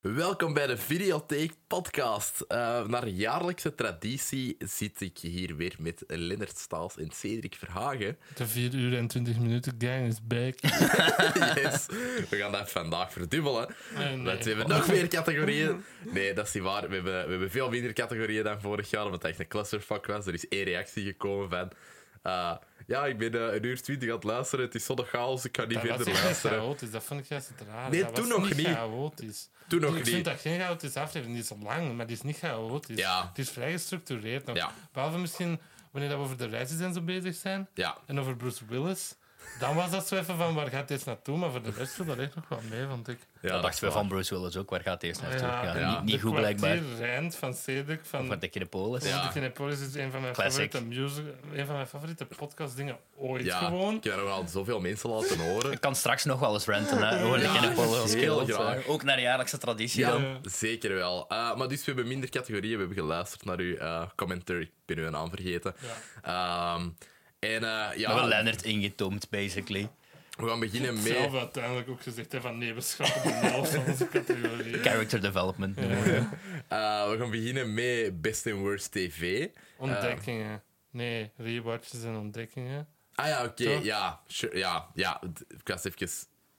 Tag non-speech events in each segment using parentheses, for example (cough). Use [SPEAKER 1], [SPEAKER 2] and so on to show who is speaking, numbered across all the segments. [SPEAKER 1] Welkom bij de Videotheek Podcast. Eh, naar jaarlijkse traditie zit ik hier weer met Lennart Staals en Cedric Verhagen. (laughs)
[SPEAKER 2] De 4 uur en 20 minuten gang is back.
[SPEAKER 1] Yes, we gaan dat vandaag verdubbelen.
[SPEAKER 2] Nee, nee.
[SPEAKER 1] Want we hebben nog meer categorieën. Nee, dat is niet waar. We hebben, we hebben veel minder categorieën dan vorig jaar, omdat het echt een clusterfuck was. Er is één reactie gekomen van... eh, ja, ik ben eh, een uur twintig aan het luisteren. Het is zonnig chaos, ik kan niet
[SPEAKER 2] Dat was
[SPEAKER 1] verder
[SPEAKER 2] echt niet (laughs)
[SPEAKER 1] luisteren.
[SPEAKER 2] chaotisch, dat vond ik juist het raar.
[SPEAKER 1] Nee,
[SPEAKER 2] dat
[SPEAKER 1] toen
[SPEAKER 2] was
[SPEAKER 1] nog niet.
[SPEAKER 2] chaotisch.
[SPEAKER 1] Toen nog
[SPEAKER 2] ik
[SPEAKER 1] niet.
[SPEAKER 2] vind dat geen chaotische aflevering, die is lang, maar die is niet chaotisch.
[SPEAKER 1] Ja.
[SPEAKER 2] Het is vrij gestructureerd nog.
[SPEAKER 1] Ja.
[SPEAKER 2] Behalve misschien wanneer dat we over de reizigers en zo bezig zijn,
[SPEAKER 1] Ja,
[SPEAKER 2] en over Bruce Willis. Dan was dat zo even van, waar gaat dit naartoe? Maar voor de rest viel dat echt nog wel mee, vond ik.
[SPEAKER 1] ja,
[SPEAKER 3] dat
[SPEAKER 1] dat
[SPEAKER 3] dachten
[SPEAKER 1] is
[SPEAKER 3] we
[SPEAKER 1] wel
[SPEAKER 3] van Bruce Willis ook. Waar gaat deze naartoe? Ja,
[SPEAKER 1] ja.
[SPEAKER 3] Niet, niet goed blijkbaar.
[SPEAKER 2] blijkbaar. Rand van Cedric, van
[SPEAKER 3] Van Dekkinepolis.
[SPEAKER 1] Ja.
[SPEAKER 3] Ja.
[SPEAKER 2] ja. Cinepolis is een van mijn
[SPEAKER 3] Classic.
[SPEAKER 2] favoriete music, een van mijn favoriete podcastdingen ooit
[SPEAKER 1] Ja,
[SPEAKER 2] gewoon.
[SPEAKER 1] ik heb er al zoveel mensen laten horen.
[SPEAKER 3] Ik kan straks nog wel eens renten hè, over
[SPEAKER 1] Ja,
[SPEAKER 3] Dekkinepolis. als
[SPEAKER 1] heel
[SPEAKER 3] kind,
[SPEAKER 1] graag.
[SPEAKER 3] hè. Ook naar de jaarlijkse traditie
[SPEAKER 1] Ja,
[SPEAKER 3] dan.
[SPEAKER 2] Ja.
[SPEAKER 1] zeker wel. Eh, maar dus we hebben minder categorieën. We hebben geluisterd naar uw eh commentary. Ik ben uw naam vergeten. Ehm, en eh,
[SPEAKER 3] We hebben
[SPEAKER 1] ja,
[SPEAKER 3] Leonard ingetoomd, basically.
[SPEAKER 1] we gaan beginnen met...
[SPEAKER 2] zelf uiteindelijk ook gezegd hè, van nee, we schrappen de helft van onze categorie.
[SPEAKER 3] Character development. noemen we.
[SPEAKER 1] eh, we gaan beginnen met Best and Worst TV.
[SPEAKER 2] Ontdekkingen. nee, rewatches en ontdekkingen.
[SPEAKER 1] Ah ja, oké.
[SPEAKER 2] Toch?
[SPEAKER 1] ja, sure, ja, ja. d- Ik was even...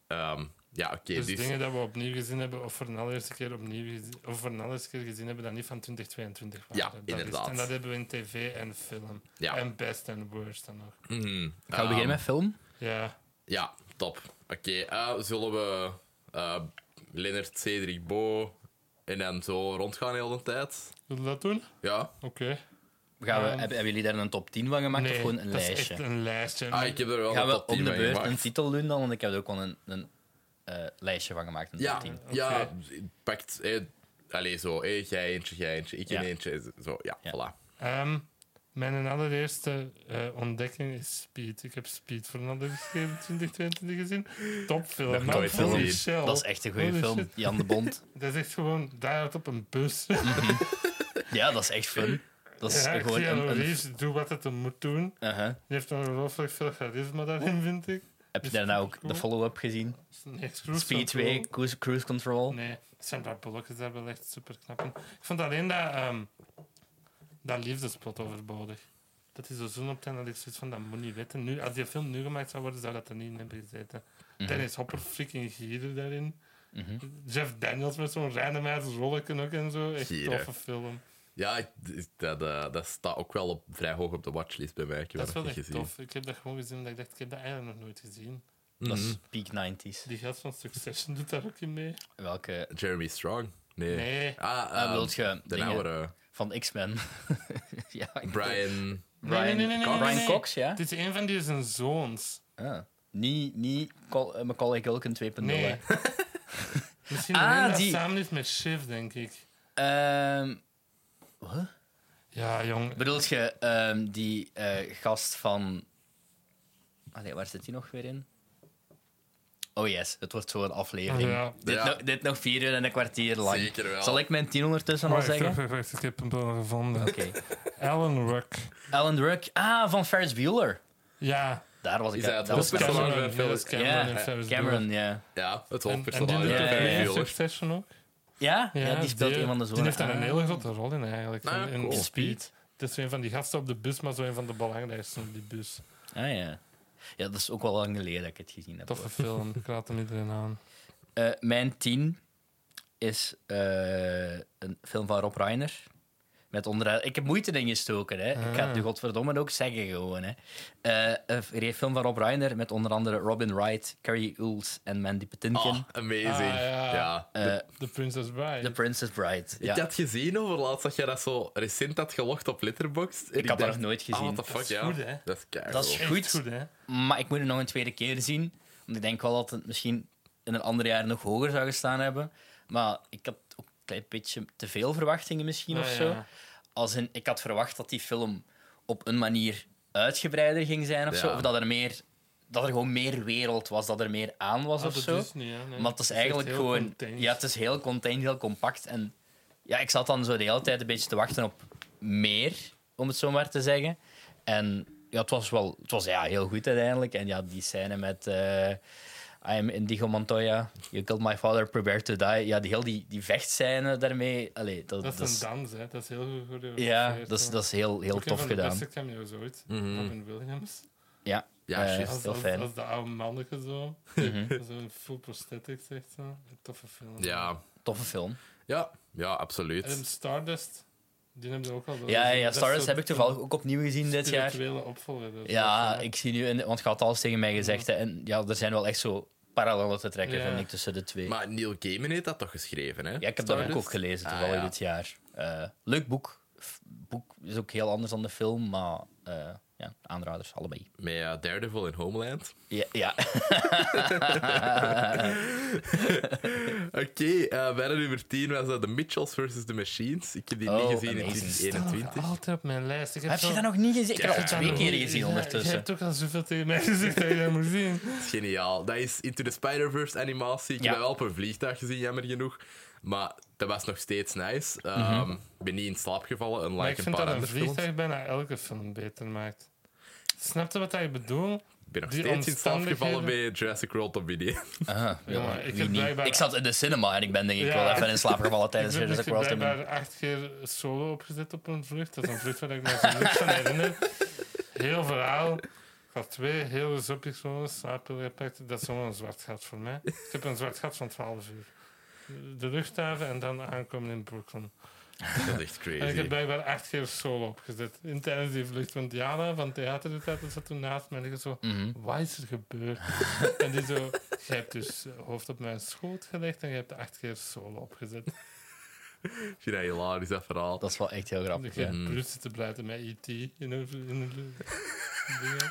[SPEAKER 1] ehm, ja, oké.
[SPEAKER 2] Dus,
[SPEAKER 1] dus
[SPEAKER 2] dingen dat we opnieuw gezien hebben of voor een allereerste keer opnieuw gezien, of voor een allereerste keer gezien hebben dat niet van 2022 waren.
[SPEAKER 1] Ja,
[SPEAKER 2] Dat is-
[SPEAKER 1] inderdaad.
[SPEAKER 2] en dat hebben we in tv en film.
[SPEAKER 1] Ja.
[SPEAKER 2] En best en worst dan nog.
[SPEAKER 1] mhm,
[SPEAKER 3] Gaan we
[SPEAKER 1] ehm,
[SPEAKER 3] beginnen met film?
[SPEAKER 2] Ja,
[SPEAKER 1] Ja, top. Oké, eh, zullen we eh Lennart, Cedric, Bo en dan zo rondgaan heel de tijd?
[SPEAKER 2] willen we dat doen?
[SPEAKER 1] Ja.
[SPEAKER 2] Oké.
[SPEAKER 3] Gaan we,
[SPEAKER 2] Ehm,
[SPEAKER 3] hebben, hebben jullie daar een top 10 van gemaakt
[SPEAKER 2] nee,
[SPEAKER 3] of gewoon een
[SPEAKER 2] dat
[SPEAKER 3] lijstje?
[SPEAKER 2] is echt een lijstje.
[SPEAKER 1] Ah, ik heb er wel
[SPEAKER 3] Gaan
[SPEAKER 1] een
[SPEAKER 3] we
[SPEAKER 1] top 10
[SPEAKER 3] om de
[SPEAKER 1] van
[SPEAKER 3] beurt
[SPEAKER 1] gemaakt.
[SPEAKER 3] een titel doen dan? Want ik heb er ook al een, een eh, lijstje van gemaakt. Een
[SPEAKER 1] Ja,
[SPEAKER 3] top 10.
[SPEAKER 1] ja pakt. eh, allee, zo, eh, jij eentje, jij eentje, ik in
[SPEAKER 3] Ja.
[SPEAKER 1] eentje. Zo, ja,
[SPEAKER 3] Ja.
[SPEAKER 1] voilà.
[SPEAKER 2] Ehm, mijn allereerste eh, ontdekking is Speed. Ik heb Speed voor een allereerste keer in 2022 gezien. Topfilm. man.
[SPEAKER 1] nooit
[SPEAKER 2] Holy
[SPEAKER 1] gezien.
[SPEAKER 2] shell.
[SPEAKER 3] Dat is echt een goede
[SPEAKER 2] Holy
[SPEAKER 3] film.
[SPEAKER 2] shit.
[SPEAKER 3] Jan de Bond.
[SPEAKER 2] Dat is echt gewoon daaruit op een bus.
[SPEAKER 3] Ja, dat is echt
[SPEAKER 2] (laughs)
[SPEAKER 3] fun. Dat is
[SPEAKER 2] ja,
[SPEAKER 3] gewoon
[SPEAKER 2] Keanu
[SPEAKER 3] een... een
[SPEAKER 2] Reeves doet wat het hem moet doen.
[SPEAKER 3] Uh-huh.
[SPEAKER 2] Die heeft ongelooflijk veel charisma daarin, vind ik.
[SPEAKER 3] Heb je daarna ook de follow-up gezien?
[SPEAKER 2] Nee, Cruise
[SPEAKER 3] Speed
[SPEAKER 2] Control.
[SPEAKER 3] 2, cruise, cruise Control.
[SPEAKER 2] Nee, Sandra Bullock is daar wel echt super knap in. Ik vond alleen dat, ehm dat liefdespot overbodig. Dat is zo zo'n op het einde dat ik zoiets van, dat moet niet weten. Nu, als die film nu gemaakt zou worden, zou dat er niet in hebben gezeten.
[SPEAKER 1] Mhm.
[SPEAKER 2] Dennis Hopper freaking gieren daarin. Jeff Daniels met zo'n random ass rolletje ook en zo. Echt
[SPEAKER 1] Gieren.
[SPEAKER 2] toffe film.
[SPEAKER 1] Ja, ik- d- dat, eh, dat staat ook wel op, vrij hoog op de watchlist bij mij. Ik heb
[SPEAKER 2] Dat is wel
[SPEAKER 1] nog
[SPEAKER 2] echt
[SPEAKER 1] niet gezien.
[SPEAKER 2] tof. Ik heb dat gewoon gezien omdat ik dacht, ik heb dat eigenlijk nog nooit gezien.
[SPEAKER 3] Dat
[SPEAKER 1] Mhm.
[SPEAKER 3] is peak 90s.
[SPEAKER 2] Die gast van Succession doet daar ook in mee.
[SPEAKER 3] Welke.
[SPEAKER 1] Jeremy Strong? Nee.
[SPEAKER 2] Nee.
[SPEAKER 1] Ah,
[SPEAKER 3] Ah,
[SPEAKER 1] ehm,
[SPEAKER 3] wilt je
[SPEAKER 1] de
[SPEAKER 3] dingen?
[SPEAKER 1] oude eh,
[SPEAKER 3] Van X-Men. (laughs) ja, ik-
[SPEAKER 1] Brian.
[SPEAKER 3] Brian, Cox. Brian Cox,
[SPEAKER 1] Ah.
[SPEAKER 3] ja.
[SPEAKER 2] Dit is een van die zijn zoons.
[SPEAKER 3] Ah. Niet niet Col- eh, Macaulay Culkin 2.0.
[SPEAKER 2] Nee.
[SPEAKER 3] Nee.
[SPEAKER 2] (laughs) Misschien
[SPEAKER 3] Ah,
[SPEAKER 2] alleen dat
[SPEAKER 3] die.
[SPEAKER 2] samen is met Shiv, denk ik.
[SPEAKER 3] Ehm, wat?
[SPEAKER 2] Ja, jong.
[SPEAKER 3] Bedoelt je ehm, die eh, gast van. Allee, waar zit die nog weer in? Oh yes, het wordt zo'n aflevering.
[SPEAKER 2] Ah, Ja.
[SPEAKER 3] Dit,
[SPEAKER 1] Ja.
[SPEAKER 3] nog- dit nog vier uur en een kwartier lang.
[SPEAKER 1] Zeker wel.
[SPEAKER 3] Zal ik mijn tien ondertussen al
[SPEAKER 2] Wacht,
[SPEAKER 3] zeggen?
[SPEAKER 2] wacht, wacht, ik heb hem wel gevonden.
[SPEAKER 3] (laughs) Oké.
[SPEAKER 2] Alan Ruck.
[SPEAKER 3] Alan Ruck. Ah, van Ferris Bueller.
[SPEAKER 2] Ja,
[SPEAKER 3] Daar was ik.
[SPEAKER 1] Is hij
[SPEAKER 3] dat
[SPEAKER 1] het
[SPEAKER 3] was
[SPEAKER 1] hoofdpersoon?
[SPEAKER 3] Cameron.
[SPEAKER 1] Cameron bij
[SPEAKER 2] Ja, dat
[SPEAKER 1] Phyllis.
[SPEAKER 2] is Cameron
[SPEAKER 3] Ja,
[SPEAKER 2] en Ferris Bueller.
[SPEAKER 3] Cameron, ja.
[SPEAKER 1] Ja, het
[SPEAKER 2] En- En die
[SPEAKER 1] hoofdpersonage.
[SPEAKER 2] doet
[SPEAKER 3] ja,
[SPEAKER 2] ook
[SPEAKER 3] ja,
[SPEAKER 2] mee
[SPEAKER 3] ja.
[SPEAKER 2] in
[SPEAKER 1] Ferris Bueller.
[SPEAKER 2] Succession ook.
[SPEAKER 3] Ja? Ja, die speelt een van de Nou, zonen.
[SPEAKER 2] Die heeft daar een
[SPEAKER 3] Ah.
[SPEAKER 2] hele grote rol in eigenlijk.
[SPEAKER 1] Ah,
[SPEAKER 2] in- in
[SPEAKER 1] cool.
[SPEAKER 2] Speed. Het is een van die gasten op de bus, maar zo een van de belangrijkste op die bus.
[SPEAKER 3] Ah ja. Ja, dat is ook wel lang geleden dat ik het gezien heb.
[SPEAKER 2] Toffe film,
[SPEAKER 3] (laughs)
[SPEAKER 2] ik raad hem iedereen aan.
[SPEAKER 3] Eh, mijn tien is eh, een film van Rob Reiner. Met onder... Ik heb moeite erin gestoken. Hè. Ik ga
[SPEAKER 2] Ah.
[SPEAKER 3] het nu godverdomme ook zeggen gewoon. Hè. Eh, een re- film van Rob Reiner met onder andere Robin Wright, Carrie Ulls en Mandy Patinkin.
[SPEAKER 1] Ah, amazing.
[SPEAKER 2] Ah,
[SPEAKER 1] ja.
[SPEAKER 2] ja.
[SPEAKER 3] Eh,
[SPEAKER 2] The Princess Bride.
[SPEAKER 3] The Princess Bride.
[SPEAKER 1] Ik
[SPEAKER 3] Ja.
[SPEAKER 1] had gezien over laatst dat jij dat zo recent had gelogd op Letterboxd. En
[SPEAKER 3] had dat
[SPEAKER 1] dacht,
[SPEAKER 3] nog nooit
[SPEAKER 1] Ah,
[SPEAKER 3] gezien.
[SPEAKER 1] what the
[SPEAKER 2] Dat
[SPEAKER 1] fuck,
[SPEAKER 2] is
[SPEAKER 1] ja.
[SPEAKER 2] goed, hè?
[SPEAKER 1] Dat is keihard.
[SPEAKER 3] Dat is
[SPEAKER 2] Echt
[SPEAKER 3] goed.
[SPEAKER 2] goed, hè?
[SPEAKER 3] Maar ik moet het nog een tweede keer zien. Want ik denk wel dat het misschien in een ander jaar nog hoger zou gestaan hebben. Maar ik had ook een klein beetje te veel verwachtingen misschien
[SPEAKER 2] Ah,
[SPEAKER 3] of
[SPEAKER 2] ja.
[SPEAKER 3] zo. Als in, ik had verwacht dat die film op een manier uitgebreider ging zijn of
[SPEAKER 1] Ja.
[SPEAKER 3] zo. Of dat er, meer, dat er gewoon meer wereld was, dat er meer aan was
[SPEAKER 2] Ah,
[SPEAKER 3] of
[SPEAKER 2] dat
[SPEAKER 3] zo.
[SPEAKER 2] is niet, hè? Nee.
[SPEAKER 3] Maar het is
[SPEAKER 2] echt
[SPEAKER 3] eigenlijk
[SPEAKER 2] heel
[SPEAKER 3] gewoon...
[SPEAKER 2] contained.
[SPEAKER 3] Ja, het is heel contained, heel compact. En ja, ik zat dan zo de hele tijd een beetje te wachten op meer, om het zo maar te zeggen. En ja, het was wel... Het was ja, heel goed uiteindelijk. En ja, die scène met... eh, I am Indigo Montoya, you killed my father, prepare to die. Ja, die heel die, die vechtscène daarmee. Allee, dat,
[SPEAKER 2] Dat is
[SPEAKER 3] dat is-
[SPEAKER 2] een dans, hè. Dat is heel goed gerealiseerd,
[SPEAKER 3] ja,
[SPEAKER 2] hè.
[SPEAKER 3] dat is, dat is heel, heel
[SPEAKER 2] Ook een
[SPEAKER 3] tof
[SPEAKER 2] van de
[SPEAKER 3] gedaan.
[SPEAKER 2] beste cameo's ooit. Robin Williams.
[SPEAKER 3] Ja,
[SPEAKER 1] Ja,
[SPEAKER 3] eh,
[SPEAKER 1] juist.
[SPEAKER 2] Als,
[SPEAKER 3] heel
[SPEAKER 2] als,
[SPEAKER 3] fijn. Mhm.
[SPEAKER 2] als de oude manneke zo. Zo'n full prosthetics, echt zo. Een toffe film.
[SPEAKER 1] Ja,
[SPEAKER 3] Toffe film.
[SPEAKER 1] ja, ja absoluut.
[SPEAKER 2] Adam Stardust, die hebben we ook al zo
[SPEAKER 3] Ja,
[SPEAKER 2] gezien.
[SPEAKER 3] ja
[SPEAKER 2] Dat is
[SPEAKER 3] Stardust
[SPEAKER 2] zo'n
[SPEAKER 3] heb ik toevallig ook opnieuw gezien dit jaar.
[SPEAKER 2] Spirituele opvolger. dus dat is eh, wel
[SPEAKER 3] Ja,
[SPEAKER 2] fijn.
[SPEAKER 3] ik zie nu, in- want je had alles tegen mij gezegd. Hè, en ja, er zijn wel echt zo parallellen te trekken,
[SPEAKER 2] Ja.
[SPEAKER 3] vind ik, tussen de twee.
[SPEAKER 1] Maar Neil Gaiman heeft dat toch geschreven, hè?
[SPEAKER 3] ja, ik heb dat boek
[SPEAKER 1] Stardust?
[SPEAKER 3] ook gelezen
[SPEAKER 1] Ah,
[SPEAKER 3] toevallig
[SPEAKER 1] ja.
[SPEAKER 3] dit jaar. Eh, leuk boek. F- boek is ook heel anders dan de film, maar eh, ja, aanraders, allebei.
[SPEAKER 1] Met eh, Daredevil en Homeland.
[SPEAKER 3] Ja, ja.
[SPEAKER 1] Oké, eh, bijna nummer 10 was dat The Mitchells vs. The Machines. Ik heb die
[SPEAKER 3] Oh,
[SPEAKER 1] niet gezien in
[SPEAKER 3] amazing.
[SPEAKER 2] Staat
[SPEAKER 1] 2021.
[SPEAKER 2] altijd op mijn lijst. Ik heb,
[SPEAKER 3] heb
[SPEAKER 2] zo-
[SPEAKER 3] je dat nog niet gezien? Ik heb het al
[SPEAKER 1] Ja.
[SPEAKER 3] twee keer
[SPEAKER 2] Ja,
[SPEAKER 3] gezien
[SPEAKER 2] Je
[SPEAKER 3] ondertussen.
[SPEAKER 2] hebt ook al zoveel tegen mij gezegd dat je dat moet zien.
[SPEAKER 1] Dat is geniaal. Dat is Into the Spider-Verse animatie. Ik
[SPEAKER 3] Ja.
[SPEAKER 1] heb dat wel op een vliegtuig gezien, jammer genoeg. Maar dat was nog steeds nice. Ehm,
[SPEAKER 3] Mhm.
[SPEAKER 1] Ik ben niet in slaap gevallen,
[SPEAKER 2] Maar
[SPEAKER 1] unlike
[SPEAKER 2] ik
[SPEAKER 1] een
[SPEAKER 2] vind
[SPEAKER 1] paar
[SPEAKER 2] dat een
[SPEAKER 1] andere films.
[SPEAKER 2] vliegtuig bijna elke film beter maakt. Snap je wat ik bedoel?
[SPEAKER 1] Ik ben nog
[SPEAKER 2] die
[SPEAKER 1] steeds in slaap gevallen
[SPEAKER 2] omstandigheden-
[SPEAKER 1] bij Jurassic World Dominion.
[SPEAKER 3] Aha, ja,
[SPEAKER 2] maar ik
[SPEAKER 3] wie
[SPEAKER 2] heb
[SPEAKER 3] niet?
[SPEAKER 2] blijkbaar-
[SPEAKER 3] Ik zat in de cinema en ik ben denk ik
[SPEAKER 2] Ja.
[SPEAKER 3] wel even in slaap gevallen tijdens
[SPEAKER 2] (laughs) ik ben
[SPEAKER 3] Jurassic World.
[SPEAKER 2] blijkbaar acht keer solo opgezet op een vlucht. Dat is een vlucht waar ik me zo niks van herinner. Heel verhaal. Ik had twee hele zopjes gewoon slaappillen gepakt. Dat is gewoon een zwart gat voor mij. Ik heb een zwart gat van 12 uur. De luchthaven en dan aankomen in Brooklyn.
[SPEAKER 1] (laughs) Dat is echt
[SPEAKER 2] En ik heb
[SPEAKER 1] crazy.
[SPEAKER 2] blijkbaar acht keer solo opgezet. In tijdens die vlucht. Want Jana van Theater doet dat, dat zat toen naast me. En ik zo, wat is er gebeurd? en die zo, jij hebt dus hoofd op mijn schoot gelegd en je hebt acht keer solo opgezet.
[SPEAKER 1] Ik vind dat hilarisch, dat verhaal.
[SPEAKER 3] Dat is wel echt heel
[SPEAKER 2] Ik
[SPEAKER 3] grappig.
[SPEAKER 2] heb
[SPEAKER 3] ja.
[SPEAKER 2] Bruce te blijven met E.T. in een, in een dingen.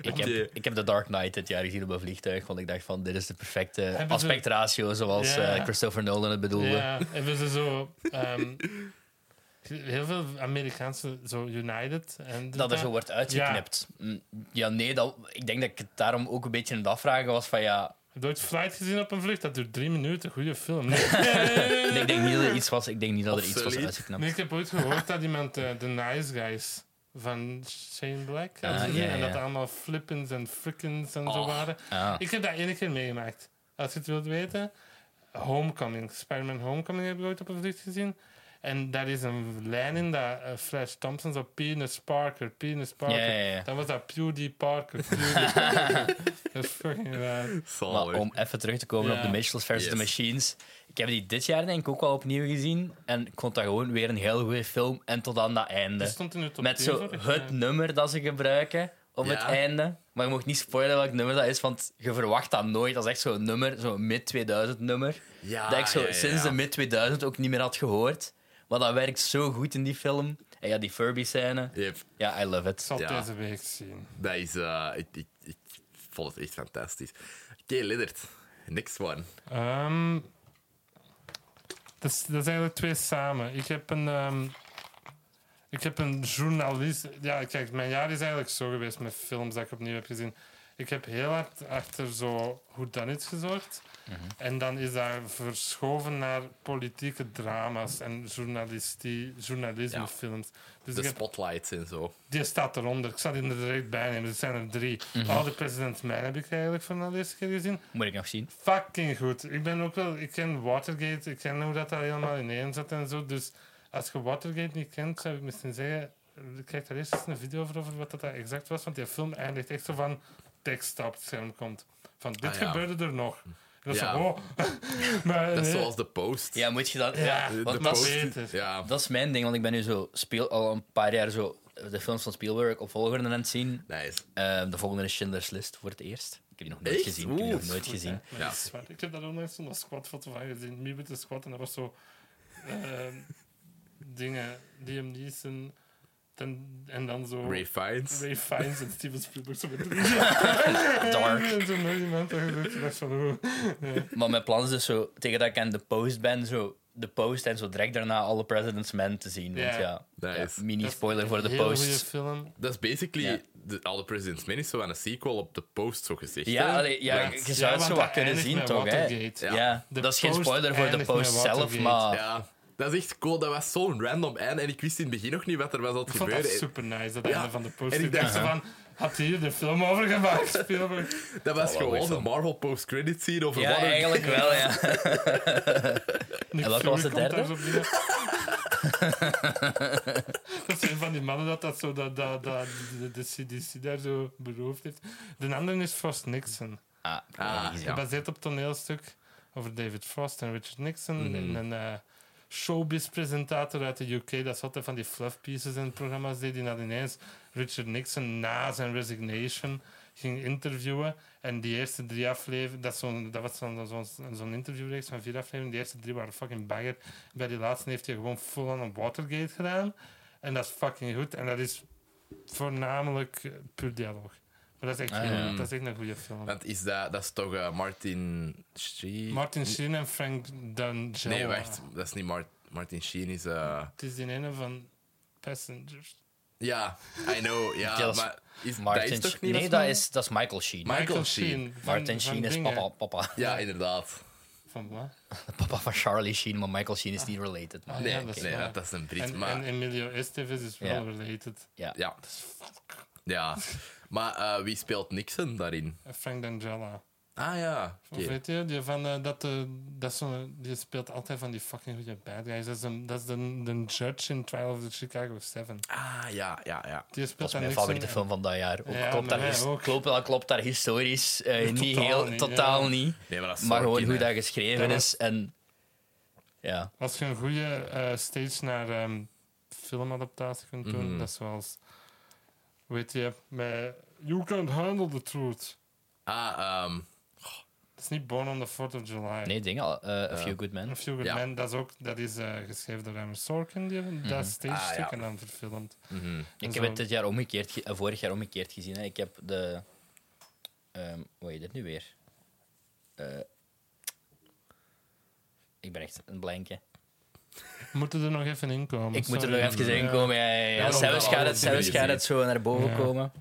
[SPEAKER 3] Ik
[SPEAKER 1] Oké.
[SPEAKER 3] heb, ik heb The Dark Knight dit jaar gezien op een vliegtuig, want ik dacht van, dit is de perfecte
[SPEAKER 2] ze-
[SPEAKER 3] aspectratio zoals
[SPEAKER 2] Ja.
[SPEAKER 3] eh, Christopher Nolan het bedoelde.
[SPEAKER 2] Ja, hebben ze zo... ehm, heel veel Amerikaanse, zo United. En
[SPEAKER 3] Dat er zo wordt uitgeknipt. Mm, Ja, nee, dat, ik denk dat ik het daarom ook een beetje aan het afvragen was van, ja...
[SPEAKER 2] Heb je ooit Flight gezien op een vlucht? Dat duurt drie minuten. Goede
[SPEAKER 3] (laughs)
[SPEAKER 2] film. Nee.
[SPEAKER 3] Ik denk niet dat er iets was, ik denk niet dat er iets was
[SPEAKER 1] Obsolete.
[SPEAKER 3] uitgeknipt.
[SPEAKER 2] Nee, ik heb ooit gehoord dat iemand eh, de Nice Guys van Shane Black had
[SPEAKER 3] Ah,
[SPEAKER 2] gezien
[SPEAKER 3] ja,
[SPEAKER 2] en
[SPEAKER 3] ja.
[SPEAKER 2] dat allemaal flippins en frickins en zo
[SPEAKER 3] Oh,
[SPEAKER 2] waren.
[SPEAKER 3] ah.
[SPEAKER 2] Ik heb dat één keer meegemaakt. Als je het wilt weten, Homecoming, Spider-Man Homecoming heb ik ooit op een vlucht gezien. En daar is een lijn in dat eh, Flash Thompson zo Penis Parker, Penis Parker.
[SPEAKER 3] Ja, ja, ja.
[SPEAKER 2] Dan was dat Pewdie Parker,
[SPEAKER 3] (laughs)
[SPEAKER 2] Pewdie Parker. dat is fucking raar.
[SPEAKER 1] Zalig.
[SPEAKER 3] Maar om even terug te komen
[SPEAKER 2] Ja.
[SPEAKER 3] op de Mitchells versus
[SPEAKER 1] Yes.
[SPEAKER 3] The Machines. Ik heb die dit jaar denk ik ook wel opnieuw gezien. En ik vond dat gewoon weer een heel goede film. En tot aan dat
[SPEAKER 2] Dat
[SPEAKER 3] einde.
[SPEAKER 2] stond in de top eh,
[SPEAKER 3] Met
[SPEAKER 2] 10
[SPEAKER 3] zo
[SPEAKER 2] vorig
[SPEAKER 3] het
[SPEAKER 2] jaar.
[SPEAKER 3] nummer dat ze gebruiken op
[SPEAKER 1] Ja.
[SPEAKER 3] het einde. Maar je mocht niet spoilen welk nummer dat is, want je verwacht dat nooit. Dat is echt zo'n nummer, zo'n mid-2000 nummer.
[SPEAKER 1] Ja,
[SPEAKER 3] dat ik zo
[SPEAKER 1] ja, ja,
[SPEAKER 3] sinds
[SPEAKER 1] ja.
[SPEAKER 3] de mid-2000 ook niet meer had gehoord. Maar dat werkt zo goed in die film. En ja, die Furby-scène.
[SPEAKER 1] Yep.
[SPEAKER 3] Ja, I love
[SPEAKER 2] Ik
[SPEAKER 3] it.
[SPEAKER 2] zal het
[SPEAKER 1] Ja.
[SPEAKER 2] deze week zien.
[SPEAKER 1] Dat is... eh, ik, ik, ik vond het echt fantastisch. Oké, Lennart. Next one.
[SPEAKER 2] Ehm, dat, is, dat zijn eigenlijk twee samen. Ik heb een. ehm, ik heb een journalist. Ja, kijk, mijn jaar is eigenlijk zo geweest met films dat ik opnieuw heb gezien. Ik heb heel hard achter zo hoe dan is gezorgd. En dan is dat verschoven naar politieke drama's en journalistie,
[SPEAKER 1] Ja.
[SPEAKER 2] journalismefilms. Dus
[SPEAKER 1] De
[SPEAKER 2] ik heb
[SPEAKER 1] spotlights en zo.
[SPEAKER 2] die staat eronder. Ik zal die er direct bij nemen. Er zijn er drie. All the President's Man heb ik eigenlijk van de eerste keer gezien.
[SPEAKER 3] Moet ik nog zien.
[SPEAKER 2] Fucking goed. Ik ben ook wel... Ik ken Watergate. Ik ken hoe dat daar helemaal ineen zat en zo. Dus als je Watergate niet kent, zou ik misschien zeggen... Kijk daar eerst eens een video over, over wat dat daar exact was. Want die film eindigt echt zo van... Tekst op het scherm komt. Van, dit
[SPEAKER 1] Ah, ja.
[SPEAKER 2] gebeurde er nog. En dat is
[SPEAKER 1] Ja.
[SPEAKER 2] zo,
[SPEAKER 1] (laughs)
[SPEAKER 2] oh. maar,
[SPEAKER 1] Dat is
[SPEAKER 2] nee.
[SPEAKER 1] zoals de post.
[SPEAKER 3] Ja, moet je dat... Ja,
[SPEAKER 2] Ja,
[SPEAKER 1] De,
[SPEAKER 3] want
[SPEAKER 1] de
[SPEAKER 3] dat is-
[SPEAKER 1] post.
[SPEAKER 2] Beter.
[SPEAKER 1] Ja.
[SPEAKER 3] Dat is mijn ding, want ik ben nu zo speel, al een paar jaar zo de films van Spielberg opvolgende aan het zien.
[SPEAKER 1] Nice.
[SPEAKER 3] Ehm, de volgende is Schindler's List voor het eerst. Ik heb die nog nooit
[SPEAKER 1] Echt?
[SPEAKER 3] gezien. Ik heb die
[SPEAKER 1] Oeh,
[SPEAKER 3] nog nooit
[SPEAKER 2] Goed, hè. (laughs)
[SPEAKER 3] gezien.
[SPEAKER 2] Maar
[SPEAKER 1] Ja.
[SPEAKER 2] dat is waar. Ik heb daar ook nog zo'n squatfoto van gezien. Mie met de squat en dat was zo... ehm, (laughs) dingen. Liam Neeson... ten- en dan zo...
[SPEAKER 1] Ray Fiennes.
[SPEAKER 2] Ray Fiennes en Steven Spielberg. Zo met
[SPEAKER 1] (laughs)
[SPEAKER 3] Dark.
[SPEAKER 2] En zo nog iemand dat gezegd. Ik dacht van... hoe-
[SPEAKER 3] Maar mijn plan is dus zo, tegen dat ik aan de post ben, zo de post en zo direct daarna alle President's Men te zien. Want
[SPEAKER 2] Ja.
[SPEAKER 3] ja,
[SPEAKER 1] Dat
[SPEAKER 3] ja,
[SPEAKER 1] is-
[SPEAKER 3] mini-spoiler voor de
[SPEAKER 2] Heel goeie
[SPEAKER 3] post.
[SPEAKER 2] film.
[SPEAKER 1] Dat is basically
[SPEAKER 3] Ja.
[SPEAKER 1] de, All the President's Men is zo aan een sequel op de post, zo gezegd.
[SPEAKER 3] Ja,
[SPEAKER 1] hè?
[SPEAKER 3] allee, ja,
[SPEAKER 1] Want-
[SPEAKER 3] je zou
[SPEAKER 2] Ja,
[SPEAKER 3] het
[SPEAKER 2] want
[SPEAKER 3] zo
[SPEAKER 2] dat
[SPEAKER 3] wat kunnen
[SPEAKER 2] eindigt
[SPEAKER 3] zien,
[SPEAKER 2] met
[SPEAKER 3] toch? Hè?
[SPEAKER 2] Watergate.
[SPEAKER 3] Ja,
[SPEAKER 1] Ja.
[SPEAKER 2] De
[SPEAKER 3] dat is geen
[SPEAKER 2] Post
[SPEAKER 3] spoiler voor de
[SPEAKER 2] eindigt met
[SPEAKER 3] post zelf,
[SPEAKER 2] Watergate.
[SPEAKER 3] maar
[SPEAKER 1] ja. Dat is echt cool. Dat was zo'n random einde. En ik wist in het begin nog niet wat er was aan het
[SPEAKER 2] Ik vond dat
[SPEAKER 1] gebeuren.
[SPEAKER 2] super nice, dat
[SPEAKER 1] Ja.
[SPEAKER 2] einde van de post.
[SPEAKER 1] En ik
[SPEAKER 2] Ik dacht zo
[SPEAKER 1] dacht-
[SPEAKER 2] van, had hij hier de film over gemaakt? Spielberg?
[SPEAKER 1] Dat was
[SPEAKER 4] wel
[SPEAKER 3] Oh,
[SPEAKER 1] gewoon
[SPEAKER 4] leuk
[SPEAKER 1] de
[SPEAKER 4] zijn.
[SPEAKER 1] Marvel post-credit scene over
[SPEAKER 3] Ja,
[SPEAKER 1] Modern
[SPEAKER 3] eigenlijk wel,
[SPEAKER 1] (laughs)
[SPEAKER 3] ja. Ah,
[SPEAKER 2] Nick
[SPEAKER 3] En welke
[SPEAKER 2] Fury
[SPEAKER 3] was de
[SPEAKER 2] komt daar
[SPEAKER 3] derde?
[SPEAKER 2] zo binnen. (laughs) dat is een van die mannen dat, dat, zo, dat, dat, dat de, de CDC daar zo beroofd heeft. De andere is Frost Nixon.
[SPEAKER 3] Ah,
[SPEAKER 1] Ah,
[SPEAKER 3] ja.
[SPEAKER 2] Gebaseerd op toneelstuk over David Frost en Richard Nixon.
[SPEAKER 3] Mhm.
[SPEAKER 2] En een eh, showbiz-presentator uit de UK. Dat zat er van die fluff pieces en programma's deed. Die had ineens Richard Nixon na zijn resignation ging interviewen. En die eerste drie afleveringen, dat, is zo'n- dat was zo'n zo'n zo'n interviewreeks van vier afleveringen. Die eerste drie waren fucking bagger. Bij die laatste heeft hij gewoon full on op Watergate gedaan. En dat is fucking goed. En dat is voornamelijk eh, puur dialoog. Maar dat is echt,
[SPEAKER 3] Ah, ja.
[SPEAKER 2] dat is echt een goede film.
[SPEAKER 1] Want is dat, dat is toch eh, Martin Sheen?
[SPEAKER 2] Martin Sheen en Frank D'Angelo.
[SPEAKER 1] nee, wacht. Dat is niet Mar- Martin Sheen. Is, eh,
[SPEAKER 2] Het is die ene van Passengers.
[SPEAKER 1] Ja, I know.
[SPEAKER 3] (laughs)
[SPEAKER 1] Ja, maar is,
[SPEAKER 3] Yes.
[SPEAKER 1] dat is
[SPEAKER 3] Martin
[SPEAKER 1] toch
[SPEAKER 3] Sheen.
[SPEAKER 1] niet
[SPEAKER 3] Nee,
[SPEAKER 1] wat-
[SPEAKER 3] dat is, dat is Michael Sheen.
[SPEAKER 1] Michael Sheen.
[SPEAKER 2] van- van
[SPEAKER 3] Martin Sheen is
[SPEAKER 2] dingen.
[SPEAKER 3] papa, papa. (laughs)
[SPEAKER 1] Ja, inderdaad.
[SPEAKER 2] Van wat?
[SPEAKER 3] Papa van Charlie Sheen, maar Michael Sheen is niet related. man.
[SPEAKER 2] Ah,
[SPEAKER 1] Nee,
[SPEAKER 2] ja,
[SPEAKER 1] dat,
[SPEAKER 2] dat
[SPEAKER 1] is
[SPEAKER 2] is
[SPEAKER 1] nee
[SPEAKER 2] waar.
[SPEAKER 1] dat, dat is een Brit.
[SPEAKER 2] En,
[SPEAKER 1] maar
[SPEAKER 2] en Emilio Estevez is wel
[SPEAKER 3] Ja.
[SPEAKER 2] related.
[SPEAKER 3] Ja.
[SPEAKER 1] ja. ja. Maar eh, wie speelt Nixon daarin?
[SPEAKER 2] Eh, Frank D'Angelo.
[SPEAKER 1] Ah ja, oké.
[SPEAKER 2] Of Weet je, die, van, eh, dat, eh, dat is zo'n- die speelt altijd van die fucking goede bad guys. Dat is, een, dat is de, de judge in Trial of the Chicago 7.
[SPEAKER 1] Ah ja, ja, ja.
[SPEAKER 2] Die speelt
[SPEAKER 3] Dat is
[SPEAKER 2] dan
[SPEAKER 3] mijn
[SPEAKER 2] Nixon
[SPEAKER 3] favoriete
[SPEAKER 2] en-
[SPEAKER 3] film van dat jaar. Ook
[SPEAKER 2] Ja,
[SPEAKER 3] klopt,
[SPEAKER 2] bij
[SPEAKER 3] daar
[SPEAKER 2] mij
[SPEAKER 3] his-
[SPEAKER 2] ook.
[SPEAKER 3] klopt, dat klopt daar historisch
[SPEAKER 2] (laughs)
[SPEAKER 3] eh, niet
[SPEAKER 2] totaal
[SPEAKER 3] heel,
[SPEAKER 2] niet,
[SPEAKER 3] totaal
[SPEAKER 2] ja.
[SPEAKER 3] niet.
[SPEAKER 1] Nee, maar dat is Sorkin,
[SPEAKER 3] Maar gewoon hoe
[SPEAKER 1] hè.
[SPEAKER 3] dat geschreven
[SPEAKER 2] Dat
[SPEAKER 3] is. En ja,
[SPEAKER 2] Als je een goede eh stage naar ehm, filmadaptatie kunt doen,
[SPEAKER 3] Mhm.
[SPEAKER 2] dat is zoals. Weet je, met You Can't Handle the Truth.
[SPEAKER 1] Ah, ehm,
[SPEAKER 2] Dat is niet Born on the 4th of July.
[SPEAKER 3] nee, ding al. eh, A Few Good Men.
[SPEAKER 2] Of You Good
[SPEAKER 1] Ja.
[SPEAKER 2] Man, dat is ook dat is, eh, geschreven door Emma Sorkin, die
[SPEAKER 3] Mhm.
[SPEAKER 2] dat stage
[SPEAKER 1] Ah, ja.
[SPEAKER 2] en dan verfilmd. En
[SPEAKER 3] Ik
[SPEAKER 2] zo.
[SPEAKER 3] heb het dit jaar omgekeerd, ge- eh, vorig jaar omgekeerd gezien. Hè. Ik heb de. ehm hoe heet dit nu weer? Eh, ik ben echt een blankje.
[SPEAKER 2] We moeten er nog even in komen.
[SPEAKER 3] Ik moet er nog
[SPEAKER 2] sorry.
[SPEAKER 3] even in
[SPEAKER 2] Ja.
[SPEAKER 3] komen. Ja, ja, ja.
[SPEAKER 1] dat wel
[SPEAKER 3] Zelfs gaat het,
[SPEAKER 1] alles
[SPEAKER 3] zelfs
[SPEAKER 1] gezien.
[SPEAKER 3] gaat het zo naar boven
[SPEAKER 2] Ja.
[SPEAKER 3] komen.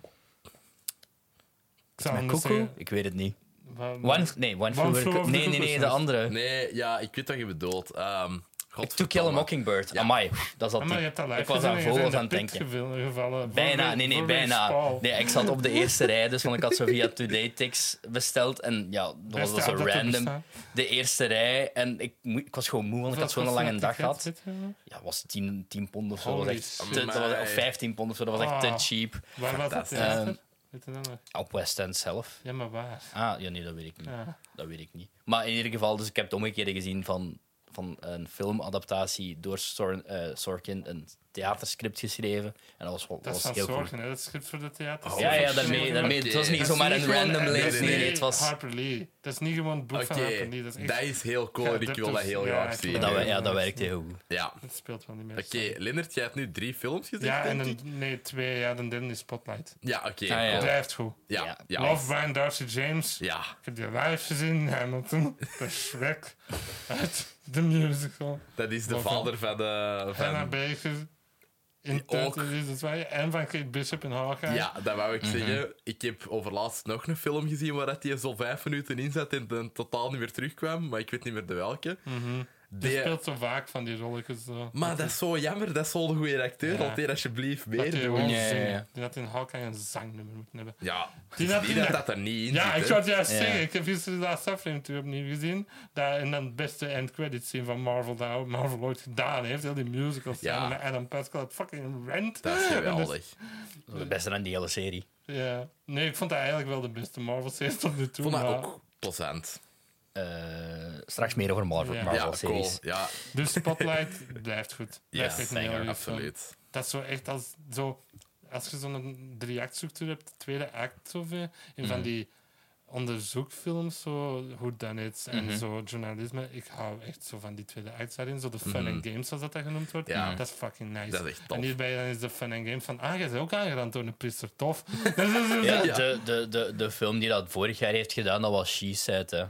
[SPEAKER 2] Ik zou
[SPEAKER 3] Met
[SPEAKER 2] anders eh,
[SPEAKER 3] Cuckoo?
[SPEAKER 2] zeggen,
[SPEAKER 3] Ik weet het niet.
[SPEAKER 2] wa- wa-
[SPEAKER 3] One, nee, One, Flew Over the
[SPEAKER 2] Flew
[SPEAKER 3] Cuckoo-
[SPEAKER 2] Over the
[SPEAKER 3] Nee, nee, nee, de
[SPEAKER 2] Cuckoo's
[SPEAKER 3] andere.
[SPEAKER 1] nee, ja, ik weet wat je bedoelt. Ehm
[SPEAKER 3] To Kill a
[SPEAKER 1] godverdomme.
[SPEAKER 3] Mockingbird. Amai, dat zat
[SPEAKER 2] Ah, maar je hebt dat live
[SPEAKER 3] Ik was
[SPEAKER 2] gezien
[SPEAKER 3] aan
[SPEAKER 2] en je bent in
[SPEAKER 3] vogels
[SPEAKER 2] de
[SPEAKER 3] aan het
[SPEAKER 2] pit
[SPEAKER 3] denken.
[SPEAKER 2] geval- gevallen. Voor
[SPEAKER 3] Bijna,
[SPEAKER 2] Ray-
[SPEAKER 3] nee, nee,
[SPEAKER 2] voor Ray
[SPEAKER 3] bijna.
[SPEAKER 2] Staal.
[SPEAKER 3] Nee, ik zat op de eerste rij, dus want ik had zo via Today Tix besteld. En ja, dat was
[SPEAKER 2] Beste
[SPEAKER 3] dat zo
[SPEAKER 2] app dat er
[SPEAKER 3] random.
[SPEAKER 2] bestaat.
[SPEAKER 3] De eerste rij. En ik, moe- ik was gewoon moe, want ik had zo'n
[SPEAKER 2] Wat voor
[SPEAKER 3] lange dag
[SPEAKER 2] ticket
[SPEAKER 3] gehad.
[SPEAKER 2] zit er nog?
[SPEAKER 3] Ja, was 10, 10 pond of zo. Dat
[SPEAKER 2] Holy
[SPEAKER 3] was echt
[SPEAKER 1] shit.
[SPEAKER 3] te- dat was, of
[SPEAKER 1] Amai.
[SPEAKER 3] 15 pond of zo, dat was echt
[SPEAKER 2] Ah.
[SPEAKER 3] te cheap.
[SPEAKER 2] Waar was het
[SPEAKER 1] Fantastisch.
[SPEAKER 3] Ehm.
[SPEAKER 2] theater? Weet je dat nog?
[SPEAKER 3] Op West End zelf.
[SPEAKER 2] Ja, maar waar?
[SPEAKER 3] Ah, ja, nee, dat weet ik niet.
[SPEAKER 2] Ja.
[SPEAKER 3] Dat weet ik niet. Maar in ieder geval, dus ik heb het omgekeerde gezien van, van een filmadaptatie door Sor- eh, Sorkin, een theaterscript geschreven. En dat was, wel-
[SPEAKER 2] Dat is
[SPEAKER 3] was
[SPEAKER 2] van
[SPEAKER 3] heel cool.
[SPEAKER 2] Zorgen, hè? dat is schrift voor de theater.
[SPEAKER 1] Oh,
[SPEAKER 3] Ja, ja,
[SPEAKER 1] shit.
[SPEAKER 3] daarmee, daarmee. Het was niet
[SPEAKER 1] Oké.
[SPEAKER 3] zomaar een random
[SPEAKER 1] nee,
[SPEAKER 3] lees.
[SPEAKER 1] nee,
[SPEAKER 3] Nee, nee, het was...
[SPEAKER 2] Harper Lee. Dat is niet gewoon het boek
[SPEAKER 1] Oké,
[SPEAKER 2] van Harper Lee. Dat is echt...
[SPEAKER 1] dat is heel cool en ik wil dat heel
[SPEAKER 2] Ja,
[SPEAKER 1] graag
[SPEAKER 2] ik
[SPEAKER 1] zien.
[SPEAKER 2] wil
[SPEAKER 3] Dat, we-
[SPEAKER 1] Ja,
[SPEAKER 3] ja, dat werkte heel goed.
[SPEAKER 2] Dat speelt wel niet meer.
[SPEAKER 1] oké. Lindert, jij hebt nu drie films gezien,
[SPEAKER 2] Ja, en
[SPEAKER 1] denk
[SPEAKER 2] een,
[SPEAKER 1] ik?
[SPEAKER 2] nee, twee. Ja, dan derde is Spotlight.
[SPEAKER 1] Ja, oké.
[SPEAKER 3] Ah, ja.
[SPEAKER 1] cool.
[SPEAKER 2] Blijft goed.
[SPEAKER 1] ja, ja.
[SPEAKER 2] Love, Brian, Darcy, James.
[SPEAKER 1] Ja,
[SPEAKER 2] Ik heb die live
[SPEAKER 1] (laughs)
[SPEAKER 2] gezien. Hamilton. De Shrek. Uit de musical.
[SPEAKER 1] dat is de
[SPEAKER 2] Love
[SPEAKER 1] vader van de...
[SPEAKER 2] Hannah
[SPEAKER 1] Van...
[SPEAKER 2] Baker. In
[SPEAKER 1] ook.
[SPEAKER 2] 30 Reasons Why. En van Kate Bishop in Hawkeye.
[SPEAKER 1] Ja, dat wou ik zeggen. Ik heb overlaatst nog een film gezien waar dat die zo vijf minuten in zat en dan totaal niet meer terugkwam, maar ik weet niet meer de welke.
[SPEAKER 2] Mhm. Die
[SPEAKER 1] Die-
[SPEAKER 2] speelt zo vaak van die rolletjes. Zo.
[SPEAKER 1] Maar dat is zo jammer, dat is zo'n goede acteur.
[SPEAKER 2] Ja.
[SPEAKER 1] Laat die alsjeblieft
[SPEAKER 2] Dat die
[SPEAKER 1] meer doen.
[SPEAKER 2] gewoon
[SPEAKER 3] Ja, ja,
[SPEAKER 2] zingen.
[SPEAKER 3] ja.
[SPEAKER 2] Die had in Hawkeye een zangnummer moeten hebben.
[SPEAKER 1] Ja,
[SPEAKER 2] Die
[SPEAKER 1] het is
[SPEAKER 2] dat-
[SPEAKER 1] niet dat dat er niet in
[SPEAKER 2] Ja,
[SPEAKER 1] zit,
[SPEAKER 2] ik
[SPEAKER 1] hè.
[SPEAKER 2] zou het juist
[SPEAKER 3] Ja.
[SPEAKER 2] zeggen. Ik heb gisteren de laatste aflevering natuurlijk opnieuw gezien. Daar, en dan het beste end credits scene van Marvel, dat ook Marvel ooit gedaan heeft. Heel die musicals
[SPEAKER 1] Ja.
[SPEAKER 2] samen met Adam Pascal het fucking rent. dus-
[SPEAKER 1] Dat is geweldig.
[SPEAKER 3] Dat was het beste aan die hele serie.
[SPEAKER 2] ja. Nee, ik vond dat eigenlijk wel de beste Marvel-serie tot nu toe.
[SPEAKER 1] vond dat
[SPEAKER 2] maar-
[SPEAKER 1] ook plezant.
[SPEAKER 3] Eh, straks meer over Marvel,
[SPEAKER 2] Ja.
[SPEAKER 1] Ja, cool.
[SPEAKER 3] Marvel-series.
[SPEAKER 1] Ja,
[SPEAKER 2] Dus Spotlight blijft goed. Blijft echt een heel
[SPEAKER 1] zeker,
[SPEAKER 2] goede film.
[SPEAKER 1] absoluut.
[SPEAKER 2] Dat is zo echt als... Zo, als je zo'n drie-act-structuur hebt, de tweede act of in van
[SPEAKER 3] Mhm.
[SPEAKER 2] die onderzoekfilms, zo Who Done It en
[SPEAKER 3] Mhm.
[SPEAKER 2] zo journalisme. Ik hou echt zo van die tweede acts daarin. Zo de fun
[SPEAKER 3] Mhm.
[SPEAKER 2] and games, zoals dat, dat genoemd wordt.
[SPEAKER 1] Ja.
[SPEAKER 2] Dat is fucking nice.
[SPEAKER 1] Dat is echt tof.
[SPEAKER 2] En hierbij dan is de fun and games van, ah, jij bent ook aangerand door een priester, tof.
[SPEAKER 3] (laughs)
[SPEAKER 2] dat is, dat is-
[SPEAKER 3] Ja,
[SPEAKER 1] Ja.
[SPEAKER 3] De, de, de, de film die dat vorig jaar heeft gedaan, dat was She Said. Hè.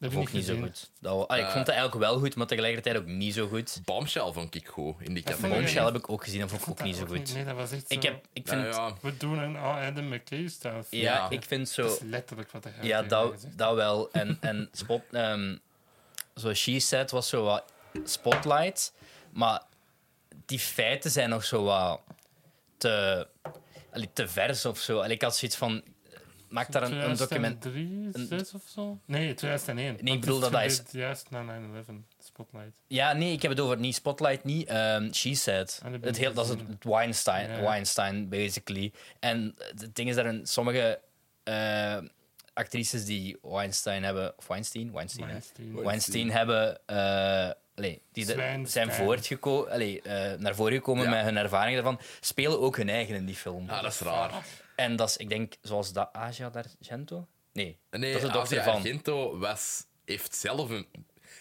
[SPEAKER 2] dat heb ik
[SPEAKER 3] Vond ik niet zo
[SPEAKER 2] gezien.
[SPEAKER 3] goed. Dat, wa- ah, ik
[SPEAKER 1] Eh.
[SPEAKER 3] vond dat eigenlijk wel goed, maar tegelijkertijd ook niet zo goed.
[SPEAKER 1] Bombshell vond ik goed in die
[SPEAKER 2] Dat
[SPEAKER 1] categorie.
[SPEAKER 2] vond
[SPEAKER 3] Bombshell heb ik ook gezien, dat vond ik ook
[SPEAKER 2] Dat
[SPEAKER 3] niet zo
[SPEAKER 2] ook
[SPEAKER 3] goed.
[SPEAKER 2] Nee, dat was echt
[SPEAKER 3] Ik,
[SPEAKER 2] zo,
[SPEAKER 3] heb, ik
[SPEAKER 1] Ja,
[SPEAKER 3] vind...
[SPEAKER 1] ja.
[SPEAKER 2] We doen een all Adam McKay stuff.
[SPEAKER 3] Ja,
[SPEAKER 1] Ja.
[SPEAKER 3] ik vind
[SPEAKER 2] Dat
[SPEAKER 3] zo...
[SPEAKER 2] is letterlijk wat hij heeft
[SPEAKER 3] Ja,
[SPEAKER 2] tegen mij
[SPEAKER 3] dat,
[SPEAKER 2] gezegd.
[SPEAKER 3] dat wel. En, en spot, ehm, zo She Said was zo wat spotlight. Maar die feiten zijn nog zo wat te, allee, te vers of zo. Allee, ik had zoiets van. Maak daar een, een document.
[SPEAKER 2] 2003,
[SPEAKER 3] een-
[SPEAKER 2] 6 of zo? Nee, 2001.
[SPEAKER 3] ik bedoel dat hij is-
[SPEAKER 2] is... Juist na 9-11, Spotlight.
[SPEAKER 3] Ja, nee, ik heb het over niet Spotlight, niet ehm, She Said.
[SPEAKER 2] Ah, dat ben
[SPEAKER 3] Het
[SPEAKER 2] ik
[SPEAKER 3] heel, dat is
[SPEAKER 2] niet
[SPEAKER 3] het het Weinstein,
[SPEAKER 2] Ja.
[SPEAKER 3] Weinstein, basically. En het ding is dat er sommige eh, actrices die Weinstein hebben, of Weinstein, Weinstein, hè?
[SPEAKER 2] Weinstein.
[SPEAKER 3] Weinstein hebben, eh, allee, die de- zijn
[SPEAKER 2] Zwijnstein.
[SPEAKER 3] voortgeko- allee, eh, naar voren gekomen
[SPEAKER 1] Ja.
[SPEAKER 3] met hun ervaring daarvan, spelen ook hun eigen in die film.
[SPEAKER 1] Ah, dat is raar.
[SPEAKER 3] En dat is, ik denk, zoals dat Asia d'Argento? Nee,
[SPEAKER 1] Nee,
[SPEAKER 3] dat is de dochter
[SPEAKER 1] Asia
[SPEAKER 3] van.
[SPEAKER 1] Argento was, heeft zelf een...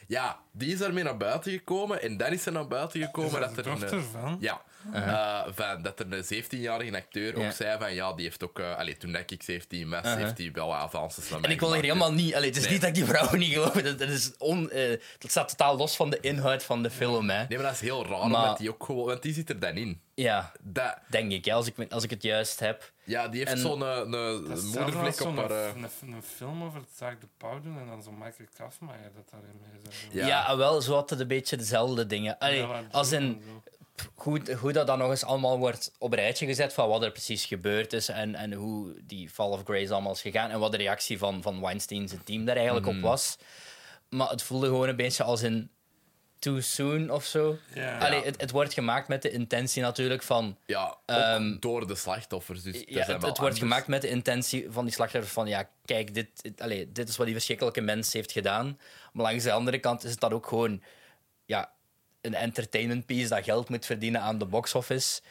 [SPEAKER 1] Ja, die is daarmee naar buiten gekomen en dan is ze naar buiten gekomen
[SPEAKER 2] Is
[SPEAKER 1] dat
[SPEAKER 2] dat de
[SPEAKER 1] er een...
[SPEAKER 2] dochter van?
[SPEAKER 1] Ja, eh, van, dat er een 17-jarige acteur
[SPEAKER 3] Uh-huh. Ja. Uh-huh.
[SPEAKER 1] ook zei van ja, die heeft ook... eh allee, toen dat ik 17 was, heeft hij wel wat avances van mij
[SPEAKER 3] En ik wil hier
[SPEAKER 1] gemaakt.
[SPEAKER 3] helemaal niet. Allee, het is
[SPEAKER 1] Nee.
[SPEAKER 3] niet dat ik die vrouwen niet geloof. Dat, dat, is on, eh, dat staat totaal los van de inhoud van de film. Hè.
[SPEAKER 1] Nee, maar dat is heel raar,
[SPEAKER 3] Maar-
[SPEAKER 1] omdat die ook gewoon... Want die zit er dan in.
[SPEAKER 3] Ja,
[SPEAKER 1] Dat,
[SPEAKER 3] denk ik. Hè, als, ik. als ik het juist heb.
[SPEAKER 1] ja, die heeft
[SPEAKER 3] En-
[SPEAKER 1] zo'n eh, een
[SPEAKER 2] Dat is zelfs
[SPEAKER 1] moedervlek
[SPEAKER 2] als
[SPEAKER 1] op
[SPEAKER 2] zo'n
[SPEAKER 1] haar... eh,
[SPEAKER 2] f- een, een film over het zaak de pauw doen en dan zo'n Michael Kafmaier dat daarin mee zou doen.
[SPEAKER 3] Ja, ah,
[SPEAKER 1] Ja.
[SPEAKER 3] wel, zo had het een beetje dezelfde dingen. Allee,
[SPEAKER 2] Ja, maar-
[SPEAKER 3] als in hoe, hoe dat dan nog eens allemaal wordt op een rijtje gezet van wat er precies gebeurd is en, en hoe die Fall of Grace allemaal is gegaan en wat de reactie van, van Weinstein zijn team daar eigenlijk op was. Maar het voelde gewoon een beetje als in too soon of zo.
[SPEAKER 2] Ja.
[SPEAKER 3] Allee, het, het wordt gemaakt met de intentie natuurlijk van
[SPEAKER 1] Ja, ook
[SPEAKER 3] Ehm,
[SPEAKER 1] door de slachtoffers. Dus dat
[SPEAKER 3] Ja,
[SPEAKER 1] zijn
[SPEAKER 3] het,
[SPEAKER 1] wel
[SPEAKER 3] het wordt
[SPEAKER 1] anders.
[SPEAKER 3] gemaakt met de intentie van die slachtoffers van ja, kijk, dit, dit- allee, dit is wat die verschrikkelijke mens heeft gedaan. Maar langs de andere kant is het dan ook gewoon ja, een entertainment piece dat geld moet verdienen aan de box office.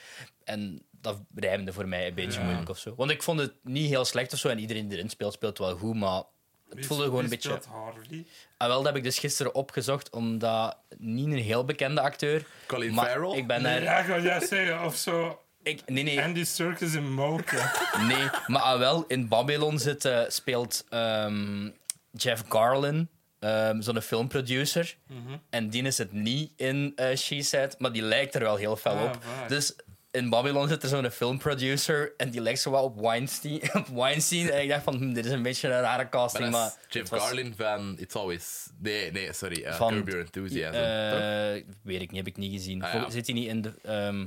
[SPEAKER 3] En dat rijmde voor mij een beetje
[SPEAKER 2] Ja.
[SPEAKER 3] moeilijk of zo. Want ik vond het niet heel slecht of zo en iedereen die erin speelt, speelt wel goed, maar het voelde gewoon een beetje...
[SPEAKER 2] Harley.
[SPEAKER 3] Ah, wel, dat heb ik dus gisteren opgezocht, omdat niet een heel bekende acteur...
[SPEAKER 1] Colin
[SPEAKER 3] maar
[SPEAKER 1] Farrell?
[SPEAKER 3] Ik ben
[SPEAKER 2] Nee,
[SPEAKER 3] daar...
[SPEAKER 2] ja, ik wou juist zeggen, of zo.
[SPEAKER 3] Ik, nee, nee.
[SPEAKER 2] Andy Serkis in
[SPEAKER 3] (laughs)
[SPEAKER 2] Moken.
[SPEAKER 3] Nee, maar ah, wel, in Babylon zit, eh, speelt ehm, Jeff Garlin, ehm, zo'n filmproducer.
[SPEAKER 2] Mhm.
[SPEAKER 3] En die is het niet in eh She Said, maar die lijkt er wel heel fel
[SPEAKER 2] Ah,
[SPEAKER 3] op.
[SPEAKER 2] waar.
[SPEAKER 3] Dus in Babylon zit er zo'n filmproducer en die lijkt zo wel op Weinstein. (laughs) Op Weinstein. En ik dacht van, hm, dit is een beetje een rare
[SPEAKER 1] Maar dat
[SPEAKER 3] casting,
[SPEAKER 1] is
[SPEAKER 3] maar...
[SPEAKER 1] Jeff
[SPEAKER 3] het was-
[SPEAKER 1] Garlin van It's Always... Nee, nee, sorry. eh,
[SPEAKER 3] Van-
[SPEAKER 1] Curb Your Enthusiasm. toch?
[SPEAKER 3] Eh, weet ik niet, heb ik niet gezien.
[SPEAKER 1] Ah, ja.
[SPEAKER 3] Vol- Zit hij niet in de... ehm,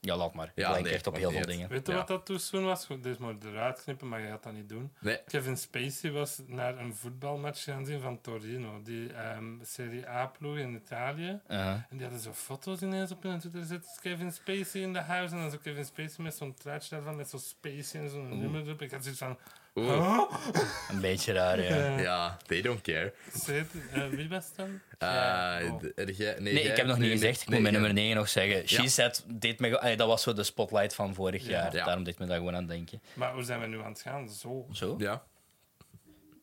[SPEAKER 3] Ja, laat maar.
[SPEAKER 1] Ja,
[SPEAKER 3] Ja,
[SPEAKER 1] nee,
[SPEAKER 3] echt op
[SPEAKER 1] maakt
[SPEAKER 3] heel
[SPEAKER 1] niet
[SPEAKER 3] veel
[SPEAKER 1] uit.
[SPEAKER 3] dingen.
[SPEAKER 2] Weet je
[SPEAKER 1] Ja.
[SPEAKER 2] wat dat toen zoen was? Goed, Dit is maar eruit knippen, maar je gaat dat niet doen.
[SPEAKER 1] Nee.
[SPEAKER 2] Kevin Spacey was naar een voetbalmatch gaan zien van Torino, die ehm, Serie A-ploeg in Italië.
[SPEAKER 3] Uh-huh.
[SPEAKER 2] En die hadden zo foto's ineens op hun Twitter zitten. Kevin Spacey in de huis. En dan zo Kevin Spacey met zo'n truitje daarvan. Met zo'n Spacey en zo'n nummer erop. Ik had zoiets van...
[SPEAKER 1] Oeh.
[SPEAKER 2] Huh?
[SPEAKER 3] Een beetje raar, ja.
[SPEAKER 2] Eh,
[SPEAKER 1] Ja, they don't care.
[SPEAKER 2] zet- eh, wie was het
[SPEAKER 3] (laughs)
[SPEAKER 2] dan?
[SPEAKER 3] Ah,
[SPEAKER 1] Eh,
[SPEAKER 2] oh.
[SPEAKER 1] d- er jij- nee,
[SPEAKER 3] Nee,
[SPEAKER 1] jij-
[SPEAKER 3] ik heb nog
[SPEAKER 1] nee,
[SPEAKER 3] niet
[SPEAKER 1] nee,
[SPEAKER 3] gezegd. Ik
[SPEAKER 1] nee,
[SPEAKER 3] moet
[SPEAKER 1] jij-
[SPEAKER 3] mijn nummer 9 nog zeggen. She
[SPEAKER 1] Ja.
[SPEAKER 3] Said deed me... ge- Allee, dat was zo de spotlight van vorig
[SPEAKER 2] Ja.
[SPEAKER 3] jaar.
[SPEAKER 1] Ja.
[SPEAKER 3] Daarom deed me dat gewoon aan denken.
[SPEAKER 2] Maar hoe zijn we nu aan het gaan? Zo.
[SPEAKER 3] Zo?
[SPEAKER 1] Ja,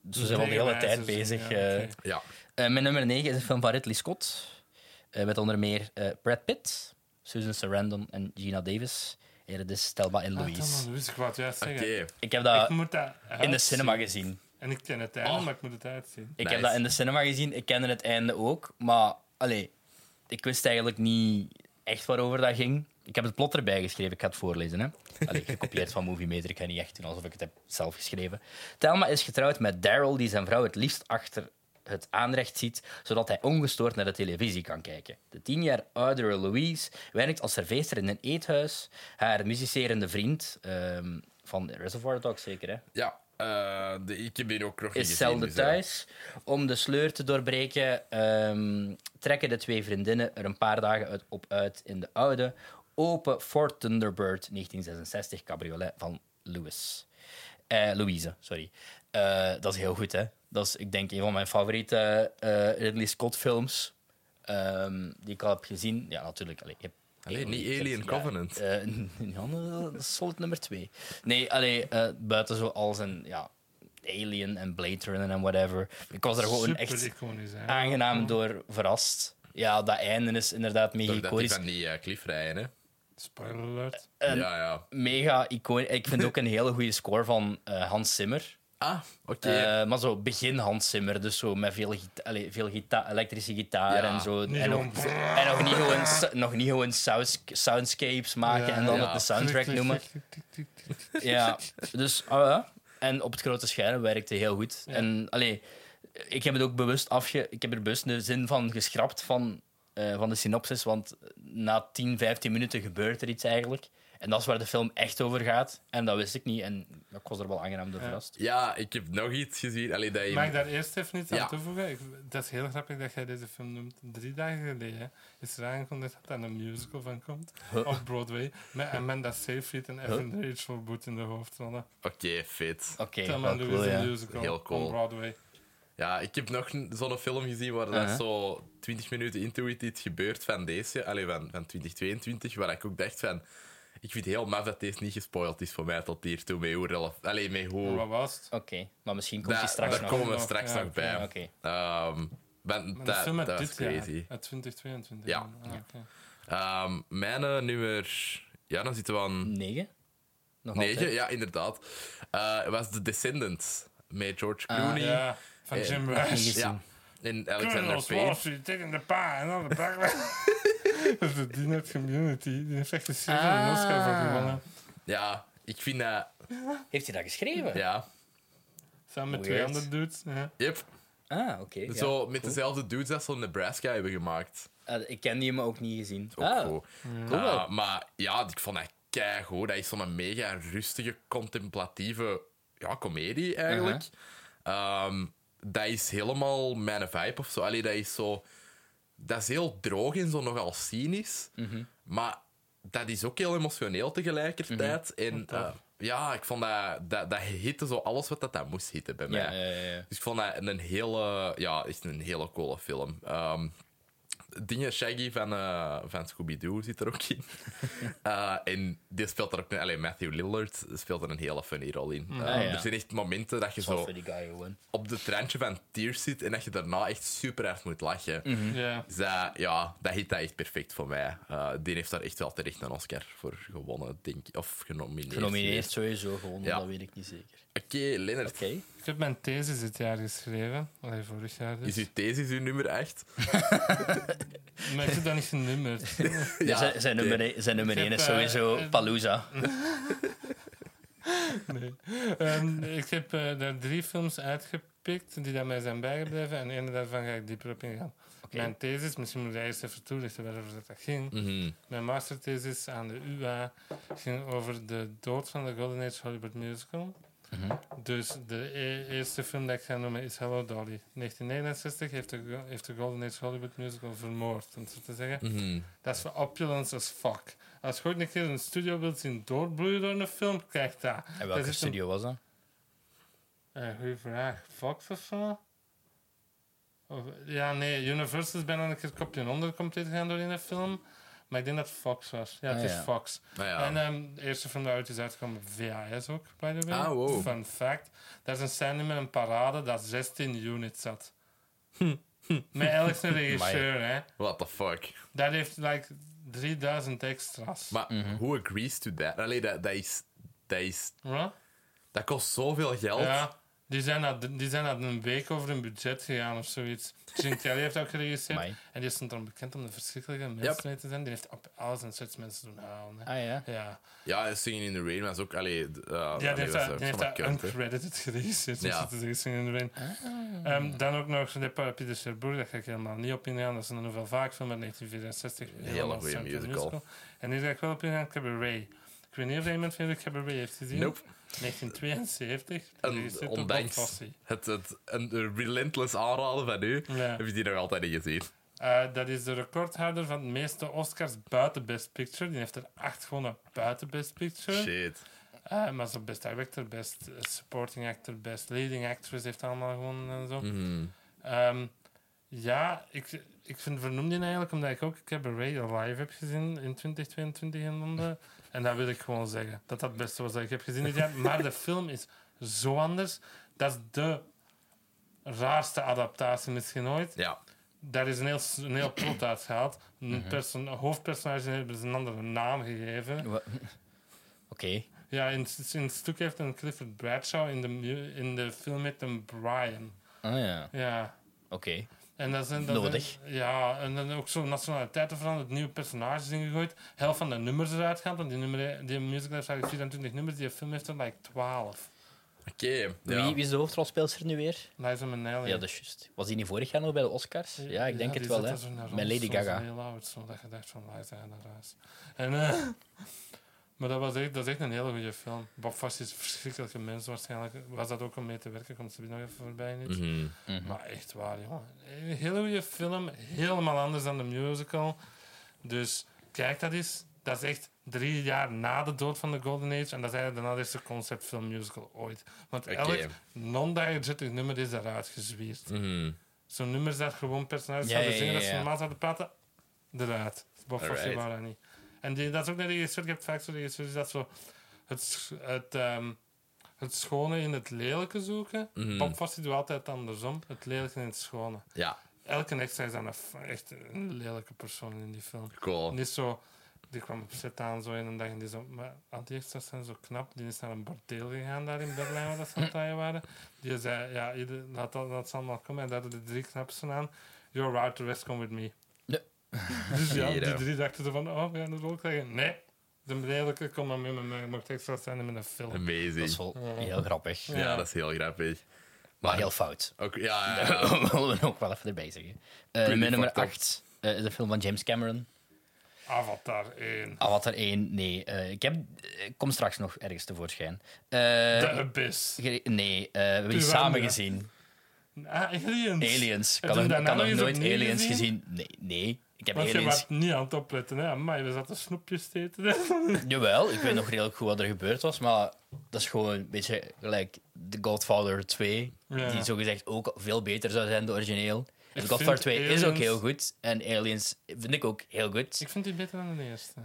[SPEAKER 3] Dus we zijn al de hele
[SPEAKER 2] Regenwijzers,
[SPEAKER 3] tijd bezig.
[SPEAKER 2] ja,
[SPEAKER 3] eh.
[SPEAKER 2] oké.
[SPEAKER 1] ja.
[SPEAKER 3] Eh, mijn nummer 9 is een film van Ridley Scott. Eh, met onder meer eh, Brad Pitt, Susan Sarandon en Gina Davis. En het is Telma en
[SPEAKER 2] Ah, dan,
[SPEAKER 3] Louise.
[SPEAKER 2] dan wist ik wat juist
[SPEAKER 1] Oké.
[SPEAKER 2] zeggen.
[SPEAKER 3] Ik heb
[SPEAKER 2] Ik
[SPEAKER 3] dat
[SPEAKER 2] moet dat
[SPEAKER 3] in de
[SPEAKER 2] uitzien.
[SPEAKER 3] cinema gezien.
[SPEAKER 2] En ik ken het einde,
[SPEAKER 1] Oh.
[SPEAKER 2] maar ik moet het uitzien.
[SPEAKER 3] Ik heb
[SPEAKER 1] Nice.
[SPEAKER 3] dat in de cinema gezien. Ik kende het einde ook. Maar allee, ik wist eigenlijk niet echt waarover dat ging. Ik heb het plot erbij geschreven. Ik ga het voorlezen. Hè. Allee, gekopieerd van Movie Meter. Ik ga niet echt doen alsof ik het heb zelf geschreven. Thelma is getrouwd met Daryl, die zijn vrouw het liefst achter het aanrecht ziet, zodat hij ongestoord naar de televisie kan kijken. De tien jaar oudere Louise werkt als serveester in een eethuis. Haar muzicerende vriend, ehm, van Reservoir Dogs zeker, hè?
[SPEAKER 1] Ja, eh, de, ik heb hier ook nog niet
[SPEAKER 3] is
[SPEAKER 1] gezien,
[SPEAKER 3] zelden
[SPEAKER 1] dus, eh,
[SPEAKER 3] thuis. Om de sleur te doorbreken, ehm, trekken de twee vriendinnen er een paar dagen uit, op uit in de oude, open Ford Thunderbird 1966 cabriolet van Louis. Eh, Louise, sorry. Eh, dat is heel goed, hè? Dat is, ik denk, een van mijn favoriete eh, Ridley Scott-films ehm, die ik al heb gezien. Ja, natuurlijk. Allee, ik heb
[SPEAKER 1] Allee,
[SPEAKER 3] Alien
[SPEAKER 1] niet
[SPEAKER 3] gezien,
[SPEAKER 1] Alien
[SPEAKER 3] ja.
[SPEAKER 1] Covenant.
[SPEAKER 3] Eh, ja, dat is solid nummer twee. Nee, allee, eh, buiten zo al zijn ja, Alien en Blade Runner en whatever. Ik was er gewoon
[SPEAKER 2] Super
[SPEAKER 3] echt Ah,
[SPEAKER 2] iconisch, hè.
[SPEAKER 3] aangenaam door verrast. Ja, dat einde is inderdaad mega
[SPEAKER 1] Doordat die
[SPEAKER 3] iconisch.
[SPEAKER 1] van die eh, cliff rijden, hè.
[SPEAKER 2] Spoiler alert.
[SPEAKER 3] En-
[SPEAKER 1] Ja, ja.
[SPEAKER 3] Mega iconisch. Ik vind ook een hele goede score van eh, Hans Zimmer.
[SPEAKER 1] Ah, oké.
[SPEAKER 3] Eh, maar zo begin Hans Zimmer, dus zo met veel, gita- allee, veel gita- elektrische gitaar
[SPEAKER 1] Ja.
[SPEAKER 3] en zo.
[SPEAKER 2] Niet
[SPEAKER 3] En nog,
[SPEAKER 2] gewoon-
[SPEAKER 3] en nog niet gewoon, s- nog niet gewoon sounds- soundscapes maken
[SPEAKER 2] Ja,
[SPEAKER 3] en dan
[SPEAKER 1] ja.
[SPEAKER 3] het de soundtrack noemen. Ja, dus ah, ja. en op het grote scherm werkte heel goed. En allee, ik heb het ook bewust afge... Ik heb er bewust de zin van geschrapt van eh, van de synopsis, want na 10, 15 minuten gebeurt er iets eigenlijk. En dat is waar de film echt over gaat. En dat wist ik niet. En ik was er wel aangenaam door
[SPEAKER 2] Ja.
[SPEAKER 3] verrast.
[SPEAKER 1] Ja, ik heb nog iets gezien. Allee, dat je...
[SPEAKER 2] Mag ik daar eerst even iets aan
[SPEAKER 1] Ja.
[SPEAKER 2] toevoegen? Ik, dat is heel grappig dat jij deze film noemt. Drie dagen geleden is er aangekondigd dat er een musical van komt op Broadway. Met Amanda Seyfried en Evan Rachel Wood in de hoofdrollen.
[SPEAKER 1] Oké, fit.
[SPEAKER 3] Oké,
[SPEAKER 2] Thelma
[SPEAKER 3] wel
[SPEAKER 2] and
[SPEAKER 3] cool,
[SPEAKER 2] Louise
[SPEAKER 3] ja.
[SPEAKER 2] een musical
[SPEAKER 1] Heel cool.
[SPEAKER 2] op Broadway.
[SPEAKER 1] Ja, ik heb nog een- zo'n film gezien waar dat
[SPEAKER 3] Uh-huh.
[SPEAKER 1] zo 20 minuten into it iets gebeurt van deze, allee, van, van 2022, waar ik ook dacht van... Ik vind het heel maf dat deze niet gespoild is voor mij tot hiertoe, met hoe... relef- Allee, met
[SPEAKER 2] Maar
[SPEAKER 1] hoe...
[SPEAKER 2] Wat was het?
[SPEAKER 3] Oké, maar misschien komt
[SPEAKER 1] Daar,
[SPEAKER 3] hij straks
[SPEAKER 1] daar
[SPEAKER 3] nog.
[SPEAKER 1] komen we
[SPEAKER 2] Nog,
[SPEAKER 1] straks
[SPEAKER 2] ja,
[SPEAKER 1] nog
[SPEAKER 2] oké.
[SPEAKER 1] bij.
[SPEAKER 3] Oké.
[SPEAKER 1] Ehm, want
[SPEAKER 2] Maar de
[SPEAKER 1] dat,
[SPEAKER 2] film uit
[SPEAKER 1] dat is
[SPEAKER 2] dit
[SPEAKER 1] crazy.
[SPEAKER 2] jaar. Uit 2022.
[SPEAKER 1] Ja.
[SPEAKER 2] Ah, oké.
[SPEAKER 1] Ehm, mijn eh, nummer... Ja, dan zitten we aan
[SPEAKER 3] 9? Nog
[SPEAKER 1] 9.
[SPEAKER 3] altijd?
[SPEAKER 1] Ja, inderdaad. Eh, was The Descendants. Met George Clooney.
[SPEAKER 2] Ah, Ja, van
[SPEAKER 1] Eh,
[SPEAKER 2] Jim
[SPEAKER 3] Nog niet
[SPEAKER 2] Rash.
[SPEAKER 3] gezien.
[SPEAKER 1] Ja. En Alexander
[SPEAKER 2] Colonels, Wall
[SPEAKER 1] Payne.
[SPEAKER 2] Street, taking the pie and all the
[SPEAKER 3] (laughs)
[SPEAKER 2] black Dat is die net community. Die heeft echt een serie
[SPEAKER 3] Ah.
[SPEAKER 2] een Oscar voor gewonnen.
[SPEAKER 1] Ja, ik vind dat...
[SPEAKER 3] Heeft hij dat geschreven?
[SPEAKER 1] Ja,
[SPEAKER 2] Samen met twee
[SPEAKER 3] Weird.
[SPEAKER 2] andere dudes. Ja.
[SPEAKER 1] yep.
[SPEAKER 3] Ah, oké. ja.
[SPEAKER 1] zo met dezelfde dudes als zo'n Nebraska hebben gemaakt.
[SPEAKER 3] Ah, ik ken die, maar ook niet gezien.
[SPEAKER 1] Ook
[SPEAKER 3] ah,
[SPEAKER 1] goed.
[SPEAKER 3] cool.
[SPEAKER 1] Ah, maar ja, ik vond dat keigoed. Dat is zo'n mega rustige, contemplatieve ja, comedie eigenlijk.
[SPEAKER 3] Uh-huh.
[SPEAKER 1] Ehm, dat is helemaal mijn vibe of zo. Allee, dat is zo... Dat is heel droog en zo nogal cynisch.
[SPEAKER 3] Mm-hmm.
[SPEAKER 1] Maar dat is ook heel emotioneel tegelijkertijd.
[SPEAKER 3] Mm-hmm.
[SPEAKER 1] En eh, ja, ik vond dat... Dat, dat hitte zo alles wat dat, dat moest hitten bij
[SPEAKER 3] ja,
[SPEAKER 1] mij.
[SPEAKER 3] ja, ja, ja.
[SPEAKER 1] Dus ik vond dat een hele, ja, echt een hele coole film. Ehm, dingen Shaggy van, eh, van Scooby-Doo zit er ook in.
[SPEAKER 3] (laughs)
[SPEAKER 1] Eh, en die speelt er ook, alleen Matthew Lillard speelt er een hele funny rol in. Eh,
[SPEAKER 3] Ah, ja.
[SPEAKER 1] Er zijn echt momenten dat je
[SPEAKER 3] Wat
[SPEAKER 1] zo
[SPEAKER 3] voor die guy gewoon.
[SPEAKER 1] op de trantje van tears zit en dat je daarna echt super hard moet lachen.
[SPEAKER 3] Mhm.
[SPEAKER 2] Ja.
[SPEAKER 1] Dus dat, ja, dat hit dat echt perfect voor mij. Eh, die heeft daar echt wel terecht een Oscar voor gewonnen, denk ik. Of genomineerd.
[SPEAKER 3] Genomineerd sowieso gewoon,
[SPEAKER 1] Ja.
[SPEAKER 3] dat weet ik niet zeker.
[SPEAKER 1] Oké, Leonard.
[SPEAKER 3] Oké.
[SPEAKER 2] Ik heb mijn thesis dit jaar geschreven. Allee, vorig jaar dus.
[SPEAKER 1] Is uw thesis uw nummer 8?
[SPEAKER 2] Maar ik heb dat niet genummerd.
[SPEAKER 3] (laughs) Ja, Dus zijn, zijn
[SPEAKER 1] oké.
[SPEAKER 3] nummer één- zijn nummer
[SPEAKER 2] Ik heb,
[SPEAKER 3] 1 is
[SPEAKER 2] eh,
[SPEAKER 3] sowieso
[SPEAKER 2] eh,
[SPEAKER 3] Palooza.
[SPEAKER 2] Nee. Ehm, ik heb eh, daar drie films uitgepikt die daar mij zijn bijgebleven. En één daarvan ga ik dieper op ingaan.
[SPEAKER 3] Oké.
[SPEAKER 2] Mijn thesis, misschien moet ik dat eerst even toelichten waarover dat ging.
[SPEAKER 1] Mhm.
[SPEAKER 2] Mijn masterthesis aan de UA ging over de dood van de Golden Age Hollywood musical. Dus de e- eerste film dat ik ga noemen is Hello Dolly. 1969 heeft de, go- heeft de Golden Age Hollywood musical vermoord, om het zo te zeggen.
[SPEAKER 1] Mhm.
[SPEAKER 2] Dat is voor opulence as fuck. Als je ooit een keer een studio wilt zien doorbloeien door een film, kijk daar.
[SPEAKER 3] En
[SPEAKER 2] dat
[SPEAKER 3] welke
[SPEAKER 2] is
[SPEAKER 3] studio was dat?
[SPEAKER 2] Een, eh, goeie vraag. Fox of zo? Of- ja, nee. Universal is bijna een keer kopje onder compleet gegaan door in een film. Maar ik denk dat het Fox was. Ja, het
[SPEAKER 3] Ah,
[SPEAKER 2] is
[SPEAKER 3] ja.
[SPEAKER 2] Fox.
[SPEAKER 1] Nou ja.
[SPEAKER 2] En ehm, de eerste film die uit is uitgekomen, VHS ook, by the way.
[SPEAKER 1] Ah, wow.
[SPEAKER 2] Fun fact. Dat is een scène met een parade dat 16
[SPEAKER 1] (laughs)
[SPEAKER 2] units zat. met elk een regisseur, hè.
[SPEAKER 1] What the fuck?
[SPEAKER 2] Dat heeft, like, 3000 extra's.
[SPEAKER 1] Maar who agrees to that? Allee, dat, dat, is, dat, is,
[SPEAKER 2] Wat?
[SPEAKER 1] dat kost zoveel geld.
[SPEAKER 2] Ja, die zijn, na, die zijn na een week over hun budget gegaan of zoiets. Jim Kelly heeft ook geregisseerd.
[SPEAKER 3] Amai.
[SPEAKER 2] En die is dan bekend om de verschrikkelijke
[SPEAKER 1] Yep.
[SPEAKER 2] mensen te zijn. Die heeft op alles en soort mensen doen halen. Hè.
[SPEAKER 3] Ah ja.
[SPEAKER 2] Ja,
[SPEAKER 1] ja en Singing in the Rain was ook... Allee, d- eh,
[SPEAKER 2] ja
[SPEAKER 1] allee,
[SPEAKER 2] die heeft
[SPEAKER 1] was
[SPEAKER 2] dat-
[SPEAKER 1] ook
[SPEAKER 2] die heeft
[SPEAKER 1] zo'n
[SPEAKER 2] dat
[SPEAKER 1] kunt, hè.
[SPEAKER 2] uncredited geregisseerd. om
[SPEAKER 1] Ja. Ah.
[SPEAKER 2] zo te zeggen, Singing in the Rain. Ehm, dan ook nog de Parapie de Cherbourg, daar ga ik helemaal niet op ingaan. Dat is een novel vaak film uit 1964.
[SPEAKER 1] hele
[SPEAKER 2] Helemaal
[SPEAKER 1] goeie
[SPEAKER 2] centraal
[SPEAKER 1] musical.
[SPEAKER 2] En hier ga ik wel op ingaan, Cabaret. Ik weet niet of iemand van jullie Cabaret heeft gezien.
[SPEAKER 1] Nope.
[SPEAKER 2] 1972.
[SPEAKER 1] En
[SPEAKER 2] geregisseerd door Bob
[SPEAKER 1] ondanks
[SPEAKER 2] Fosse.
[SPEAKER 1] het, het een relentless aanraden van u,
[SPEAKER 2] Ja.
[SPEAKER 1] heb je die nog altijd niet gezien.
[SPEAKER 2] Eh, dat is de recordhouder van de meeste Oscars buiten Best Picture. Die heeft er acht gewonnen buiten Best Picture.
[SPEAKER 1] Shit.
[SPEAKER 2] Eh, maar zo Best Director, Best eh, Supporting Actor, Best Leading Actress heeft allemaal gewonnen en zo.
[SPEAKER 1] Mhm.
[SPEAKER 2] Ehm, ja, ik, ik vind vernoemd die eigenlijk omdat ik ook Cabaret Alive heb gezien in 2022 in Londen. En dat wil ik gewoon zeggen. Dat dat het beste was dat ik heb gezien dit jaar. Maar de film is zo anders. Dat is de raarste adaptatie misschien ooit
[SPEAKER 1] Ja.
[SPEAKER 2] daar is een heel, s- een heel plot uitgehaald. Een perso- hoofdpersonage hebben ze een andere naam gegeven.
[SPEAKER 3] Wa- Oké.
[SPEAKER 2] Ja, in, s- in het stuk heeft een Clifford Bradshaw, in de, mu- in de film met een Brian.
[SPEAKER 3] Ah ja.
[SPEAKER 2] Ja.
[SPEAKER 3] Oké.
[SPEAKER 2] En dat zijn, dat
[SPEAKER 3] Nodig.
[SPEAKER 2] zijn- ja, en dan ook zo nationaliteiten veranderd, nieuwe personages ingegooid. Helft van de nummers eruit gehaald, want die, nummer, die musical heeft eigenlijk 24 nummers, die film heeft er like 12.
[SPEAKER 1] ja.
[SPEAKER 3] Wie, wie is de hoofdrolspeelster nu weer?
[SPEAKER 2] Liza Minnelli.
[SPEAKER 3] Ja, dat is juist. Was die niet vorig jaar nog bij de Oscars? Ja, ik denk
[SPEAKER 2] die
[SPEAKER 3] het wel,
[SPEAKER 2] zat
[SPEAKER 3] hè.
[SPEAKER 2] daar zo naar
[SPEAKER 3] Met
[SPEAKER 2] rond,
[SPEAKER 3] Lady
[SPEAKER 2] zo-
[SPEAKER 3] Gaga.
[SPEAKER 2] Zo heel oud, zo dat je dacht van Liza en haar huis. En, eh, (laughs) maar dat, was echt, dat is echt een hele goede film. Bob Fosse is een verschrikkelijke mens waarschijnlijk. Was dat ook om mee te werken? Komt ze nog even voorbij niet?
[SPEAKER 1] Mhm.
[SPEAKER 2] Maar echt waar, jongen. Een hele goede film. Helemaal anders dan de musical. Dus kijk dat eens. Dat is echt drie jaar na de dood van de Golden Age. En dat is eigenlijk de allereerste conceptfilm musical ooit. Want
[SPEAKER 1] Oké.
[SPEAKER 2] elk non-diegetic nummer is eruit gezwierd.
[SPEAKER 1] Mhm.
[SPEAKER 2] Zo'n nummers dat gewoon personages
[SPEAKER 3] Ja,
[SPEAKER 2] zouden
[SPEAKER 3] ja,
[SPEAKER 2] zingen,
[SPEAKER 3] ja,
[SPEAKER 2] dat ze
[SPEAKER 3] ja.
[SPEAKER 2] normaal zouden praten, eruit. Bob Fosse
[SPEAKER 1] Alright.
[SPEAKER 2] wou dat niet. En die, dat is ook net de regisseur, ik heb vaak zo'n regisseur, is dat zo het, sch- het, ehm, het schone in het lelijke zoeken.
[SPEAKER 1] Mhm.
[SPEAKER 2] Bob Fosse doet altijd andersom, het lelijke in het schone.
[SPEAKER 1] Ja,
[SPEAKER 2] Elke extra is dan een, f- echt een lelijke persoon in die film.
[SPEAKER 1] cool.
[SPEAKER 2] Niet zo, die kwam op set aan zo in een dag en die zo, maar al die extra's zijn zo knap. Die is naar een bordeel gegaan daar in Berlijn, waar dat ze aan het draaien waren. Die zei, ja, ieder, laat dat laat ze allemaal komen. En daar hadden de drie knapsten aan. You're out, the rest come with me. (laughs)
[SPEAKER 3] Ja.
[SPEAKER 2] Dus ja,
[SPEAKER 1] Hier,
[SPEAKER 2] die
[SPEAKER 1] hè.
[SPEAKER 2] drie dachten zo van, oh, we gaan de rol krijgen. Nee, de redelijke, kom maar mee met mij. Je mag extra's zijn in een film.
[SPEAKER 3] Dat is
[SPEAKER 1] Amazing.
[SPEAKER 3] wel heel grappig.
[SPEAKER 1] Ja. dat is heel grappig.
[SPEAKER 3] Maar heel fout.
[SPEAKER 1] Ook, ja, eh, ja, ja.
[SPEAKER 3] Dat willen (laughs) we ook wel even erbij zeggen. Eh,
[SPEAKER 1] Pretty
[SPEAKER 3] mijn nummer
[SPEAKER 1] fucked up.
[SPEAKER 3] 8 is de film van James Cameron. Ah,
[SPEAKER 2] Avatar 1.
[SPEAKER 3] Avatar 1, nee. eh, ik heb, eh, kom straks nog ergens tevoorschijn. Eh,
[SPEAKER 2] The Abyss.
[SPEAKER 3] ge- nee, eh, we hebben die
[SPEAKER 2] Piranha.
[SPEAKER 3] samen
[SPEAKER 2] (laughs)
[SPEAKER 3] gezien.
[SPEAKER 2] Ah, aliens.
[SPEAKER 3] Aliens. Ik
[SPEAKER 2] Heb je
[SPEAKER 3] had nog,
[SPEAKER 2] dat
[SPEAKER 3] ik
[SPEAKER 2] nou
[SPEAKER 3] had nog
[SPEAKER 2] eens
[SPEAKER 3] nooit
[SPEAKER 2] opnieuw
[SPEAKER 3] Aliens
[SPEAKER 2] gezien?
[SPEAKER 3] gezien. Nee, nee. Ik heb
[SPEAKER 2] Want je
[SPEAKER 3] Aliens...
[SPEAKER 2] was niet aan het opletten, hè. Amai, we zaten snoepjes te eten.
[SPEAKER 3] (laughs) Jawel, ik weet nog redelijk goed wat er gebeurd was, maar dat is gewoon een beetje gelijk The Godfather 2,
[SPEAKER 2] Ja.
[SPEAKER 3] die zogezegd ook veel beter zou zijn, de origineel. En The
[SPEAKER 2] vind
[SPEAKER 3] Godfather 2 is ook
[SPEAKER 2] Aliens-
[SPEAKER 3] heel goed en Aliens vind ik ook heel goed.
[SPEAKER 2] Ik vind die beter dan de eerste.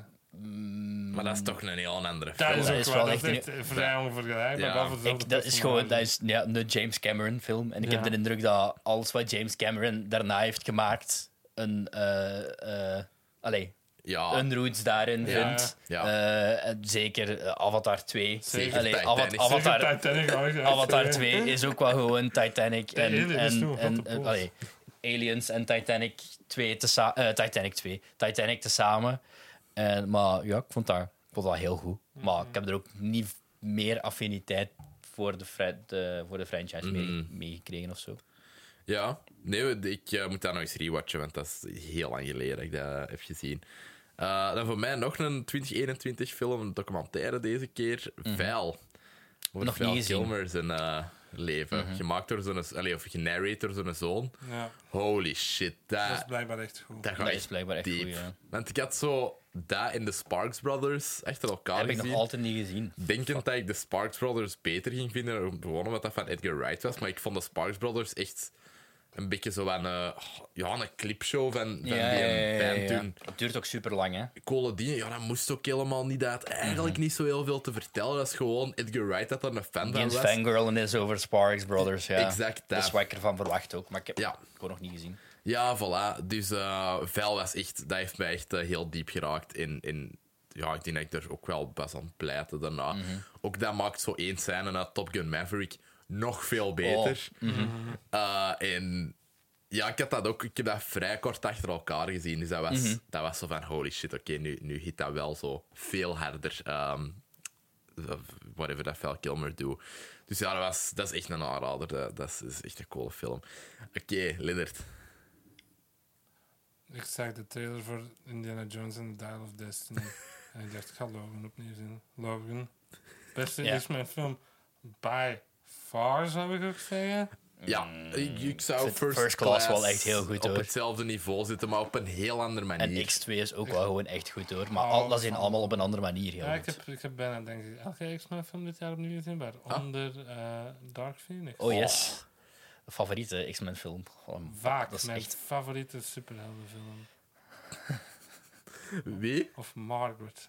[SPEAKER 1] Maar dat is toch een heel andere
[SPEAKER 2] Dat
[SPEAKER 1] film.
[SPEAKER 2] is
[SPEAKER 3] dat
[SPEAKER 2] ook
[SPEAKER 3] is
[SPEAKER 2] wel
[SPEAKER 3] wel
[SPEAKER 2] echt,
[SPEAKER 3] echt eh,
[SPEAKER 2] echt vrij onvergelijkbaar.
[SPEAKER 1] Ja.
[SPEAKER 2] behalve dezelfde
[SPEAKER 3] Ik, dat is gewoon dat is, ja, een James Cameron film. En ik heb
[SPEAKER 2] Ja.
[SPEAKER 3] de indruk dat alles wat James Cameron daarna heeft gemaakt, een, eh eh allee,
[SPEAKER 1] Ja.
[SPEAKER 3] een roots
[SPEAKER 2] Ja.
[SPEAKER 3] daarin vindt.
[SPEAKER 1] Ah. Ja.
[SPEAKER 3] Eh, en zeker eh, Avatar 2.
[SPEAKER 2] Zeker
[SPEAKER 3] Allee,
[SPEAKER 1] Titanic.
[SPEAKER 3] Ava-
[SPEAKER 1] Zeker
[SPEAKER 2] Avatar,
[SPEAKER 3] Avatar,
[SPEAKER 2] Titanic, hoor, ja.
[SPEAKER 3] (laughs) Avatar 2 is ook wel gewoon Titanic en,
[SPEAKER 2] ene is
[SPEAKER 3] en,
[SPEAKER 2] nog
[SPEAKER 3] en,
[SPEAKER 2] wat te
[SPEAKER 3] eh,
[SPEAKER 2] boos.
[SPEAKER 3] allee, Aliens en Titanic 2 te sa- eh, Titanic 2, Titanic tezamen. En, maar ja, ik vond dat, ik vond dat heel goed.
[SPEAKER 1] Mhm.
[SPEAKER 3] Maar ik heb er ook niet meer affiniteit voor de, fra- de- voor de franchise mee,
[SPEAKER 1] Mhm.
[SPEAKER 3] meegekregen of zo.
[SPEAKER 1] Ja, nee, ik eh, moet dat nog eens rewatchen, want dat is heel lang geleden dat ik dat heb gezien. Eh, dan voor mij nog een 2021 film, een documentaire deze keer, Veil. Over
[SPEAKER 3] Mhm. Nog
[SPEAKER 1] Val
[SPEAKER 3] niet gezien. Mhm.
[SPEAKER 1] Kilmer zijn eh, leven. Gemaakt door zo'n, allee, of genarrated door zo'n zoon.
[SPEAKER 2] Ja,
[SPEAKER 1] Holy shit,
[SPEAKER 2] dat is
[SPEAKER 1] dat,
[SPEAKER 2] blijkbaar echt goed.
[SPEAKER 1] dat gaat
[SPEAKER 3] Dat is
[SPEAKER 1] echt
[SPEAKER 3] blijkbaar echt
[SPEAKER 1] diep.
[SPEAKER 3] goed, ja.
[SPEAKER 1] Want ik had zo dat in de Sparks Brothers achter elkaar
[SPEAKER 3] heb ik
[SPEAKER 1] gezien
[SPEAKER 3] nog altijd niet gezien.
[SPEAKER 1] denkend dat ik de Sparks Brothers beter ging vinden, gewoon omdat dat van Edgar Wright was. Maar ik vond de Sparks Brothers echt een beetje zo van, eh, ja, een clipshow van, van die band toen.
[SPEAKER 3] Het duurt ook super lang, hè?
[SPEAKER 1] Cole Dean, ja, dat moest ook helemaal niet. Dat had eigenlijk
[SPEAKER 3] Mhm.
[SPEAKER 1] niet zo heel veel te vertellen. Dat is gewoon Edgar Wright dat er een fan
[SPEAKER 3] Die
[SPEAKER 1] van
[SPEAKER 3] is
[SPEAKER 1] was.
[SPEAKER 3] fangirl en is over Sparks Brothers. Ja.
[SPEAKER 1] Exact,
[SPEAKER 3] Dat
[SPEAKER 1] ja.
[SPEAKER 3] is wat ik ervan verwacht ook, maar ik heb
[SPEAKER 1] Ja.
[SPEAKER 3] het gewoon nog niet gezien.
[SPEAKER 1] Ja, voilà. Dus eh Vel was echt, dat heeft mij echt eh, heel diep geraakt. En, en ja, ik denk dat ik er ook wel best aan pleitte daarna. Ook dat maakt zo één scène na Top Gun Maverick nog veel beter. Eh, en ja, ik heb dat ook ik heb dat vrij kort achter elkaar gezien. Dus dat was, dat was zo van, holy shit, oké, nu, nu hit dat wel zo veel harder. ehm, whatever dat Val Kilmer doet. Dus ja, dat, was, dat is echt een aanrader. Dat, dat is, is echt een coole film. Oké, Lennart.
[SPEAKER 2] Ik zag de trailer voor Indiana Jones and the Dial of
[SPEAKER 3] (laughs)
[SPEAKER 2] Destiny. en ik dacht, ik ga Logan opnieuw zien. Logan. Beste
[SPEAKER 3] Ja.
[SPEAKER 2] is mijn film by far, zou ik ook zeggen.
[SPEAKER 1] Ja, ik, ik zou
[SPEAKER 3] vind
[SPEAKER 1] first,
[SPEAKER 3] Mm. First Class wel echt heel goed,
[SPEAKER 1] op
[SPEAKER 3] hoor.
[SPEAKER 1] hetzelfde niveau zitten, maar op een heel andere
[SPEAKER 3] En
[SPEAKER 1] manier.
[SPEAKER 3] X2 is ook wel gewoon echt goed hoor. Maar
[SPEAKER 2] Oh,
[SPEAKER 3] al, dat zijn
[SPEAKER 2] van-
[SPEAKER 3] allemaal op een andere manier. Heel
[SPEAKER 2] Ja, ik
[SPEAKER 3] goed.
[SPEAKER 2] heb, ik heb bijna, denk ik, elke X-Men film dit jaar opnieuw gezien, waaronder eh, Dark Phoenix.
[SPEAKER 3] Ah. Oh yes. Favoriete X-Men film. Oh,
[SPEAKER 2] Vaak,
[SPEAKER 3] Dat is
[SPEAKER 2] mijn
[SPEAKER 3] echt-
[SPEAKER 2] favoriete superheldenfilm.
[SPEAKER 1] Wie?
[SPEAKER 2] Of Margaret.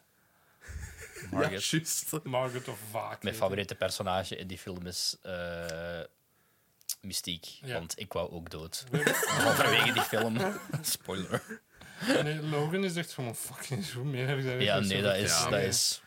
[SPEAKER 1] Ja,
[SPEAKER 3] Margaret.
[SPEAKER 1] juist.
[SPEAKER 2] Margaret of Vaak.
[SPEAKER 3] Mijn favoriete personage in die film is eh, Mystiek.
[SPEAKER 2] Ja.
[SPEAKER 3] Want ik wou ook
[SPEAKER 2] (laughs)
[SPEAKER 3] dood. Halverwege die film. Spoiler.
[SPEAKER 2] Nee, Logan is echt gewoon fucking zo. Meer heb ik daar
[SPEAKER 3] Ja,
[SPEAKER 2] echt
[SPEAKER 3] nee,
[SPEAKER 2] zo
[SPEAKER 3] dat
[SPEAKER 2] van-
[SPEAKER 3] is.
[SPEAKER 1] Ja.
[SPEAKER 3] Dat is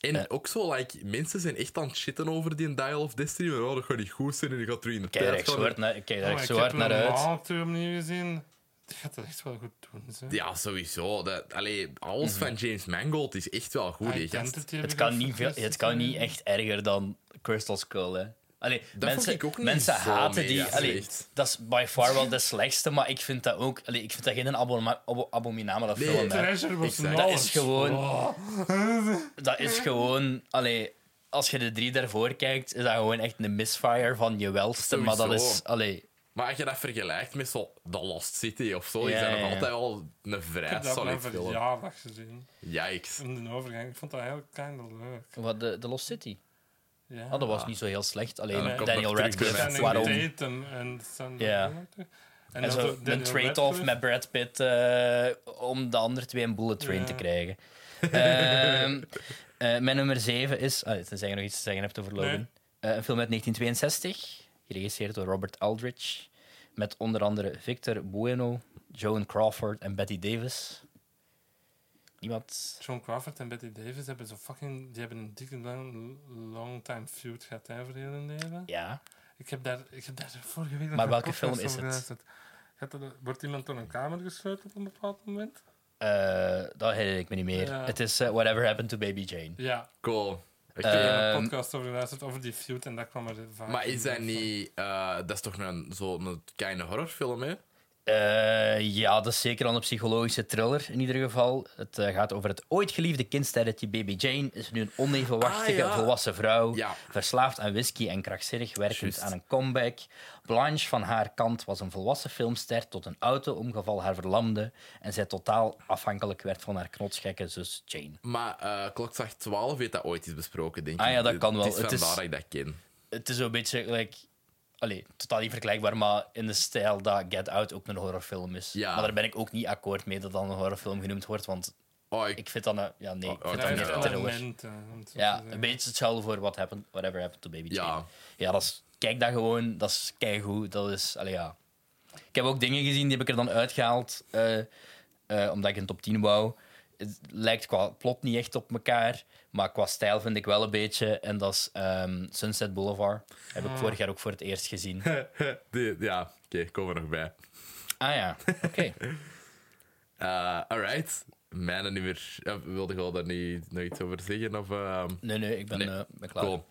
[SPEAKER 1] En ook zo, like, mensen zijn echt aan het shitten over die Dial of Destiny. Maar oh, dat gaat niet goed zijn en die gaat terug in de
[SPEAKER 3] kijk daar
[SPEAKER 1] tijd
[SPEAKER 3] echt
[SPEAKER 1] gaan.
[SPEAKER 3] zo hard naar, kijk
[SPEAKER 2] Oh,
[SPEAKER 3] daar echt
[SPEAKER 2] ik
[SPEAKER 3] zo hard
[SPEAKER 2] heb
[SPEAKER 3] naar
[SPEAKER 2] hem
[SPEAKER 3] uit.
[SPEAKER 2] al terug opnieuw gezien. Dat gaat dat echt wel goed doen. Zo.
[SPEAKER 1] Ja, sowieso. Dat, allee, alles
[SPEAKER 3] Mhm.
[SPEAKER 1] van James Mangold is echt wel goed. hè, gast.
[SPEAKER 2] Identity heb
[SPEAKER 3] Het
[SPEAKER 2] Ah, ik
[SPEAKER 3] kan,
[SPEAKER 2] even
[SPEAKER 3] niet veel,
[SPEAKER 2] gemist.
[SPEAKER 3] het kan niet echt erger dan Crystal Skull, hè. Allee, mensen,
[SPEAKER 1] ik ook niet
[SPEAKER 3] mensen
[SPEAKER 1] zo
[SPEAKER 3] haten die.
[SPEAKER 1] mega
[SPEAKER 3] allee,
[SPEAKER 1] slecht.
[SPEAKER 3] dat is by
[SPEAKER 1] (laughs)
[SPEAKER 3] far wel de slechtste, maar ik vind dat ook. Allee, ik vind dat geen aboma- abo- abominabele
[SPEAKER 1] Nee.
[SPEAKER 3] film. hè.
[SPEAKER 2] Treasure was
[SPEAKER 1] zeg,
[SPEAKER 3] Dat
[SPEAKER 2] knallend.
[SPEAKER 3] is gewoon.
[SPEAKER 2] Oh.
[SPEAKER 3] Dat is gewoon. Allee, als je de drie daarvoor kijkt, is dat gewoon echt een misfire van je welste. Maar dat
[SPEAKER 1] Sowieso.
[SPEAKER 3] is. Allee,
[SPEAKER 1] Maar als je dat vergelijkt met zo The Lost City of zo,
[SPEAKER 3] Ja,
[SPEAKER 1] is dat nog
[SPEAKER 3] ja, ja.
[SPEAKER 1] altijd wel een
[SPEAKER 2] Ik heb
[SPEAKER 1] vrij
[SPEAKER 2] dat op
[SPEAKER 1] solid
[SPEAKER 2] mijn
[SPEAKER 1] film.
[SPEAKER 2] verjaardag gezien.
[SPEAKER 1] Yikes.
[SPEAKER 2] In de overgang. Ik vond dat heel kind of leuk.
[SPEAKER 3] wat de, de Lost City.
[SPEAKER 2] Ja.
[SPEAKER 3] Ah, dat was niet zo heel slecht. Alleen
[SPEAKER 1] Ja, dan komt
[SPEAKER 3] Daniel
[SPEAKER 1] dat terug bij
[SPEAKER 2] Channing
[SPEAKER 3] Radcliffe.
[SPEAKER 1] mensen.
[SPEAKER 3] Waarom?
[SPEAKER 2] Tatum en Sandra
[SPEAKER 3] Ja.
[SPEAKER 2] Bullock. En,
[SPEAKER 3] En
[SPEAKER 2] dan
[SPEAKER 3] zo
[SPEAKER 2] ook
[SPEAKER 3] een
[SPEAKER 2] Daniel
[SPEAKER 3] trade-off
[SPEAKER 2] Radcliffe.
[SPEAKER 3] met Brad Pitt eh, om de andere twee een bullet train
[SPEAKER 2] Ja.
[SPEAKER 3] te
[SPEAKER 2] (laughs)
[SPEAKER 3] krijgen. Ehm, eh, mijn nummer 7 is. Ah, tenzij je nog iets te zeggen hebt over Logan.
[SPEAKER 2] Nee.
[SPEAKER 3] Eh, een film uit 1962, geregisseerd door Robert Aldrich. Met onder andere Victor Bueno, Joan Crawford en Betty Davis. Niemand.
[SPEAKER 2] John Crawford en Betty Davis hebben zo fucking... Die hebben een dikke long, long time feud gehad hè, voor heel hun leven.
[SPEAKER 3] Ja.
[SPEAKER 2] Ik heb daar, ik heb daar vorige week nog
[SPEAKER 3] Maar
[SPEAKER 2] een
[SPEAKER 3] welke
[SPEAKER 2] podcast
[SPEAKER 3] film
[SPEAKER 2] over
[SPEAKER 3] is het?
[SPEAKER 2] geluisterd. Gaat er- wordt iemand door een kamer gesleurd op een bepaald moment?
[SPEAKER 3] Eh, dat herinner ik me niet meer.
[SPEAKER 2] Ja.
[SPEAKER 3] Het is eh, Whatever Happened to Baby Jane.
[SPEAKER 2] Ja,
[SPEAKER 1] Cool. Echt
[SPEAKER 2] ik heb
[SPEAKER 1] een-
[SPEAKER 2] daar
[SPEAKER 3] Ehm.
[SPEAKER 2] een podcast over geluisterd, over die feud, en dat kwam er vaak
[SPEAKER 1] maar is dat
[SPEAKER 2] in.
[SPEAKER 1] niet... eh, dat is toch een, zo'n kleine horrorfilm, hè?
[SPEAKER 3] Eh, ja, dat is zeker al een psychologische thriller in ieder geval. Het eh, gaat over het ooit geliefde kindsterretje Baby Jane. Is nu een onevenwachtige
[SPEAKER 1] Ah, ja.
[SPEAKER 3] volwassen vrouw.
[SPEAKER 1] Ja.
[SPEAKER 3] Verslaafd aan whisky en krachtzinnig werkend
[SPEAKER 1] Juist.
[SPEAKER 3] aan een comeback. Blanche van haar kant was een volwassen filmster tot een auto-ongeval haar verlamde. En zij totaal afhankelijk werd van haar knotsgekke zus Jane.
[SPEAKER 1] Maar eh, Klokslag 12 heeft dat ooit eens besproken, denk ik.
[SPEAKER 3] Ah ja, dat kan wel.
[SPEAKER 1] Het is
[SPEAKER 3] Het
[SPEAKER 1] vandaar
[SPEAKER 3] is-
[SPEAKER 1] dat ik dat ken.
[SPEAKER 3] Het is zo'n beetje gelijk... Allee, totaal niet vergelijkbaar, maar in de stijl dat Get Out ook een horrorfilm is.
[SPEAKER 1] Ja.
[SPEAKER 3] Maar daar ben ik ook niet akkoord mee dat dat een horrorfilm genoemd wordt, want
[SPEAKER 1] Oh, ik...
[SPEAKER 3] Ik vind dat een... Ja, nee, ik
[SPEAKER 1] Oh, oh,
[SPEAKER 3] vind dat
[SPEAKER 1] ja,
[SPEAKER 2] Daar
[SPEAKER 3] meer
[SPEAKER 2] heeft
[SPEAKER 1] ja.
[SPEAKER 3] een thriller.
[SPEAKER 2] elementen. om het zo te
[SPEAKER 3] Ja,
[SPEAKER 2] zeggen.
[SPEAKER 3] een beetje hetzelfde voor What happened, Whatever Happened to Baby
[SPEAKER 1] eh, Ja.
[SPEAKER 3] Jane. Ja, dat is... Kijk dat gewoon. Dat is keigoed. Dat is... Allee, ja. Ik heb ook dingen gezien, die heb ik er dan uitgehaald, eh, eh, omdat ik een top 10 wou. Het lijkt qua plot niet echt op elkaar, maar qua stijl vind ik wel een beetje. En dat is ehm, Sunset Boulevard. Heb ik vorig jaar ook voor het eerst gezien.
[SPEAKER 1] Die- ja, oké, komen we nog bij.
[SPEAKER 3] Ah ja, oké.
[SPEAKER 1] Eh, alright. Mijn nummer... eh, wilde je daar niet nog iets over zeggen? Of, ehm,
[SPEAKER 3] Nee, nee, ik ben,
[SPEAKER 1] Nee,
[SPEAKER 3] eh, ben klaar.
[SPEAKER 1] Cool.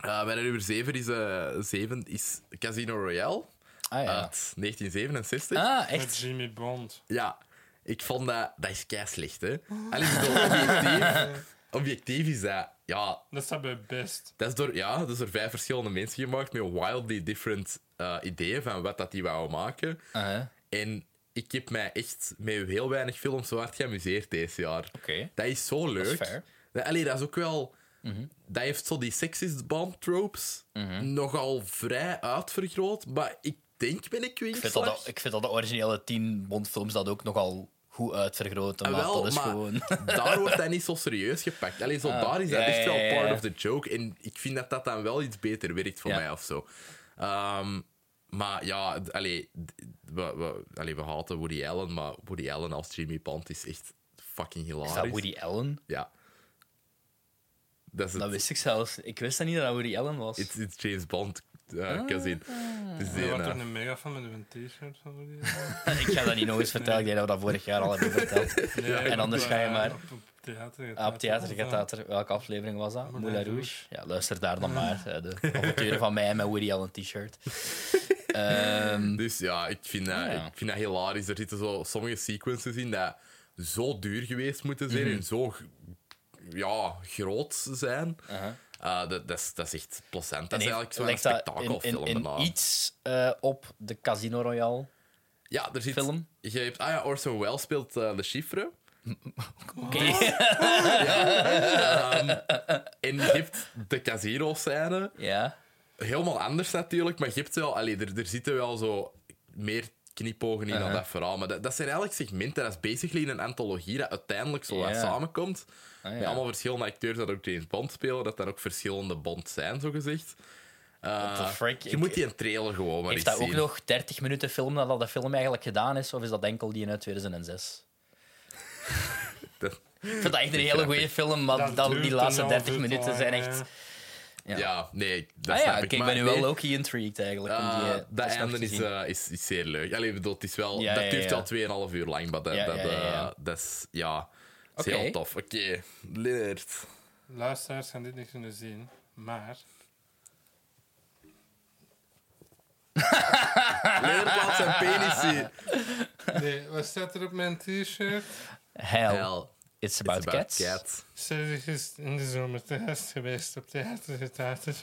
[SPEAKER 1] Eh, mijn nummer 7 is, eh, zeven is Casino Royale
[SPEAKER 3] Ah ja.
[SPEAKER 1] uit 1967.
[SPEAKER 3] ah,
[SPEAKER 2] Met
[SPEAKER 3] echt?
[SPEAKER 2] Jimmy Bond.
[SPEAKER 1] Ja, ik vond dat... Dat is kei slecht, hè? Allee, ik bedoel, objectief, objectief is dat... Ja,
[SPEAKER 2] Dat staat bij best.
[SPEAKER 1] dat is door, ja, dat is door vijf verschillende mensen gemaakt met wildly different eh, ideeën van wat dat die wou maken.
[SPEAKER 3] Ah, hè.
[SPEAKER 1] En ik heb mij echt met heel weinig films zo hard geamuseerd deze jaar.
[SPEAKER 3] Oké.
[SPEAKER 1] Dat is zo leuk.
[SPEAKER 3] fair. Mhm.
[SPEAKER 1] Dat- Allee, dat is ook wel... Dat heeft zo die sexist bond tropes nogal vrij uitvergroot. Maar ik denk ben ik
[SPEAKER 3] Ik vind, dat,
[SPEAKER 1] kwinkslag.
[SPEAKER 3] de- ik vind dat de originele tien Bondfilms dat ook nogal goed uitvergroten,
[SPEAKER 1] Ah,
[SPEAKER 3] maar
[SPEAKER 1] wel,
[SPEAKER 3] dat is
[SPEAKER 1] maar (laughs)
[SPEAKER 3] gewoon...
[SPEAKER 1] daar wordt dat niet zo serieus gepakt. Allee, zo
[SPEAKER 3] Ah,
[SPEAKER 1] daar is dat
[SPEAKER 3] ja,
[SPEAKER 1] echt wel
[SPEAKER 3] ja, ja,
[SPEAKER 1] part
[SPEAKER 3] ja.
[SPEAKER 1] of the joke. En ik vind dat dat dan wel iets beter werkt voor
[SPEAKER 3] Ja.
[SPEAKER 1] mij of zo. Ehm, maar ja, d- allee, d- we, we, allee, we haten Woody Allen, maar Woody Allen als Jimmy Bond is echt fucking hilarisch.
[SPEAKER 3] Is dat Woody Allen?
[SPEAKER 1] Ja. Dat is het.
[SPEAKER 3] Dat wist ik zelfs. Ik wist dat niet dat dat Woody Allen was.
[SPEAKER 1] It's, it's James Bond eh cousin.
[SPEAKER 3] Ah.
[SPEAKER 1] Het is die,
[SPEAKER 2] Je wordt
[SPEAKER 1] eh,
[SPEAKER 2] er een mega van met een t-shirt van die.
[SPEAKER 3] (laughs)
[SPEAKER 1] (laughs)
[SPEAKER 3] ik ga dat niet nog eens vertellen. Ik denk dat we dat vorig jaar al hebben verteld.
[SPEAKER 2] Nee,
[SPEAKER 3] en
[SPEAKER 2] op,
[SPEAKER 3] anders ga je
[SPEAKER 2] eh,
[SPEAKER 3] maar-
[SPEAKER 2] Op, op theater gaat
[SPEAKER 3] Ah, op theater
[SPEAKER 2] dat,
[SPEAKER 3] gaat
[SPEAKER 2] eh,
[SPEAKER 3] dat er. Welke aflevering was dat?
[SPEAKER 2] Moulin
[SPEAKER 3] Moulin Rouge.
[SPEAKER 2] Rouge.
[SPEAKER 3] Ja, luister daar dan maar. eh, De avonturen van mij en mijn Woody Allen t-shirt. Ehm,
[SPEAKER 1] Dus ja, ik vind, dat,
[SPEAKER 3] Ah, Ja.
[SPEAKER 1] ik vind dat hilarisch. Er zitten zo sommige sequences in dat zo duur geweest moeten
[SPEAKER 3] Mhm.
[SPEAKER 1] zijn en zo g- ja, groot zijn.
[SPEAKER 3] aha.
[SPEAKER 1] Eh, dat, dat, is, dat is echt plezant. Dat
[SPEAKER 3] En
[SPEAKER 1] is
[SPEAKER 3] heeft-
[SPEAKER 1] eigenlijk zo'n
[SPEAKER 3] lijkt dat in-
[SPEAKER 1] spektakelfilm.
[SPEAKER 3] in, in,
[SPEAKER 1] bijna.
[SPEAKER 3] iets eh, op de Casino Royale
[SPEAKER 1] ja, er zit,
[SPEAKER 3] film.
[SPEAKER 1] Je hebt, ah ja, Orson Welles speelt eh Le Chiffre.
[SPEAKER 3] Oké.
[SPEAKER 1] En je hebt de casino-scène.
[SPEAKER 3] (laughs) ja.
[SPEAKER 1] helemaal anders natuurlijk, maar je hebt wel... Allee, er, er zitten wel zo meer knipogen in dan
[SPEAKER 3] Uh-huh.
[SPEAKER 1] dat verhaal. Maar dat, dat zijn eigenlijk segmenten. Dat is basically een antologie dat uiteindelijk zo wat
[SPEAKER 3] Ja.
[SPEAKER 1] samenkomt.
[SPEAKER 3] Ah, ja.
[SPEAKER 1] Met allemaal verschillende acteurs dat ook James Bond spelen. Dat daar ook verschillende Bond zijn, zogezegd. gezegd.
[SPEAKER 3] the frick?
[SPEAKER 1] Je
[SPEAKER 3] Ik-
[SPEAKER 1] moet die een trailer gewoon maar
[SPEAKER 3] Heeft
[SPEAKER 1] eens
[SPEAKER 3] dat ook
[SPEAKER 1] zien.
[SPEAKER 3] nog 30 minuten film nadat de film eigenlijk gedaan is? Of is dat enkel die uit 2006?
[SPEAKER 1] Dat-
[SPEAKER 3] Ik vind dat echt een hele goede film, maar
[SPEAKER 2] dat
[SPEAKER 3] dan
[SPEAKER 2] duurt
[SPEAKER 3] die laatste
[SPEAKER 2] een
[SPEAKER 3] 30
[SPEAKER 2] half uur
[SPEAKER 3] minuten
[SPEAKER 2] lang,
[SPEAKER 3] zijn
[SPEAKER 2] ja.
[SPEAKER 3] echt...
[SPEAKER 1] Ja, nee, dat
[SPEAKER 3] Ah
[SPEAKER 1] snap
[SPEAKER 3] ja,
[SPEAKER 1] ik.
[SPEAKER 3] oké, ik
[SPEAKER 1] Maar
[SPEAKER 3] ben nu
[SPEAKER 1] nee,
[SPEAKER 3] wel ook geïntrigued eigenlijk. om die,
[SPEAKER 1] eh,
[SPEAKER 3] eh,
[SPEAKER 1] dat
[SPEAKER 3] straks
[SPEAKER 1] einde
[SPEAKER 3] te
[SPEAKER 1] is,
[SPEAKER 3] zien.
[SPEAKER 1] eh, is, is zeer leuk. Allee, ik bedoel, het is wel,
[SPEAKER 3] Ja,
[SPEAKER 1] dat
[SPEAKER 3] ja,
[SPEAKER 1] duurt
[SPEAKER 3] ja.
[SPEAKER 1] al 2,5 uur lang, maar dat,
[SPEAKER 3] Ja,
[SPEAKER 1] dat,
[SPEAKER 3] ja, ja, ja.
[SPEAKER 1] eh, dat is, ja, dat is
[SPEAKER 3] Oké.
[SPEAKER 1] heel tof. Oké, Leonard.
[SPEAKER 2] Luisteraars gaan dit niet kunnen zien,
[SPEAKER 3] (laughs)
[SPEAKER 2] maar
[SPEAKER 1] Leonard laat zijn penis zien.
[SPEAKER 2] Nee, wat staat er op mijn t-shirt?
[SPEAKER 3] Hell,
[SPEAKER 1] eh, Hell,
[SPEAKER 3] it's about,
[SPEAKER 1] it's about
[SPEAKER 3] cats.
[SPEAKER 1] cats.
[SPEAKER 2] Zij is in de zomer te gast geweest op Theater de Tater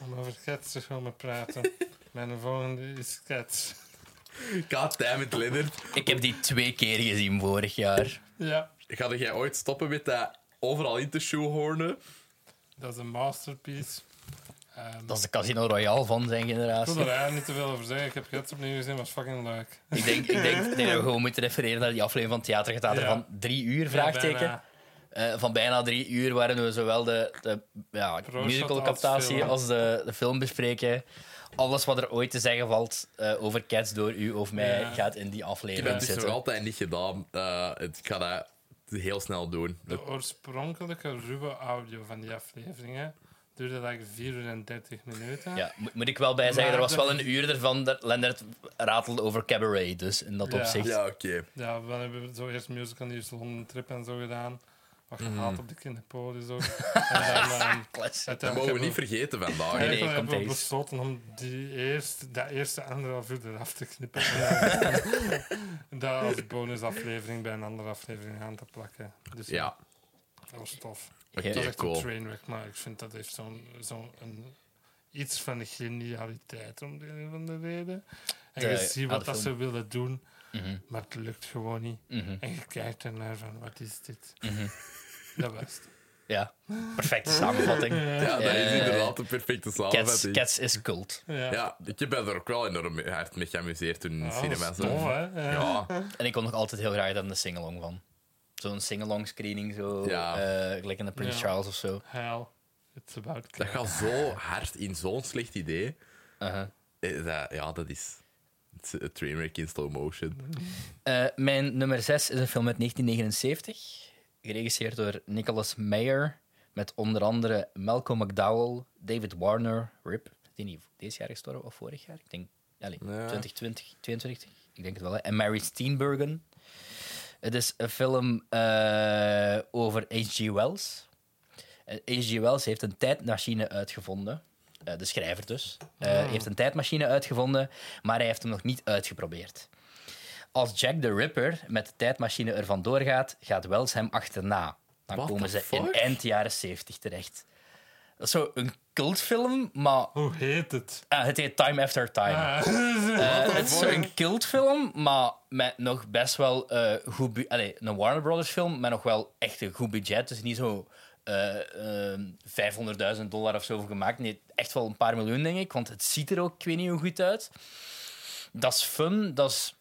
[SPEAKER 2] om over cats te
[SPEAKER 1] (laughs)
[SPEAKER 2] komen praten. mijn volgende is cats.
[SPEAKER 1] God damn it, Leonard.
[SPEAKER 3] Ik heb die twee keer gezien vorig jaar.
[SPEAKER 2] Ja,
[SPEAKER 1] Ga jij ooit stoppen met dat overal in te shoehornen?
[SPEAKER 2] dat is een masterpiece. Ehm,
[SPEAKER 3] Dat is de Casino Royale van zijn
[SPEAKER 2] ik
[SPEAKER 3] generatie.
[SPEAKER 2] wil er eigenlijk niet te veel over zeggen. Ik heb cats opnieuw gezien, was fucking leuk.
[SPEAKER 3] Ik denk,
[SPEAKER 2] (laughs)
[SPEAKER 3] ik denk ik denk dat we gewoon moeten refereren naar die aflevering van Theater Getater
[SPEAKER 2] Ja.
[SPEAKER 3] van drie uur, vraagteken.
[SPEAKER 2] bijna.
[SPEAKER 3] Eh, van bijna drie uur, waarin we zowel de, de ja,
[SPEAKER 2] Proza als
[SPEAKER 3] musical-captatie
[SPEAKER 2] film.
[SPEAKER 3] als de, de film bespreken. Alles wat er ooit te zeggen valt eh, over Cats door u of mij
[SPEAKER 2] Ja.
[SPEAKER 3] gaat in die
[SPEAKER 1] Ik heb
[SPEAKER 3] aflevering
[SPEAKER 1] het dus nog
[SPEAKER 3] zitten.
[SPEAKER 1] altijd niet gedaan. Eh, het- ik ga dat heel snel doen.
[SPEAKER 2] De oorspronkelijke ruwe audio van die afleveringen duurde like 4 uur en 30 minuten.
[SPEAKER 3] Ja, moet, moet ik wel bij zeggen,
[SPEAKER 2] Maar
[SPEAKER 3] er was
[SPEAKER 2] de-
[SPEAKER 3] wel een uur ervan dat Lennart ratelde over cabaret. Dus in dat
[SPEAKER 2] Ja.
[SPEAKER 3] opzicht.
[SPEAKER 1] Ja, oké.
[SPEAKER 2] Ja, we hebben zo eerst musical nieuws, Londen Trip en zo gedaan. Wat
[SPEAKER 1] Mhm.
[SPEAKER 2] gehaald op de
[SPEAKER 1] (laughs)
[SPEAKER 2] kinderpolis ook. en dan, ehm,
[SPEAKER 3] Classic.
[SPEAKER 1] Dat
[SPEAKER 2] uiteindelijk
[SPEAKER 1] mogen we
[SPEAKER 2] hebben
[SPEAKER 1] niet vergeten vandaag.
[SPEAKER 3] Nee, nee,
[SPEAKER 2] Eigenlijk
[SPEAKER 3] komt
[SPEAKER 2] hebben we
[SPEAKER 3] deze.
[SPEAKER 2] besloten om die eerst, dat eerste anderhalf uur eraf te
[SPEAKER 3] (laughs)
[SPEAKER 2] knippen. (laughs) en dat als bonusaflevering bij een andere aflevering aan te plakken. Dus
[SPEAKER 1] Ja,
[SPEAKER 2] dat was tof.
[SPEAKER 1] oké,
[SPEAKER 3] Ja,
[SPEAKER 2] Dat is echt een
[SPEAKER 1] cool.
[SPEAKER 2] trainwreck, maar ik vind dat heeft zo'n zo'n een- iets van de genialiteit om de een of andere reden. En je
[SPEAKER 3] De-
[SPEAKER 2] ziet
[SPEAKER 3] aan
[SPEAKER 2] wat
[SPEAKER 3] de
[SPEAKER 2] dat ze
[SPEAKER 3] film.
[SPEAKER 2] willen doen,
[SPEAKER 3] Mhm,
[SPEAKER 2] maar het lukt gewoon niet.
[SPEAKER 3] mhm,
[SPEAKER 2] En je kijkt ernaar van, wat is dit?
[SPEAKER 3] mhm.
[SPEAKER 2] (laughs) Dat was het.
[SPEAKER 3] Ja, perfecte samenvatting.
[SPEAKER 1] Ja, dat is
[SPEAKER 3] Eh,
[SPEAKER 1] inderdaad een perfecte
[SPEAKER 3] Cats,
[SPEAKER 1] samenvatting.
[SPEAKER 3] Cats is cult.
[SPEAKER 2] Ja,
[SPEAKER 1] Ja, ik ben er ook wel enorm hard mee geamuseerd toen in de
[SPEAKER 2] Ja,
[SPEAKER 1] cinema.
[SPEAKER 2] Oh, dat is
[SPEAKER 1] zo.
[SPEAKER 2] tof, hè?
[SPEAKER 1] Ja,
[SPEAKER 3] En ik kom nog altijd heel graag aan de singalong van. Zo'n singalong screening, zo
[SPEAKER 1] Ja.
[SPEAKER 3] eh, gelijk in de Prince
[SPEAKER 2] Ja.
[SPEAKER 3] Charles of zo.
[SPEAKER 2] Hell, it's about
[SPEAKER 1] dat gaat zo hard in zo'n slecht idee.
[SPEAKER 3] Uh-huh.
[SPEAKER 1] Eh, dat- ja, dat is het is een trainwreck in slow motion.
[SPEAKER 3] Eh, mijn nummer 6 is een film uit 1979, geregisseerd door Nicholas Meyer, met onder andere Malcolm McDowell, David Warner, Rip, is die niet deze jaar gestorven of vorig jaar? Ik denk, allez,
[SPEAKER 1] Ja.
[SPEAKER 3] 2020, 22, ik denk het wel, hè. en Mary Steenburgen. Het is een film eh, over H.G. Wells. Eh, H.G. Wells heeft een tijdmachine uitgevonden. Eh, de schrijver dus. Eh,
[SPEAKER 1] Ah.
[SPEAKER 3] Heeft een tijdmachine uitgevonden, maar hij heeft hem nog niet uitgeprobeerd. Als Jack the Ripper met de tijdmachine er vandoor gaat, gaat Wells hem achterna. Dan
[SPEAKER 1] What
[SPEAKER 3] komen
[SPEAKER 1] the
[SPEAKER 3] ze in
[SPEAKER 1] fuck?
[SPEAKER 3] eind jaren 70 terecht. Dat is zo een cultfilm, maar
[SPEAKER 2] Hoe heet het?
[SPEAKER 3] ah, het heet Time After Time. Eh, het is een cultfilm, maar met nog best wel eh, goed... bu- Allee, een Warner Brothers film, met nog wel echt een goed budget. Dus niet zo eh, ehm, 500.000 dollar of zo voor gemaakt. Nee, echt wel een paar miljoen, denk ik. Want het ziet er ook, ik weet niet hoe goed uit. Dat is fun, dat is...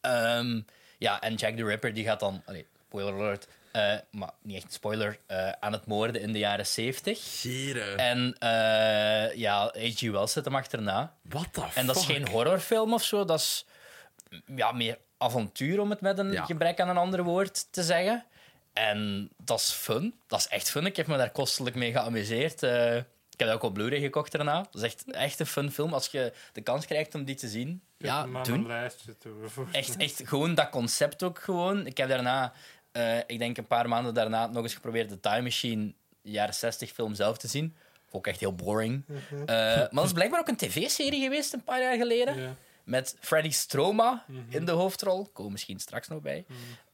[SPEAKER 3] ehm, ja, en Jack the Ripper, die gaat dan... Allee, spoiler alert. eh, maar niet echt een spoiler. eh, aan het moorden in de jaren 70.
[SPEAKER 1] Gieren.
[SPEAKER 3] En eh, ja, H.G. Wells zit hem achterna.
[SPEAKER 1] What the fuck?
[SPEAKER 3] En dat is geen horrorfilm of zo, dat is mm, ja, meer avontuur, om het met een
[SPEAKER 1] Ja.
[SPEAKER 3] gebrek aan een ander woord te zeggen. En dat is fun. Dat is echt fun. Ik heb me daar kostelijk mee geamuseerd. Eh, ik heb dat ook op Blu-ray gekocht daarna. Dat is echt, echt een fun film. Als je de kans krijgt om die te zien, ja,
[SPEAKER 2] maar
[SPEAKER 3] doen
[SPEAKER 2] een lijstje toegevoegd.
[SPEAKER 3] echt, echt gewoon dat concept ook gewoon. Ik heb daarna, eh, ik denk een paar maanden daarna, nog eens geprobeerd de Time Machine jaren 60 film zelf te zien. Ook echt heel boring. Eh, maar dat is blijkbaar ook een tv-serie geweest een paar jaar geleden.
[SPEAKER 2] Ja.
[SPEAKER 3] Met Freddy Stroma in de hoofdrol. Komen misschien straks nog bij.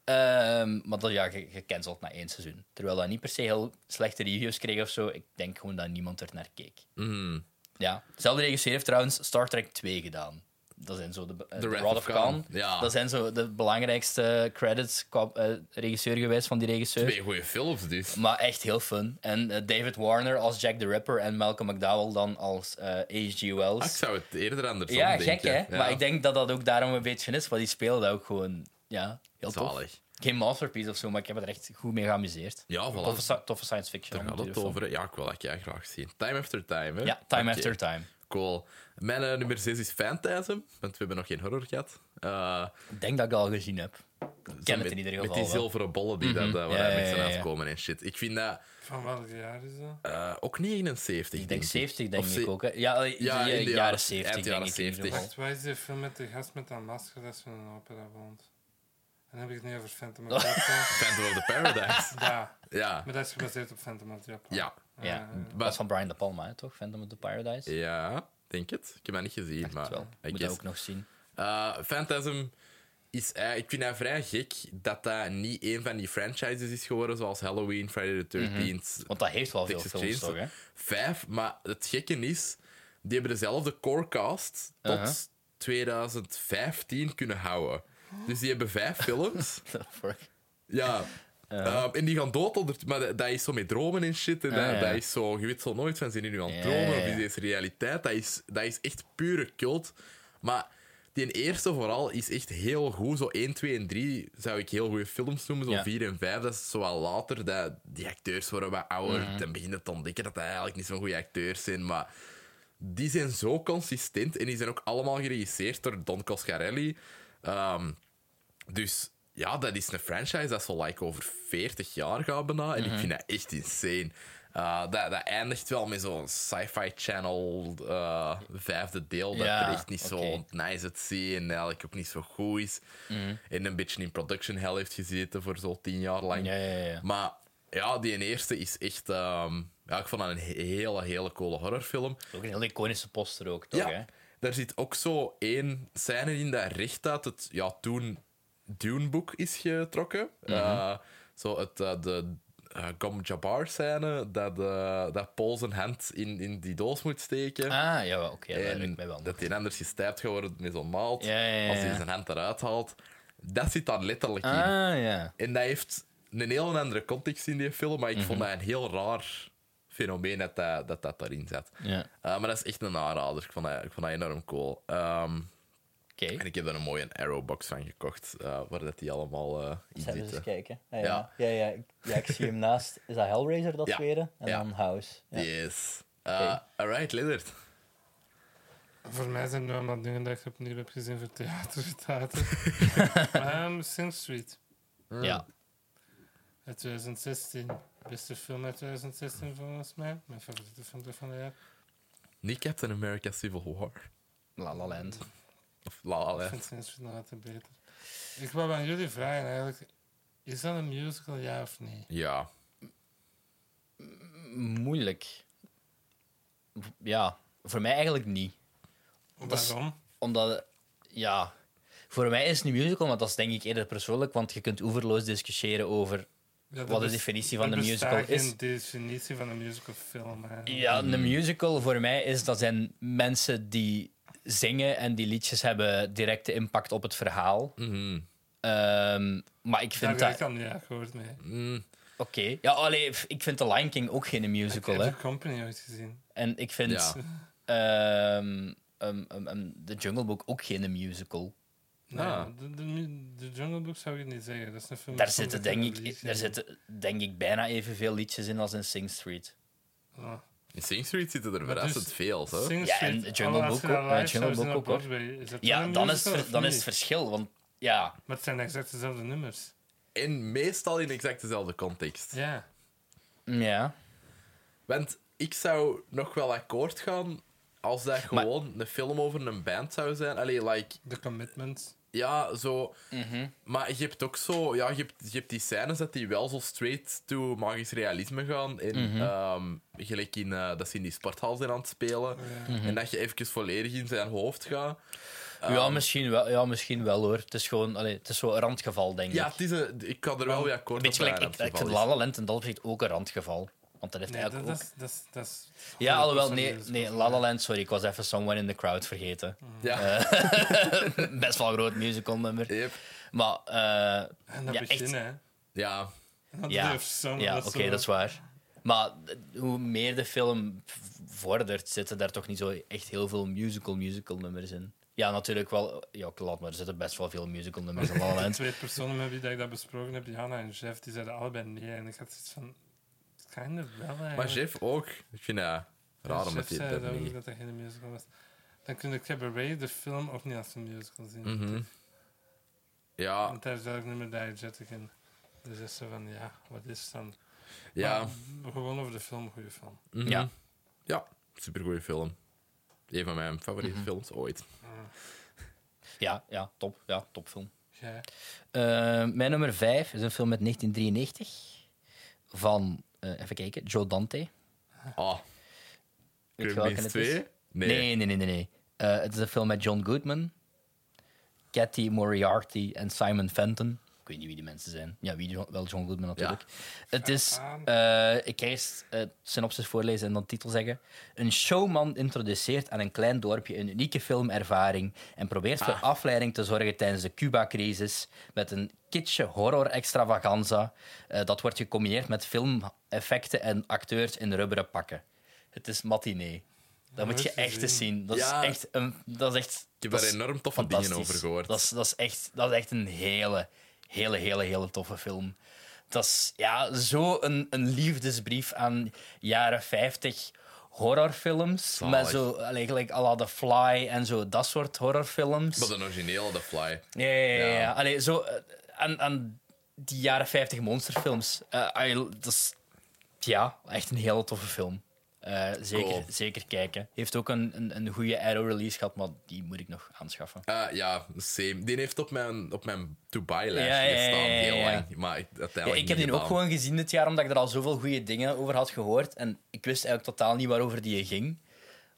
[SPEAKER 3] Ehm, maar dat ja, ge- gecanceld na één seizoen. Terwijl dat niet per se heel slechte reviews kreeg of zo. Ik denk gewoon dat niemand er naar keek.
[SPEAKER 1] Mm.
[SPEAKER 3] Ja, dezelfde regisseur heeft trouwens Star Trek 2 gedaan. Dat zijn zo de, eh,
[SPEAKER 1] The
[SPEAKER 3] de
[SPEAKER 1] Wrath
[SPEAKER 3] Rod
[SPEAKER 1] of
[SPEAKER 3] of
[SPEAKER 1] Khan.
[SPEAKER 3] Khan.
[SPEAKER 1] Ja.
[SPEAKER 3] Dat zijn zo de belangrijkste credits qua eh, regisseur geweest van die regisseur.
[SPEAKER 1] Twee goede films dus.
[SPEAKER 3] Maar echt heel fun. En eh, David Warner als Jack the Ripper en Malcolm McDowell dan als eh, H.G.
[SPEAKER 1] Ah,
[SPEAKER 3] Wells.
[SPEAKER 1] ik zou het eerder andersom
[SPEAKER 3] ja,
[SPEAKER 1] denken.
[SPEAKER 3] gek hè?
[SPEAKER 1] Ja.
[SPEAKER 3] Maar ik denk dat dat ook daarom een beetje is, want die spelen dat ook gewoon ja, heel tof.
[SPEAKER 1] Zalig.
[SPEAKER 3] Geen masterpiece of zo, maar ik heb er echt goed mee geamuseerd.
[SPEAKER 1] Ja, voilà.
[SPEAKER 3] Toffe, sci- toffe science fiction.
[SPEAKER 1] Daar gaat het
[SPEAKER 3] avonturenfilm.
[SPEAKER 1] over. hè. Ja, ik wil dat jij graag zien. Time after time, hè?
[SPEAKER 3] Ja, Time
[SPEAKER 1] Oké,
[SPEAKER 3] After Time.
[SPEAKER 1] Cool. Mijn eh, nummer 6 is Phantasm, want we hebben nog geen horror gehad. Eh,
[SPEAKER 3] Ik denk dat ik dat al gezien heb. Ik ken
[SPEAKER 1] met-
[SPEAKER 3] het in ieder
[SPEAKER 1] Met
[SPEAKER 3] geval.
[SPEAKER 1] die
[SPEAKER 3] wel. Mhm.
[SPEAKER 1] zilveren bollen die daar daar
[SPEAKER 3] Ja,
[SPEAKER 1] waar hij
[SPEAKER 3] ja,
[SPEAKER 1] met
[SPEAKER 3] ja,
[SPEAKER 1] zijn
[SPEAKER 3] ja.
[SPEAKER 1] uitkomen en shit. Ik vind dat
[SPEAKER 2] Van welk jaar is dat?
[SPEAKER 1] eh, ook 79.
[SPEAKER 3] Ik denk 70, denk
[SPEAKER 1] Of ze-
[SPEAKER 3] ik ook. Hè. Ja, eh,
[SPEAKER 1] Ja, in
[SPEAKER 3] ja,
[SPEAKER 1] de jaren-
[SPEAKER 3] jaren 70.
[SPEAKER 1] eind
[SPEAKER 3] denk
[SPEAKER 1] jaren
[SPEAKER 3] ik in ieder
[SPEAKER 1] 70.
[SPEAKER 3] geval.
[SPEAKER 2] Wacht, waar is die film met de gast met dat masker dat ze in een opera woont? En dan heb ik het niet over Phantom
[SPEAKER 3] (laughs)
[SPEAKER 2] of Japan.
[SPEAKER 1] Phantom of the Paradise.
[SPEAKER 2] ja,
[SPEAKER 1] ja.
[SPEAKER 2] maar dat is gebaseerd op Phantom of Japan.
[SPEAKER 1] Ja.
[SPEAKER 3] Ja.
[SPEAKER 2] Eh,
[SPEAKER 3] Dat is
[SPEAKER 1] Maar,
[SPEAKER 3] van Brian De Palma, hè, toch? Phantom of the Paradise.
[SPEAKER 1] ja, denk het. Ik heb dat niet gezien, maar...
[SPEAKER 3] Dat wel.
[SPEAKER 1] I
[SPEAKER 3] Moet dat
[SPEAKER 1] guess.
[SPEAKER 3] ook nog zien.
[SPEAKER 1] Eh, Phantasm is... eh, ik vind dat vrij gek dat dat niet een van die franchises is geworden, zoals Halloween, Friday the 13th,
[SPEAKER 3] Want dat heeft wel veel
[SPEAKER 1] Texas
[SPEAKER 3] Mhm. films, toch? Hè?
[SPEAKER 1] Chainsaw. Vijf, maar het gekke is, die hebben dezelfde corecast tot
[SPEAKER 3] Uh-huh.
[SPEAKER 1] 2015 kunnen houden. Dus die hebben vijf films.
[SPEAKER 3] (laughs)
[SPEAKER 1] (laughs)
[SPEAKER 3] The fuck?
[SPEAKER 1] Ja. Ehm, en die gaan dood onder... Maar dat, dat is zo met dromen en shit. En dat,
[SPEAKER 3] ja.
[SPEAKER 1] dat is zo... Je weet zo nooit van, zijn die nu aan het
[SPEAKER 3] Ja,
[SPEAKER 1] dromen?
[SPEAKER 3] ja,
[SPEAKER 1] Of is
[SPEAKER 3] ja.
[SPEAKER 1] deze realiteit? Dat is, dat is echt pure cult. Maar die eerste vooral is echt heel goed. Zo 1, 2 en 3 zou ik heel goede films noemen. Zo
[SPEAKER 3] Ja.
[SPEAKER 1] 4 en 5, dat is zo wel later. Dat die acteurs worden wat ouder.
[SPEAKER 3] Mhm.
[SPEAKER 1] Dan beginnen te ontdekken dat dat eigenlijk niet zo'n goede acteurs zijn. Maar die zijn zo consistent. En die zijn ook allemaal geregisseerd door Don Coscarelli. Ehm, dus ja, dat is een franchise dat zo like over 40 jaar gaat bijna. En
[SPEAKER 3] Mhm.
[SPEAKER 1] ik vind dat echt insane. Uh, dat, dat eindigt wel met zo'n sci-fi channel eh, vijfde deel. Dat
[SPEAKER 3] Ja,
[SPEAKER 1] er echt niet
[SPEAKER 3] oké. Mhm.
[SPEAKER 1] zo nice uitziet en eigenlijk ook niet zo goed is. En een beetje in production hell heeft gezeten voor zo'n tien jaar lang.
[SPEAKER 3] Ja, ja, ja.
[SPEAKER 1] Maar ja, die eerste is echt... ehm, ja, ik vond dat een hele, hele coole horrorfilm.
[SPEAKER 3] Ook een heel iconische poster ook, toch? Hè?
[SPEAKER 1] Daar zit ook zo één scène in dat recht uit het ja, toen Dune-boek is getrokken.
[SPEAKER 3] Mhm.
[SPEAKER 1] Eh, zo het, eh, de eh, Gom Jabbar-scène, dat, eh, dat Paul zijn hand in, in die doos moet steken.
[SPEAKER 3] Ah, ja, oké, dat
[SPEAKER 1] en
[SPEAKER 3] heb ik mij wel.
[SPEAKER 1] dat die anders gestijpt gaat worden met zo'n naald.
[SPEAKER 3] Ja, ja, ja,
[SPEAKER 1] Als hij
[SPEAKER 3] ja.
[SPEAKER 1] zijn hand eruit haalt. Dat zit daar letterlijk in.
[SPEAKER 3] Ah, ja.
[SPEAKER 1] En dat heeft een heel andere context in die film, maar ik vond
[SPEAKER 4] Mhm.
[SPEAKER 1] dat een heel raar fenomeen dat dat, dat, dat daarin zat.
[SPEAKER 3] Ja.
[SPEAKER 1] Eh, maar dat is echt een aanrader. Ik vond dat, ik vond dat enorm cool. Ehm,
[SPEAKER 3] Oké.
[SPEAKER 1] en ik heb daar een mooie Arrowbox van gekocht, eh, waar dat die allemaal eh in
[SPEAKER 4] Zullen we eens
[SPEAKER 1] zitten.
[SPEAKER 4] kijken? Ah,
[SPEAKER 1] Ja.
[SPEAKER 4] ja. Ja. Ja, ik, ja, ik zie hem naast. Is dat Hellraiser, dat
[SPEAKER 1] (laughs) Ja.
[SPEAKER 4] tweede? En
[SPEAKER 1] Ja.
[SPEAKER 4] dan House. Ja.
[SPEAKER 1] Yes. Eh,
[SPEAKER 4] Oké.
[SPEAKER 1] Alright, Lillard.
[SPEAKER 2] Voor mij zijn er allemaal dingen dat ik opnieuw heb gezien voor theater.
[SPEAKER 3] (laughs)
[SPEAKER 2] theater. maar um, Sing Street
[SPEAKER 3] Ja.
[SPEAKER 2] uit 2016. Beste film uit 2016 volgens mij. Mijn favoriete film van het jaar.
[SPEAKER 1] Niet Captain America Civil War. Hmm.
[SPEAKER 3] La La Land.
[SPEAKER 1] Of La La
[SPEAKER 2] Ik
[SPEAKER 1] Land.
[SPEAKER 2] vind Sing Street nog altijd beter. Ik wou aan jullie vragen eigenlijk. Is dat een musical, ja of nee?
[SPEAKER 1] Ja.
[SPEAKER 3] Moeilijk. Ja, voor mij eigenlijk niet. is-
[SPEAKER 2] Waarom?
[SPEAKER 3] Omdat, ja, voor mij is het niet musical, want dat is denk ik eerder persoonlijk, want je kunt oeverloos discussiëren over
[SPEAKER 2] Ja,
[SPEAKER 3] wat de
[SPEAKER 2] bes-
[SPEAKER 3] definitie van
[SPEAKER 2] er
[SPEAKER 3] een
[SPEAKER 2] bestaat
[SPEAKER 3] musical is.
[SPEAKER 2] geen definitie van een musical film. eigenlijk.
[SPEAKER 3] Ja, een musical voor mij is dat zijn mensen die zingen en die liedjes hebben directe impact op het verhaal.
[SPEAKER 1] Mhm.
[SPEAKER 3] Ehm, maar ik
[SPEAKER 2] Daar
[SPEAKER 3] vind
[SPEAKER 2] heb
[SPEAKER 3] dat.
[SPEAKER 2] ik al niet akkoord mee.
[SPEAKER 1] Mm.
[SPEAKER 3] Oké. Ja, allee, pff, ik vind The Lion King ook geen musical, hè?
[SPEAKER 2] Heb je Company ooit gezien?
[SPEAKER 3] En ik vind
[SPEAKER 1] Ja.
[SPEAKER 3] ehm, ehm, ehm, ehm, The Jungle Book ook geen musical.
[SPEAKER 2] Nee,
[SPEAKER 1] Ah.
[SPEAKER 2] de, de, mu- de Jungle Book zou ik niet zeggen. Dat is een film
[SPEAKER 3] Daar
[SPEAKER 2] met
[SPEAKER 3] zitten,
[SPEAKER 2] compleet
[SPEAKER 3] denk
[SPEAKER 2] een
[SPEAKER 3] ik,
[SPEAKER 2] liedje.
[SPEAKER 3] daar zitten denk ik bijna evenveel liedjes in als in Sing Street.
[SPEAKER 2] Ah.
[SPEAKER 1] In Sing Street zitten er
[SPEAKER 2] Maar
[SPEAKER 1] verrassend
[SPEAKER 2] dus
[SPEAKER 1] veel, hè?
[SPEAKER 2] Sing
[SPEAKER 3] Ja,
[SPEAKER 2] Street,
[SPEAKER 3] en Jungle
[SPEAKER 2] alle
[SPEAKER 3] Book ook,
[SPEAKER 2] Astral
[SPEAKER 3] eh,
[SPEAKER 2] Live
[SPEAKER 3] Jungle
[SPEAKER 2] shows in
[SPEAKER 3] Book
[SPEAKER 2] op
[SPEAKER 3] ook, hoor.
[SPEAKER 2] Broadway. Is dat dan
[SPEAKER 3] Ja,
[SPEAKER 2] een
[SPEAKER 3] dan is,
[SPEAKER 2] musical
[SPEAKER 3] het ver-
[SPEAKER 2] of
[SPEAKER 3] dan
[SPEAKER 2] niet?
[SPEAKER 3] is het verschil. Want ja,
[SPEAKER 2] Maar het zijn exact dezelfde nummers.
[SPEAKER 1] En meestal in exact dezelfde context.
[SPEAKER 2] Ja.
[SPEAKER 3] ja.
[SPEAKER 1] Want ik zou nog wel akkoord gaan als dat
[SPEAKER 3] Maar-
[SPEAKER 1] gewoon een film over een band zou zijn. Allee, like,
[SPEAKER 2] The Commitments.
[SPEAKER 1] ja, zo...
[SPEAKER 3] Mhm.
[SPEAKER 1] Maar je hebt ook zo... Ja, je hebt, je hebt die scènes dat die wel zo straight to magisch realisme gaan. En
[SPEAKER 3] Mhm.
[SPEAKER 1] ehm, gelijk in, eh, dat ze in die sporthal zijn aan het spelen.
[SPEAKER 3] Mhm.
[SPEAKER 1] En dat je eventjes volledig in zijn hoofd gaat. Ah.
[SPEAKER 3] ja, misschien wel, ja, misschien wel hoor. Het is gewoon allee, het is zo'n randgeval, denk
[SPEAKER 1] Ja,
[SPEAKER 3] ik.
[SPEAKER 1] het is een, ik kan er wel dus- weer akkoord
[SPEAKER 3] Een beetje
[SPEAKER 1] dat
[SPEAKER 3] gelijk, ik,
[SPEAKER 1] dat
[SPEAKER 3] ik
[SPEAKER 1] het
[SPEAKER 3] vind
[SPEAKER 1] geval
[SPEAKER 3] La
[SPEAKER 1] is.
[SPEAKER 3] La Land in dat opzicht ook een randgeval. Want dat heeft
[SPEAKER 2] Nee, dat,
[SPEAKER 3] eigenlijk
[SPEAKER 2] dat,
[SPEAKER 3] ook...
[SPEAKER 2] is- dat, is- dat is... dus.
[SPEAKER 3] Ja, alhoewel, nee,
[SPEAKER 2] 100%
[SPEAKER 3] nee, La La Land, sorry, ik was even Someone in the Crowd vergeten.
[SPEAKER 1] Ja,
[SPEAKER 2] Mm.
[SPEAKER 3] (laughs) Best wel een groot musical nummer.
[SPEAKER 1] Yep.
[SPEAKER 3] Maar, eh,
[SPEAKER 2] En dat
[SPEAKER 3] Ja,
[SPEAKER 2] begin,
[SPEAKER 3] echt.
[SPEAKER 2] hè.
[SPEAKER 1] ja.
[SPEAKER 2] Dat
[SPEAKER 3] ja,
[SPEAKER 2] durft zo,
[SPEAKER 3] ja
[SPEAKER 2] dat
[SPEAKER 3] oké,
[SPEAKER 2] zo-
[SPEAKER 3] dat is waar. Maar d- hoe meer de film v- vordert, zitten daar toch niet zo echt heel veel musical-musical nummers in. Ja, natuurlijk wel. Ja, laat maar, er zitten best wel veel musical nummers in La La
[SPEAKER 2] De (laughs)
[SPEAKER 3] Land.
[SPEAKER 2] twee personen met wie dat ik dat besproken heb, Jana en Jeff, die zeiden allebei nee. En ik had zoiets van... Kind of wel, eigenlijk.
[SPEAKER 1] Maar Jeff ook. Ik vind dat raar om
[SPEAKER 2] Chef
[SPEAKER 1] het hier
[SPEAKER 2] zei
[SPEAKER 1] te
[SPEAKER 2] dat, ook
[SPEAKER 1] doen.
[SPEAKER 2] dat dat geen musical was. Dan kun je Cabaret, de film, ook niet als een musical zien.
[SPEAKER 1] Mhm. Ja,
[SPEAKER 2] En tijdens dat ik niet meer diegetic in. Dus is ze van, ja, wat is het dan?
[SPEAKER 1] ja.
[SPEAKER 2] Maar gewoon over de film, goede film.
[SPEAKER 1] mhm.
[SPEAKER 3] Ja.
[SPEAKER 1] Ja, supergoeie film. Een van mijn favoriete
[SPEAKER 3] Mhm.
[SPEAKER 1] films ooit.
[SPEAKER 3] Ja, ja, top. Ja, topfilm.
[SPEAKER 2] Jij?
[SPEAKER 3] Eh, mijn nummer 5 is een film uit 1993 van, eh, even kijken, Joe Dante. Weet
[SPEAKER 1] Ah,
[SPEAKER 3] je
[SPEAKER 1] Gremlins
[SPEAKER 3] welke het is?
[SPEAKER 1] 2? Nee.
[SPEAKER 3] Nee, nee, nee, nee. nee. Eh, het is een film met John Goodman, Cathy Moriarty en Simon Fenton. Ik weet niet wie die mensen zijn. Ja, wie John- wel John Goodman natuurlijk. Het is, eh, ik ga eerst eh, synopsis voorlezen en dan titel zeggen. Een showman introduceert aan een klein dorpje een unieke filmervaring en probeert voor
[SPEAKER 1] Ah.
[SPEAKER 3] afleiding te zorgen tijdens de Cuba-crisis met een kitschje horror-extravaganza. Eh, dat wordt gecombineerd met filmeffecten en acteurs in rubberen pakken. Het is matinee. Dat moet je
[SPEAKER 2] dat is
[SPEAKER 3] echt eens
[SPEAKER 2] gezien.
[SPEAKER 3] zien. Dat,
[SPEAKER 1] Ja.
[SPEAKER 3] is echt een, dat is echt...
[SPEAKER 1] Ik heb
[SPEAKER 3] dat
[SPEAKER 1] daar
[SPEAKER 3] is
[SPEAKER 1] enorm toffe dingen
[SPEAKER 3] fantastisch.
[SPEAKER 1] over gehoord.
[SPEAKER 3] Dat is, dat is, echt, dat is echt een hele, hele, hele, hele toffe film. Dat is ja, zo een, een liefdesbrief aan jaren 50 horrorfilms.
[SPEAKER 1] Zalig.
[SPEAKER 3] Met zo, eigenlijk à la The Fly en zo, dat soort horrorfilms.
[SPEAKER 1] Maar de originele, The Fly.
[SPEAKER 3] Ja, ja, ja. ja.
[SPEAKER 1] Ja.
[SPEAKER 3] Allee, zo eh, aan, aan die jaren 50 monsterfilms. Eh, allee, dat is ja, echt een hele toffe film. Eh, zeker,
[SPEAKER 1] Cool.
[SPEAKER 3] zeker kijken. Heeft ook een, een, een goede Arrow-release gehad, maar die moet ik nog aanschaffen.
[SPEAKER 1] Eh, ja, same. Die heeft op mijn, op mijn
[SPEAKER 3] Ja,
[SPEAKER 1] to-buy-lijstje
[SPEAKER 3] ja, ja,
[SPEAKER 1] gestaan,
[SPEAKER 3] ja,
[SPEAKER 1] heel
[SPEAKER 3] ja.
[SPEAKER 1] lang. Maar ik,
[SPEAKER 3] Ja,
[SPEAKER 1] uiteindelijk
[SPEAKER 3] ik heb
[SPEAKER 1] niet
[SPEAKER 3] die ook
[SPEAKER 1] gedaan.
[SPEAKER 3] gewoon gezien dit jaar, omdat ik er al zoveel goede dingen over had gehoord. En ik wist eigenlijk totaal niet waarover die ging.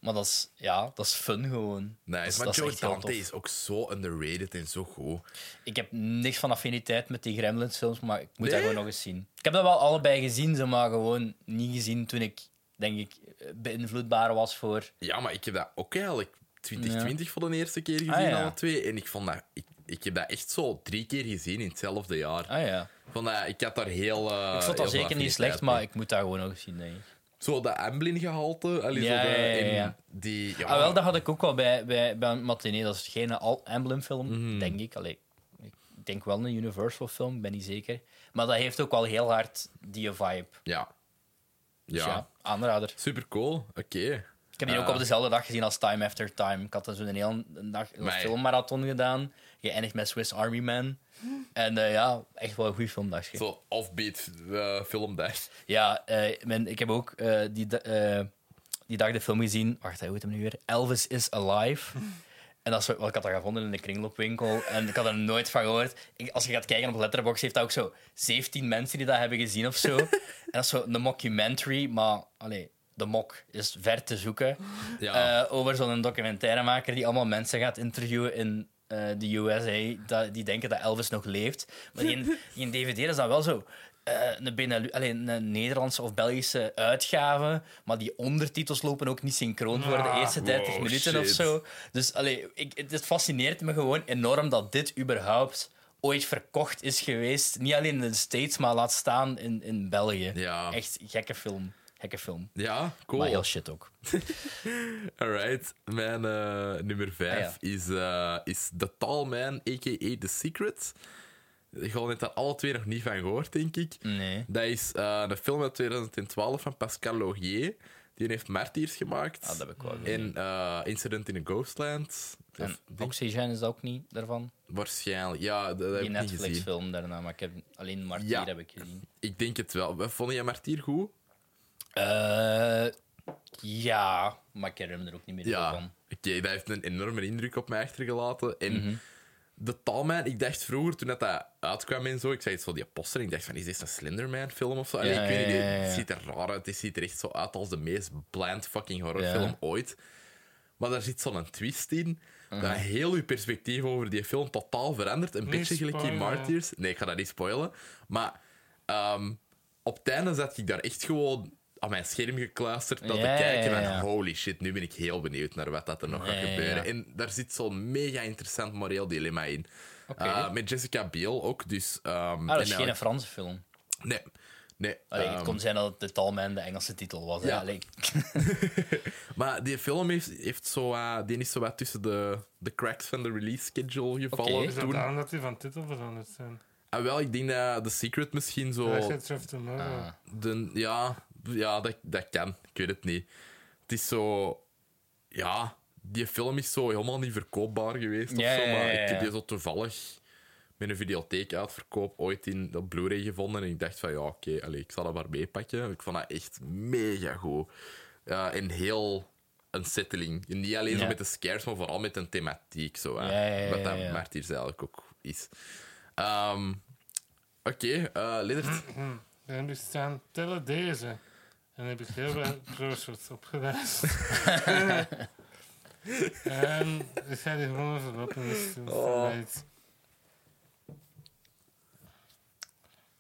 [SPEAKER 3] Maar dat is, ja, dat is fun gewoon.
[SPEAKER 1] Nice,
[SPEAKER 3] dat is,
[SPEAKER 1] maar
[SPEAKER 3] Dus dat is
[SPEAKER 1] Joe
[SPEAKER 3] echt heel
[SPEAKER 1] Dante
[SPEAKER 3] tof.
[SPEAKER 1] is ook zo underrated en zo goed.
[SPEAKER 3] Ik heb niks van affiniteit met die Gremlins-films, maar ik moet dat
[SPEAKER 1] Nee?
[SPEAKER 3] gewoon nog eens zien. Ik heb dat wel allebei gezien, zo, maar gewoon niet gezien toen ik, denk ik, eh, beïnvloedbaar was voor...
[SPEAKER 1] Ja, maar ik heb dat ook eigenlijk 2020 voor de eerste keer gezien,
[SPEAKER 3] Ah, ja.
[SPEAKER 1] alle twee. En ik vond dat... Ik, ik heb dat echt zo drie keer gezien in hetzelfde jaar.
[SPEAKER 3] Ah ja.
[SPEAKER 1] Ik vond dat, ik had daar heel... eh,
[SPEAKER 3] Ik
[SPEAKER 1] heel
[SPEAKER 3] vond dat
[SPEAKER 1] veel
[SPEAKER 3] zeker niet
[SPEAKER 1] affiniteit
[SPEAKER 3] slecht,
[SPEAKER 1] mee.
[SPEAKER 3] maar ik moet dat gewoon nog eens zien, denk ik.
[SPEAKER 1] Zo dat Amblin-gehalte. allee,
[SPEAKER 3] Ja,
[SPEAKER 1] zo de-
[SPEAKER 3] ja, ja,
[SPEAKER 1] in
[SPEAKER 3] ja.
[SPEAKER 1] Die, ja,
[SPEAKER 3] Ah, wel, dat had ik ook wel bij, bij, bij een matinee. Dat is geen Al- Emblem-film,
[SPEAKER 1] Mhm.
[SPEAKER 3] denk ik. Allee, ik denk wel een Universal-film, ben niet zeker. Maar dat heeft ook wel heel hard die vibe.
[SPEAKER 1] ja.
[SPEAKER 3] Dus
[SPEAKER 1] Ja.
[SPEAKER 3] ja, aanrader.
[SPEAKER 1] Super cool. Oké.
[SPEAKER 3] Ik heb die ook
[SPEAKER 1] Ah.
[SPEAKER 3] op dezelfde dag gezien als Time After Time. Ik had dan zo'n hele dag een
[SPEAKER 1] Maar-
[SPEAKER 3] filmmarathon gedaan. Geëindigd met Swiss Army Man. En eh, ja, echt wel een goede filmdagje.
[SPEAKER 1] Zo offbeat eh, filmdag.
[SPEAKER 3] Ja, eh, men, ik heb ook eh, die, da- eh, die dag de film gezien. Wacht, hè, hoe heet hem nu weer? Elvis is Alive. En dat is wat, wat ik had dat gevonden in de kringloopwinkel. En ik had er nooit van gehoord. Ik- als je gaat kijken op Letterboxd, heeft dat ook zo 17 mensen die dat hebben gezien of zo. en dat is zo een mockumentary, maar allee, de mok is ver te zoeken.
[SPEAKER 1] Ja.
[SPEAKER 3] Eh, over zo'n documentairemaker die allemaal mensen gaat interviewen in eh, de USA. dat- die denken dat Elvis nog leeft. Maar die, in- die in DVD is dat wel zo. eh, een, Benelu- allee, een Nederlandse of Belgische uitgave. Maar die ondertitels lopen ook niet synchroon voor de
[SPEAKER 2] Ah,
[SPEAKER 3] eerste 30
[SPEAKER 1] wow,
[SPEAKER 3] minuten
[SPEAKER 1] shit.
[SPEAKER 3] of zo. Dus allee, ik, het, het fascineert me gewoon enorm dat dit überhaupt ooit verkocht is geweest. Niet alleen in de States, maar laat staan in, in België.
[SPEAKER 1] Ja.
[SPEAKER 3] Echt gekke film. Gekke film.
[SPEAKER 1] (laughs) Ja, cool.
[SPEAKER 3] Maar heel shit ook.
[SPEAKER 1] Alright, mijn eh, nummer 5
[SPEAKER 3] Ah,
[SPEAKER 1] is, eh, is The Tall Man, a.k.a. The Secret. Ik had net daar alle twee nog niet van gehoord, denk ik.
[SPEAKER 3] Nee.
[SPEAKER 1] Dat is eh, een film uit 2012 van Pascal Laurier. Die heeft Martyrs gemaakt.
[SPEAKER 3] Ah, dat heb ik wel gezien.
[SPEAKER 1] En eh, Incident in a Ghostland. Of,
[SPEAKER 3] En
[SPEAKER 1] denk-
[SPEAKER 3] Oxygen is dat ook niet daarvan?
[SPEAKER 1] waarschijnlijk. Ja, dat, dat heb
[SPEAKER 3] Die
[SPEAKER 1] ik niet gezien.
[SPEAKER 3] Netflix-film daarna, maar ik heb alleen Martier
[SPEAKER 1] Ja.
[SPEAKER 3] heb ik gezien.
[SPEAKER 1] Ik denk het wel. Wat Vond je Martyr goed?
[SPEAKER 3] Eh, ja, maar ik herinner me er ook niet meer
[SPEAKER 1] Ja,
[SPEAKER 3] van. Ah,
[SPEAKER 1] oké, dat heeft een enorme indruk op mij achtergelaten. En
[SPEAKER 3] Mhm.
[SPEAKER 1] de Talman, ik dacht vroeger toen dat, dat uitkwam en zo, ik zei het zo die poster en ik dacht van, is dit een Slenderman-film of zo? Allee,
[SPEAKER 3] Ja,
[SPEAKER 1] ik weet niet,
[SPEAKER 3] ja, ja, ja.
[SPEAKER 1] het ziet er raar uit, het ziet er echt zo uit als de meest bland fucking horrorfilm
[SPEAKER 3] Ja.
[SPEAKER 1] ooit. Maar daar zit zo'n twist in,
[SPEAKER 3] Mhm.
[SPEAKER 1] dat heel uw perspectief over die film totaal verandert. Een beetje gelijk in
[SPEAKER 2] spoilen.
[SPEAKER 1] Martyrs. Nee, ik ga dat niet spoilen. Maar ehm, op het einde zat ik daar echt gewoon aan mijn scherm gekluisterd, dat
[SPEAKER 3] Ja,
[SPEAKER 1] te kijken van,
[SPEAKER 3] ja, ja.
[SPEAKER 1] holy shit, nu ben ik heel benieuwd naar wat dat er nog
[SPEAKER 3] Ja,
[SPEAKER 1] gaat
[SPEAKER 3] ja,
[SPEAKER 1] gebeuren.
[SPEAKER 3] ja.
[SPEAKER 1] En daar zit zo'n mega interessant moreel dilemma in.
[SPEAKER 3] Oké.
[SPEAKER 1] Eh, met Jessica Biel ook, dus... ehm,
[SPEAKER 3] Ah,
[SPEAKER 1] en
[SPEAKER 3] dat is Oh, geen
[SPEAKER 1] eigenlijk-
[SPEAKER 3] Franse film.
[SPEAKER 1] Nee, nee.
[SPEAKER 3] Allee, het
[SPEAKER 1] ehm,
[SPEAKER 3] kon zijn dat het de Talman de Engelse titel was. hè.
[SPEAKER 1] ja.
[SPEAKER 3] Allee, (laughs)
[SPEAKER 1] Maar die film heeft, heeft zo, wat- die is zo wat tussen de, de cracks van de release schedule gevallen
[SPEAKER 3] Oké.
[SPEAKER 2] Is dat
[SPEAKER 1] toen.
[SPEAKER 2] daarom dat die van titel veranderd zijn?
[SPEAKER 1] En wel, ik denk dat The Secret misschien zo...
[SPEAKER 2] Legends of Tomorrow.
[SPEAKER 3] Ah.
[SPEAKER 1] De, ja, ja dat, dat kan. Ik weet het niet. Het is zo... Ja, die film is zo helemaal niet verkoopbaar geweest
[SPEAKER 3] Ja,
[SPEAKER 1] of zo,
[SPEAKER 3] ja,
[SPEAKER 1] maar
[SPEAKER 3] ja,
[SPEAKER 1] ik heb
[SPEAKER 3] ja.
[SPEAKER 1] die zo toevallig met een videotheek uitverkoop ooit in op Blu-ray gevonden. En ik dacht van ja, oké, allee, ik zal dat maar meepakken. Ik vond dat echt mega goed. Eh, en heel een settling. En niet alleen zo
[SPEAKER 3] Ja.
[SPEAKER 1] met de scares, maar vooral met een thematiek. Zo, hè.
[SPEAKER 3] Ja, ja, ja,
[SPEAKER 1] Wat dat
[SPEAKER 3] ja.
[SPEAKER 1] Martyrs eigenlijk ook is. Ehm, oké, eh Lennart.
[SPEAKER 2] Dan heb ik staan, tellen deze. En dan heb ik heel
[SPEAKER 1] (laughs)
[SPEAKER 2] veel crosswords opgewijst. en ik ga die gewoon even op en is het
[SPEAKER 1] Oh.
[SPEAKER 2] verwijt.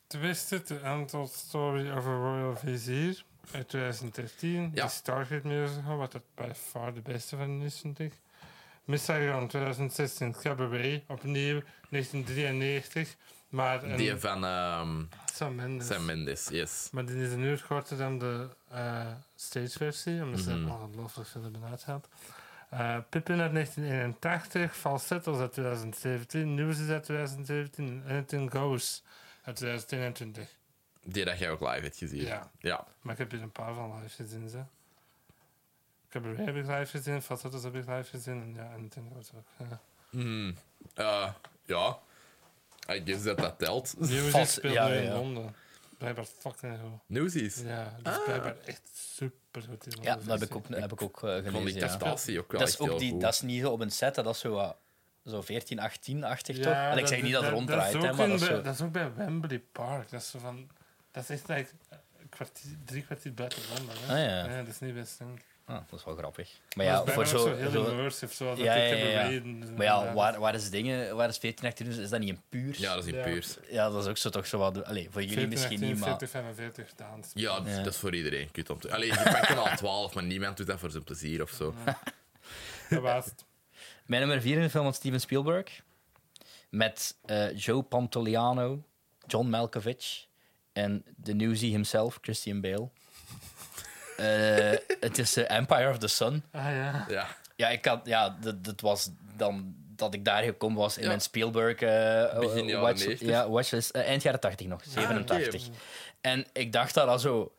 [SPEAKER 2] Twisted, the untold story of a royal vizier uit 2013.
[SPEAKER 1] Ja.
[SPEAKER 2] De Stargate musical, wat het bij far de beste van is, vind ik. Miss Saigon 2016, Cabaret, opnieuw 1993. Maar een
[SPEAKER 1] Die van ehm,
[SPEAKER 2] Sam Mendes.
[SPEAKER 1] Sam Mendes, yes.
[SPEAKER 2] Maar die is een uur korter dan de eh stageversie, omdat ze
[SPEAKER 3] Mhm.
[SPEAKER 2] er ongelooflijk veel hebben uitgehaald. Eh, Pippin uit 1981, Falsettos uit 2017, News is uit 2017 en Anything Goes uit 2021.
[SPEAKER 1] Die dat jij ook live hebt gezien.
[SPEAKER 2] Ja.
[SPEAKER 1] ja.
[SPEAKER 2] Maar ik heb hier een paar van live gezien. Zo. Cabaret heb ik live gezien, Falsettos heb ik live gezien en ja, Anything Goes ook. ja.
[SPEAKER 1] Hmm. Eh, ja. I guess dat dat telt. (laughs)
[SPEAKER 2] News
[SPEAKER 3] Fals-
[SPEAKER 2] is speelt
[SPEAKER 3] ja,
[SPEAKER 2] nu
[SPEAKER 3] ja,
[SPEAKER 2] in
[SPEAKER 3] ja.
[SPEAKER 2] Londen. Blijkbaar fucking goed.
[SPEAKER 1] Newsies.
[SPEAKER 2] Ja, dat is blijkbaar echt super goed.
[SPEAKER 3] Ah. Ja, dat
[SPEAKER 2] Dus
[SPEAKER 3] heb ik ook, heb ik ook eh,
[SPEAKER 1] Ik vond die
[SPEAKER 3] gelezen. ja.
[SPEAKER 1] castatie ook wel
[SPEAKER 3] Dat is
[SPEAKER 1] echt
[SPEAKER 3] ook
[SPEAKER 1] heel
[SPEAKER 3] die,
[SPEAKER 1] goed.
[SPEAKER 3] dat is niet zo op een set, dat is zo, wat, zo 14, 18-achtig toch? En ik zeg niet dat het
[SPEAKER 2] rond
[SPEAKER 3] ronddraait, hè, maar dat is zo.
[SPEAKER 2] dat is ook bij Wembley Park. Dat is, zo van, dat is echt like, een kwartier, drie kwartier buiten Londen. Hè.
[SPEAKER 3] Ah, ja.
[SPEAKER 2] dat is niet best. Maar
[SPEAKER 3] Ah, dat is wel grappig. Maar ja,
[SPEAKER 2] dat is
[SPEAKER 3] voor
[SPEAKER 2] bijna ook
[SPEAKER 3] zo,
[SPEAKER 2] heel
[SPEAKER 3] zo-
[SPEAKER 2] immersive. Zo, dat
[SPEAKER 3] Ja,
[SPEAKER 2] ik
[SPEAKER 3] ja,
[SPEAKER 2] heb
[SPEAKER 3] ja, ja.
[SPEAKER 2] beneden,
[SPEAKER 3] Maar ja,
[SPEAKER 2] eh,
[SPEAKER 3] waar, waar is dingen, waar is 14, 18 is dat niet een puur?
[SPEAKER 1] Ja, dat is in
[SPEAKER 2] Ja.
[SPEAKER 1] puurs.
[SPEAKER 3] Ja, dat is ook zo toch zo wat. Allee, voor jullie
[SPEAKER 2] 14,
[SPEAKER 3] misschien
[SPEAKER 2] 18,
[SPEAKER 3] niet, maar.
[SPEAKER 2] 40, 45 Daans.
[SPEAKER 1] Ja, dat is-
[SPEAKER 3] Ja.
[SPEAKER 1] dat is voor iedereen kut om te... Allee, je pakt er
[SPEAKER 2] (laughs)
[SPEAKER 1] al 12, maar niemand doet dat voor zijn plezier of zo.
[SPEAKER 2] Dat was het.
[SPEAKER 3] Mijn nummer 4 in een film van Steven Spielberg. Met eh, Joe Pantoliano, John Malkovich en de newsie himself, Christian Bale. Eh, het is eh, Empire of the Sun.
[SPEAKER 2] Ah ja.
[SPEAKER 1] Ja.
[SPEAKER 3] Ja, ik had, ja dat, dat was dan dat ik daar gekomen was in
[SPEAKER 1] Ja.
[SPEAKER 3] mijn Spielberg eh,
[SPEAKER 1] Begin jaren
[SPEAKER 3] watch-
[SPEAKER 1] 90.
[SPEAKER 3] ja, watchlist. eh, eind jaren 80 nog, 87.
[SPEAKER 1] oké.
[SPEAKER 3] En ik dacht daar al zo...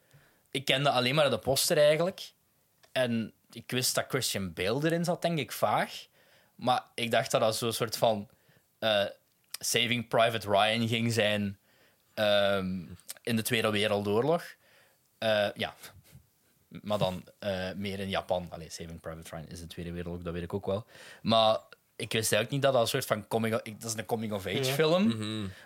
[SPEAKER 3] Ik kende alleen maar de poster eigenlijk. En ik wist dat Christian Bale erin zat, denk ik, vaag. Maar ik dacht dat dat zo'n soort van eh, Saving Private Ryan ging zijn ehm, in de Tweede Wereldoorlog. Eh, ja, maar dan eh, meer in Japan. Allee, Saving Private Ryan is de Tweede Wereldoorlog, dat weet ik ook wel. Maar ik wist eigenlijk niet dat dat een soort van coming... ik- Dat is een coming-of-age
[SPEAKER 2] Ja.
[SPEAKER 3] film.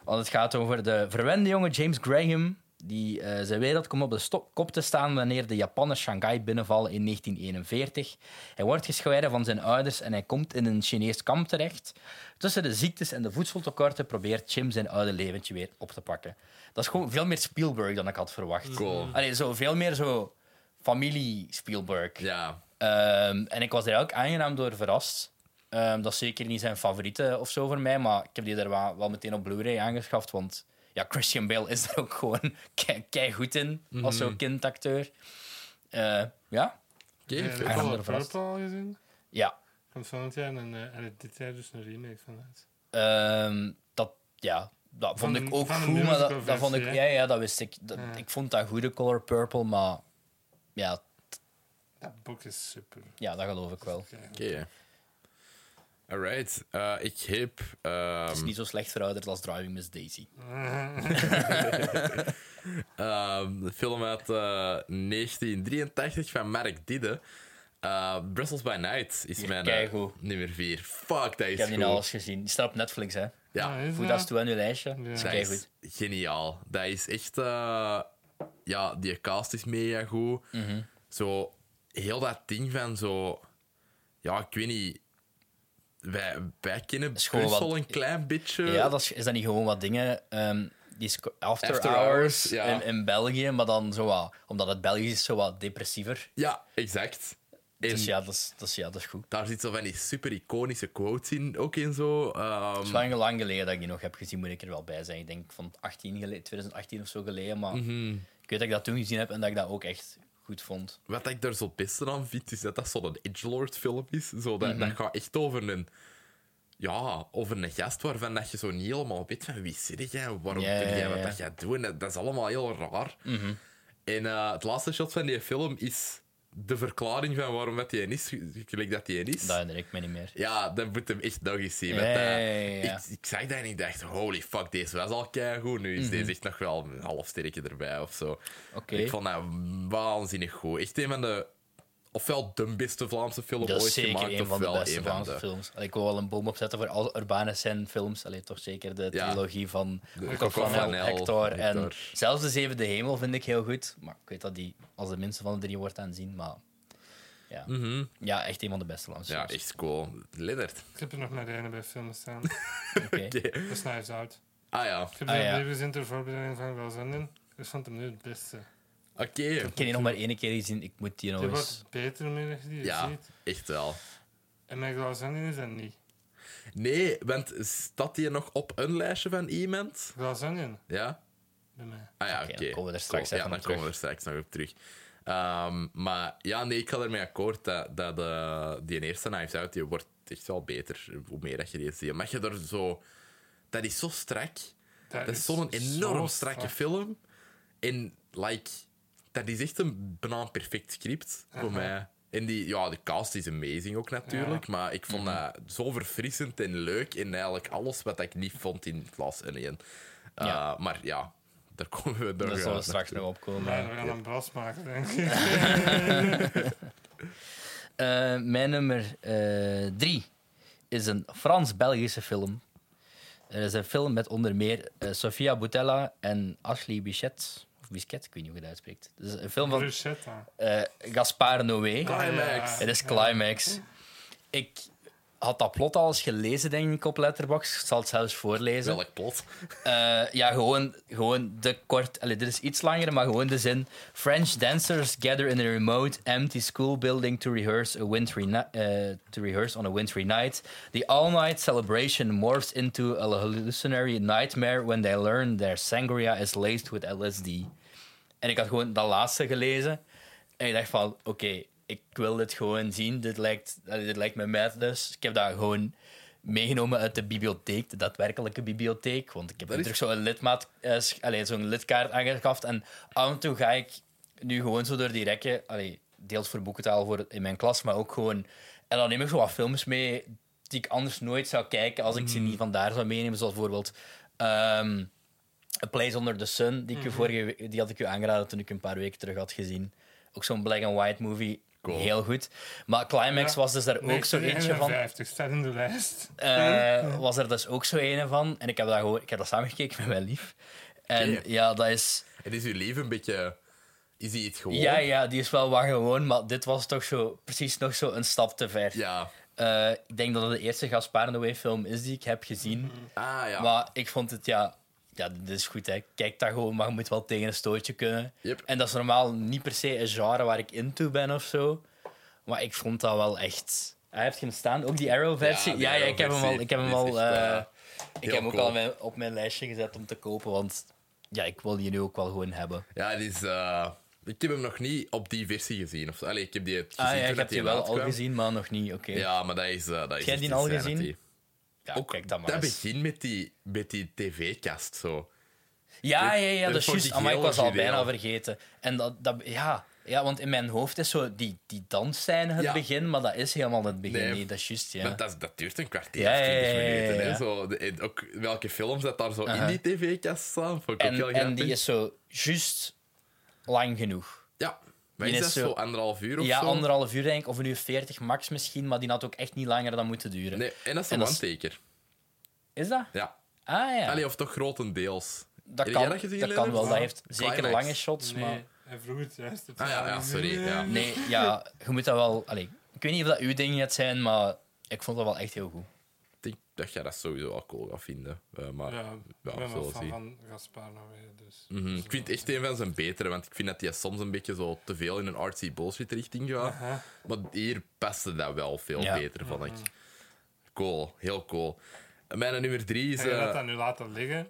[SPEAKER 3] Want het gaat over de verwende jongen James Graham... die eh, zijn wereld komt op de stop- kop te staan... wanneer de Japanners Shanghai binnenvallen in 1941. Hij wordt gescheiden van zijn ouders... en hij komt in een Chinees kamp terecht. Tussen de ziektes en de voedseltekorten... probeert Jim zijn oude leventje weer op te pakken. Dat is gewoon veel meer Spielberg dan ik had verwacht.
[SPEAKER 1] Cool.
[SPEAKER 3] Allee, zo veel meer zo familie Spielberg.
[SPEAKER 1] Ja.
[SPEAKER 3] Ehm, en ik was er ook aangenaam door verrast. Ehm, dat is zeker niet zijn favoriete of zo voor mij, maar ik heb die er wel, wel meteen op Blu-ray aangeschaft, want ja, Christian Bale is (laughs) er ook gewoon kei, kei goed in als
[SPEAKER 2] Mhm.
[SPEAKER 3] zo'n kindacteur. Eh, ja?
[SPEAKER 1] Oké,
[SPEAKER 2] Eh, Heb
[SPEAKER 1] vet.
[SPEAKER 2] je
[SPEAKER 3] Ja.
[SPEAKER 2] Color
[SPEAKER 3] ander verrast.
[SPEAKER 2] Purple al gezien?
[SPEAKER 3] Ja.
[SPEAKER 2] Komt volgend jaar en er dit jaar dus een remake van uit.
[SPEAKER 3] Ehm, dat, ja, dat vond
[SPEAKER 2] Van-
[SPEAKER 3] ik ook
[SPEAKER 2] van de
[SPEAKER 3] goed, maar dat, dat
[SPEAKER 2] musicalversie,
[SPEAKER 3] vond ik...
[SPEAKER 2] hè?
[SPEAKER 3] Ja, ja, dat wist ik. Dat-
[SPEAKER 2] Ja.
[SPEAKER 3] Ik vond dat goede Color Purple, maar ja,
[SPEAKER 2] Dat boek is super.
[SPEAKER 3] ja, dat geloof ik wel.
[SPEAKER 2] Kijk,
[SPEAKER 1] Oké. Alright. Eh, ik heb... ehm,
[SPEAKER 3] Het is niet zo slecht verouderd als Driving Miss Daisy.
[SPEAKER 1] Ehm, de film uit eh, 1983 van Mark Didde. Eh, Brussels by Night is mijn eh,
[SPEAKER 3] keigoed.
[SPEAKER 1] nummer 4. Fuck, dat is
[SPEAKER 3] Ik heb
[SPEAKER 1] goed.
[SPEAKER 3] die nou alles gezien. Die staat op Netflix, hè.
[SPEAKER 1] Ja,
[SPEAKER 2] Ah, is
[SPEAKER 3] Voeg
[SPEAKER 2] dat?
[SPEAKER 3] dat toe aan uw lijstje.
[SPEAKER 2] Ja.
[SPEAKER 3] Dat is
[SPEAKER 1] dat
[SPEAKER 3] kei
[SPEAKER 1] is
[SPEAKER 3] goed.
[SPEAKER 1] geniaal. Dat is echt... eh, ja, die cast is mega goed.
[SPEAKER 3] Mhm.
[SPEAKER 1] Zo, heel dat ding van zo... Ja, ik weet niet... Wij, wij kennen
[SPEAKER 3] is gewoon wat-
[SPEAKER 1] Brussel een klein beetje.
[SPEAKER 3] Ja, dat is, is dat niet gewoon wat dingen... ehm, die is after,
[SPEAKER 1] After
[SPEAKER 3] hours,
[SPEAKER 1] Hours, ja.
[SPEAKER 3] in, in België, maar dan zo wat... Omdat het Belgisch is, zo wat depressiever.
[SPEAKER 1] Ja, exact. En
[SPEAKER 3] Dus ja, dat is, dat is, ja, dat is goed.
[SPEAKER 1] daar zit zo van die super iconische quotes in, ook in zo. Ehm,
[SPEAKER 3] Het is lang, lang geleden dat ik die nog heb gezien, moet ik er wel bij zijn. Ik denk van 18 gele- 2018 of zo geleden, maar...
[SPEAKER 1] Mhm.
[SPEAKER 3] Ik weet dat ik dat toen gezien heb en dat ik dat ook echt goed vond.
[SPEAKER 1] Wat ik daar zo het beste aan vind, is dat dat zo'n Edgelord film is. Zo, dat,
[SPEAKER 3] Mhm.
[SPEAKER 1] dat gaat echt over een. Ja, over een gast waarvan dat je zo niet helemaal weet van wie zit jij, waarom
[SPEAKER 3] Ja,
[SPEAKER 1] doe jij
[SPEAKER 3] ja,
[SPEAKER 1] wat
[SPEAKER 3] ja. Mhm.
[SPEAKER 1] dat jij doet. En Dat, dat is allemaal heel raar. En eh, het laatste shot van die film is de verklaring van waarom dat hij is, gelijk dat hij is.
[SPEAKER 3] Dat herinner ik me niet meer.
[SPEAKER 1] Ja, dan moet hem echt nog eens zien.
[SPEAKER 3] Ja,
[SPEAKER 1] want, eh,
[SPEAKER 3] ja, ja, ja.
[SPEAKER 1] Ik, ik zag dat en ik dacht, holy fuck, deze was al keigoed. Nu is deze echt nog wel een half sterretje erbij of zo.
[SPEAKER 3] Mhm. Oké.
[SPEAKER 1] Ik vond dat waanzinnig goed. Echt een van de... Ofwel de beste Vlaamse film
[SPEAKER 3] Dat
[SPEAKER 1] ooit
[SPEAKER 3] is zeker
[SPEAKER 1] gemaakt,
[SPEAKER 3] een van de
[SPEAKER 1] ofwel
[SPEAKER 3] beste
[SPEAKER 1] een van
[SPEAKER 3] Vlaamse
[SPEAKER 1] de...
[SPEAKER 3] films. Allee, Ik wil wel een boom opzetten voor alle Urbane Sen films. Allee, toch zeker de
[SPEAKER 1] Ja.
[SPEAKER 3] trilogie van
[SPEAKER 1] Coco
[SPEAKER 3] Coco Flanel,
[SPEAKER 1] Flanel,
[SPEAKER 3] Hector. En
[SPEAKER 1] Hector.
[SPEAKER 3] zelfs De Zevende Hemel vind ik heel goed. Maar ik weet dat die als de minste van de drie wordt aanzien. Maar ja. ja, echt een van de beste Vlaamse
[SPEAKER 1] Mhm. Ja,
[SPEAKER 3] films.
[SPEAKER 1] echt cool. Lennart.
[SPEAKER 2] Ik heb er nog naar rijden bij films staan. (laughs)
[SPEAKER 3] Oké.
[SPEAKER 2] Dat is Knives Out.
[SPEAKER 1] Ah ja,
[SPEAKER 2] Ik heb
[SPEAKER 3] Ah,
[SPEAKER 2] er
[SPEAKER 3] ja.
[SPEAKER 2] een in ter voorbereiding van Welzenden. Ik vond hem nu het beste.
[SPEAKER 1] oké.
[SPEAKER 3] Ik heb die nog maar één keer gezien. Ik moet die nog
[SPEAKER 2] Die
[SPEAKER 3] eens...
[SPEAKER 2] wordt beter meer als je die
[SPEAKER 1] Ja,
[SPEAKER 2] ziet.
[SPEAKER 1] echt wel.
[SPEAKER 2] En mijn Welzenden is dat niet.
[SPEAKER 1] Nee, want staat hier nog op een lijstje van iemand?
[SPEAKER 2] Welzenden,
[SPEAKER 1] Ja?
[SPEAKER 2] bij mij.
[SPEAKER 1] Ah ja,
[SPEAKER 3] Oké,
[SPEAKER 1] oké.
[SPEAKER 3] dan komen we er straks
[SPEAKER 1] Cool.
[SPEAKER 3] even
[SPEAKER 1] Ja,
[SPEAKER 3] op
[SPEAKER 1] dan komen we er straks nog op terug. Ehm, maar ja, nee, ik ga ermee akkoord dat, dat de, die eerste Knives Out, die wordt echt wel beter hoe meer dat je die ziet. Omdat je er zo... Dat is zo strak. Dat, is zo'n enorm
[SPEAKER 2] zo
[SPEAKER 1] strakke
[SPEAKER 2] strak.
[SPEAKER 1] film. En, like... Dat is echt een bijna perfect script voor mij. En die, ja, de cast is amazing ook natuurlijk, maar ik
[SPEAKER 3] Mhm.
[SPEAKER 1] vond dat zo verfrissend en leuk. En eigenlijk alles wat ik niet vond in Glass Onion. Uh,
[SPEAKER 3] Ja.
[SPEAKER 1] Maar ja, daar komen we nog
[SPEAKER 3] Dat
[SPEAKER 1] eh,
[SPEAKER 3] zullen we straks
[SPEAKER 1] naartoe.
[SPEAKER 3] nog opkomen.
[SPEAKER 2] Maar we gaan een bras maken, denk ik.
[SPEAKER 3] Eh, mijn nummer eh, drie is een Frans-Belgische film. Er is een film met onder meer eh, Sofia Boutella en Ashley Bichet. Of Bisquet, ik weet niet hoe je dat uitspreekt. Het is een film van
[SPEAKER 2] Bruschetta.
[SPEAKER 3] eh Gaspar Noé.
[SPEAKER 1] Climax.
[SPEAKER 3] Het is Climax. Ik had dat plot al eens gelezen, denk ik, op Letterboxd. Ik zal het zelfs voorlezen.
[SPEAKER 1] Welk plot?
[SPEAKER 3] Eh, ja, gewoon, gewoon de kort. Allee, dit is iets langer, maar gewoon de zin. French dancers gather in a remote, empty school building to rehearse, a wintry ni- eh, to rehearse on a wintry night. The all-night celebration morphs into a hallucinatory nightmare when they learn their sangria is laced with LSD. En ik had gewoon dat laatste gelezen. En ik dacht van, oké, ik wil dit gewoon zien. Dit lijkt, eh, dit lijkt me madness. Ik heb dat gewoon meegenomen uit de bibliotheek, de daadwerkelijke bibliotheek. Want ik heb
[SPEAKER 1] Dat is-
[SPEAKER 3] natuurlijk zo'n lidmaat, eh, sch- allee, zo'n lidkaart aangeschaft. En af en toe ga ik nu gewoon zo door die rekken. Allee, deels voor boekentaal voor in mijn klas, maar ook gewoon... En dan neem ik zo wat films mee die ik anders nooit zou kijken als ik
[SPEAKER 1] Hmm.
[SPEAKER 3] ze niet vandaar zou meenemen. Zoals bijvoorbeeld... ehm, A Place Under the Sun, die, ik u vorige we- die had ik u aangeraden toen ik een paar weken terug had gezien. Ook zo'n black and white movie.
[SPEAKER 1] Cool.
[SPEAKER 3] Heel goed. Maar Climax was dus daar ook zo eentje van.
[SPEAKER 2] 50 staat in de lijst.
[SPEAKER 3] Eh, was er dus ook zo een van. En ik heb dat, gewoon, ik heb dat samengekeken met mijn lief. En
[SPEAKER 1] Oké.
[SPEAKER 3] ja, dat is...
[SPEAKER 1] Het is uw leven een beetje... Is hij het gewoon?
[SPEAKER 3] Ja, ja, die is wel wat gewoon, maar dit was toch zo, precies nog zo een stap te ver.
[SPEAKER 1] Ja.
[SPEAKER 3] Eh, ik denk dat het de eerste Gaspar Noé film is die ik heb gezien.
[SPEAKER 1] Ah ja.
[SPEAKER 3] Maar ik vond het, ja, ja, dit is goed, hè. Kijk daar gewoon, maar je moet wel tegen een stootje kunnen.
[SPEAKER 1] Yep.
[SPEAKER 3] En dat is normaal niet per se een genre waar ik into ben of zo. Maar ik vond dat wel echt... Hij heeft hem staan, ook die Arrow-versie.
[SPEAKER 1] Ja,
[SPEAKER 3] Ja,
[SPEAKER 1] die
[SPEAKER 3] ja, ik heb hem al...
[SPEAKER 1] Arrow-versie.
[SPEAKER 3] Ik heb hem,
[SPEAKER 1] Die is
[SPEAKER 3] al,
[SPEAKER 1] echt,
[SPEAKER 3] eh,
[SPEAKER 1] eh,
[SPEAKER 3] ik heb hem ook
[SPEAKER 1] cool.
[SPEAKER 3] al mijn- op mijn lijstje gezet om te kopen, want ja, ik wil die nu ook wel gewoon hebben. Dus
[SPEAKER 1] Ja, het is... eh, Ik heb hem nog niet op die versie gezien. Of, allee, ik heb die het gezien
[SPEAKER 3] Ah ja,
[SPEAKER 1] toen
[SPEAKER 3] ik
[SPEAKER 1] dat
[SPEAKER 3] heb die wel al
[SPEAKER 1] uitkwam.
[SPEAKER 3] gezien, maar nog niet, oké.
[SPEAKER 1] Ja, maar dat is... eh, dat is
[SPEAKER 3] jij
[SPEAKER 1] echt
[SPEAKER 3] die al
[SPEAKER 1] insanity.
[SPEAKER 3] gezien? Ja,
[SPEAKER 1] Ook
[SPEAKER 3] kijk dan maar
[SPEAKER 1] dat
[SPEAKER 3] eens.
[SPEAKER 1] begin met die, met die tv-kast zo.
[SPEAKER 3] Ja,
[SPEAKER 1] Dit-
[SPEAKER 3] ja, ja,
[SPEAKER 1] dit
[SPEAKER 3] dat is
[SPEAKER 1] vond
[SPEAKER 3] juist.
[SPEAKER 1] ik
[SPEAKER 3] Amai, ik
[SPEAKER 1] heel
[SPEAKER 3] was al
[SPEAKER 1] origineel.
[SPEAKER 3] bijna vergeten. En dat, dat ja. ja, want in mijn hoofd is zo die, die dansscène het
[SPEAKER 1] Ja.
[SPEAKER 3] begin, maar dat is helemaal het begin
[SPEAKER 1] Nee.
[SPEAKER 3] niet. Dat is juist, ja.
[SPEAKER 1] Want Dat, dat duurt een kwartier,
[SPEAKER 3] Ja,
[SPEAKER 1] of
[SPEAKER 3] ja, ja,
[SPEAKER 1] 20
[SPEAKER 3] ja,
[SPEAKER 1] minuten.
[SPEAKER 3] ja.
[SPEAKER 1] Hè? Zo, de- en ook welke films dat daar zo
[SPEAKER 3] Aha.
[SPEAKER 1] in die tv-kast staan, vond ik ook heel
[SPEAKER 3] en, en
[SPEAKER 1] grappig.
[SPEAKER 3] die is zo juist lang genoeg.
[SPEAKER 1] Ja, maar
[SPEAKER 3] die
[SPEAKER 1] is
[SPEAKER 3] is
[SPEAKER 1] dat
[SPEAKER 3] zo-
[SPEAKER 1] zo anderhalf uur of
[SPEAKER 3] Ja,
[SPEAKER 1] zo?
[SPEAKER 3] anderhalf uur denk ik, of een uur veertig max misschien, maar die had ook echt niet langer dan moeten duren.
[SPEAKER 1] Nee, en dat is
[SPEAKER 3] En
[SPEAKER 1] een
[SPEAKER 3] dat is-
[SPEAKER 1] one-taker.
[SPEAKER 3] Is dat?
[SPEAKER 1] Ja.
[SPEAKER 3] Ah ja,
[SPEAKER 1] Allee, of toch grotendeels.
[SPEAKER 3] dat
[SPEAKER 1] Heb
[SPEAKER 3] kan,
[SPEAKER 1] jij
[SPEAKER 3] dat,
[SPEAKER 1] gezien,
[SPEAKER 3] kan
[SPEAKER 1] Leonard?
[SPEAKER 3] wel. Dat
[SPEAKER 1] Ah,
[SPEAKER 3] heeft zeker
[SPEAKER 1] Climax.
[SPEAKER 3] lange shots, maar...
[SPEAKER 2] Nee, hij vroeg het juist. Het
[SPEAKER 1] Ah
[SPEAKER 2] is
[SPEAKER 1] ja, ja,
[SPEAKER 2] niet
[SPEAKER 1] sorry.
[SPEAKER 2] meer.
[SPEAKER 1] Ja.
[SPEAKER 3] Nee, ja, je moet dat wel... Allee, ik weet niet of dat uw ding gaat zijn, maar ik vond dat wel echt heel goed.
[SPEAKER 1] Ik denk dat jij dat sowieso wel cool gaat vinden. Eh, maar
[SPEAKER 2] Ja, ik ben
[SPEAKER 1] zullen
[SPEAKER 2] wel
[SPEAKER 1] we
[SPEAKER 2] fan
[SPEAKER 1] zien.
[SPEAKER 2] van Gaspar Noé, dus...
[SPEAKER 1] mhm, ik vind het echt een van zijn betere, want ik vind dat hij soms een beetje zo te veel in een artsy bullshit richting gaat.
[SPEAKER 2] Aha. Mhm.
[SPEAKER 1] Maar hier paste dat wel veel
[SPEAKER 3] Ja.
[SPEAKER 1] beter, vond ik. Cool, heel cool. En Mijn nummer drie is...
[SPEAKER 2] Ga je
[SPEAKER 1] eh,
[SPEAKER 2] dat dan nu laten liggen?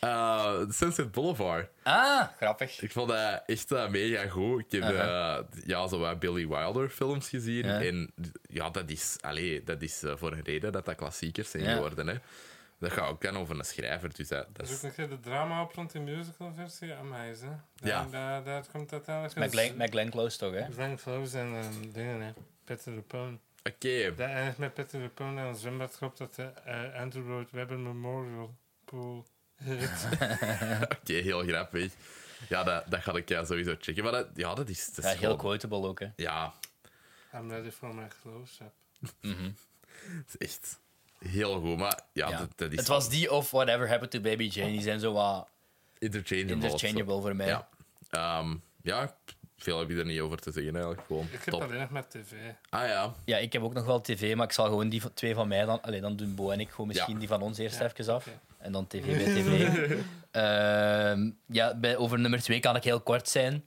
[SPEAKER 1] eh, Sunset Boulevard.
[SPEAKER 3] Ah, grappig.
[SPEAKER 1] Ik vond dat echt eh, mega goed. Ik heb
[SPEAKER 3] Aha.
[SPEAKER 1] eh, ja, zo wat Billy Wilder films gezien.
[SPEAKER 3] Ja.
[SPEAKER 1] En ja, dat is, allee, dat is eh, voor een reden dat dat klassiekers zijn
[SPEAKER 3] Ja.
[SPEAKER 1] geworden. Hè. Dat gaat ook kennen over een schrijver. Dus dat, dat
[SPEAKER 2] Dat is
[SPEAKER 1] is...
[SPEAKER 2] ook een keer de drama op rond die musical versie. Amai, hè.
[SPEAKER 1] Ja.
[SPEAKER 2] Daar, daar, daar komt uiteindelijk...
[SPEAKER 3] Met Glenn, met Glenn Close toch, hè?
[SPEAKER 2] Glenn Close en ehm, dingen, hè. Peter LuPone.
[SPEAKER 1] Oké,
[SPEAKER 2] Dat eindigt met Peter LuPone en een zwembad klopt dat de eh, Andrew Lloyd Webber Memorial Pool
[SPEAKER 1] (laughs)
[SPEAKER 2] heet.
[SPEAKER 1] oké, heel grappig. Ja, dat, dat ga ik eh, sowieso checken. Maar dat, ja, dat is... Dat is
[SPEAKER 3] Ja, heel
[SPEAKER 1] gewoon-
[SPEAKER 3] quotable ook, hè?
[SPEAKER 1] Ja,
[SPEAKER 2] I'm ready for my close-up.
[SPEAKER 1] het is echt heel goed. Maar ja,
[SPEAKER 3] Ja.
[SPEAKER 1] Dat, dat is
[SPEAKER 3] het was die of Whatever Happened to Baby Jane. Die zijn zo wat
[SPEAKER 1] interchangeable. of zo.
[SPEAKER 3] interchangeable voor mij.
[SPEAKER 1] Ja. Ehm, ja, veel heb je er niet over te zeggen eigenlijk. Gewoon
[SPEAKER 2] Ik heb
[SPEAKER 1] top.
[SPEAKER 2] alleen nog maar tv.
[SPEAKER 1] Ah ja,
[SPEAKER 3] Ja, ik heb ook nog wel tv, maar ik zal gewoon die van- twee van mij dan... Allee, dan doen Bo en ik gewoon misschien
[SPEAKER 1] Ja.
[SPEAKER 3] die van ons eerst
[SPEAKER 2] Ja,
[SPEAKER 3] even af.
[SPEAKER 2] oké.
[SPEAKER 3] En dan tv bij tv.
[SPEAKER 2] (laughs)
[SPEAKER 3] Ehm, ja, bij, over nummer twee kan ik heel kort zijn.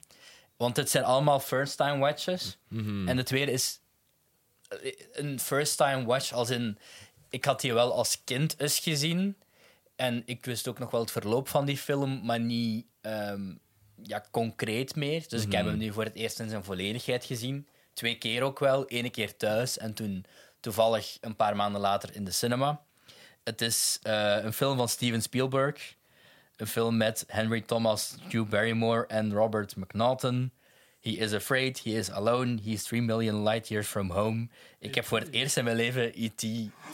[SPEAKER 3] Want het zijn allemaal first-time watches.
[SPEAKER 1] Mhm.
[SPEAKER 3] En de tweede is eh, een first-time watch als in... Ik had die wel als kind eens gezien. En ik wist ook nog wel het verloop van die film, maar niet ehm, ja, concreet meer. Dus ik heb hem nu voor het eerst in zijn volledigheid gezien. Twee keer ook wel. Eén keer thuis en toen toevallig een paar maanden later in de cinema. Het is eh, een film van Steven Spielberg. Een film met Henry Thomas, Drew Barrymore en Robert McNaughton. He is afraid, he is alone, he is 3 million light years from home. Ik heb voor het eerst in mijn leven E.T.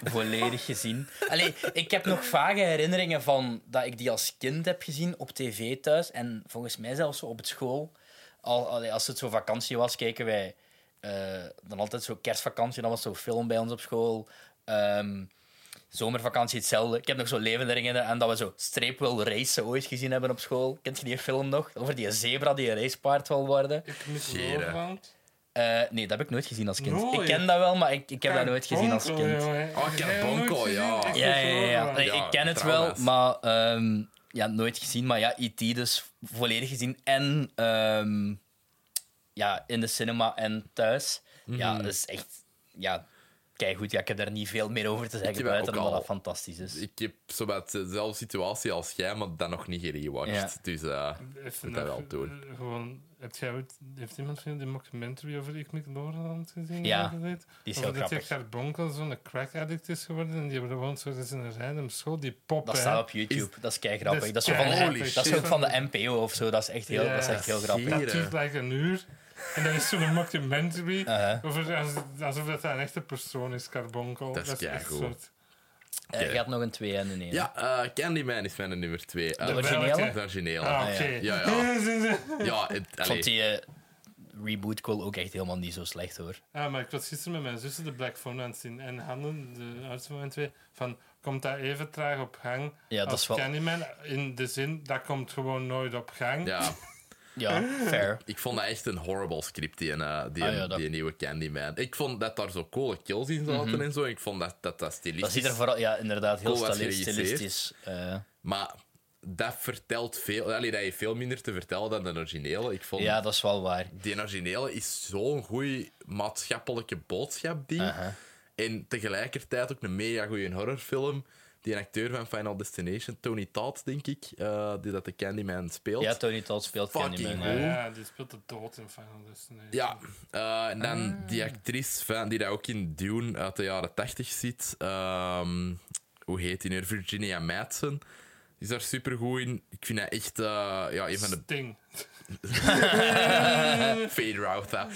[SPEAKER 3] volledig gezien. Allee, ik heb nog vage herinneringen van dat ik die als kind heb gezien op tv thuis. En volgens mij zelfs zo op het school. Al, allee, als het zo vakantie was, keken wij eh, dan altijd zo kerstvakantie. Dan was zo'n film bij ons op school. Ehm, zomervakantie hetzelfde. Ik heb nog zo levende herinneringen aan dat we zo Streepwil racen ooit gezien hebben op school. Kent je die film nog? Over die zebra die een racepaard wil worden.
[SPEAKER 2] Ik mis
[SPEAKER 1] Gera.
[SPEAKER 2] Loogland.
[SPEAKER 3] Eh, nee, dat heb ik nooit gezien als kind.
[SPEAKER 2] Nooit?
[SPEAKER 3] Ik ken dat wel, maar ik, ik heb dat nooit gezien als
[SPEAKER 2] Bonko,
[SPEAKER 3] kind.
[SPEAKER 2] jongen.
[SPEAKER 1] Oh, Ken
[SPEAKER 2] Heb je dat nooit
[SPEAKER 1] Bonko, ja.
[SPEAKER 2] gezien? Ik
[SPEAKER 3] Ja,
[SPEAKER 2] mis
[SPEAKER 3] ja, ja. ja.
[SPEAKER 2] Loogland.
[SPEAKER 3] Nee,
[SPEAKER 1] Ja,
[SPEAKER 3] ik ken het wel,
[SPEAKER 1] trauma's.
[SPEAKER 3] maar ehm, ja, nooit gezien. Maar ja, E.T. dus volledig gezien. En ehm, ja, in de cinema en thuis.
[SPEAKER 1] Mhm.
[SPEAKER 3] Ja, dat is echt... Ja, kijk goed, ja, ik heb daar niet veel meer over te
[SPEAKER 1] heb
[SPEAKER 3] zeggen,
[SPEAKER 1] dat
[SPEAKER 3] buiten
[SPEAKER 1] ook
[SPEAKER 3] omdat
[SPEAKER 1] al.
[SPEAKER 3] dat fantastisch is.
[SPEAKER 1] ik heb zowat dezelfde situatie als jij, maar dan nog niet gerewatcht.
[SPEAKER 3] Ja.
[SPEAKER 1] Dus eh,
[SPEAKER 2] Even
[SPEAKER 1] dat
[SPEAKER 2] nog,
[SPEAKER 1] wel doen.
[SPEAKER 2] eh, Gewoon, heb jij ooit, heeft iemand van jullie een documentary over Ik Mik Lorenland gezien?
[SPEAKER 3] Ja,
[SPEAKER 2] die is
[SPEAKER 3] Die is
[SPEAKER 2] over
[SPEAKER 3] heel
[SPEAKER 2] dat die
[SPEAKER 3] grappig.
[SPEAKER 2] carbonkel zo'n crack addict is geworden en die hebben gewoon zo eens in een random school die pop.
[SPEAKER 3] Dat
[SPEAKER 2] hè.
[SPEAKER 3] staat op YouTube. dat is kei grappig.
[SPEAKER 2] dat is
[SPEAKER 3] Dat is, zo van
[SPEAKER 2] kei-
[SPEAKER 3] de,
[SPEAKER 1] Holy
[SPEAKER 3] dat is
[SPEAKER 1] shit.
[SPEAKER 3] ook van de NPO of zo. Dat is echt heel, dat is
[SPEAKER 2] Ja.
[SPEAKER 3] echt heel grappig.
[SPEAKER 1] Zie-
[SPEAKER 2] Dat duurt like een uur. En dan is zo'n documentary
[SPEAKER 1] Ah,
[SPEAKER 3] Uh-huh.
[SPEAKER 2] over, als- alsof dat een echte persoon is, carbonkel.
[SPEAKER 1] Dat is
[SPEAKER 2] echt
[SPEAKER 1] keigoed.
[SPEAKER 2] soort-
[SPEAKER 3] Eh, je had nog een 2 en een 1.
[SPEAKER 1] ja, eh, Candyman is mijn nummer twee. Eh,
[SPEAKER 3] De
[SPEAKER 1] dat
[SPEAKER 3] originele?
[SPEAKER 2] welke?
[SPEAKER 1] is het origineel.
[SPEAKER 2] Ah,
[SPEAKER 3] ja.
[SPEAKER 2] oké.
[SPEAKER 1] Ja,
[SPEAKER 2] (laughs)
[SPEAKER 1] Ja, het,
[SPEAKER 3] Ik vond
[SPEAKER 1] allee,
[SPEAKER 3] die eh, reboot call ook echt helemaal niet zo slecht hoor.
[SPEAKER 2] Ja, Ah, maar ik was gisteren met mijn zussen de Black Phone aan het zien. En Handen, de arts van mijn twee, van... Komt dat even traag op gang
[SPEAKER 3] Ja, dat
[SPEAKER 2] als
[SPEAKER 3] is wel-
[SPEAKER 2] Candyman? In de zin, dat komt gewoon nooit op gang.
[SPEAKER 1] ja,
[SPEAKER 3] Ja, fair.
[SPEAKER 1] ik vond dat echt een horrible script, die, eh, die,
[SPEAKER 3] Ah, ja, dat-
[SPEAKER 1] die nieuwe Candyman. Ik vond dat daar zo coole kills in zaten en zo. Ik vond dat dat, dat
[SPEAKER 3] Mhm. Dat
[SPEAKER 1] stilistisch...
[SPEAKER 3] ziet er vooral, ja, inderdaad, heel
[SPEAKER 1] Cool was
[SPEAKER 3] stili-
[SPEAKER 1] geregisseerd.
[SPEAKER 3] stilistisch. eh,
[SPEAKER 1] Maar dat vertelt veel... Allee, dat heeft veel minder te vertellen dan de originele. Ik vond...
[SPEAKER 3] ja, dat is wel waar.
[SPEAKER 1] Die originele is zo'n goede maatschappelijke boodschap, die.
[SPEAKER 3] Aha.
[SPEAKER 1] En tegelijkertijd ook een mega goede horrorfilm. Die acteur van Final Destination, Tony Todd, denk ik, eh, die dat de Candyman speelt.
[SPEAKER 3] Ja, Tony Todd speelt
[SPEAKER 1] Fucking
[SPEAKER 3] Candyman.
[SPEAKER 1] goed.
[SPEAKER 3] hè.
[SPEAKER 2] Ja, die speelt de dood in Final Destination.
[SPEAKER 1] Ja, eh, en dan die actrice van, die dat ook in Dune uit de jaren 80 zit. ehm, hoe heet die nu? Virginia Madsen. Die is daar supergoed in. Ik vind haar echt eh, ja, een van de
[SPEAKER 2] Sting.
[SPEAKER 1] Fade Rout, hè.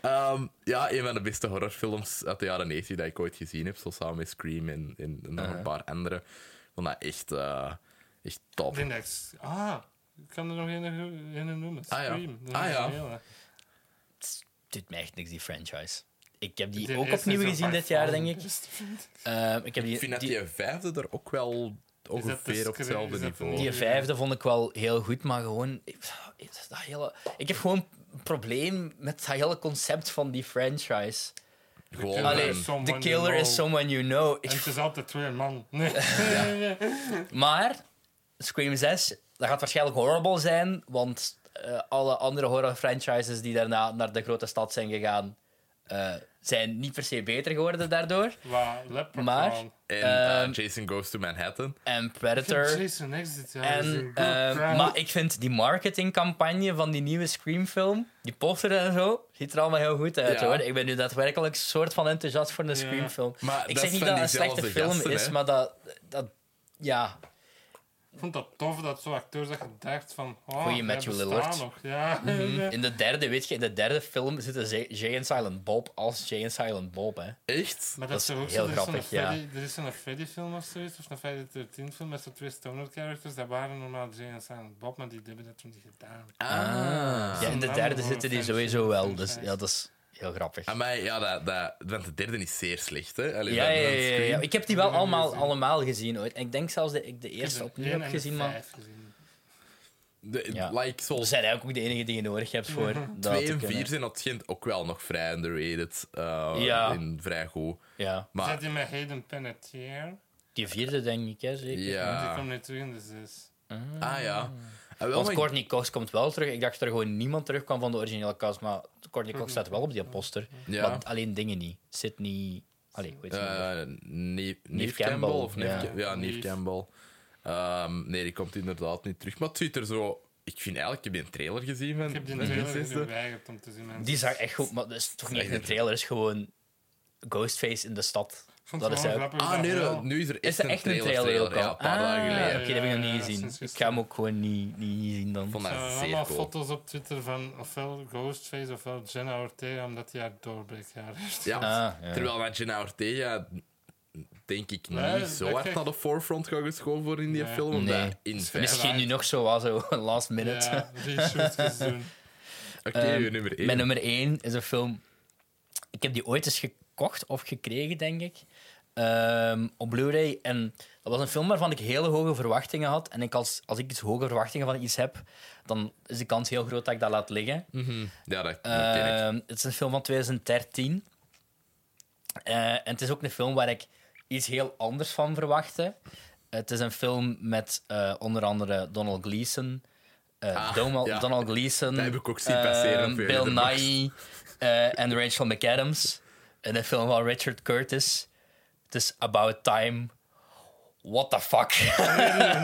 [SPEAKER 1] Ehm, ja, een van de beste horrorfilms uit de jaren 90 dat ik ooit gezien heb. Zo samen met Scream en, en, en nog een paar andere. Ik vond dat echt, eh, echt
[SPEAKER 2] Ik
[SPEAKER 1] top.
[SPEAKER 2] denk dat ik... s- Ah, ik kan er nog een, een noemen.
[SPEAKER 1] Ah, ja.
[SPEAKER 2] Scream. Dat is
[SPEAKER 1] Ah, ja.
[SPEAKER 2] een hele.
[SPEAKER 3] Het doet mij echt niks, die franchise. Ik heb die
[SPEAKER 2] De
[SPEAKER 3] ook
[SPEAKER 2] eerste
[SPEAKER 3] opnieuw
[SPEAKER 2] is
[SPEAKER 3] gezien
[SPEAKER 2] by
[SPEAKER 3] dit jaar,
[SPEAKER 2] far
[SPEAKER 3] denk
[SPEAKER 2] de
[SPEAKER 3] ik.
[SPEAKER 2] beste, vind ik.
[SPEAKER 3] Eh, ik heb
[SPEAKER 1] Ik vind
[SPEAKER 3] die,
[SPEAKER 1] dat
[SPEAKER 3] die,
[SPEAKER 1] die vijfde er ook wel ongeveer op
[SPEAKER 2] Scream?
[SPEAKER 1] hetzelfde
[SPEAKER 2] Is dat
[SPEAKER 1] niveau...
[SPEAKER 2] een-
[SPEAKER 3] die vijfde vond ik wel heel goed, maar gewoon... ik- Dat hele, ik heb gewoon een probleem met dat hele concept van die franchise.
[SPEAKER 1] Gewoon,
[SPEAKER 2] Allee,
[SPEAKER 1] ehm,
[SPEAKER 2] soms- Someone
[SPEAKER 3] The
[SPEAKER 2] you
[SPEAKER 3] killer
[SPEAKER 2] know.
[SPEAKER 3] is someone you know. Ik
[SPEAKER 2] En het is altijd twee man. (laughs) Nee.
[SPEAKER 3] Maar Scream 6, dat gaat waarschijnlijk horrible zijn, want eh, alle andere horror franchises die daarna naar de grote stad zijn gegaan, eh, zijn niet per se beter geworden daardoor.
[SPEAKER 2] Waar Leprechaun.
[SPEAKER 3] Maar-
[SPEAKER 1] En eh,
[SPEAKER 3] Ehm,
[SPEAKER 1] Jason Goes to Manhattan.
[SPEAKER 3] En
[SPEAKER 2] Ik vind
[SPEAKER 3] Predator.
[SPEAKER 2] Jason Exit, ja.
[SPEAKER 3] En,
[SPEAKER 2] is een good
[SPEAKER 3] eh,
[SPEAKER 2] crime.
[SPEAKER 3] maar ik vind die marketingcampagne van die nieuwe Scream-film, die poster en zo, ziet er allemaal heel goed uit
[SPEAKER 1] Ja.
[SPEAKER 3] hoor. Ik ben nu daadwerkelijk een soort van enthousiast voor een
[SPEAKER 2] Ja.
[SPEAKER 3] Scream-film.
[SPEAKER 1] Maar
[SPEAKER 3] Ik
[SPEAKER 1] dat
[SPEAKER 3] zeg niet
[SPEAKER 1] zijn
[SPEAKER 3] dat het een slechte
[SPEAKER 1] diezelfde
[SPEAKER 3] film
[SPEAKER 1] gasten,
[SPEAKER 3] is,
[SPEAKER 1] hè?
[SPEAKER 3] maar dat, dat. Ja,
[SPEAKER 2] Ik vond dat tof dat zo'n acteur dat je dacht van... Oh,
[SPEAKER 3] Goeie
[SPEAKER 2] jij
[SPEAKER 3] Matthew
[SPEAKER 2] bestaat
[SPEAKER 3] Lillard. Mhm.
[SPEAKER 2] Nog. (laughs) Ja.
[SPEAKER 3] in de derde, weet je, in de derde film zitten Jay- Jay en Silent Bob als Jay en Silent Bob. Hè.
[SPEAKER 1] Echt?
[SPEAKER 2] Maar
[SPEAKER 3] Dat
[SPEAKER 2] dat
[SPEAKER 3] is
[SPEAKER 2] is toch ook
[SPEAKER 3] heel
[SPEAKER 2] zo, er is zo'n
[SPEAKER 3] grappig, ja.
[SPEAKER 2] Freddy- Er is zo'n Freddy-film of zoiets, of een Friday 13 film met zo'n twee stoner characters. Dat waren normaal Jay en Silent Bob, maar die hebben dat toen niet gedaan.
[SPEAKER 1] Ah.
[SPEAKER 3] Ja, in de
[SPEAKER 2] Zo'n
[SPEAKER 3] derde
[SPEAKER 2] naam
[SPEAKER 3] zitten die
[SPEAKER 2] voor een
[SPEAKER 3] sowieso wel.
[SPEAKER 2] film.
[SPEAKER 3] Dus ja, dat is heel grappig.
[SPEAKER 1] Amai, ja, dat, dat, want de derde is zeer slecht, hè? Allee,
[SPEAKER 3] Ja,
[SPEAKER 1] dat-
[SPEAKER 3] ja,
[SPEAKER 1] dat
[SPEAKER 3] ja, ja,
[SPEAKER 1] Scream.
[SPEAKER 3] ja. Ik heb die wel
[SPEAKER 2] Die hebben we
[SPEAKER 3] allemaal,
[SPEAKER 2] gezien.
[SPEAKER 3] allemaal gezien ooit. En ik denk zelfs dat ik de
[SPEAKER 2] Ik heb
[SPEAKER 3] eerste
[SPEAKER 2] er
[SPEAKER 3] opnieuw
[SPEAKER 2] één
[SPEAKER 3] heb
[SPEAKER 2] en de
[SPEAKER 3] gezien. Maar
[SPEAKER 2] vijf gezien.
[SPEAKER 1] De-
[SPEAKER 3] Ja.
[SPEAKER 1] Like,
[SPEAKER 3] we
[SPEAKER 1] zoals
[SPEAKER 3] zijn eigenlijk ook de enige die je nodig hebt voor. dat te
[SPEAKER 1] 2 en
[SPEAKER 3] kunnen.
[SPEAKER 1] 4 zijn dat schijnt ook wel nog vrij underrated. eh,
[SPEAKER 3] Ja.
[SPEAKER 1] En vrij goed.
[SPEAKER 3] Ja,
[SPEAKER 1] Maar
[SPEAKER 2] Zat die met Hayden Panettiere?
[SPEAKER 3] die vierde denk ik, hè, zeker.
[SPEAKER 2] Want die
[SPEAKER 1] ja.
[SPEAKER 2] kwam nu terug in de zes.
[SPEAKER 1] Ah ja. Ah, wel,
[SPEAKER 3] Want
[SPEAKER 1] maar ik-
[SPEAKER 3] Courtney Cox komt wel terug. Ik dacht dat er gewoon niemand terugkwam van de originele cast, maar Courtney Cox staat wel op die poster.
[SPEAKER 1] Ja.
[SPEAKER 3] Maar alleen dingen niet. Sydney... Allee, weet je
[SPEAKER 1] eh, Neve, Neve
[SPEAKER 3] Campbell,
[SPEAKER 1] Campbell. Of Neve
[SPEAKER 3] ja.
[SPEAKER 1] Ca- ja, Neve
[SPEAKER 2] Neve.
[SPEAKER 1] Campbell. Ehm, nee, die komt inderdaad niet terug. Maar het ziet er zo... Ik vind eigenlijk... Ik heb die trailer gezien van
[SPEAKER 2] Ik heb die
[SPEAKER 1] van
[SPEAKER 2] trailer nu
[SPEAKER 1] zesde.
[SPEAKER 2] geweigerd om te zien. mensen.
[SPEAKER 3] Die zag echt goed, maar dat is toch niet echt een trailer. Dat is gewoon Ghostface in de stad.
[SPEAKER 2] Ik vond
[SPEAKER 3] dat
[SPEAKER 2] het
[SPEAKER 3] is
[SPEAKER 2] wel
[SPEAKER 3] ook-
[SPEAKER 2] grappig
[SPEAKER 1] Ah,
[SPEAKER 2] dat
[SPEAKER 1] nee,
[SPEAKER 2] wel-
[SPEAKER 1] dat- nu is er echt,
[SPEAKER 3] Is er echt een trailer, ook al?
[SPEAKER 1] Ja, een paar
[SPEAKER 3] Ah,
[SPEAKER 1] dagen geleden.
[SPEAKER 3] Oké, dat heb ik nog niet
[SPEAKER 2] Ja,
[SPEAKER 3] gezien.
[SPEAKER 2] sinds
[SPEAKER 3] Ik ga hem ook gewoon niet, niet zien dan.
[SPEAKER 1] Ik vond
[SPEAKER 2] Er
[SPEAKER 1] dat
[SPEAKER 2] zijn
[SPEAKER 1] zeer
[SPEAKER 2] eh, allemaal
[SPEAKER 1] cool.
[SPEAKER 2] foto's op Twitter van ofwel Ghostface ofwel Jenna Ortega, omdat die haar doorbreekjaar
[SPEAKER 3] (laughs)
[SPEAKER 2] heeft.
[SPEAKER 1] Ja.
[SPEAKER 3] Ah, ja.
[SPEAKER 1] Terwijl met Jenna Ortega denk ik niet
[SPEAKER 2] Nee,
[SPEAKER 1] zo
[SPEAKER 2] dat
[SPEAKER 1] hard
[SPEAKER 2] krijg-
[SPEAKER 1] naar de forefront gaat geschoven worden in die
[SPEAKER 2] Nee.
[SPEAKER 1] film. omdat
[SPEAKER 3] Nee.
[SPEAKER 1] In vijf...
[SPEAKER 3] Misschien nu nog zo, wel zo (laughs) last minute.
[SPEAKER 2] Ja, reshootjes (laughs) doen.
[SPEAKER 1] Oké, uw nummer één.
[SPEAKER 3] Ehm, Mijn nummer 1 is een film. Ik heb die ooit eens gekocht of gekregen, denk ik. ehm, op Blu-ray. En dat was een film waarvan ik hele hoge verwachtingen had. En ik als, als ik iets hoge verwachtingen van iets heb, dan is de kans heel groot dat ik dat laat liggen.
[SPEAKER 1] Mhm. Ja, dat, dat ken ik.
[SPEAKER 3] Ehm, het is een film van 2013. Eh, en het is ook een film waar ik iets heel anders van verwachtte. Het is een film met eh, onder andere Donald Gleeson. eh,
[SPEAKER 1] Ah,
[SPEAKER 3] Donald,
[SPEAKER 1] ja.
[SPEAKER 3] Donald
[SPEAKER 1] (laughs)
[SPEAKER 3] Gleeson.
[SPEAKER 1] Dat heb ik ook zien passeren
[SPEAKER 3] ehm,
[SPEAKER 1] op je
[SPEAKER 3] Bill
[SPEAKER 1] letterboxd.
[SPEAKER 3] Nye eh, en Rachel McAdams. En een film van Richard Curtis. Het is About Time. What the fuck?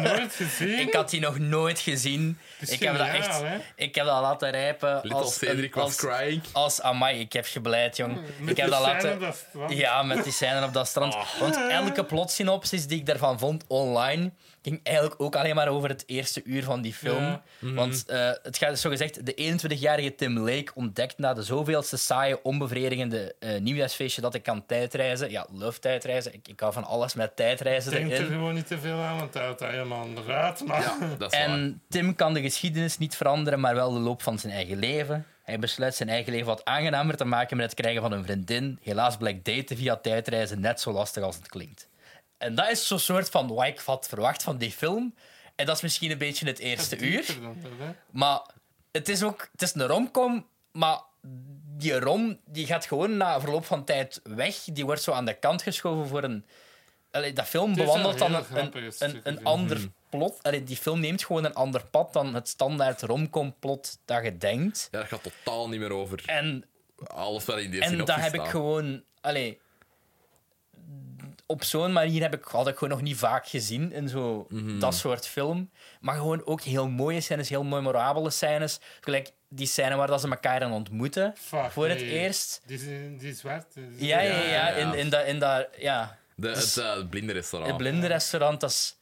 [SPEAKER 1] (laughs)
[SPEAKER 2] Nooit gezien?
[SPEAKER 3] Ik had die nog nooit gezien.
[SPEAKER 2] is
[SPEAKER 3] Ik heb dat
[SPEAKER 2] geniaal,
[SPEAKER 3] echt...
[SPEAKER 2] hè?
[SPEAKER 3] Ik heb dat laten rijpen.
[SPEAKER 1] Little Cedric was
[SPEAKER 3] als,
[SPEAKER 1] crying.
[SPEAKER 3] als... Amai, ik heb gebleid, jong.
[SPEAKER 2] Met
[SPEAKER 3] Ik heb
[SPEAKER 2] die
[SPEAKER 3] dat
[SPEAKER 2] scène Ah.
[SPEAKER 3] laten...
[SPEAKER 2] dat strand.
[SPEAKER 3] Ja, met die scène op dat strand. Want elke plotsynopsis die ik daarvan vond online, ging eigenlijk ook alleen maar over het eerste uur van die film.
[SPEAKER 2] Ja. Mhm.
[SPEAKER 3] Want eh, het gaat zo gezegd, de 21-jarige Tim Lake ontdekt na de zoveelste saaie, onbevredigende eh, nieuwjaarsfeestje dat ik kan tijdreizen. Ja, love tijdreizen. Ik, ik hou van alles met tijdreizen
[SPEAKER 2] Denk er
[SPEAKER 3] erin.
[SPEAKER 2] gewoon niet te veel aan, want hij houdt dat helemaal onderuit. Maar
[SPEAKER 1] Ja, dat is waar.
[SPEAKER 3] En Tim kan de geschiedenis niet veranderen, maar wel de loop van zijn eigen leven. Hij besluit zijn eigen leven wat aangenamer te maken met het krijgen van een vriendin. Helaas blijkt daten via tijdreizen net zo lastig als het klinkt. En dat is zo'n soort van wat ik had verwacht van die film. En dat is misschien een beetje het eerste uur.
[SPEAKER 2] dieper dan dat, hè.
[SPEAKER 3] Maar het is ook het is een romcom, maar die rom die gaat gewoon na verloop van tijd weg. Die wordt zo aan de kant geschoven voor een... Allee, dat film
[SPEAKER 2] is
[SPEAKER 3] bewandelt
[SPEAKER 2] wel
[SPEAKER 3] dan
[SPEAKER 2] heel
[SPEAKER 3] een, een,
[SPEAKER 2] grappig, is het
[SPEAKER 3] een,
[SPEAKER 2] ook
[SPEAKER 3] een
[SPEAKER 2] weer.
[SPEAKER 3] ander plot. Allee, die film neemt gewoon een ander pad dan het standaard romcom-plot dat je denkt.
[SPEAKER 1] Ja, dat gaat totaal niet meer over
[SPEAKER 3] En
[SPEAKER 1] alles wat in die
[SPEAKER 3] en
[SPEAKER 1] synopsis
[SPEAKER 3] dat heb ik
[SPEAKER 1] staat.
[SPEAKER 3] gewoon. Allee, op zo'n manier heb ik, had ik gewoon nog niet vaak gezien in zo,
[SPEAKER 1] Mhm.
[SPEAKER 3] dat soort film. Maar gewoon ook heel mooie scènes, heel memorabele scènes. Gelijk die scène waar dat ze elkaar aan ontmoeten.
[SPEAKER 2] Fuck,
[SPEAKER 3] voor het
[SPEAKER 2] nee.
[SPEAKER 3] eerst.
[SPEAKER 2] Die, is- die is zwart. die is-
[SPEAKER 3] Ja, ja, ja.
[SPEAKER 1] Ja, ja,
[SPEAKER 3] In,
[SPEAKER 1] ja.
[SPEAKER 3] in dat, in dat, ja.
[SPEAKER 1] De,
[SPEAKER 3] Dus-
[SPEAKER 1] het eh, blinde restaurant.
[SPEAKER 3] het blinde restaurant, dat is,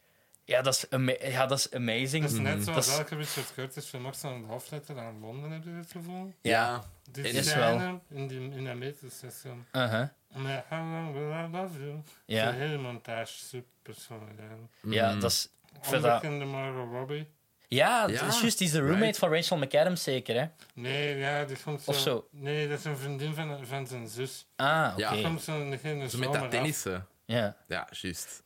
[SPEAKER 3] ja, dat is, ama- ja, dat is amazing.
[SPEAKER 2] Dat is net
[SPEAKER 3] Mm, Dat
[SPEAKER 2] zoals
[SPEAKER 3] is-
[SPEAKER 2] elke Richard Curtis film ook zo'n hoofdletter aan Londen, heb je het gevoel?
[SPEAKER 1] Ja.
[SPEAKER 2] Die
[SPEAKER 1] Is
[SPEAKER 2] scène in, die, in dat metrostation.
[SPEAKER 3] Uh-huh.
[SPEAKER 2] Met How Long Will I Love You?
[SPEAKER 3] Ja.
[SPEAKER 2] De hele montage, super gedaan.
[SPEAKER 3] ja,
[SPEAKER 1] Mhm.
[SPEAKER 3] dat is. ik vind dat-
[SPEAKER 2] Onbekende Margot Robbie.
[SPEAKER 3] ja, dat
[SPEAKER 1] Ja,
[SPEAKER 3] is juist. Die is de roommate
[SPEAKER 1] right.
[SPEAKER 3] van Rachel McAdams, zeker, hè?
[SPEAKER 2] Nee, ja, die komt zo...
[SPEAKER 3] Of zo.
[SPEAKER 2] Nee, dat is een vriendin van, van zijn zus.
[SPEAKER 3] Ah, oké.
[SPEAKER 1] Ja.
[SPEAKER 2] Die
[SPEAKER 3] Ja.
[SPEAKER 2] komt zo in de hele
[SPEAKER 1] Zo met
[SPEAKER 2] zomer
[SPEAKER 1] dat
[SPEAKER 2] af.
[SPEAKER 1] tennissen. Ja, juist.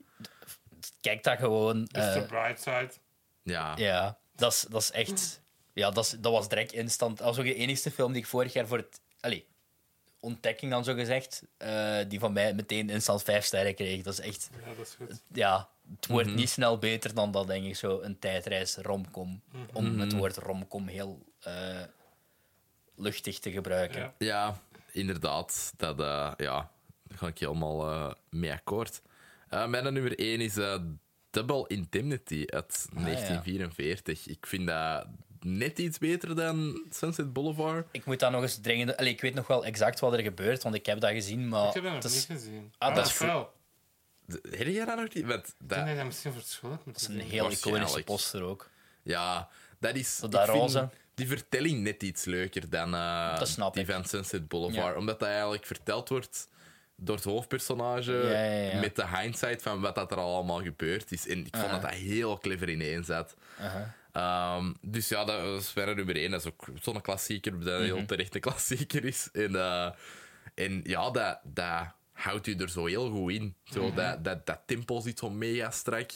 [SPEAKER 3] Kijk daar gewoon.
[SPEAKER 2] Dat is
[SPEAKER 3] eh,
[SPEAKER 2] de bright side.
[SPEAKER 1] Ja.
[SPEAKER 3] Ja, dat is, dat is echt. Ja, dat, is, dat was direct instant. Dat was ook de enigste film die ik vorig jaar voor het. Allee, ontdekking dan zo gezegd. eh, die van mij meteen instant vijf sterren kreeg. Dat is echt.
[SPEAKER 2] Ja, dat is goed.
[SPEAKER 3] Ja, het wordt
[SPEAKER 2] Mhm.
[SPEAKER 3] niet snel beter dan dat, denk ik. Zo een tijdreis romcom.
[SPEAKER 2] Mhm.
[SPEAKER 3] Om het woord romcom heel eh, luchtig te gebruiken.
[SPEAKER 2] Ja.
[SPEAKER 1] Ja, inderdaad, dat, eh, ja, daar ga ik helemaal eh, mee akkoord. Eh, mijn nummer 1 is eh, Double Indemnity uit
[SPEAKER 3] Ah,
[SPEAKER 1] 1944. Ik vind dat net iets beter dan Sunset Boulevard.
[SPEAKER 3] Ik moet dat nog eens dringend... Allee, ik weet nog wel exact wat er gebeurt, want ik heb dat gezien, maar...
[SPEAKER 2] Ik heb dat nog
[SPEAKER 3] het is-
[SPEAKER 2] niet gezien.
[SPEAKER 3] Ah,
[SPEAKER 2] Ah,
[SPEAKER 3] dat
[SPEAKER 2] dat
[SPEAKER 3] is-
[SPEAKER 2] wel.
[SPEAKER 1] De- Heb jij dat nog niet? Want
[SPEAKER 2] Ik denk
[SPEAKER 1] dat,
[SPEAKER 2] dat je dat misschien voor het school hebt moeten
[SPEAKER 3] dat is een
[SPEAKER 2] zien.
[SPEAKER 3] heel iconische
[SPEAKER 1] Waarschijnlijk.
[SPEAKER 3] poster ook.
[SPEAKER 1] ja, dat is...
[SPEAKER 3] Dat daar
[SPEAKER 1] ik vind
[SPEAKER 3] roze.
[SPEAKER 1] Die vertelling net iets leuker dan eh,
[SPEAKER 3] Dat snap
[SPEAKER 1] die
[SPEAKER 3] ik.
[SPEAKER 1] van Sunset Boulevard.
[SPEAKER 3] Ja.
[SPEAKER 1] Omdat dat eigenlijk verteld wordt door het hoofdpersonage
[SPEAKER 3] Ja, ja, ja.
[SPEAKER 1] met de hindsight van wat dat er al allemaal gebeurd is. En ik vond dat dat heel clever ineen zat. Ehm, dus ja, dat is verre nummer één. Dat is ook zo'n klassieker, dat een
[SPEAKER 3] Mhm.
[SPEAKER 1] heel terecht een klassieker is. En, eh, en ja, dat, dat houdt u er zo heel goed in. Zo,
[SPEAKER 3] Mhm.
[SPEAKER 1] dat, dat, dat tempo zit zo mega strak.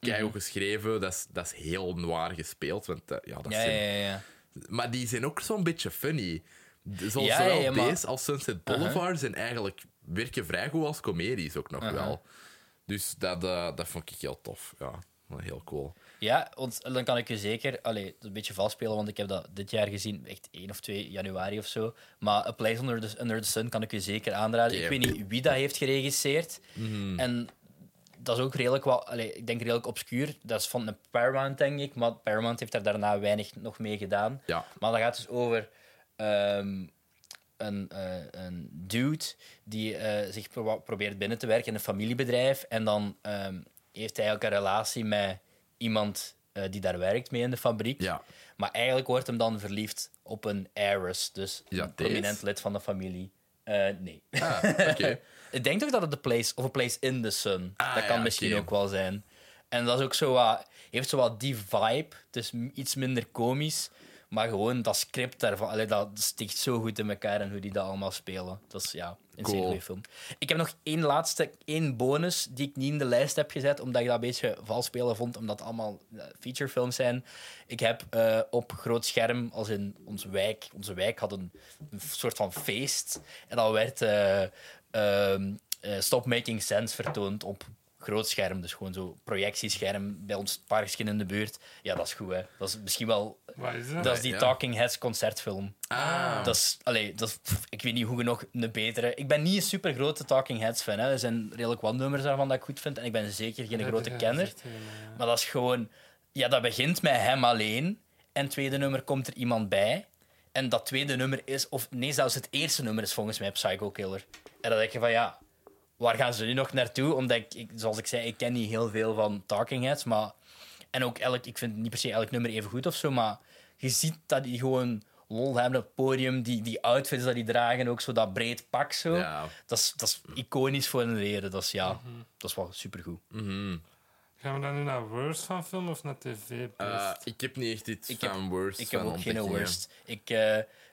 [SPEAKER 1] Kei goed geschreven, dat is, dat is heel noir gespeeld. Want dat- ja, dat
[SPEAKER 3] Ja,
[SPEAKER 1] zijn-
[SPEAKER 3] ja, ja. ja.
[SPEAKER 1] Maar die zijn ook zo'n beetje funny. De- Zoals
[SPEAKER 3] Ja,
[SPEAKER 1] zowel
[SPEAKER 3] ja, maar-
[SPEAKER 1] deze als Sunset Boulevard zijn eigenlijk werken vrij goed als comedies ook nog wel. Dus dat, eh, dat vond ik heel tof. Ja, heel cool.
[SPEAKER 3] Ja, want dan kan ik je zeker allee, het een beetje vastspelen, want ik heb dat dit jaar gezien, echt 1 of 2 januari of zo. Maar A Place Under the, Under the Sun kan ik je zeker aanraden.
[SPEAKER 1] Oké.
[SPEAKER 3] Ik weet niet wie dat heeft geregisseerd. En dat is ook redelijk wel, allee, ik denk redelijk obscuur. Dat is van een Paramount, denk ik, maar Paramount heeft daar daarna weinig nog mee gedaan.
[SPEAKER 1] Ja.
[SPEAKER 3] Maar dat gaat dus over ehm, een, eh, een dude die eh, zich pro- probeert binnen te werken in een familiebedrijf. En dan ehm, heeft hij eigenlijk een relatie met iemand eh, die daar werkt mee in de fabriek.
[SPEAKER 1] Ja.
[SPEAKER 3] Maar eigenlijk wordt hem dan verliefd op een heiress, dus
[SPEAKER 1] Ja,
[SPEAKER 3] een
[SPEAKER 1] deze?
[SPEAKER 3] prominent lid van de familie. Eh, nee. (laughs)
[SPEAKER 1] Ah, oké.
[SPEAKER 3] Ik denk toch dat het de place of a place in the sun.
[SPEAKER 1] Ah,
[SPEAKER 3] dat kan
[SPEAKER 1] ja,
[SPEAKER 3] misschien
[SPEAKER 1] oké.
[SPEAKER 3] ook wel zijn. En dat is ook zo wat, heeft zo wat die vibe. Het is m- iets minder komisch, maar gewoon dat script daarvan, allee, dat sticht zo goed in elkaar en hoe die dat allemaal spelen. Dat is ja, een zeer
[SPEAKER 1] Cool.
[SPEAKER 3] goede film. Ik heb nog één laatste, één bonus die ik niet in de lijst heb gezet, omdat ik dat een beetje vals spelen vond, omdat het allemaal eh, featurefilms zijn. Ik heb eh, op groot scherm, als in onze wijk, onze wijk had een, een soort van feest. En dan werd eh, ehm, eh, Stop Making Sense vertoond op groot scherm. Dus gewoon zo projectiescherm bij ons parkje in de buurt. Ja, dat is goed, hè. Dat is misschien wel...
[SPEAKER 2] Waar is dat?
[SPEAKER 3] Dat is die
[SPEAKER 1] ja.
[SPEAKER 3] Talking Heads concertfilm.
[SPEAKER 1] Ah,
[SPEAKER 3] Dat is, allee, dat is- pff, ik weet niet hoe genoeg een betere. Ik ben niet een super grote Talking Heads fan. Hè. Er zijn redelijk wat nummers daarvan dat ik goed vind. En ik ben zeker geen grote kenner. Maar dat is gewoon, ja, dat begint met hem alleen. En het tweede nummer komt er iemand bij. En dat tweede nummer is, of nee, zelfs het eerste nummer is volgens mij Psycho Killer. En dan denk je van ja, waar gaan ze nu nog naartoe? Omdat ik, ik- zoals ik zei, ik ken niet heel veel van Talking Heads. Maar, en ook elk, ik vind niet per se elk nummer even goed of zo. Maar je ziet dat die gewoon lol hebben op het podium. Die, die outfits dat die dragen, ook zo dat breed pak zo.
[SPEAKER 1] Ja. Eh,
[SPEAKER 3] Dat, is, dat is iconisch voor een reden. Dat is ja, dat is wel supergoed.
[SPEAKER 2] Gaan we dan nu naar worst van film of naar tv?
[SPEAKER 1] eh, ik heb niet echt iets
[SPEAKER 3] Ik heb-
[SPEAKER 1] van worst.
[SPEAKER 3] Ik heb
[SPEAKER 1] van
[SPEAKER 3] ook geen
[SPEAKER 1] ontdekkingen.
[SPEAKER 3] worst. Ik eh,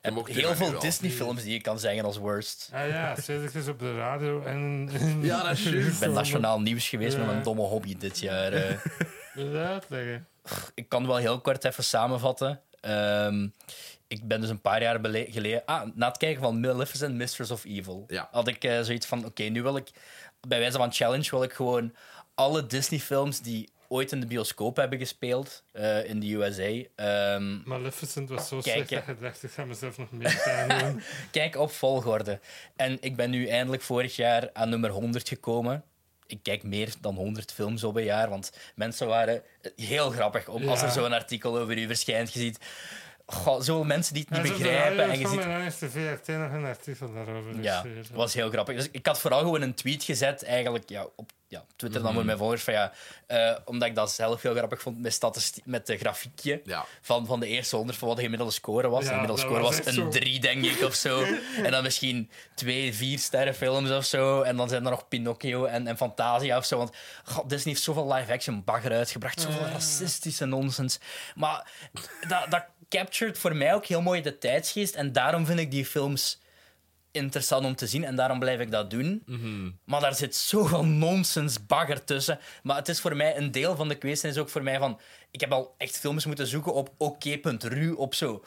[SPEAKER 3] heb
[SPEAKER 1] mocht u
[SPEAKER 3] heel
[SPEAKER 1] dat nu
[SPEAKER 3] veel
[SPEAKER 1] wel.
[SPEAKER 3] Disney-films die ik kan zeggen als worst.
[SPEAKER 2] Ah ja, zit ik op de radio en... en
[SPEAKER 1] Ja, dat is juist.
[SPEAKER 3] (laughs) Ik ben nationaal nieuws geweest met
[SPEAKER 2] Ja.
[SPEAKER 3] mijn domme hobby dit jaar. eh.
[SPEAKER 2] Wil je dat uitleggen?
[SPEAKER 3] ik kan wel heel kort even samenvatten. Ehm, ik ben dus een paar jaar bele- geleden... Ah, na het kijken van Maleficent Mistress of Evil...
[SPEAKER 1] Ja.
[SPEAKER 3] had ik eh, zoiets van... Oké, nu wil ik... Bij wijze van challenge wil ik gewoon alle Disney-films die ooit in de bioscoop hebben gespeeld eh, in de USA... ehm,
[SPEAKER 2] Maleficent was zo
[SPEAKER 3] Kijk,
[SPEAKER 2] slecht
[SPEAKER 3] ja.
[SPEAKER 2] dat ik dacht, ik ga mezelf nog meer pijn
[SPEAKER 3] (laughs)
[SPEAKER 2] doen.
[SPEAKER 3] Kijk op volgorde. En ik ben nu eindelijk vorig jaar aan nummer 100 gekomen. Ik kijk meer dan 100 films op een jaar, want mensen waren heel grappig om, als
[SPEAKER 2] Ja.
[SPEAKER 3] er zo'n artikel over u verschijnt. Je ziet goh, zoveel mensen die het
[SPEAKER 2] Hij
[SPEAKER 3] niet
[SPEAKER 2] is op de
[SPEAKER 3] begrijpen.
[SPEAKER 2] radio
[SPEAKER 3] En je
[SPEAKER 2] gekomen
[SPEAKER 3] ziet,
[SPEAKER 2] En dan heeft de VRT nog een artikel daarover
[SPEAKER 3] ja,
[SPEAKER 2] geschreven.
[SPEAKER 3] het was heel grappig. Dus ik had vooral gewoon een tweet gezet, eigenlijk ja, op ja, op Twitter dan voor mijn volgers, van ja, eh, omdat ik dat zelf heel grappig vond met, statistie- met de grafiekje
[SPEAKER 1] Ja.
[SPEAKER 3] van, van de eerste 100 van wat de gemiddelde score was.
[SPEAKER 2] Ja,
[SPEAKER 3] de gemiddelde
[SPEAKER 2] dat
[SPEAKER 3] score
[SPEAKER 2] was
[SPEAKER 3] was
[SPEAKER 2] echt
[SPEAKER 3] een
[SPEAKER 2] zo.
[SPEAKER 3] 3, denk ik, of
[SPEAKER 2] (laughs)
[SPEAKER 3] zo. en dan misschien twee, vier sterren films of zo. En dan zijn er nog Pinocchio en, en Fantasia of zo. Want god, Disney heeft zoveel live-action bagger uitgebracht, zoveel
[SPEAKER 2] Ah.
[SPEAKER 3] racistische nonsens. Maar dat, dat captured voor mij ook heel mooi de tijdsgeest. En daarom vind ik die films interessant om te zien en daarom blijf ik dat doen.
[SPEAKER 2] Mhm.
[SPEAKER 3] Maar daar zit zoveel nonsens bagger tussen. Maar het is voor mij een deel van de kwestie. is ook voor mij van... Ik heb al echt films moeten zoeken op ok.ru, op zo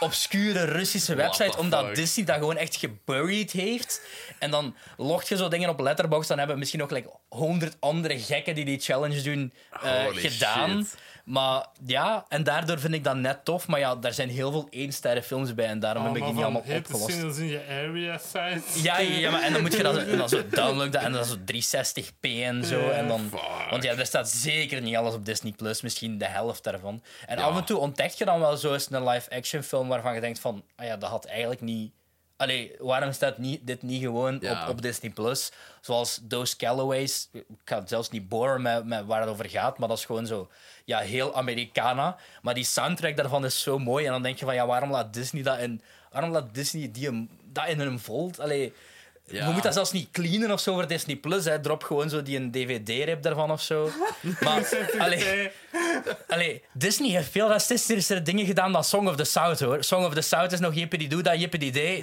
[SPEAKER 3] obscure Russische
[SPEAKER 1] What
[SPEAKER 3] website,
[SPEAKER 1] the fuck?
[SPEAKER 3] omdat Disney dat gewoon echt geburied heeft. En dan logt je zo dingen op Letterboxd, dan hebben misschien nog like, 100 andere gekken die die challenge doen eh,
[SPEAKER 1] Holy
[SPEAKER 3] gedaan.
[SPEAKER 1] shit.
[SPEAKER 3] Maar ja, en daardoor vind ik dat net tof. Maar ja, daar zijn heel veel één films bij en
[SPEAKER 2] Ah,
[SPEAKER 3] daarom heb ik die niet allemaal
[SPEAKER 2] hit the
[SPEAKER 3] opgelost.
[SPEAKER 2] singles in je area size.
[SPEAKER 3] Ja, ja, ja, maar en dan moet je dat, en dan zo downloaden en dan zo 360p en zo. En dan,
[SPEAKER 1] Fuck.
[SPEAKER 3] want ja, er staat zeker niet alles op Disney Plus, misschien de helft daarvan. En af en toe ontdekt je dan wel zo eens een live-action film waarvan je denkt van, ah ja, dat had eigenlijk niet. Allee, waarom staat niet, dit niet gewoon
[SPEAKER 1] Ja.
[SPEAKER 3] op, op Disney Plus? Zoals Those Callaways. Ik ga het zelfs niet boren met, met waar het over gaat, maar dat is gewoon zo. Ja, heel Americana. Maar die soundtrack daarvan is zo mooi. En dan denk je van ja, waarom laat Disney dat in. Waarom laat Disney die hem, dat in hun volt? Allee,
[SPEAKER 1] Ja.
[SPEAKER 3] je moet dat zelfs niet cleanen of zo voor Disney Plus. Hè. Drop gewoon zo die een DVD-rip daarvan of zo. Maar,
[SPEAKER 2] (laughs)
[SPEAKER 3] allee,
[SPEAKER 2] Allee.
[SPEAKER 3] allee, Disney heeft veel racistische dingen gedaan dan Song of the South hoor. Song of the South is nog jippity doe dat, jippity
[SPEAKER 1] (laughs)
[SPEAKER 3] day.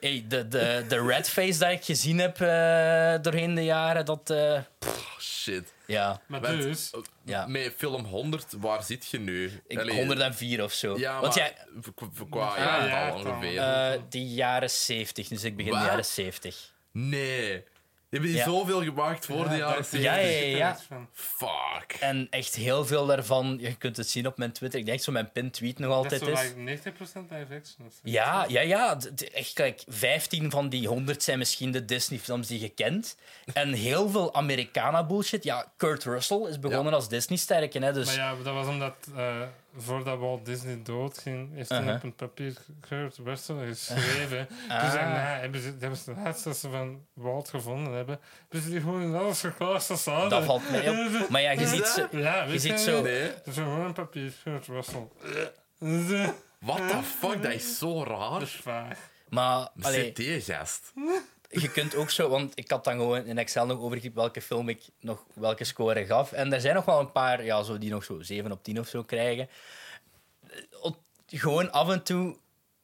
[SPEAKER 3] Hey, de, de, de red face dat ik gezien heb eh, doorheen de jaren, dat. eh,
[SPEAKER 1] Oh, shit.
[SPEAKER 3] ja,
[SPEAKER 2] Maar
[SPEAKER 1] Want,
[SPEAKER 2] dus,
[SPEAKER 3] Oh,
[SPEAKER 1] eh,
[SPEAKER 3] Ja.
[SPEAKER 1] Met film 100, waar zit je nu?
[SPEAKER 3] ik,
[SPEAKER 1] Allee,
[SPEAKER 3] 104 of zo.
[SPEAKER 1] Ja,
[SPEAKER 3] Want
[SPEAKER 1] maar
[SPEAKER 3] jij,
[SPEAKER 1] v- v- qua
[SPEAKER 2] Ah,
[SPEAKER 1] jaartal
[SPEAKER 2] ja,
[SPEAKER 1] ongeveer.
[SPEAKER 3] eh, die jaren 70, dus ik begin de
[SPEAKER 1] Wat?
[SPEAKER 3] jaren 70.
[SPEAKER 1] nee. Je hebt hier
[SPEAKER 3] Ja.
[SPEAKER 1] zoveel gemaakt voor de jaren
[SPEAKER 2] daar-
[SPEAKER 1] 70.
[SPEAKER 3] Ja, ja, ja.
[SPEAKER 1] Fuck.
[SPEAKER 3] En echt heel veel daarvan, je kunt het zien op mijn Twitter. Ik denk zo mijn pin tweet nog
[SPEAKER 2] Dat is
[SPEAKER 3] altijd
[SPEAKER 2] zo
[SPEAKER 3] is.
[SPEAKER 2] like 90% live action. of zo.
[SPEAKER 3] Ja, ja, ja. D- d- Echt, kijk, 15 van die 100 zijn misschien de Disney-films die je kent. En heel veel Americana-bullshit. Ja, Kurt Russell is begonnen als Disney-sterke, hè. Dus
[SPEAKER 2] Maar ja, dat was omdat eh, voordat Walt Disney doodging, heeft hij
[SPEAKER 3] Uh-huh. Ah.
[SPEAKER 2] op een papier Kurt Russell geschreven. Dus daarna hebben ze, hebben ze de laatste dat ze van Walt gevonden hebben, hebben ze die gewoon in alles geklaast als ze
[SPEAKER 3] dat
[SPEAKER 2] hadden.
[SPEAKER 3] valt mij op. Maar ja, je ziet ze...
[SPEAKER 2] (laughs) Ja, weet
[SPEAKER 3] Je ziet
[SPEAKER 2] niet?
[SPEAKER 3] zo-
[SPEAKER 1] Nee.
[SPEAKER 2] Dat is gewoon een papier Kurt Russell.
[SPEAKER 1] What the fuck, dat is zo
[SPEAKER 2] Dat is
[SPEAKER 1] raar.
[SPEAKER 2] eh, waar.
[SPEAKER 3] Maar allee, Hm?
[SPEAKER 1] Zit die gast?
[SPEAKER 3] je kunt ook zo... Want ik had dan gewoon in Excel nog overgekiept welke film ik nog welke score gaf. En er zijn nog wel een paar ja, zo, die nog zo 7 op 10 of zo krijgen. Eh, op- Gewoon af en toe...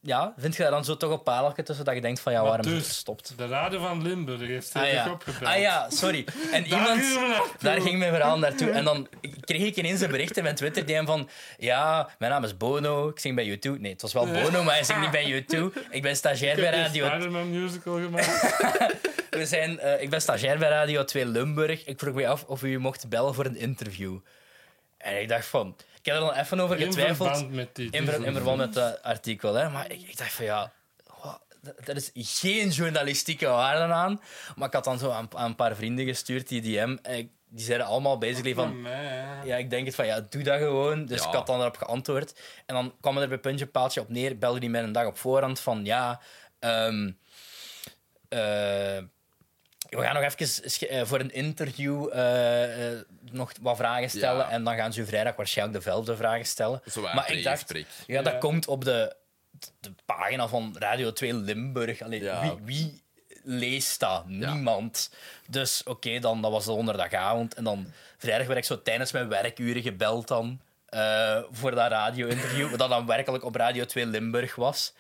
[SPEAKER 3] Ja, vind je daar dan zo toch een pareltje tussen dat je denkt van ja,
[SPEAKER 2] Maar
[SPEAKER 3] waarom is het
[SPEAKER 2] dus-
[SPEAKER 3] gestopt?
[SPEAKER 2] De Raden van Limburg heeft
[SPEAKER 3] Ah
[SPEAKER 2] stevig
[SPEAKER 3] ja.
[SPEAKER 2] opgebeld.
[SPEAKER 3] ah ja, sorry. En
[SPEAKER 2] Daar
[SPEAKER 3] iemand...
[SPEAKER 2] gingen we naartoe.
[SPEAKER 3] Daar ging mijn verhaal naartoe. En dan kreeg ik ineens een bericht in mijn Twitter die hem van... Ja, mijn naam is Bono, ik zing bij U2. Nee, het was wel Bono, maar hij zingt niet bij
[SPEAKER 2] (laughs)
[SPEAKER 3] U2. Ik ben stagiair
[SPEAKER 2] Ik
[SPEAKER 3] bij
[SPEAKER 2] heb een
[SPEAKER 3] Radio
[SPEAKER 2] Spider-Man musical
[SPEAKER 3] (laughs)
[SPEAKER 2] gemaakt.
[SPEAKER 3] we zijn, eh, ik ben stagiair bij Radio 2 Limburg. Ik vroeg mij af of u mocht bellen voor een interview. En ik dacht van... Ik heb er dan even over
[SPEAKER 2] In
[SPEAKER 3] getwijfeld.
[SPEAKER 2] verband met die.
[SPEAKER 3] In, ver- in verband met dat artikel. Hè. Maar ik, ik dacht van ja... wat, d- Er is geen journalistieke waarde aan. Maar ik had dan zo aan, aan een paar vrienden gestuurd, die DM. En ik- die zeiden allemaal basically van...
[SPEAKER 2] Van mij, hè.
[SPEAKER 3] Ja, ik denk het van ja, doe dat gewoon. Dus
[SPEAKER 1] Ja.
[SPEAKER 3] ik had dan erop geantwoord. En dan kwam er bij puntje paaltje op neer. Belde die mij een dag op voorhand van ja. ehm, eh, we gaan nog even sch- eh, voor een interview eh, eh, nog wat vragen stellen.
[SPEAKER 1] Ja.
[SPEAKER 3] En dan gaan ze u vrijdag waarschijnlijk dezelfde vragen stellen.
[SPEAKER 1] Zo waar,
[SPEAKER 3] maar ik dacht,
[SPEAKER 1] pre-gesprek.
[SPEAKER 3] ja, dat
[SPEAKER 2] Ja.
[SPEAKER 3] komt op de, de pagina van Radio 2 Limburg. Allee,
[SPEAKER 1] Ja.
[SPEAKER 3] wie, wie leest dat? Niemand. Dus oké, dan dat was de donderdagavond. En dan vrijdag werd ik zo tijdens mijn werkuren gebeld dan eh, voor dat radio-interview, (laughs) dat dan werkelijk op Radio 2 Limburg was.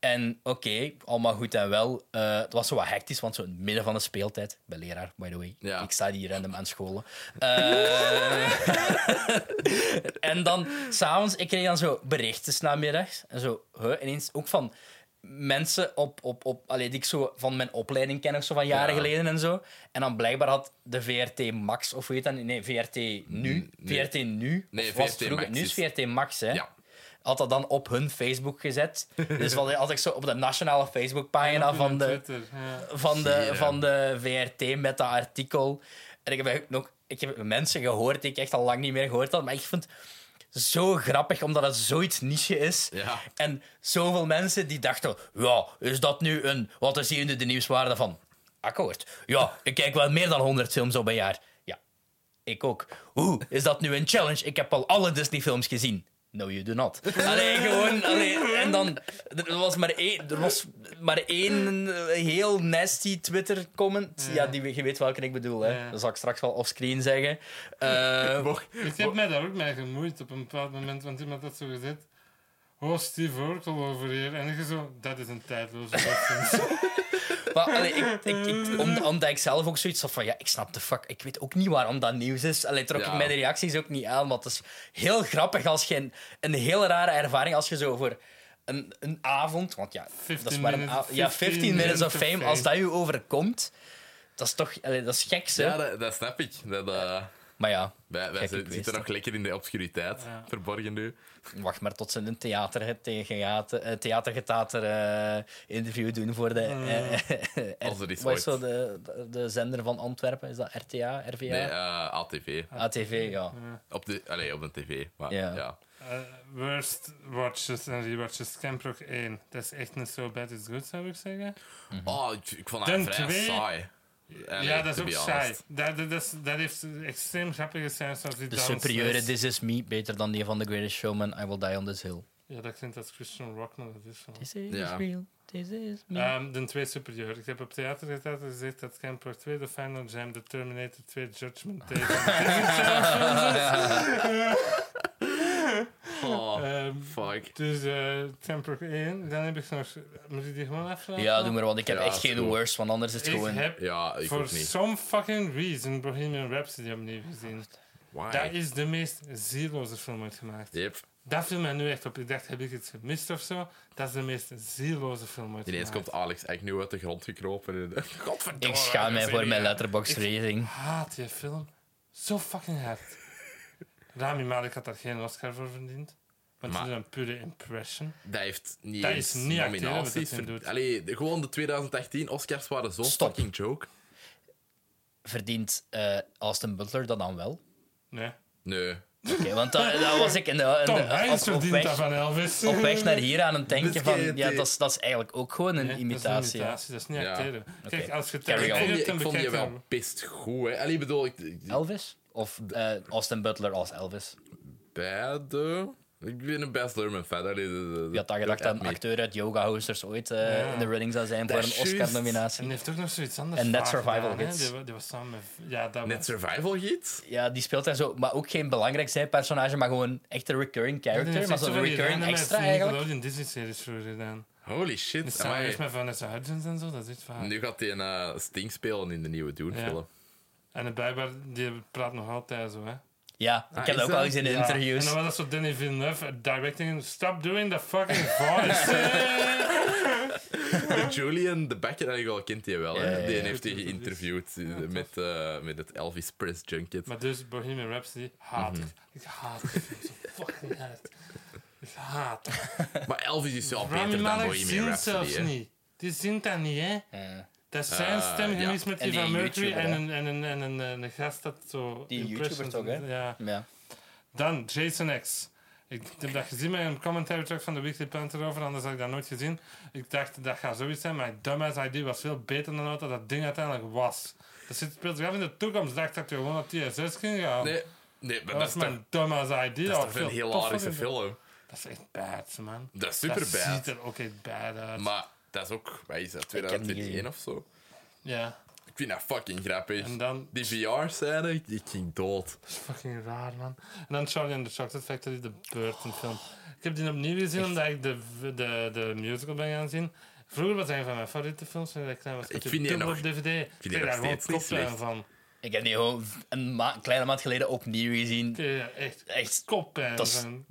[SPEAKER 3] En oké, allemaal goed en wel. Eh, het was zo wat hectisch, want zo in het midden van de speeltijd, ik ben leraar, by the way.
[SPEAKER 1] Ja.
[SPEAKER 3] Ik sta hier random
[SPEAKER 1] (laughs)
[SPEAKER 3] aan scholen. Eh, en dan s'avonds, ik kreeg dan zo berichten 's namiddags. En zo, huh, ineens ook van mensen op, op, op, allee, die ik zo van mijn opleiding ken, of zo van jaren
[SPEAKER 1] Ja.
[SPEAKER 3] geleden en zo. En dan blijkbaar had de VRT Max, of weet dat? niet? Nee, VRT Nu.
[SPEAKER 1] nee.
[SPEAKER 3] VRT Nu.
[SPEAKER 1] Nee,
[SPEAKER 3] Of was het
[SPEAKER 1] VRT
[SPEAKER 3] vroeger?
[SPEAKER 1] Max
[SPEAKER 3] Nu
[SPEAKER 1] is-
[SPEAKER 3] is VRT Max, hè?
[SPEAKER 1] Ja.
[SPEAKER 3] Had dat dan op hun Facebook gezet. Dus wat had ik zo op de nationale
[SPEAKER 1] (laughs)
[SPEAKER 3] Facebookpagina
[SPEAKER 2] Op
[SPEAKER 3] van
[SPEAKER 2] hun
[SPEAKER 3] de,
[SPEAKER 2] Twitter, ja.
[SPEAKER 3] van de,
[SPEAKER 1] Zie,
[SPEAKER 3] van de VRT met dat artikel. En ik heb eigenlijk nog ik heb mensen gehoord die ik echt al lang niet meer gehoord had. Maar ik vind het zo grappig, omdat het zoiets niche is.
[SPEAKER 1] Ja.
[SPEAKER 3] En zoveel mensen die dachten... Ja, is dat nu een... Wat is hier nu de nieuwswaarde van? Akkoord. Ja, ik kijk wel meer dan 100 films op een jaar. Ja, ik ook. Oeh, is dat nu een challenge? Ik heb al alle Disney-films gezien. No, you do not. Allee, gewoon... Allee, en dan... Er was maar één, er was maar één eh, heel nasty Twitter-comment. Ja, die, je weet welke ik bedoel, hè.
[SPEAKER 2] Ja.
[SPEAKER 3] Dat zal ik straks wel offscreen zeggen. Eh,
[SPEAKER 2] Ik heb mij daar ook mee gemoeid op een bepaald moment, want iemand had zo gezegd. Oh, Steve Urkel over hier. En ik zo, dat is een tijdloze
[SPEAKER 3] (laughs)
[SPEAKER 2] reference.
[SPEAKER 3] maar, allee, ik, ik, ik, om- omdat ik zelf ook zoiets had van... Ja, ik snap de fuck. Ik weet ook niet waarom dat nieuws is. Allee, trok
[SPEAKER 1] Ja.
[SPEAKER 3] ik mijn reacties ook niet aan. Want het is heel grappig als je... Een, een heel rare ervaring als je zo voor... Een, een avond, want ja, dat is
[SPEAKER 2] 15
[SPEAKER 3] maar een
[SPEAKER 2] minutes-
[SPEAKER 3] av- ja, 15 minutes of fame, als dat je overkomt, dat is toch allee, dat is geks, hè?
[SPEAKER 1] Ja, dat, dat snap ik. Dat, eh,
[SPEAKER 3] Maar ja,
[SPEAKER 1] Wij, wij
[SPEAKER 3] Gekke
[SPEAKER 1] zitten zitten
[SPEAKER 3] kwestie.
[SPEAKER 1] nog lekker in de obscuriteit,
[SPEAKER 2] Ja.
[SPEAKER 1] verborgen nu.
[SPEAKER 3] wacht maar tot ze een theater, theater, eh, theatergetater eh, interview doen voor de... eh,
[SPEAKER 1] Als er iets
[SPEAKER 3] wat is zo
[SPEAKER 1] ooit-
[SPEAKER 3] de, de, de zender van Antwerpen? Is dat RTA, RVA?
[SPEAKER 1] Nee, eh, ATV.
[SPEAKER 3] ATV, ja.
[SPEAKER 1] Op de, allee, op de tv. Maar,
[SPEAKER 3] Ja.
[SPEAKER 1] ja.
[SPEAKER 2] Eh, worst watches en rewatches. Camprock 1. Dat is echt niet zo bad is good, zou ik zeggen.
[SPEAKER 3] Mhm.
[SPEAKER 1] Oh, ik, ik vond
[SPEAKER 2] Dan
[SPEAKER 1] dat vrij
[SPEAKER 2] twee.
[SPEAKER 1] saai. Allee,
[SPEAKER 2] ja, dat is
[SPEAKER 1] to
[SPEAKER 2] ook
[SPEAKER 1] be
[SPEAKER 2] saai.
[SPEAKER 1] honest.
[SPEAKER 2] Dat, dat, dat, is- dat heeft extreem grappige scènes zoals die
[SPEAKER 3] De
[SPEAKER 2] downstairs.
[SPEAKER 3] superieure This Is Me, beter dan die van The Greatest Showman, I Will Die On This Hill.
[SPEAKER 2] Ja, dat klinkt als Christian Rock, maar dat is van.
[SPEAKER 3] This is
[SPEAKER 1] Ja.
[SPEAKER 3] real, this is me.
[SPEAKER 2] Ehm, de twee superieur. Ik heb op theater gezet en gezegd dat Camper 2, de Final Jam, de Terminator 2, Judgment
[SPEAKER 3] (laughs)
[SPEAKER 2] Day.
[SPEAKER 1] Oh,
[SPEAKER 2] Ehm,
[SPEAKER 1] fuck.
[SPEAKER 2] dus eh Camper 1, dan heb ik nog. Moet ik die gewoon afvragen?
[SPEAKER 3] ja, doe maar, want ik heb
[SPEAKER 1] Ja,
[SPEAKER 3] echt
[SPEAKER 1] is goed.
[SPEAKER 3] geen worst, want anders is het
[SPEAKER 2] Ik
[SPEAKER 3] gewoon...
[SPEAKER 2] heb
[SPEAKER 1] Ja, ik
[SPEAKER 2] for
[SPEAKER 1] ook niet.
[SPEAKER 2] some fucking reason Bohemian Rhapsody opnieuw
[SPEAKER 3] Oh,
[SPEAKER 2] gezien.
[SPEAKER 1] Why?
[SPEAKER 2] Dat is de meest zieloze film ooit gemaakt.
[SPEAKER 1] Yep.
[SPEAKER 2] Dat viel mij nu echt op. Ik dacht, heb ik iets gemist of zo? Dat is de meest zieloze film ooit
[SPEAKER 1] Ineens
[SPEAKER 2] gemaakt.
[SPEAKER 1] komt Alex echt nu uit de grond gekropen. (laughs) En, Godverdomme.
[SPEAKER 3] Ik
[SPEAKER 1] Oh,
[SPEAKER 3] schaam mij
[SPEAKER 1] dat is
[SPEAKER 3] voor
[SPEAKER 1] niet-
[SPEAKER 3] mijn letterbox
[SPEAKER 2] Ik-
[SPEAKER 3] rating.
[SPEAKER 2] haat Ah, die film zo fucking hard. (laughs) Rami Malek had daar geen Oscar voor verdiend. Want
[SPEAKER 1] Maar-
[SPEAKER 2] het is een pure impression.
[SPEAKER 1] Dat heeft niet
[SPEAKER 2] Dat
[SPEAKER 1] eens
[SPEAKER 2] is niet acteren wat
[SPEAKER 1] nominaties.
[SPEAKER 2] dat ding
[SPEAKER 1] ver-
[SPEAKER 2] doet.
[SPEAKER 1] Allee, de- gewoon de 2018 Oscars waren zo'n
[SPEAKER 3] Stop.
[SPEAKER 1] fucking joke.
[SPEAKER 3] Verdient eh, Austin Butler dat dan wel?
[SPEAKER 2] Nee.
[SPEAKER 1] Nee.
[SPEAKER 3] Oké, want dat, dat was ik in de, in de-
[SPEAKER 2] Tom
[SPEAKER 3] op-
[SPEAKER 2] Hanks
[SPEAKER 3] op,
[SPEAKER 2] verdient dat
[SPEAKER 3] weg,
[SPEAKER 2] van Elvis. (laughs)
[SPEAKER 3] op weg naar hier aan het denken van... Ja,
[SPEAKER 1] Biscuit.
[SPEAKER 3] dat is, dat is eigenlijk ook gewoon een
[SPEAKER 2] Nee, dat is
[SPEAKER 3] imitatie.
[SPEAKER 2] een
[SPEAKER 3] ja.
[SPEAKER 2] imitatie, dat is niet
[SPEAKER 1] Ja.
[SPEAKER 2] acteren. Kijk,
[SPEAKER 3] Oké.
[SPEAKER 2] als je
[SPEAKER 3] Carry
[SPEAKER 1] Ik
[SPEAKER 3] on.
[SPEAKER 1] vond die,
[SPEAKER 2] Terminator hebt, dan
[SPEAKER 1] ik vond die
[SPEAKER 2] bekijk
[SPEAKER 1] wel
[SPEAKER 2] dan...
[SPEAKER 1] best goed. Hè. Allee, ik bedoel, ik, ik-
[SPEAKER 3] Elvis? Of eh, Austin Butler als Elvis?
[SPEAKER 1] beide... eh. Ik ben een Baz Luhrmann fan. Allee, de- de- de-
[SPEAKER 3] Je had dan gedacht dat een
[SPEAKER 1] mee.
[SPEAKER 3] acteur uit Yoga Hosters ooit eh,
[SPEAKER 2] Ja.
[SPEAKER 3] in de running zou zijn voor
[SPEAKER 1] Dat
[SPEAKER 3] een
[SPEAKER 1] is juist.
[SPEAKER 2] En die
[SPEAKER 3] Oscar-nominatie.
[SPEAKER 2] heeft ook nog zoiets anders
[SPEAKER 3] En Net
[SPEAKER 2] vaak
[SPEAKER 3] Survival
[SPEAKER 2] gedaan, hè.
[SPEAKER 3] Hits.
[SPEAKER 2] Die, wa- die was samen met... Ja, dat
[SPEAKER 1] Net
[SPEAKER 2] was...
[SPEAKER 1] survival gids?
[SPEAKER 3] Ja, die speelt daar zo, maar ook geen belangrijk zijpersonage, maar gewoon echt een recurring character. maar zo'n recurring extra eigenlijk.
[SPEAKER 2] Nickelodeon Disney-series vroeger gedaan.
[SPEAKER 1] Holy shit. amai.
[SPEAKER 2] Die samen is met Vanessa Hudgens en zo, dat is echt waar.
[SPEAKER 1] Nu gaat hij een eh, Sting spelen in de nieuwe Dune-film.
[SPEAKER 2] En de blijkbaar, die praat nog altijd zo, hè.
[SPEAKER 3] Ja,
[SPEAKER 1] Ah,
[SPEAKER 3] ik heb
[SPEAKER 1] is
[SPEAKER 3] dat ook
[SPEAKER 1] dat?
[SPEAKER 3] al eens in de
[SPEAKER 2] Ja, En
[SPEAKER 3] interviews.
[SPEAKER 2] dan was dat zo Danny Villeneuve directing. Stop doing the fucking
[SPEAKER 1] (laughs)
[SPEAKER 2] voice.
[SPEAKER 1] Julian de Becker, ik al kent hij wel. hè.
[SPEAKER 3] Ja, ja, ja.
[SPEAKER 1] Die heeft hij geïnterviewd eh, met, eh, met het Elvis Press Junket.
[SPEAKER 2] maar dus Bohemian Rhapsody haat
[SPEAKER 1] Mhm.
[SPEAKER 2] ik. Ik haat het zo fucking hard. Ik haat het.
[SPEAKER 1] Maar Elvis is wel
[SPEAKER 2] Rami
[SPEAKER 1] beter dan
[SPEAKER 2] Malek zingt
[SPEAKER 1] Bohemian Rhapsody.
[SPEAKER 2] zelfs
[SPEAKER 1] hè.
[SPEAKER 2] niet. Die zingt dat niet, hè.
[SPEAKER 3] Ja.
[SPEAKER 2] Dat is zijn
[SPEAKER 1] Ah,
[SPEAKER 2] stem
[SPEAKER 1] ja.
[SPEAKER 2] gemist met
[SPEAKER 3] En
[SPEAKER 2] die
[SPEAKER 3] die
[SPEAKER 2] van Mercury
[SPEAKER 3] YouTuber,
[SPEAKER 2] en
[SPEAKER 3] hè?
[SPEAKER 2] een, en, een, en een, eh, een gast dat zo...
[SPEAKER 3] Die
[SPEAKER 2] impressions-
[SPEAKER 3] YouTuber toch, hè?
[SPEAKER 2] Ja.
[SPEAKER 3] Ja.
[SPEAKER 2] Dan Jason X. Ik heb dat gezien met een commentary track van de Weekly Planet erover, anders had ik dat nooit gezien. Ik dacht, dat gaat zoiets zijn, maar dumbass idee was veel beter dan wat dat ding uiteindelijk was. Dat zit, speelt zich af in de toekomst. Ik dacht dat je gewoon naar TSS ging gaan.
[SPEAKER 1] Nee, nee maar
[SPEAKER 2] dat,
[SPEAKER 1] dat
[SPEAKER 2] is
[SPEAKER 1] is toch,
[SPEAKER 2] mijn dumbass idee.
[SPEAKER 1] dat is toch een hilarische
[SPEAKER 2] larische
[SPEAKER 1] film?
[SPEAKER 2] Dat is echt bad, man.
[SPEAKER 1] Dat is super
[SPEAKER 2] Dat
[SPEAKER 1] bad.
[SPEAKER 2] ziet er ook echt bad uit.
[SPEAKER 1] Maar dat is ook, wat is dat,
[SPEAKER 3] heb niet
[SPEAKER 1] 2021
[SPEAKER 3] gezien.
[SPEAKER 1] of zo?
[SPEAKER 2] ja,
[SPEAKER 1] Ik vind dat fucking grappig.
[SPEAKER 2] en dan...
[SPEAKER 1] Die VR-scène, ik, ik ging dood.
[SPEAKER 2] Dat is fucking raar, man. En dan Charlie and the Chocolate Factory, de Burton film. Ik heb die opnieuw gezien omdat ik de, de, de musical ben gaan zien. Vroeger was hij een van mijn favoriete films. toen ik klein was. had
[SPEAKER 1] Ik vind die
[SPEAKER 2] dubbel
[SPEAKER 1] nog-
[SPEAKER 2] op DVD. Ik
[SPEAKER 1] die
[SPEAKER 2] kreeg
[SPEAKER 1] nog
[SPEAKER 2] daar gewoon
[SPEAKER 1] steeds niet
[SPEAKER 2] koppijn
[SPEAKER 1] slecht.
[SPEAKER 2] van.
[SPEAKER 3] Ik heb die gewoon een, ma- een kleine maand geleden opnieuw gezien.
[SPEAKER 2] Ik kreeg daar echt
[SPEAKER 3] Echt
[SPEAKER 2] koppijn
[SPEAKER 3] Dat is-
[SPEAKER 2] van.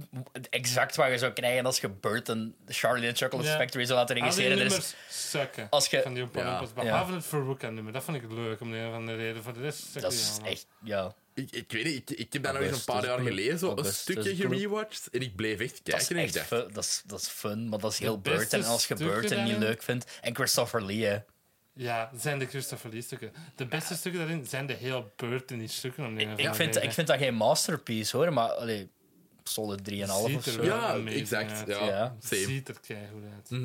[SPEAKER 3] exact wat je zou krijgen als je Burton, Charlie and Chocolate
[SPEAKER 2] Ja.
[SPEAKER 3] Factory zou laten
[SPEAKER 2] Al die
[SPEAKER 3] regisseren. Er is-
[SPEAKER 2] nummers sukken
[SPEAKER 3] als je-
[SPEAKER 2] van die Oompa
[SPEAKER 1] Ja.
[SPEAKER 2] Loompas, Behalve het Veruca nummer. Dat vond ik leuk om de een of andere reden. Voor de rest sukken
[SPEAKER 3] dat
[SPEAKER 2] die
[SPEAKER 3] is
[SPEAKER 2] allemaal.
[SPEAKER 3] echt, ja.
[SPEAKER 1] Ik, ik weet niet, ik, ik heb dat nog eens een
[SPEAKER 3] Augustus
[SPEAKER 1] paar jaar
[SPEAKER 3] Gloop.
[SPEAKER 1] geleden zo een
[SPEAKER 3] Augustus
[SPEAKER 1] stukje
[SPEAKER 3] Gloop.
[SPEAKER 1] gerewatched en ik bleef echt
[SPEAKER 3] dus Dat is
[SPEAKER 1] kijken. En ik
[SPEAKER 3] echt
[SPEAKER 1] dacht,
[SPEAKER 3] fun, dat is, dat is fun, maar dat is heel
[SPEAKER 2] beste
[SPEAKER 3] Burton. En als je
[SPEAKER 2] stukken
[SPEAKER 3] Burton niet
[SPEAKER 2] daarin-
[SPEAKER 3] leuk vindt... En Christopher Lee, hè.
[SPEAKER 2] Ja, zijn de Christopher Lee stukken. De beste stukken daarin zijn de heel Burton die stukken. Om de een of
[SPEAKER 3] Ik
[SPEAKER 2] andere
[SPEAKER 3] vind,
[SPEAKER 2] reden.
[SPEAKER 3] ik vind dat geen masterpiece, hoor. Maar, allee, solid 3,5 of
[SPEAKER 2] Ziet er
[SPEAKER 3] zo.
[SPEAKER 2] wel
[SPEAKER 1] ja,
[SPEAKER 2] amazing
[SPEAKER 1] exact.
[SPEAKER 2] uit.
[SPEAKER 1] Ja,
[SPEAKER 3] Ja.
[SPEAKER 1] same.
[SPEAKER 2] Ziet er keihard uit.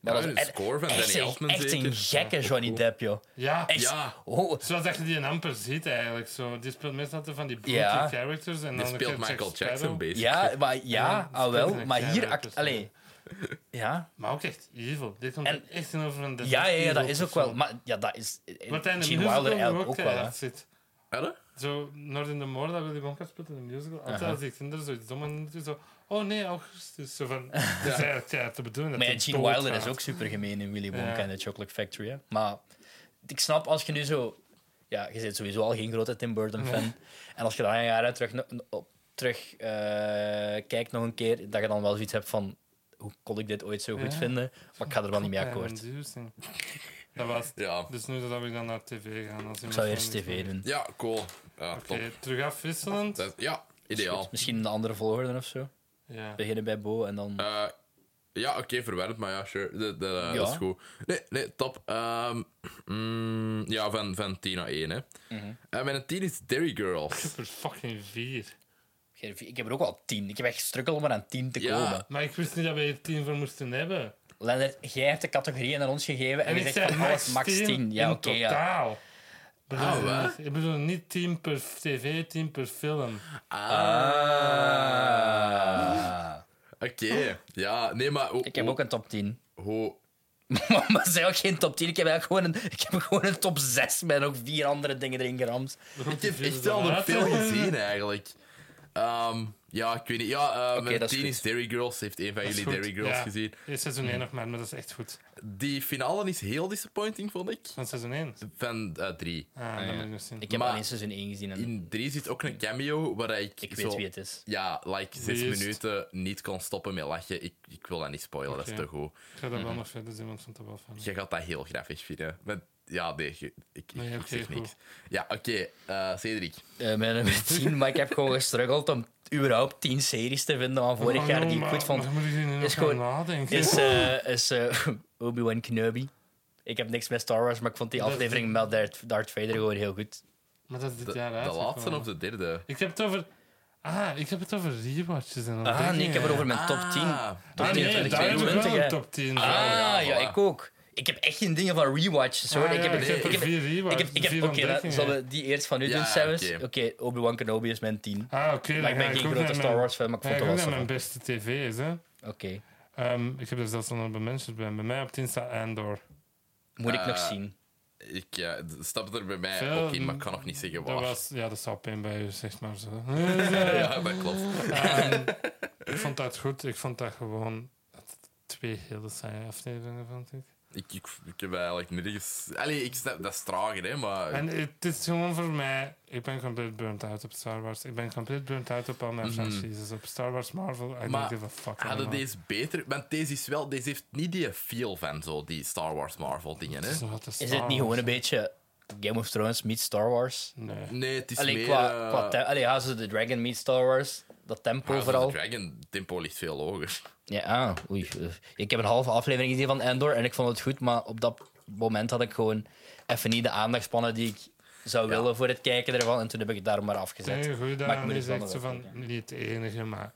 [SPEAKER 1] Maar
[SPEAKER 3] dat
[SPEAKER 1] de
[SPEAKER 3] is echt-
[SPEAKER 1] score van
[SPEAKER 3] Echt,
[SPEAKER 1] Danny
[SPEAKER 3] een-
[SPEAKER 1] Elfman
[SPEAKER 3] echt een
[SPEAKER 1] zeker.
[SPEAKER 3] gekke Johnny Depp, joh.
[SPEAKER 2] Ja,
[SPEAKER 3] Echt,
[SPEAKER 1] Ja.
[SPEAKER 3] oh,
[SPEAKER 2] Zoals dat je die een amper ziet eigenlijk. Zo. Die speelt meestal altijd van die broekie
[SPEAKER 3] Ja.
[SPEAKER 2] characters. En
[SPEAKER 1] Die
[SPEAKER 2] dan
[SPEAKER 1] speelt
[SPEAKER 2] een keer
[SPEAKER 1] Michael
[SPEAKER 2] Jack Sparrow.
[SPEAKER 1] Jackson, basically.
[SPEAKER 3] ja, maar ja,
[SPEAKER 2] Ja,
[SPEAKER 3] ah wel.
[SPEAKER 2] Spielberg,
[SPEAKER 3] Maar
[SPEAKER 2] ja,
[SPEAKER 3] hier...
[SPEAKER 2] dat
[SPEAKER 3] act-
[SPEAKER 2] is-
[SPEAKER 3] Allee, ja.
[SPEAKER 2] Maar ook echt evil. Dit komt
[SPEAKER 3] En-
[SPEAKER 2] er echt in over een
[SPEAKER 3] Ja, ja, ja, dat is ook wel...
[SPEAKER 2] Maar
[SPEAKER 3] Maar ja, dat is... eh,
[SPEAKER 2] Wat hij in de
[SPEAKER 3] Gene
[SPEAKER 2] musical
[SPEAKER 3] Wilder eigenlijk
[SPEAKER 2] ook, eh,
[SPEAKER 3] ook wel, hè.
[SPEAKER 2] zit.
[SPEAKER 1] Hadden?
[SPEAKER 2] Zo, Noord in de Moor, dat wil ik ook gaan spelen in de musical. Altijd
[SPEAKER 3] Aha.
[SPEAKER 2] als ik kinderen zoiets dom en doe zo... Oh nee, augustus. Zo van...
[SPEAKER 3] (laughs)
[SPEAKER 2] Dat is eigenlijk ja, te bedoelen.
[SPEAKER 3] Maar
[SPEAKER 2] dat
[SPEAKER 3] ja,
[SPEAKER 2] die
[SPEAKER 3] Gene
[SPEAKER 2] doodgaat.
[SPEAKER 3] Wilder is ook super gemeen in Willy Wonka
[SPEAKER 2] Ja.
[SPEAKER 3] en de Chocolate Factory. Hè? Maar ik snap als je nu zo. Ja, je bent sowieso al geen grote Tim Burton fan. En als je daar een jaar uit terug, no- op, terug eh, kijkt nog een keer, dat je dan wel zoiets hebt van. Hoe kon ik dit ooit zo goed
[SPEAKER 2] Ja.
[SPEAKER 3] vinden? Maar ik ga er wel niet mee
[SPEAKER 2] Ja,
[SPEAKER 3] akkoord.
[SPEAKER 2] inducing. Dat was het.
[SPEAKER 1] Ja,
[SPEAKER 2] Dus nu dat ik dan naar tv gaan. Als
[SPEAKER 3] Ik zou eerst tv doen.
[SPEAKER 1] ja cool. Ja,
[SPEAKER 2] Oké,
[SPEAKER 1] top.
[SPEAKER 2] terug afwisselend.
[SPEAKER 1] Dat- ja, ideaal.
[SPEAKER 3] Misschien in de andere volgorde of zo.
[SPEAKER 2] Ja.
[SPEAKER 3] Beginnen bij Bo en dan...
[SPEAKER 1] Eh, ja, oké, verwerkt, maar ja, sure. Dat, dat, eh,
[SPEAKER 3] Ja.
[SPEAKER 1] dat is goed. Nee, nee top. Ehm, mm, ja, van, van 10 naar 1, hè. En mijn 10 is Dairy Girls.
[SPEAKER 2] Super fucking vier.
[SPEAKER 3] Geen- Ik heb er ook al tien. Ik heb echt gestrukkeld om er aan tien te
[SPEAKER 1] Ja.
[SPEAKER 3] komen.
[SPEAKER 2] Maar ik wist niet dat we er tien voor moesten hebben.
[SPEAKER 3] Lennart, jij hebt de categorieën aan ons gegeven en,
[SPEAKER 2] En
[SPEAKER 3] je
[SPEAKER 2] ik
[SPEAKER 3] zegt
[SPEAKER 2] zei
[SPEAKER 3] van alles max tien. Ja,
[SPEAKER 2] in
[SPEAKER 3] oké. ja.
[SPEAKER 2] totaal.
[SPEAKER 3] Oh,
[SPEAKER 2] Ik bedoel
[SPEAKER 1] Ah, wel.
[SPEAKER 2] niet- Ik bedoel niet tien per tv, tien per film.
[SPEAKER 3] Ah.
[SPEAKER 1] Oké, ja, nee, maar... Hoe,
[SPEAKER 3] Ik heb ook een top 10.
[SPEAKER 1] hoe- hoe-
[SPEAKER 3] (laughs) maar dat zijn ook geen top 10. Ik heb eigenlijk gewoon een, ik heb gewoon een top 6 met nog vier andere dingen erin geramd.
[SPEAKER 1] Ik heb echt wel nog veel gezien, eigenlijk. Ehm, ja, ik weet niet. Ja, eh, mijn
[SPEAKER 3] dat is
[SPEAKER 1] 10
[SPEAKER 3] goed.
[SPEAKER 1] is Dairy Girls. Heeft een van
[SPEAKER 2] Dat is
[SPEAKER 1] jullie
[SPEAKER 2] goed.
[SPEAKER 1] Dairy Girls
[SPEAKER 2] Ja.
[SPEAKER 1] gezien?
[SPEAKER 2] Ja, seizoen 1 nog maar, maar dat is echt goed.
[SPEAKER 1] Die finale is heel disappointing, vond ik.
[SPEAKER 2] Van seizoen 1.
[SPEAKER 1] Van eh, 3.
[SPEAKER 2] Ah, dat moet ik nog zien.
[SPEAKER 3] Ik heb
[SPEAKER 1] Maar-
[SPEAKER 3] alleen seizoen 1 gezien en
[SPEAKER 1] In 3 zit ook een cameo waar ik,
[SPEAKER 3] ik
[SPEAKER 1] zo-
[SPEAKER 3] weet wie het is.
[SPEAKER 1] Ja, like zes
[SPEAKER 2] Wie is het?
[SPEAKER 1] minuten niet kon stoppen met lachen. Ik, ik wil dat niet spoilen, dat is
[SPEAKER 2] Oké.
[SPEAKER 1] te goed.
[SPEAKER 2] Ik ga
[SPEAKER 3] Mhm.
[SPEAKER 2] dat wel nog verder zien, want ik vond dat wel van.
[SPEAKER 1] Je gaat dat heel grafisch vinden. Maar, ja, nee, je- ik, ik,
[SPEAKER 2] Nee,
[SPEAKER 1] ik
[SPEAKER 2] oké,
[SPEAKER 1] zeg
[SPEAKER 2] goed.
[SPEAKER 1] niks. Ja, oké, eh, Cedric.
[SPEAKER 3] Eh, mijn nummer 10, maar ik heb gewoon gestruggeld om überhaupt 10 series te vinden van vorig jaar die ik goed vond.
[SPEAKER 2] Oh, Maar moet ik hier nu nog
[SPEAKER 3] Is
[SPEAKER 2] gewoon
[SPEAKER 3] gewoon-
[SPEAKER 2] nadenken?
[SPEAKER 3] Is, eh, is eh, (laughs) Obi-Wan Kenobi. Ik heb niks met Star Wars, maar ik vond die
[SPEAKER 2] Dat-
[SPEAKER 3] aflevering met Darth, Darth Vader gewoon heel goed.
[SPEAKER 2] Maar dat is dit
[SPEAKER 1] De,
[SPEAKER 2] jaar
[SPEAKER 1] de laatste
[SPEAKER 2] uitgekomen.
[SPEAKER 1] of de derde?
[SPEAKER 2] Ik heb het over... Ah, ik heb het over rewatches en
[SPEAKER 3] Ah, nee, ik heb het over mijn top 10.
[SPEAKER 1] Ah,
[SPEAKER 3] Top
[SPEAKER 2] Ah,
[SPEAKER 3] 10
[SPEAKER 2] nee, daar heb ik
[SPEAKER 3] 2022,
[SPEAKER 2] wel een
[SPEAKER 3] hè.
[SPEAKER 2] top 10.
[SPEAKER 3] Ah, ja,
[SPEAKER 1] ja, voilà.
[SPEAKER 3] ik ook. Ik heb echt geen dingen van rewatches, hoor.
[SPEAKER 2] Ah,
[SPEAKER 3] ik heb,
[SPEAKER 2] ja, ik heb
[SPEAKER 3] ik
[SPEAKER 2] er
[SPEAKER 3] heb,
[SPEAKER 2] vier
[SPEAKER 3] ik
[SPEAKER 2] rewatches, dus
[SPEAKER 3] heb, ik heb-
[SPEAKER 2] vier
[SPEAKER 3] Oké, dan
[SPEAKER 2] ontdekkingen.
[SPEAKER 3] zullen we die eerst van u
[SPEAKER 1] Ja,
[SPEAKER 3] doen, Sevens?
[SPEAKER 1] oké.
[SPEAKER 3] Oké, Obi-Wan Kenobi is mijn 10.
[SPEAKER 2] Ah, oké. dan
[SPEAKER 3] Maar ik ben
[SPEAKER 2] ga
[SPEAKER 3] geen
[SPEAKER 2] ook
[SPEAKER 3] grote
[SPEAKER 2] naar
[SPEAKER 3] Star
[SPEAKER 2] mijn-
[SPEAKER 3] Wars fan, maar ik
[SPEAKER 2] Ja,
[SPEAKER 3] vond
[SPEAKER 2] ik
[SPEAKER 3] het
[SPEAKER 2] ook
[SPEAKER 3] wel
[SPEAKER 2] naar mijn
[SPEAKER 3] grappig.
[SPEAKER 2] beste tv is, hè.
[SPEAKER 3] Oké.
[SPEAKER 2] Ehm, ik heb er zelfs nog bij mensen bij. Bij mij op 10 staat Andor.
[SPEAKER 3] Moet ik nog
[SPEAKER 1] Eh,
[SPEAKER 3] zien.
[SPEAKER 1] Ik eh, d- stap er bij mij
[SPEAKER 2] Veel-
[SPEAKER 1] ook in, maar ik kan nog niet zeggen waar.
[SPEAKER 2] Dat was, ja, dat zou pijn bij u, zeg maar
[SPEAKER 3] (laughs)
[SPEAKER 2] zo.
[SPEAKER 1] (laughs) Ja, dat klopt.
[SPEAKER 2] Ehm, ik vond dat goed. Ik vond dat gewoon dat twee hele saaie afleveringen, vond ik.
[SPEAKER 1] Ik, ik, ik heb eigenlijk nergens... Allee, ik snap, dat is trager, hè, maar...
[SPEAKER 2] En het is gewoon voor mij... Ik ben compleet burnt out op Star Wars. Ik ben compleet burnt out op al mijn
[SPEAKER 3] Mhm.
[SPEAKER 2] franchises. Op Star Wars, Marvel, I
[SPEAKER 1] Maar
[SPEAKER 2] don't give a fuck.
[SPEAKER 1] Hadden
[SPEAKER 2] anymore.
[SPEAKER 1] deze Ah, beter... Want deze is wel... Deze heeft niet die feel van zo, die Star Wars Marvel dingen, hè.
[SPEAKER 2] is, nog wat te
[SPEAKER 3] Is
[SPEAKER 2] Star
[SPEAKER 3] het niet gewoon
[SPEAKER 2] Wars.
[SPEAKER 3] een beetje Game of Thrones meets Star Wars?
[SPEAKER 2] Nee.
[SPEAKER 1] Nee, het is
[SPEAKER 3] Allee,
[SPEAKER 1] meer...
[SPEAKER 3] qua,
[SPEAKER 1] eh,
[SPEAKER 3] qua te- Allee, ja, zo de Dragon meets Star Wars. Dat tempo
[SPEAKER 1] House of
[SPEAKER 3] vooral.
[SPEAKER 1] the Dragon tempo ligt veel hoger. (laughs)
[SPEAKER 3] Ja, ah, oei. eh, Ik heb een halve aflevering gezien van Endor en ik vond het goed, maar op dat moment had ik gewoon even niet de aandachtspannen die ik zou willen voor het kijken ervan. En toen heb ik het daarom maar
[SPEAKER 2] Het
[SPEAKER 3] afgezet.
[SPEAKER 2] enige goede
[SPEAKER 3] Maar ik
[SPEAKER 2] daaraan
[SPEAKER 3] moet
[SPEAKER 2] is
[SPEAKER 3] het wel
[SPEAKER 2] echt eh, zo
[SPEAKER 3] nog wel
[SPEAKER 2] van... Niet het enige, maar...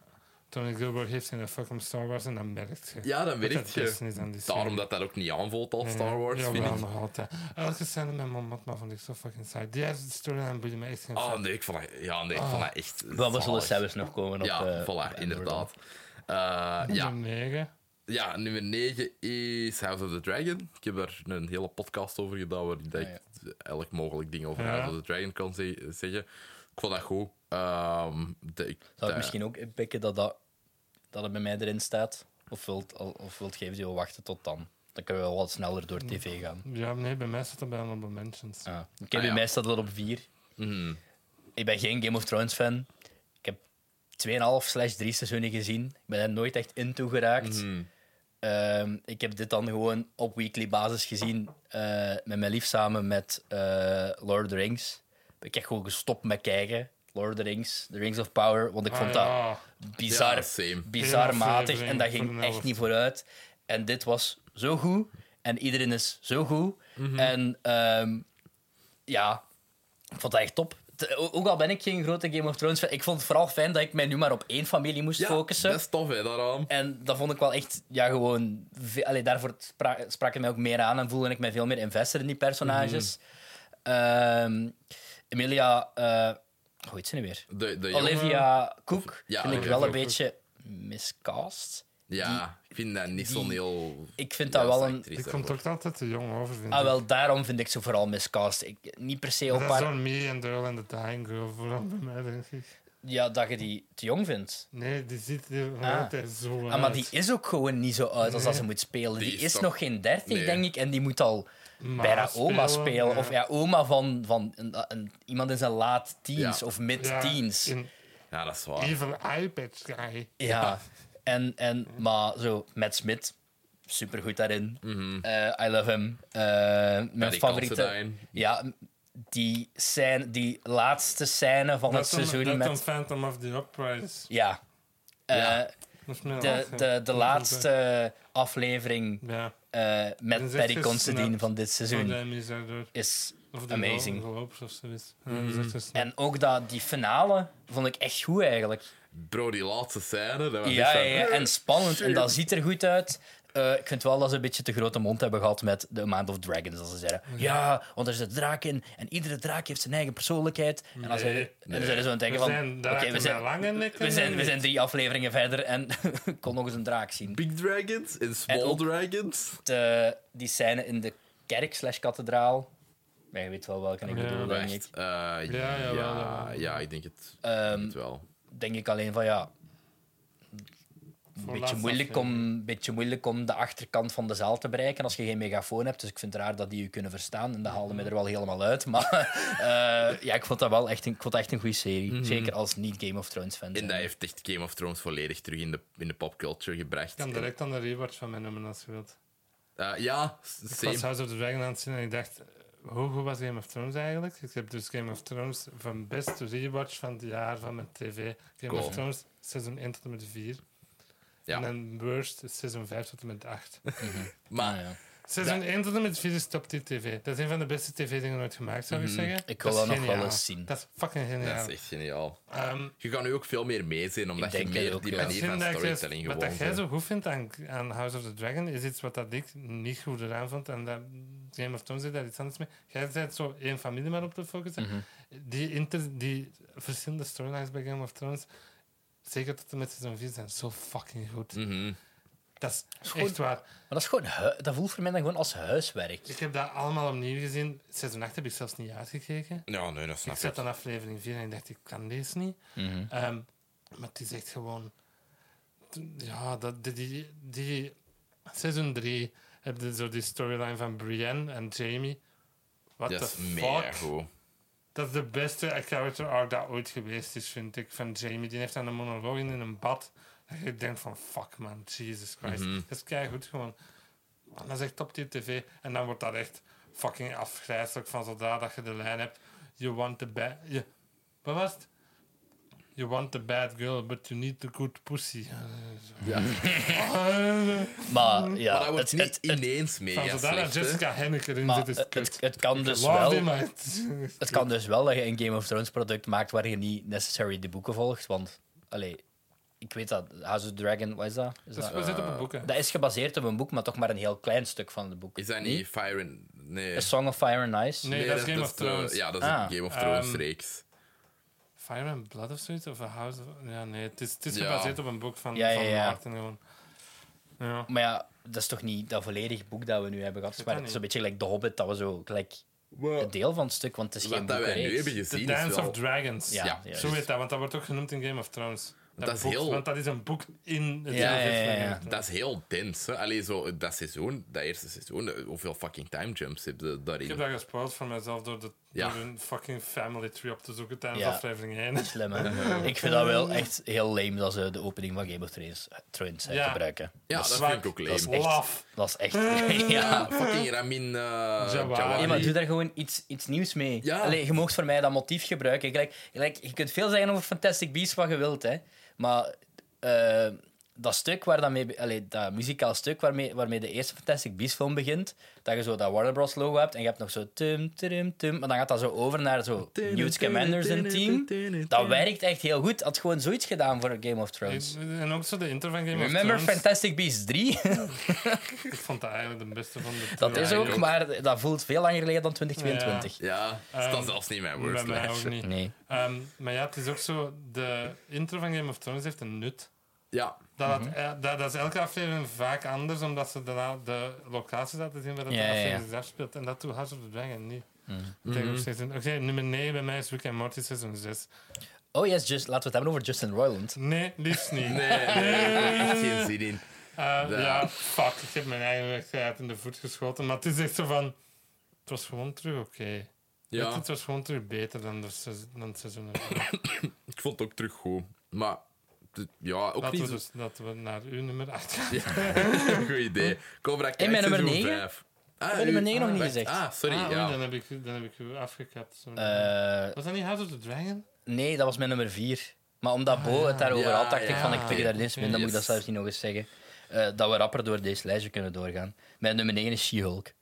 [SPEAKER 2] Tony Gilbert heeft in de fucking Star Wars en dan merkt je.
[SPEAKER 1] Ja, dat
[SPEAKER 2] dat
[SPEAKER 1] weet
[SPEAKER 2] het beste
[SPEAKER 1] je.
[SPEAKER 2] is aan
[SPEAKER 3] dus,
[SPEAKER 2] die serie.
[SPEAKER 1] Daarom
[SPEAKER 3] eh,
[SPEAKER 1] dat dat ook niet aanvoelt als Star Wars,
[SPEAKER 2] ja,
[SPEAKER 1] vind
[SPEAKER 2] wel
[SPEAKER 1] ik.
[SPEAKER 2] nog altijd. Elke scène met mijn mama vond ik zo fucking saai. Die hele storyline boeide me echt geen
[SPEAKER 1] Ah,
[SPEAKER 2] fuck.
[SPEAKER 1] nee, ik vond dat, ja, nee, ik vond dat echt...
[SPEAKER 3] Ah. Wel, we zullen
[SPEAKER 1] zalig.
[SPEAKER 3] zelfs nog komen op...
[SPEAKER 1] Ja,
[SPEAKER 3] eh, op
[SPEAKER 1] voilà,
[SPEAKER 3] Endor
[SPEAKER 1] inderdaad.
[SPEAKER 3] dan.
[SPEAKER 1] Eh, ja,
[SPEAKER 2] Nummer negen.
[SPEAKER 1] Ja, nummer 9 is House of the Dragon. Ik heb daar een hele podcast over gedaan waar ik
[SPEAKER 3] Ah, ja.
[SPEAKER 1] elk mogelijk ding over
[SPEAKER 2] Ja.
[SPEAKER 1] House of the Dragon kan ze- zeggen. Ik vond dat goed. Ehm, de- ik-
[SPEAKER 3] Zou
[SPEAKER 1] de-
[SPEAKER 3] ik misschien ook pikken dat, dat, dat het bij mij erin staat? Of wilt, of wilt geven die wel wachten tot dan? Dan kunnen we wel wat sneller door tv gaan.
[SPEAKER 2] Ja, nee, bij mij staat dat bij Honorable Mentions.
[SPEAKER 3] Ah. Ik heb
[SPEAKER 1] Ah, ja.
[SPEAKER 3] bij mij staat dat op vier.
[SPEAKER 1] Mhm.
[SPEAKER 3] Ik ben geen Game of Thrones fan. Ik heb 2,5 slash 3 seizoenen gezien. Ik ben er nooit echt in toe geraakt.
[SPEAKER 1] Mhm.
[SPEAKER 3] Ehm, ik heb dit dan gewoon op weekly basis gezien eh, met mijn lief samen met eh, Lord of the Rings. Ik heb gewoon gestopt met kijken. Lord of the Rings, The Rings of Power, want ik
[SPEAKER 2] Ah,
[SPEAKER 3] vond dat bizar,
[SPEAKER 1] Ah, Ja, same.
[SPEAKER 3] bizar
[SPEAKER 2] Eén
[SPEAKER 3] matig
[SPEAKER 2] aflevering
[SPEAKER 3] en dat
[SPEAKER 2] voor de
[SPEAKER 3] ging
[SPEAKER 2] helft.
[SPEAKER 3] echt niet vooruit. En dit was zo goed en iedereen is zo goed.
[SPEAKER 2] Mhm.
[SPEAKER 3] En ehm, ja, ik vond dat echt top. T- o- Ook al ben ik geen grote Game of Thrones fan, ik vond het vooral fijn dat ik mij nu maar op één familie moest
[SPEAKER 1] Ja,
[SPEAKER 3] focussen.
[SPEAKER 1] dat is tof, hè, daaraan.
[SPEAKER 3] En dat vond ik wel echt, ja, gewoon. ve- Allee, daarvoor spra- sprak het mij ook meer aan en voelde ik mij veel meer invested in die personages.
[SPEAKER 2] Mhm.
[SPEAKER 3] Ehm, Emilia, eh hoe heet ze nu weer?
[SPEAKER 1] De, de jongen-
[SPEAKER 3] Olivia Cook
[SPEAKER 1] Ja,
[SPEAKER 3] vind ik
[SPEAKER 1] Olivia
[SPEAKER 3] wel een
[SPEAKER 2] Cook.
[SPEAKER 3] beetje miscast.
[SPEAKER 1] ja, ik vind dat niet zo'n
[SPEAKER 3] die-
[SPEAKER 1] heel...
[SPEAKER 3] ik vind dat wel een-
[SPEAKER 2] Die komt ook altijd te jong over, vind
[SPEAKER 3] Ah,
[SPEAKER 2] ik.
[SPEAKER 3] wel, daarom vind ik ze vooral miscast. Ik, niet per se op
[SPEAKER 2] Dat is
[SPEAKER 3] haar.
[SPEAKER 2] zo'n Me and the Girl and the Dying Girl vooral bij mij, denk ik.
[SPEAKER 3] Ja, dat je die te jong vindt.
[SPEAKER 2] Nee, die ziet er
[SPEAKER 3] Ah.
[SPEAKER 2] altijd zo uit.
[SPEAKER 3] Ah, maar die is ook gewoon niet zo uit als dat ze moet spelen.
[SPEAKER 1] Die
[SPEAKER 3] Die,
[SPEAKER 1] is
[SPEAKER 3] is,
[SPEAKER 1] toch-
[SPEAKER 3] nog geen 30,
[SPEAKER 1] Nee.
[SPEAKER 3] denk ik, en die moet al
[SPEAKER 2] Ma
[SPEAKER 3] bijna oma spelen. Of
[SPEAKER 2] ja.
[SPEAKER 3] ja, oma van, van een, een- iemand in zijn laat teens
[SPEAKER 1] Ja.
[SPEAKER 3] of mid-teens.
[SPEAKER 2] Ja,
[SPEAKER 3] Ja.
[SPEAKER 2] in
[SPEAKER 1] Ja, dat is waar.
[SPEAKER 2] Evil Eye Patch Guy.
[SPEAKER 3] En, en, maar zo, Matt Smith supergoed daarin.
[SPEAKER 1] Mhm.
[SPEAKER 3] Eh, I love him. Eh, mijn
[SPEAKER 1] Paddy
[SPEAKER 3] favoriete.
[SPEAKER 1] Considine.
[SPEAKER 3] Ja, die, scène, die laatste scène van het
[SPEAKER 2] Dat dan-
[SPEAKER 3] seizoen
[SPEAKER 2] dat dan
[SPEAKER 3] met.
[SPEAKER 2] Phantom of the Uprise.
[SPEAKER 3] Ja. Eh,
[SPEAKER 1] Ja.
[SPEAKER 2] Dat is meer
[SPEAKER 3] de,
[SPEAKER 2] lachen.
[SPEAKER 3] de, de
[SPEAKER 2] Oh, Ja.
[SPEAKER 3] laatste aflevering
[SPEAKER 2] Ja,
[SPEAKER 3] eh,
[SPEAKER 2] Dan
[SPEAKER 3] met
[SPEAKER 2] zit
[SPEAKER 3] Paddy
[SPEAKER 2] je eh,
[SPEAKER 3] Considine
[SPEAKER 2] snapt.
[SPEAKER 3] van dit
[SPEAKER 2] van
[SPEAKER 3] seizoen
[SPEAKER 2] hem is daardoor.
[SPEAKER 3] is
[SPEAKER 2] Of de
[SPEAKER 3] amazing. Mhm.
[SPEAKER 2] Geloops of zoiets. Ja, dat is echt een snap.
[SPEAKER 3] En ook dat, die finale vond ik echt goed eigenlijk.
[SPEAKER 1] Bro, die laatste scène. Dat was echt
[SPEAKER 3] Ja, ja,
[SPEAKER 1] van-
[SPEAKER 3] ja, en spannend. En dat ziet er goed uit. Eh, ik vind wel dat ze een beetje te grote mond hebben gehad met de Amount of Dragons. Dat ze zeiden, ja, want er zit een draak in en iedere draak heeft zijn eigen persoonlijkheid. En dan zijn
[SPEAKER 2] Nee.
[SPEAKER 3] en dan zijn ze zo aan het denken
[SPEAKER 2] We
[SPEAKER 3] van,
[SPEAKER 2] zijn
[SPEAKER 3] oké,
[SPEAKER 2] draken
[SPEAKER 3] we,
[SPEAKER 2] met
[SPEAKER 3] zijn,
[SPEAKER 2] lange nekken.
[SPEAKER 3] we, zijn, we zijn drie afleveringen verder en (laughs) ik kon nog eens een draak zien.
[SPEAKER 1] Big Dragons en Small
[SPEAKER 3] En ook-
[SPEAKER 1] Dragons.
[SPEAKER 3] De, die scène in de kerk slash kathedraal. Maar je weet wel welke ik
[SPEAKER 2] Ja.
[SPEAKER 3] bedoel, denk ik.
[SPEAKER 1] Echt, eh, ja,
[SPEAKER 2] ja,
[SPEAKER 1] ja,
[SPEAKER 2] wel, ja.
[SPEAKER 1] ja, ik denk het,
[SPEAKER 3] Ehm,
[SPEAKER 1] het wel.
[SPEAKER 3] denk ik alleen van ja. Een beetje
[SPEAKER 2] laatste
[SPEAKER 3] moeilijk, om,
[SPEAKER 2] aflevering.
[SPEAKER 3] beetje moeilijk om de achterkant van de zaal te bereiken als je geen megafoon hebt. Dus ik vind het raar dat die je kunnen verstaan. En dat haalde mij er wel helemaal uit. Maar (laughs) eh, ja, ik vond dat wel echt een, ik vond dat echt een goede serie. Zeker als niet-Game of Thrones fan.
[SPEAKER 1] En dat heeft echt Game of Thrones volledig terug in de, in de popculture gebracht.
[SPEAKER 2] Ik kan
[SPEAKER 1] En,
[SPEAKER 2] direct aan de rewards van mijn nummer als je wilt.
[SPEAKER 1] eh, ja,
[SPEAKER 2] Ik
[SPEAKER 1] same.
[SPEAKER 2] was House of the Dragon aan het zien en ik dacht, eh, hoe goed was Game of Thrones eigenlijk? Ik heb dus Game of Thrones van best rewatch van het jaar van mijn tv. Game
[SPEAKER 1] Cool.
[SPEAKER 2] of Thrones seizoen 1 tot en met 4.
[SPEAKER 1] Ja.
[SPEAKER 2] En dan worst is seizoen 5 tot en met 8.
[SPEAKER 1] Maar
[SPEAKER 3] Ah, ja.
[SPEAKER 2] Seizoen 1 tot en met 4 is top tier tv. Dat is een van de beste tv-dingen ooit gemaakt, zou ik zeggen.
[SPEAKER 3] Mhm. Ik wil
[SPEAKER 2] Dat is
[SPEAKER 3] dat nog wel
[SPEAKER 2] geniaal.
[SPEAKER 3] eens zien.
[SPEAKER 2] Dat is fucking geniaal.
[SPEAKER 1] dat is echt geniaal.
[SPEAKER 2] Ehm,
[SPEAKER 1] Je kan nu ook veel meer meezien, omdat je
[SPEAKER 3] denk dat
[SPEAKER 1] meer
[SPEAKER 3] ook,
[SPEAKER 1] die
[SPEAKER 3] ja.
[SPEAKER 1] manier van
[SPEAKER 2] Misschien dat ik juist-
[SPEAKER 1] storytelling
[SPEAKER 2] Wat
[SPEAKER 1] gewoon
[SPEAKER 2] dat jij
[SPEAKER 1] bent.
[SPEAKER 2] zo goed vindt aan, aan House of the Dragon is iets wat dat ik niet goed eraan vond. En dat Game of Thrones zit daar iets anders mee. Jij bent zo één familie maar op te focussen.
[SPEAKER 3] Mhm.
[SPEAKER 2] die, inter, die verschillende storylines bij Game of Thrones, zeker tot en met seizoen 4, zijn zo fucking goed.
[SPEAKER 1] Mhm.
[SPEAKER 2] Dat is
[SPEAKER 3] goed.
[SPEAKER 2] echt waar.
[SPEAKER 3] Maar dat, is gewoon, hu- dat voelt voor mij dan gewoon als huiswerk.
[SPEAKER 2] Ik heb dat allemaal opnieuw gezien. Seizoen 8 heb ik zelfs niet uitgekeken.
[SPEAKER 1] Ja, nee, dat
[SPEAKER 2] Ik
[SPEAKER 1] snap Mhm. ik.
[SPEAKER 2] zat aan aflevering 4 en ik dacht, ik kan deze niet. Ehm, maar het is echt gewoon... Ja, dat, die, die, die- Seizoen 3 heb je zo die storyline van Brienne en Jamie. What
[SPEAKER 1] Dat
[SPEAKER 2] the
[SPEAKER 1] is mega
[SPEAKER 2] fuck?
[SPEAKER 1] goed.
[SPEAKER 2] Dat is de beste character arc dat ooit geweest is, vind ik, van Jamie. Die heeft dan een monoloog in in een bad. Dat je denkt van, fuck man, Jesus Christ. Dat is keigoed gewoon. Man, dat is echt top tier tv. En dan wordt dat echt fucking afgrijzelijk van zodra dat je de lijn hebt. You want the bad... je- Wat was het? You want the bad girl, but you need the good pussy.
[SPEAKER 1] Ja.
[SPEAKER 3] Maar ja,
[SPEAKER 1] maar dat wordt
[SPEAKER 3] het,
[SPEAKER 1] niet
[SPEAKER 3] het, het,
[SPEAKER 1] ineens
[SPEAKER 2] Van
[SPEAKER 1] mega
[SPEAKER 2] zodra dat
[SPEAKER 1] slecht. hè.
[SPEAKER 2] Jessica Henniker erin
[SPEAKER 3] maar
[SPEAKER 2] zit, is
[SPEAKER 3] het,
[SPEAKER 2] het
[SPEAKER 3] het,
[SPEAKER 2] kut.
[SPEAKER 3] het kan dus
[SPEAKER 2] Love
[SPEAKER 3] wel...
[SPEAKER 2] him, (laughs) maar het is-
[SPEAKER 3] Het kan dus wel dat je een Game of Thrones product maakt waar je niet necessarily de boeken volgt. Want, allee, ik weet dat. House of the Dragon, wat is dat? Is
[SPEAKER 2] Dat is
[SPEAKER 3] dat,
[SPEAKER 2] gebaseerd op een boek, hè.
[SPEAKER 3] dat is gebaseerd op een boek, maar toch maar een heel klein stuk van het boek.
[SPEAKER 1] Is dat niet Fire and... Nee.
[SPEAKER 3] A Song of Fire and Ice?
[SPEAKER 2] Nee, dat is Game of
[SPEAKER 1] de-
[SPEAKER 2] Thrones.
[SPEAKER 1] Ja, dat is
[SPEAKER 3] Ah.
[SPEAKER 1] een Game of Thrones
[SPEAKER 2] Ehm,
[SPEAKER 1] reeks.
[SPEAKER 2] Fire and Blood of zoiets? Of a House of... Ja, nee, het is, het is
[SPEAKER 1] Ja.
[SPEAKER 2] gebaseerd op een boek van,
[SPEAKER 3] Ja, ja,
[SPEAKER 2] van
[SPEAKER 3] ja.
[SPEAKER 2] Martin gewoon. Ja.
[SPEAKER 3] Maar ja, dat is toch niet dat volledig boek dat we nu hebben gehad.
[SPEAKER 2] Dat
[SPEAKER 3] Maar
[SPEAKER 2] kan
[SPEAKER 3] het is een beetje like The Hobbit, dat we zo like, een deel van het stuk, want het is geen
[SPEAKER 1] Wat dat wij nu
[SPEAKER 3] boekenreeks.
[SPEAKER 1] hebben
[SPEAKER 2] The
[SPEAKER 1] gezien is
[SPEAKER 2] Dance
[SPEAKER 1] wel...
[SPEAKER 2] of Dragons.
[SPEAKER 3] Ja,
[SPEAKER 1] Ja,
[SPEAKER 3] ja,
[SPEAKER 2] Zo heet dat, want dat wordt ook genoemd in Game of Thrones. Dat,
[SPEAKER 1] Dat is
[SPEAKER 2] boek,
[SPEAKER 1] heel-
[SPEAKER 2] Want dat is een boek in het
[SPEAKER 3] Ja,
[SPEAKER 2] universum
[SPEAKER 3] ja,
[SPEAKER 2] van
[SPEAKER 3] ja, ja.
[SPEAKER 2] Game of Thrones.
[SPEAKER 1] Dat is heel dens, hè. Allee, zo, dat seizoen, dat eerste seizoen, eh, hoeveel fucking time jumps heb je
[SPEAKER 2] Ik
[SPEAKER 1] daarin?
[SPEAKER 2] heb dat gespoild voor mezelf door, de,
[SPEAKER 1] Ja.
[SPEAKER 2] door een fucking family tree op te zoeken tijdens
[SPEAKER 3] Ja.
[SPEAKER 2] aflevering 1.
[SPEAKER 3] Slim, hè?
[SPEAKER 1] (laughs)
[SPEAKER 3] ik vind dat wel echt heel lame dat ze de opening van Game of Thrones, Thrones hè,
[SPEAKER 2] Ja.
[SPEAKER 3] gebruiken.
[SPEAKER 1] Ja, dat
[SPEAKER 2] Zwak.
[SPEAKER 1] vind ik ook
[SPEAKER 3] Dat is
[SPEAKER 1] leem.
[SPEAKER 3] echt-
[SPEAKER 2] Laf.
[SPEAKER 3] Dat is echt...
[SPEAKER 2] Eh,
[SPEAKER 3] (laughs) ja.
[SPEAKER 1] Ja, fucking Ramin eh
[SPEAKER 2] Jawari.
[SPEAKER 3] Nee,
[SPEAKER 1] Jawari.
[SPEAKER 3] maar doe daar gewoon iets, iets nieuws mee.
[SPEAKER 1] Ja.
[SPEAKER 3] Allee, je mag voor mij dat motief gebruiken. Gelijk, gelijk, je kunt veel zeggen over Fantastic Beasts wat je wilt, hè. Maar eh, dat stuk waar dan mee, allee, dat muzikaal stuk waarmee, waarmee de eerste Fantastic Beasts film begint, dat je zo dat Warner Bros. logo hebt en je hebt nog zo tum, tum, tum, maar dan gaat dat zo over naar zo Newt Scamander zijn team. Dat werkt echt heel goed. Had gewoon zoiets gedaan voor Game of Thrones.
[SPEAKER 2] En ook zo de intro van Game
[SPEAKER 3] Remember
[SPEAKER 2] of Thrones.
[SPEAKER 3] Fantastic Beasts 3?
[SPEAKER 2] Ik vond dat eigenlijk de beste van de
[SPEAKER 3] (laughs) Dat
[SPEAKER 2] trio.
[SPEAKER 3] is ook,
[SPEAKER 1] ook.
[SPEAKER 3] maar dat voelt veel langer geleden dan 2022.
[SPEAKER 1] Ja, staat
[SPEAKER 2] Ehm,
[SPEAKER 1] zelfs niet in mijn
[SPEAKER 2] Bij
[SPEAKER 1] worst
[SPEAKER 2] mij
[SPEAKER 1] lijst.
[SPEAKER 2] ook niet.
[SPEAKER 3] Nee.
[SPEAKER 2] Ehm, maar ja, het is ook zo... De intro van Game of Thrones heeft een nut.
[SPEAKER 1] Ja,
[SPEAKER 2] Dat,
[SPEAKER 3] Mhm.
[SPEAKER 2] had- eh, dat, dat is elke aflevering vaak anders, omdat ze daarna de locaties laten zien waar dat
[SPEAKER 3] Ja,
[SPEAKER 2] de
[SPEAKER 3] ja, Mhm. ja.
[SPEAKER 2] aflevering zich afspeelt. En dat doet House of the Dragon niet. Ik denk ook seizoen- Oké, nummer 9 bij mij is Rick and Morty seizoen 6.
[SPEAKER 3] Oh yes, just, laten we het hebben over Justin
[SPEAKER 2] (laughs)
[SPEAKER 3] Roiland.
[SPEAKER 2] Nee, liefst niet.
[SPEAKER 1] nee, Eh, nee, ik heb echt geen zin in.
[SPEAKER 2] Eh,
[SPEAKER 1] Da.
[SPEAKER 2] ja, fuck, ik heb mijn eigen wedstrijd in de voet geschoten. Maar het is echt zo van... Het was gewoon terug oké. Weet je,
[SPEAKER 1] Ja,
[SPEAKER 2] Het was gewoon terug beter dan, de seizoen, dan het seizoen ervoor.
[SPEAKER 1] ik vond het ook terug goed. Maar d- ja, ook
[SPEAKER 2] Laten
[SPEAKER 1] niet
[SPEAKER 2] we,
[SPEAKER 1] zo...
[SPEAKER 2] dus, dat we naar uw nummer 8 gaan.
[SPEAKER 1] Ja, (laughs) goed idee. Cobra Kai
[SPEAKER 3] En mijn nummer
[SPEAKER 1] seizoen
[SPEAKER 3] negen?
[SPEAKER 1] vijf. Ah,
[SPEAKER 3] Ik ben nummer
[SPEAKER 1] u-
[SPEAKER 3] 9 nog niet
[SPEAKER 1] wacht,
[SPEAKER 3] gezegd.
[SPEAKER 1] Ah, sorry,
[SPEAKER 2] Ah, oei,
[SPEAKER 1] ja.
[SPEAKER 2] dan, heb ik, dan heb ik u afgekapt. sorry.
[SPEAKER 3] Eh,
[SPEAKER 2] was dat niet House of the Dragon?
[SPEAKER 3] nee, dat was mijn nummer 4. Maar omdat Bo het daarover
[SPEAKER 1] Ja,
[SPEAKER 3] had, dacht ik
[SPEAKER 1] Ah, ja,
[SPEAKER 3] van ik
[SPEAKER 1] oké.
[SPEAKER 3] pik daar eens mee, dan moet ik dat
[SPEAKER 1] Yes.
[SPEAKER 3] zelfs niet nog eens zeggen. Eh, dat we rapper door deze lijstje kunnen doorgaan. Mijn nummer 9 is She-Hulk.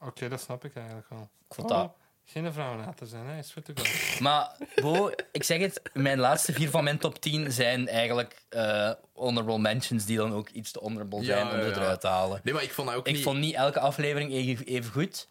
[SPEAKER 2] Oké, dat snap ik eigenlijk al.
[SPEAKER 3] Ik vond dat-
[SPEAKER 2] Geen vrouwenhater zijn, hè? Is goed
[SPEAKER 3] (laughs)
[SPEAKER 2] te
[SPEAKER 1] Oh.
[SPEAKER 2] gaan.
[SPEAKER 3] Maar Bo, ik zeg het, mijn laatste vier van mijn top 10 zijn eigenlijk eh, honorable mentions die dan ook iets te honorable zijn
[SPEAKER 1] Ja,
[SPEAKER 3] om ze
[SPEAKER 1] ja, ja.
[SPEAKER 3] eruit te halen.
[SPEAKER 1] Nee, maar ik vond dat ook
[SPEAKER 3] Ik
[SPEAKER 1] niet...
[SPEAKER 3] vond niet elke aflevering even, even goed.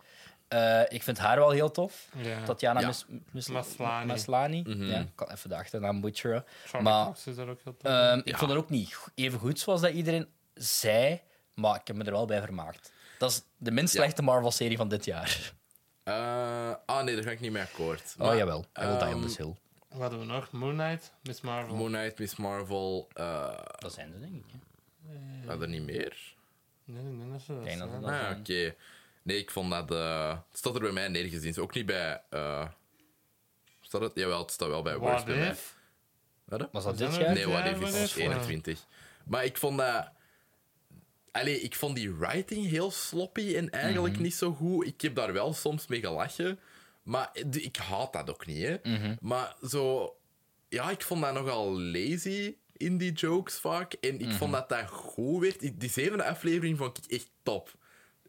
[SPEAKER 3] Eh, ik vind haar wel heel tof.
[SPEAKER 2] Ja.
[SPEAKER 3] Tatjana
[SPEAKER 1] Ja.
[SPEAKER 3] Mis- Mis-
[SPEAKER 2] Maslany.
[SPEAKER 3] Maslany.
[SPEAKER 1] Mhm.
[SPEAKER 3] Ja, ik kan even de achternaam butcheren.
[SPEAKER 2] Charlie
[SPEAKER 3] maar-
[SPEAKER 2] Cox is daar ook heel tof.
[SPEAKER 3] Ehm,
[SPEAKER 2] in.
[SPEAKER 3] Ik vond het ook niet go- even goed zoals dat iedereen zei, maar ik heb me er wel bij vermaakt. Dat is de minst
[SPEAKER 1] Ja.
[SPEAKER 3] slechte Marvel-serie van dit jaar.
[SPEAKER 1] Eh, ah, nee, daar ga ik niet mee akkoord.
[SPEAKER 3] Oh
[SPEAKER 1] Maar,
[SPEAKER 3] jawel, I Will Die on
[SPEAKER 1] ehm,
[SPEAKER 3] This Hill.
[SPEAKER 2] Wat hadden we nog? Moon Knight, Miss Marvel.
[SPEAKER 1] Moon Knight, Miss Marvel... eh
[SPEAKER 3] Dat zijn ze, denk ik. hè.
[SPEAKER 1] hadden er niet meer?
[SPEAKER 2] Nee, nee, nee, dat is dat.
[SPEAKER 3] denk dat
[SPEAKER 2] hè.
[SPEAKER 3] het
[SPEAKER 1] Ah,
[SPEAKER 3] zijn.
[SPEAKER 1] oké. Nee, ik vond dat... eh, het staat er bij mij neergezien. Ook niet bij... eh, staat het? Jawel, het staat wel bij Worst
[SPEAKER 2] What
[SPEAKER 1] bij mij.
[SPEAKER 2] If?
[SPEAKER 1] Wat?
[SPEAKER 3] Was dat
[SPEAKER 2] Zijn
[SPEAKER 3] dit
[SPEAKER 2] er-
[SPEAKER 3] jaar?
[SPEAKER 1] Nee, What If
[SPEAKER 2] What
[SPEAKER 1] is
[SPEAKER 2] If, ja.
[SPEAKER 1] 21. Maar ik vond dat... Allee, ik vond die writing heel sloppy en eigenlijk niet zo goed. Ik heb daar wel soms mee gelachen. Maar d- ik haat dat ook niet, hè. Maar zo... Ja, ik vond dat nogal lazy in die jokes vaak. En ik vond dat dat goed werd. Ik- Die zevende aflevering vond ik echt top.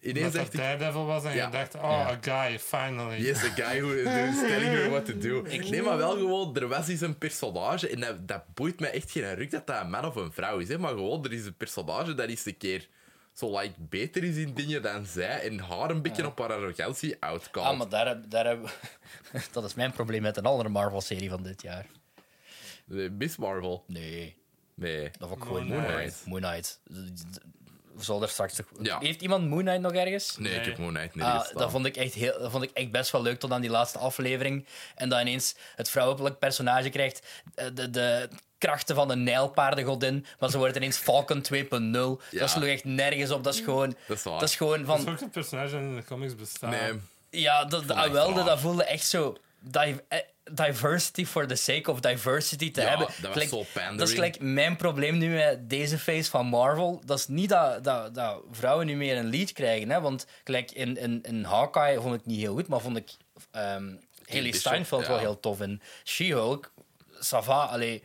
[SPEAKER 1] Ineens
[SPEAKER 2] Dat
[SPEAKER 1] dacht
[SPEAKER 2] dat
[SPEAKER 1] ik...
[SPEAKER 2] Daredevil was en
[SPEAKER 1] Ja.
[SPEAKER 2] je dacht, oh, a guy, finally.
[SPEAKER 1] Yes, a guy who is telling her what to do. Nee, maar wel gewoon, er was eens een personage, en dat, dat boeit me echt geen ruk dat dat een man of een vrouw is, hè, maar gewoon, er is een personage dat eens een keer zo like, beter is in dingen dan zij, en haar een beetje op haar arrogantie outcallt.
[SPEAKER 3] Ah, maar daar, heb- (laughs) daar hebben we- Dat is mijn probleem met een andere Marvel-serie van dit jaar.
[SPEAKER 1] Nee, Eh, Miss Marvel.
[SPEAKER 3] Nee,
[SPEAKER 1] Nee.
[SPEAKER 3] dat vond ik gewoon
[SPEAKER 2] Moon
[SPEAKER 3] Moon
[SPEAKER 1] Knight.
[SPEAKER 3] Knight. Moon Knight. Zal er straks toch...
[SPEAKER 1] Ja.
[SPEAKER 3] Heeft iemand Moon Knight nog ergens?
[SPEAKER 1] Nee, ik
[SPEAKER 2] Nee.
[SPEAKER 1] heb Moon Knight niet
[SPEAKER 3] Ah,
[SPEAKER 1] gestaan.
[SPEAKER 3] dat, vond ik echt heel, dat vond ik echt best wel leuk tot aan die laatste aflevering. En dat ineens het vrouwelijk personage krijgt eh, de, de krachten van de Nijlpaardengodin. Maar ze wordt ineens Falcon 2.0.
[SPEAKER 1] Ja.
[SPEAKER 3] Dat sloeg echt nergens op. Dat is gewoon,
[SPEAKER 1] Dat is waar.
[SPEAKER 3] dat is gewoon
[SPEAKER 2] Dat is
[SPEAKER 3] van.
[SPEAKER 2] ook een personage dat in de comics bestaat.
[SPEAKER 3] ah.
[SPEAKER 1] Nee.
[SPEAKER 3] Ja, dat, dat,
[SPEAKER 1] echt
[SPEAKER 3] wel,
[SPEAKER 1] raar.
[SPEAKER 3] dat voelde echt zo. di- eh, Diversity for the sake of diversity te
[SPEAKER 1] Ja,
[SPEAKER 3] hebben.
[SPEAKER 1] dat was
[SPEAKER 3] Gelijk-
[SPEAKER 1] zo pandering.
[SPEAKER 3] Dat is gelijk mijn probleem nu met deze phase van Marvel. Dat is niet dat, dat, dat vrouwen nu meer een lead krijgen. Hè? Want gelijk in, in, in Hawkeye vond ik niet heel goed, maar vond ik ehm Haley
[SPEAKER 1] Bishop,
[SPEAKER 3] Steinfeld
[SPEAKER 1] ja.
[SPEAKER 3] wel heel tof. En She-Hulk, Sava, allee,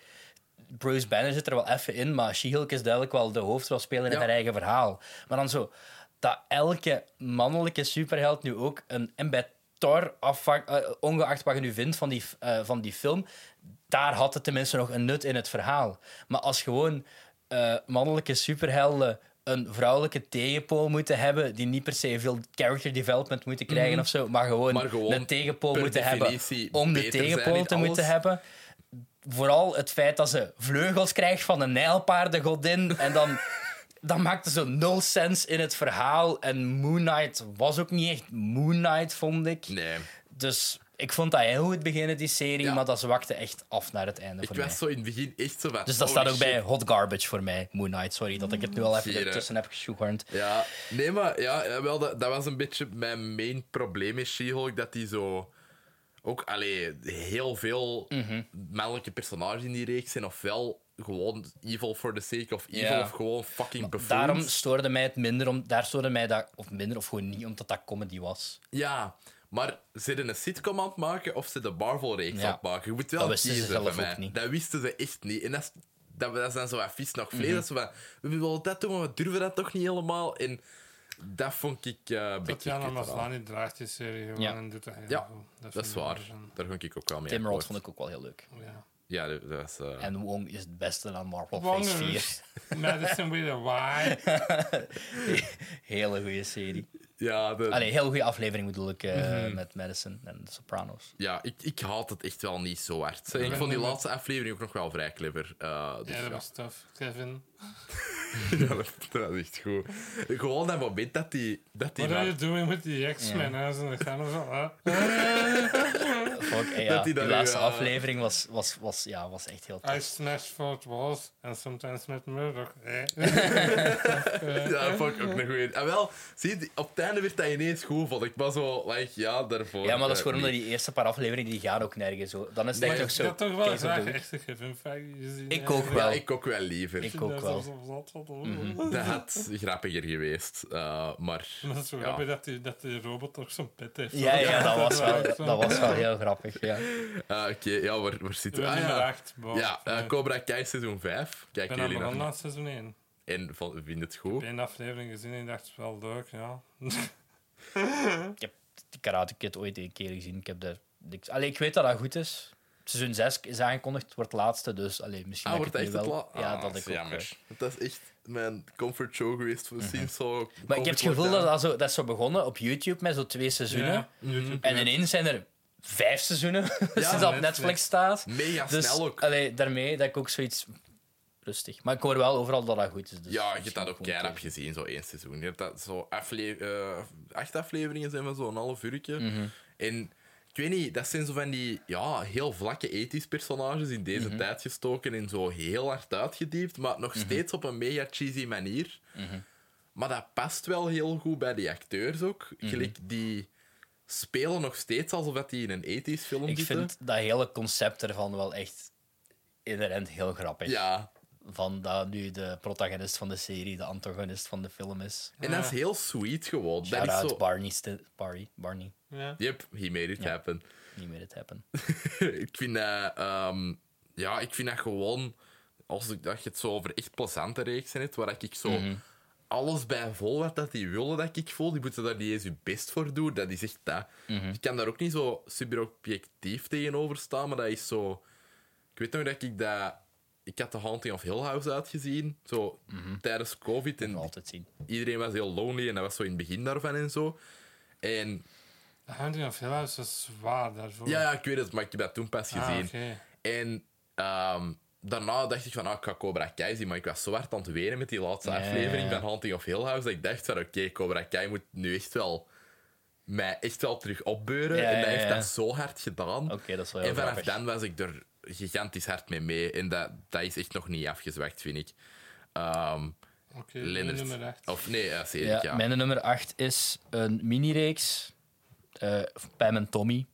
[SPEAKER 3] Bruce Banner zit er wel even in, maar She-Hulk is duidelijk wel de hoofdrolspeler in
[SPEAKER 1] Ja.
[SPEAKER 3] haar eigen verhaal. Maar dan zo, dat elke mannelijke superheld nu ook een... En bij Thor, afvang- eh, ongeacht wat je nu vindt van die, f- eh, van die film, daar had het tenminste nog een nut in het verhaal. Maar als gewoon eh, mannelijke superhelden een vrouwelijke tegenpool moeten hebben, die niet per se veel character development moeten krijgen of zo, maar gewoon,
[SPEAKER 1] Mhm. Maar gewoon
[SPEAKER 3] een tegenpool
[SPEAKER 1] per
[SPEAKER 3] moeten hebben
[SPEAKER 1] definitie
[SPEAKER 3] om de
[SPEAKER 1] beter zijn
[SPEAKER 3] tegenpool
[SPEAKER 1] in
[SPEAKER 3] te
[SPEAKER 1] alles.
[SPEAKER 3] moeten hebben vooral het feit dat ze vleugels krijgt van een nijlpaardengodin. En dan, dan maakte ze nul sens in het verhaal. En Moon Knight was ook niet echt Moon Knight, vond ik.
[SPEAKER 1] Nee.
[SPEAKER 3] Dus ik vond dat heel goed beginnen, die serie.
[SPEAKER 1] Ja.
[SPEAKER 3] Maar dat zwakte echt af naar het einde
[SPEAKER 1] Ik
[SPEAKER 3] voor mij.
[SPEAKER 1] was zo in het begin echt zo oh, wat...
[SPEAKER 3] Dus dat
[SPEAKER 1] holy
[SPEAKER 3] staat ook bij
[SPEAKER 1] shit.
[SPEAKER 3] Hot Garbage voor mij, Moon Knight. Sorry dat ik het nu al even
[SPEAKER 1] Zie je.
[SPEAKER 3] ertussen heb gesjoegerd.
[SPEAKER 1] Ja, nee, maar ja, ja, wel, dat, dat was een beetje mijn main probleem met She-Hulk. Dat die zo ook allee, heel veel
[SPEAKER 3] Mhm.
[SPEAKER 1] mannelijke personages in die reeks zijn. Ofwel gewoon evil for the sake of evil,
[SPEAKER 3] Ja.
[SPEAKER 1] of gewoon fucking buffoons.
[SPEAKER 3] Daarom stoorde mij het minder, om, daar stoorde mij dat, of minder, of gewoon niet, omdat dat comedy was.
[SPEAKER 1] Ja, maar ze een sitcom aan het maken of ze de Marvel-reeks
[SPEAKER 3] Ja.
[SPEAKER 1] aan het maken. Je moet wel
[SPEAKER 3] Dat wisten ze
[SPEAKER 1] kiezen
[SPEAKER 3] zelf
[SPEAKER 1] van
[SPEAKER 3] ook
[SPEAKER 1] mij.
[SPEAKER 3] niet.
[SPEAKER 1] Dat wisten ze echt niet. En dat is, dat, dat is dan zo wat vies nog
[SPEAKER 3] Mhm.
[SPEAKER 1] vlees. Dat ze van, we willen dat doen, maar we durven dat toch niet helemaal. En dat vond ik eh, een beetje
[SPEAKER 2] Tatjana
[SPEAKER 1] kut eraan.
[SPEAKER 2] Maslany draagt die serie gewoon
[SPEAKER 3] Ja.
[SPEAKER 2] en doet dat heel
[SPEAKER 1] Ja,
[SPEAKER 2] goed.
[SPEAKER 1] Dat
[SPEAKER 2] vind
[SPEAKER 1] is
[SPEAKER 2] ik
[SPEAKER 1] waar.
[SPEAKER 2] wel zo'n-
[SPEAKER 1] Daar ging ik ook wel mee.
[SPEAKER 3] Tim Roth
[SPEAKER 1] akkoord.
[SPEAKER 3] vond ik ook wel heel leuk.
[SPEAKER 2] Ja.
[SPEAKER 1] Ja, dat dat is. eh,
[SPEAKER 3] En Wong is het beste aan Marvel Phase 4.
[SPEAKER 2] Wongers. (laughs) Madison with a Y.
[SPEAKER 3] Hele goede serie.
[SPEAKER 1] ja, de-
[SPEAKER 3] Allee, heel goede aflevering bedoel ik eh,
[SPEAKER 1] Mhm.
[SPEAKER 3] met Madison en de Sopranos.
[SPEAKER 1] ja ik, ik haat het echt wel niet zo hard. Ik
[SPEAKER 2] ben
[SPEAKER 1] vond die
[SPEAKER 2] niet-
[SPEAKER 1] laatste aflevering ook nog wel vrij clever. Eh, dus
[SPEAKER 2] Ja,
[SPEAKER 1] ja,
[SPEAKER 2] dat was tof. Kevin.
[SPEAKER 1] (laughs) Ja, dat, dat is echt goed. Gewoon dat moment dat die. Dat die
[SPEAKER 2] What are
[SPEAKER 1] naar-
[SPEAKER 2] you doing with the X-Men? En dan gaan we zo... ah.
[SPEAKER 3] fuck. eh,
[SPEAKER 1] (laughs)
[SPEAKER 3] ja.
[SPEAKER 1] Dat die
[SPEAKER 3] Die
[SPEAKER 1] daar
[SPEAKER 3] laatste
[SPEAKER 1] nu, eh, Ah,
[SPEAKER 3] aflevering was, was, was, ja, was echt heel
[SPEAKER 2] I
[SPEAKER 3] tof.
[SPEAKER 2] smash fort walls and sometimes met Murdoch. Eh.
[SPEAKER 1] Ja, dat vond ik ook nog goed. En wel, zie je, op het einde werd dat ineens goed, vond ik. Maar zo, like, ja, daarvoor...
[SPEAKER 3] Ja, maar dat is
[SPEAKER 1] eh,
[SPEAKER 3] gewoon omdat
[SPEAKER 1] niet.
[SPEAKER 3] die eerste paar afleveringen die gaan ook nergens. Hoor. Dan is het
[SPEAKER 1] Nee,
[SPEAKER 3] echt
[SPEAKER 2] Maar (laughs) ik
[SPEAKER 3] nog zo.
[SPEAKER 2] had toch wel
[SPEAKER 3] kijk, zo
[SPEAKER 2] graag
[SPEAKER 3] doen.
[SPEAKER 2] echt een Kevin Feige gezien. (laughs)
[SPEAKER 3] Ik ook
[SPEAKER 1] Ja,
[SPEAKER 3] wel.
[SPEAKER 1] ik ook wel liever.
[SPEAKER 3] Ik ook wel. Mhm.
[SPEAKER 1] Dat had grappiger geweest, eh, maar...
[SPEAKER 2] (laughs) Maar het is zo
[SPEAKER 1] ja.
[SPEAKER 2] grappig (laughs) dat, die, dat die robot toch zo'n pet heeft.
[SPEAKER 3] Ja,
[SPEAKER 2] (laughs)
[SPEAKER 3] ja, dat
[SPEAKER 1] (laughs)
[SPEAKER 3] was wel,
[SPEAKER 2] echt zo.
[SPEAKER 3] dat was wel heel grappig. Ja.
[SPEAKER 1] Eh, Oké, ja, waar, waar zitten we?
[SPEAKER 2] Wel
[SPEAKER 1] Ah,
[SPEAKER 2] nummer
[SPEAKER 1] ja,
[SPEAKER 2] 8. boven.
[SPEAKER 1] ja eh, Cobra Kai seizoen 5.
[SPEAKER 2] ik ben
[SPEAKER 1] Kijken
[SPEAKER 2] aan
[SPEAKER 1] jullie nog
[SPEAKER 2] begonnen
[SPEAKER 1] niet?
[SPEAKER 2] aan seizoen 1.
[SPEAKER 1] En vo- vind het goed?
[SPEAKER 2] Eén aflevering gezien en ik dacht, wel leuk, ja. (laughs)
[SPEAKER 3] Ik heb die Karate Kid ooit een keer gezien. Ik, heb daar niks... allee, ik weet dat dat goed is. Seizoen 6 is aangekondigd, wordt laatste, dus allee, misschien.
[SPEAKER 1] Ah,
[SPEAKER 3] dat ik
[SPEAKER 1] wordt echt
[SPEAKER 3] nu
[SPEAKER 1] het
[SPEAKER 3] wel...
[SPEAKER 1] la-
[SPEAKER 3] Ja,
[SPEAKER 1] Ah,
[SPEAKER 3] dat ik
[SPEAKER 1] is
[SPEAKER 3] ook. eh,
[SPEAKER 1] jammer. Dat is echt mijn comfort show geweest voor Sims. zo
[SPEAKER 3] Maar ik heb
[SPEAKER 1] comfort
[SPEAKER 3] het gevoel dat
[SPEAKER 1] lockdown.
[SPEAKER 3] dat, zo, dat is zo begonnen op YouTube met zo twee seizoenen.
[SPEAKER 2] Ja, YouTube
[SPEAKER 3] En ineens zijn er vijf seizoenen (laughs) sinds dat op
[SPEAKER 2] Netflix.
[SPEAKER 3] Netflix staat.
[SPEAKER 1] Mega
[SPEAKER 3] Dus
[SPEAKER 1] snel ook.
[SPEAKER 3] allee, daarmee dat ik ook zoiets rustig. Maar ik hoor wel overal dat dat goed is.
[SPEAKER 1] Ja,
[SPEAKER 3] Dus
[SPEAKER 1] je hebt
[SPEAKER 3] misschien
[SPEAKER 1] dat ook
[SPEAKER 3] gewoon
[SPEAKER 1] keihard
[SPEAKER 3] tegen.
[SPEAKER 1] gezien, zo één seizoen. Je hebt dat zo afle eh, acht afleveringen zijn van zo'n half uurtje.
[SPEAKER 3] Mhm.
[SPEAKER 1] En ik weet niet, dat zijn zo van die ja, heel vlakke ethisch personages in deze
[SPEAKER 3] Mhm.
[SPEAKER 1] tijd gestoken en zo heel hard uitgediept, maar nog steeds op een mega cheesy manier.
[SPEAKER 3] Mhm.
[SPEAKER 1] Maar dat past wel heel goed bij die acteurs ook.
[SPEAKER 3] Mhm.
[SPEAKER 1] Gelijk, die spelen nog steeds alsof dat die in een ethisch film
[SPEAKER 3] Ik
[SPEAKER 1] zitten.
[SPEAKER 3] vind dat hele concept ervan wel echt inherent heel grappig.
[SPEAKER 1] Ja,
[SPEAKER 3] Van dat nu de protagonist van de serie de antagonist van de film is.
[SPEAKER 1] en dat is heel sweet gewoon. Dat is
[SPEAKER 3] Shout-out
[SPEAKER 1] zo...
[SPEAKER 3] Barney, Sti- Barney. Barney,
[SPEAKER 2] Ja.
[SPEAKER 1] Yep, he made it happen.
[SPEAKER 3] niet meer het
[SPEAKER 1] (laughs)
[SPEAKER 3] hebben.
[SPEAKER 1] ik vind dat... ehm, ja, ik vind dat gewoon... Als ik, dat je het zo over echt plezante reeksen hebt, waar ik zo
[SPEAKER 2] Mhm.
[SPEAKER 1] alles bij vol wat dat die willen dat ik voel, die moeten daar niet eens je best voor doen. Dat is echt dat.
[SPEAKER 2] Mhm.
[SPEAKER 1] Ik kan daar ook niet zo subjectief tegenover staan, maar dat is zo... Ik weet nog dat ik dat... Ik had The Haunting of Hill House uitgezien, zo
[SPEAKER 2] Mhm.
[SPEAKER 1] tijdens COVID.
[SPEAKER 3] Dat
[SPEAKER 1] En
[SPEAKER 3] altijd zien.
[SPEAKER 1] iedereen was heel lonely en dat was zo in het begin daarvan en zo. En
[SPEAKER 2] De Hounding of Hill House is zwaar daarvoor.
[SPEAKER 1] ja, ja, ik weet het, maar ik heb dat toen pas
[SPEAKER 2] Ah,
[SPEAKER 1] gezien.
[SPEAKER 2] oké.
[SPEAKER 1] En ehm, daarna dacht ik van, ah, ik ga Cobra Kai zien, maar ik was zo hard aan het wenen met die laatste
[SPEAKER 3] Ja,
[SPEAKER 1] aflevering
[SPEAKER 3] ja, ja.
[SPEAKER 1] van Haunting of Hill House, dat ik dacht van, oké, Cobra Kai moet nu echt wel mij echt wel terug opbeuren.
[SPEAKER 3] Ja,
[SPEAKER 1] en dat
[SPEAKER 3] ja,
[SPEAKER 1] heeft
[SPEAKER 3] ja.
[SPEAKER 1] dat zo hard gedaan.
[SPEAKER 3] Oké, dat is wel heel
[SPEAKER 1] en vanaf
[SPEAKER 3] grappig.
[SPEAKER 1] dan was ik er gigantisch hard mee mee. En dat, dat is echt nog niet afgezwakt, vind ik. Ehm
[SPEAKER 2] Oké,
[SPEAKER 1] Leonard.
[SPEAKER 2] nummer 8.
[SPEAKER 1] Of nee, ja, zeker,
[SPEAKER 3] Ja,
[SPEAKER 1] ja.
[SPEAKER 3] Mijn nummer 8 is een mini-reeks. eh Pam en Tommy.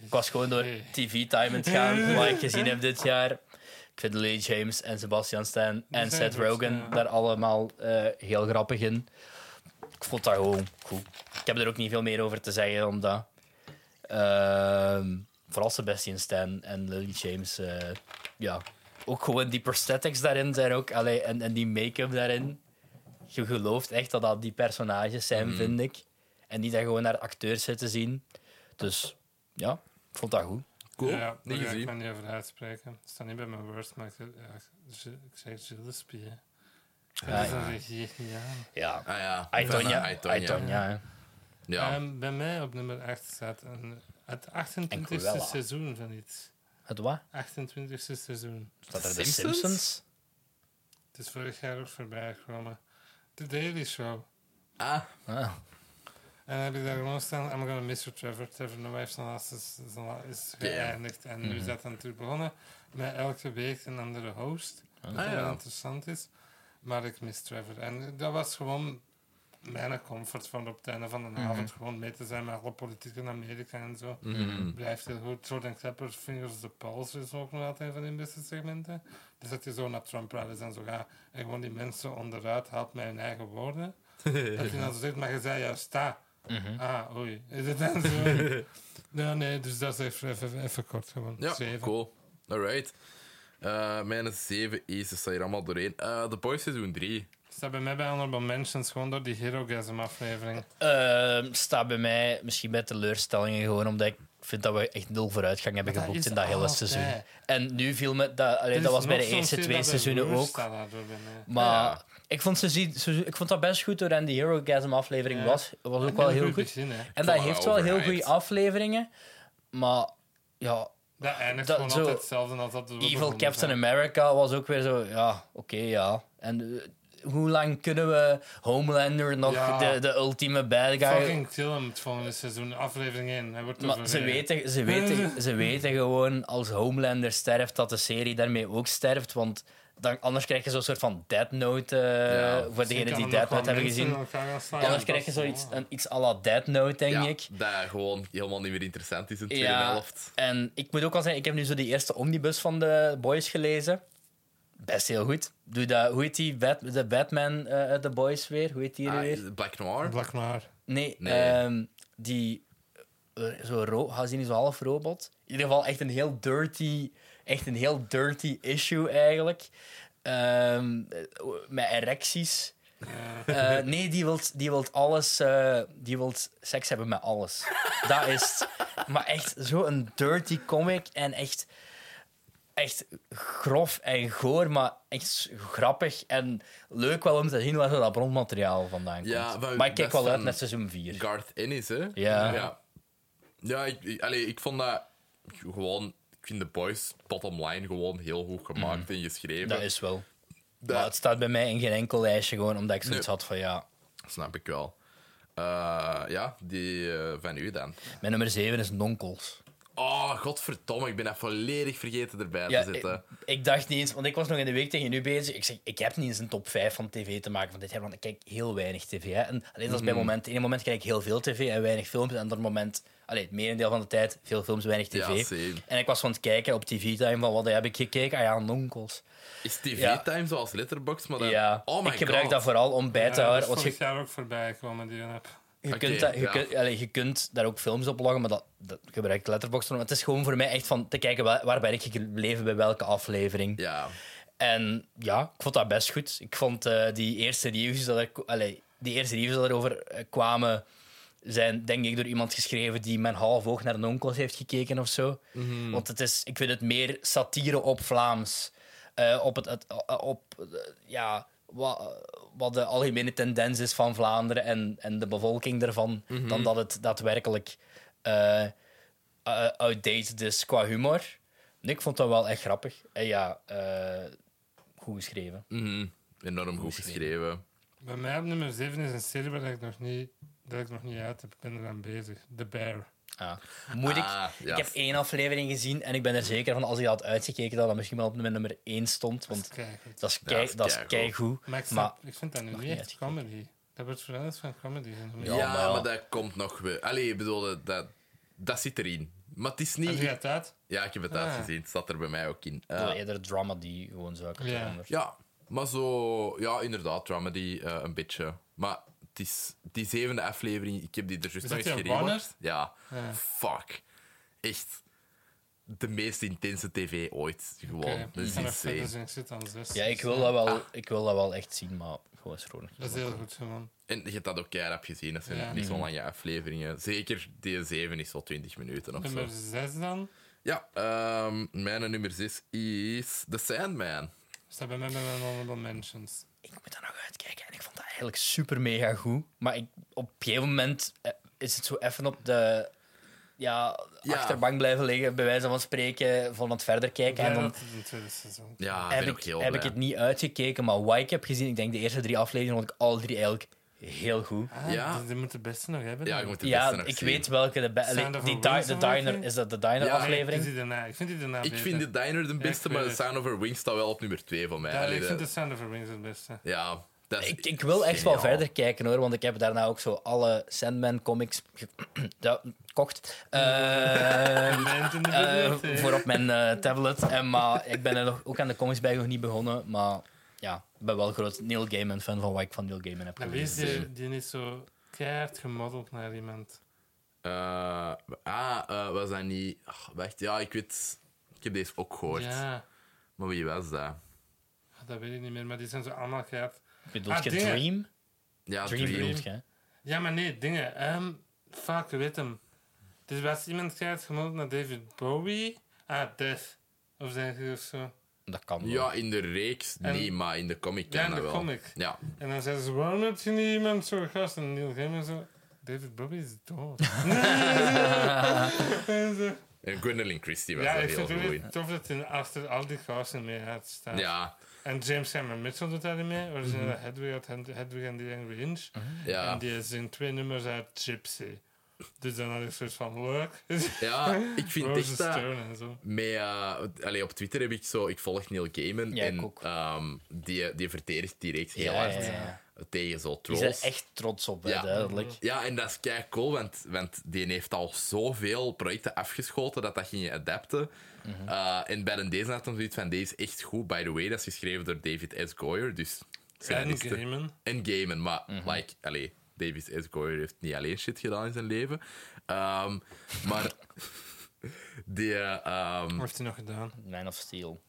[SPEAKER 3] Ik was gewoon door
[SPEAKER 2] Nee.
[SPEAKER 3] TV-time aan het
[SPEAKER 2] Hmm.
[SPEAKER 3] gaan, wat ik gezien heb dit jaar. Ik vind Lee James en Sebastian Stan en
[SPEAKER 2] zijn
[SPEAKER 3] Seth
[SPEAKER 2] goed,
[SPEAKER 3] Rogen
[SPEAKER 2] ja.
[SPEAKER 3] daar allemaal eh, heel grappig in. Ik vond dat gewoon goed. Ik heb er ook niet veel meer over te zeggen, omdat... ehm, vooral Sebastian Stan en Lily James, eh, ja... Ook gewoon die prosthetics daarin zijn ook... Allee, en, en die make-up daarin. Je gelooft echt dat dat die personages zijn, vind ik. En niet dat gewoon naar acteurs zitten zien. Dus ja, ik vond dat goed.
[SPEAKER 1] Cool,
[SPEAKER 2] Ja, ja, daar
[SPEAKER 1] niet
[SPEAKER 2] ga ik
[SPEAKER 1] gezien.
[SPEAKER 2] me niet over uitspreken. Het staat niet bij mijn worst, maar ik, ja, ik ik zeg Gillespie. hè. Dat is
[SPEAKER 3] ja.
[SPEAKER 2] een regie, ja.
[SPEAKER 3] Ja.
[SPEAKER 1] Ah ja,
[SPEAKER 3] Aitonia.
[SPEAKER 1] Van, eh, Aitonia.
[SPEAKER 3] Aitonia, hè.
[SPEAKER 1] Ja.
[SPEAKER 2] Ehm, bij mij op nummer 8 staat een, het
[SPEAKER 3] En
[SPEAKER 2] 28e
[SPEAKER 3] Cruella.
[SPEAKER 2] seizoen van iets.
[SPEAKER 3] Het wat?
[SPEAKER 2] 28e seizoen.
[SPEAKER 3] Staat er de
[SPEAKER 1] Simpsons?
[SPEAKER 3] Simpsons?
[SPEAKER 2] Het is vorig jaar ook voorbij gekomen. The Daily Show.
[SPEAKER 1] Ah,
[SPEAKER 3] Ah.
[SPEAKER 2] En dan heb ik daar gewoon staan, I'm gonna miss you Trevor. Trevor Noah heeft zijn laatste s- zijn la- is
[SPEAKER 1] Ja. Mhm.
[SPEAKER 2] geëindigd. En nu is dat dan terug begonnen. Met elke week een andere host. Wat
[SPEAKER 1] Ah,
[SPEAKER 2] wel
[SPEAKER 1] ja.
[SPEAKER 2] interessant is. Maar ik mis Trevor. En dat was gewoon mijn comfort van op het einde van de
[SPEAKER 1] Mhm.
[SPEAKER 2] avond. Gewoon mee te zijn met alle politiek in Amerika en zo.
[SPEAKER 1] mhm.
[SPEAKER 2] Blijft heel goed. Jordan Klepper, Fingers the Pulse is ook nog altijd een van die beste segmenten. Dus dat je zo naar Trump rallies en zo gaat. En gewoon die mensen onderuit haalt met hun eigen
[SPEAKER 1] (laughs)
[SPEAKER 2] woorden. Dat je dan zo zegt, maar je zei juist sta.
[SPEAKER 3] Mhm.
[SPEAKER 2] Ah, oei. Is het
[SPEAKER 1] (laughs)
[SPEAKER 2] dan zo? ja, nee, dus dat is even, even, even kort gewoon.
[SPEAKER 1] Ja,
[SPEAKER 2] Zeven.
[SPEAKER 1] cool. Alright. Eh mijn 7 is, dat staat hier allemaal doorheen. Eh The Boys seizoen 3.
[SPEAKER 2] Staat bij mij bij Honorable Mentions gewoon door die Herogasm aflevering.
[SPEAKER 3] Ehm, staat bij mij misschien bij teleurstellingen gewoon, omdat ik vind dat we echt nul vooruitgang hebben
[SPEAKER 2] Maar dat
[SPEAKER 3] geboekt
[SPEAKER 2] is
[SPEAKER 3] in dat hele
[SPEAKER 2] altijd.
[SPEAKER 3] seizoen. En nu viel me dat... allee,
[SPEAKER 2] Er
[SPEAKER 3] dat
[SPEAKER 2] is
[SPEAKER 3] was bij
[SPEAKER 2] nog
[SPEAKER 3] de
[SPEAKER 2] zo'n
[SPEAKER 3] eerste
[SPEAKER 2] serie
[SPEAKER 3] twee
[SPEAKER 2] dat bij
[SPEAKER 3] seizoenen
[SPEAKER 2] Roer
[SPEAKER 3] ook.
[SPEAKER 2] staat daardoor bij mij.
[SPEAKER 3] Maar
[SPEAKER 1] Ja.
[SPEAKER 3] ik, vond seizoen, seizoen- ik vond dat best goed door en die Hero Gasm aflevering
[SPEAKER 2] Ja.
[SPEAKER 3] was, was ook wel
[SPEAKER 2] Een
[SPEAKER 3] heel
[SPEAKER 2] goed
[SPEAKER 3] goed.
[SPEAKER 2] Begin, hè.
[SPEAKER 3] En
[SPEAKER 1] vond
[SPEAKER 3] dat
[SPEAKER 1] dat
[SPEAKER 3] heeft
[SPEAKER 1] wel
[SPEAKER 3] wel heel goede
[SPEAKER 1] overhyped.
[SPEAKER 3] afleveringen, maar ja,
[SPEAKER 2] Dat eindigt
[SPEAKER 3] Dat
[SPEAKER 2] gewoon
[SPEAKER 3] zo-
[SPEAKER 2] altijd hetzelfde als dat we
[SPEAKER 3] Evil
[SPEAKER 2] begonnen
[SPEAKER 3] Captain
[SPEAKER 2] zijn.
[SPEAKER 3] America was ook weer zo, ja, oké, ja. En eh, hoe lang kunnen we Homelander nog
[SPEAKER 2] Ja.
[SPEAKER 3] de, de ultieme bad guy...
[SPEAKER 2] Fucking kill hem het volgende seizoen, aflevering 1. Hij wordt
[SPEAKER 3] Maar ze
[SPEAKER 2] overreden.
[SPEAKER 3] weten, ze,
[SPEAKER 2] (laughs)
[SPEAKER 3] weten, ze weten gewoon als Homelander sterft dat de serie daarmee ook sterft. Want dan, anders krijg je zo'n soort van Dead Note. eh,
[SPEAKER 1] Ja.
[SPEAKER 3] voor
[SPEAKER 2] Misschien kan
[SPEAKER 3] degenen die
[SPEAKER 2] er nog
[SPEAKER 3] Dead
[SPEAKER 2] wel
[SPEAKER 3] Note hebben
[SPEAKER 2] mensen
[SPEAKER 3] gezien.
[SPEAKER 2] in elkaar gaan slaan.
[SPEAKER 3] Anders
[SPEAKER 2] Dat
[SPEAKER 3] krijg je
[SPEAKER 2] is
[SPEAKER 3] zoiets,
[SPEAKER 2] wel-
[SPEAKER 3] een, iets à la Dead Note, denk
[SPEAKER 1] Ja,
[SPEAKER 3] ik.
[SPEAKER 1] dat gewoon helemaal niet meer interessant is in de tweede
[SPEAKER 3] Ja,
[SPEAKER 1] helft.
[SPEAKER 3] en ik moet ook al zeggen, ik heb nu zo die eerste omnibus van de Boys gelezen. Best heel goed. Doe dat, hoe heet die Bat- de Batman eh, uit de Boys weer? Hoe heet die er
[SPEAKER 1] Ah,
[SPEAKER 3] weer?
[SPEAKER 1] Black
[SPEAKER 3] eh,
[SPEAKER 1] Noir.
[SPEAKER 2] Black Noir.
[SPEAKER 3] Nee,
[SPEAKER 1] Nee.
[SPEAKER 3] ehm, die eh, zo ro hij is niet zo half robot. In ieder geval echt een heel dirty, echt een heel dirty issue eigenlijk. Ehm, eh, met erecties. Eh, nee, die wil die wilt alles, eh, die wil seks hebben met alles. Dat is het. Maar echt zo'n dirty comic en echt, echt grof en goor, maar echt s- grappig en leuk wel om te zien waar zo dat bronmateriaal vandaan komt.
[SPEAKER 1] Ja, maar
[SPEAKER 3] maar, ik kijk
[SPEAKER 1] best
[SPEAKER 3] wel uit
[SPEAKER 1] een-
[SPEAKER 3] met seizoen 4.
[SPEAKER 1] Garth Ennis, hè?
[SPEAKER 3] Ja.
[SPEAKER 1] Ja, Ja, ik, ik, allee, ik vond dat gewoon... Ik vind The Boys bottom line gewoon heel goed gemaakt en geschreven.
[SPEAKER 3] Mhm. Dat is wel.
[SPEAKER 1] Dat-
[SPEAKER 3] Maar het staat bij mij in geen enkel lijstje, gewoon omdat ik zoiets
[SPEAKER 1] Nee.
[SPEAKER 3] had van ja.
[SPEAKER 1] Snap ik wel. Eh, ja, die eh, van u dan.
[SPEAKER 3] Mijn nummer 7 is Nonkels.
[SPEAKER 1] Oh, godverdomme, ik ben dat volledig vergeten erbij
[SPEAKER 3] Ja, eh,
[SPEAKER 1] te zetten.
[SPEAKER 3] ik, ik dacht niet eens, want ik was nog in de week tegen nu bezig. Ik zeg, ik heb niet eens een top 5 van tv te maken van dit jaar, want ik kijk heel weinig tv. Hè. En alleen dat
[SPEAKER 1] Mhm.
[SPEAKER 3] is bij moment. In een moment kijk ik heel veel tv en weinig films. En op ander moment, alleen het merendeel van de tijd, veel films, weinig tv.
[SPEAKER 1] Ja, same.
[SPEAKER 3] en ik was aan het kijken op TV-time van wat heb ik gekeken? Ah ja, Nonkels.
[SPEAKER 1] Is TV
[SPEAKER 3] Ja.
[SPEAKER 1] Time zoals Letterboxd, maar dan...
[SPEAKER 3] ja,
[SPEAKER 1] Oh my
[SPEAKER 3] ik gebruik
[SPEAKER 1] god.
[SPEAKER 3] dat vooral om bij te
[SPEAKER 2] Ja, dat
[SPEAKER 3] houden.
[SPEAKER 2] is
[SPEAKER 3] Want je,
[SPEAKER 2] vorig jaar ook voorbij gekomen, die app.
[SPEAKER 3] Je,
[SPEAKER 1] Oké,
[SPEAKER 3] kunt dat, je,
[SPEAKER 1] ja.
[SPEAKER 3] kunt, allee, je kunt daar ook films op loggen, maar dat, dat gebruik ik Letterboxd voor. Maar het is gewoon voor mij echt van te kijken waar, waar ben ik gebleven bij welke aflevering.
[SPEAKER 1] Ja.
[SPEAKER 3] En ja, ik vond dat best goed. Ik vond eh, die eerste reviews dat er, allee, die eerste reviews dat erover eh, kwamen, zijn denk ik door iemand geschreven die mijn half oog naar de onkels heeft gekeken of zo. Want het is, ik vind het meer satire op Vlaams. eh, op het, het- eh, op, eh, ja, wat, wat de algemene tendens is van Vlaanderen en, en de bevolking daarvan, dan dat het daadwerkelijk eh, eh, outdated is qua humor. Nee, ik vond dat wel echt grappig. En ja, eh, goed geschreven.
[SPEAKER 1] Mhm. Enorm goed geschreven.
[SPEAKER 2] Bij mij op nummer 7 is een serie waar ik nog niet, dat ik nog niet uit heb. Ik ben er aan bezig. The Bear.
[SPEAKER 3] Ah. Moet ik?
[SPEAKER 1] Ah, ja.
[SPEAKER 3] Ik heb één aflevering gezien en ik ben er zeker van als ik dat had uitgekeken, dat dat misschien wel op mijn nummer 1 stond.
[SPEAKER 2] Dat is
[SPEAKER 3] Want
[SPEAKER 2] keigoed.
[SPEAKER 3] dat is
[SPEAKER 1] Ja, dat
[SPEAKER 3] kei-
[SPEAKER 1] is
[SPEAKER 3] dat is
[SPEAKER 1] keigoed.
[SPEAKER 2] Maar
[SPEAKER 3] keigoed.
[SPEAKER 2] ik,
[SPEAKER 3] Maar
[SPEAKER 2] snap- ik vind dat nu
[SPEAKER 3] Nog
[SPEAKER 2] niet
[SPEAKER 3] niet
[SPEAKER 2] echt comedy. Dat wordt veranderd van comedy.
[SPEAKER 1] Ja,
[SPEAKER 3] Ja,
[SPEAKER 1] maar,
[SPEAKER 3] maar-
[SPEAKER 1] dat komt nog weer. Allee, ik bedoel, dat- dat, dat zit erin. Maar het is
[SPEAKER 2] Heb
[SPEAKER 1] niet...
[SPEAKER 2] je dat uit?
[SPEAKER 1] Ja, ik heb het
[SPEAKER 2] Ah.
[SPEAKER 1] uitgezien. Het staat er bij mij ook in. Eh,
[SPEAKER 3] dat was eerder drama die gewoon zo uit
[SPEAKER 2] Ja.
[SPEAKER 3] elkaar-
[SPEAKER 1] ja, maar zo... Ja, inderdaad, dramedy, eh, een beetje. Maar het is die zevende aflevering, ik heb die er juist
[SPEAKER 2] Is
[SPEAKER 1] nog
[SPEAKER 2] dat
[SPEAKER 1] eens
[SPEAKER 2] die
[SPEAKER 1] gereden.
[SPEAKER 2] Warner?
[SPEAKER 1] Ja.
[SPEAKER 2] Ja.
[SPEAKER 1] Fuck. Echt de meest intense tv ooit. Gewoon.
[SPEAKER 2] Oké,
[SPEAKER 1] Dat
[SPEAKER 2] ik
[SPEAKER 1] is
[SPEAKER 2] ben nog verder,
[SPEAKER 1] insane.
[SPEAKER 2] dus ik zit aan zes.
[SPEAKER 3] Ja, ik
[SPEAKER 2] Dus,
[SPEAKER 3] wil dat
[SPEAKER 1] Ah.
[SPEAKER 3] wel, ik wil dat wel echt zien, maar gewoon is vrolijk.
[SPEAKER 2] Dat is heel goed, man.
[SPEAKER 1] En je hebt dat ook keihard gezien. Dat zijn
[SPEAKER 2] Ja.
[SPEAKER 1] niet zo lange afleveringen. Zeker die 7 is zo 20 minuten of zo.
[SPEAKER 2] Nummer 6 dan.
[SPEAKER 1] Ja, ehm, mijn nummer 6 is The Sandman.
[SPEAKER 2] Staat bij mij bij mijn honorable mentions.
[SPEAKER 3] Ik moet daar nog uitkijken en ik vond dat eigenlijk super mega goed. Maar ik, op een gegeven moment eh, is het zo even op de ja,
[SPEAKER 1] Ja.
[SPEAKER 3] achterbank blijven liggen, bij wijze van spreken, van het verder kijken.
[SPEAKER 2] Ja,
[SPEAKER 3] en dan
[SPEAKER 2] dat is het tweede seizoen.
[SPEAKER 1] Ja, ben
[SPEAKER 3] heb, ik,
[SPEAKER 1] Ah, ook heel
[SPEAKER 3] heb
[SPEAKER 1] blij.
[SPEAKER 3] ik het niet uitgekeken, maar wat ik heb gezien, ik denk de eerste drie afleveringen, vond ik alle drie eigenlijk heel goed.
[SPEAKER 2] Ah,
[SPEAKER 1] Ja.
[SPEAKER 2] Die, die moet de beste nog hebben.
[SPEAKER 1] Ja, je
[SPEAKER 2] dan.
[SPEAKER 1] moet de beste
[SPEAKER 3] Ja,
[SPEAKER 1] nog
[SPEAKER 3] ik
[SPEAKER 1] zien.
[SPEAKER 3] weet welke de beste...
[SPEAKER 2] Sound of
[SPEAKER 3] Die
[SPEAKER 2] a
[SPEAKER 3] di-
[SPEAKER 2] Wings
[SPEAKER 3] de
[SPEAKER 2] of wat,
[SPEAKER 3] diner,
[SPEAKER 2] hè?
[SPEAKER 3] is dat de diner
[SPEAKER 1] Ja,
[SPEAKER 2] Nee, Ah, ik
[SPEAKER 3] aflevering?
[SPEAKER 2] vind die daarna. Ik vind die daarna
[SPEAKER 1] Ik
[SPEAKER 2] beter.
[SPEAKER 1] vind The Diner de beste,
[SPEAKER 2] ik
[SPEAKER 1] maar
[SPEAKER 2] weet
[SPEAKER 1] The
[SPEAKER 2] het.
[SPEAKER 1] Sound of Her Wings staat wel op nummer 2 van mij.
[SPEAKER 2] Ja,
[SPEAKER 1] Allee,
[SPEAKER 2] ik
[SPEAKER 1] de-
[SPEAKER 2] vind de Sound of Her Rings het beste.
[SPEAKER 1] (laughs) Ja, dat is
[SPEAKER 3] dus- Ik, ik wil echt wel
[SPEAKER 1] geniaal.
[SPEAKER 3] verder kijken hoor, want ik heb daarna ook zo alle Sandman comics ge- (clears throat) ja, gekocht.
[SPEAKER 2] (laughs)
[SPEAKER 3] Eh,
[SPEAKER 2] Je bent in de
[SPEAKER 3] eh,
[SPEAKER 2] buurt, hè.
[SPEAKER 3] voor op mijn eh, tablet. En, maar ik ben er nog, ook aan de comics bij nog niet begonnen. Maar ja, ik ben wel een groot Neil Gaiman fan van wat ik van Neil Gaiman heb
[SPEAKER 2] En wie is
[SPEAKER 3] gelezen.
[SPEAKER 2] die, die is zo keihard gemodeld naar iemand?
[SPEAKER 1] Eh, ah, eh, was dat niet... Ach, wacht, ja, ik weet... Ik heb deze ook gehoord.
[SPEAKER 2] Ja, ah,
[SPEAKER 1] Maar wie was dat?
[SPEAKER 2] dat weet ik niet meer, maar die zijn zo allemaal keihard.
[SPEAKER 3] Bedoel
[SPEAKER 2] Ah,
[SPEAKER 3] je
[SPEAKER 2] dingen.
[SPEAKER 3] Dream?
[SPEAKER 1] Ja,
[SPEAKER 3] Dream
[SPEAKER 1] Ah, Dream.
[SPEAKER 3] bedoel je, hè?
[SPEAKER 2] Ja, maar nee, dingen. Ehm fuck, ik weet hem. Dus was iemand keihard gemodeld naar David Bowie? Ah, Death. Of denk ik of zo.
[SPEAKER 3] Dat kan wel.
[SPEAKER 1] Ja, in de reeks
[SPEAKER 2] En-
[SPEAKER 1] niet, maar in de comic kan
[SPEAKER 2] Ja, in de
[SPEAKER 1] dat wel.
[SPEAKER 2] comic.
[SPEAKER 1] Ja.
[SPEAKER 2] En dan zeiden ze, waarom heb je niet iemand zo gast? En Neil Gaiman zo, David Bowie is dood. En zo.
[SPEAKER 1] En Eh, Gwendolyn Christie was
[SPEAKER 2] ja,
[SPEAKER 1] daar
[SPEAKER 2] ik
[SPEAKER 1] heel
[SPEAKER 2] vind
[SPEAKER 1] goed
[SPEAKER 2] het
[SPEAKER 1] in.
[SPEAKER 2] wel tof dat hij achter al die gasten mee had staan.
[SPEAKER 1] Ja, Mhm.
[SPEAKER 2] En James Cameron Mitchell doet daar niet mee. Origineel Hedwig had Hed- Hedwig en The Angry Inch. En
[SPEAKER 1] Ja.
[SPEAKER 2] die zingt twee nummers uit Gypsy. Dus dan had ik zoiets van, (laughs) leuk.
[SPEAKER 1] ja, ik vind
[SPEAKER 2] Roses
[SPEAKER 1] echt dat...
[SPEAKER 2] Stone en zo.
[SPEAKER 1] Met, eh, allee, op Twitter heb ik zo... Ik volg Neil Gaiman.
[SPEAKER 3] Ja, ik
[SPEAKER 1] en
[SPEAKER 3] ook.
[SPEAKER 1] ehm, die, die verdedigt direct heel
[SPEAKER 3] Ja,
[SPEAKER 1] hard
[SPEAKER 3] ja, ja.
[SPEAKER 1] tegen zo
[SPEAKER 3] Die
[SPEAKER 1] trolls.
[SPEAKER 3] zijn echt trots op, hè,
[SPEAKER 1] Ja.
[SPEAKER 3] duidelijk.
[SPEAKER 1] Ja, en dat is kei cool, want, want die heeft al zoveel projecten afgeschoten dat dat ging je adapten.
[SPEAKER 3] Mhm.
[SPEAKER 1] Eh, en bij een deze had hem zoiets van: deze is echt goed, by the way. Dat is geschreven door David S. Goyer, dus
[SPEAKER 2] En
[SPEAKER 1] scenariste.
[SPEAKER 2] Gaiman.
[SPEAKER 1] En Gaiman, maar like, allee, David S. Goyer heeft niet alleen shit gedaan in zijn leven. Ehm, maar (laughs) die, eh, ehm,
[SPEAKER 2] Wat heeft hij nog gedaan?
[SPEAKER 3] Man of Steel.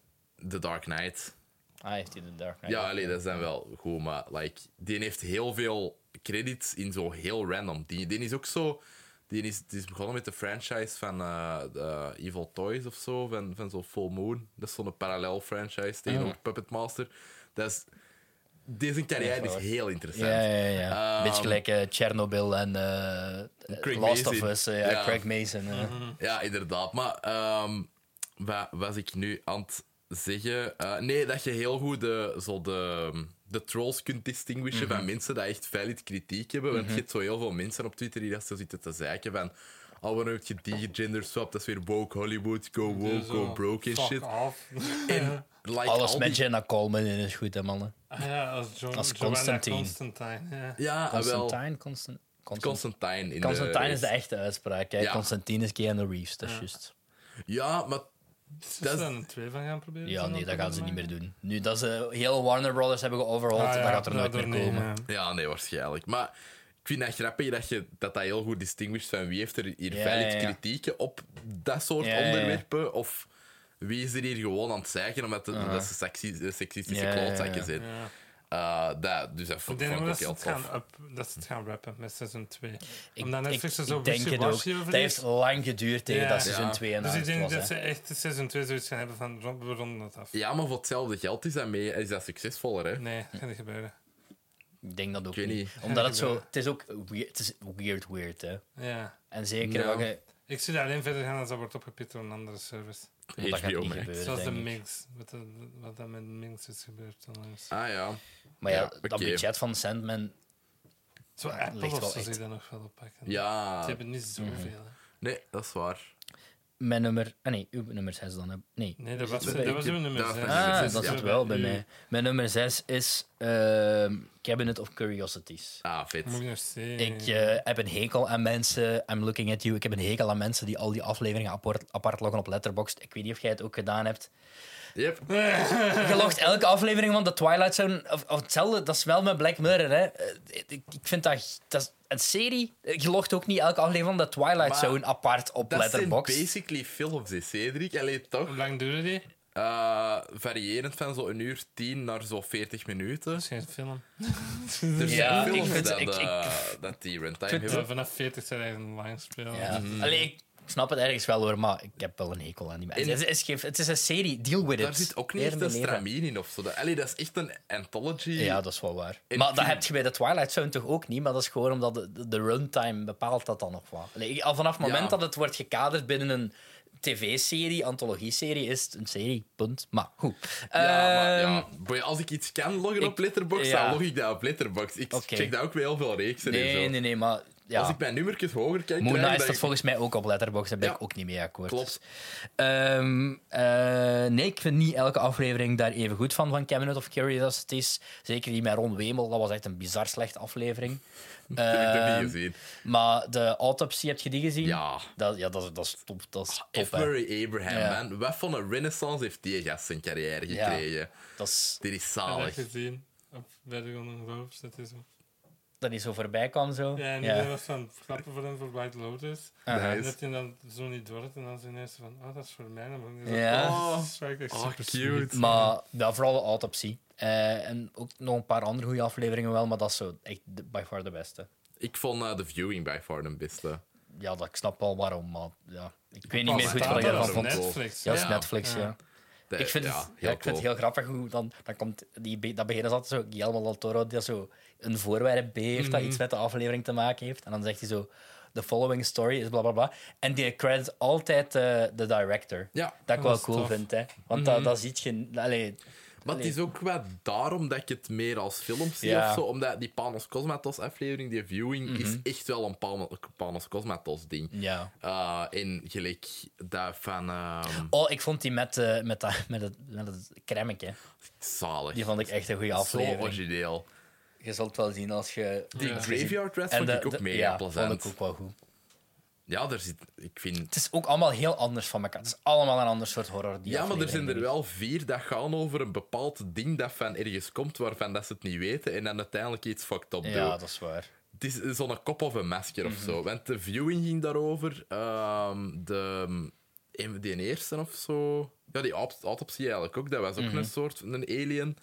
[SPEAKER 1] The Dark Knight.
[SPEAKER 3] Ah, heeft hij de Dark Knight.
[SPEAKER 1] Ja, allee, dat zijn wel goed, maar like, die heeft heel veel credits in zo heel random. Die, die is ook zo. Die is, die is begonnen met de franchise van eh, de Evil Toys of zo, van, van zo'n Full Moon. Dat is zo'n parallel franchise tegenover Puppet Master. Dat is, deze carrière is heel interessant.
[SPEAKER 3] Ja, ja, ja.
[SPEAKER 1] Ehm,
[SPEAKER 3] Beetje gelijk eh, Chernobyl en eh,
[SPEAKER 1] Craig
[SPEAKER 3] Last
[SPEAKER 1] Mason.
[SPEAKER 3] of Us. eh, ja,
[SPEAKER 1] Ja.
[SPEAKER 3] Craig Mason. eh.
[SPEAKER 1] Ja, inderdaad. Maar ehm wat was ik nu aan het zeggen? Eh, nee, dat je heel goed de, zo de, de trolls kunt distinguishen
[SPEAKER 2] Mhm.
[SPEAKER 1] van mensen die echt valid kritiek hebben. Want je hebt zo heel veel mensen op Twitter die dat zo zitten te zeiken van... Oh, waarom heb je die gender swap? Dat is weer woke Hollywood. Go woke,
[SPEAKER 2] Dus
[SPEAKER 1] go
[SPEAKER 2] zo,
[SPEAKER 1] broke en
[SPEAKER 2] fuck
[SPEAKER 1] shit.
[SPEAKER 2] off.
[SPEAKER 1] En, like,
[SPEAKER 3] Alles
[SPEAKER 1] al
[SPEAKER 3] met
[SPEAKER 1] die-
[SPEAKER 3] Jenna Coleman in is goed, hè, mannen.
[SPEAKER 2] (laughs) Ah ja, als, John,
[SPEAKER 3] Als
[SPEAKER 2] Joanna
[SPEAKER 3] Constantine.
[SPEAKER 2] Constantine, ja.
[SPEAKER 1] Ja, ah, wel.
[SPEAKER 3] Constantine? Constan- Constan-
[SPEAKER 1] Constantine. in de
[SPEAKER 3] Constantine is de
[SPEAKER 1] race.
[SPEAKER 3] echte uitspraak. Hè?
[SPEAKER 1] Ja.
[SPEAKER 3] Constantine is Keanu Reeves, dat is juist.
[SPEAKER 1] Ja, maar...
[SPEAKER 2] Ze
[SPEAKER 1] Dat is-
[SPEAKER 2] zijn er twee van gaan proberen.
[SPEAKER 3] Ja,
[SPEAKER 2] zo'n
[SPEAKER 3] nee, dat gaan ze niet meer
[SPEAKER 2] opgemaakt.
[SPEAKER 3] doen. Nu dat ze heel Warner Brothers hebben geoverhaald,
[SPEAKER 2] Ah,
[SPEAKER 3] dat
[SPEAKER 2] ja,
[SPEAKER 3] gaat er nooit meer
[SPEAKER 2] daardoor niet,
[SPEAKER 3] komen.
[SPEAKER 2] ja.
[SPEAKER 1] Ja, nee, waarschijnlijk. Maar ik vind dat grappig dat je, dat, dat heel goed distinguisht van wie heeft er hier
[SPEAKER 3] Ja,
[SPEAKER 1] valid
[SPEAKER 3] ja, ja.
[SPEAKER 1] kritieken op dat soort
[SPEAKER 3] Ja, ja, ja.
[SPEAKER 1] onderwerpen. Of wie is er hier gewoon aan het zeiken omdat het- dat ze seksi- seksistische
[SPEAKER 3] Ja, ja, ja,
[SPEAKER 1] klootzakken
[SPEAKER 3] ja.
[SPEAKER 1] zijn.
[SPEAKER 2] Ja.
[SPEAKER 1] Eh, dat, dus dat
[SPEAKER 2] Ik
[SPEAKER 1] vond,
[SPEAKER 2] denk
[SPEAKER 1] vond
[SPEAKER 2] wel
[SPEAKER 1] ik ook
[SPEAKER 2] dat ze,
[SPEAKER 1] heel
[SPEAKER 2] het
[SPEAKER 1] tof.
[SPEAKER 2] gaan up, dat ze het gaan rappen met seizoen 2.
[SPEAKER 3] Ik,
[SPEAKER 2] Omdat
[SPEAKER 3] ik,
[SPEAKER 2] Netflix er zo
[SPEAKER 3] ik denk het ook.
[SPEAKER 2] wishy-washy
[SPEAKER 3] Dat
[SPEAKER 2] over
[SPEAKER 3] heeft
[SPEAKER 2] is.
[SPEAKER 3] lang geduurd tegen
[SPEAKER 2] Ja.
[SPEAKER 3] dat seizoen
[SPEAKER 1] Ja.
[SPEAKER 3] 2 en
[SPEAKER 2] Dus ik denk
[SPEAKER 3] was.
[SPEAKER 2] dat
[SPEAKER 3] hè.
[SPEAKER 2] ze echt de seizoen 2 zoiets gaan hebben van rond- we ronden dat af.
[SPEAKER 1] Ja, maar voor hetzelfde geld is dat, mee, is dat succesvoller, hè?
[SPEAKER 2] Nee, dat gaat niet gebeuren.
[SPEAKER 3] Ik denk dat ook
[SPEAKER 1] weet
[SPEAKER 3] niet.
[SPEAKER 1] niet.
[SPEAKER 3] Omdat het zo... Het is ook weird, het is weird, weird, hè.
[SPEAKER 2] Ja.
[SPEAKER 3] En zeker
[SPEAKER 1] Ja.
[SPEAKER 3] wat je...
[SPEAKER 2] Ik zie dat alleen verder gaan als dat wordt opgepikt door een andere service.
[SPEAKER 3] want dat gaat
[SPEAKER 1] HBO
[SPEAKER 3] niet
[SPEAKER 1] Max.
[SPEAKER 3] gebeuren,
[SPEAKER 2] Zoals de
[SPEAKER 3] denk ik.
[SPEAKER 2] Minx. Wat, de- wat dat met Minx is gebeurd onlangs.
[SPEAKER 1] Ah ja.
[SPEAKER 3] Maar ja,
[SPEAKER 1] Ja,
[SPEAKER 3] dat
[SPEAKER 1] oké.
[SPEAKER 3] budget van Sandman...
[SPEAKER 2] Zo Apple
[SPEAKER 3] ligt
[SPEAKER 2] of
[SPEAKER 3] wel
[SPEAKER 2] zo
[SPEAKER 3] echt. Mhm.
[SPEAKER 2] zie je dat nog wel oppakken. Ze
[SPEAKER 1] Ja,
[SPEAKER 2] hebben niet zoveel. hè.
[SPEAKER 1] nee, dat is waar.
[SPEAKER 3] Mijn nummer... Ah nee, uw nummer 6 dan. hè. Nee.
[SPEAKER 2] Nee, dat was,
[SPEAKER 1] dat-
[SPEAKER 2] dat was
[SPEAKER 1] ik-
[SPEAKER 2] uw nummer
[SPEAKER 1] dat-
[SPEAKER 2] zes.
[SPEAKER 1] Ah,
[SPEAKER 2] Zes
[SPEAKER 3] Ah,
[SPEAKER 1] zes,
[SPEAKER 2] is
[SPEAKER 3] dat
[SPEAKER 1] ja.
[SPEAKER 3] zit
[SPEAKER 2] zo
[SPEAKER 3] wel
[SPEAKER 2] bij
[SPEAKER 3] bij
[SPEAKER 2] u.
[SPEAKER 3] mij. Mijn nummer 6 is ehm, Cabinet of Curiosities.
[SPEAKER 1] Ah, vet.
[SPEAKER 2] Moet ik nog zien.
[SPEAKER 3] Ik eh, heb een hekel aan mensen. I'm looking at you. Ik heb een hekel aan mensen die al die afleveringen apart, apart loggen op Letterboxd. Ik weet niet of jij het ook gedaan hebt.
[SPEAKER 1] Yep.
[SPEAKER 3] Je logt elke aflevering van The Twilight Zone. Of, of hetzelfde, dat is wel met Black Mirror. Hè. Eh, Ik, ik vind dat, dat is een serie. Je logt ook niet elke aflevering van The Twilight
[SPEAKER 1] Maar
[SPEAKER 3] Zone apart op
[SPEAKER 1] Dat zijn
[SPEAKER 3] Letterboxd.
[SPEAKER 1] basically films, hè, Cedric. Allee, toch?
[SPEAKER 2] Hoe lang duurde die? Dat
[SPEAKER 1] Eh, variërend van zo'n uur 10 naar zo'n 40 minuten.
[SPEAKER 2] is geen film.
[SPEAKER 1] Er
[SPEAKER 3] Ja,
[SPEAKER 1] zijn films
[SPEAKER 3] ik vind-
[SPEAKER 1] dat,
[SPEAKER 3] ik- ik-
[SPEAKER 1] eh, dat die runtime
[SPEAKER 2] Ja,
[SPEAKER 1] hebben.
[SPEAKER 2] vanaf 40 zijn er een lang Dus speel.
[SPEAKER 3] Ja.
[SPEAKER 1] Mhm.
[SPEAKER 3] Allee, ik snap het ergens wel hoor, maar ik heb wel een hekel aan die mensen.
[SPEAKER 1] En-
[SPEAKER 3] Het is, is geen- het is een serie, deal with it.
[SPEAKER 1] Daar zit ook niet echt
[SPEAKER 3] Leren
[SPEAKER 1] een
[SPEAKER 3] leven.
[SPEAKER 1] stramien in of zo. Dat- Allee, dat is echt een anthology.
[SPEAKER 3] Ja, dat is wel waar.
[SPEAKER 1] En
[SPEAKER 3] maar
[SPEAKER 1] ik
[SPEAKER 3] dat
[SPEAKER 1] vind-
[SPEAKER 3] heb je bij de Twilight Zone toch ook niet, maar dat is gewoon omdat de, de, de runtime bepaalt dat dan nog wat. Allee, ik- Al vanaf het moment
[SPEAKER 1] Ja.
[SPEAKER 3] dat het wordt gekaderd binnen een tv-serie, antologie-serie, is het een serie, punt. Maar goed.
[SPEAKER 1] Ja, maar
[SPEAKER 3] Ehm,
[SPEAKER 1] ja. Boy, als ik iets kan loggen
[SPEAKER 3] ik-
[SPEAKER 1] op Letterboxd,
[SPEAKER 3] ja.
[SPEAKER 1] dan log ik dat op Letterboxd. Ik
[SPEAKER 3] Oké.
[SPEAKER 1] check dat ook bij heel veel reeksen en
[SPEAKER 3] Nee,
[SPEAKER 1] zo.
[SPEAKER 3] nee, nee, maar... Ja.
[SPEAKER 1] Als ik mijn nummertjes hoger kijk, krijg
[SPEAKER 3] Moon Knight
[SPEAKER 1] dat
[SPEAKER 3] staat
[SPEAKER 1] ik-
[SPEAKER 3] volgens mij ook op Letterboxd, daar ben
[SPEAKER 1] Ja.
[SPEAKER 3] ik ook niet mee akkoord. Dus,
[SPEAKER 1] Klopt.
[SPEAKER 3] Ehm, eh, nee, ik vind niet elke aflevering daar even goed van, van Cabinet of Curiosities. Zeker die met Ron Wemel, dat was echt een bizar slechte aflevering.
[SPEAKER 1] (laughs) Ik heb die
[SPEAKER 3] Ehm,
[SPEAKER 1] gezien.
[SPEAKER 3] Maar de autopsie, heb je die gezien?
[SPEAKER 1] Ja.
[SPEAKER 3] Dat, ja, dat, is- dat is top. Dat is top,
[SPEAKER 1] F.
[SPEAKER 3] hè.
[SPEAKER 1] Murray Abraham,
[SPEAKER 3] Ja.
[SPEAKER 1] man. Wat voor een renaissance heeft die gast zijn carrière
[SPEAKER 3] Ja.
[SPEAKER 1] gekregen?
[SPEAKER 3] Dat is,
[SPEAKER 1] Dit is
[SPEAKER 2] Heb je
[SPEAKER 1] zalig.
[SPEAKER 2] dat gezien? Op Bergen en Roofs, dus dat is zo.
[SPEAKER 3] dat die zo voorbij kwam, zo.
[SPEAKER 2] Ja, en
[SPEAKER 3] Ja.
[SPEAKER 2] iedereen was van klappen voor hem voor White Lotus.
[SPEAKER 3] Aha.
[SPEAKER 2] En
[SPEAKER 1] Nice.
[SPEAKER 2] dat hij dan zo niet door had en dan zijn eerste van, oh, dat is voor mij. En dan is
[SPEAKER 3] Ja.
[SPEAKER 2] dat, oh, dat is echt
[SPEAKER 1] Oh,
[SPEAKER 2] super
[SPEAKER 1] cute.
[SPEAKER 3] Maar ja, vooral de autopsie. Eh, en ook nog een paar andere goede afleveringen wel, maar dat is zo echt de- by far de beste.
[SPEAKER 1] Ik vond eh, de viewing by far de beste.
[SPEAKER 3] Ja, dat, ik snap wel waarom, maar ja. ik weet niet
[SPEAKER 2] Pas
[SPEAKER 3] meer goed
[SPEAKER 2] staat
[SPEAKER 3] wat ik
[SPEAKER 2] dat
[SPEAKER 3] ervan
[SPEAKER 2] op
[SPEAKER 3] vond. Ja,
[SPEAKER 2] Netflix.
[SPEAKER 3] dat is
[SPEAKER 1] Ja.
[SPEAKER 3] Netflix, ja.
[SPEAKER 1] Dat-
[SPEAKER 3] Ik vind,
[SPEAKER 1] ja,
[SPEAKER 3] het,
[SPEAKER 1] heel
[SPEAKER 3] ja, ik vind
[SPEAKER 1] cool.
[SPEAKER 3] het heel grappig hoe dan, dan komt die, be- dat begin is altijd zo Guillermo del Toro die zo een voorwerp B heeft
[SPEAKER 1] Mhm.
[SPEAKER 3] dat iets met de aflevering te maken heeft en dan zegt hij zo the following story is bla bla bla en die credit altijd eh, de director
[SPEAKER 1] Ja. Mhm.
[SPEAKER 3] dat
[SPEAKER 2] Dat
[SPEAKER 3] ik wel
[SPEAKER 2] is
[SPEAKER 3] cool
[SPEAKER 2] tof.
[SPEAKER 3] vind hè want dat, dat ziet je allee,
[SPEAKER 1] Maar het
[SPEAKER 3] Allee.
[SPEAKER 1] is ook wel daarom dat ik het meer als film zie
[SPEAKER 3] Ja. Mhm.
[SPEAKER 1] of zo. Omdat die Panos Cosmatos aflevering, die viewing, is echt wel een Pan- Panos Cosmatos ding.
[SPEAKER 3] Ja.
[SPEAKER 1] Eh, en gelijk dat van ehm,
[SPEAKER 3] Oh, ik vond die met, eh, met, dat, met, het, met het kremmetje.
[SPEAKER 1] zalig.
[SPEAKER 3] Die vond ik echt een goede
[SPEAKER 1] zo
[SPEAKER 3] aflevering.
[SPEAKER 1] origineel.
[SPEAKER 3] Je zult wel zien als je...
[SPEAKER 1] Die
[SPEAKER 2] Ja.
[SPEAKER 1] Graveyard Rats vond
[SPEAKER 3] de-
[SPEAKER 1] ik ook
[SPEAKER 3] de-
[SPEAKER 1] mega
[SPEAKER 3] ja,
[SPEAKER 1] plezant.
[SPEAKER 3] vond ik ook wel goed.
[SPEAKER 1] Ja, daar zit, ik vind...
[SPEAKER 3] Het is ook allemaal heel anders van elkaar. Het is allemaal een ander soort horror. Die
[SPEAKER 1] Ja, maar er
[SPEAKER 3] aflevering.
[SPEAKER 1] zijn er wel vier dat gaan over een bepaald ding dat van ergens komt waarvan dat ze het niet weten en dan uiteindelijk iets fucked up
[SPEAKER 3] Ja,
[SPEAKER 1] doen.
[SPEAKER 3] dat is waar.
[SPEAKER 1] Het is zo'n kop of een masker of
[SPEAKER 3] Mhm.
[SPEAKER 1] zo. Want de viewing ging daarover. ehm, de, een- die eerste of zo. Ja, die auto- autopsie eigenlijk ook. Dat was ook
[SPEAKER 3] Mhm.
[SPEAKER 1] een soort van een alien.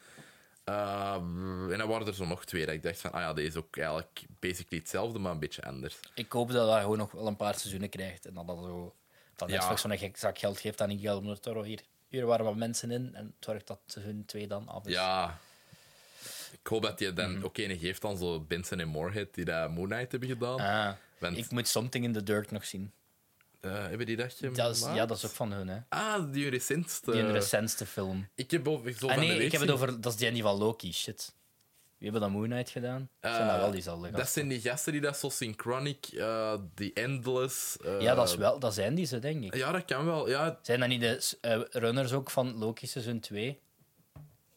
[SPEAKER 1] Ehm, en dan waren er zo nog twee. Dat ik dacht van, ah ja, deze is ook eigenlijk basically hetzelfde, maar een beetje anders.
[SPEAKER 3] Ik hoop dat hij gewoon nog wel een paar seizoenen krijgt. En dat dat zo... Dat
[SPEAKER 1] Ja.
[SPEAKER 3] Netflix zo'n gek zak geld geeft aan die geld onder euro. Hier, hier waren wat mensen in en het zorgt dat hun twee dan af is.
[SPEAKER 1] Ja. Ik hoop dat je
[SPEAKER 3] Mhm.
[SPEAKER 1] dan ook een geeft aan zo Benson en Moorhead die dat Moon Knight hebben gedaan.
[SPEAKER 3] Ah,
[SPEAKER 1] Want-
[SPEAKER 3] Ik moet Something in the Dirt nog zien.
[SPEAKER 1] Eh, hebben die dat gemaakt?
[SPEAKER 3] Dat is, ja, dat is ook van hun, hè.
[SPEAKER 1] Ah, die recentste.
[SPEAKER 3] Die recentste film.
[SPEAKER 1] Ik heb over... zo
[SPEAKER 3] Ah
[SPEAKER 1] van de
[SPEAKER 3] nee,
[SPEAKER 1] week
[SPEAKER 3] ik heb het
[SPEAKER 1] zien-
[SPEAKER 3] over... Dat is die niet van Loki, shit. Wie hebben dat Moon Knight gedaan? Dat zijn
[SPEAKER 1] Eh,
[SPEAKER 3] dat wel diezelfde
[SPEAKER 1] Dat
[SPEAKER 3] gasten?
[SPEAKER 1] zijn die gasten die dat zo Synchronic, eh The Endless... eh,
[SPEAKER 3] Ja, dat, is wel, dat zijn die ze, denk ik.
[SPEAKER 1] Ja, dat kan wel. Ja,
[SPEAKER 3] Zijn dat niet de eh, runners ook van Loki seizoen 2?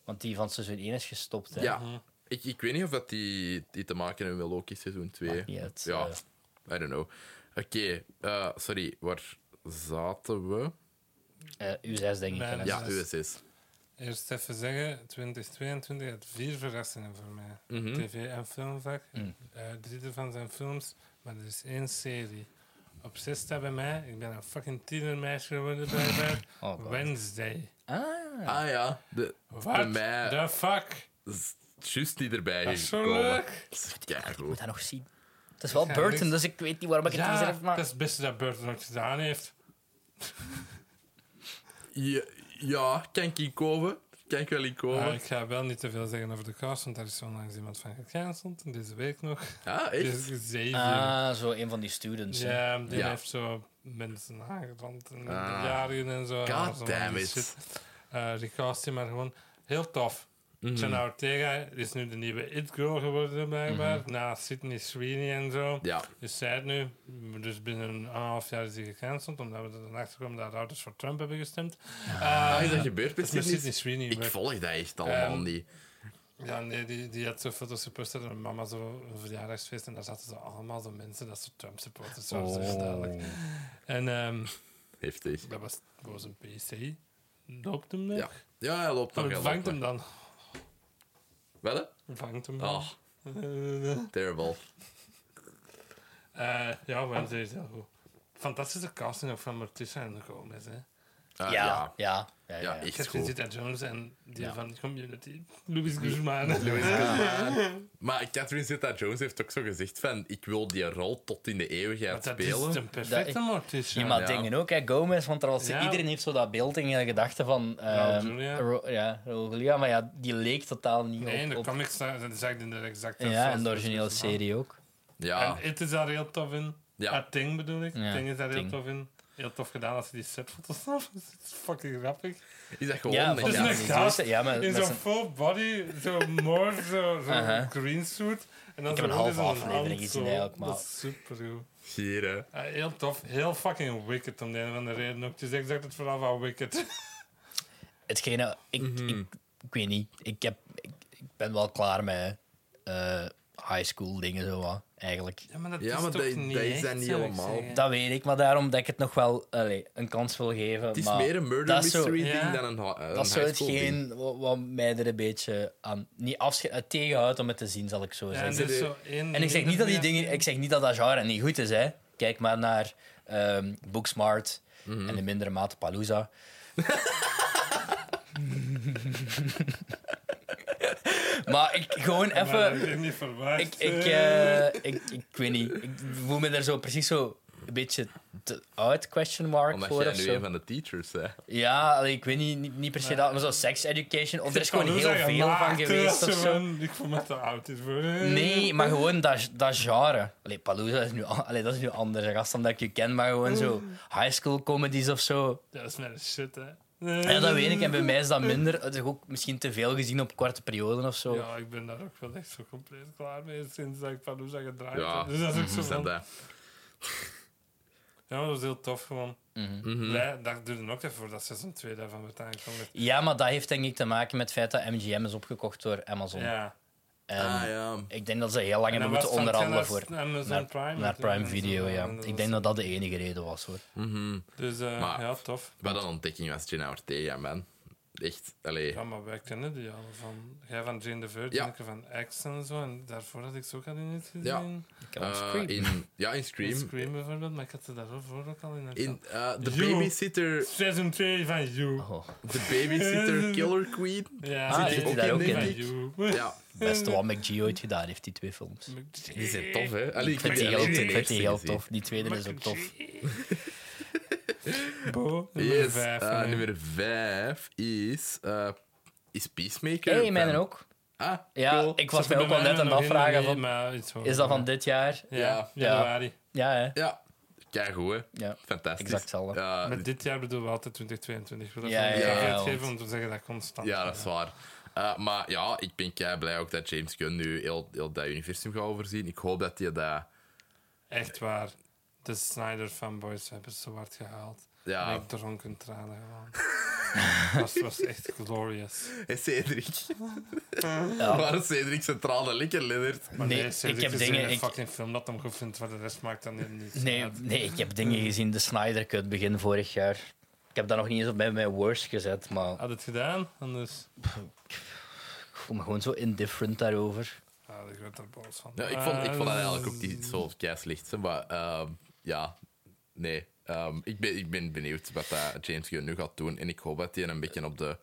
[SPEAKER 3] Want die van seizoen 1 is gestopt, hè?
[SPEAKER 1] ja. Ik, ik weet niet of dat die, die te maken hebben met Loki seizoen 2.
[SPEAKER 3] Maakt niet uit,
[SPEAKER 1] Ja,
[SPEAKER 3] eh.
[SPEAKER 1] I don't know. Oké, eh, sorry, waar zaten we?
[SPEAKER 3] Eh, U6, denk ik.
[SPEAKER 2] Nee,
[SPEAKER 3] hè.
[SPEAKER 2] dat
[SPEAKER 1] Ja,
[SPEAKER 2] is-
[SPEAKER 1] USS.
[SPEAKER 2] Eerst even zeggen, 2022 had vier verrassingen voor mij. TV- en filmvak. Eh, drie ervan zijn films, maar er is één serie. Op zes staat bij mij, ik ben een fucking tienermeisje geworden blijkbaar.
[SPEAKER 3] Oh, God.
[SPEAKER 2] Wednesday.
[SPEAKER 3] Ah,
[SPEAKER 1] Ah ja, de, bij
[SPEAKER 2] What
[SPEAKER 1] mij
[SPEAKER 2] the fuck?
[SPEAKER 1] is juist die erbij
[SPEAKER 2] Dat is zo leuk.
[SPEAKER 1] Ja,
[SPEAKER 3] ik moet
[SPEAKER 1] goed.
[SPEAKER 3] dat nog zien. Het is wel
[SPEAKER 2] Ja,
[SPEAKER 3] Burton,
[SPEAKER 2] niks.
[SPEAKER 3] dus ik weet niet waarom ik het
[SPEAKER 2] Ja,
[SPEAKER 3] niet zelf
[SPEAKER 2] dat
[SPEAKER 3] maak.
[SPEAKER 2] is het beste dat Burton ooit gedaan heeft.
[SPEAKER 1] Ja, ja, kan ik inkomen? Kan ik wel inkomen?
[SPEAKER 2] Maar Ah, ik ga wel niet te veel zeggen over de cast, want daar is onlangs iemand van gecanceld. Deze week nog.
[SPEAKER 1] Ah, echt?
[SPEAKER 2] Dus zeven.
[SPEAKER 3] Ah, zo een van die students. hè.
[SPEAKER 2] Ja, die
[SPEAKER 1] Ja.
[SPEAKER 2] heeft zo mensen aangerand en
[SPEAKER 1] Ah.
[SPEAKER 2] jarigen en zo.
[SPEAKER 1] God
[SPEAKER 2] Allemaal
[SPEAKER 1] damn
[SPEAKER 2] die
[SPEAKER 1] it.
[SPEAKER 2] shit. Eh, recast die maar gewoon heel tof.
[SPEAKER 1] Mhm.
[SPEAKER 2] Jenna Ortega is nu de nieuwe It Girl geworden, blijkbaar.
[SPEAKER 1] Mhm.
[SPEAKER 2] Na Sydney Sweeney en zo.
[SPEAKER 1] Ja.
[SPEAKER 2] Dus zij het nu. Dus binnen een half jaar is die gecanceld, omdat we erachter kwamen dat ouders voor Trump hebben gestemd. Eh,
[SPEAKER 1] Ah, is dat gebeurd
[SPEAKER 2] dat is met
[SPEAKER 1] precies?
[SPEAKER 2] Sydney
[SPEAKER 1] niet?
[SPEAKER 2] Sweeney.
[SPEAKER 1] Ik
[SPEAKER 2] werd-
[SPEAKER 1] volg dat echt allemaal
[SPEAKER 2] Ehm,
[SPEAKER 1] niet.
[SPEAKER 2] ja, nee, die, die had zo foto's gepost dat haar mama zo een verjaardagsfeest en daar zaten ze allemaal zo mensen dat ze Trump supporters waren. zo
[SPEAKER 3] Oh.
[SPEAKER 1] Oh.
[SPEAKER 2] duidelijk. En ehm,
[SPEAKER 1] Heftig.
[SPEAKER 2] dat was, was een PC. Loopt hem nog?
[SPEAKER 1] Ja, ja hij loopt nog.
[SPEAKER 2] Oh,
[SPEAKER 1] hij loopt
[SPEAKER 2] vangt
[SPEAKER 1] nog.
[SPEAKER 2] hem dan.
[SPEAKER 1] Wel, hè?
[SPEAKER 2] Vangt hem
[SPEAKER 1] Oh,
[SPEAKER 2] (laughs) dan.
[SPEAKER 1] terrible.
[SPEAKER 2] Eh, ja, maar dat is heel goed. Fantastische casting ook van Morticia en Gomez. Hè.
[SPEAKER 1] Ah,
[SPEAKER 3] ja, ja, ja, ja,
[SPEAKER 1] Ja,
[SPEAKER 3] ja.
[SPEAKER 1] ik-
[SPEAKER 2] Ik heb
[SPEAKER 1] goed.
[SPEAKER 2] Zita Jones en die
[SPEAKER 3] Ja.
[SPEAKER 2] van Community. Louis Guzman.
[SPEAKER 1] Maar Catherine Zeta-Jones heeft ook zo gezegd van... Ik wil die rol tot in de eeuwigheid
[SPEAKER 2] Want dat
[SPEAKER 1] spelen.
[SPEAKER 2] is eh, een perfecte
[SPEAKER 3] Dat-
[SPEAKER 2] Morticia.
[SPEAKER 3] Ja, maar
[SPEAKER 1] Ja.
[SPEAKER 3] dingen ook, hè, Gomez, want er was,
[SPEAKER 2] Ja.
[SPEAKER 3] iedereen heeft zo dat beeld in de gedachten van...
[SPEAKER 2] Raoul
[SPEAKER 3] ehm,
[SPEAKER 2] Julia.
[SPEAKER 3] Ro- ja, Raoul Julia, maar ja, die leek totaal niet
[SPEAKER 2] Nee, in
[SPEAKER 3] op...
[SPEAKER 2] de
[SPEAKER 3] op-
[SPEAKER 2] comics zijn ze in de exacte
[SPEAKER 3] ja, en
[SPEAKER 2] source
[SPEAKER 3] de originele
[SPEAKER 2] versions van.
[SPEAKER 3] serie ook.
[SPEAKER 1] Ja,
[SPEAKER 2] En het is daar heel tof in.
[SPEAKER 1] Ja.
[SPEAKER 2] Ja. Ting bedoel ik.
[SPEAKER 3] Ja,
[SPEAKER 2] Ting is daar heel
[SPEAKER 3] Ting.
[SPEAKER 2] tof in. Heel tof gedaan als je die setfoto's (laughs) zag. Het is fucking grappig.
[SPEAKER 1] is dat gewoon
[SPEAKER 3] Ja,
[SPEAKER 1] een
[SPEAKER 3] volgens
[SPEAKER 2] Het
[SPEAKER 1] gast?
[SPEAKER 2] is
[SPEAKER 3] die
[SPEAKER 2] een gast
[SPEAKER 3] eerste- ja, maar
[SPEAKER 2] in
[SPEAKER 3] met
[SPEAKER 2] zo'n
[SPEAKER 3] zijn-
[SPEAKER 2] full body, zo'n morf, zo'n zo
[SPEAKER 3] Aha.
[SPEAKER 2] green suit. En dan
[SPEAKER 3] Ik heb een
[SPEAKER 2] zo
[SPEAKER 3] halve
[SPEAKER 2] zo'n
[SPEAKER 3] aflevering
[SPEAKER 2] hand
[SPEAKER 3] gezien
[SPEAKER 2] zo.
[SPEAKER 3] eigenlijk, maar-
[SPEAKER 2] Dat is super goed.
[SPEAKER 1] Hier, hè.
[SPEAKER 2] Eh, heel tof. Heel fucking wicked om de een of andere reden. Ook. Het is exact het verhaal van wicked.
[SPEAKER 3] hetgene, ik,
[SPEAKER 1] Mhm.
[SPEAKER 3] ik, ik weet niet, ik, heb, ik, ik ben wel klaar met eh, high school dingen zo wat, eigenlijk.
[SPEAKER 2] (laughs) Ja, maar dat
[SPEAKER 1] Ja,
[SPEAKER 2] is
[SPEAKER 1] maar
[SPEAKER 2] toch
[SPEAKER 1] dat-
[SPEAKER 2] niet
[SPEAKER 1] dat is
[SPEAKER 2] echt,
[SPEAKER 1] dat niet
[SPEAKER 2] zou ik
[SPEAKER 1] helemaal.
[SPEAKER 2] zeggen.
[SPEAKER 3] Dat weet ik, maar daarom dat ik het nog wel allee, een kans wil geven.
[SPEAKER 1] Het is
[SPEAKER 3] maar
[SPEAKER 1] meer een murder
[SPEAKER 3] dat is zo-
[SPEAKER 1] mystery ding
[SPEAKER 2] Ja.
[SPEAKER 1] dan een, ho- een
[SPEAKER 3] Dat is zo
[SPEAKER 1] high school ding.
[SPEAKER 3] hetgeen wat, wat mij er een beetje aan... Niet afsche- eh, tegenhoudt om het te zien, zal ik zo
[SPEAKER 2] Ja, en,
[SPEAKER 3] zeggen.
[SPEAKER 2] er is zo één
[SPEAKER 3] En ik zeg niet dat die dingen, ik zeg niet dat dat genre niet goed is, hè. Kijk maar naar ehm, Booksmart en in mindere mate Palooza. (laughs) maar ik gewoon
[SPEAKER 2] Maar dat heb
[SPEAKER 3] even,
[SPEAKER 2] ik niet verwacht.
[SPEAKER 3] ik, ik,
[SPEAKER 2] Eh,
[SPEAKER 3] eh, ik, ik weet niet, ik voel me daar zo precies zo een beetje te oud question mark
[SPEAKER 1] Omdat
[SPEAKER 3] voor
[SPEAKER 1] jij
[SPEAKER 3] of
[SPEAKER 1] nu een
[SPEAKER 3] zo.
[SPEAKER 1] van de teachers hè?
[SPEAKER 3] Ja, allee, ik weet niet, niet, niet per se dat, maar zo sex education, of er is gewoon
[SPEAKER 2] Kan ook
[SPEAKER 3] heel
[SPEAKER 2] zeggen,
[SPEAKER 3] veel van
[SPEAKER 2] maakt,
[SPEAKER 3] geweest
[SPEAKER 2] dat
[SPEAKER 3] of
[SPEAKER 2] ze
[SPEAKER 3] zo.
[SPEAKER 2] van- Ik voel me te oud is voor.
[SPEAKER 3] Nee, maar gewoon dat, dat genre. Allee, Palooza is nu, an- allee, dat is
[SPEAKER 1] Mm.
[SPEAKER 3] nu anders, gast, omdat ik je ken, maar gewoon zo high school comedies of zo.
[SPEAKER 2] Dat is net een shit, hè.
[SPEAKER 3] Ja, dat weet ik. En bij mij is dat minder. Het is ook misschien te veel gezien op korte perioden of zo.
[SPEAKER 2] Ja, ik ben daar ook wel echt zo compleet klaar mee sinds dat ik Palooza gedraaid
[SPEAKER 1] Ja,
[SPEAKER 2] heb. Dus dat is ook
[SPEAKER 3] Mhm.
[SPEAKER 2] zo
[SPEAKER 1] dat,
[SPEAKER 2] van...
[SPEAKER 1] dat.
[SPEAKER 2] Ja, maar dat was heel tof gewoon.
[SPEAKER 3] Mhm.
[SPEAKER 2] Blij, dat duurde ook even voordat seizoen 2 daarvan werd aangekondigd.
[SPEAKER 3] Ja, maar dat heeft denk ik te maken met het feit dat MGM is opgekocht door Amazon.
[SPEAKER 2] Ja.
[SPEAKER 3] En
[SPEAKER 1] Ah, ja.
[SPEAKER 3] Ik denk dat ze heel lang
[SPEAKER 2] En
[SPEAKER 3] hebben
[SPEAKER 2] dan was
[SPEAKER 3] moeten
[SPEAKER 2] het van
[SPEAKER 3] onderhandelen
[SPEAKER 2] Amazon
[SPEAKER 3] voor
[SPEAKER 2] Amazon
[SPEAKER 3] naar,
[SPEAKER 2] Prime.
[SPEAKER 3] naar Prime
[SPEAKER 2] natuurlijk en zo,
[SPEAKER 3] Video. Ja.
[SPEAKER 2] en dat
[SPEAKER 3] Ik
[SPEAKER 2] was-
[SPEAKER 3] denk dat dat de enige reden was hoor.
[SPEAKER 1] Mhm.
[SPEAKER 2] Dus eh,
[SPEAKER 1] Maar-
[SPEAKER 2] ja, tof.
[SPEAKER 1] Wat een ontdekking was Jenna Ortega, man. Echt, allee.
[SPEAKER 2] Ja, maar wij kennen die al. Van, jij van Jane the Virgin,
[SPEAKER 1] Ja.
[SPEAKER 2] ik van X en zo. En daarvoor had ik ze ook al in iets gezien.
[SPEAKER 1] Ja.
[SPEAKER 3] Ah, Ik heb hem
[SPEAKER 1] Eh,
[SPEAKER 3] screen.
[SPEAKER 1] in, ja, in
[SPEAKER 2] In
[SPEAKER 1] Scream.
[SPEAKER 2] Scream bijvoorbeeld, maar ik had ze daarvoor ook al in.
[SPEAKER 1] In eh, The
[SPEAKER 2] You.
[SPEAKER 1] Babysitter,
[SPEAKER 2] Seizoen 2 van You.
[SPEAKER 3] Oh,
[SPEAKER 1] The
[SPEAKER 2] (laughs)
[SPEAKER 1] Babysitter Killer Queen.
[SPEAKER 2] Ja,
[SPEAKER 3] Ah,
[SPEAKER 2] die
[SPEAKER 1] zit die
[SPEAKER 2] ook
[SPEAKER 1] daar ook
[SPEAKER 2] in,
[SPEAKER 1] in?
[SPEAKER 2] van You.
[SPEAKER 1] Ja,
[SPEAKER 3] best wat McGee ooit gedaan heeft, die twee films.
[SPEAKER 1] die zijn tof, hè? Allee,
[SPEAKER 3] Ik vind die
[SPEAKER 1] heb
[SPEAKER 3] heel,
[SPEAKER 1] alleen de
[SPEAKER 3] ik vind die
[SPEAKER 1] eerste
[SPEAKER 3] heel
[SPEAKER 1] gezien.
[SPEAKER 3] tof. Die tweede is ook tof.
[SPEAKER 1] (laughs)
[SPEAKER 2] Bo, nummer
[SPEAKER 1] Yes,
[SPEAKER 2] vijf.
[SPEAKER 1] eh,
[SPEAKER 2] van u.
[SPEAKER 1] nummer 5 is, eh, is Peacemaker.
[SPEAKER 3] Hey, mijnen
[SPEAKER 1] van-
[SPEAKER 3] ook.
[SPEAKER 1] Ah,
[SPEAKER 3] Ja,
[SPEAKER 1] cool.
[SPEAKER 3] ik was
[SPEAKER 2] Zat
[SPEAKER 3] mij
[SPEAKER 2] er
[SPEAKER 3] ook
[SPEAKER 2] bij
[SPEAKER 3] wel net
[SPEAKER 2] nog
[SPEAKER 3] aan het
[SPEAKER 2] in,
[SPEAKER 3] afvragen
[SPEAKER 2] nee,
[SPEAKER 3] van,
[SPEAKER 2] maar iets hoor.
[SPEAKER 3] is dat van dit jaar?
[SPEAKER 2] Ja,
[SPEAKER 3] Ja.
[SPEAKER 2] januari.
[SPEAKER 3] Ja, hè?
[SPEAKER 1] Ja, kijk goed, hè?
[SPEAKER 3] Ja,
[SPEAKER 1] Fantastisch.
[SPEAKER 3] exact hetzelfde.
[SPEAKER 1] Eh,
[SPEAKER 2] Met dit jaar bedoelen we altijd 2022. Ik wil
[SPEAKER 3] Ja,
[SPEAKER 2] even een
[SPEAKER 1] ja, ja,
[SPEAKER 2] caveat
[SPEAKER 3] want-
[SPEAKER 2] geven om te zeggen dat constant.
[SPEAKER 1] Ja, dat is waar. Eh, maar ja, ik ben kei blij ook dat James Gunn nu heel, heel dat universum gaat overzien. Ik hoop dat hij dat.
[SPEAKER 2] Echt waar. De Snyder fanboys hebben ze hard gehaald.
[SPEAKER 1] Ja.
[SPEAKER 2] En ik dronk in tranen gewoon. Dat was echt glorious.
[SPEAKER 1] Hey, Cedric.
[SPEAKER 2] (laughs)
[SPEAKER 1] Waar Cedric centrale likker, Lennart?
[SPEAKER 2] Maar
[SPEAKER 3] Nee,
[SPEAKER 2] nee,
[SPEAKER 3] ik heb dingen-
[SPEAKER 2] Een
[SPEAKER 3] ik-
[SPEAKER 2] fucking film dat hem goed vindt, wat de rest maakt dan hem niet.
[SPEAKER 3] Nee,
[SPEAKER 2] uit.
[SPEAKER 3] nee, ik heb dingen gezien. De Snyder Cut begin vorig jaar. Ik heb dat nog niet eens op bij mijn worst gezet, maar
[SPEAKER 2] Had het gedaan, anders.
[SPEAKER 3] ik voel me gewoon zo indifferent daarover.
[SPEAKER 2] Ah, ik werd er boos van. Eh,
[SPEAKER 1] Ja, ik, vond, ik vond dat eigenlijk ook niet zo kei slecht. hè, Maar ehm, ja, nee. Ehm, ik, ben, ik ben benieuwd wat dat James Gunn nu gaat doen. En ik hoop dat hij een beetje op de.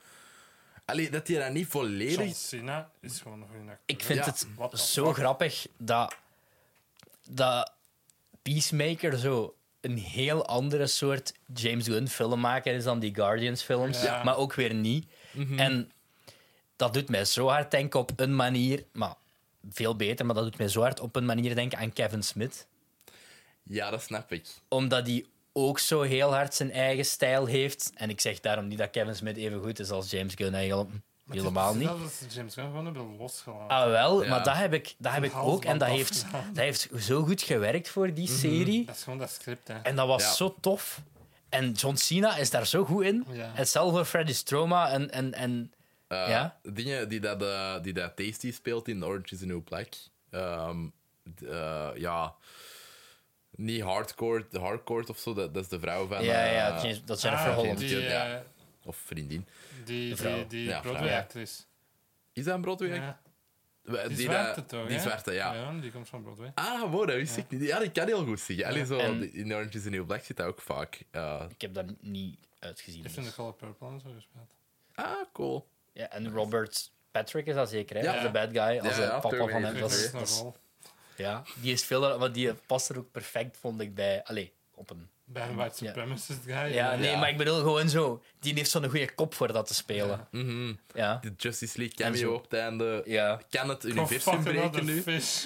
[SPEAKER 1] Allee, dat hij dat niet volledig.
[SPEAKER 2] John Cena is gewoon nog een acteur.
[SPEAKER 3] Ik vind
[SPEAKER 1] Ja,
[SPEAKER 2] what the
[SPEAKER 3] het zo grappig dat, dat Peacemaker zo een heel andere soort James Gunn filmmaker is dan die Guardians films,
[SPEAKER 2] Ja.
[SPEAKER 3] maar ook weer niet. En dat doet mij zo hard denken op een manier, maar veel beter, maar dat doet mij zo hard op een manier denken aan Kevin Smith.
[SPEAKER 1] Ja, dat snap ik.
[SPEAKER 3] omdat hij ook zo heel hard zijn eigen stijl heeft. En ik zeg daarom niet dat Kevin Smith even goed is als James Gunn. Eigenlijk helemaal niet.
[SPEAKER 2] Dat is James Gunn gewoon hebben losgelaten.
[SPEAKER 3] Ah, wel,
[SPEAKER 1] Ja.
[SPEAKER 3] maar dat heb ik, dat heb ik
[SPEAKER 2] halsband
[SPEAKER 3] ook. En dat heeft,
[SPEAKER 2] afgedaan.
[SPEAKER 3] dat heeft zo goed gewerkt voor die serie.
[SPEAKER 2] Dat is gewoon dat script, hè.
[SPEAKER 3] En dat was
[SPEAKER 1] Mhm. Ja.
[SPEAKER 3] zo tof. En John Cena is daar zo goed in.
[SPEAKER 2] Ja.
[SPEAKER 3] Hetzelfde voor Freddy's Trauma. En, en, en
[SPEAKER 1] Eh,
[SPEAKER 3] Ja?
[SPEAKER 1] Dingen die dat, eh, die dat Tasty speelt in Orange is the New Black. Ehm, d- eh, ja. Niet hardcore, de hardcore of zo, dat, dat is de vrouw van.
[SPEAKER 3] ja,
[SPEAKER 1] eh,
[SPEAKER 3] ja, James- dat Jennifer
[SPEAKER 2] Ah,
[SPEAKER 3] Holland.
[SPEAKER 2] Die,
[SPEAKER 1] Ja.
[SPEAKER 2] eh,
[SPEAKER 1] Of vriendin.
[SPEAKER 2] die,
[SPEAKER 3] vrouw.
[SPEAKER 2] die, die
[SPEAKER 1] Ja, vrouw,
[SPEAKER 2] Broadway-actrice.
[SPEAKER 1] Is dat een Broadway?
[SPEAKER 2] Ja.
[SPEAKER 1] We-
[SPEAKER 2] Die,
[SPEAKER 1] dat-
[SPEAKER 2] zwarte toch,
[SPEAKER 1] Die
[SPEAKER 2] hè?
[SPEAKER 1] zwarte, ja.
[SPEAKER 2] die komt van Broadway.
[SPEAKER 1] Ah, wow, dat wist ik niet. Ja, die kan heel goed zingen. Allee, zo,
[SPEAKER 3] En-
[SPEAKER 1] In Orange is the New Black zit dat ook vaak. Eh,
[SPEAKER 3] Ik heb dat niet uitgezien. dus.
[SPEAKER 2] Die heeft in de Color Purple en zo gespeeld.
[SPEAKER 1] ah, cool.
[SPEAKER 3] Ja, en Robert Patrick is dat zeker, hè?
[SPEAKER 1] Ja.
[SPEAKER 3] Als de bad guy, als
[SPEAKER 1] Ja, ja,
[SPEAKER 3] de papa van hem.
[SPEAKER 1] Terminator,
[SPEAKER 2] Dat
[SPEAKER 3] Dat is,
[SPEAKER 2] is
[SPEAKER 1] Oké.
[SPEAKER 2] een
[SPEAKER 3] dat is-
[SPEAKER 2] rol.
[SPEAKER 3] Ja, die is veel, want die past er ook perfect, vond ik bij. Allee, op een.
[SPEAKER 2] Bij een white
[SPEAKER 3] Ja.
[SPEAKER 2] supremacist guy.
[SPEAKER 3] Ja, nee,
[SPEAKER 1] Ja.
[SPEAKER 3] maar ik bedoel gewoon zo. Die heeft zo'n goede kop voor dat te spelen.
[SPEAKER 1] Mhm.
[SPEAKER 3] Ja.
[SPEAKER 1] De Justice League
[SPEAKER 3] En zo.
[SPEAKER 1] cameo op het einde.
[SPEAKER 3] Ja.
[SPEAKER 1] Kan het
[SPEAKER 2] Go
[SPEAKER 1] universum
[SPEAKER 2] fucking
[SPEAKER 1] breken
[SPEAKER 3] dus.
[SPEAKER 2] other
[SPEAKER 1] nu?
[SPEAKER 3] (laughs)
[SPEAKER 2] fish.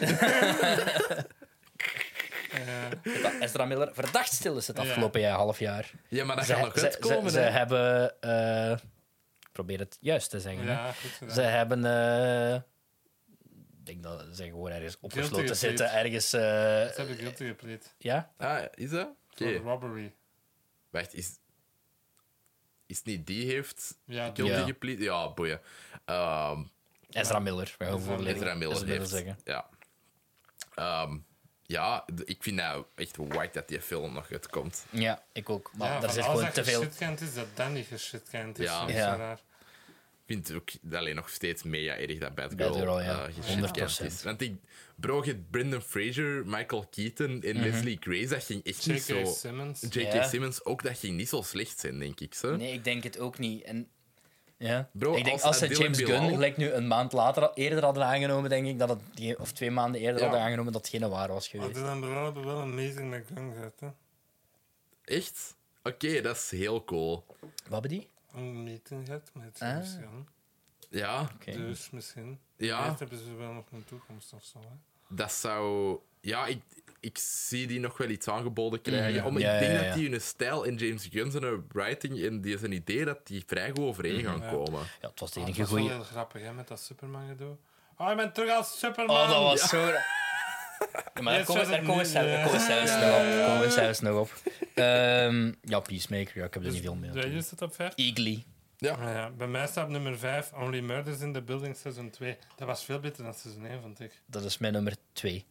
[SPEAKER 2] Eh,
[SPEAKER 3] Dat Ezra Miller verdacht stil is het
[SPEAKER 2] Ja.
[SPEAKER 3] afgelopen jaar, half jaar.
[SPEAKER 1] Ja, maar dat
[SPEAKER 3] Ze,
[SPEAKER 1] gaat nog
[SPEAKER 3] ze-
[SPEAKER 1] uitkomen,
[SPEAKER 3] ze- ze
[SPEAKER 1] hè.
[SPEAKER 3] hebben. eh, ik probeer het juist te zeggen. hè.
[SPEAKER 2] ja, goed gedaan.
[SPEAKER 3] Ze hebben. eh, ik denk dat ze gewoon ergens opgesloten
[SPEAKER 2] Guilty
[SPEAKER 3] zitten, ergens. eh,
[SPEAKER 2] Ze hebben guilty gepleed.
[SPEAKER 3] ja?
[SPEAKER 1] Ah, is dat? Oké.
[SPEAKER 2] Voor robbery.
[SPEAKER 1] Wacht, is... Is het niet die heeft
[SPEAKER 2] Ja,
[SPEAKER 1] guilty
[SPEAKER 3] Ja.
[SPEAKER 1] gepleit? Ja, boeien. Ehm
[SPEAKER 3] Ezra Miller. We gaan
[SPEAKER 2] Ezra
[SPEAKER 3] voorlezen.
[SPEAKER 1] Ezra Miller
[SPEAKER 3] Ezra
[SPEAKER 1] heeft...
[SPEAKER 3] zeggen.
[SPEAKER 1] Ja. Ehm, ja, d- ik vind nou echt white dat die film nog uitkomt.
[SPEAKER 3] Ja, ik ook. Maar
[SPEAKER 2] ja,
[SPEAKER 3] daar
[SPEAKER 2] van
[SPEAKER 3] zit
[SPEAKER 2] als
[SPEAKER 3] gewoon
[SPEAKER 2] dat
[SPEAKER 3] te veel.
[SPEAKER 2] geshitkend is, dat dan niet geshitkend is.
[SPEAKER 1] Ja.
[SPEAKER 2] Dat is
[SPEAKER 3] Ja.
[SPEAKER 2] zo raar.
[SPEAKER 1] Ik vind het ook alleen nog steeds mega erg dat Bad Girl,
[SPEAKER 3] Bad Girl, ja.
[SPEAKER 1] eh,
[SPEAKER 3] 100%.
[SPEAKER 1] geshitcast is. Want ik... Bro, je hebt Brendan Fraser, Michael Keaton en Leslie Grace, dat ging echt
[SPEAKER 2] J.K.
[SPEAKER 1] niet zo...
[SPEAKER 2] Simmons.
[SPEAKER 1] J.K.
[SPEAKER 3] Mhm. Ja.
[SPEAKER 1] Simmons ook, dat ging niet zo slecht zijn, denk ik. Zo.
[SPEAKER 3] Nee, ik denk het ook niet. En, ja.
[SPEAKER 1] Bro,
[SPEAKER 3] ik denk
[SPEAKER 1] als
[SPEAKER 3] als ze
[SPEAKER 1] Adil en
[SPEAKER 3] James
[SPEAKER 1] Bilal-
[SPEAKER 3] Gunn gelijk nu een maand later al- eerder hadden aangenomen, denk ik dat het geen- of twee maanden eerder
[SPEAKER 1] Ja.
[SPEAKER 3] hadden aangenomen dat het geen waar was
[SPEAKER 2] Maar
[SPEAKER 3] geweest.
[SPEAKER 2] dan hebben wel een meter naar gang gezet, hè.
[SPEAKER 1] Echt? Oké, dat is heel cool.
[SPEAKER 3] Wat hebben die?
[SPEAKER 2] Een meter gaat, maar het is
[SPEAKER 3] Ah.
[SPEAKER 2] misschien.
[SPEAKER 1] Ja,
[SPEAKER 3] Oké.
[SPEAKER 2] Dus misschien.
[SPEAKER 1] Ja.
[SPEAKER 2] Eerst hebben ze wel nog een toekomst of zo, hè.
[SPEAKER 1] dat zou ja, ik, ik zie die nog wel iets aangeboden krijgen.
[SPEAKER 3] Mhm.
[SPEAKER 1] Om, ik
[SPEAKER 3] Ja,
[SPEAKER 1] denk
[SPEAKER 3] ja, ja.
[SPEAKER 1] dat die hun stijl in James Gunn's en hun writing en die zijn idee dat die vrij goed
[SPEAKER 2] Mhm.
[SPEAKER 1] overeen gaan komen.
[SPEAKER 3] Ja, het was de
[SPEAKER 2] Ah,
[SPEAKER 3] enige
[SPEAKER 2] dat was wel
[SPEAKER 3] goeie.
[SPEAKER 2] heel grappig, hè, met dat Superman-gedoe. Oh, ik ben terug als Superman!
[SPEAKER 3] Oh, dat was
[SPEAKER 2] (laughs)
[SPEAKER 3] zo... Ja, maar daar
[SPEAKER 2] Yes,
[SPEAKER 3] komen
[SPEAKER 2] sir,
[SPEAKER 3] daar komen we
[SPEAKER 2] nu,
[SPEAKER 3] zelfs- daar komen
[SPEAKER 2] eh.
[SPEAKER 3] we zelfs nog op. Daar komen we zelfs nog op. Ehm, ja, Peacemaker, ja, ik heb er
[SPEAKER 2] Dus,
[SPEAKER 3] niet veel mee. aan
[SPEAKER 2] jij
[SPEAKER 3] toe.
[SPEAKER 2] is het op 5?
[SPEAKER 3] Eagly.
[SPEAKER 1] Ja,
[SPEAKER 2] Ah ja, bij mij staat op nummer 5 Only Murders in the Building seizoen 2. Dat was veel beter dan seizoen 1, vond ik.
[SPEAKER 3] Dat is mijn nummer 2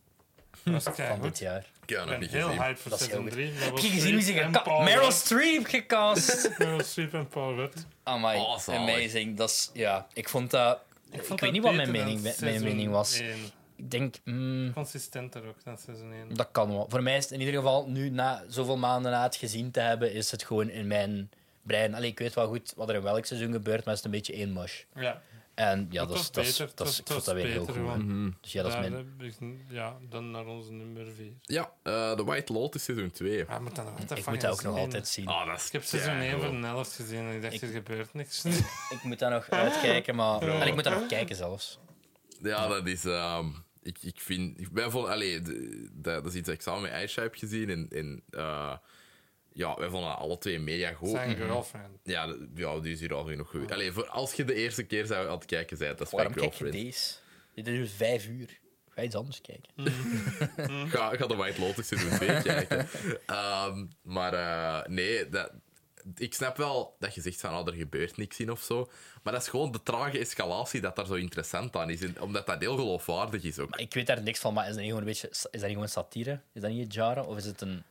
[SPEAKER 2] Dat was
[SPEAKER 3] van
[SPEAKER 2] keihard.
[SPEAKER 3] dit
[SPEAKER 2] Ik
[SPEAKER 3] jaar.
[SPEAKER 1] ik heb nog
[SPEAKER 2] ben
[SPEAKER 1] niet
[SPEAKER 2] heel
[SPEAKER 1] gezien.
[SPEAKER 2] hyped voor
[SPEAKER 3] Dat is heel
[SPEAKER 2] seizoen
[SPEAKER 3] goed.
[SPEAKER 2] 3.
[SPEAKER 3] Heb je gezien wie ze gecast... Meryl Streep
[SPEAKER 2] (laughs)
[SPEAKER 3] gecast!
[SPEAKER 2] Meryl Streep en Paul Rudd.
[SPEAKER 3] Amai,
[SPEAKER 1] Oh, zalig.
[SPEAKER 3] amazing. Dat is... Ja, ik vond dat... Ik,
[SPEAKER 2] vond
[SPEAKER 3] weet
[SPEAKER 2] dat
[SPEAKER 3] niet wat mijn
[SPEAKER 2] beter dan
[SPEAKER 3] mening, mijn
[SPEAKER 2] seizoen
[SPEAKER 3] mening was.
[SPEAKER 2] één.
[SPEAKER 3] Ik denk... mm,
[SPEAKER 2] Consistenter ook dan seizoen 1.
[SPEAKER 3] Dat kan wel. Voor mij is het in ieder geval nu, na zoveel maanden na het gezien te hebben, is het gewoon in mijn brein. Allee, ik weet wel goed wat er in welk seizoen gebeurt, maar het is een beetje één mush.
[SPEAKER 2] Ja,
[SPEAKER 3] En ja,
[SPEAKER 2] Het
[SPEAKER 3] dat is,
[SPEAKER 2] was
[SPEAKER 3] dat is,
[SPEAKER 2] beter, het
[SPEAKER 3] dat is,
[SPEAKER 2] was- het
[SPEAKER 3] ik vond dat
[SPEAKER 2] was
[SPEAKER 3] weer heel goed.
[SPEAKER 2] beter
[SPEAKER 3] hè.
[SPEAKER 2] gewoon.
[SPEAKER 3] Dus ja, dat is
[SPEAKER 2] daar
[SPEAKER 3] mijn...
[SPEAKER 2] heb ik n- ja, dan naar onze nummer 4.
[SPEAKER 1] Ja, eh, The White Lotus seizoen 2.
[SPEAKER 2] Ah, moet dat nog altijd
[SPEAKER 3] Ik
[SPEAKER 2] van
[SPEAKER 3] moet dat ook
[SPEAKER 2] gezien.
[SPEAKER 3] nog altijd zien.
[SPEAKER 1] Ah, dat is
[SPEAKER 2] Ik heb seizoen 1
[SPEAKER 1] keigoed.
[SPEAKER 2] voor een helft gezien en ik dacht,
[SPEAKER 3] Ik-
[SPEAKER 2] er gebeurt niks. (laughs)
[SPEAKER 3] Ik moet daar nog uitkijken, maar... En ik moet daar nog kijken zelfs.
[SPEAKER 1] Ja, dat is. ehm, ik, ik vind. Ik ben vol, allee, d- dat, dat is iets dat ik samen met Aisha heb gezien. En, en eh, ja, wij vonden dat alle twee mega goed.
[SPEAKER 2] Zijn girlfriend.
[SPEAKER 1] Ja, d- ja, die is hier al genoeg geweest. Allee, voor als je de eerste keer zou aan het kijken bent, dat is
[SPEAKER 3] Waarom
[SPEAKER 1] mijn
[SPEAKER 3] kijk je
[SPEAKER 1] girlfriend.
[SPEAKER 3] deze? Dit duurt vijf uur. Ga iets anders kijken.
[SPEAKER 1] Ga, ga de White Lotus seizoen (laughs) 2 kijken. Ehm, maar eh, nee, dat, ik snap wel dat je zegt van oh, er gebeurt niks in of zo. Maar dat is gewoon de trage escalatie dat daar zo interessant aan is. En Omdat dat heel geloofwaardig is ook.
[SPEAKER 3] Maar ik weet daar niks van, maar is dat niet gewoon een beetje... Is dat niet gewoon satire? Is dat niet Jara? Of is het een...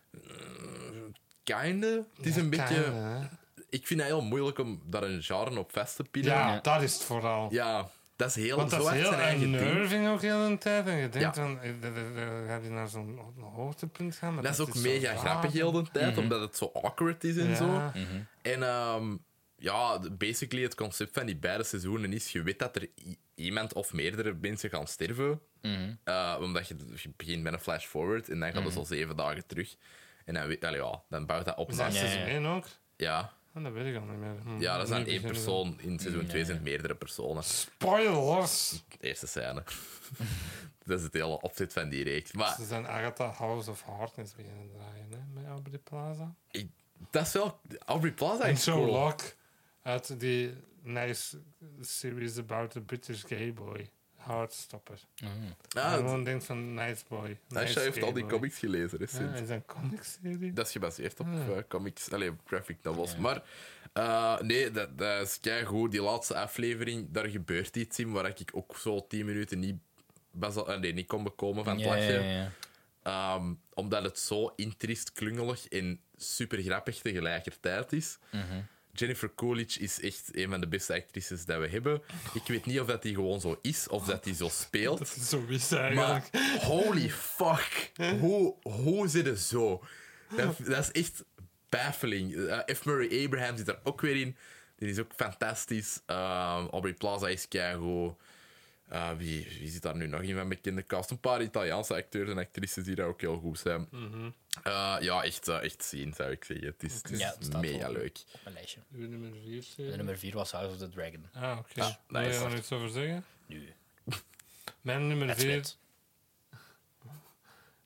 [SPEAKER 1] Kinda. Het is een beetje.
[SPEAKER 2] Kinda, hè.
[SPEAKER 1] ik vind het heel moeilijk om daar een genre op vast te pinnen.
[SPEAKER 2] Ja,
[SPEAKER 1] Ja,
[SPEAKER 3] Ja.
[SPEAKER 2] dat is het vooral.
[SPEAKER 1] dat is heel,
[SPEAKER 2] Want dat
[SPEAKER 1] zo
[SPEAKER 2] is
[SPEAKER 1] hard
[SPEAKER 2] heel
[SPEAKER 1] zijn eigen ding.
[SPEAKER 2] unnerving ook heel een tijd. En je denkt
[SPEAKER 1] Ja.
[SPEAKER 2] van, eh, d- d- d- dan gaat hij naar zo'n ho- hoogtepunt gaan. Maar
[SPEAKER 1] Dat is ook
[SPEAKER 2] zo
[SPEAKER 1] mega
[SPEAKER 2] vaag.
[SPEAKER 1] grappig heel de tijd, omdat het zo awkward is en
[SPEAKER 2] Ja.
[SPEAKER 1] zo. En ehm, ja, de- basically het concept van die beide seizoenen is, je weet dat er i- iemand of meerdere mensen gaan sterven. Eh, omdat je, je begint met een flash forward en dan gaat het al zeven dagen terug. En dan, weet, allee, ja, dan bouwt dat op
[SPEAKER 2] Is
[SPEAKER 1] naar...
[SPEAKER 2] dat
[SPEAKER 1] Ja,
[SPEAKER 3] Ja,
[SPEAKER 2] seizoen
[SPEAKER 3] ja.
[SPEAKER 2] 1 ook?
[SPEAKER 1] ja.
[SPEAKER 2] Oh, dat weet ik al niet meer. Hm,
[SPEAKER 1] dat is dan
[SPEAKER 2] nu
[SPEAKER 1] één
[SPEAKER 2] beginnen we.
[SPEAKER 1] persoon. In seizoen 2 zijn het meerdere personen.
[SPEAKER 2] Spoilers!
[SPEAKER 1] De eerste scène. (laughs) dat is het hele opzet van die reeks. Maar
[SPEAKER 2] Ze zijn Agatha House of Hardness beginnen draaien, hè, met Aubrey Plaza.
[SPEAKER 1] ik- dat is wel... Aubrey Plaza
[SPEAKER 2] En
[SPEAKER 1] is
[SPEAKER 2] Joe
[SPEAKER 1] cool.
[SPEAKER 2] Locke uit die nice series about the British gay boy. Hardstopper.
[SPEAKER 1] Ah,
[SPEAKER 2] Gewoon denkt van nice boy.
[SPEAKER 1] Aisha
[SPEAKER 2] nice
[SPEAKER 1] heeft
[SPEAKER 2] gay
[SPEAKER 1] al die
[SPEAKER 2] boy.
[SPEAKER 1] comics gelezen recent.
[SPEAKER 2] Ja, is een comicserie.
[SPEAKER 1] Dat is gebaseerd op eh, comics, allee, op graphic novels. Maar eh, nee, dat, dat is keigoed. Die laatste aflevering, daar gebeurt iets in waar ik ook zo tien minuten niet, basa- eh, nee, niet kon bekomen van het
[SPEAKER 3] Ja,
[SPEAKER 1] lachen.
[SPEAKER 3] ja, ja.
[SPEAKER 1] Ehm, omdat het zo intriest, klungelig en super grappig tegelijkertijd is. Jennifer Coolidge is echt een van de beste actrices dat we hebben. Ik weet niet of dat die gewoon zo is of dat die zo speelt.
[SPEAKER 2] Zo is eigenlijk.
[SPEAKER 1] Maar holy fuck, hoe, hoe zit het zo? Dat, dat is echt baffling. Eh, F. Murray Abraham zit daar ook weer in. Die is ook fantastisch. Ehm, Aubrey Plaza is keigoed. Eh, wie, wie zit daar nu nog in van bekende cast? Een paar Italiaanse acteurs en actrices die daar ook heel goed zijn.
[SPEAKER 3] Mhm.
[SPEAKER 1] Eh, ja, echt, eh, echt zien, zou ik zeggen. Het is, het is
[SPEAKER 3] Ja, het staat
[SPEAKER 1] mega
[SPEAKER 3] wel.
[SPEAKER 1] leuk.
[SPEAKER 3] Op mijn lijstje.
[SPEAKER 2] Uw nummer 4
[SPEAKER 3] De nummer 4 was House of the Dragon.
[SPEAKER 2] Ah, oké.
[SPEAKER 1] Ah,
[SPEAKER 2] Wil je
[SPEAKER 1] nice.
[SPEAKER 2] daar iets over zeggen?
[SPEAKER 3] Nu.
[SPEAKER 2] Mijn nummer
[SPEAKER 3] That's
[SPEAKER 2] 4.
[SPEAKER 3] it.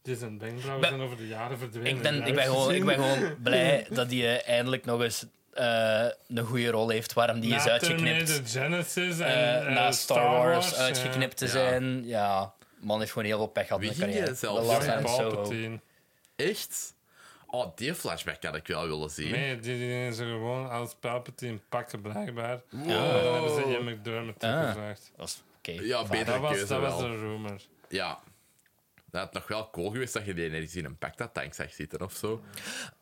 [SPEAKER 2] Die zijn wenkbrauwen
[SPEAKER 3] Ben-
[SPEAKER 2] zijn over de jaren verdwenen.
[SPEAKER 3] Ik ben,
[SPEAKER 2] Ja,
[SPEAKER 3] ik, ben gewoon, ik ben
[SPEAKER 2] gezien.
[SPEAKER 3] (laughs) gewoon blij dat hij eh, eindelijk nog eens eh, een goede rol heeft waarom die is
[SPEAKER 2] Na
[SPEAKER 3] uitgeknipt.
[SPEAKER 2] Terminator Genesis en
[SPEAKER 3] Eh,
[SPEAKER 2] eh,
[SPEAKER 3] na Star Wars
[SPEAKER 2] ja.
[SPEAKER 3] uitgeknipt te
[SPEAKER 1] Ja.
[SPEAKER 3] zijn. Ja, man heeft gewoon heel veel pech gehad
[SPEAKER 1] Wie
[SPEAKER 3] met
[SPEAKER 1] ging
[SPEAKER 3] carrière.
[SPEAKER 1] je zelf?
[SPEAKER 3] The
[SPEAKER 2] Ja,
[SPEAKER 3] Last
[SPEAKER 1] Ja,
[SPEAKER 3] Man Soho.
[SPEAKER 2] Palpatine.
[SPEAKER 1] Echt? Oh, die flashback had ik wel willen zien.
[SPEAKER 2] Nee, die, die is er gewoon als Palpatine pakken, blijkbaar.
[SPEAKER 1] Wow.
[SPEAKER 2] En dan hebben ze Ian McDermott
[SPEAKER 3] Ah.
[SPEAKER 2] teruggevraagd.
[SPEAKER 3] Dat is oké.
[SPEAKER 1] Ja, betere
[SPEAKER 2] Dat, was,
[SPEAKER 1] keuze
[SPEAKER 2] dat
[SPEAKER 1] wel.
[SPEAKER 2] was de rumor.
[SPEAKER 1] Ja. Dat had nog wel cool geweest dat je die ergens in een Pacta tank zag zitten of zo.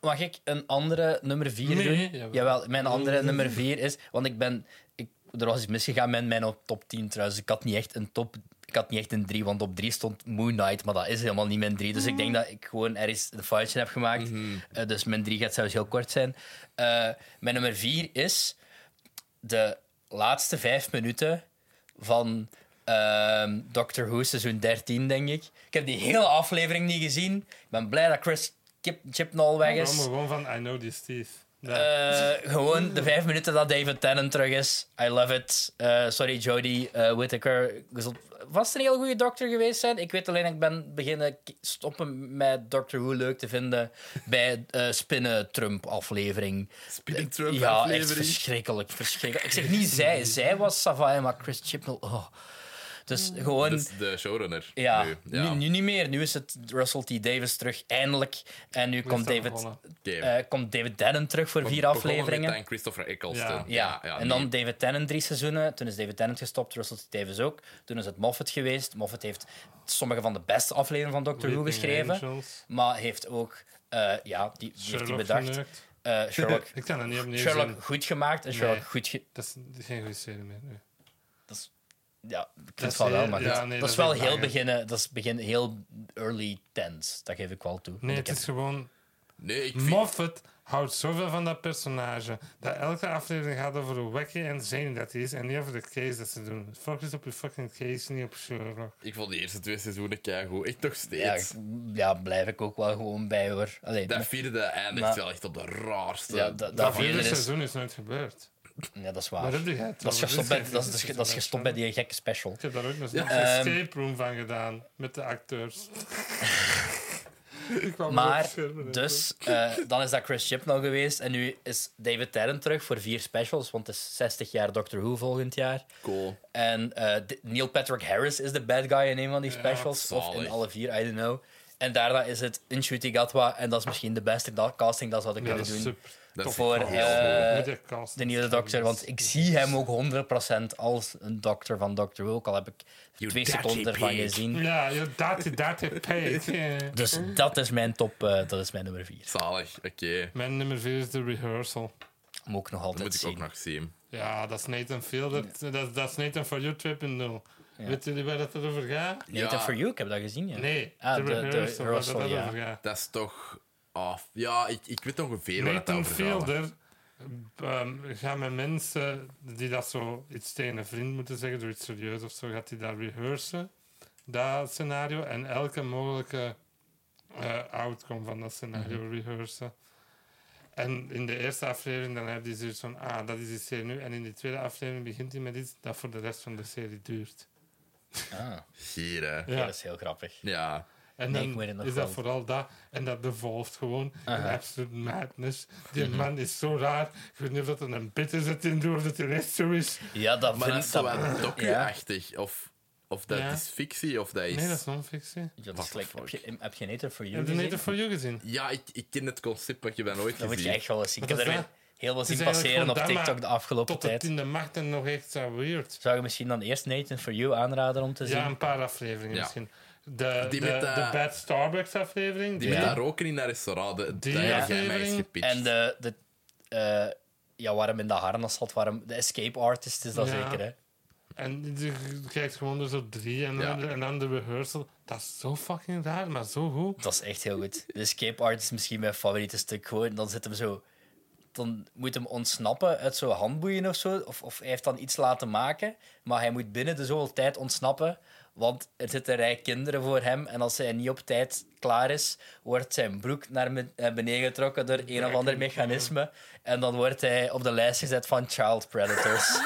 [SPEAKER 3] Mag ik een andere nummer 4
[SPEAKER 2] Nee,
[SPEAKER 3] doen?
[SPEAKER 2] jawel.
[SPEAKER 3] Jawel, mijn andere nummer 4 is. Want ik ben. Ik, er was iets misgegaan met mijn top 10 trouwens. Ik had niet echt een top. Ik had niet echt een 3, want op 3 stond Moon Knight, maar dat is helemaal niet mijn 3. Dus ik
[SPEAKER 2] Mm.
[SPEAKER 3] denk dat ik gewoon ergens een foutje heb gemaakt.
[SPEAKER 2] Mhm.
[SPEAKER 3] Eh, dus mijn 3 gaat zelfs heel kort zijn. Eh, mijn nummer 4 is de laatste 5 minuten van ehm, Doctor Who seizoen 13, denk ik. Ik heb die hele aflevering niet gezien. Ik ben blij dat Chris Kip Chipnall weg
[SPEAKER 2] Ik
[SPEAKER 3] is.
[SPEAKER 2] kwam gewoon van I know this thief.
[SPEAKER 3] Eh, gewoon de vijf minuten dat David Tennant terug is. I love it. Eh, sorry, Jodie eh, Whittaker. Je zult vast een heel goede dokter geweest zijn. Ik weet alleen, ik ben beginnen k- stoppen met Doctor Who leuk te vinden bij eh Spinnen Trump aflevering. Eh,
[SPEAKER 1] Spinnen Trump
[SPEAKER 3] ja, echt
[SPEAKER 1] aflevering.
[SPEAKER 3] verschrikkelijk, verschrikkelijk. Ik zeg niet zij, zij was Savai, maar Chris Chibnall. Oh. Dus gewoon.
[SPEAKER 1] Dat is de showrunner.
[SPEAKER 3] Ja,
[SPEAKER 1] nu.
[SPEAKER 3] nu, nu niet meer. Nu is het Russell T. Davis terug, eindelijk. En nu
[SPEAKER 2] dat
[SPEAKER 3] komt David,
[SPEAKER 2] begonnen?
[SPEAKER 1] Game.
[SPEAKER 3] eh, komt David Tennant terug voor vier
[SPEAKER 1] Begonnen
[SPEAKER 3] afleveringen.
[SPEAKER 1] Met dan Christopher Eccleston.
[SPEAKER 2] Ja.
[SPEAKER 3] Ja, en
[SPEAKER 1] die-
[SPEAKER 3] dan David Tennant drie seizoenen. Toen is David Tennant gestopt, Russell T. Davis ook. Toen is het Moffat geweest. Moffat heeft sommige van de beste afleveringen van Doctor Who
[SPEAKER 2] Weeping
[SPEAKER 3] geschreven.
[SPEAKER 2] Angels,
[SPEAKER 3] Maar heeft ook, eh, ja, die, die heeft hij
[SPEAKER 2] Sherlock
[SPEAKER 3] bedacht.
[SPEAKER 2] verneukt.
[SPEAKER 3] Eh,
[SPEAKER 2] (laughs)
[SPEAKER 3] Sherlock,
[SPEAKER 2] Ik kan dat niet opnieuw zien.
[SPEAKER 3] Sherlock goed gemaakt en Sherlock
[SPEAKER 2] Nee.
[SPEAKER 3] goed ge-
[SPEAKER 2] Dat is geen goede serie meer. nu.
[SPEAKER 3] Ja, ik vind
[SPEAKER 2] Dat
[SPEAKER 3] het wel
[SPEAKER 2] is
[SPEAKER 3] wel,
[SPEAKER 2] heel-
[SPEAKER 3] maar
[SPEAKER 2] ja,
[SPEAKER 3] goed.
[SPEAKER 2] nee,
[SPEAKER 3] dat,
[SPEAKER 2] dat
[SPEAKER 3] is
[SPEAKER 2] is
[SPEAKER 3] wel
[SPEAKER 2] echt
[SPEAKER 3] heel
[SPEAKER 2] langer.
[SPEAKER 3] begin, dat is begin heel early tense. Dat geef ik wel toe.
[SPEAKER 2] Nee,
[SPEAKER 3] Want ik
[SPEAKER 2] het
[SPEAKER 3] heb-
[SPEAKER 2] is gewoon...
[SPEAKER 1] Nee, ik vind...
[SPEAKER 2] Moffat houdt zoveel van dat personage. Dat elke aflevering gaat over hoe wacky en zin dat hij is. En niet over de case dat ze doen. Focus op je fucking case, niet op Sherlock.
[SPEAKER 1] Ik vond die eerste twee seizoenen keigoed. Ik toch
[SPEAKER 3] ja,
[SPEAKER 1] steeds.
[SPEAKER 3] ik- ja, blijf ik ook wel gewoon bij hoor. Allee,
[SPEAKER 1] dat
[SPEAKER 3] maar-
[SPEAKER 1] vierde eindigt
[SPEAKER 3] maar-
[SPEAKER 1] wel echt op de raarste.
[SPEAKER 3] ja, dat,
[SPEAKER 2] Dat
[SPEAKER 3] dat
[SPEAKER 2] vierde
[SPEAKER 3] vierde is,
[SPEAKER 2] seizoen is nooit gebeurd.
[SPEAKER 3] ja, dat is
[SPEAKER 2] Maar
[SPEAKER 3] waar.
[SPEAKER 2] dat doe jij het
[SPEAKER 3] Dat is
[SPEAKER 2] over.
[SPEAKER 3] gestopt
[SPEAKER 2] Dit
[SPEAKER 3] bij, dat is,
[SPEAKER 2] geen
[SPEAKER 3] dat is gestopt bij die gekke special.
[SPEAKER 2] Ik heb daar ook nog
[SPEAKER 1] Ja.
[SPEAKER 2] een
[SPEAKER 3] Ehm.
[SPEAKER 2] escape room van gedaan. Met de
[SPEAKER 3] (laughs)
[SPEAKER 2] acteurs. Ik kwam op het
[SPEAKER 3] Maar
[SPEAKER 2] scherm en zo.
[SPEAKER 3] dus, eh, dan is dat Chris Chibnall geweest. En nu is David Tennant terug voor vier specials. Want het is 60 jaar Doctor Who volgend jaar.
[SPEAKER 1] Cool.
[SPEAKER 3] En eh, D- Neil Patrick Harris is de bad guy in een van die specials. of in
[SPEAKER 1] zalig.
[SPEAKER 3] alle vier, I don't know. En daarna is het Inshooty Gatwa. En dat is misschien de beste da- casting dat ze hadden
[SPEAKER 2] Ja, dat
[SPEAKER 3] kunnen
[SPEAKER 2] is
[SPEAKER 3] doen.
[SPEAKER 2] super.
[SPEAKER 1] Dat is
[SPEAKER 3] voor
[SPEAKER 1] echt heel
[SPEAKER 3] eh,
[SPEAKER 2] Moet je casten.
[SPEAKER 3] de nieuwe dokter. Want ik zie hem ook 100% als een dokter van Doctor Who. Ook al heb ik
[SPEAKER 1] You
[SPEAKER 3] twee
[SPEAKER 1] dirty
[SPEAKER 3] seconden ervan
[SPEAKER 1] pig.
[SPEAKER 3] gezien.
[SPEAKER 2] Ja, ja, dat, dat heb
[SPEAKER 3] (laughs)
[SPEAKER 2] ik. Ja.
[SPEAKER 3] Dus dat is mijn top, eh, dat is mijn nummer 4.
[SPEAKER 1] Zalig, oké.
[SPEAKER 2] Mijn nummer 4 is de rehearsal.
[SPEAKER 3] Moet ik
[SPEAKER 1] Dat
[SPEAKER 3] nog altijd
[SPEAKER 1] moet ik
[SPEAKER 3] zien.
[SPEAKER 1] ook nog zien.
[SPEAKER 2] Ja, dat is Nathan Fielder. Dat, dat is Nathan for You 2.0. Weet jullie waar dat over gaat?
[SPEAKER 3] Nee, dat
[SPEAKER 1] Ja.
[SPEAKER 3] for You, ik heb dat gezien. Ja.
[SPEAKER 2] Nee,
[SPEAKER 3] Ah,
[SPEAKER 2] de,
[SPEAKER 3] de- de
[SPEAKER 2] rehearsal, waar
[SPEAKER 3] rehearsal,
[SPEAKER 2] dat
[SPEAKER 3] ja.
[SPEAKER 2] over gaat.
[SPEAKER 1] Dat is toch af. Ja, ik, ik weet ongeveer waar het
[SPEAKER 2] Nathan
[SPEAKER 1] over gaat.
[SPEAKER 2] Fielder ehm, gaat met mensen die dat zo iets tegen een vriend moeten zeggen, door iets serieus of zo, gaat hij daar rehearsen, dat scenario, en elke mogelijke eh, outcome van dat scenario rehearsen. En in de eerste aflevering dan heb je zoiets van, ah, dat is die serie nu. En in de tweede aflevering begint hij met iets dat voor de rest van de serie duurt.
[SPEAKER 3] Ah,
[SPEAKER 1] Hier, hè.
[SPEAKER 3] ja, dat is heel grappig.
[SPEAKER 1] Ja.
[SPEAKER 2] En
[SPEAKER 3] Nee,
[SPEAKER 2] dan
[SPEAKER 3] ik weet het nog
[SPEAKER 2] is
[SPEAKER 3] wel.
[SPEAKER 2] dat vooral dat. En dat devolft gewoon in
[SPEAKER 3] Aha. Mhm.
[SPEAKER 2] absolute madness. Die man is zo raar. Ik weet niet of dat er een bit is dat in doet of dat er echt zo is.
[SPEAKER 3] Ja, dat
[SPEAKER 1] Maar dat
[SPEAKER 3] vind
[SPEAKER 1] is
[SPEAKER 3] ik...
[SPEAKER 1] zo
[SPEAKER 3] Dat,
[SPEAKER 1] wel docu-achtig. Of, of dat
[SPEAKER 2] Ja.
[SPEAKER 1] is fictie, of dat is...
[SPEAKER 2] Nee, dat is non-fictie.
[SPEAKER 3] dat
[SPEAKER 1] What
[SPEAKER 3] is
[SPEAKER 1] the
[SPEAKER 3] like, heb,
[SPEAKER 1] fuck?
[SPEAKER 3] je, heb je Nature for You
[SPEAKER 2] Heb je
[SPEAKER 3] gezien?
[SPEAKER 2] Native for You gezien?
[SPEAKER 1] Ja, ik, ik ken het concept, maar je bent nooit
[SPEAKER 3] Dat moet je
[SPEAKER 1] gezien.
[SPEAKER 3] echt wel eens zien. Ik heb
[SPEAKER 2] Wat
[SPEAKER 3] er
[SPEAKER 2] is
[SPEAKER 3] weer heel veel
[SPEAKER 2] is
[SPEAKER 3] zien
[SPEAKER 2] eigenlijk
[SPEAKER 3] passeren op
[SPEAKER 2] gewoon dat,
[SPEAKER 3] TikTok de
[SPEAKER 2] maar
[SPEAKER 3] afgelopen
[SPEAKER 2] Tot het
[SPEAKER 3] tijd.
[SPEAKER 2] in de macht en nog echt zo weird.
[SPEAKER 3] Zou je misschien dan eerst Nathan for You aanraden om te zien?
[SPEAKER 2] Ja, een paar afleveringen
[SPEAKER 1] Ja.
[SPEAKER 2] misschien. De,
[SPEAKER 1] Die
[SPEAKER 2] de,
[SPEAKER 1] met, eh,
[SPEAKER 2] de Bad Starbucks aflevering.
[SPEAKER 1] Die
[SPEAKER 2] die-
[SPEAKER 1] met
[SPEAKER 3] Ja.
[SPEAKER 1] dat roken in dat restaurant, dat dat
[SPEAKER 2] Die
[SPEAKER 1] heb jij mij
[SPEAKER 2] aflevering.
[SPEAKER 1] eens gepitcht.
[SPEAKER 3] En de... de eh, ja, waarom in de harnas zat, waarom... De escape artist is dat
[SPEAKER 2] Ja.
[SPEAKER 3] zeker, hè?
[SPEAKER 2] En je kijkt gewoon er zo drie en,
[SPEAKER 1] Ja.
[SPEAKER 2] dan, en dan de rehearsal. Dat is zo fucking raar, maar zo goed.
[SPEAKER 3] Dat is echt heel goed. De escape art is misschien mijn favoriete stuk. Gewoon, dan zit hem zo... Dan moet hem ontsnappen uit zo'n handboeien of zo. Of, of hij heeft dan iets laten maken. Maar hij moet binnen de zoveel tijd ontsnappen. Want er zitten een rij kinderen voor hem. En als hij niet op tijd klaar is, wordt zijn broek naar ben- eh, beneden getrokken door een of ander mechanisme. En dan wordt hij op de lijst gezet van child predators.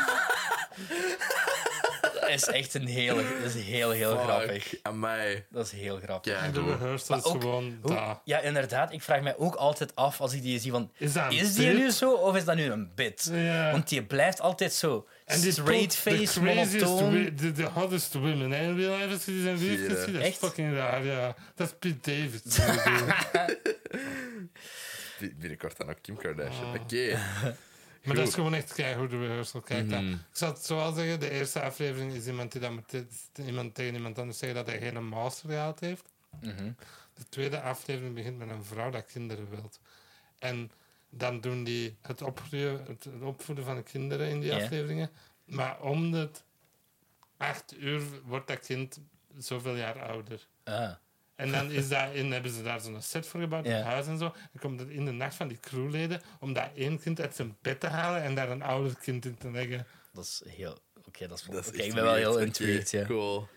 [SPEAKER 3] dat is echt een heel, dat is heel, heel grappig.
[SPEAKER 1] Fuck, Amai.
[SPEAKER 3] Dat is heel grappig.
[SPEAKER 2] En de
[SPEAKER 1] Keigoed.
[SPEAKER 2] rehearsal is
[SPEAKER 3] Maar ook-
[SPEAKER 2] gewoon
[SPEAKER 3] Hoe-
[SPEAKER 2] daar.
[SPEAKER 3] ja, inderdaad. Ik vraag mij ook altijd af als ik die zie van...
[SPEAKER 2] Is
[SPEAKER 3] Is,
[SPEAKER 2] dat een
[SPEAKER 3] die
[SPEAKER 2] bit?
[SPEAKER 3] nu zo of is dat nu een bit?
[SPEAKER 2] Ja.
[SPEAKER 3] Want die blijft altijd zo
[SPEAKER 2] En dit
[SPEAKER 3] straight
[SPEAKER 2] pult de
[SPEAKER 3] face,
[SPEAKER 2] craziest
[SPEAKER 3] monotoon.
[SPEAKER 2] wi- De, de hottest women, hè? In real life is die zijn
[SPEAKER 1] Zie je
[SPEAKER 2] liefjes.
[SPEAKER 1] dat?
[SPEAKER 2] Dat is
[SPEAKER 3] Echt?
[SPEAKER 2] fucking raar, ja. Dat is Pete David. die
[SPEAKER 1] (laughs)
[SPEAKER 2] dat doet.
[SPEAKER 1] Bi- Binnenkort dan ook Kim Kardashian.
[SPEAKER 2] Ah.
[SPEAKER 1] Oké.
[SPEAKER 2] maar dat is gewoon echt keihard de rehearsal. Kijk, dat- ik zou het zo wel zeggen: de eerste aflevering is iemand die dat moet te- iemand tegen iemand anders zeggen dat hij geen master gehaald heeft. De tweede aflevering begint met een vrouw dat kinderen wilt. En dan doen die het opgroeien, het het opvoeden van de kinderen in die
[SPEAKER 3] Ja.
[SPEAKER 2] afleveringen. Maar om de acht uur wordt dat kind zoveel jaar ouder.
[SPEAKER 3] Ah,
[SPEAKER 2] En dan is dat in, hebben ze daar zo'n set voor gebouwd,
[SPEAKER 3] Ja.
[SPEAKER 2] een huis en zo. En komt het in de nacht van die crewleden om dat één kind uit zijn bed te halen en daar een ouder kind in te leggen.
[SPEAKER 3] dat is heel... Oké, dat is...
[SPEAKER 1] Dat is
[SPEAKER 3] Oké,
[SPEAKER 1] echt
[SPEAKER 3] ik ben wel
[SPEAKER 1] weird.
[SPEAKER 3] heel
[SPEAKER 1] Oké,
[SPEAKER 3] intrigued, ja.
[SPEAKER 1] Cool.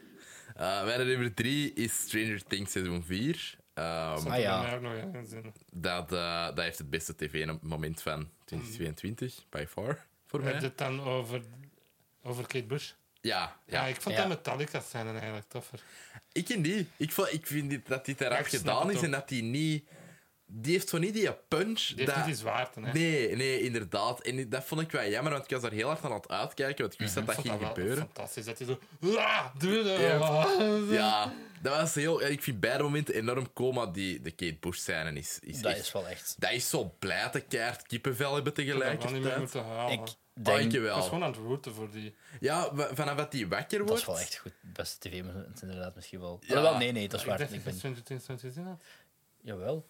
[SPEAKER 1] Eh, mijn nummer 3 is Stranger Things seizoen 4. Ehm,
[SPEAKER 2] Stond
[SPEAKER 3] Ah,
[SPEAKER 2] er
[SPEAKER 3] ja.
[SPEAKER 2] bij mij ook nog ergens in.
[SPEAKER 1] dat, eh, dat heeft het beste tv-moment van 2022, by far, voor
[SPEAKER 2] Heb je
[SPEAKER 1] mij.
[SPEAKER 2] het dan over, over Kate Bush?
[SPEAKER 1] Ja,
[SPEAKER 2] Ja,
[SPEAKER 1] ja.
[SPEAKER 2] ik vond
[SPEAKER 3] Ja.
[SPEAKER 2] dat Metallica zijn eigenlijk toffer.
[SPEAKER 1] ik ken die. Ik, vo- ik vind dit- dat dit eraf
[SPEAKER 2] ik snap
[SPEAKER 1] gedaan
[SPEAKER 2] het
[SPEAKER 1] is en dat die niet... Die heeft zo niet die punch.
[SPEAKER 2] Die
[SPEAKER 1] dat...
[SPEAKER 2] heeft niet die zwaarte, hè?
[SPEAKER 1] Nee, nee, inderdaad. En dat vond ik wel jammer, want ik was daar heel hard aan het uitkijken, want ik wist
[SPEAKER 2] Mhm. Ik
[SPEAKER 1] dat dat ging
[SPEAKER 2] vond wel
[SPEAKER 1] gebeuren.
[SPEAKER 2] Fantastisch, dat hij zo... "Ah, Doe (laughs) dat!
[SPEAKER 1] Ja, dat was heel... ja, Ik vind beide momenten enorm coma die de Kate Bush scène is. is
[SPEAKER 3] Dat
[SPEAKER 1] echt-
[SPEAKER 3] is wel echt.
[SPEAKER 1] dat is zo blij dat keihard kippenvel hebben
[SPEAKER 2] Ik had niet meer
[SPEAKER 1] tegelijkertijd.
[SPEAKER 2] moeten halen.
[SPEAKER 3] Ik
[SPEAKER 2] Ik was
[SPEAKER 3] denk,
[SPEAKER 1] Dankjewel.
[SPEAKER 2] gewoon aan het rooten voor die...
[SPEAKER 1] Ja, wa- vanaf dat hij wakker
[SPEAKER 3] dat
[SPEAKER 1] wordt...
[SPEAKER 3] is wel echt goed. Beste tv-moment, inderdaad, misschien wel.
[SPEAKER 1] Ja.
[SPEAKER 3] Alhoewel, nee, nee, dat is
[SPEAKER 2] ik
[SPEAKER 3] waar.
[SPEAKER 2] dacht
[SPEAKER 3] Ik
[SPEAKER 2] dat
[SPEAKER 3] ben...
[SPEAKER 2] je 2020 gezien had.
[SPEAKER 3] Jawel.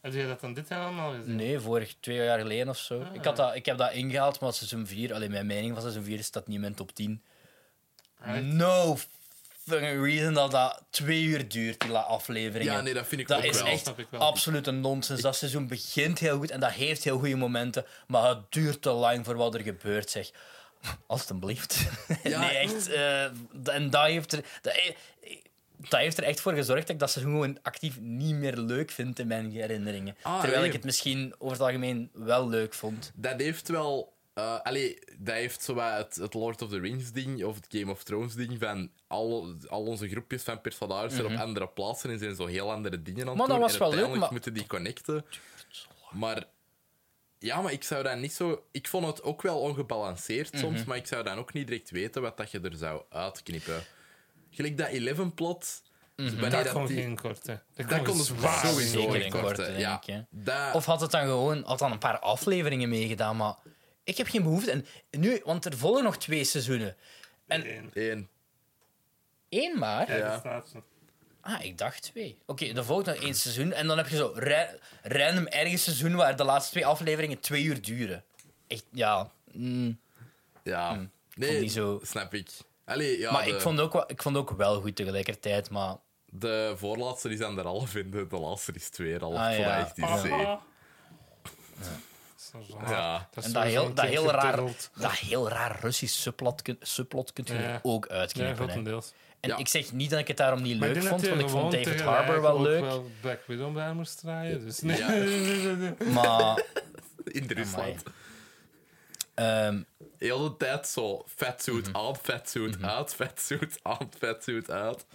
[SPEAKER 2] Heb jij dat dan dit jaar allemaal gezien?
[SPEAKER 3] Nee, vorig twee jaar geleden of zo.
[SPEAKER 2] Ah.
[SPEAKER 3] Ik, had dat, ik heb dat ingehaald, maar seizoen 4, alleen mijn mening van seizoen 4 is dat niet in mijn top 10.
[SPEAKER 1] Ah,
[SPEAKER 2] Alright.
[SPEAKER 3] No fucking reason dat dat twee uur duurt, die la- afleveringen.
[SPEAKER 1] Ja, nee, dat vind ik
[SPEAKER 3] dat
[SPEAKER 1] ook
[SPEAKER 3] is
[SPEAKER 1] wel.
[SPEAKER 3] echt
[SPEAKER 2] Snap ik wel.
[SPEAKER 3] absoluut een nonsens. Dat seizoen begint heel goed en dat heeft heel goede momenten, maar het duurt te lang voor wat er gebeurt, zeg. (laughs) Alsjeblieft.
[SPEAKER 1] Ja.
[SPEAKER 3] Nee, echt. eh, en dat heeft, er, dat, dat heeft er echt voor gezorgd dat ik dat seizoen gewoon actief niet meer leuk vind in mijn herinneringen.
[SPEAKER 1] Ah,
[SPEAKER 3] Terwijl
[SPEAKER 1] nee.
[SPEAKER 3] ik het misschien over het algemeen wel leuk vond.
[SPEAKER 1] Dat heeft wel... eh allee, dat heeft zowat het, het Lord of the Rings ding of het Game of Thrones ding van al, al onze groepjes van personages zijn op andere plaatsen en zijn zo heel andere dingen aan het
[SPEAKER 3] Mhm. Maar
[SPEAKER 1] doen. en
[SPEAKER 3] dat was wel leuk,
[SPEAKER 1] uiteindelijk
[SPEAKER 3] maar-
[SPEAKER 1] moeten die connecten. Maar ja, maar ik zou dat niet zo... Ik vond het ook wel ongebalanceerd
[SPEAKER 3] Mhm.
[SPEAKER 1] soms, maar ik zou dan ook niet direct weten wat dat je er zou uitknippen. Gelijk dat Eleven-plot...
[SPEAKER 3] Mhm.
[SPEAKER 1] wanneer
[SPEAKER 2] Dat kon
[SPEAKER 1] die-
[SPEAKER 2] geen korte.
[SPEAKER 1] Dat kon dus
[SPEAKER 2] zwaar
[SPEAKER 1] sowieso
[SPEAKER 3] zeker
[SPEAKER 1] in
[SPEAKER 3] in
[SPEAKER 1] korte,
[SPEAKER 3] korte,
[SPEAKER 1] ja.
[SPEAKER 3] denk ik,
[SPEAKER 2] Ah.
[SPEAKER 1] Dat-
[SPEAKER 3] Of had het dan gewoon had dan een paar afleveringen meegedaan, maar ik heb geen behoefte. En nu, want er volgen nog twee seizoenen.
[SPEAKER 2] En...
[SPEAKER 1] één.
[SPEAKER 3] Eén maar.
[SPEAKER 2] Ja,
[SPEAKER 1] Ja.
[SPEAKER 2] dat staat zo.
[SPEAKER 3] Ah, ik dacht twee. Oké, dan volgt nog één seizoen. En dan heb je zo ra- random ergens seizoen waar de laatste twee afleveringen twee uur duren. Echt, ja. mm.
[SPEAKER 1] Ja. Nee,
[SPEAKER 3] vond die zo-
[SPEAKER 1] snap ik. Allee, ja,
[SPEAKER 3] maar
[SPEAKER 1] de,
[SPEAKER 3] ik, vond ook, wel- ik vond ook wel goed tegelijkertijd, maar...
[SPEAKER 1] de voorlaatste is anderhalf en de, de laatste is tweeënhalf.
[SPEAKER 3] Ah,
[SPEAKER 1] Ah,
[SPEAKER 3] ja.
[SPEAKER 1] ja. ja.
[SPEAKER 2] Zo raar.
[SPEAKER 1] Ja.
[SPEAKER 2] Dat
[SPEAKER 3] En
[SPEAKER 2] is
[SPEAKER 3] dat
[SPEAKER 2] sowieso
[SPEAKER 3] heel,
[SPEAKER 2] een
[SPEAKER 3] dat,
[SPEAKER 2] keer
[SPEAKER 3] heel raar,
[SPEAKER 2] gedubbeld.
[SPEAKER 3] dat heel raar Russisch subplot, kun- subplot kunt je
[SPEAKER 2] Ja.
[SPEAKER 3] er ook
[SPEAKER 2] Ja,
[SPEAKER 3] uitknippen. hè.
[SPEAKER 2] grotendeels.
[SPEAKER 3] en
[SPEAKER 1] Ja.
[SPEAKER 3] ik zeg niet dat ik het daarom niet
[SPEAKER 2] Maar
[SPEAKER 3] leuk
[SPEAKER 2] ik denk
[SPEAKER 3] vond,
[SPEAKER 2] dat
[SPEAKER 3] want
[SPEAKER 2] hij
[SPEAKER 3] ik vond
[SPEAKER 2] gewoon
[SPEAKER 3] David
[SPEAKER 2] tegelijk
[SPEAKER 3] Harbour wel
[SPEAKER 2] ook
[SPEAKER 3] leuk.
[SPEAKER 2] wel Black Widow bij moest draaien. Dus nee.
[SPEAKER 1] Ja.
[SPEAKER 3] (laughs) Maar
[SPEAKER 1] In Rusland.
[SPEAKER 3] ehm,
[SPEAKER 1] Heel de tijd zo fatsuit
[SPEAKER 3] Mhm.
[SPEAKER 1] aan, fatsuit uit, fatsuit aan, fatsuit uit.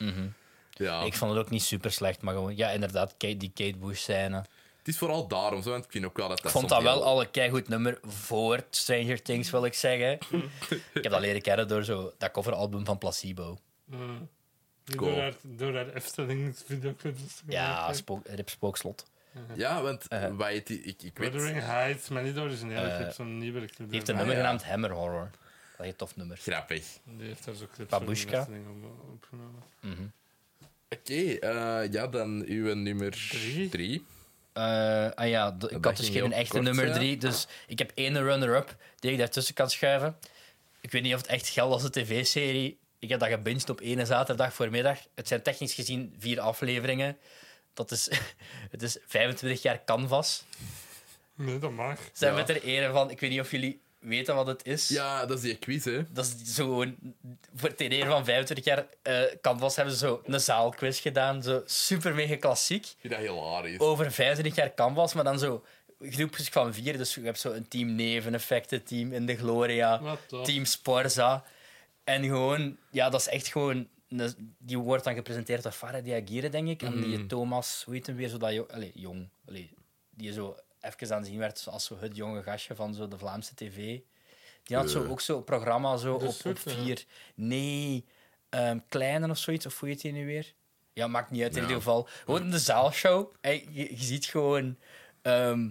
[SPEAKER 1] Ja,
[SPEAKER 3] Mhm. ik vond het ook niet super slecht, maar gewoon... Ja, inderdaad, Kate, die Kate Bush-scène.
[SPEAKER 1] het is vooral daarom, zo, want ik vind ook wel dat dat
[SPEAKER 3] Ik vond dat
[SPEAKER 1] soms
[SPEAKER 3] wel
[SPEAKER 1] heel-
[SPEAKER 3] al een keigoed nummer voor Stranger Things, wil ik zeggen. ik heb dat leren kennen door zo dat coveralbum van Placebo.
[SPEAKER 2] Mm.
[SPEAKER 1] Cool.
[SPEAKER 2] Door haar, door haar Efteling videoclips.
[SPEAKER 3] Ja, spook, Rip Spookslot.
[SPEAKER 1] Ja, want
[SPEAKER 3] Eh.
[SPEAKER 1] wat heet die- ik, ik weet...
[SPEAKER 2] Wuthering Heights, maar niet de originele
[SPEAKER 3] Eh,
[SPEAKER 2] clip, zo'n nieuwere clip.
[SPEAKER 3] Die heeft een
[SPEAKER 1] Ah,
[SPEAKER 3] nummer
[SPEAKER 1] ja.
[SPEAKER 3] genaamd Hammer Horror. Dat is een tof nummer.
[SPEAKER 1] Grappig.
[SPEAKER 2] Die heeft daar zo clips
[SPEAKER 3] Babushka.
[SPEAKER 2] van de Efteling op- opgenomen.
[SPEAKER 3] Mhm.
[SPEAKER 1] Oké, eh, ja, dan uw nummer
[SPEAKER 2] Drie.
[SPEAKER 1] drie.
[SPEAKER 3] Eh, ah ja, de- ik had
[SPEAKER 1] dat
[SPEAKER 3] dus
[SPEAKER 1] ging
[SPEAKER 3] geen
[SPEAKER 1] heel
[SPEAKER 3] echte
[SPEAKER 1] kort
[SPEAKER 3] nummer
[SPEAKER 1] zijn.
[SPEAKER 3] 3, dus ik heb één runner-up die ik daartussen kan schuiven. Ik weet niet of het echt geldt als een tv-serie. Ik heb dat gebinged op ene zaterdag voormiddag. Het zijn technisch gezien vier afleveringen. Dat is, (laughs) het is 25 jaar canvas.
[SPEAKER 2] Nee, dat mag.
[SPEAKER 3] Zijn
[SPEAKER 1] Ja.
[SPEAKER 3] met er ere van. Ik weet niet of jullie weten wat het is.
[SPEAKER 1] Ja, dat is die quiz, hè.
[SPEAKER 3] Dat is zo gewoon... Voor ten ere van 25 jaar eh Canvas hebben ze zo een zaalquiz gedaan. Zo super mega klassiek.
[SPEAKER 1] Ik vind dat hilarisch.
[SPEAKER 3] Over 25 jaar Canvas, maar dan zo groepjes van vier. Dus je hebt zo een team neveneffecten, team in de gloria,
[SPEAKER 2] Wat tof.
[SPEAKER 3] team Sporza. En gewoon... Ja, dat is echt gewoon... een- Die wordt dan gepresenteerd door Farah Diagire, denk ik. En
[SPEAKER 1] Mm.
[SPEAKER 3] die Thomas, hoe heet hem weer, zo dat jong... Allee, jong. Allee, die zo even aanzien werd als zo het jonge gastje van zo de Vlaamse tv. Die had zo
[SPEAKER 1] Eh.
[SPEAKER 3] ook zo'n programma zo
[SPEAKER 2] De
[SPEAKER 3] op, op
[SPEAKER 2] Soete.
[SPEAKER 3] vier. Nee, ehm Kleinen of zoiets, of hoe heet die nu weer? Ja, maakt niet uit in
[SPEAKER 1] Ja.
[SPEAKER 3] ieder geval. Gewoon in de zaalshow. Hey, Je, je ziet gewoon... ehm,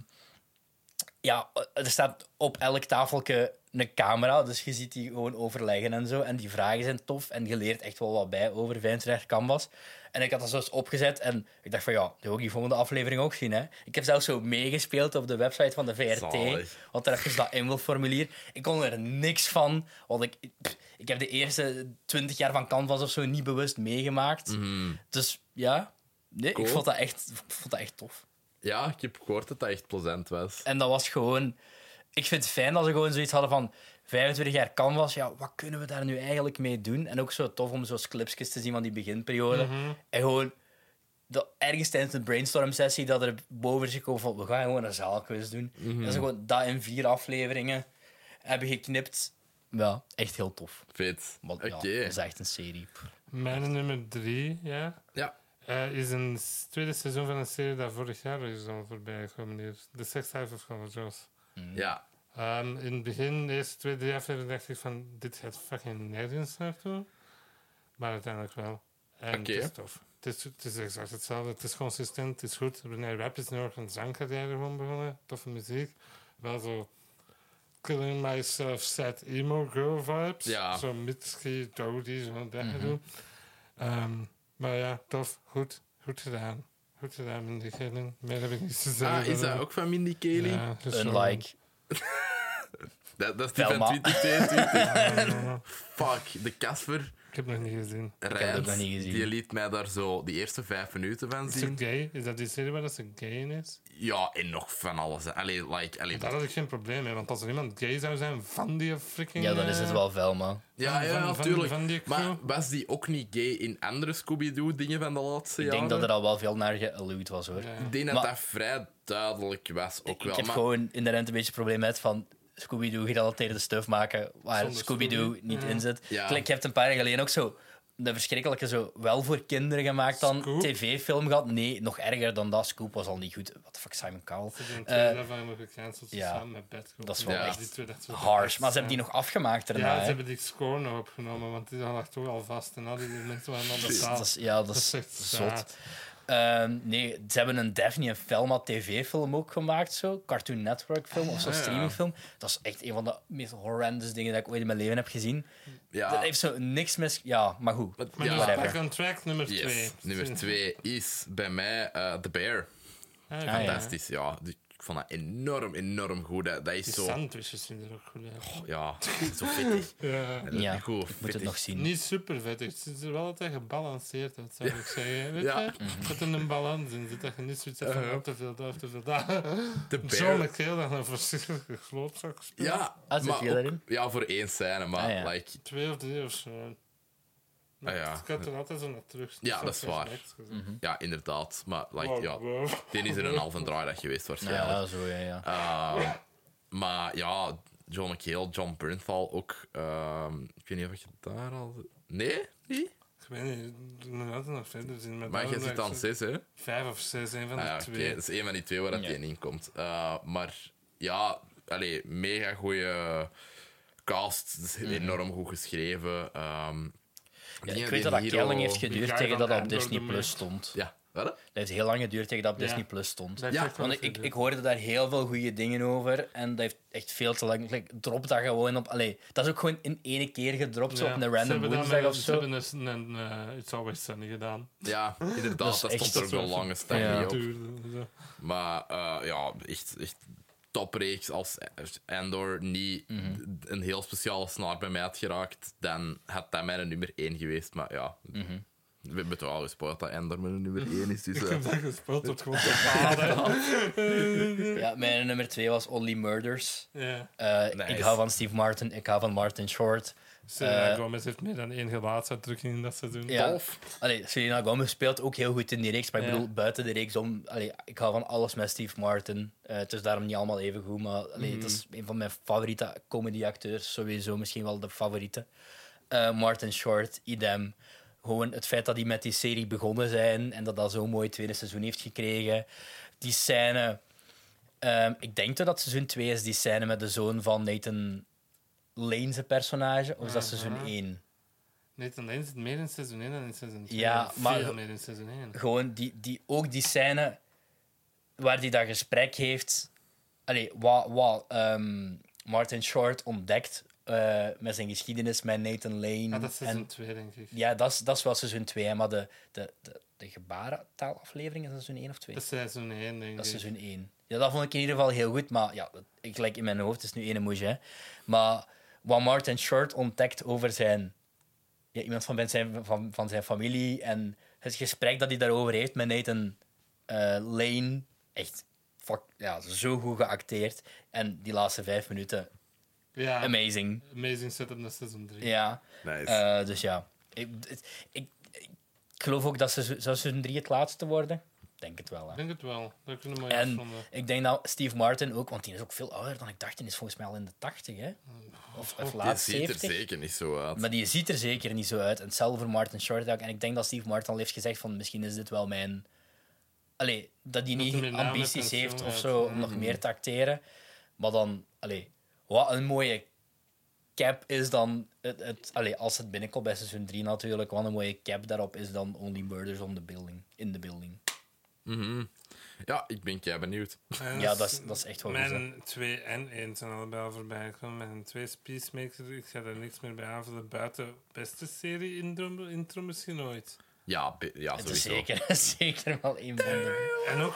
[SPEAKER 3] ja, eh, er staat op elk tafeltje een camera, dus je ziet die gewoon overleggen en zo. En die vragen zijn tof en je leert echt wel wat bij over Vijnsrecht Canvas. En ik had dat zo eens opgezet en ik dacht van ja, dat wil ik die volgende aflevering ook zien. Hè? Ik heb zelfs zo meegespeeld op de website van de VRT.
[SPEAKER 1] Zalig.
[SPEAKER 3] Want daar heb je dus dat inwilformulier. Ik kon er niks van, want ik, pff, ik heb de eerste 20 jaar van Canvas of zo niet bewust meegemaakt. Dus ja, nee,
[SPEAKER 1] Mhm. Cool.
[SPEAKER 3] ik vond dat, echt, ik vond dat echt tof.
[SPEAKER 1] Ja, ik heb gehoord dat dat echt plezant was.
[SPEAKER 3] En dat was gewoon... Ik vind het fijn dat ze gewoon zoiets hadden van... 25 jaar Canvas, ja, wat kunnen we Mhm. daar nu eigenlijk mee doen? En ook zo tof om zo'n clipsjes te zien van die beginperiode. En gewoon... dat ergens tijdens een brainstorm-sessie dat er boven is gekomen van we gaan gewoon een zaalquiz doen. Dat is gewoon dat in vier afleveringen hebben geknipt. Ja, echt heel tof.
[SPEAKER 1] Fit.
[SPEAKER 3] Want
[SPEAKER 1] Oké.
[SPEAKER 3] ja, dat is echt een serie.
[SPEAKER 2] Mijn nummer drie, ja.
[SPEAKER 1] Ja.
[SPEAKER 2] eh, is een s- tweede seizoen van een serie dat vorig jaar is al voorbij gekomen hier. De sekscijfers van de Jones.
[SPEAKER 3] Mm.
[SPEAKER 1] Ja.
[SPEAKER 2] Ehm, in het begin, de eerste twee, drie afleveringen, dacht ik van... Dit gaat fucking nergens naartoe. Maar uiteindelijk wel. En
[SPEAKER 1] Oké.
[SPEAKER 2] het is tof. Het is, het is exact hetzelfde. Het is consistent, het is goed. René Rapp is nu ook een zangcarrière gewoon begonnen. Toffe muziek. Wel zo... Killing myself, sad emo girl vibes.
[SPEAKER 1] Ja. Mhm.
[SPEAKER 2] Zo Mitski, Dodie, zo'n dat gedoe. Ehm, maar ja, tof. Goed. Goed gedaan. Goed gedaan, Mindy Kaling. Meer heb ik niet te zeggen.
[SPEAKER 1] Ah, is dat ook van Mindy Kaling?
[SPEAKER 2] Ja, dus zo-
[SPEAKER 3] Unlike.
[SPEAKER 1] Dat, dat is die van
[SPEAKER 3] Velma. (laughs)
[SPEAKER 1] 2022. Fuck, de Casper
[SPEAKER 2] Ik heb nog niet gezien.
[SPEAKER 3] heb
[SPEAKER 1] Rijns,
[SPEAKER 3] dat niet gezien.
[SPEAKER 1] die liet mij daar zo die eerste vijf minuten van
[SPEAKER 2] Is ze
[SPEAKER 1] zien.
[SPEAKER 2] gay? Is dat die serie waar dat ze gay in is?
[SPEAKER 1] Ja, en nog van alles. hè. Allee, like, allee.
[SPEAKER 2] Daar had ik geen probleem mee, want als er iemand gay zou zijn van die freaking...
[SPEAKER 3] Ja, dan is het
[SPEAKER 2] eh,
[SPEAKER 3] wel Velma.
[SPEAKER 1] Ja,
[SPEAKER 2] van-
[SPEAKER 1] ja,
[SPEAKER 2] van- van-
[SPEAKER 1] natuurlijk.
[SPEAKER 2] van die
[SPEAKER 1] maar
[SPEAKER 2] crew.
[SPEAKER 1] was die ook niet gay in andere Scooby-Doo-dingen van de laatste
[SPEAKER 3] Ik
[SPEAKER 1] jaren?
[SPEAKER 3] denk dat er al wel veel naar geallude was hoor.
[SPEAKER 2] Ja.
[SPEAKER 1] Ik denk dat
[SPEAKER 3] Maar-
[SPEAKER 1] dat vrij duidelijk was ook wel.
[SPEAKER 3] Ik heb
[SPEAKER 1] maar
[SPEAKER 3] gewoon inderdaad een beetje het probleem met van Scooby-Doo gerelateerde stuff maken waar
[SPEAKER 2] Zonder
[SPEAKER 3] Scooby-Doo
[SPEAKER 2] Scooby.
[SPEAKER 3] niet
[SPEAKER 2] Ja.
[SPEAKER 3] in zit.
[SPEAKER 1] Ja.
[SPEAKER 3] Kijk, je hebt een paar jaar geleden ook zo de verschrikkelijke zo wel voor kinderen gemaakt dan
[SPEAKER 2] Scoop.
[SPEAKER 3] tv-film gehad. Nee, nog erger dan dat. Scoop was al niet goed. Wat de fuck, Simon Cowell.
[SPEAKER 2] Ze zijn
[SPEAKER 3] Eh,
[SPEAKER 2] twee daarvan hebben gecanceld
[SPEAKER 3] ja.
[SPEAKER 2] samen met Batgirl.
[SPEAKER 3] Dat is wel
[SPEAKER 2] Ja,
[SPEAKER 1] echt
[SPEAKER 2] die twee, dat is wel
[SPEAKER 3] Harsh.
[SPEAKER 2] echt,
[SPEAKER 3] Maar ze hebben
[SPEAKER 2] eh,
[SPEAKER 3] die nog afgemaakt daarna.
[SPEAKER 2] Ja, ze
[SPEAKER 3] hè.
[SPEAKER 2] hebben die score nog opgenomen, want die lag toch al vast. En al die mensen waren aan de
[SPEAKER 3] Dat is,
[SPEAKER 2] taal.
[SPEAKER 3] dat is- ja, dat is
[SPEAKER 2] echt
[SPEAKER 3] zot.
[SPEAKER 2] zot.
[SPEAKER 3] Ehm, nee, ze hebben een Daphne en Velma tv-film ook gemaakt, zo. Cartoon Network film of zo'n
[SPEAKER 1] Ah, ja.
[SPEAKER 3] streamingfilm. Dat is echt een van de meest horrendous dingen dat ik ooit in mijn leven heb gezien. Dat
[SPEAKER 1] ja,
[SPEAKER 3] heeft zo niks mis... Ja, maar goed.
[SPEAKER 1] wat-
[SPEAKER 2] Maar
[SPEAKER 1] ja,
[SPEAKER 2] dus
[SPEAKER 3] whatever.
[SPEAKER 2] back on track nummer
[SPEAKER 1] yes.
[SPEAKER 2] twee.
[SPEAKER 1] Nummer twee is bij mij eh The Bear.
[SPEAKER 2] Ah,
[SPEAKER 3] ja.
[SPEAKER 1] Fantastisch, ja. Die- Ik vond dat enorm, enorm goed. Dat, dat is
[SPEAKER 2] Die
[SPEAKER 1] zo...
[SPEAKER 2] sandwiches zien er ook goed uit.
[SPEAKER 1] Ja, (laughs) zo fittig.
[SPEAKER 2] Ja.
[SPEAKER 3] Ja,
[SPEAKER 1] Goed,
[SPEAKER 3] ik moet
[SPEAKER 1] fittig.
[SPEAKER 3] het nog zien.
[SPEAKER 2] Niet super vettig. Het is er wel altijd gebalanceerd uit, zou ik zeggen. Weet
[SPEAKER 1] Ja. Mhm.
[SPEAKER 2] je? Dat er een balans in zit. Dat je niet zoiets hebt van oh, te veel daar, of te (laughs) veel daar.
[SPEAKER 1] The
[SPEAKER 2] Zo
[SPEAKER 1] Bear.
[SPEAKER 2] met heel dat een voorzichtige grootzak speelt.
[SPEAKER 1] Ja,
[SPEAKER 3] Ah, zit
[SPEAKER 1] maar
[SPEAKER 3] die
[SPEAKER 1] ook-
[SPEAKER 3] daarin?
[SPEAKER 1] ja, voor één scène, maar
[SPEAKER 3] Ah, ja.
[SPEAKER 1] like,
[SPEAKER 2] Twee of drie of zo. Maar
[SPEAKER 1] Ah, ja.
[SPEAKER 2] Het gaat er altijd zo naar terug.
[SPEAKER 1] Ja, dat is waar.
[SPEAKER 3] Hm.
[SPEAKER 1] ja, inderdaad. Maar
[SPEAKER 2] Oh,
[SPEAKER 1] like, ja, dit is er een halve draaidag geweest waarschijnlijk.
[SPEAKER 3] Nou Ja, zo, ja, ja.
[SPEAKER 1] Ehm, maar ja, John McHale, John Bernthal ook. ehm, ik weet niet of je daar al... Nee? Nee?
[SPEAKER 2] Ik weet niet, ik moet altijd nog verder zien. Maar,
[SPEAKER 1] Maar
[SPEAKER 2] daarom
[SPEAKER 1] je
[SPEAKER 2] dat
[SPEAKER 1] zit
[SPEAKER 2] ik
[SPEAKER 1] aan
[SPEAKER 2] zo-
[SPEAKER 1] zes, hè?
[SPEAKER 2] Vijf of zes, een van de
[SPEAKER 1] Ah, ja, oké.
[SPEAKER 2] twee.
[SPEAKER 1] Dat is één van die twee waar dat
[SPEAKER 3] Ja.
[SPEAKER 1] één in komt. Eh, maar ja, allee, mega goede cast. Het is enorm goed geschreven. Ehm,
[SPEAKER 3] Ja,
[SPEAKER 1] dingen
[SPEAKER 3] ik weet
[SPEAKER 1] die
[SPEAKER 3] dat dat
[SPEAKER 1] hier al-
[SPEAKER 3] Kelling heeft
[SPEAKER 2] Die guy
[SPEAKER 3] geduurd
[SPEAKER 2] van
[SPEAKER 3] tegen dat dat op
[SPEAKER 2] Andor
[SPEAKER 3] Disney
[SPEAKER 2] de
[SPEAKER 3] Plus
[SPEAKER 2] Mist.
[SPEAKER 3] stond.
[SPEAKER 1] Ja, wel?
[SPEAKER 3] Dat heeft heel lang geduurd tegen dat op
[SPEAKER 2] Ja.
[SPEAKER 3] Disney Plus stond.
[SPEAKER 2] Dat
[SPEAKER 1] Ja,
[SPEAKER 2] heeft ook wel
[SPEAKER 3] Want ik, ik,
[SPEAKER 2] veel
[SPEAKER 3] ik hoorde daar heel veel goede dingen over. En dat heeft echt veel te lang. like, drop dat gewoon op. Allee, dat is ook gewoon in ene keer gedropt. Zo
[SPEAKER 2] Ja,
[SPEAKER 3] op een
[SPEAKER 2] ze
[SPEAKER 3] random
[SPEAKER 2] hebben dat
[SPEAKER 3] woensdag
[SPEAKER 2] met-
[SPEAKER 3] of
[SPEAKER 2] Ze
[SPEAKER 3] zo.
[SPEAKER 2] hebben dus een, een, eh, It's Always Sunny gedaan.
[SPEAKER 1] Ja, inderdaad.
[SPEAKER 3] Dat
[SPEAKER 1] dat
[SPEAKER 3] is echt
[SPEAKER 1] stond er ook wel
[SPEAKER 2] zo-
[SPEAKER 1] lange tijd
[SPEAKER 3] Ja.
[SPEAKER 1] niet op.
[SPEAKER 2] Duurde, (laughs) zo.
[SPEAKER 1] Maar eh, ja, echt, echt topreeks als Endor niet een heel speciale snaar bij mij had geraakt, dan had dat mijn nummer 1 geweest. Maar ja, we hebben het wel gespoord dat Endor mijn nummer 1 is. Dus,
[SPEAKER 2] (laughs) Ik
[SPEAKER 1] eh,
[SPEAKER 2] heb dat
[SPEAKER 1] (laughs)
[SPEAKER 2] gespeeld op gewoon te
[SPEAKER 3] Ja, mijn nummer twee was Only Murders.
[SPEAKER 2] Ja.
[SPEAKER 3] Eh,
[SPEAKER 1] Nice.
[SPEAKER 3] Ik hou van Steve Martin. Ik hou van Martin Short.
[SPEAKER 2] Selena
[SPEAKER 3] Eh,
[SPEAKER 2] Dus, Gomez heeft meer dan één gelaatsuitdrukking in dat seizoen.
[SPEAKER 3] Ja.
[SPEAKER 1] Tof.
[SPEAKER 3] Allee, Selena Gomez speelt ook heel goed in die reeks. Maar ik
[SPEAKER 2] Ja.
[SPEAKER 3] bedoel, buiten de reeks om... Allee, ik hou van alles met Steve Martin. Eh, het is daarom niet allemaal even goed. Maar allee,
[SPEAKER 2] Mhm.
[SPEAKER 3] het is een van mijn favoriete comedy-acteurs. Sowieso misschien wel de favoriete. Eh, Martin Short, idem. Gewoon het feit dat die met die serie begonnen zijn... en dat dat zo'n mooi tweede seizoen heeft gekregen. Die scène... ehm, ik denk dat dat seizoen 2 is, die scène met de zoon van Nathan Lane's personage. Of is dat seizoen
[SPEAKER 2] Mhm.
[SPEAKER 3] 1?
[SPEAKER 2] Nathan Lane zit meer in seizoen 1 dan in seizoen 2.
[SPEAKER 3] Ja,
[SPEAKER 2] Veel
[SPEAKER 3] maar-
[SPEAKER 2] meer in seizoen 1.
[SPEAKER 3] gewoon die, die, ook die scène waar hij dat gesprek heeft. Allee, wat, wat ehm, Martin Short ontdekt eh, met zijn geschiedenis met Nathan Lane.
[SPEAKER 2] Ja, dat is seizoen
[SPEAKER 3] En-
[SPEAKER 2] 2, denk ik.
[SPEAKER 3] ja, dat is, dat is wel seizoen 2, maar de, de, de, de gebarentaalaflevering is dat seizoen 1 of 2?
[SPEAKER 2] Dat is seizoen 1, denk ik.
[SPEAKER 3] Dat is seizoen 1. Ja, dat vond ik in ieder geval heel goed. Maar ja, dat- ik like in mijn hoofd is nu ene moesje. hè. Maar wat Martin Short ontdekt over zijn... Ja, iemand van ben- zijn, van, van zijn familie en het gesprek dat hij daarover heeft met Nathan eh, Lane. Echt fuck, ja, zo goed geacteerd. En die laatste vijf minuten,
[SPEAKER 2] Ja, amazing.
[SPEAKER 3] amazing.
[SPEAKER 2] setup naar seizoen 3.
[SPEAKER 3] Ja.
[SPEAKER 1] Nice.
[SPEAKER 3] Eh, dus ja, ik, ik, ik, ik geloof ook dat ze zo- zou seizoen 3 het laatste worden. Ik Denk het wel.
[SPEAKER 2] Ik
[SPEAKER 3] Hè.
[SPEAKER 2] denk het wel. Dat kunnen we mooi
[SPEAKER 3] En-
[SPEAKER 2] afronden.
[SPEAKER 3] Ik denk dat Steve Martin ook, want die is ook veel ouder dan ik dacht. Die is volgens mij al in de 80, hè? Of, of
[SPEAKER 1] Die
[SPEAKER 3] laat
[SPEAKER 1] Ah, ziet er
[SPEAKER 3] 70.
[SPEAKER 1] zeker niet zo uit.
[SPEAKER 3] Maar die ziet er zeker niet zo uit. En hetzelfde voor Martin Short ook. En ik denk dat Steve Martin al heeft gezegd van misschien is dit wel mijn... Allee, dat hij
[SPEAKER 2] Dat hij
[SPEAKER 3] niet
[SPEAKER 2] met name
[SPEAKER 3] ambities
[SPEAKER 2] pensioen
[SPEAKER 3] heeft of
[SPEAKER 2] heeft.
[SPEAKER 3] zo om nog meer te acteren. Maar dan, allee, wat een mooie cap is dan... Het, het, allee, als het binnenkomt bij seizoen 3 natuurlijk, wat een mooie cap daarop is dan Only Murders on the building, in the Building.
[SPEAKER 1] Mhm. Ja, ik ben jij benieuwd. (laughs)
[SPEAKER 2] En
[SPEAKER 3] Ja, dat is, dat is echt wel goed. hè.
[SPEAKER 2] Mijn 2 en 1 zijn allebei al voorbij gekomen. Mijn 2 is Peacemaker. Ik ga daar niks meer bij aanvullen. Buiten beste serie intro, intro misschien ooit.
[SPEAKER 1] Ja, be- ja
[SPEAKER 3] Het is
[SPEAKER 1] sowieso.
[SPEAKER 3] zeker, (laughs) zeker wel een van de...
[SPEAKER 2] En ook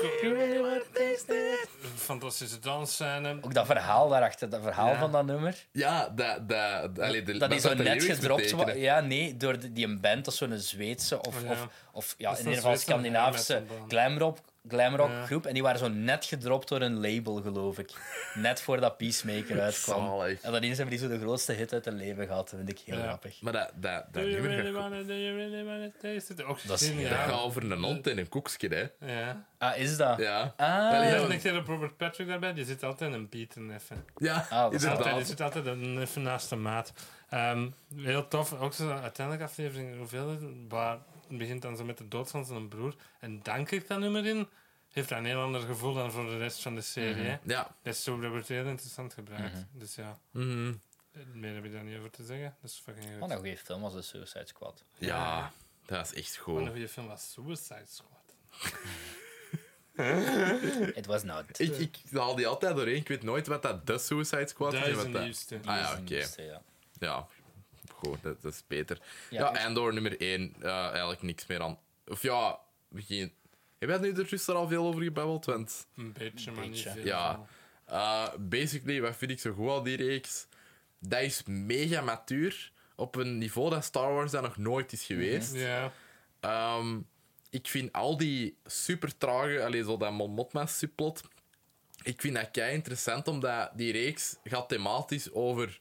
[SPEAKER 2] een fantastische dansscène.
[SPEAKER 3] Ook dat verhaal daarachter, dat verhaal
[SPEAKER 2] Ja.
[SPEAKER 3] van dat nummer.
[SPEAKER 1] Ja, dat, dat, allee, de,
[SPEAKER 3] dat
[SPEAKER 1] wat
[SPEAKER 3] is zo
[SPEAKER 1] de
[SPEAKER 3] net
[SPEAKER 1] lyrics
[SPEAKER 3] gedropt.
[SPEAKER 1] betekenen.
[SPEAKER 3] wa- Ja, nee, door de- die een band of zo'n Zweedse of,
[SPEAKER 2] Oh, ja.
[SPEAKER 3] of, of ja,
[SPEAKER 2] Dat is
[SPEAKER 3] in ieder
[SPEAKER 2] een
[SPEAKER 3] geval
[SPEAKER 2] Zweedse
[SPEAKER 3] Scandinavische
[SPEAKER 2] glamrock band.
[SPEAKER 3] glamrock, glamrock
[SPEAKER 2] Ja.
[SPEAKER 3] groep. En die waren zo net gedropt door een label, geloof ik. (laughs) Net voordat Peacemaker uitkwam.
[SPEAKER 1] Zalig.
[SPEAKER 3] En dan eens hebben die zo de grootste hit uit hun leven gehad. Dat vind ik heel
[SPEAKER 2] Ja.
[SPEAKER 3] grappig.
[SPEAKER 1] Maar dat, dat,
[SPEAKER 2] Do
[SPEAKER 1] dat
[SPEAKER 2] you
[SPEAKER 1] nummer gaat
[SPEAKER 2] really
[SPEAKER 1] goed.
[SPEAKER 2] wanna, do you really wanna taste it? Ook
[SPEAKER 3] Dat is
[SPEAKER 1] Dat
[SPEAKER 2] geniaal.
[SPEAKER 1] gaat over een hond en een koekje, hè.
[SPEAKER 2] Ja.
[SPEAKER 3] Ah, is dat?
[SPEAKER 1] Ja.
[SPEAKER 3] Ah.
[SPEAKER 1] Allee,
[SPEAKER 2] Ja,
[SPEAKER 1] Oh, ja,
[SPEAKER 2] en ik zei dat Robert Patrick daarbij, die zit altijd een beat in even.
[SPEAKER 1] ja,
[SPEAKER 3] Ah, dat is
[SPEAKER 2] Altijd, die
[SPEAKER 1] inderdaad.
[SPEAKER 2] zit altijd een even naast de maat. Ehm, heel tof, ook zo uiteindelijk aflevering hoeveel, is het? waar het begint dan zo met de dood van zijn broer. En dank ik dat nummer in, heeft dat een heel ander gevoel dan voor de rest van de serie. hè.
[SPEAKER 1] Ja.
[SPEAKER 2] Dat is zo, dat wordt heel interessant gebruikt. Dus ja,
[SPEAKER 1] Mhm.
[SPEAKER 2] meer heb ik daar niet over te zeggen. Dat is fucking goed.
[SPEAKER 3] Wat een goede film was nou de Suicide Squad.
[SPEAKER 1] ja, dat is echt
[SPEAKER 2] Wat een
[SPEAKER 1] goed.
[SPEAKER 2] goede film was Suicide Squad.
[SPEAKER 3] It was not.
[SPEAKER 1] (laughs) Ik, ik haal die altijd doorheen. Ik weet nooit wat dat de Suicide Squad is. en
[SPEAKER 2] Duizend
[SPEAKER 1] wat dat-
[SPEAKER 2] liefste.
[SPEAKER 1] Ah ja,
[SPEAKER 3] Die
[SPEAKER 1] oké.
[SPEAKER 3] is de nieuwste, ja.
[SPEAKER 1] Ja, goed, dat, dat is beter.
[SPEAKER 3] Ja,
[SPEAKER 1] Ja,
[SPEAKER 3] dus-
[SPEAKER 1] Andor nummer 1, eigenlijk niks meer aan. Of ja, begin. Heb jij nu er juist al veel over gebabbeld? Want
[SPEAKER 2] Een beetje, maar
[SPEAKER 3] Beetje.
[SPEAKER 2] niet veel.
[SPEAKER 1] ja, eh, basically, wat vind ik zo goed aan die reeks? Dat is mega matuur op een niveau dat Star Wars dat nog nooit is geweest.
[SPEAKER 2] Ja,
[SPEAKER 1] Ehm, ik vind al die super trage, allee, zo dat Mon Mothma subplot. Ik vind dat kei interessant, omdat die reeks gaat thematisch over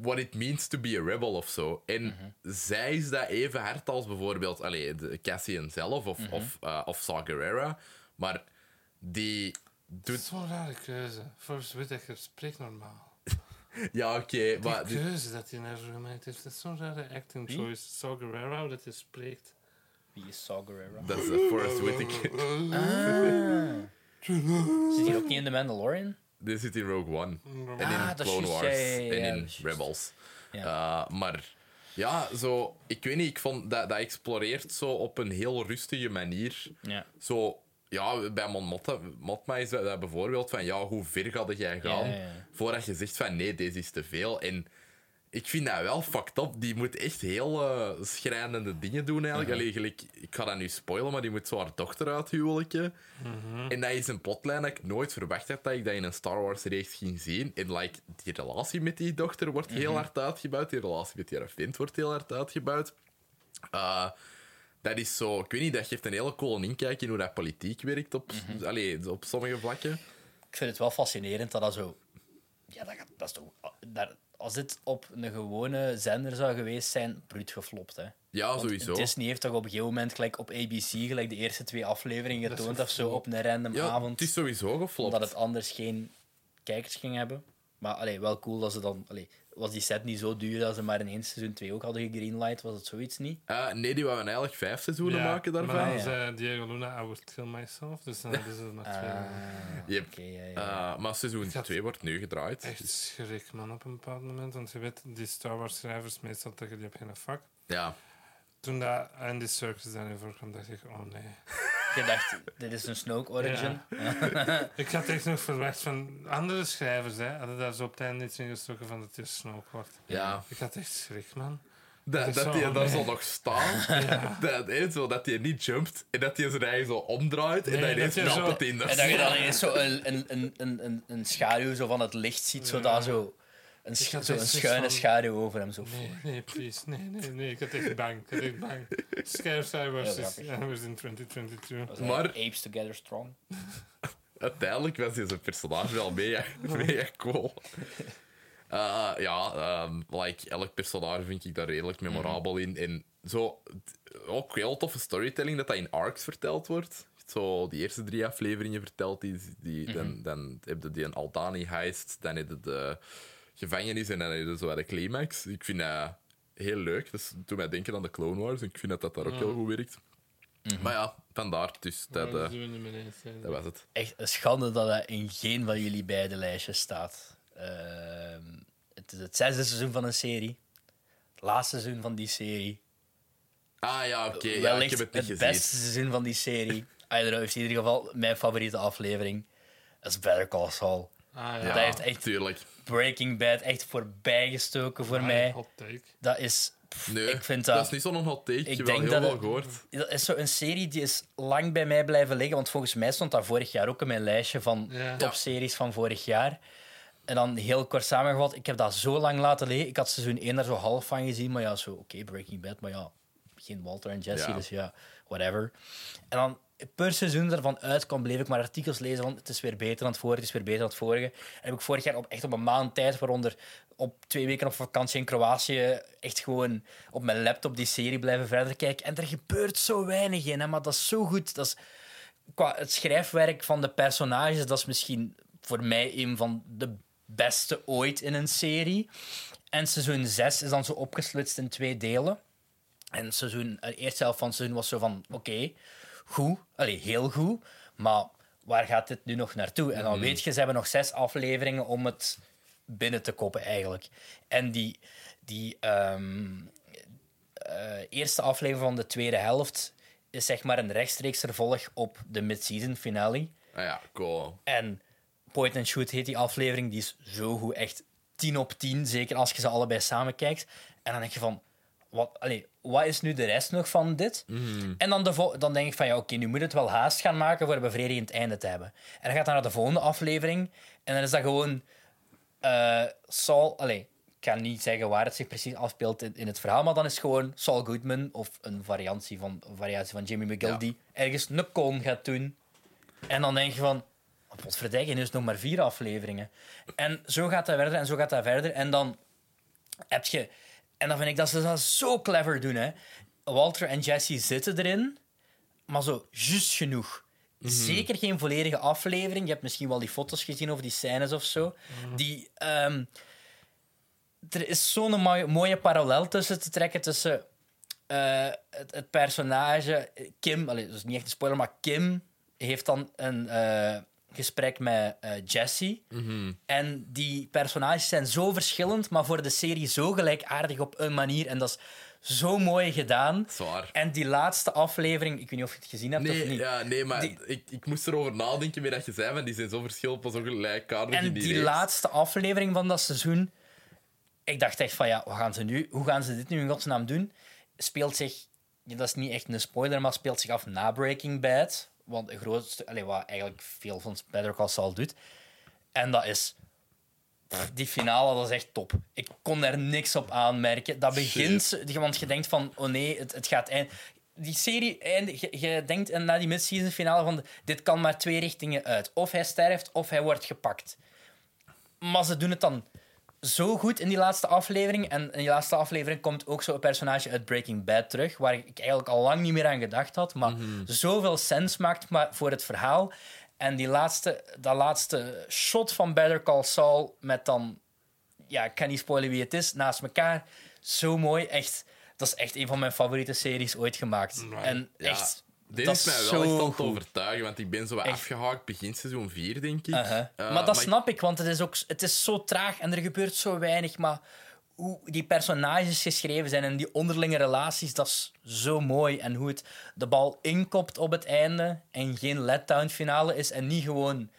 [SPEAKER 1] what it means to be a rebel of zo. En zij is dat even hard als bijvoorbeeld allee, de Cassian zelf of, of, eh, of Saw Gerrera. Maar die doet.
[SPEAKER 2] zo'n rare keuze. Forrest Whitaker spreekt normaal.
[SPEAKER 1] Ja, oké, maar.
[SPEAKER 2] De
[SPEAKER 1] die-
[SPEAKER 2] keuze dat hij naar gemaakt heeft, dat is zo'n rare acting
[SPEAKER 3] Wie?
[SPEAKER 2] choice. Saw Guerrero, dat hij spreekt.
[SPEAKER 3] Wie is Saw Gerrera?
[SPEAKER 1] Dat is eh, Forrest Whitaker.
[SPEAKER 3] Zit hier ook niet in The Mandalorian?
[SPEAKER 1] Die zit in Rogue One. En
[SPEAKER 3] Ah,
[SPEAKER 1] in
[SPEAKER 3] dat is
[SPEAKER 1] Clone
[SPEAKER 3] juist,
[SPEAKER 1] Wars.
[SPEAKER 3] ja, ja, ja,
[SPEAKER 1] en
[SPEAKER 3] ja, dat
[SPEAKER 1] in
[SPEAKER 3] is juist.
[SPEAKER 1] Rebels.
[SPEAKER 3] Ja.
[SPEAKER 1] Uh, maar ja, zo, ik weet niet, ik vond dat, dat exploreert zo op een heel rustige manier.
[SPEAKER 3] Ja.
[SPEAKER 1] Zo, ja, bij Mon Motta- Mothma is dat, dat bijvoorbeeld van, ja, hoe ver ga jij gaan
[SPEAKER 3] Ja, ja, ja.
[SPEAKER 1] voordat je zegt van, nee, deze is te veel. En ik vind dat wel fucked up. Die moet echt heel eh, schrijnende dingen doen eigenlijk.
[SPEAKER 3] Mhm.
[SPEAKER 1] Allee, gelijk, ik ga dat nu spoilen, maar die moet zo haar dochter uithuwelijken.
[SPEAKER 3] Mhm.
[SPEAKER 1] En dat is een plotlijn dat ik nooit verwacht had dat ik dat in een Star Wars reeks ging zien. En like, die relatie met die dochter wordt heel
[SPEAKER 3] Mhm.
[SPEAKER 1] hard uitgebouwd. Die relatie met die vriend wordt heel hard uitgebouwd. Eh, dat is zo, ik weet niet, dat geeft een hele coole inkijk in hoe dat politiek werkt op,
[SPEAKER 3] Mhm.
[SPEAKER 1] allee, op sommige vlakken.
[SPEAKER 3] ik vind het wel fascinerend dat dat zo. Ja, dat, gaat- dat is toch. Daar, als dit op een gewone zender zou geweest zijn, bruut geflopt, hè?
[SPEAKER 1] Ja,
[SPEAKER 3] Want
[SPEAKER 1] sowieso.
[SPEAKER 3] Disney heeft toch op een gegeven moment gelijk op ABC gelijk de eerste twee afleveringen getoond of zo op een random
[SPEAKER 1] Ja,
[SPEAKER 3] avond.
[SPEAKER 1] het is sowieso geflopt.
[SPEAKER 3] Omdat het anders geen kijkers ging hebben. Maar allee, wel cool dat ze dan. Allee, was die set niet zo duur dat ze maar in één seizoen 2 ook hadden gegreenlight? Was het zoiets niet?
[SPEAKER 1] Eh, nee, die wouden eigenlijk vijf seizoenen maken daarvan.
[SPEAKER 2] Maar
[SPEAKER 3] Ah,
[SPEAKER 2] dan
[SPEAKER 3] ja.
[SPEAKER 2] zei Diego Luna, I would kill myself. Dus dan hebben ze er nog twee.
[SPEAKER 3] Ah.
[SPEAKER 1] Yep.
[SPEAKER 3] Oké, ja, ja.
[SPEAKER 1] Eh, maar seizoen 2 wordt nu gedraaid.
[SPEAKER 2] Echt schrik, man, op een bepaald moment. Want je weet, die Star Wars-schrijvers, meestal tegen die op geen vak.
[SPEAKER 1] Ja.
[SPEAKER 2] Toen dat Andy Serkis daarin voorkwam, dacht ik, oh nee.
[SPEAKER 3] Je dacht, dit is een Snoke origin.
[SPEAKER 2] (laughs) Ik had echt nog verwacht van andere schrijvers, hè. Hadden daar zo op het einde iets in gestoken van dat je Snoke wordt.
[SPEAKER 1] Ja.
[SPEAKER 2] Ik had echt schrik, man.
[SPEAKER 1] Dat,
[SPEAKER 2] is
[SPEAKER 1] dat
[SPEAKER 2] zo
[SPEAKER 1] hij daar
[SPEAKER 2] mee.
[SPEAKER 1] zo nog staat.
[SPEAKER 2] (laughs)
[SPEAKER 1] Dat, hè, zo, dat hij niet jumpt en dat hij zijn eigen zo omdraait en
[SPEAKER 2] Nee,
[SPEAKER 1] dat ineens
[SPEAKER 2] dat je
[SPEAKER 1] snapt
[SPEAKER 2] zo-
[SPEAKER 1] dat hij in de
[SPEAKER 3] En dat je dan ineens zo een, een, een, een, een, een schaduw zo van het licht ziet, zo
[SPEAKER 2] Ja.
[SPEAKER 3] daar zo. Een, sch-
[SPEAKER 2] Ik had
[SPEAKER 3] zo een
[SPEAKER 2] echt zoiets
[SPEAKER 3] schuine
[SPEAKER 2] van-
[SPEAKER 3] schaduw over hem. Zo.
[SPEAKER 2] Nee, nee, please. Nee, nee, nee. Ik had echt bang. Ik had echt bang. Sky Skywars
[SPEAKER 3] Heel
[SPEAKER 2] is
[SPEAKER 3] grappig.
[SPEAKER 2] was in 2022.
[SPEAKER 3] Dat
[SPEAKER 2] Dat
[SPEAKER 3] was
[SPEAKER 1] Maar-
[SPEAKER 3] eigenlijk Apes Together Strong.
[SPEAKER 1] (laughs) Uiteindelijk was hij zijn personage wel mega, mega cool. Eh, ja, ehm, like, elk personage vind ik daar redelijk memorabel in. En zo, t- ook heel toffe storytelling dat dat in arcs verteld wordt. Zo, die eerste drie afleveringen verteld, die, die, dan, dan heb je die een Aldani heist, dan heb je de gevangenis en dan heb je zo de climax. Ik vind dat heel leuk. Dat doet mij denken aan de Clone Wars en ik vind dat dat daar ook heel goed werkt. Maar ja, vandaar. Dus dat, eh,
[SPEAKER 2] Dat doen we niet meer eens. hè.
[SPEAKER 1] dat was het.
[SPEAKER 3] Echt een schande dat dat in geen van jullie beide lijstjes staat. Ehm, het is het zesde seizoen van een serie. Het laatste seizoen van die serie.
[SPEAKER 1] Ah ja, oké. Ja, ik
[SPEAKER 3] Wellicht
[SPEAKER 1] heb het
[SPEAKER 3] het,
[SPEAKER 1] niet gezien.
[SPEAKER 3] beste seizoen van die
[SPEAKER 1] (laughs)
[SPEAKER 3] serie. I don't know, is in ieder geval mijn favoriete aflevering. Dat is Better Call Saul.
[SPEAKER 2] Ah
[SPEAKER 1] Ja,
[SPEAKER 2] ja.
[SPEAKER 3] Dat heeft echt-
[SPEAKER 1] Tuurlijk.
[SPEAKER 3] Breaking Bad echt voorbijgestoken voor
[SPEAKER 2] Ah,
[SPEAKER 3] mij.
[SPEAKER 2] Hot take.
[SPEAKER 3] Dat is... pff,
[SPEAKER 1] Nee,
[SPEAKER 3] ik vind
[SPEAKER 1] dat is niet zo'n hot take.
[SPEAKER 3] Ik
[SPEAKER 1] Je hebt
[SPEAKER 3] denk
[SPEAKER 1] heel
[SPEAKER 3] dat
[SPEAKER 1] veel
[SPEAKER 3] het-
[SPEAKER 1] gehoord.
[SPEAKER 3] Dat is zo'n serie die is lang bij mij blijven liggen. Want volgens mij stond dat vorig jaar ook in mijn lijstje van
[SPEAKER 2] Ja.
[SPEAKER 3] topseries van vorig jaar. En dan heel kort samengevat, ik heb dat zo lang laten liggen. Ik had seizoen 1 daar zo half van gezien, maar ja, zo, oké, Breaking Bad, maar ja, geen Walter en Jesse,
[SPEAKER 1] Ja.
[SPEAKER 3] dus ja, whatever. En dan per seizoen daarvan uitkwam, bleef ik maar artikels lezen van het is weer beter dan het vorige, het is weer beter dan het vorige. En heb ik vorig jaar op, echt op een maand tijd, waaronder op twee weken op vakantie in Kroatië, echt gewoon op mijn laptop die serie blijven verder kijken. En er gebeurt zo weinig in, hè, maar dat is zo goed. Dat is, qua het schrijfwerk van de personages, dat is misschien voor mij een van de beste ooit in een serie. En seizoen 6 is dan zo opgeslitst in twee delen. En seizoen, de eerste helft van het seizoen was zo van: oké, goed, allee, heel goed, maar waar gaat dit nu nog naartoe? En dan weet je, ze hebben nog zes afleveringen om het binnen te koppen eigenlijk. En die, die ehm, eh, eerste aflevering van de tweede helft is zeg maar een rechtstreeks vervolg op de mid-season finale.
[SPEAKER 1] Ah ja, cool.
[SPEAKER 3] En Point and Shoot heet die aflevering. Die is zo goed. Echt 10 op 10. Zeker als je ze allebei samen kijkt. En dan denk je van... Wat, allee, wat is nu de rest nog van dit? En dan, de vol- dan denk ik van ja, oké, nu moet het wel haast gaan maken voor een bevredigend einde te hebben. En dan gaat dat naar de volgende aflevering. En dan is dat gewoon eh, Saul, allee, ik ga niet zeggen waar het zich precies afspeelt in, in het verhaal, maar dan is gewoon Saul Goodman of een variatie van, een variatie van Jimmy McGill
[SPEAKER 1] Ja.
[SPEAKER 3] die ergens een con gaat doen. En dan denk je van, oh, potverdijken, nu is het nog maar vier afleveringen. En zo gaat dat verder en zo gaat dat verder. En dan heb je... En dan vind ik dat ze dat zo clever doen, hè. Walter en Jesse zitten erin, maar zo juist genoeg. Zeker geen volledige aflevering. Je hebt misschien wel die foto's gezien of die scènes of zo. Die, ehm, er is zo'n mooie, mooie parallel tussen te trekken tussen eh, het, het personage Kim. Allee, dat is niet echt een spoiler, maar Kim heeft dan een eh, gesprek met eh, Jesse. En die personages zijn zo verschillend, maar voor de serie zo gelijkaardig op een manier. En dat is zo mooi gedaan.
[SPEAKER 1] Zwaar.
[SPEAKER 3] En die laatste aflevering, ik weet niet of je het gezien hebt of
[SPEAKER 1] Nee,
[SPEAKER 3] niet.
[SPEAKER 1] ja, nee, maar
[SPEAKER 3] Die-
[SPEAKER 1] ik, ik moest erover nadenken meer dat je zei, want die zijn zo verschillend, pas ook gelijkaardig
[SPEAKER 3] En
[SPEAKER 1] in
[SPEAKER 3] die,
[SPEAKER 1] die reeks.
[SPEAKER 3] laatste aflevering van dat seizoen. Ik dacht echt van ja, wat gaan ze nu, hoe gaan ze dit nu in godsnaam doen? Speelt zich, ja, dat is niet echt een spoiler, maar speelt zich af na Breaking Bad. Want een groot stuk, allee, wat eigenlijk veel van Better Call Saul doet. En dat is. pff, die finale, dat is echt top. Ik kon er niks op aanmerken. Dat begint, want je denkt van, oh nee, het, het gaat eind. Die serie eindigt, je, je denkt na die mid-season finale van, dit kan maar twee richtingen uit. Of hij sterft, of hij wordt gepakt. Maar ze doen het dan zo goed in die laatste aflevering. En in die laatste aflevering komt ook zo'n personage uit Breaking Bad terug, waar ik eigenlijk al lang niet meer aan gedacht had, maar
[SPEAKER 1] Mhm.
[SPEAKER 3] zoveel sens maakt maar voor het verhaal. En die laatste, dat laatste shot van Better Call Saul met dan, ja, ik kan niet spoilen wie het is, naast elkaar. Zo mooi, echt. Dat is echt een van mijn favoriete series ooit gemaakt.
[SPEAKER 2] Right.
[SPEAKER 3] En
[SPEAKER 1] Ja,
[SPEAKER 3] echt,
[SPEAKER 1] Dit
[SPEAKER 3] dat
[SPEAKER 1] is mij
[SPEAKER 3] zo
[SPEAKER 1] wel echt aan het
[SPEAKER 3] goed.
[SPEAKER 1] overtuigen, want ik ben zo wat
[SPEAKER 3] Echt.
[SPEAKER 1] afgehaakt begin seizoen 4, denk ik.
[SPEAKER 3] Uh-huh.
[SPEAKER 1] Eh,
[SPEAKER 3] maar dat snap ik, want het is, ook, het is zo traag en er gebeurt zo weinig. Maar hoe die personages geschreven zijn en die onderlinge relaties, dat is zo mooi. En hoe het de bal inkopt op het einde en geen letdown finale is en niet gewoon...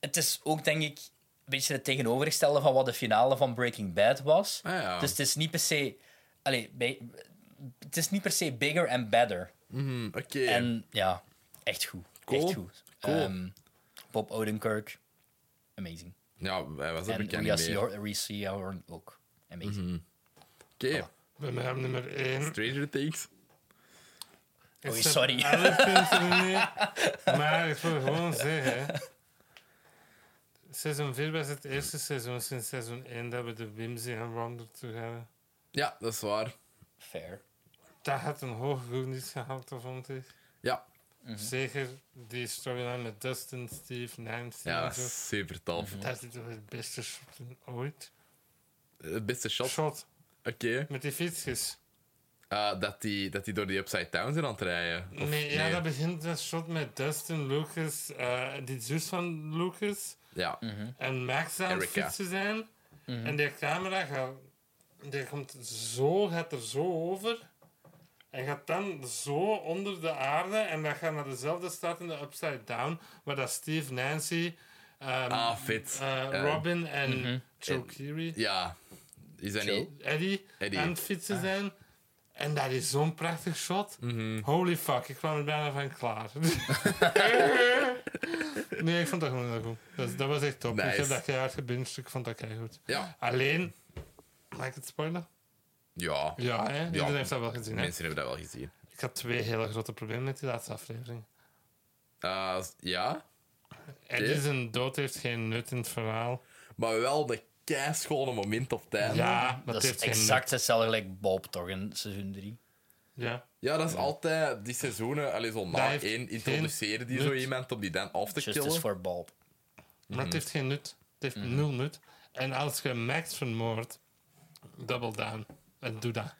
[SPEAKER 3] Het is ook, denk ik, een beetje het tegenovergestelde van wat de finale van Breaking Bad was.
[SPEAKER 1] Ah ja.
[SPEAKER 3] Dus het is niet per se... Allee, bij- het is niet per se bigger and better.
[SPEAKER 1] Mm, Oké.
[SPEAKER 3] En ja, echt goed.
[SPEAKER 1] Cool.
[SPEAKER 3] Echt goed.
[SPEAKER 1] Cool.
[SPEAKER 3] Ehm, Bob Odenkirk, amazing.
[SPEAKER 1] Ja, hij was er
[SPEAKER 3] En
[SPEAKER 1] bekend
[SPEAKER 3] Ria
[SPEAKER 1] mee. Oké.
[SPEAKER 3] Seahorn- Reese Seahorn ook, amazing.
[SPEAKER 1] Mhm.
[SPEAKER 3] Oh.
[SPEAKER 2] Bij mij op nummer 1.
[SPEAKER 1] Stranger Things.
[SPEAKER 3] Oei, sorry.
[SPEAKER 2] Alle punten er niet. Maar ik wil gewoon zeggen. Seizoen 4 was het eerste seizoen sinds seizoen 1 dat we de Wimsy en Ronda terug hebben.
[SPEAKER 1] Ja, dat is waar.
[SPEAKER 4] Fair.
[SPEAKER 2] Dat had een hoog niet gehaald, vond ik.
[SPEAKER 1] Ja,
[SPEAKER 3] Mhm.
[SPEAKER 2] Zeker die storyline met Dustin, Steve, Nancy
[SPEAKER 1] ja
[SPEAKER 2] en zo.
[SPEAKER 1] super tof.
[SPEAKER 3] Mhm.
[SPEAKER 2] Dat is toch het beste shot in ooit.
[SPEAKER 1] Het Eh, beste shot.
[SPEAKER 2] Shot
[SPEAKER 1] Oké.
[SPEAKER 2] met die fietsjes.
[SPEAKER 1] Eh, dat, die, dat die door die Upside Down zijn aan het rijden. Of-
[SPEAKER 2] Nee, ja, dat begint dat shot met Dustin, Lucas, eh, die zus van Lucas
[SPEAKER 1] Ja.
[SPEAKER 2] en Max aan het
[SPEAKER 1] Erica.
[SPEAKER 2] fietsen zijn.
[SPEAKER 1] Mhm.
[SPEAKER 2] En die camera gaat, die komt zo, gaat er zo over. En gaat dan zo onder de aarde en dat gaat naar dezelfde stad in de Upside Down, waar dat Steve, Nancy, ehm,
[SPEAKER 1] Ah, fit.
[SPEAKER 2] eh,
[SPEAKER 1] Eh,
[SPEAKER 2] Robin en Joe Keery.
[SPEAKER 1] Ja. Is dat niet...
[SPEAKER 2] Eddie,
[SPEAKER 1] Eddie.
[SPEAKER 2] aan het
[SPEAKER 3] Ah.
[SPEAKER 2] fietsen zijn. En dat is zo'n prachtig shot.
[SPEAKER 1] Mhm.
[SPEAKER 2] Holy fuck, ik kwam er bijna van
[SPEAKER 1] (laughs)
[SPEAKER 2] klaar. nee, ik vond dat gewoon heel goed. Dat, dat was echt top. Ik heb
[SPEAKER 1] Nice.
[SPEAKER 2] dat keihard gebinged, ik vond dat goed.
[SPEAKER 1] Ja.
[SPEAKER 2] Alleen, mag ik het spoilen?
[SPEAKER 1] Ja.
[SPEAKER 2] Ja, hè? iedereen heeft dat wel gezien. Hè?
[SPEAKER 1] Mensen hebben dat wel gezien.
[SPEAKER 2] Ik had twee hele grote problemen met die laatste aflevering.
[SPEAKER 1] Eh, s- ja.
[SPEAKER 2] Eddie zijn dood heeft geen nut in het verhaal.
[SPEAKER 1] Maar wel een keischone moment op tijd.
[SPEAKER 2] Ja, maar
[SPEAKER 3] Ah, Dat
[SPEAKER 2] het
[SPEAKER 3] is
[SPEAKER 2] heeft geen
[SPEAKER 3] exact hetzelfde gelijk Bob toch in seizoen 3.
[SPEAKER 2] nut. Ja.
[SPEAKER 1] Ja, dat is altijd die seizoenen. Allee, zo
[SPEAKER 2] Dat
[SPEAKER 1] na
[SPEAKER 2] heeft
[SPEAKER 1] één
[SPEAKER 2] geen
[SPEAKER 1] introduceren die zo
[SPEAKER 2] nut.
[SPEAKER 1] iemand om die dan af te
[SPEAKER 3] Justice
[SPEAKER 1] killen.
[SPEAKER 3] voor Bob.
[SPEAKER 2] Maar het heeft geen nut. Het heeft nul nut. En als je Max vermoordt, double down. En doe dat.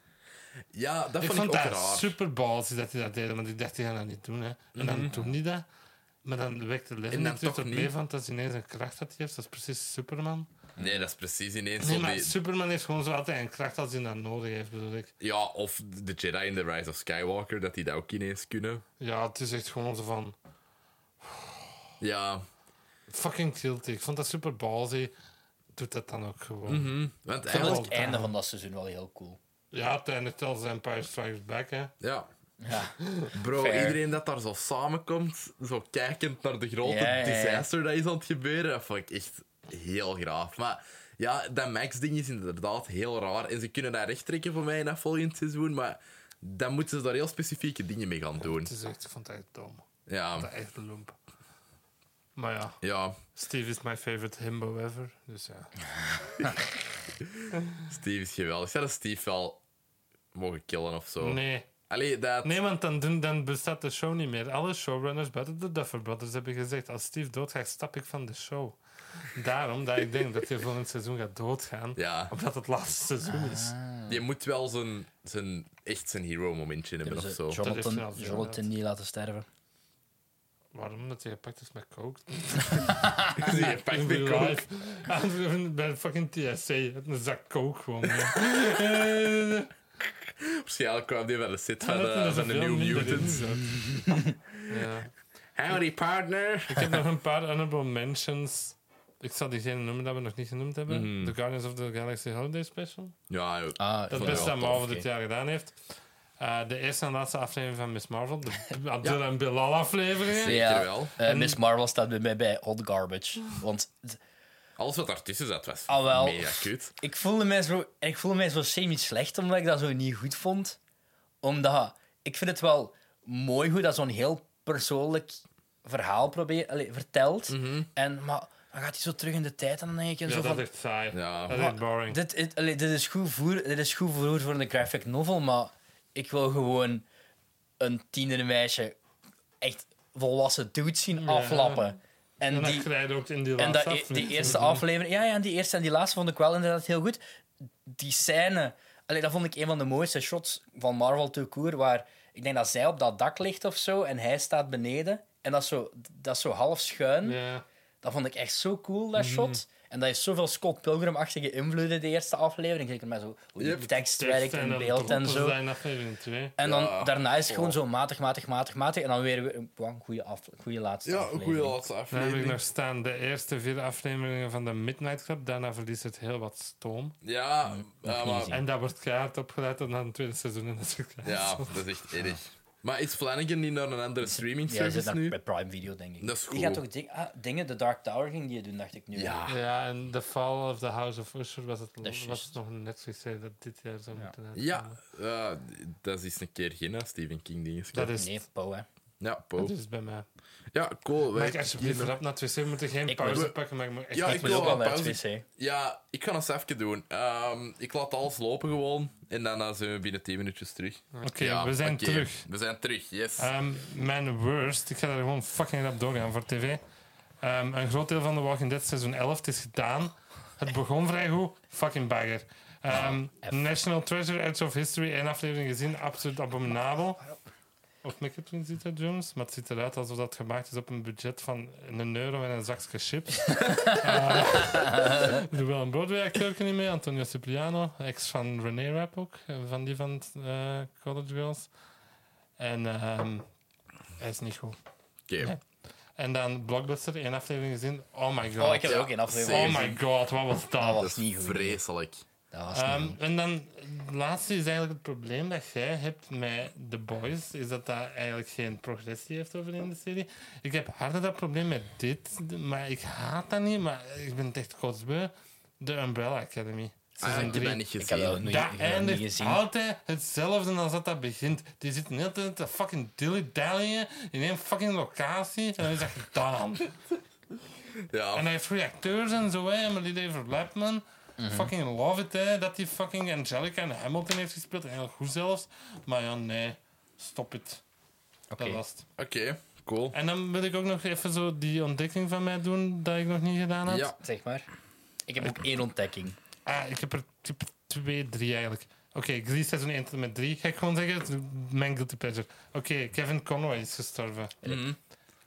[SPEAKER 1] Ja, dat
[SPEAKER 2] Ik
[SPEAKER 1] vond
[SPEAKER 2] vond
[SPEAKER 1] ik ook
[SPEAKER 2] dat
[SPEAKER 1] raar.
[SPEAKER 2] super ballsy dat hij dat deed, want ik dacht, die gaan dat niet doen. Hè. En dan doen die dat. Maar dan wekt de
[SPEAKER 1] En
[SPEAKER 2] leven
[SPEAKER 1] dan
[SPEAKER 2] niet terug
[SPEAKER 1] toch
[SPEAKER 2] tot
[SPEAKER 1] niet.
[SPEAKER 2] leven, want dat is ineens een kracht dat hij heeft. Dat is precies Superman.
[SPEAKER 1] Nee, dat is precies ineens
[SPEAKER 2] Nee,
[SPEAKER 1] zo
[SPEAKER 2] maar
[SPEAKER 1] die-
[SPEAKER 2] Superman heeft gewoon zo altijd een kracht als hij dat nodig heeft, bedoel ik.
[SPEAKER 1] Ja, of de Jedi in The Rise of Skywalker, dat die dat ook ineens kunnen.
[SPEAKER 2] Ja, het is echt gewoon zo van...
[SPEAKER 1] Ja,
[SPEAKER 2] Fucking guilty. Ik vond dat super ballsy. Doet dat dan ook gewoon.
[SPEAKER 1] hm. want
[SPEAKER 3] Ik vond
[SPEAKER 1] eigenlijk...
[SPEAKER 3] het
[SPEAKER 2] Bob
[SPEAKER 3] einde
[SPEAKER 2] Down.
[SPEAKER 3] van dat seizoen wel heel cool.
[SPEAKER 2] Ja, het eindigt als Empire Strikes Back, hè.
[SPEAKER 1] Ja.
[SPEAKER 3] Ja.
[SPEAKER 1] Bro,
[SPEAKER 3] Fair.
[SPEAKER 1] iedereen dat daar zo samenkomt, zo kijkend naar de grote
[SPEAKER 3] Ja, ja, ja.
[SPEAKER 1] disaster dat is aan het gebeuren, dat vond ik echt heel graaf. Maar ja, dat Max-ding is inderdaad heel raar. En ze kunnen dat recht trekken voor mij in dat volgend seizoen, maar dan moeten ze daar heel specifieke dingen mee gaan doen.
[SPEAKER 2] Het is echt, ik vond dat echt dom.
[SPEAKER 1] Ja,
[SPEAKER 2] Dat is echt een lump. Maar ja,
[SPEAKER 1] ja
[SPEAKER 2] Steve is my favorite himbo ever. Dus ja.
[SPEAKER 1] Steve is geweldig. Zou dat Steve wel mogen killen of zo?
[SPEAKER 2] Nee.
[SPEAKER 1] Allee, dat...
[SPEAKER 2] nee, want dan, doen, dan bestaat de show niet meer. Alle showrunners buiten de Duffer Brothers hebben gezegd: als Steve doodgaat, stap ik van de show. Daarom dat ik denk dat hij volgend seizoen gaat doodgaan.
[SPEAKER 1] Ja,
[SPEAKER 2] Omdat het laatste seizoen is.
[SPEAKER 3] Hmm.
[SPEAKER 1] je moet wel zijn, zijn, echt zijn hero-momentje hebben
[SPEAKER 3] Hebben
[SPEAKER 1] of
[SPEAKER 3] ze
[SPEAKER 1] zo. (laughs)
[SPEAKER 2] Dat heeft
[SPEAKER 3] Dus, eh, Jonathan,
[SPEAKER 2] hij al
[SPEAKER 3] Jonathan niet laten sterven.
[SPEAKER 2] Waarom? Dat hij gepakt is met coke.
[SPEAKER 1] Die je pakt de
[SPEAKER 2] Real
[SPEAKER 1] coke.
[SPEAKER 2] life. Aan- (laughs) Bij fucking TSC. Een zak coke gewoon. ja.
[SPEAKER 1] Waarschijnlijk kwam die wel een set van,
[SPEAKER 2] Ah, Dat
[SPEAKER 1] de-
[SPEAKER 2] is er
[SPEAKER 1] eh, van de
[SPEAKER 2] veel
[SPEAKER 1] New
[SPEAKER 2] minder in,
[SPEAKER 1] Mutants.
[SPEAKER 2] zo. ja.
[SPEAKER 1] Howdy, partner.
[SPEAKER 2] Ik
[SPEAKER 3] (laughs)
[SPEAKER 2] heb nog een paar honorable mentions. Ik zal diegene noemen dat we nog niet genoemd hebben.
[SPEAKER 3] Hmm.
[SPEAKER 1] Mhm.
[SPEAKER 2] The Guardians of the Galaxy Holiday Special.
[SPEAKER 1] Ja, joh.
[SPEAKER 3] Ah,
[SPEAKER 2] Dat
[SPEAKER 1] vond
[SPEAKER 2] beste
[SPEAKER 1] ik
[SPEAKER 2] dat
[SPEAKER 1] wel
[SPEAKER 2] Marvel
[SPEAKER 3] tof,
[SPEAKER 2] dit
[SPEAKER 3] ja.
[SPEAKER 2] jaar gedaan heeft. Eh, de eerste en laatste aflevering van Miss Marvel.
[SPEAKER 3] (laughs)
[SPEAKER 2] De Abdul en Bilal afleveringen.
[SPEAKER 1] Zeker
[SPEAKER 3] Ja.
[SPEAKER 1] wel.
[SPEAKER 3] Eh, Miss Marvel staat bij mij bij hot
[SPEAKER 2] (laughs)
[SPEAKER 3] garbage. Want
[SPEAKER 1] Alles wat daartussen zat was
[SPEAKER 3] Ah, wel.
[SPEAKER 1] mega kut.
[SPEAKER 3] ik voelde mij zo, ik voelde mij zo semi-slecht omdat ik dat zo niet goed vond. Omdat ik vind het wel mooi hoe dat zo'n heel persoonlijk verhaal probeert, allee, vertelt. En, maar dan gaat hij zo terug in de tijd en dan denk ik
[SPEAKER 2] Mhm. Ja,
[SPEAKER 3] zo
[SPEAKER 2] dat
[SPEAKER 3] van...
[SPEAKER 2] is echt saai.
[SPEAKER 1] Ja.
[SPEAKER 2] Dat is echt boring.
[SPEAKER 3] Dit, is- allee, dit, is goed voer, dit is goed voer voor een graphic novel, maar ik wil gewoon een tienermeisje echt volwassen dude zien aflappen. En,
[SPEAKER 2] en dat
[SPEAKER 3] die,
[SPEAKER 2] krijg je ook in die
[SPEAKER 3] en
[SPEAKER 2] laatste
[SPEAKER 3] dat, e- die
[SPEAKER 2] aflevering.
[SPEAKER 3] eerste aflevering, ja, ja, en die eerste en die laatste vond ik wel inderdaad heel goed. Die scène, allee, dat vond ik een van de mooiste shots van Marvel to Court, waar ik denk dat zij op dat dak ligt of zo en hij staat beneden. En dat is zo, dat is zo half schuin.
[SPEAKER 2] Ja.
[SPEAKER 3] Dat vond ik echt zo cool, dat shot. En dat heeft zoveel Scott Pilgrim-achtige invloeden, de eerste aflevering. Zeker met zo, hoe die
[SPEAKER 1] Yep.
[SPEAKER 3] tekst
[SPEAKER 2] Tekst
[SPEAKER 3] werkt en
[SPEAKER 2] dan
[SPEAKER 3] beeld en
[SPEAKER 2] droppen ze
[SPEAKER 3] zo.
[SPEAKER 2] dat in aflevering 2.
[SPEAKER 3] En dan
[SPEAKER 1] Ja.
[SPEAKER 3] daarna is het gewoon
[SPEAKER 1] Oh.
[SPEAKER 3] zo matig, matig, matig, matig. En dan weer weer een wow, goede, af, goede laatste aflevering.
[SPEAKER 1] laatste
[SPEAKER 2] Dan heb ik nog staan de eerste vier afleveringen van de Midnight Club. Daarna verliest het heel wat stoom.
[SPEAKER 1] Ja, ja,
[SPEAKER 3] niet
[SPEAKER 1] maar-
[SPEAKER 3] gezien.
[SPEAKER 2] En dat wordt keihard opgeleid tot naar het tweede seizoen. (laughs) En dat is ook-
[SPEAKER 1] ja, dat is echt erg. Maar is Flanagan niet naar een andere streaming
[SPEAKER 3] Ja, hij
[SPEAKER 1] service
[SPEAKER 3] zit daar
[SPEAKER 1] nu?
[SPEAKER 3] bij Prime Video, denk ik.
[SPEAKER 1] Dat is
[SPEAKER 3] Die gaat
[SPEAKER 1] goed.
[SPEAKER 3] toch ding- ah, dingen, de Dark Tower ging die doen, dacht ik nu.
[SPEAKER 1] Ja.
[SPEAKER 2] Ja, en The Fall of the House of Usher was het,
[SPEAKER 3] Ah. is
[SPEAKER 2] was
[SPEAKER 3] juist.
[SPEAKER 2] het nog een Netflix-serie dat dit jaar zou moeten uitkomen.
[SPEAKER 1] Ja, eh, dat is een keer geen Stephen King dingetje.
[SPEAKER 2] Dat is
[SPEAKER 3] Nee, Poe, hè.
[SPEAKER 1] Ja, Poe.
[SPEAKER 2] Dat is bij mij.
[SPEAKER 1] Ja, cool.
[SPEAKER 2] Maar
[SPEAKER 1] wij-
[SPEAKER 2] ik alsjeblieft rap naar het wc. We moeten geen
[SPEAKER 3] Ik
[SPEAKER 2] pauze
[SPEAKER 1] wil-
[SPEAKER 2] pakken, maar ik moet echt
[SPEAKER 1] Ja,
[SPEAKER 2] naar
[SPEAKER 1] ik
[SPEAKER 2] het
[SPEAKER 1] wil
[SPEAKER 2] wc.
[SPEAKER 3] ook al
[SPEAKER 1] wel
[SPEAKER 3] naar het
[SPEAKER 1] pauze.
[SPEAKER 3] wc.
[SPEAKER 1] Ja, ik ga het eens even doen. Ehm, ik laat alles lopen gewoon. En daarna zijn we binnen 10 minuutjes terug.
[SPEAKER 2] Oké,
[SPEAKER 1] Ja,
[SPEAKER 2] we zijn
[SPEAKER 1] oké.
[SPEAKER 2] terug.
[SPEAKER 1] We zijn terug, yes.
[SPEAKER 2] Ehm, mijn worst, ik ga daar gewoon fucking rap doorgaan voor tv. Ehm, een groot deel van The Walking Dead seizoen 11 het is gedaan. Het begon vrij goed. Fucking bagger. Ehm, National Treasure, Edge of History, één aflevering gezien. Absoluut abominabel. Op Microtransactions ziet dat, Jones. Maar het ziet eruit alsof dat gemaakt is op een budget van een euro en een zakje chips. Er wel een Broadway-acteur niet mee. Antonio Cipriano, ex van René Rapp ook. eh, Van die van eh, College Girls. En ehm, hij is niet goed.
[SPEAKER 1] Oké.
[SPEAKER 2] En dan Blockbuster, één aflevering gezien. Oh my god.
[SPEAKER 3] Oh, ik heb
[SPEAKER 1] Ja,
[SPEAKER 3] ook geen aflevering.
[SPEAKER 1] zeker.
[SPEAKER 2] Oh my god, wat was
[SPEAKER 3] Dat
[SPEAKER 2] dat?
[SPEAKER 3] was niet goed.
[SPEAKER 1] Vreselijk.
[SPEAKER 3] Dat was niet
[SPEAKER 2] Ehm,
[SPEAKER 3] goed.
[SPEAKER 2] en dan, het laatste is eigenlijk het probleem dat jij hebt met The Boys, is dat dat eigenlijk geen progressie heeft over in de serie. Ik heb harder dat probleem met dit, maar ik haat dat niet, maar ik ben het echt kotsbeu. De Umbrella Academy.
[SPEAKER 1] Ah,
[SPEAKER 2] Seizoen
[SPEAKER 1] ik heb
[SPEAKER 2] drie.
[SPEAKER 1] dat niet
[SPEAKER 3] Ik heb dat ook
[SPEAKER 1] gezien.
[SPEAKER 3] nog-
[SPEAKER 2] Dat
[SPEAKER 3] ik heb dat niet
[SPEAKER 2] eindigt
[SPEAKER 3] gezien.
[SPEAKER 2] altijd hetzelfde als dat dat begint. Die zitten de hele tijd te fucking dilly-dallyen in één fucking locatie en dan is dat
[SPEAKER 3] (laughs)
[SPEAKER 2] gedaan. En
[SPEAKER 1] Ja,
[SPEAKER 2] hij heeft goede acteurs en zo, hè, maar die David Lapman.
[SPEAKER 3] Mhm.
[SPEAKER 2] Fucking love it, hè, dat die fucking Angelica en Hamilton heeft gespeeld. En heel goed zelfs. Maar ja, nee, stop het.
[SPEAKER 3] Oké.
[SPEAKER 2] Dat was het.
[SPEAKER 1] oké. Cool.
[SPEAKER 2] En dan wil ik ook nog even zo die ontdekking van mij doen, dat ik nog niet gedaan had.
[SPEAKER 1] Ja.
[SPEAKER 3] Zeg maar. Ik heb ook één ontdekking.
[SPEAKER 2] Ah, ik heb er type 2, 3 eigenlijk. Oké, Grease seizoen 1 tot en met 3. Ga ik gewoon zeggen, mijn guilty pleasure. Oké, Kevin Conroy is gestorven.
[SPEAKER 1] Mhm.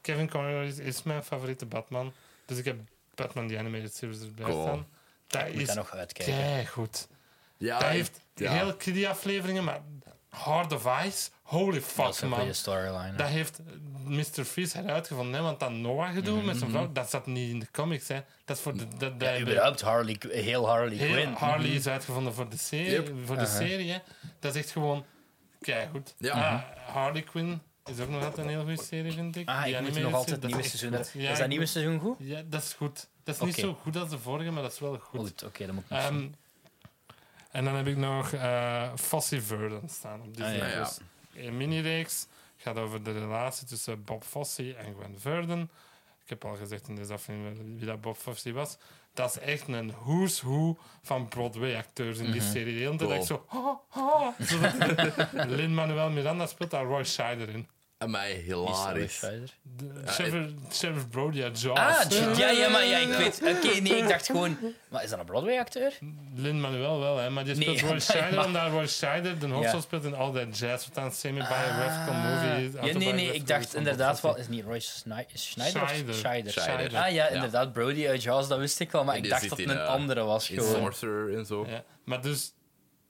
[SPEAKER 2] Kevin Conroy is, is mijn favoriete Batman. Dus ik heb Batman die Animated Series erbij
[SPEAKER 1] Cool.
[SPEAKER 2] staan. Dat
[SPEAKER 3] Ik moet
[SPEAKER 2] is
[SPEAKER 3] daar nog uitkijken. Ah,
[SPEAKER 2] kei goed.
[SPEAKER 1] Ja,
[SPEAKER 2] Dat heeft
[SPEAKER 1] ja.
[SPEAKER 2] heel kiddy afleveringen, maar Hard of Ice, holy
[SPEAKER 3] Dat
[SPEAKER 2] fuck
[SPEAKER 3] is een
[SPEAKER 2] man.
[SPEAKER 3] goede storyline.
[SPEAKER 2] Dat
[SPEAKER 3] hè.
[SPEAKER 2] heeft Mr. Freeze heruitgevonden, hè? want dat Noah-gedoe met zijn vrouw, dat zat niet in de comics. Hè? Dat is voor de, dat, dat
[SPEAKER 3] Mhm. Ja, überhaupt Harley, eh, heel Harley
[SPEAKER 2] heel
[SPEAKER 3] Quinn.
[SPEAKER 2] Harley is uitgevonden voor de serie.
[SPEAKER 1] Yep.
[SPEAKER 2] Voor de serie hè. Dat is echt gewoon keigoed.
[SPEAKER 1] Ja.
[SPEAKER 2] Ah, Harley Quinn is ook nog altijd een heel goede serie, vind ik.
[SPEAKER 3] Mhm. Ah,
[SPEAKER 2] Die
[SPEAKER 3] ik moet
[SPEAKER 2] animated
[SPEAKER 3] nog
[SPEAKER 2] serie, dat
[SPEAKER 3] altijd het nieuwe
[SPEAKER 2] is
[SPEAKER 3] seizoen
[SPEAKER 2] echt
[SPEAKER 3] uit.
[SPEAKER 2] goed. Ja,
[SPEAKER 3] is dat
[SPEAKER 2] ik
[SPEAKER 3] nieuwe seizoen goed?
[SPEAKER 2] moet- Ja, dat is goed. Dat is niet
[SPEAKER 3] Oké.
[SPEAKER 2] zo goed als de vorige, maar dat is wel goed.
[SPEAKER 3] Goed, oké, dan moet ik nog
[SPEAKER 2] Ehm,
[SPEAKER 3] zien.
[SPEAKER 2] en dan heb ik nog eh Fossey Verdon staan op Disney+.
[SPEAKER 3] Ah,
[SPEAKER 1] ja.
[SPEAKER 2] Plus. Een mini-reeks gaat over de relatie tussen Bob Fosse en Gwen Verdon. Ik heb al gezegd in deze aflevering wie dat Bob Fosse was. Dat is echt een who's who van Broadway-acteurs in die
[SPEAKER 3] Mhm.
[SPEAKER 2] serie. De hele tijd
[SPEAKER 1] Cool.
[SPEAKER 2] echt zo... (laughs) "Ha, ha," zodat- Lin-Manuel Miranda speelt daar Roy Scheider in.
[SPEAKER 1] Amai,
[SPEAKER 3] Wie is er nog
[SPEAKER 1] hilarisch.
[SPEAKER 3] verder?
[SPEAKER 2] De-
[SPEAKER 1] Ja,
[SPEAKER 2] Sheriff Sheriff Brody uit Jaws.
[SPEAKER 3] Ah, G- ja, ja, maar ja, ik weet. Oké, nee, ik dacht gewoon. Maar is dat een Broadway-acteur?
[SPEAKER 2] Lin-Manuel wel, hè, maar die
[SPEAKER 3] Nee,
[SPEAKER 2] speelt Roy
[SPEAKER 3] (laughs) maar-
[SPEAKER 2] Scheider, omdat Roy Scheider de hoofdrol
[SPEAKER 3] Ja. Ah.
[SPEAKER 2] speelt in All That Jazz, wat dan semi-biographical movie is.
[SPEAKER 3] ja, nee, nee,
[SPEAKER 2] autobiographical
[SPEAKER 3] ik dacht
[SPEAKER 2] van
[SPEAKER 3] inderdaad
[SPEAKER 2] Bob
[SPEAKER 3] wel.
[SPEAKER 2] Fosse.
[SPEAKER 3] Is het niet Roy Sni- is Schneider? of
[SPEAKER 2] Scheider.
[SPEAKER 3] Scheider.
[SPEAKER 1] Scheider.
[SPEAKER 3] Ah ja,
[SPEAKER 1] Ja.
[SPEAKER 3] inderdaad, Brody uit Jaws, dat wist ik wel, maar
[SPEAKER 1] En
[SPEAKER 3] ik
[SPEAKER 1] die
[SPEAKER 3] dacht
[SPEAKER 1] zit
[SPEAKER 3] dat het
[SPEAKER 1] in,
[SPEAKER 3] een
[SPEAKER 1] eh,
[SPEAKER 3] andere was
[SPEAKER 1] In
[SPEAKER 3] gewoon.
[SPEAKER 1] Sorcerer en zo.
[SPEAKER 2] Ja, maar dus,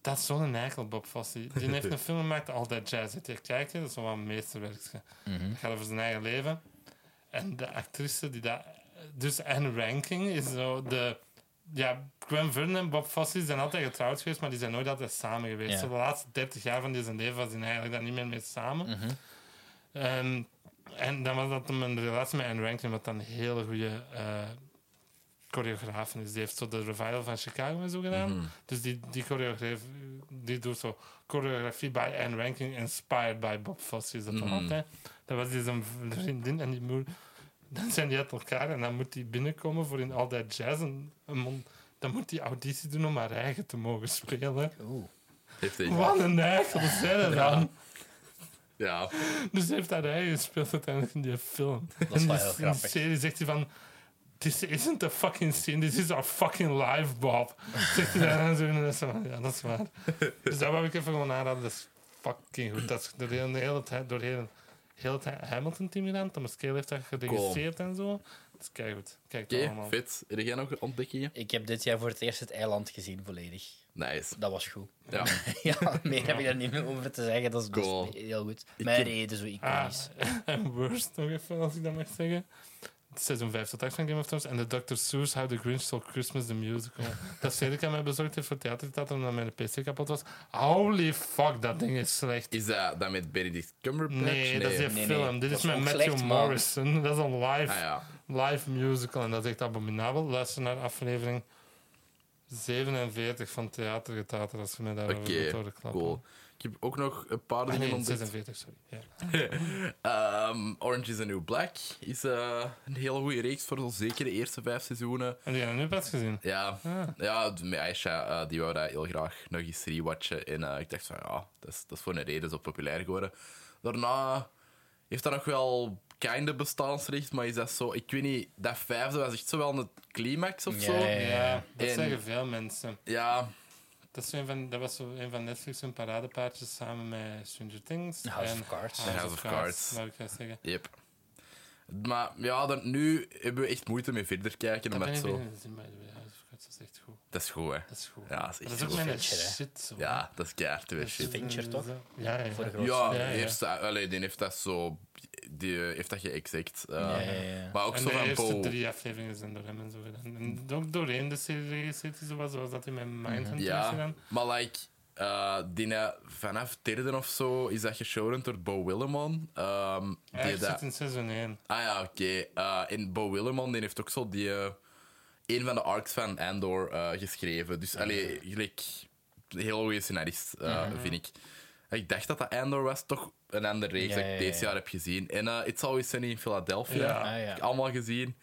[SPEAKER 2] dat is zo'n eikel, Bob Fosse. Die heeft een film gemaakt, All That Jazz. Heb je kijken? Dat is wel een meesterwerk.
[SPEAKER 3] Mhm.
[SPEAKER 2] Het gaat over zijn eigen leven. En de actrice die dat... Dus Anne Ranking is zo de... Ja, Gwen Verdon en Bob Fosse zijn altijd getrouwd geweest, maar die zijn nooit altijd samen geweest.
[SPEAKER 3] Ja.
[SPEAKER 2] Zo de laatste 30 jaar van zijn leven was hij eigenlijk dan niet meer mee samen. En, en dan was dat hem een relatie met Anne Rankin, wat dan een hele goede eh choreograaf is. Die heeft zo de revival van Chicago en zo gedaan. Dus die, die choreograaf die doet zo choreografie bij Anne Rankin, inspired by Bob Fosse. Is dat dan altijd? Dat was dus die zijn vriendin en die moer. Dan zijn die uit elkaar en dan moet die binnenkomen voor in al dat jazz. En, en mon- dan moet die auditie doen om haar eigen te mogen spelen.
[SPEAKER 3] Oeh.
[SPEAKER 1] Heeft hij.
[SPEAKER 2] Wat een eigen, wat zijn dat dan?
[SPEAKER 1] Ja.
[SPEAKER 2] Dus hij heeft haar eigen gespeeld uiteindelijk in die film.
[SPEAKER 3] Dat is
[SPEAKER 2] En
[SPEAKER 3] wel
[SPEAKER 2] die-
[SPEAKER 3] heel
[SPEAKER 2] in
[SPEAKER 3] grappig.
[SPEAKER 2] de serie zegt hij van... This isn't a fucking scene, this is our fucking live, Bob. Zegt hij daar en zo. En dan is hij van, ja, dat is waar. Dus dat wou ik even gewoon aanraden. Dat is fucking goed. Dat is door de hele, de hele tijd... Door de hele, heel het Hamilton-team gedaan. Thomas Cale heeft dat geregisseerd en zo. Dat is keigoed. Kijk
[SPEAKER 1] Oké,
[SPEAKER 2] dat allemaal.
[SPEAKER 1] fit. Heb jij nog ontdekkingen?
[SPEAKER 3] Ik heb dit jaar voor het eerst het eiland gezien, volledig.
[SPEAKER 1] Nice.
[SPEAKER 3] Dat was goed. (laughs)
[SPEAKER 1] Ja.
[SPEAKER 2] (laughs)
[SPEAKER 3] Ja, meer heb ik daar niet meer over te zeggen. Dat is, dat is
[SPEAKER 1] Cool.
[SPEAKER 3] heel goed.
[SPEAKER 1] Ik
[SPEAKER 3] Mijn
[SPEAKER 1] heb-
[SPEAKER 3] reden zo
[SPEAKER 2] Ah,
[SPEAKER 3] iconisch.
[SPEAKER 2] en worst nog even, als ik dat mag zeggen. Seizoen 5 tot 8 van Game of Thrones. En de Dr. Seuss How the Grinch Stole Christmas the
[SPEAKER 3] (laughs)
[SPEAKER 2] Musical. dat Celica mij bezorgd heeft voor theatertheater omdat mijn PC kapot was. Holy fuck, dat ding is slecht.
[SPEAKER 1] Is dat, dat met Benedict Cumberbatch?
[SPEAKER 2] Nee, dat is een
[SPEAKER 3] nee,
[SPEAKER 2] film.
[SPEAKER 3] nee.
[SPEAKER 2] Dit
[SPEAKER 3] Dat
[SPEAKER 2] is
[SPEAKER 3] is
[SPEAKER 2] met
[SPEAKER 3] ook
[SPEAKER 2] Matthew
[SPEAKER 3] slecht, man.
[SPEAKER 2] Morrison. (laughs) Dat is een live,
[SPEAKER 1] Ah ja.
[SPEAKER 2] live musical en dat is echt abominabel. Luister naar de aflevering 47 van Theater Getater, als je mij daarover
[SPEAKER 1] Oké,
[SPEAKER 2] wilt horen klappen.
[SPEAKER 1] Cool. Ik heb ook nog een paar
[SPEAKER 2] Ah,
[SPEAKER 1] dingen
[SPEAKER 2] nee,
[SPEAKER 1] ontdekt.
[SPEAKER 2] 46, sorry. Ja.
[SPEAKER 1] Ehm, Orange is the New Black is eh, een hele goede reeks voor ons, zeker de eerste vijf seizoenen.
[SPEAKER 2] Heb jij dat nu pas gezien?
[SPEAKER 1] Ja,
[SPEAKER 2] Ah.
[SPEAKER 1] ja d- met Aisha, eh, die wou dat heel graag nog eens rewatchen. En eh, ik dacht van, ja, dat is, dat is voor een reden zo populair geworden. Daarna heeft dat nog wel kinder bestaansrecht, maar is dat zo... Ik weet niet, dat vijfde was echt zo wel een climax of zo.
[SPEAKER 3] Ja, ja,
[SPEAKER 2] Ja, dat
[SPEAKER 1] En-
[SPEAKER 2] zeggen veel mensen.
[SPEAKER 1] Ja,
[SPEAKER 2] Dat, is een van, dat was zo een van Netflix' hun paradepaardjes samen met Stranger Things.
[SPEAKER 3] House
[SPEAKER 2] en
[SPEAKER 3] of Cards.
[SPEAKER 1] House of Cards.
[SPEAKER 2] wou ik juist zeggen.
[SPEAKER 1] yep. Maar ja, dan, nu hebben we echt moeite mee verder kijken.
[SPEAKER 2] Dat ben
[SPEAKER 1] omdat
[SPEAKER 2] ik
[SPEAKER 1] zo,
[SPEAKER 2] beginnen te zien, by the way. House of Cards, dat is echt goed.
[SPEAKER 1] dat is goed, hè.
[SPEAKER 2] Dat is goed.
[SPEAKER 1] Ja, dat is
[SPEAKER 2] dat
[SPEAKER 1] echt
[SPEAKER 2] is ook
[SPEAKER 1] goed.
[SPEAKER 2] mijn
[SPEAKER 3] Fincher, hè?
[SPEAKER 2] shit, zo.
[SPEAKER 1] Ja, dat is keihard
[SPEAKER 2] Dat
[SPEAKER 1] weer
[SPEAKER 2] is-
[SPEAKER 1] shit.
[SPEAKER 3] Fincher, toch?
[SPEAKER 2] Ja, ja.
[SPEAKER 3] Voor de grootste.
[SPEAKER 1] Ja,
[SPEAKER 2] Ja, ja.
[SPEAKER 1] eerst, dat- allee, die heeft dat zo... Die eh, heeft dat geëxact. eh,
[SPEAKER 3] Ja, ja, ja.
[SPEAKER 1] Maar ook
[SPEAKER 2] en
[SPEAKER 1] zo
[SPEAKER 2] de
[SPEAKER 1] van,
[SPEAKER 2] eerste
[SPEAKER 1] bo,
[SPEAKER 2] drie afleveringen zijn door hem en zo gedaan. En ook doorheen de serie geregisseerd is, zoals, zoals dat in
[SPEAKER 3] Mhm.
[SPEAKER 2] mijn Mindhunter is
[SPEAKER 1] Ja,
[SPEAKER 2] gedaan.
[SPEAKER 1] maar like, eh, die, eh, vanaf derde of zo is dat geshowrun door Bo Willimon. Ehm, die
[SPEAKER 2] Ja, ik
[SPEAKER 1] dat-
[SPEAKER 2] zit in seizoen 1.
[SPEAKER 1] Ah ja, oké. Eh, en Bo Willimon die heeft ook zo die, eh, een van de arcs van Andor eh, geschreven. Dus allee, gelijk, een heel goede scenarist, eh, vind ik. Ik dacht dat dat Andor was, toch een andere reeks
[SPEAKER 3] Ja,
[SPEAKER 1] dat ik
[SPEAKER 3] ja,
[SPEAKER 1] dit
[SPEAKER 3] ja.
[SPEAKER 1] jaar heb gezien. En eh, It's Always Sunny in Philadelphia,
[SPEAKER 2] Ja.
[SPEAKER 3] Ah, ja.
[SPEAKER 1] heb ik allemaal gezien.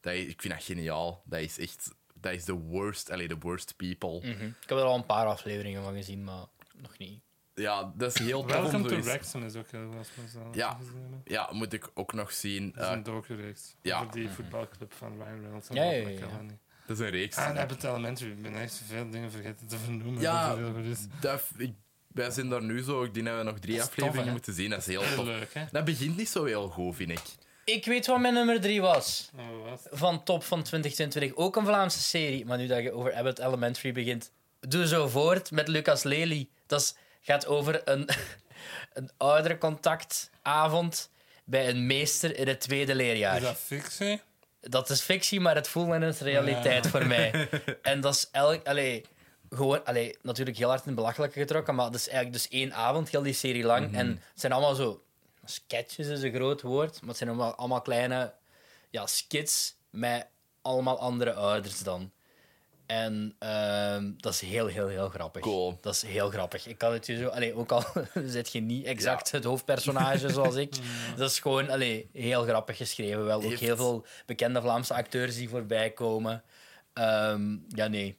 [SPEAKER 1] Dat, is- ik vind dat geniaal. Dat is echt... Dat is the worst, allee, the worst people.
[SPEAKER 3] Mhm. Ik heb er al een paar afleveringen van gezien, maar nog niet.
[SPEAKER 1] Ja, dat is heel tof om
[SPEAKER 2] Welcome to
[SPEAKER 1] zoiets-
[SPEAKER 2] Wrexham is ook heel goed. als we zo
[SPEAKER 1] Ja.
[SPEAKER 2] gezien hebben.
[SPEAKER 1] Ja, moet ik ook nog zien.
[SPEAKER 2] Dat is
[SPEAKER 1] Eh,
[SPEAKER 2] een docu-reeks.
[SPEAKER 1] ja.
[SPEAKER 2] Over die voetbalclub van Ryan Reynolds. en
[SPEAKER 3] Mhm. Ja, ja,
[SPEAKER 2] Rob
[SPEAKER 3] ja, ja.
[SPEAKER 2] McElhenney.
[SPEAKER 1] dat is een reeks.
[SPEAKER 2] Ah, en Abbott Elementary. Ik ben echt veel dingen vergeten te vernoemen.
[SPEAKER 1] Ja.
[SPEAKER 2] Dat is heel goed is.
[SPEAKER 1] Dat- ik- wij zijn daar nu zo. Ik denk dat we nog drie
[SPEAKER 2] Dat is tof,
[SPEAKER 1] afleveringen
[SPEAKER 2] hè?
[SPEAKER 1] moeten zien. Dat is heel
[SPEAKER 2] Heel
[SPEAKER 1] tof.
[SPEAKER 2] leuk, hè?
[SPEAKER 1] Dat begint niet zo heel goed, vind ik.
[SPEAKER 3] Ik weet wat mijn nummer 3 was.
[SPEAKER 2] Oh, wat was het?
[SPEAKER 3] Van top van 2022. Ook een Vlaamse serie. Maar nu dat je over Abbott Elementary begint. Doe zo voort met Lucas Lely. Dat is- gaat over een, (laughs) een oudercontactavond bij een meester in het tweede leerjaar.
[SPEAKER 2] Is dat fictie?
[SPEAKER 3] dat is fictie, maar het voelt net als realiteit voor mij. En dat is elk. Allee, gewoon, allee, natuurlijk heel hard in het belachelijke getrokken, maar dat is eigenlijk dus één avond, heel die serie lang. En het zijn allemaal zo. Sketches is een groot woord, maar het zijn allemaal, allemaal kleine ja, skits met allemaal andere ouders dan. En ehm, dat is heel, heel, heel grappig.
[SPEAKER 1] Cool.
[SPEAKER 3] Dat is heel grappig. Ik kan het je zo... Allee, ook al (laughs) zit je niet exact het hoofdpersonage zoals ik. Dat is gewoon allee, heel grappig geschreven. Wel ook
[SPEAKER 1] Heeft-
[SPEAKER 3] heel veel bekende Vlaamse acteurs die voorbij komen. Ehm, ja, nee.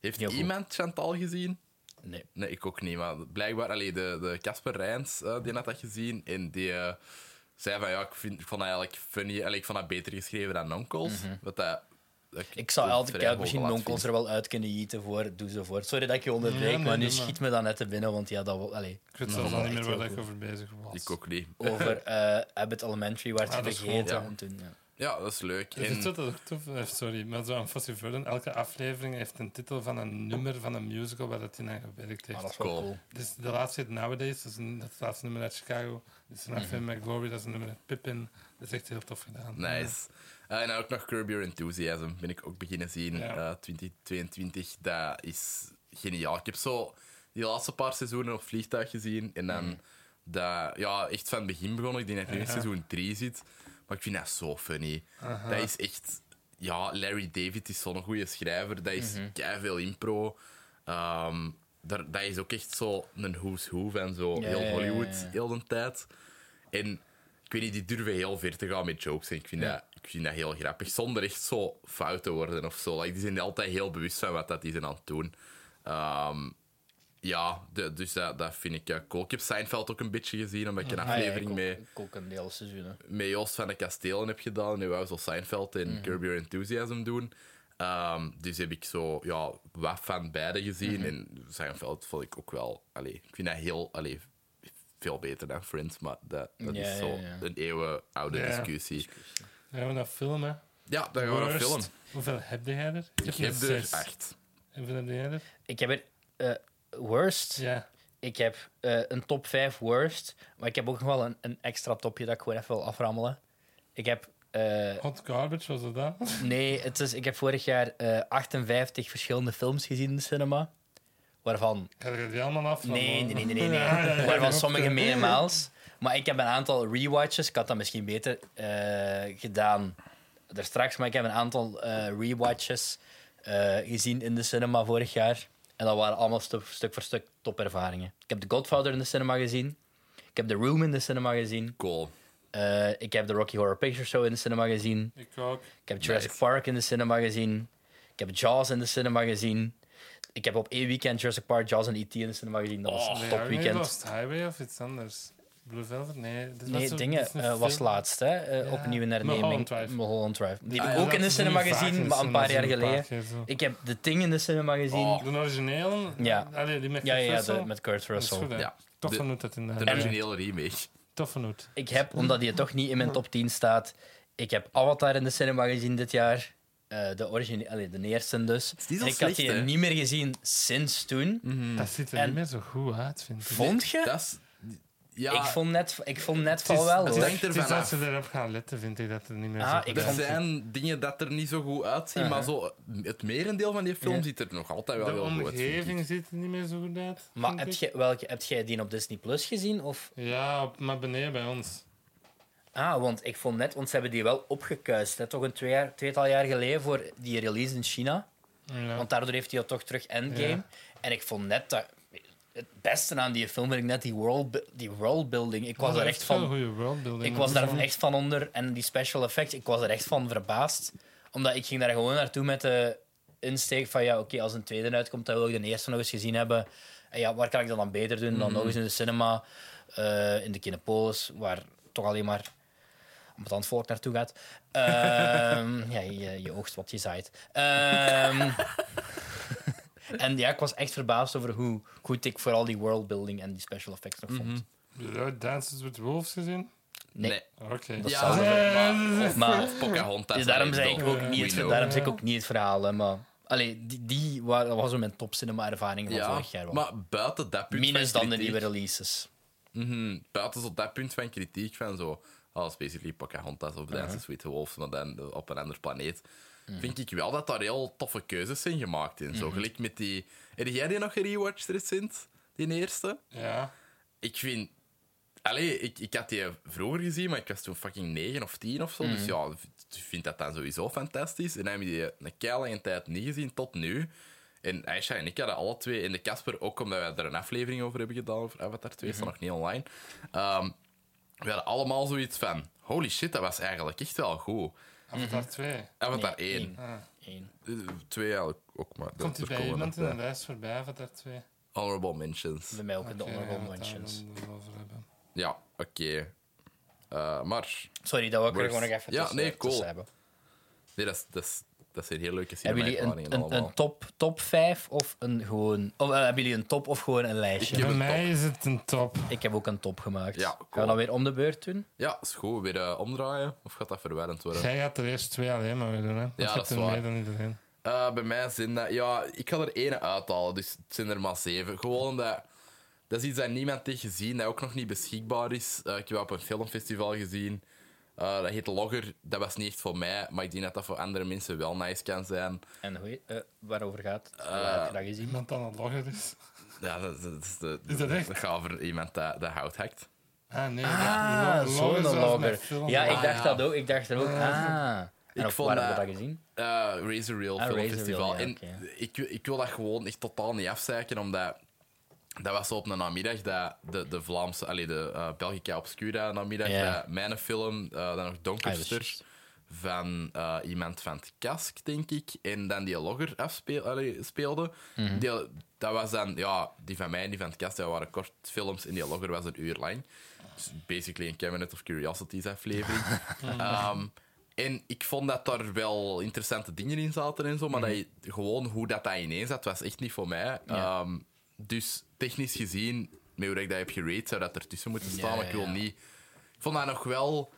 [SPEAKER 1] Heeft
[SPEAKER 3] Heel goed.
[SPEAKER 1] iemand Chantal gezien?
[SPEAKER 3] Nee.
[SPEAKER 1] Nee, ik ook niet. Maar blijkbaar, allee, de de Casper Rijns eh, die had dat gezien. En die eh, zei van ja, ik, vind, ik vond dat eigenlijk funny. Allee, ik vond dat beter geschreven dan Nonkels. Wat dat, dat
[SPEAKER 3] Mhm. Ik zou
[SPEAKER 1] toch
[SPEAKER 3] altijd
[SPEAKER 1] vrij
[SPEAKER 3] kijken, misschien
[SPEAKER 1] hoog laat
[SPEAKER 3] nonkels er
[SPEAKER 1] vinden.
[SPEAKER 3] wel uit kunnen jieten voor. Doe zo voort. Sorry dat ik je onderbreek,
[SPEAKER 2] Ja, nee,
[SPEAKER 3] maar nu
[SPEAKER 2] doe maar.
[SPEAKER 3] schiet me dat net te binnen, want ja, dat wil... Allee,
[SPEAKER 2] Ik weet zelfs al niet meer
[SPEAKER 3] Echt heel
[SPEAKER 2] waar ik
[SPEAKER 3] goed.
[SPEAKER 2] over bezig was.
[SPEAKER 1] Ik ook niet. (laughs)
[SPEAKER 3] over eh Abbott Elementary, waar het
[SPEAKER 2] Ah,
[SPEAKER 3] je
[SPEAKER 2] dat is goed,
[SPEAKER 3] vergeten
[SPEAKER 1] ja.
[SPEAKER 3] om toen... Ja.
[SPEAKER 1] Ja, dat is leuk.
[SPEAKER 2] Is
[SPEAKER 1] En-
[SPEAKER 2] het zo dat ook tof? eh, Sorry, maar zo aan Fossey Verden. Elke aflevering heeft een titel van een nummer van een musical waar dat in aan gewerkt
[SPEAKER 3] Maar
[SPEAKER 2] heeft.
[SPEAKER 3] Ah, dat is wel
[SPEAKER 1] Cool.
[SPEAKER 3] cool.
[SPEAKER 2] Dus de laatste heet Nowadays, dat is, een, dat is het laatste nummer uit Chicago. Dus
[SPEAKER 1] Mhm.
[SPEAKER 2] een aflevering met Glory, dat is een nummer uit Pippin. Dat is echt heel tof gedaan.
[SPEAKER 1] Nice. Eh, en ook nog Curb Your Enthusiasm ben ik ook beginnen zien.
[SPEAKER 2] Ja.
[SPEAKER 1] eh, 2022, dat is geniaal. Ik heb zo die laatste paar seizoenen op vliegtuig gezien. En
[SPEAKER 3] Mhm.
[SPEAKER 1] dan dat, ja, echt van het begin begonnen. Ik denk dat ik nu in
[SPEAKER 2] Ja.
[SPEAKER 1] seizoen 3 zit. Maar ik vind dat zo funny. Dat is echt... Ja, Larry David is zo'n goede schrijver. Dat is
[SPEAKER 3] Mhm.
[SPEAKER 1] veel impro. Ehm, daar, dat is ook echt zo een who's who van zo
[SPEAKER 3] Ja, ja,
[SPEAKER 1] heel
[SPEAKER 3] ja,
[SPEAKER 1] Hollywood,
[SPEAKER 3] ja.
[SPEAKER 1] heel de tijd. En ik weet niet, die durven heel ver te gaan met jokes. En ik vind, dat, ik vind dat heel grappig. Zonder echt zo fout te worden of zo. Like, die zijn altijd heel bewust van wat dat die zijn aan het doen. Ehm, ja, de- dus dat, dat vind ik eh, cool. Ik heb Seinfeld ook een beetje gezien, omdat ik een
[SPEAKER 3] Ah, ja,
[SPEAKER 1] aflevering
[SPEAKER 3] ik ook-
[SPEAKER 1] mee,
[SPEAKER 3] Ik ook een deel seizoen. hè.
[SPEAKER 1] met Joost van de Kastelen heb gedaan. En nu wou zo Seinfeld en
[SPEAKER 3] Mhm.
[SPEAKER 1] Curb Your Enthusiasm doen. Ehm, dus heb ik zo ja, wat van beide gezien.
[SPEAKER 3] Mhm.
[SPEAKER 1] En Seinfeld vond ik ook wel... Allee, ik vind dat heel... Allee, veel beter dan Friends, maar dat, dat
[SPEAKER 3] Ja,
[SPEAKER 1] is zo
[SPEAKER 3] ja, ja.
[SPEAKER 1] een eeuwenoude
[SPEAKER 2] Ja.
[SPEAKER 1] discussie.
[SPEAKER 2] Dan gaan we naar film, hè.
[SPEAKER 1] Ja, dan gaan we naar
[SPEAKER 2] Worst.
[SPEAKER 1] film.
[SPEAKER 2] Hoeveel heb jij er?
[SPEAKER 1] Ik heb er
[SPEAKER 2] zes.
[SPEAKER 1] acht.
[SPEAKER 2] Hoeveel heb jij er?
[SPEAKER 3] Ik heb er eh, worst.
[SPEAKER 2] Ja.
[SPEAKER 3] Ik heb eh, een top 5 worst. Maar ik heb ook nog wel een, een extra topje dat ik gewoon even wil aframmelen. Ik heb. eh,
[SPEAKER 2] Hot Garbage was dat dan?
[SPEAKER 3] nee, het is, ik heb vorig jaar eh, 58 verschillende films gezien in de cinema. Waarvan.
[SPEAKER 2] Ga je die allemaal af?
[SPEAKER 3] Nee, nee,
[SPEAKER 2] (laughs)
[SPEAKER 3] nee, nee, nee.
[SPEAKER 2] eh, Ja, ja, ja,
[SPEAKER 3] waarvan
[SPEAKER 2] klopt,
[SPEAKER 3] sommige
[SPEAKER 2] ja.
[SPEAKER 3] meermaals. Maar ik heb een aantal rewatches. Ik had dat misschien beter eh, gedaan daar straks. Maar ik heb een aantal eh, rewatches eh, gezien in de cinema vorig jaar. En dat waren allemaal stu- stuk voor stuk topervaringen. Ik heb The Godfather in de cinema gezien. Ik heb The Room in de cinema gezien.
[SPEAKER 1] Cool.
[SPEAKER 3] Eh, ik heb The Rocky Horror Picture Show in de cinema gezien.
[SPEAKER 2] Ik ook.
[SPEAKER 3] Ik heb Jurassic Park in de cinema gezien. Ik heb Jaws in de cinema gezien. Ik heb op één weekend Jurassic Park, Jaws en E.T. in de cinema gezien. Dat was een
[SPEAKER 2] Oh, Nee,
[SPEAKER 3] top
[SPEAKER 2] Harry
[SPEAKER 3] Oh, weekend.
[SPEAKER 2] Lost Highway of iets anders? Blue Velvet? Nee. dit was
[SPEAKER 3] Nee,
[SPEAKER 2] zo-
[SPEAKER 3] dingen
[SPEAKER 2] dit is een
[SPEAKER 3] eh, was
[SPEAKER 2] film.
[SPEAKER 3] laatst, hè? eh,
[SPEAKER 2] Ja.
[SPEAKER 3] opnieuw in herneming.
[SPEAKER 2] Mulholland Drive.
[SPEAKER 3] Mulholland Drive. Die
[SPEAKER 1] Ah,
[SPEAKER 3] heb
[SPEAKER 1] ja,
[SPEAKER 3] ik ook in de cinema gezien, maar een paar jaar geleden.
[SPEAKER 2] De
[SPEAKER 3] Ik heb de Ting in de cinema gezien.
[SPEAKER 2] originele?
[SPEAKER 3] Ja.
[SPEAKER 2] Allee, die met
[SPEAKER 3] ja, ja, ja,
[SPEAKER 2] Oh, Russell?
[SPEAKER 3] de- met Kurt
[SPEAKER 2] Dat is
[SPEAKER 3] Russell.
[SPEAKER 2] goed, hè?
[SPEAKER 1] Ja.
[SPEAKER 2] Tof
[SPEAKER 1] De-
[SPEAKER 2] van Hoed dat in de
[SPEAKER 1] De originele remake.
[SPEAKER 2] Tof van Hoed.
[SPEAKER 3] Ik heb, omdat die toch niet in mijn top 10 staat, ik heb Avatar in de cinema gezien dit jaar. Eh, de, origine, allee, de eerste dus.
[SPEAKER 1] is niet zo
[SPEAKER 3] En ik
[SPEAKER 1] slecht,
[SPEAKER 3] had die
[SPEAKER 1] hè?
[SPEAKER 3] niet meer gezien sinds toen.
[SPEAKER 2] Dat ziet er
[SPEAKER 3] Hmm. En-
[SPEAKER 2] niet meer zo goed uit, vind ik.
[SPEAKER 3] Vond je?
[SPEAKER 1] Dat is... Ja,
[SPEAKER 3] Ik vond net, ik vond net
[SPEAKER 2] Het
[SPEAKER 3] van
[SPEAKER 2] is-
[SPEAKER 3] wel.
[SPEAKER 2] het
[SPEAKER 1] het
[SPEAKER 3] hoor.
[SPEAKER 1] hangt
[SPEAKER 2] is
[SPEAKER 1] ervan
[SPEAKER 2] als
[SPEAKER 1] af.
[SPEAKER 2] ze erop gaan letten, vind ik dat er niet meer
[SPEAKER 3] Ah,
[SPEAKER 2] zo
[SPEAKER 3] ik
[SPEAKER 2] goed
[SPEAKER 1] er
[SPEAKER 3] vond- Uh-huh.
[SPEAKER 1] zijn dingen dat er niet zo goed uitzien, maar zo, het merendeel van die film
[SPEAKER 3] Ja.
[SPEAKER 1] ziet er nog altijd wel
[SPEAKER 2] De
[SPEAKER 1] heel goed uit. vind ik.
[SPEAKER 2] omgeving ziet er niet meer zo goed uit.
[SPEAKER 3] Maar
[SPEAKER 2] vind
[SPEAKER 3] heb
[SPEAKER 2] ik.
[SPEAKER 3] jij, welke, heb jij die op Disney Plus gezien? Of?
[SPEAKER 2] Ja, op- maar beneden bij ons.
[SPEAKER 3] Ah, want ik vond net, want ze hebben die wel opgekuist. Hè, toch een twee jaar, tweetal jaar geleden voor die release in China.
[SPEAKER 2] Ja.
[SPEAKER 3] Want daardoor heeft hij dat toch terug endgame.
[SPEAKER 2] Ja.
[SPEAKER 3] En ik vond net dat. Het beste aan die film vind ik net die, world, die worldbuilding. Ik was er echt van.
[SPEAKER 2] goede worldbuilding.
[SPEAKER 3] Ik was
[SPEAKER 2] Dat is
[SPEAKER 3] daar
[SPEAKER 2] wel-
[SPEAKER 3] echt van onder. En die special effects, ik was er echt van verbaasd. Omdat ik ging daar gewoon naartoe met de insteek van... Ja, oké, als een tweede uitkomt, dan wil ik de eerste nog eens gezien hebben. En ja, waar kan ik dat dan beter doen dan nog eens in de cinema? eh, in de Kinepolis, waar toch alleen maar ambetant volk naartoe gaat. Ehm, ja, je, je oogst wat je zaait. Ehm, en ja, ik was echt verbaasd over hoe goed ik vooral die worldbuilding en die special effects nog vond.
[SPEAKER 2] Heb je ooit Dances with Wolves gezien? Ah,
[SPEAKER 3] Nee.
[SPEAKER 1] Nee.
[SPEAKER 2] Oké.
[SPEAKER 3] Dat
[SPEAKER 1] Ja,
[SPEAKER 3] zou-
[SPEAKER 2] Eh,
[SPEAKER 1] maar, of,
[SPEAKER 3] Maar-
[SPEAKER 1] of Pocahontas.
[SPEAKER 3] Dus daarom
[SPEAKER 1] allee,
[SPEAKER 3] zeg ik
[SPEAKER 1] dom.
[SPEAKER 3] ook niet
[SPEAKER 1] We
[SPEAKER 3] het,
[SPEAKER 1] know.
[SPEAKER 3] daarom zeg ik ook niet het verhaal. Hè, maar allee, die, die wa- dat was zo mijn top cinema ervaring van
[SPEAKER 1] Ja,
[SPEAKER 3] vorig jaar. wel.
[SPEAKER 1] maar buiten dat punt
[SPEAKER 3] Minus
[SPEAKER 1] van
[SPEAKER 3] dan de
[SPEAKER 1] kritiek,
[SPEAKER 3] nieuwe releases.
[SPEAKER 1] Mhm, buiten zo dat punt van kritiek van zo... Als basically Pocahontas of Dances
[SPEAKER 3] Uh-huh.
[SPEAKER 1] with the Wolves, maar dan op een ander planeet. Vind ik wel dat daar heel toffe keuzes zijn gemaakt in.
[SPEAKER 3] Uh-huh.
[SPEAKER 1] Zo gelijk met die... Heb jij die nog gerewatcht recent? Die eerste?
[SPEAKER 2] Ja.
[SPEAKER 1] ik vind. Allee, ik, ik had die vroeger gezien, maar ik was toen fucking 9 of 10 of zo. Dus
[SPEAKER 2] Mhm.
[SPEAKER 1] ja, ik vind dat dan sowieso fantastisch. En dan heb je die een keilange tijd niet gezien tot nu. En Aisha en ik hadden alle twee, en de Casper ook, omdat wij er een aflevering over hebben gedaan, over Avatar 2,
[SPEAKER 2] Mhm.
[SPEAKER 1] is dat nog niet online. Ehm, we hadden allemaal zoiets van: holy shit, dat was eigenlijk echt wel goed.
[SPEAKER 2] Avatar
[SPEAKER 3] Mhm.
[SPEAKER 2] 2.
[SPEAKER 1] Avatar
[SPEAKER 3] Nee,
[SPEAKER 1] 1.
[SPEAKER 2] Ah.
[SPEAKER 3] één.
[SPEAKER 1] Eh, 2 eigenlijk ook, maar dat-
[SPEAKER 2] Komt hij
[SPEAKER 1] er
[SPEAKER 2] bij
[SPEAKER 1] komen
[SPEAKER 2] iemand
[SPEAKER 1] nog
[SPEAKER 2] in de
[SPEAKER 1] bij.
[SPEAKER 2] lijst voorbij, Avatar 2?
[SPEAKER 1] Honorable mentions.
[SPEAKER 3] Bij mij ook in de
[SPEAKER 2] Oké,
[SPEAKER 3] honorable
[SPEAKER 2] ja, daar
[SPEAKER 3] mentions.
[SPEAKER 2] moeten we het over hebben.
[SPEAKER 1] Ja, oké. Eh, maar
[SPEAKER 3] Sorry, dat we ik er
[SPEAKER 1] Worst.
[SPEAKER 3] gewoon nog even
[SPEAKER 1] Ja,
[SPEAKER 3] tussen,
[SPEAKER 1] nee, cool.
[SPEAKER 3] tussen hebben.
[SPEAKER 1] Nee, dat is, dat is, dat zijn heel leuke
[SPEAKER 3] Hebben jullie
[SPEAKER 1] cinema-ervaringen
[SPEAKER 3] een, een,
[SPEAKER 1] allemaal.
[SPEAKER 3] een top, top 5 of een gewoon... Of, eh, hebben jullie een top of gewoon een lijstje?
[SPEAKER 1] Ik
[SPEAKER 3] Ik
[SPEAKER 1] heb
[SPEAKER 3] heb,
[SPEAKER 2] Bij
[SPEAKER 1] een
[SPEAKER 2] mij is het een top.
[SPEAKER 3] ook een top gemaakt.
[SPEAKER 1] Ja,
[SPEAKER 3] Gaan
[SPEAKER 1] cool.
[SPEAKER 3] we dan weer om de beurt doen?
[SPEAKER 1] Ja, is goed. Weer eh, omdraaien? Of gaat dat verwarrend worden?
[SPEAKER 2] Jij gaat er eerst twee alleen maar weer doen, hè? Want je
[SPEAKER 1] dat
[SPEAKER 2] hebt
[SPEAKER 1] is
[SPEAKER 2] er
[SPEAKER 1] waar.
[SPEAKER 2] meer dan iedereen.
[SPEAKER 1] Eh, bij mij zijn dat... Ja, ik ga er één uithalen, dus het zijn er maar zeven. Gewoon dat... Dat is iets dat niemand heeft gezien, dat ook nog niet beschikbaar is. Eh, ik heb dat op een filmfestival gezien. Eh, dat heet Logger. Dat was niet echt voor mij, maar ik denk dat dat voor andere mensen wel nice kan zijn.
[SPEAKER 3] En hoe, eh, waarover gaat het? Waar heb je dat gezien?
[SPEAKER 2] Iemand aan het loggen is. (laughs)
[SPEAKER 1] Ja, dat, dat- dat is de...
[SPEAKER 2] Is dat echt?
[SPEAKER 1] Dat gaat over iemand dat, dat hout hakt.
[SPEAKER 2] Ah, nee.
[SPEAKER 3] Ah, zo'n logger. Ja, ik
[SPEAKER 1] Ah,
[SPEAKER 3] dacht
[SPEAKER 1] ja.
[SPEAKER 3] dat ook. Ik dacht er ook. Ah. En op,
[SPEAKER 1] vond
[SPEAKER 3] waar hebben
[SPEAKER 1] dat-
[SPEAKER 3] we dat gezien?
[SPEAKER 1] Eh, Razor Reel
[SPEAKER 3] Ah,
[SPEAKER 1] Filmfestival.
[SPEAKER 3] Razor Reel, ja,
[SPEAKER 1] en
[SPEAKER 3] oké.
[SPEAKER 1] ik, ik wil dat gewoon echt totaal niet afzeiken, omdat dat was zo op een namiddag dat de, de Vlaamse, allee, de eh, Belgica Obscura namiddag,
[SPEAKER 3] Ja.
[SPEAKER 1] dat mijn film, eh dan nog
[SPEAKER 3] Ah, dat
[SPEAKER 1] Donkerster,
[SPEAKER 3] is juist.
[SPEAKER 1] van eh, iemand van het Kask, denk ik, en dan die logger afspeel, allee, speelde.
[SPEAKER 3] Mhm.
[SPEAKER 1] Die, dat was dan, ja, die van mij en die van het Kask, dat waren kort films en die logger was een uur lang. Dus basically een Cabinet of Curiosities
[SPEAKER 3] (laughs)
[SPEAKER 1] aflevering. Ehm, en ik vond dat daar wel interessante dingen in zaten en zo, maar
[SPEAKER 3] Mhm.
[SPEAKER 1] dat je- gewoon hoe dat, dat ineens zat, was echt niet voor mij.
[SPEAKER 3] Ja.
[SPEAKER 1] Ehm, dus technisch gezien, met hoe ik dat heb gerate, zou dat ertussen moeten staan.
[SPEAKER 3] Ja,
[SPEAKER 1] maar ik wil
[SPEAKER 3] ja.
[SPEAKER 1] niet. Ik vond dat nog wel.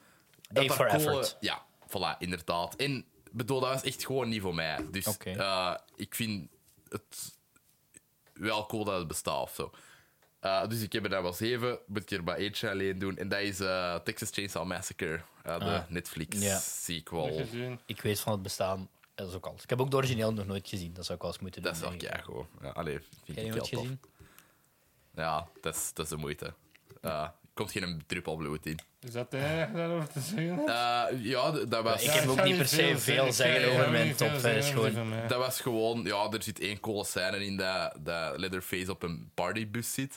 [SPEAKER 3] A
[SPEAKER 1] daar
[SPEAKER 3] for
[SPEAKER 1] coole-
[SPEAKER 3] effort.
[SPEAKER 1] Ja, voilà, inderdaad. En bedoel, dat was echt gewoon niet voor mij. Dus
[SPEAKER 3] Oké.
[SPEAKER 1] eh, ik vind het wel cool dat het bestaat of zo. Eh, dus ik heb er daar wel zeven, moet ik er maar eentje alleen doen. En dat is eh, Texas Chainsaw Massacre, eh, de
[SPEAKER 3] Ah. Ja.
[SPEAKER 1] Netflix-sequel.
[SPEAKER 3] Ik weet van het bestaan. Dat is ook alles. Ik heb ook de origineel nog nooit gezien. Dat zou ik wel eens moeten doen.
[SPEAKER 1] Dat is wel
[SPEAKER 3] denk ik.
[SPEAKER 1] keigoed. Ja, allee, vind ik
[SPEAKER 3] Heb je
[SPEAKER 1] heel
[SPEAKER 3] nooit
[SPEAKER 1] tof.
[SPEAKER 3] gezien?
[SPEAKER 1] Ja, dat is, dat is de moeite. Eh, komt geen druppel bloed in.
[SPEAKER 2] Is dat het enige daarover te zeggen?
[SPEAKER 1] Eh, ja, d- dat was,
[SPEAKER 3] Ik heb
[SPEAKER 2] ga
[SPEAKER 3] ook niet per se veel
[SPEAKER 2] Ik ga-
[SPEAKER 3] zeggen
[SPEAKER 2] ik ga
[SPEAKER 3] over
[SPEAKER 2] ook
[SPEAKER 3] mijn
[SPEAKER 2] niet veel
[SPEAKER 3] top eh,
[SPEAKER 2] zeggen
[SPEAKER 3] vijf,
[SPEAKER 2] over die
[SPEAKER 3] gewoon.
[SPEAKER 2] van mij.
[SPEAKER 1] dat was gewoon... Ja, er zit één coole scène in dat, dat Leatherface op een partybus zit.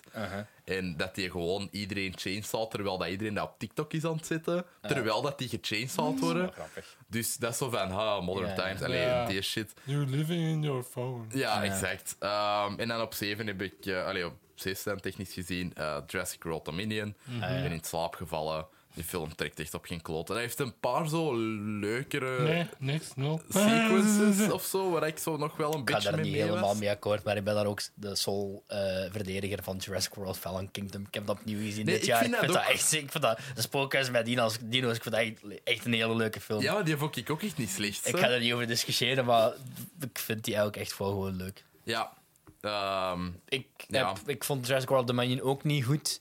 [SPEAKER 1] En dat hij gewoon iedereen chainsawt, terwijl dat iedereen dat op TikTok is aan het zetten. Terwijl dat die gechainsawd worden.
[SPEAKER 3] Ah. Grappig.
[SPEAKER 1] Dus dat is zo van, ha, modern
[SPEAKER 3] Ja, ja.
[SPEAKER 1] times, alleen
[SPEAKER 2] Ja.
[SPEAKER 1] die shit.
[SPEAKER 2] You're living in your phone.
[SPEAKER 1] Ja,
[SPEAKER 3] Ja.
[SPEAKER 1] exact. Ehm, en dan op 7 heb ik, eh allee, op 6 dan technisch gezien, eh, Jurassic World Dominion.
[SPEAKER 3] Mhm.
[SPEAKER 1] Ik ben in slaap gevallen. Die film trekt echt op geen kloot. En hij heeft een paar zo leukere
[SPEAKER 2] Nee, niks,
[SPEAKER 3] (laughs)
[SPEAKER 2] nul.
[SPEAKER 1] sequences of zo, waar ik zo nog wel een
[SPEAKER 3] Ik ga
[SPEAKER 1] beetje
[SPEAKER 3] daar
[SPEAKER 1] mee
[SPEAKER 3] niet
[SPEAKER 1] mee
[SPEAKER 3] helemaal
[SPEAKER 1] was.
[SPEAKER 3] mee akkoord, maar ik ben daar ook de sole eh, verdediger van Jurassic World Fallen Kingdom. Ik heb dat opnieuw gezien
[SPEAKER 1] Nee,
[SPEAKER 3] dit
[SPEAKER 1] ik
[SPEAKER 3] jaar.
[SPEAKER 1] vind
[SPEAKER 3] ik
[SPEAKER 1] dat
[SPEAKER 3] vind dat
[SPEAKER 1] ook-
[SPEAKER 3] echt... Ik vind dat... De spookhuis met dino's, dino's, ik vind dat echt, echt een hele leuke film.
[SPEAKER 1] Ja, maar die vond ik ook echt niet slecht.
[SPEAKER 3] Ik
[SPEAKER 1] hè.
[SPEAKER 3] ga er niet over discussiëren, maar ik vind die eigenlijk echt wel gewoon leuk.
[SPEAKER 1] Ja. Ehm,
[SPEAKER 3] Ik,
[SPEAKER 1] Ja.
[SPEAKER 3] heb, ik vond Jurassic World Dominion ook niet goed.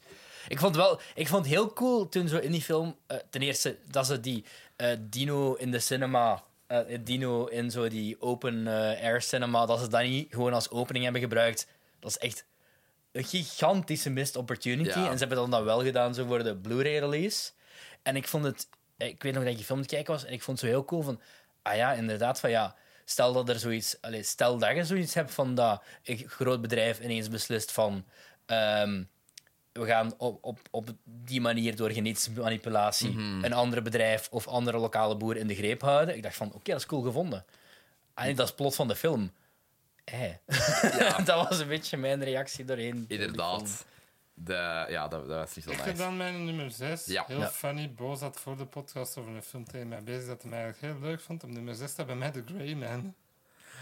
[SPEAKER 3] Ik vond, wel, ik vond het heel cool toen zo in die film... eh, ten eerste dat ze die eh, dino in de cinema... eh, het dino in zo die open-air cinema... Dat ze dat niet gewoon als opening hebben gebruikt. Dat is echt een gigantische missed opportunity.
[SPEAKER 1] Ja.
[SPEAKER 3] En ze hebben dan dat wel gedaan zo voor de Blu-ray release. En ik vond het... eh, Ik weet nog dat ik die film te kijken was en ik vond het zo heel cool van... Ah ja, inderdaad, van ja... Stel dat, er zoiets, allez, stel dat je zoiets hebt van dat een groot bedrijf ineens beslist van... ehm, we gaan op, op, op die manier door genetische manipulatie een ander bedrijf of andere lokale boer in de greep houden. Ik dacht van, oké, dat is cool gevonden. En dat is plot van de film. Eh. (laughs) dat was een beetje mijn reactie doorheen.
[SPEAKER 1] inderdaad. De, ja, dat, dat was niet zo
[SPEAKER 2] Ik heb
[SPEAKER 1] nice.
[SPEAKER 2] dan mijn nummer 6.
[SPEAKER 1] Ja.
[SPEAKER 2] Heel
[SPEAKER 3] Ja.
[SPEAKER 2] funny, boos had voor de podcast over een film tegen mij bezig dat hij mij eigenlijk heel leuk vond. Op nummer 6 staat bij mij The Grey Man.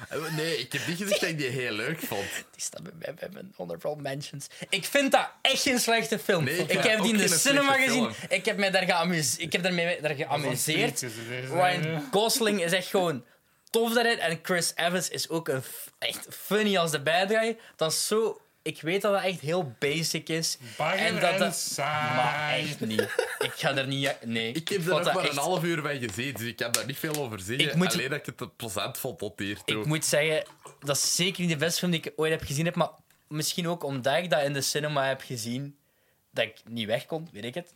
[SPEAKER 1] Eh, Nee, ik heb niet gezegd dat ik die heel leuk vond.
[SPEAKER 3] Die staat bij mij bij mijn honorable mentions. Ik vind dat echt geen slechte film.
[SPEAKER 1] Nee, ik
[SPEAKER 3] ik
[SPEAKER 1] vind
[SPEAKER 3] heb
[SPEAKER 1] dat
[SPEAKER 3] die in
[SPEAKER 1] ook
[SPEAKER 3] de
[SPEAKER 1] geen
[SPEAKER 3] cinema
[SPEAKER 1] slechte
[SPEAKER 3] gezien.
[SPEAKER 1] film.
[SPEAKER 3] Ik heb, mij daar geamuse- ik heb daarmee daar geamuseerd. Oh,
[SPEAKER 2] Dat was een filmpje, deze,
[SPEAKER 3] Ryan
[SPEAKER 2] ja.
[SPEAKER 3] Gosling is echt gewoon tof daarin. En Chris Evans is ook een f- echt funny als de bad guy. Dat is zo... Ik weet dat dat echt heel basic is.
[SPEAKER 2] Bagger en,
[SPEAKER 3] dat dat-
[SPEAKER 2] saai.
[SPEAKER 3] Maar echt niet. Ik ga er niet... Nee,
[SPEAKER 1] Ik heb er
[SPEAKER 3] vond
[SPEAKER 1] ook
[SPEAKER 3] dat
[SPEAKER 1] maar een
[SPEAKER 3] echt-
[SPEAKER 1] half uur bij gezien, dus ik heb daar niet veel over
[SPEAKER 3] Ik
[SPEAKER 1] zeggen.
[SPEAKER 3] moet-
[SPEAKER 1] Alleen dat ik het te plezant vond tot hier toe.
[SPEAKER 3] Ik moet zeggen, dat is zeker niet de beste film die ik ooit heb gezien heb, maar misschien ook omdat ik dat in de cinema heb gezien, dat ik niet weg kon, weet ik het.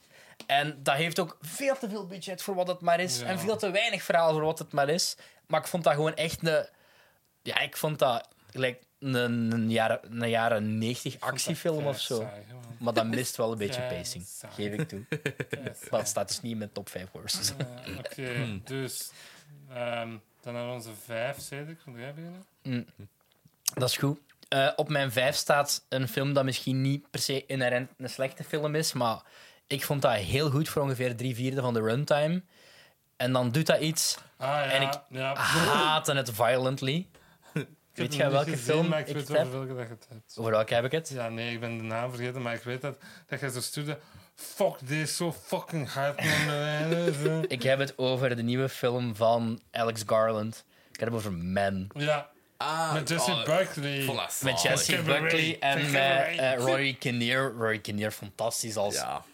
[SPEAKER 3] En dat heeft ook veel te veel budget voor wat het maar is,
[SPEAKER 2] Ja.
[SPEAKER 3] en veel te weinig verhaal voor wat het maar is. Maar ik vond dat gewoon echt een... Ja, ik vond dat gelijk een, een, jaren, een jaren 90 actiefilm of zo.
[SPEAKER 2] Saai, gewoon.
[SPEAKER 3] Maar dat mist wel een
[SPEAKER 2] (laughs)
[SPEAKER 3] beetje
[SPEAKER 2] Kei
[SPEAKER 3] pacing,
[SPEAKER 2] saai.
[SPEAKER 3] geef ik toe. Maar dat staat dus niet in mijn top 5
[SPEAKER 2] (laughs)
[SPEAKER 3] worst.
[SPEAKER 2] Eh, Oké,
[SPEAKER 3] (clears throat) Hmm.
[SPEAKER 2] dus ehm, dan aan onze vijf zeden. Kun jij beginnen?
[SPEAKER 3] Dat is goed. Eh, op mijn vijf staat een film dat misschien niet per se inherent een slechte film is, maar ik vond dat heel goed voor ongeveer drie vierde van de runtime. En dan doet dat iets.
[SPEAKER 2] Ah ja,
[SPEAKER 3] En ik-
[SPEAKER 2] ja.
[SPEAKER 3] Haten het violently.
[SPEAKER 2] Ah. Ik heb hem
[SPEAKER 3] Weet jij
[SPEAKER 2] niet
[SPEAKER 3] welke
[SPEAKER 2] gezien,
[SPEAKER 3] film
[SPEAKER 2] maar ik
[SPEAKER 3] ik
[SPEAKER 2] weet
[SPEAKER 3] het heb?
[SPEAKER 2] over welke dat je het hebt.
[SPEAKER 3] Over welke heb ik het?
[SPEAKER 2] Ja, nee, ik ben de naam vergeten, maar ik weet dat, dat jij zo stuurde. Fuck this, zo fucking hard. man, eh, zo.
[SPEAKER 3] Ik heb het over de nieuwe film van Alex Garland. Ik heb het over Men.
[SPEAKER 2] ja,
[SPEAKER 1] Ah,
[SPEAKER 2] met Jesse
[SPEAKER 1] oh,
[SPEAKER 2] Buckley.
[SPEAKER 1] ik vond dat
[SPEAKER 3] Met
[SPEAKER 1] zalig.
[SPEAKER 3] Jesse
[SPEAKER 2] Cabaret.
[SPEAKER 3] Buckley en
[SPEAKER 2] Cabaret.
[SPEAKER 3] eh, eh, Rory Kinnear. Rory Kinnear, fantastisch als
[SPEAKER 1] Ja.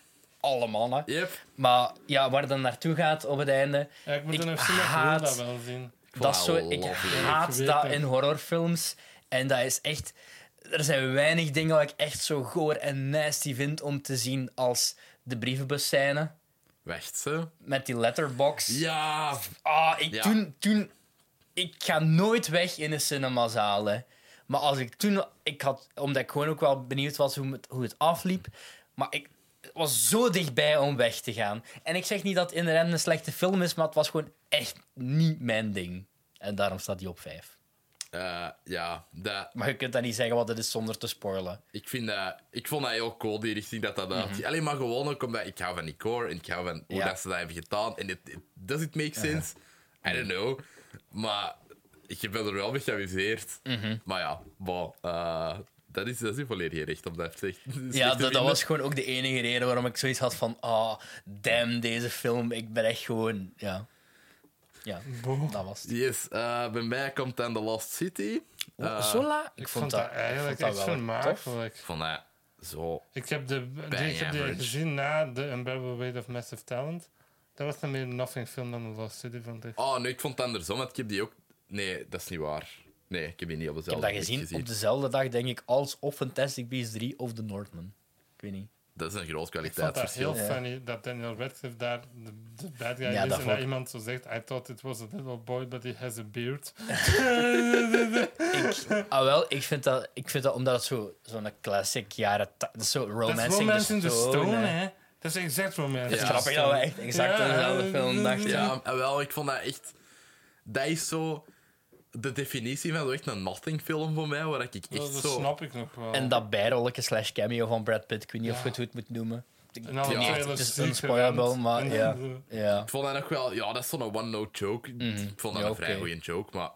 [SPEAKER 3] alle mannen.
[SPEAKER 1] Yep.
[SPEAKER 3] Maar ja, waar dan naartoe gaat op het einde,
[SPEAKER 2] Ja, ik moet
[SPEAKER 3] Ik
[SPEAKER 2] dan nog zien, maar ik wil
[SPEAKER 3] haat-
[SPEAKER 2] dat wel zien.
[SPEAKER 3] Dat is zo,
[SPEAKER 1] Wauw,
[SPEAKER 3] ik
[SPEAKER 1] lovely.
[SPEAKER 2] Ik
[SPEAKER 3] haat
[SPEAKER 2] weet
[SPEAKER 3] dat
[SPEAKER 2] het.
[SPEAKER 3] in horrorfilms. En dat is echt... Er zijn weinig dingen wat ik echt zo goor en nasty vind om te zien als de brievenbusscène
[SPEAKER 1] Wacht ze.
[SPEAKER 3] met die letterbox.
[SPEAKER 1] Ja.
[SPEAKER 3] Ah, ik,
[SPEAKER 1] Ja.
[SPEAKER 3] toen, toen... Ik ga nooit weg in de cinemazaal, hè. Maar als ik toen... Ik had, omdat ik gewoon ook wel benieuwd was hoe het, hoe het afliep. Maar ik het was zo dichtbij om weg te gaan. En ik zeg niet dat het inderdaad een slechte film is, maar het was gewoon echt niet mijn ding. En daarom staat die op 5.
[SPEAKER 1] Eh, ja, dat,
[SPEAKER 3] Maar je kunt dat niet zeggen wat het is zonder te spoilen.
[SPEAKER 1] ik, vind dat, ik vond dat heel cool, die richting dat dat uitging. Alleen maar gewoon ook omdat ik hou van die core en ik hou van hoe
[SPEAKER 3] Mhm. Ja.
[SPEAKER 1] dat ze dat hebben gedaan. En het, het- does it make sense? I don't know. Maar ik ben er wel mee geamuseerd.
[SPEAKER 3] Mhm.
[SPEAKER 1] Maar ja, bon, eh, dat is dat is uw volledige recht om dat te (laughs) Dus
[SPEAKER 3] Ja, dat, dat was gewoon ook de enige reden waarom ik zoiets had van... Ah, damn, deze film. Ik ben echt gewoon... Ja. Ja, dat was het.
[SPEAKER 1] Yes, eh, bij mij komt dan The Lost City. Eh,
[SPEAKER 3] zo laag? Ik,
[SPEAKER 2] Ik vond dat eigenlijk
[SPEAKER 3] vond
[SPEAKER 2] echt
[SPEAKER 3] dat wel tof.
[SPEAKER 2] vermakelijk.
[SPEAKER 1] Ik vond dat zo...
[SPEAKER 2] Ik heb de, die- ik heb die
[SPEAKER 1] average.
[SPEAKER 2] gezien na The Unbearable Weight of Massive Talent. Dat was dan meer een nothing film dan The Lost City, vond ik.
[SPEAKER 1] Oh, nee, ik vond het andersom, want ik heb die ook... Nee, dat is niet waar. Nee, ik heb die niet op
[SPEAKER 3] Ik heb
[SPEAKER 1] dezelfde
[SPEAKER 3] dat
[SPEAKER 1] plek
[SPEAKER 3] gezien op dezelfde dag, denk ik, als of Fantastic Beasts 3 of The Northman. Ik weet niet.
[SPEAKER 1] dat is een groot
[SPEAKER 2] Ik vond dat heel
[SPEAKER 1] kwaliteitsverschil.
[SPEAKER 4] ja.
[SPEAKER 2] funny dat Daniel Radcliffe daar de, de bad guy
[SPEAKER 3] Ja, dat
[SPEAKER 2] is en
[SPEAKER 3] vond
[SPEAKER 2] dat
[SPEAKER 3] ik-
[SPEAKER 2] iemand zo zegt I thought it was a little boy but he has a beard.
[SPEAKER 3] Ik, ah, wel, ik vind dat, ik vind dat omdat het zo- zo'n classic jaren... ta- Dat is zo
[SPEAKER 2] Dat
[SPEAKER 3] romance,
[SPEAKER 2] is Romance in
[SPEAKER 3] de
[SPEAKER 2] the Stone,
[SPEAKER 3] hè.
[SPEAKER 2] hè. Dat is exact Romance
[SPEAKER 1] Ja.
[SPEAKER 2] in the
[SPEAKER 3] Grappig dat we echt exact
[SPEAKER 2] Ja,
[SPEAKER 3] aan dezelfde
[SPEAKER 2] eh,
[SPEAKER 3] film dachten.
[SPEAKER 1] Ja, en wel, ik vond dat echt... Dat is zo... De definitie van zo echt een nothing-film voor mij, waar ik echt
[SPEAKER 2] Dat, dat
[SPEAKER 1] zo...
[SPEAKER 2] snap ik nog wel.
[SPEAKER 3] En dat bijrolletje slash cameo van Brad Pitt, ik weet niet of je het goed moet noemen. Ik
[SPEAKER 2] En alle
[SPEAKER 1] Ja,
[SPEAKER 3] echt,
[SPEAKER 2] trailers
[SPEAKER 3] het is
[SPEAKER 2] die
[SPEAKER 3] een spoilable,
[SPEAKER 2] gerend.
[SPEAKER 3] maar
[SPEAKER 2] En
[SPEAKER 3] ja.
[SPEAKER 2] dan zo.
[SPEAKER 3] Ja.
[SPEAKER 1] Ik vond dat nog wel... Ja, dat is zo'n one-note joke. Ik vond dat
[SPEAKER 3] Mhm. Ja,
[SPEAKER 1] een vrij
[SPEAKER 3] oké.
[SPEAKER 1] goede joke, maar...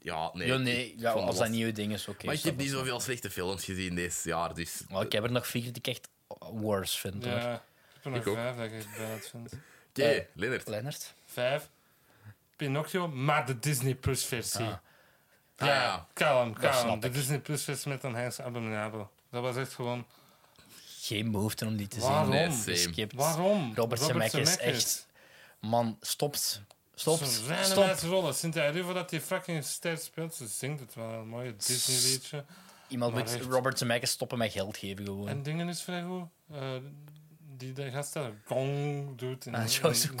[SPEAKER 1] Ja, nee.
[SPEAKER 3] Ja,
[SPEAKER 1] ik
[SPEAKER 3] nee,
[SPEAKER 1] vond
[SPEAKER 3] ja,
[SPEAKER 1] dat
[SPEAKER 3] als dat
[SPEAKER 1] lastig.
[SPEAKER 3] nieuwe ding is, oké.
[SPEAKER 1] Maar ik
[SPEAKER 3] snap
[SPEAKER 1] heb niet
[SPEAKER 3] ik.
[SPEAKER 1] zoveel slechte films gezien dit jaar, dus...
[SPEAKER 3] Maar ik heb er nog vier die ik echt worse vind, hoor.
[SPEAKER 2] Ja, ik heb er
[SPEAKER 1] Ik
[SPEAKER 2] nog
[SPEAKER 1] ook.
[SPEAKER 2] vijf dat ik echt bad vind.
[SPEAKER 1] Oké,
[SPEAKER 3] Eh,
[SPEAKER 1] Leonard.
[SPEAKER 3] Lennart?
[SPEAKER 2] Vijf. Pinocchio, maar de Disney Plus versie.
[SPEAKER 3] Ah.
[SPEAKER 1] Ah,
[SPEAKER 2] Ja,
[SPEAKER 1] ja.
[SPEAKER 2] kalm, kalm.
[SPEAKER 3] snap
[SPEAKER 2] De
[SPEAKER 3] ik.
[SPEAKER 2] Disney Plus versie met een Hans Abominable. Dat was echt gewoon...
[SPEAKER 3] Geen behoefte om die te
[SPEAKER 2] Waarom?
[SPEAKER 1] Nee,
[SPEAKER 3] zien.
[SPEAKER 1] same.
[SPEAKER 3] Geskipt.
[SPEAKER 2] Waarom?
[SPEAKER 3] Robert Zemeckis is echt... Man, stopt. Stopt.
[SPEAKER 2] Zo'n kleine
[SPEAKER 3] Stopt.
[SPEAKER 2] meisje rollen. Sint Rivo dat die fucking ster speelt, ze zingt het wel. Een mooie Disney-liedje.
[SPEAKER 3] Iemand
[SPEAKER 2] Maar
[SPEAKER 3] moet
[SPEAKER 2] echt.
[SPEAKER 3] Robert Zemeckis stoppen met geld geven,
[SPEAKER 2] En
[SPEAKER 3] gewoon.
[SPEAKER 2] dingen is vrij goed. Eh, die de gast daar gong doet. in-
[SPEAKER 3] Ah, Joseph
[SPEAKER 2] in-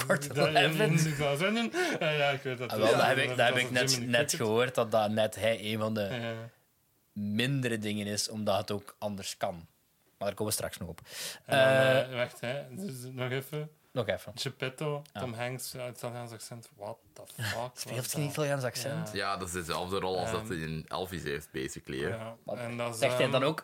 [SPEAKER 2] in-
[SPEAKER 3] Gordon-Levitt.
[SPEAKER 2] in- in- in- in- Eh, Ja, ik weet dat.
[SPEAKER 3] Ah, wel,
[SPEAKER 2] Ja,
[SPEAKER 3] dat heb ik, dat heb
[SPEAKER 2] was
[SPEAKER 3] ik
[SPEAKER 2] op
[SPEAKER 3] net,
[SPEAKER 2] Jiminy
[SPEAKER 3] net
[SPEAKER 2] Cricket.
[SPEAKER 3] gehoord, dat dat net hij een van de
[SPEAKER 2] Ja, ja.
[SPEAKER 3] mindere dingen is, omdat het ook anders kan. Maar daar komen we straks nog op.
[SPEAKER 2] En
[SPEAKER 3] Eh,
[SPEAKER 2] dan, eh, wacht, hè. Dus nog even.
[SPEAKER 3] nog even.
[SPEAKER 2] Geppetto,
[SPEAKER 3] Ja.
[SPEAKER 2] Tom Hanks, uh, Italiaans accent. What the
[SPEAKER 3] (laughs)
[SPEAKER 2] fuck?
[SPEAKER 3] Speelt hij
[SPEAKER 2] hij
[SPEAKER 3] niet Italiaans accent?
[SPEAKER 1] Ja, dat is dezelfde rol als dat
[SPEAKER 2] Ehm,
[SPEAKER 1] hij in Elvis heeft, basically. hè.
[SPEAKER 2] Ja, en dat is,
[SPEAKER 3] Zegt hij
[SPEAKER 2] ehm,
[SPEAKER 3] dan ook...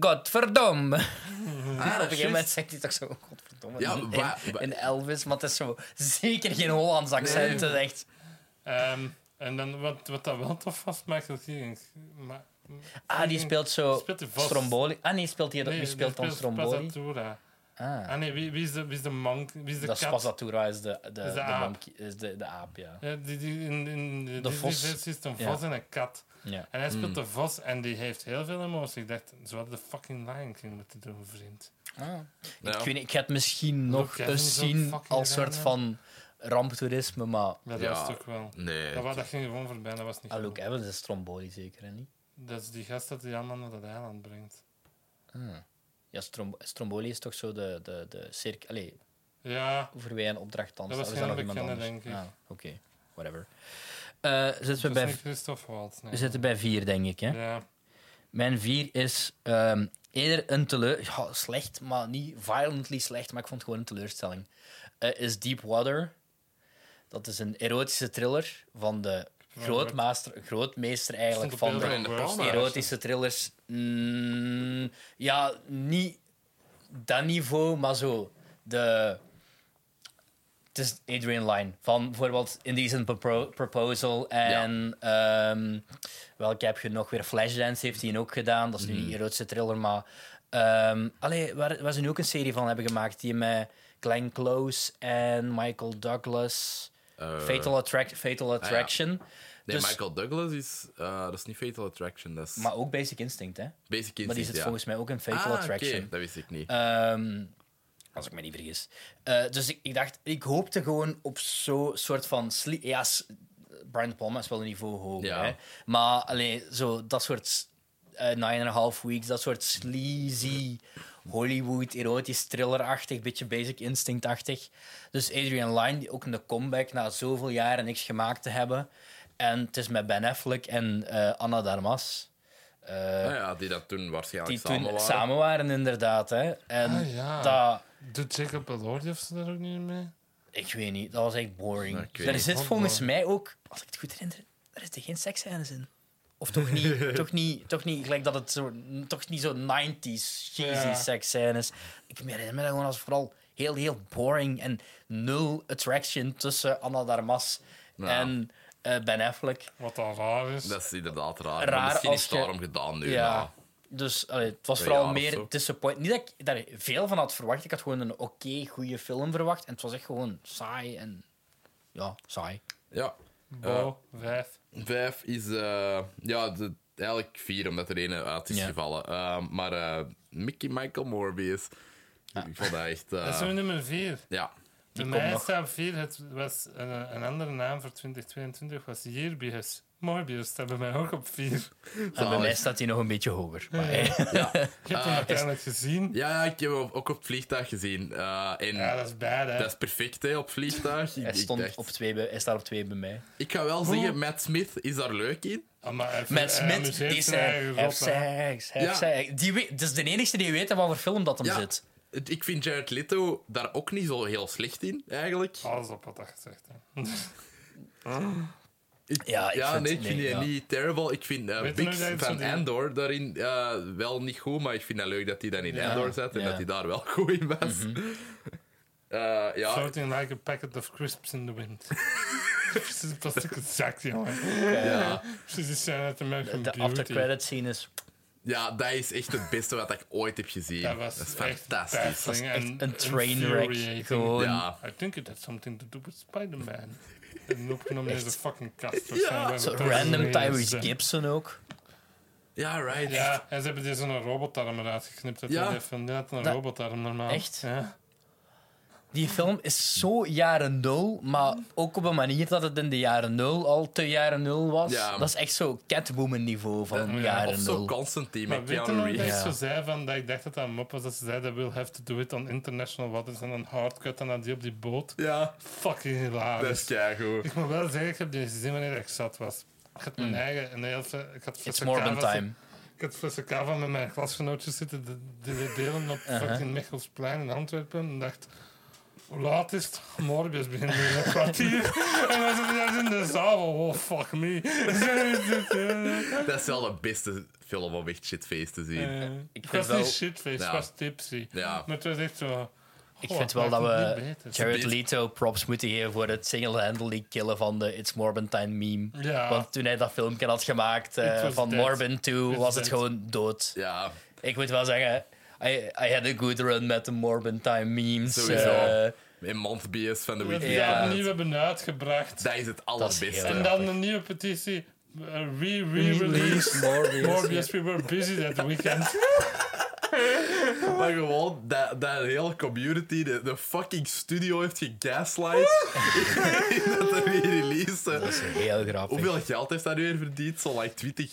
[SPEAKER 3] Godverdomme! (laughs) Op
[SPEAKER 1] Ah,
[SPEAKER 3] een
[SPEAKER 1] dat is
[SPEAKER 3] gegeven moment
[SPEAKER 1] juist.
[SPEAKER 3] zegt hij toch zo... Godverdomme.
[SPEAKER 1] Ja,
[SPEAKER 3] in,
[SPEAKER 1] wa-
[SPEAKER 3] in-
[SPEAKER 1] wa-
[SPEAKER 3] in Elvis, maar het is zo... Zeker geen Hollands accent.
[SPEAKER 1] Nee.
[SPEAKER 3] Het is echt...
[SPEAKER 2] Ehm, en dan wat, wat dat wel tof was, Michael Keegan. Ma
[SPEAKER 3] Ah, die speelt zo
[SPEAKER 2] Speelt hij vast?
[SPEAKER 3] stromboli. Ah nee, speelt hij dat? Wie speelt dan
[SPEAKER 2] die
[SPEAKER 3] stromboli?
[SPEAKER 2] Spazzatura.
[SPEAKER 3] Ah,
[SPEAKER 2] Ah nee, wie, wie, is de, wie is de monk? Wie is de
[SPEAKER 3] dat is
[SPEAKER 2] kat?
[SPEAKER 3] Spazzatura, is de, de,
[SPEAKER 2] Is
[SPEAKER 3] de,
[SPEAKER 2] de aap.
[SPEAKER 3] monkey- is de, de aap, ja.
[SPEAKER 2] Ja, die, die, in, in de,
[SPEAKER 3] De
[SPEAKER 2] Disney
[SPEAKER 3] vos.
[SPEAKER 2] versie is het een
[SPEAKER 3] Ja. Mm.
[SPEAKER 2] vos en een kat.
[SPEAKER 3] ja.
[SPEAKER 2] En hij speelt de vos en die heeft heel veel emotie. Ik dacht, zo had de fucking Lion King moeten doen, vriend.
[SPEAKER 3] Ah.
[SPEAKER 1] Ja.
[SPEAKER 3] Ik, weet, niet, ik ga het misschien nog
[SPEAKER 2] Kevin
[SPEAKER 3] eens
[SPEAKER 2] is ook
[SPEAKER 3] zien
[SPEAKER 2] fucking
[SPEAKER 3] als soort
[SPEAKER 2] raar,
[SPEAKER 3] van ramptoerisme, maar...
[SPEAKER 2] Maar dat
[SPEAKER 1] Ja.
[SPEAKER 2] was toch wel...
[SPEAKER 1] Nee.
[SPEAKER 2] Dat, wa- dat ging gewoon voorbij, dat was niet
[SPEAKER 3] Ah,
[SPEAKER 2] goed.
[SPEAKER 3] Luke Evans is stromboli zeker, hè, niet?
[SPEAKER 2] Dat is die gast dat die allemaal naar dat eiland brengt.
[SPEAKER 3] Ah. Ja, strom stromboli is toch zo de, de, de cirkel... Allee,
[SPEAKER 2] Ja,
[SPEAKER 3] voor wie een opdracht danst.
[SPEAKER 2] Dat was
[SPEAKER 3] of is dat nog
[SPEAKER 2] geen
[SPEAKER 3] iemand
[SPEAKER 2] bekende,
[SPEAKER 3] anders?
[SPEAKER 2] denk ik.
[SPEAKER 3] Ah, oké. Whatever. Eh, zitten we,
[SPEAKER 2] dat is niet
[SPEAKER 3] bij,
[SPEAKER 2] Christophe Waltz. nee.
[SPEAKER 3] we zitten bij vier, denk ik, hè?
[SPEAKER 2] Ja.
[SPEAKER 3] Mijn vier is ehm, eerder een teleur... Ja, slecht, maar niet violently slecht, maar ik vond het gewoon een teleurstelling. Eh, is Deep Water. Dat is een erotische thriller van de grootmeester, grootmeester eigenlijk
[SPEAKER 2] Oh, Stond op
[SPEAKER 3] van de
[SPEAKER 1] in de
[SPEAKER 2] World.
[SPEAKER 1] palm.
[SPEAKER 3] erotische thrillers. mm, ja, niet dat niveau, maar zo de... Het is Adrian Lyne van bijvoorbeeld Indecent Propo- Proposal en ehm, welke heb je nog weer? Flashdance heeft hij ook gedaan. Dat is nu
[SPEAKER 1] Mhm.
[SPEAKER 3] niet een erotische thriller, maar... ehm allee, waar, waar ze nu ook een serie van hebben gemaakt, die met Glenn Close en Michael Douglas...
[SPEAKER 1] Eh, Ah,
[SPEAKER 3] Fatal, Attract- Fatal Attraction.
[SPEAKER 1] Nee,
[SPEAKER 3] dus-
[SPEAKER 1] Michael Douglas is... eh, dat is niet Fatal Attraction, dat is
[SPEAKER 3] Maar ook Basic Instinct, hè?
[SPEAKER 1] Basic Instinct,
[SPEAKER 3] maar die zit
[SPEAKER 1] ja.
[SPEAKER 3] volgens mij ook in
[SPEAKER 1] Ah,
[SPEAKER 3] Fatal
[SPEAKER 1] oké,
[SPEAKER 3] Attraction.
[SPEAKER 1] dat wist ik niet.
[SPEAKER 3] Ehm, als ik me niet vergis. Eh, dus ik, ik dacht, ik hoopte gewoon op zo'n soort van. sli- Ja, s- Brian De Palma is wel een niveau hoger.
[SPEAKER 1] Ja.
[SPEAKER 3] Hè? Maar alleen zo dat soort. eh nine and a half weeks, dat soort sleazy Hollywood, erotisch thrillerachtig, beetje basic instinct-achtig. Dus Adrian Lyne, die ook een comeback na zoveel jaren niks gemaakt te hebben. En het is met Ben Affleck en eh, Anna Darmas. eh,
[SPEAKER 1] Nou ja, die dat toen waarschijnlijk
[SPEAKER 3] die toen
[SPEAKER 1] samen waren.
[SPEAKER 3] samen waren, inderdaad. Hè. En
[SPEAKER 2] Ah, ja.
[SPEAKER 3] dat,
[SPEAKER 2] Doet Jacob Elordi of ze daar ook niet mee?
[SPEAKER 3] ik weet niet, dat was echt boring.
[SPEAKER 1] Ja, ik weet
[SPEAKER 3] er
[SPEAKER 1] niet.
[SPEAKER 3] zit
[SPEAKER 2] Vond
[SPEAKER 3] volgens
[SPEAKER 2] boring.
[SPEAKER 3] mij ook, als ik het goed herinner, er is er geen seksscènes in. Of toch
[SPEAKER 2] (laughs)
[SPEAKER 3] niet, toch niet, toch niet gelijk dat het zo, toch niet zo 90s cheesy
[SPEAKER 2] Ja.
[SPEAKER 3] seksscènes. Ik herinner me dat gewoon als vooral heel, heel boring en nul attraction tussen Anna Darmas
[SPEAKER 1] Ja.
[SPEAKER 3] en eh, Ben Affleck.
[SPEAKER 2] Wat al raar is.
[SPEAKER 1] Dat is inderdaad raar. maar
[SPEAKER 3] Raar
[SPEAKER 1] misschien
[SPEAKER 3] als
[SPEAKER 1] is het
[SPEAKER 3] je-
[SPEAKER 1] daarom gedaan nu.
[SPEAKER 3] Ja.
[SPEAKER 1] Ja.
[SPEAKER 3] Dus allee, het was
[SPEAKER 1] Twee
[SPEAKER 3] vooral
[SPEAKER 1] jaar of
[SPEAKER 3] meer
[SPEAKER 1] zo.
[SPEAKER 3] disappoint. Niet dat ik daar veel van had verwacht. Ik had gewoon een oké, goede film verwacht. En het was echt gewoon saai en... Ja, saai.
[SPEAKER 1] ja.
[SPEAKER 2] Bo, vijf.
[SPEAKER 1] Vijf is... eh, ja, de- eigenlijk vier, omdat er ene uit is
[SPEAKER 3] Ja.
[SPEAKER 1] gevallen. Eh, maar eh, Mickey Michael Morbius... Ik vond dat echt... eh,
[SPEAKER 2] Dat is mijn nummer vier.
[SPEAKER 1] ja.
[SPEAKER 2] Bij
[SPEAKER 3] komt
[SPEAKER 2] mij
[SPEAKER 3] nog.
[SPEAKER 2] staat vier. Het was een, een andere naam voor 2022 was Yearbeers. Morbius staat bij mij ook op 4.
[SPEAKER 3] En bij mij staat hij nog een beetje hoger.
[SPEAKER 1] (laughs)
[SPEAKER 2] Je
[SPEAKER 3] Maar,
[SPEAKER 2] hebt hem
[SPEAKER 1] Ah,
[SPEAKER 2] uiteindelijk gezien. Ja.
[SPEAKER 1] Ja, ik heb hem ook op het vliegtuig gezien. Eh, en
[SPEAKER 2] dat is bad, hè.
[SPEAKER 1] dat is perfect, hè, op het vliegtuig.
[SPEAKER 3] hij,
[SPEAKER 1] Ik,
[SPEAKER 3] stond
[SPEAKER 1] ik, dacht-
[SPEAKER 3] op Oh. twee bij, hij staat op twee bij mij.
[SPEAKER 1] ik ga wel zeggen, Matt Smith is daar leuk in.
[SPEAKER 2] Ah, maar hij- hij
[SPEAKER 3] Met Smith,
[SPEAKER 2] amuseert
[SPEAKER 3] die
[SPEAKER 2] zijn eigen
[SPEAKER 3] zei... Have
[SPEAKER 2] rot, hè.
[SPEAKER 3] sex, have
[SPEAKER 1] Ja.
[SPEAKER 3] sex. Die weet, dat is de enige die weet in wat voor film dat hem
[SPEAKER 1] Ja.
[SPEAKER 3] zit.
[SPEAKER 1] Het- Ik vind Jared Leto daar ook niet zo heel slecht in, eigenlijk.
[SPEAKER 2] Alles op wat dat gezegd hè.
[SPEAKER 1] Ik-
[SPEAKER 3] Ja, ik vind-
[SPEAKER 1] nee, ik vind
[SPEAKER 3] nee,
[SPEAKER 1] die
[SPEAKER 3] ja.
[SPEAKER 1] niet terrible. Ik vind eh,
[SPEAKER 2] Weet je nog dat
[SPEAKER 1] Bix
[SPEAKER 2] hij
[SPEAKER 1] van
[SPEAKER 2] zo die-
[SPEAKER 1] Andor daarin eh, wel niet goed, maar ik vind dat leuk dat hij dan in
[SPEAKER 2] Ja.
[SPEAKER 1] Andor zat en
[SPEAKER 3] Ja. Mhm.
[SPEAKER 1] dat hij daar wel (laughs) goed in was. (laughs) Eh, ja,
[SPEAKER 2] Floating like a packet of crisps in the wind. (laughs) Precies een plastic zak, jongen.
[SPEAKER 1] ja.
[SPEAKER 2] Precies die scène uit American
[SPEAKER 3] De
[SPEAKER 2] Beauty.
[SPEAKER 3] aftercredit scene is
[SPEAKER 1] ja, dat is echt het beste wat ik ooit heb gezien.
[SPEAKER 2] Dat was
[SPEAKER 1] is
[SPEAKER 2] echt
[SPEAKER 1] fantastisch.
[SPEAKER 2] baffling en
[SPEAKER 3] een trainwreck.
[SPEAKER 2] infuriating.
[SPEAKER 3] Gewoon.
[SPEAKER 1] Ja.
[SPEAKER 2] I think it had something to do with
[SPEAKER 1] (laughs)
[SPEAKER 2] Spider-Man. En opgenomen in de fucking kast. of
[SPEAKER 1] Ja,
[SPEAKER 2] zo, waar
[SPEAKER 3] Zo
[SPEAKER 2] we thuis
[SPEAKER 3] random
[SPEAKER 2] mee
[SPEAKER 3] Tyrese
[SPEAKER 2] zijn.
[SPEAKER 3] Gibson ook.
[SPEAKER 1] Ja, right.
[SPEAKER 2] eh, Ja, en ze hebben dus een robotarm eruit geknipt. uit
[SPEAKER 1] Ja.
[SPEAKER 2] die film. Die had een
[SPEAKER 3] Dat-
[SPEAKER 2] robotarm normaal.
[SPEAKER 3] Echt?
[SPEAKER 2] Ja.
[SPEAKER 3] Die film is zo jaren nul, maar ook op een manier dat het in de jaren nul al te jaren nul was.
[SPEAKER 1] Ja, maar-
[SPEAKER 3] Dat is echt zo Catwoman niveau van
[SPEAKER 2] Ja,
[SPEAKER 1] Of
[SPEAKER 3] jaren
[SPEAKER 1] zo
[SPEAKER 3] nul.
[SPEAKER 1] Constantine
[SPEAKER 2] Maar
[SPEAKER 1] met
[SPEAKER 2] weet je
[SPEAKER 1] Keanu
[SPEAKER 2] nog dat ik
[SPEAKER 1] Reeves.
[SPEAKER 2] zo zei van, dat ik dacht dat dat een mop was, dat ze zeiden we'll have to do it on international waters en dan hardcut en dan die op die boot.
[SPEAKER 1] Ja,
[SPEAKER 2] Fucking
[SPEAKER 1] dat
[SPEAKER 2] hilarisch.
[SPEAKER 1] is keigoed.
[SPEAKER 2] (laughs) Ik moet wel zeggen, ik heb deze gezien wanneer ik zat was. Ik had mijn eigen... Een heel, fle- ik had
[SPEAKER 3] Mm. It's
[SPEAKER 2] flessen
[SPEAKER 3] Morbin
[SPEAKER 2] kava-
[SPEAKER 3] time.
[SPEAKER 2] Ik had flessen kava met mijn klasgenootjes zitten de, de delen op fucking Michelsplein in Antwerpen. En dacht, hoe laat is het? Morbius begint nu in een
[SPEAKER 1] (laughs)
[SPEAKER 2] kwartier. en dan zitten we in de zaal van, oh fuck me.
[SPEAKER 1] Dat is wel de beste film om echt shitface te zien.
[SPEAKER 2] ik, Eh,
[SPEAKER 3] vind
[SPEAKER 2] was
[SPEAKER 3] wel-
[SPEAKER 2] niet shitface,
[SPEAKER 1] Ja.
[SPEAKER 2] ik was tipsy.
[SPEAKER 1] Ja.
[SPEAKER 2] Maar het was echt zo...
[SPEAKER 3] Ik
[SPEAKER 2] oh,
[SPEAKER 3] vind wel dat
[SPEAKER 2] maakt het
[SPEAKER 3] we
[SPEAKER 2] niet beter.
[SPEAKER 3] Jared
[SPEAKER 1] Dit-
[SPEAKER 3] Leto props moeten geven voor het single-handedly killen van de It's Morbin time meme.
[SPEAKER 2] Ja.
[SPEAKER 3] Want toen hij dat filmpje had gemaakt eh,
[SPEAKER 2] It was
[SPEAKER 3] van
[SPEAKER 2] dead.
[SPEAKER 3] Morbin 2,
[SPEAKER 2] It's
[SPEAKER 3] was het
[SPEAKER 2] dead.
[SPEAKER 3] gewoon dood.
[SPEAKER 1] Ja,
[SPEAKER 3] Ik moet wel zeggen, I, I had a good run met de Morbin time memes.
[SPEAKER 1] Sowieso.
[SPEAKER 3] eh,
[SPEAKER 1] in Montbias van de
[SPEAKER 2] Dat
[SPEAKER 1] Weekend.
[SPEAKER 2] we
[SPEAKER 3] Ja.
[SPEAKER 2] dat opnieuw hebben uitgebracht.
[SPEAKER 1] Dat is het allerbeste.
[SPEAKER 3] heel
[SPEAKER 2] En
[SPEAKER 3] erg.
[SPEAKER 2] dan een nieuwe petitie. eh, re- Re-release.
[SPEAKER 3] Morbius.
[SPEAKER 2] Morbius, we were busy that weekend.
[SPEAKER 1] Maar gewoon, dat, dat hele community, de, de fucking studio heeft gegaslight. (laughs) in dat er weer release.
[SPEAKER 3] Dat is heel grappig.
[SPEAKER 1] Hoeveel geld heeft dat nu weer verdiend? Zo'n like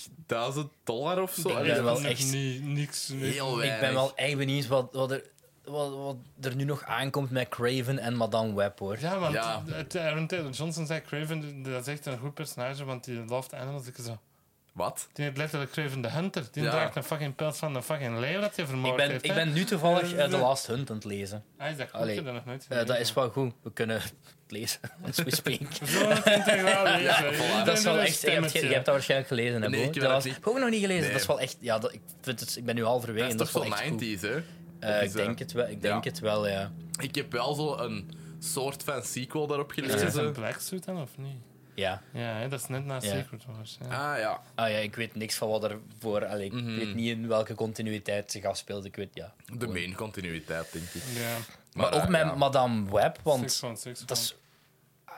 [SPEAKER 1] 20.000 dollar of zo?
[SPEAKER 2] Dat
[SPEAKER 3] ben
[SPEAKER 2] is
[SPEAKER 3] wel
[SPEAKER 2] nog
[SPEAKER 3] echt-
[SPEAKER 2] niet- niks. niks.
[SPEAKER 1] Heel weinig.
[SPEAKER 3] Ik ben wel echt benieuwd wat, wat, er, wat, wat er nu nog aankomt met Craven en Madame Web, hoor.
[SPEAKER 2] Ja, want
[SPEAKER 1] Ja.
[SPEAKER 2] het- Aaron Taylor Johnson zei Craven, dat is echt een goed personage, want die loved animals. Ik zo.
[SPEAKER 1] Wat?
[SPEAKER 2] Die heeft letterlijk Craven de Hunter. Die
[SPEAKER 1] Ja.
[SPEAKER 2] draagt een fucking pels van een fucking leeuw dat je
[SPEAKER 3] Ik
[SPEAKER 2] vermoord
[SPEAKER 3] ben,
[SPEAKER 2] heeft.
[SPEAKER 3] ik
[SPEAKER 2] hè.
[SPEAKER 3] ben nu toevallig
[SPEAKER 2] Eh,
[SPEAKER 3] eh, The Last Hunt aan het lezen.
[SPEAKER 2] Ah, is dat goed?
[SPEAKER 3] Allee.
[SPEAKER 2] Ik heb dat nog nooit
[SPEAKER 3] Eh, dat is wel goed. We kunnen het lezen (laughs) als
[SPEAKER 1] (laughs)
[SPEAKER 3] we spreken.
[SPEAKER 2] Zo het
[SPEAKER 3] (laughs)
[SPEAKER 2] integraal lezen.
[SPEAKER 1] Ja, voilà.
[SPEAKER 2] Iedereen
[SPEAKER 3] Dat is wel
[SPEAKER 2] doet een
[SPEAKER 3] echt... Je hebt, ge-
[SPEAKER 2] stemmetje.
[SPEAKER 3] je hebt dat waarschijnlijk gelezen, hè,
[SPEAKER 1] Nee,
[SPEAKER 3] Bo?
[SPEAKER 1] ik heb
[SPEAKER 3] dat
[SPEAKER 1] dat
[SPEAKER 3] was,
[SPEAKER 1] niet.
[SPEAKER 3] heb ik ook nog niet gelezen.
[SPEAKER 1] Nee.
[SPEAKER 3] Dat is wel echt... Ja, dat, ik, vind het, ik ben nu halverwege
[SPEAKER 1] Dat is
[SPEAKER 3] en
[SPEAKER 1] toch
[SPEAKER 3] dat is
[SPEAKER 1] zo
[SPEAKER 3] wel echt goed.
[SPEAKER 1] 90s, hè?
[SPEAKER 3] Eh,
[SPEAKER 1] Of is
[SPEAKER 3] ik denk,
[SPEAKER 1] dat-
[SPEAKER 3] het wel, ik denk
[SPEAKER 1] Ja.
[SPEAKER 3] het wel, ja.
[SPEAKER 1] Ik heb wel zo een soort van sequel daarop
[SPEAKER 2] Is
[SPEAKER 1] gelezen.
[SPEAKER 2] het een black suit dan of niet?
[SPEAKER 3] Ja.
[SPEAKER 2] Ja, hè, dat is net na
[SPEAKER 3] Ja.
[SPEAKER 2] Secret Wars. Ja.
[SPEAKER 1] Ah ja.
[SPEAKER 3] Ah ja, ik weet niks van wat er voor... allee, ik
[SPEAKER 1] Mhm.
[SPEAKER 3] weet niet in welke continuïteit zich afspeelt. Ik weet, ja.
[SPEAKER 1] De main continuïteit, denk ik.
[SPEAKER 2] ja.
[SPEAKER 3] Maar, ook
[SPEAKER 1] eh,
[SPEAKER 3] met
[SPEAKER 1] ja.
[SPEAKER 3] Madame Web,
[SPEAKER 2] Six
[SPEAKER 3] want
[SPEAKER 2] One, Six
[SPEAKER 3] dat
[SPEAKER 2] One.
[SPEAKER 3] is...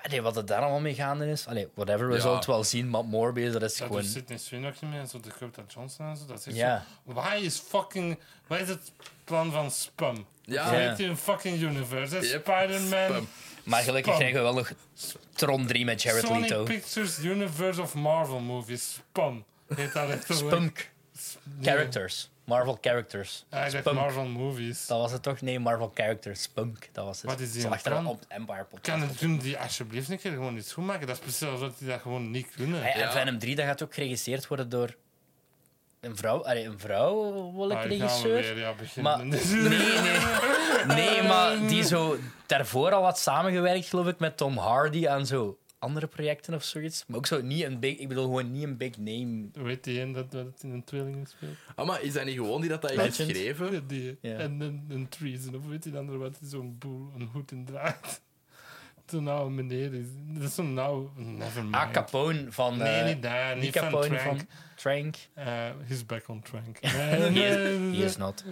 [SPEAKER 3] Allee, wat er daar allemaal mee gaande is... Allee, whatever, we
[SPEAKER 1] Ja.
[SPEAKER 3] zullen het wel zien, maar Morbius, dat is
[SPEAKER 2] Dat
[SPEAKER 3] gewoon...
[SPEAKER 2] doet Sidney Sweeney ook niet meer, en zo Dakota Johnson en zo. Dat is echt
[SPEAKER 3] Ja.
[SPEAKER 2] zo, Why is fucking... Wat is het plan van Spam?
[SPEAKER 1] Ja.
[SPEAKER 2] Ja.
[SPEAKER 3] Ja.
[SPEAKER 2] heet die een fucking universe. hè?
[SPEAKER 1] Yep.
[SPEAKER 2] Spider-Man,
[SPEAKER 1] Spam.
[SPEAKER 3] Maar gelukkig
[SPEAKER 2] Spam.
[SPEAKER 3] krijgen we wel nog Tron 3 met Jared
[SPEAKER 2] Sony
[SPEAKER 3] Leto.
[SPEAKER 2] Pictures Universe of Marvel movies. Spam. Heet dat letterlijk.
[SPEAKER 3] Spunk.
[SPEAKER 2] Nee.
[SPEAKER 3] Characters. Marvel characters.
[SPEAKER 2] Ah, ik dacht
[SPEAKER 3] Spunk.
[SPEAKER 2] Marvel movies.
[SPEAKER 3] Dat was het toch? Nee, Marvel characters. Spunk, dat was het.
[SPEAKER 2] Wat is die
[SPEAKER 3] Zo
[SPEAKER 2] een
[SPEAKER 3] achter
[SPEAKER 2] plan?
[SPEAKER 3] op het Empire podcast.
[SPEAKER 2] Kan het doen die alsjeblieft een keer gewoon iets goed maken? Dat is precies dat die dat gewoon niet kunnen.
[SPEAKER 3] Hey, En
[SPEAKER 1] Ja.
[SPEAKER 3] Venom 3, dat gaat ook geregisseerd worden door... Een vrouw? Allee, een vrouw? Welke
[SPEAKER 2] Ah, hier gaan we
[SPEAKER 3] regisseur?
[SPEAKER 2] weer, ja, beginnen. (laughs)
[SPEAKER 3] Maar nee, nee. Nee, maar die zo daarvoor al had samengewerkt, geloof ik, met Tom Hardy aan zo andere projecten of zoiets. Maar ook zo niet een big, ik bedoel gewoon niet een big name.
[SPEAKER 2] Weet die een dat, dat het in een tweeling speelt?
[SPEAKER 1] Ah, maar is dat niet gewoon die dat hij heeft
[SPEAKER 3] Legend.
[SPEAKER 1] geschreven?
[SPEAKER 2] Die,
[SPEAKER 3] Ja.
[SPEAKER 2] En een, een treason, of weet je dan wat die zo'n boel, een hoed in draagt. (laughs) Zo'n nou meneer is. Dat is zo'n nou. Never mind.
[SPEAKER 3] Ah, Capone van.
[SPEAKER 2] Nee,
[SPEAKER 3] eh,
[SPEAKER 2] niet daar,
[SPEAKER 3] die
[SPEAKER 2] niet van
[SPEAKER 3] Capone
[SPEAKER 2] Trank.
[SPEAKER 3] van Trank.
[SPEAKER 2] Eh, he's back on track. Eh,
[SPEAKER 3] He is not.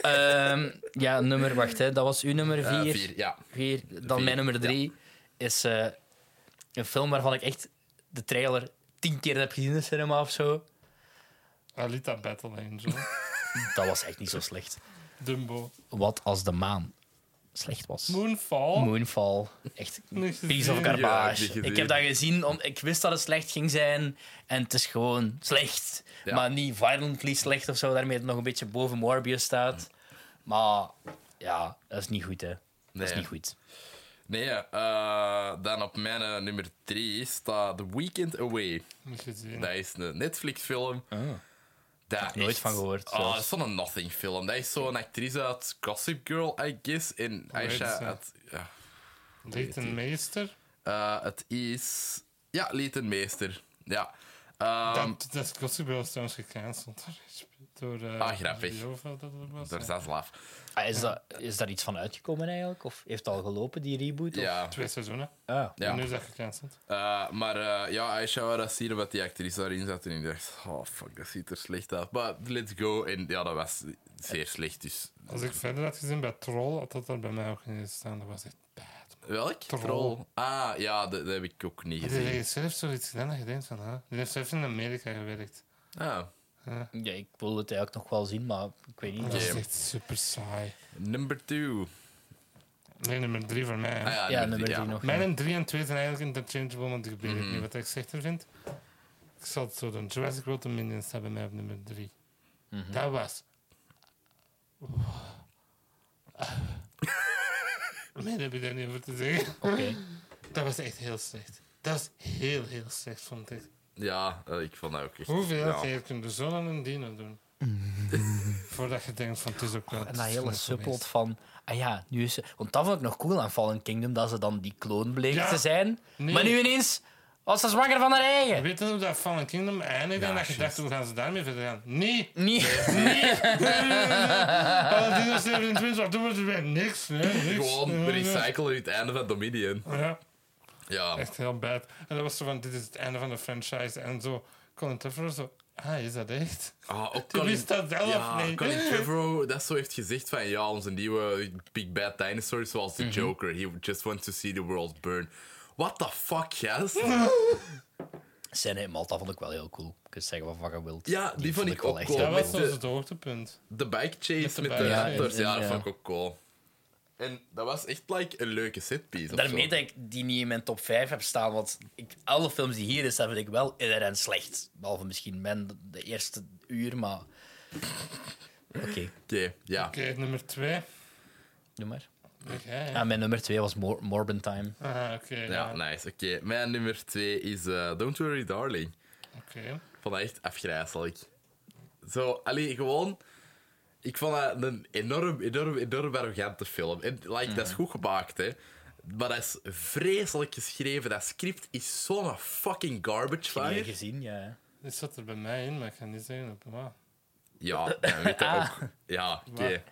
[SPEAKER 3] Ehm, ja, nummer, wacht, hè, dat was uw nummer
[SPEAKER 1] Eh,
[SPEAKER 3] 4.
[SPEAKER 1] vier, ja.
[SPEAKER 3] Vier. Dan
[SPEAKER 1] Vier,
[SPEAKER 3] mijn nummer drie is eh, een film waarvan ik echt de trailer tien keer heb gezien in de cinema of zo.
[SPEAKER 2] Alita Battle Angel.
[SPEAKER 3] Dat was echt niet zo slecht.
[SPEAKER 2] Dumbo.
[SPEAKER 3] Wat als de maan slecht was.
[SPEAKER 2] Moonfall.
[SPEAKER 3] Moonfall. Echt
[SPEAKER 2] (laughs) Nog eens
[SPEAKER 3] piece of
[SPEAKER 1] Ja,
[SPEAKER 2] gezien.
[SPEAKER 1] heb je
[SPEAKER 3] garbage.
[SPEAKER 1] gezien.
[SPEAKER 3] ik heb dat gezien, om, ik wist dat het slecht ging zijn. En het is gewoon slecht.
[SPEAKER 1] Ja.
[SPEAKER 3] Maar niet violently slecht of zo, daarmee het nog een beetje boven Morbius staat. Maar ja, dat is niet goed, hè. Dat is
[SPEAKER 1] Nee.
[SPEAKER 3] niet goed.
[SPEAKER 1] Nee, eh, dan op mijn eh, nummer 3 staat The Weekend Away.
[SPEAKER 2] Nog gezien.
[SPEAKER 1] Dat is een Netflix-film.
[SPEAKER 3] Ah. heb nooit van gehoord,
[SPEAKER 1] Oh,
[SPEAKER 3] zelfs.
[SPEAKER 1] dat is zo'n nothing-film. Dat is zo'n actrice uit Gossip Girl, I guess. En Aisha
[SPEAKER 2] ze?
[SPEAKER 1] uit... Ja.
[SPEAKER 2] Leighton Meester.
[SPEAKER 1] Eh, het is... Ja, Leighton Meester. Ja. Ehm,
[SPEAKER 2] dat, dat is Gossip Girl is trouwens gecanceld door... door eh,
[SPEAKER 1] Ah, grappig.
[SPEAKER 2] HBO of wat dat ook was.
[SPEAKER 1] daar
[SPEAKER 2] Ja.
[SPEAKER 1] staat slaaf.
[SPEAKER 3] Ah, is, dat, is daar iets van uitgekomen eigenlijk? Of heeft het al gelopen, die reboot? Of?
[SPEAKER 1] Ja.
[SPEAKER 2] Twee seizoenen.
[SPEAKER 3] Ah.
[SPEAKER 1] Ja.
[SPEAKER 2] En nu is dat gecanceld.
[SPEAKER 1] Eh, maar eh, ja, Aisha wou dat zien wat die actrice daarin zat. En ik dacht, oh fuck, dat ziet er slecht uit. Maar let's go. En ja, dat was zeer slecht. Dus
[SPEAKER 2] Als ik verder had gezien bij Troll, had dat er bij mij ook niet staan. Dat was echt bad.
[SPEAKER 1] Welk?
[SPEAKER 2] Troll.
[SPEAKER 1] Ah, ja, dat, dat heb ik ook niet
[SPEAKER 2] Die
[SPEAKER 1] gezien.
[SPEAKER 2] heeft zelf zoiets gedaan dat je denkt van, hè? Die heeft zelf in Amerika gewerkt.
[SPEAKER 1] Ah.
[SPEAKER 3] Ja, ik wil het eigenlijk nog wel zien, maar ik weet niet.
[SPEAKER 2] Dat is
[SPEAKER 1] Oké.
[SPEAKER 2] echt super saai.
[SPEAKER 1] Number two.
[SPEAKER 2] Nee, nummer drie voor mij.
[SPEAKER 1] Ah,
[SPEAKER 2] hè.
[SPEAKER 1] ja,
[SPEAKER 3] Ja,
[SPEAKER 1] nummer
[SPEAKER 3] nummer
[SPEAKER 1] drie,
[SPEAKER 3] drie
[SPEAKER 1] ja.
[SPEAKER 3] nog.
[SPEAKER 2] Mijn 3 en 2 zijn eigenlijk interchangeable, want ik weet
[SPEAKER 1] Mhm.
[SPEAKER 2] niet wat ik slechter vind. Ik zal het zo doen. Jurassic World en Minions staan bij mij op nummer 3.
[SPEAKER 1] Mhm.
[SPEAKER 2] Dat
[SPEAKER 1] (laughs)
[SPEAKER 2] was... Meer heb ik daar niet over te zeggen.
[SPEAKER 3] Oké.
[SPEAKER 2] Dat was echt heel slecht. Dat is heel, heel slecht, vond ik.
[SPEAKER 1] Ja, eh, ik vond dat ook echt...
[SPEAKER 2] Hoeveel
[SPEAKER 1] ja.
[SPEAKER 2] keer kun je zo aan een dino
[SPEAKER 1] (laughs)
[SPEAKER 2] doen? Voordat je denkt van, het is ook wel...
[SPEAKER 3] En dat hele
[SPEAKER 2] genoeg
[SPEAKER 3] subplot
[SPEAKER 2] geweest.
[SPEAKER 3] van, ah ja, nu is ze... Want dat vond ik nog cool aan Fallen Kingdom, dat ze dan die kloon bleek
[SPEAKER 2] Ja.
[SPEAKER 3] te zijn.
[SPEAKER 2] Nee.
[SPEAKER 3] Maar nu ineens was ze zwanger van haar eigen.
[SPEAKER 2] Weet je hoe dat Fallen Kingdom eindigt
[SPEAKER 1] Ja,
[SPEAKER 2] en dat je dacht,
[SPEAKER 1] juist.
[SPEAKER 2] hoe gaan ze daarmee verder gaan? Nee!
[SPEAKER 3] (laughs) Niet.
[SPEAKER 2] (laughs) Alle dino's leven dus in twins, wat doen we er weer? Niks, hè? Niks.
[SPEAKER 1] Gewoon recyclen in het einde van Dominion.
[SPEAKER 2] Ja,
[SPEAKER 1] Ja.
[SPEAKER 2] echt heel bad. En dat was zo van, dit is het einde van de franchise. En zo, Colin Trevorrow zo, ah, is dat echt?
[SPEAKER 1] Ah, ook
[SPEAKER 2] Die
[SPEAKER 1] Colin-
[SPEAKER 2] wist dat zelf
[SPEAKER 1] ja,
[SPEAKER 2] niet.
[SPEAKER 1] Colin Trevorrow dat zo heeft gezegd van ja, onze nieuwe Big Bad Dinosaur is zoals de Joker. He just wants to see the world burn. What the fuck, yes?
[SPEAKER 3] Scène in Malta vond ik wel heel cool. Ik kan zeggen wat van je wilt.
[SPEAKER 1] Ja, die vond ik
[SPEAKER 3] wel
[SPEAKER 1] ook
[SPEAKER 3] echt
[SPEAKER 1] cool.
[SPEAKER 3] heel
[SPEAKER 2] Dat was
[SPEAKER 1] met
[SPEAKER 2] soms
[SPEAKER 1] de-
[SPEAKER 2] het hoogtepunt.
[SPEAKER 1] De bike
[SPEAKER 2] Met
[SPEAKER 1] chase
[SPEAKER 2] de
[SPEAKER 1] met
[SPEAKER 2] bike
[SPEAKER 1] de
[SPEAKER 2] chase.
[SPEAKER 1] raptors,
[SPEAKER 3] Ja,
[SPEAKER 1] ja,
[SPEAKER 3] en-
[SPEAKER 1] dat
[SPEAKER 3] ja.
[SPEAKER 1] vond ik ook cool. En dat was echt like, een leuke setpiece. of
[SPEAKER 3] Daarmee
[SPEAKER 1] zo.
[SPEAKER 3] dat ik die niet in mijn top 5 heb staan, want ik, alle films die hier staan, vind ik wel inherent slecht. Behalve misschien Ben, de- de eerste uur, maar... Oké,
[SPEAKER 1] Oké, ja.
[SPEAKER 2] Oké, nummer twee.
[SPEAKER 3] doe maar.
[SPEAKER 2] Oké, hè?
[SPEAKER 3] Ah, mijn nummer 2 was Mor Morbin Time.
[SPEAKER 2] Ah, oké.
[SPEAKER 1] Ja,
[SPEAKER 2] ja.
[SPEAKER 1] nice. Oké, mijn nummer twee is eh, Don't Worry Darling.
[SPEAKER 2] Oké.
[SPEAKER 1] Ik vond dat echt afgrijzelijk. Zo, allee, gewoon... Ik vond dat een enorm, enorm, enorm arrogante film. En, like, dat
[SPEAKER 3] Mhm.
[SPEAKER 1] is goed gemaakt, hè. Maar dat is vreselijk geschreven. Dat script is zo'n fucking garbage
[SPEAKER 3] Heb je
[SPEAKER 1] fire.
[SPEAKER 3] gezien, ja.
[SPEAKER 2] Dit zat er bij mij in, maar ik ga niet zeggen op wat.
[SPEAKER 1] Ja, dan weet je
[SPEAKER 3] Ah.
[SPEAKER 1] ook. Ja, oké.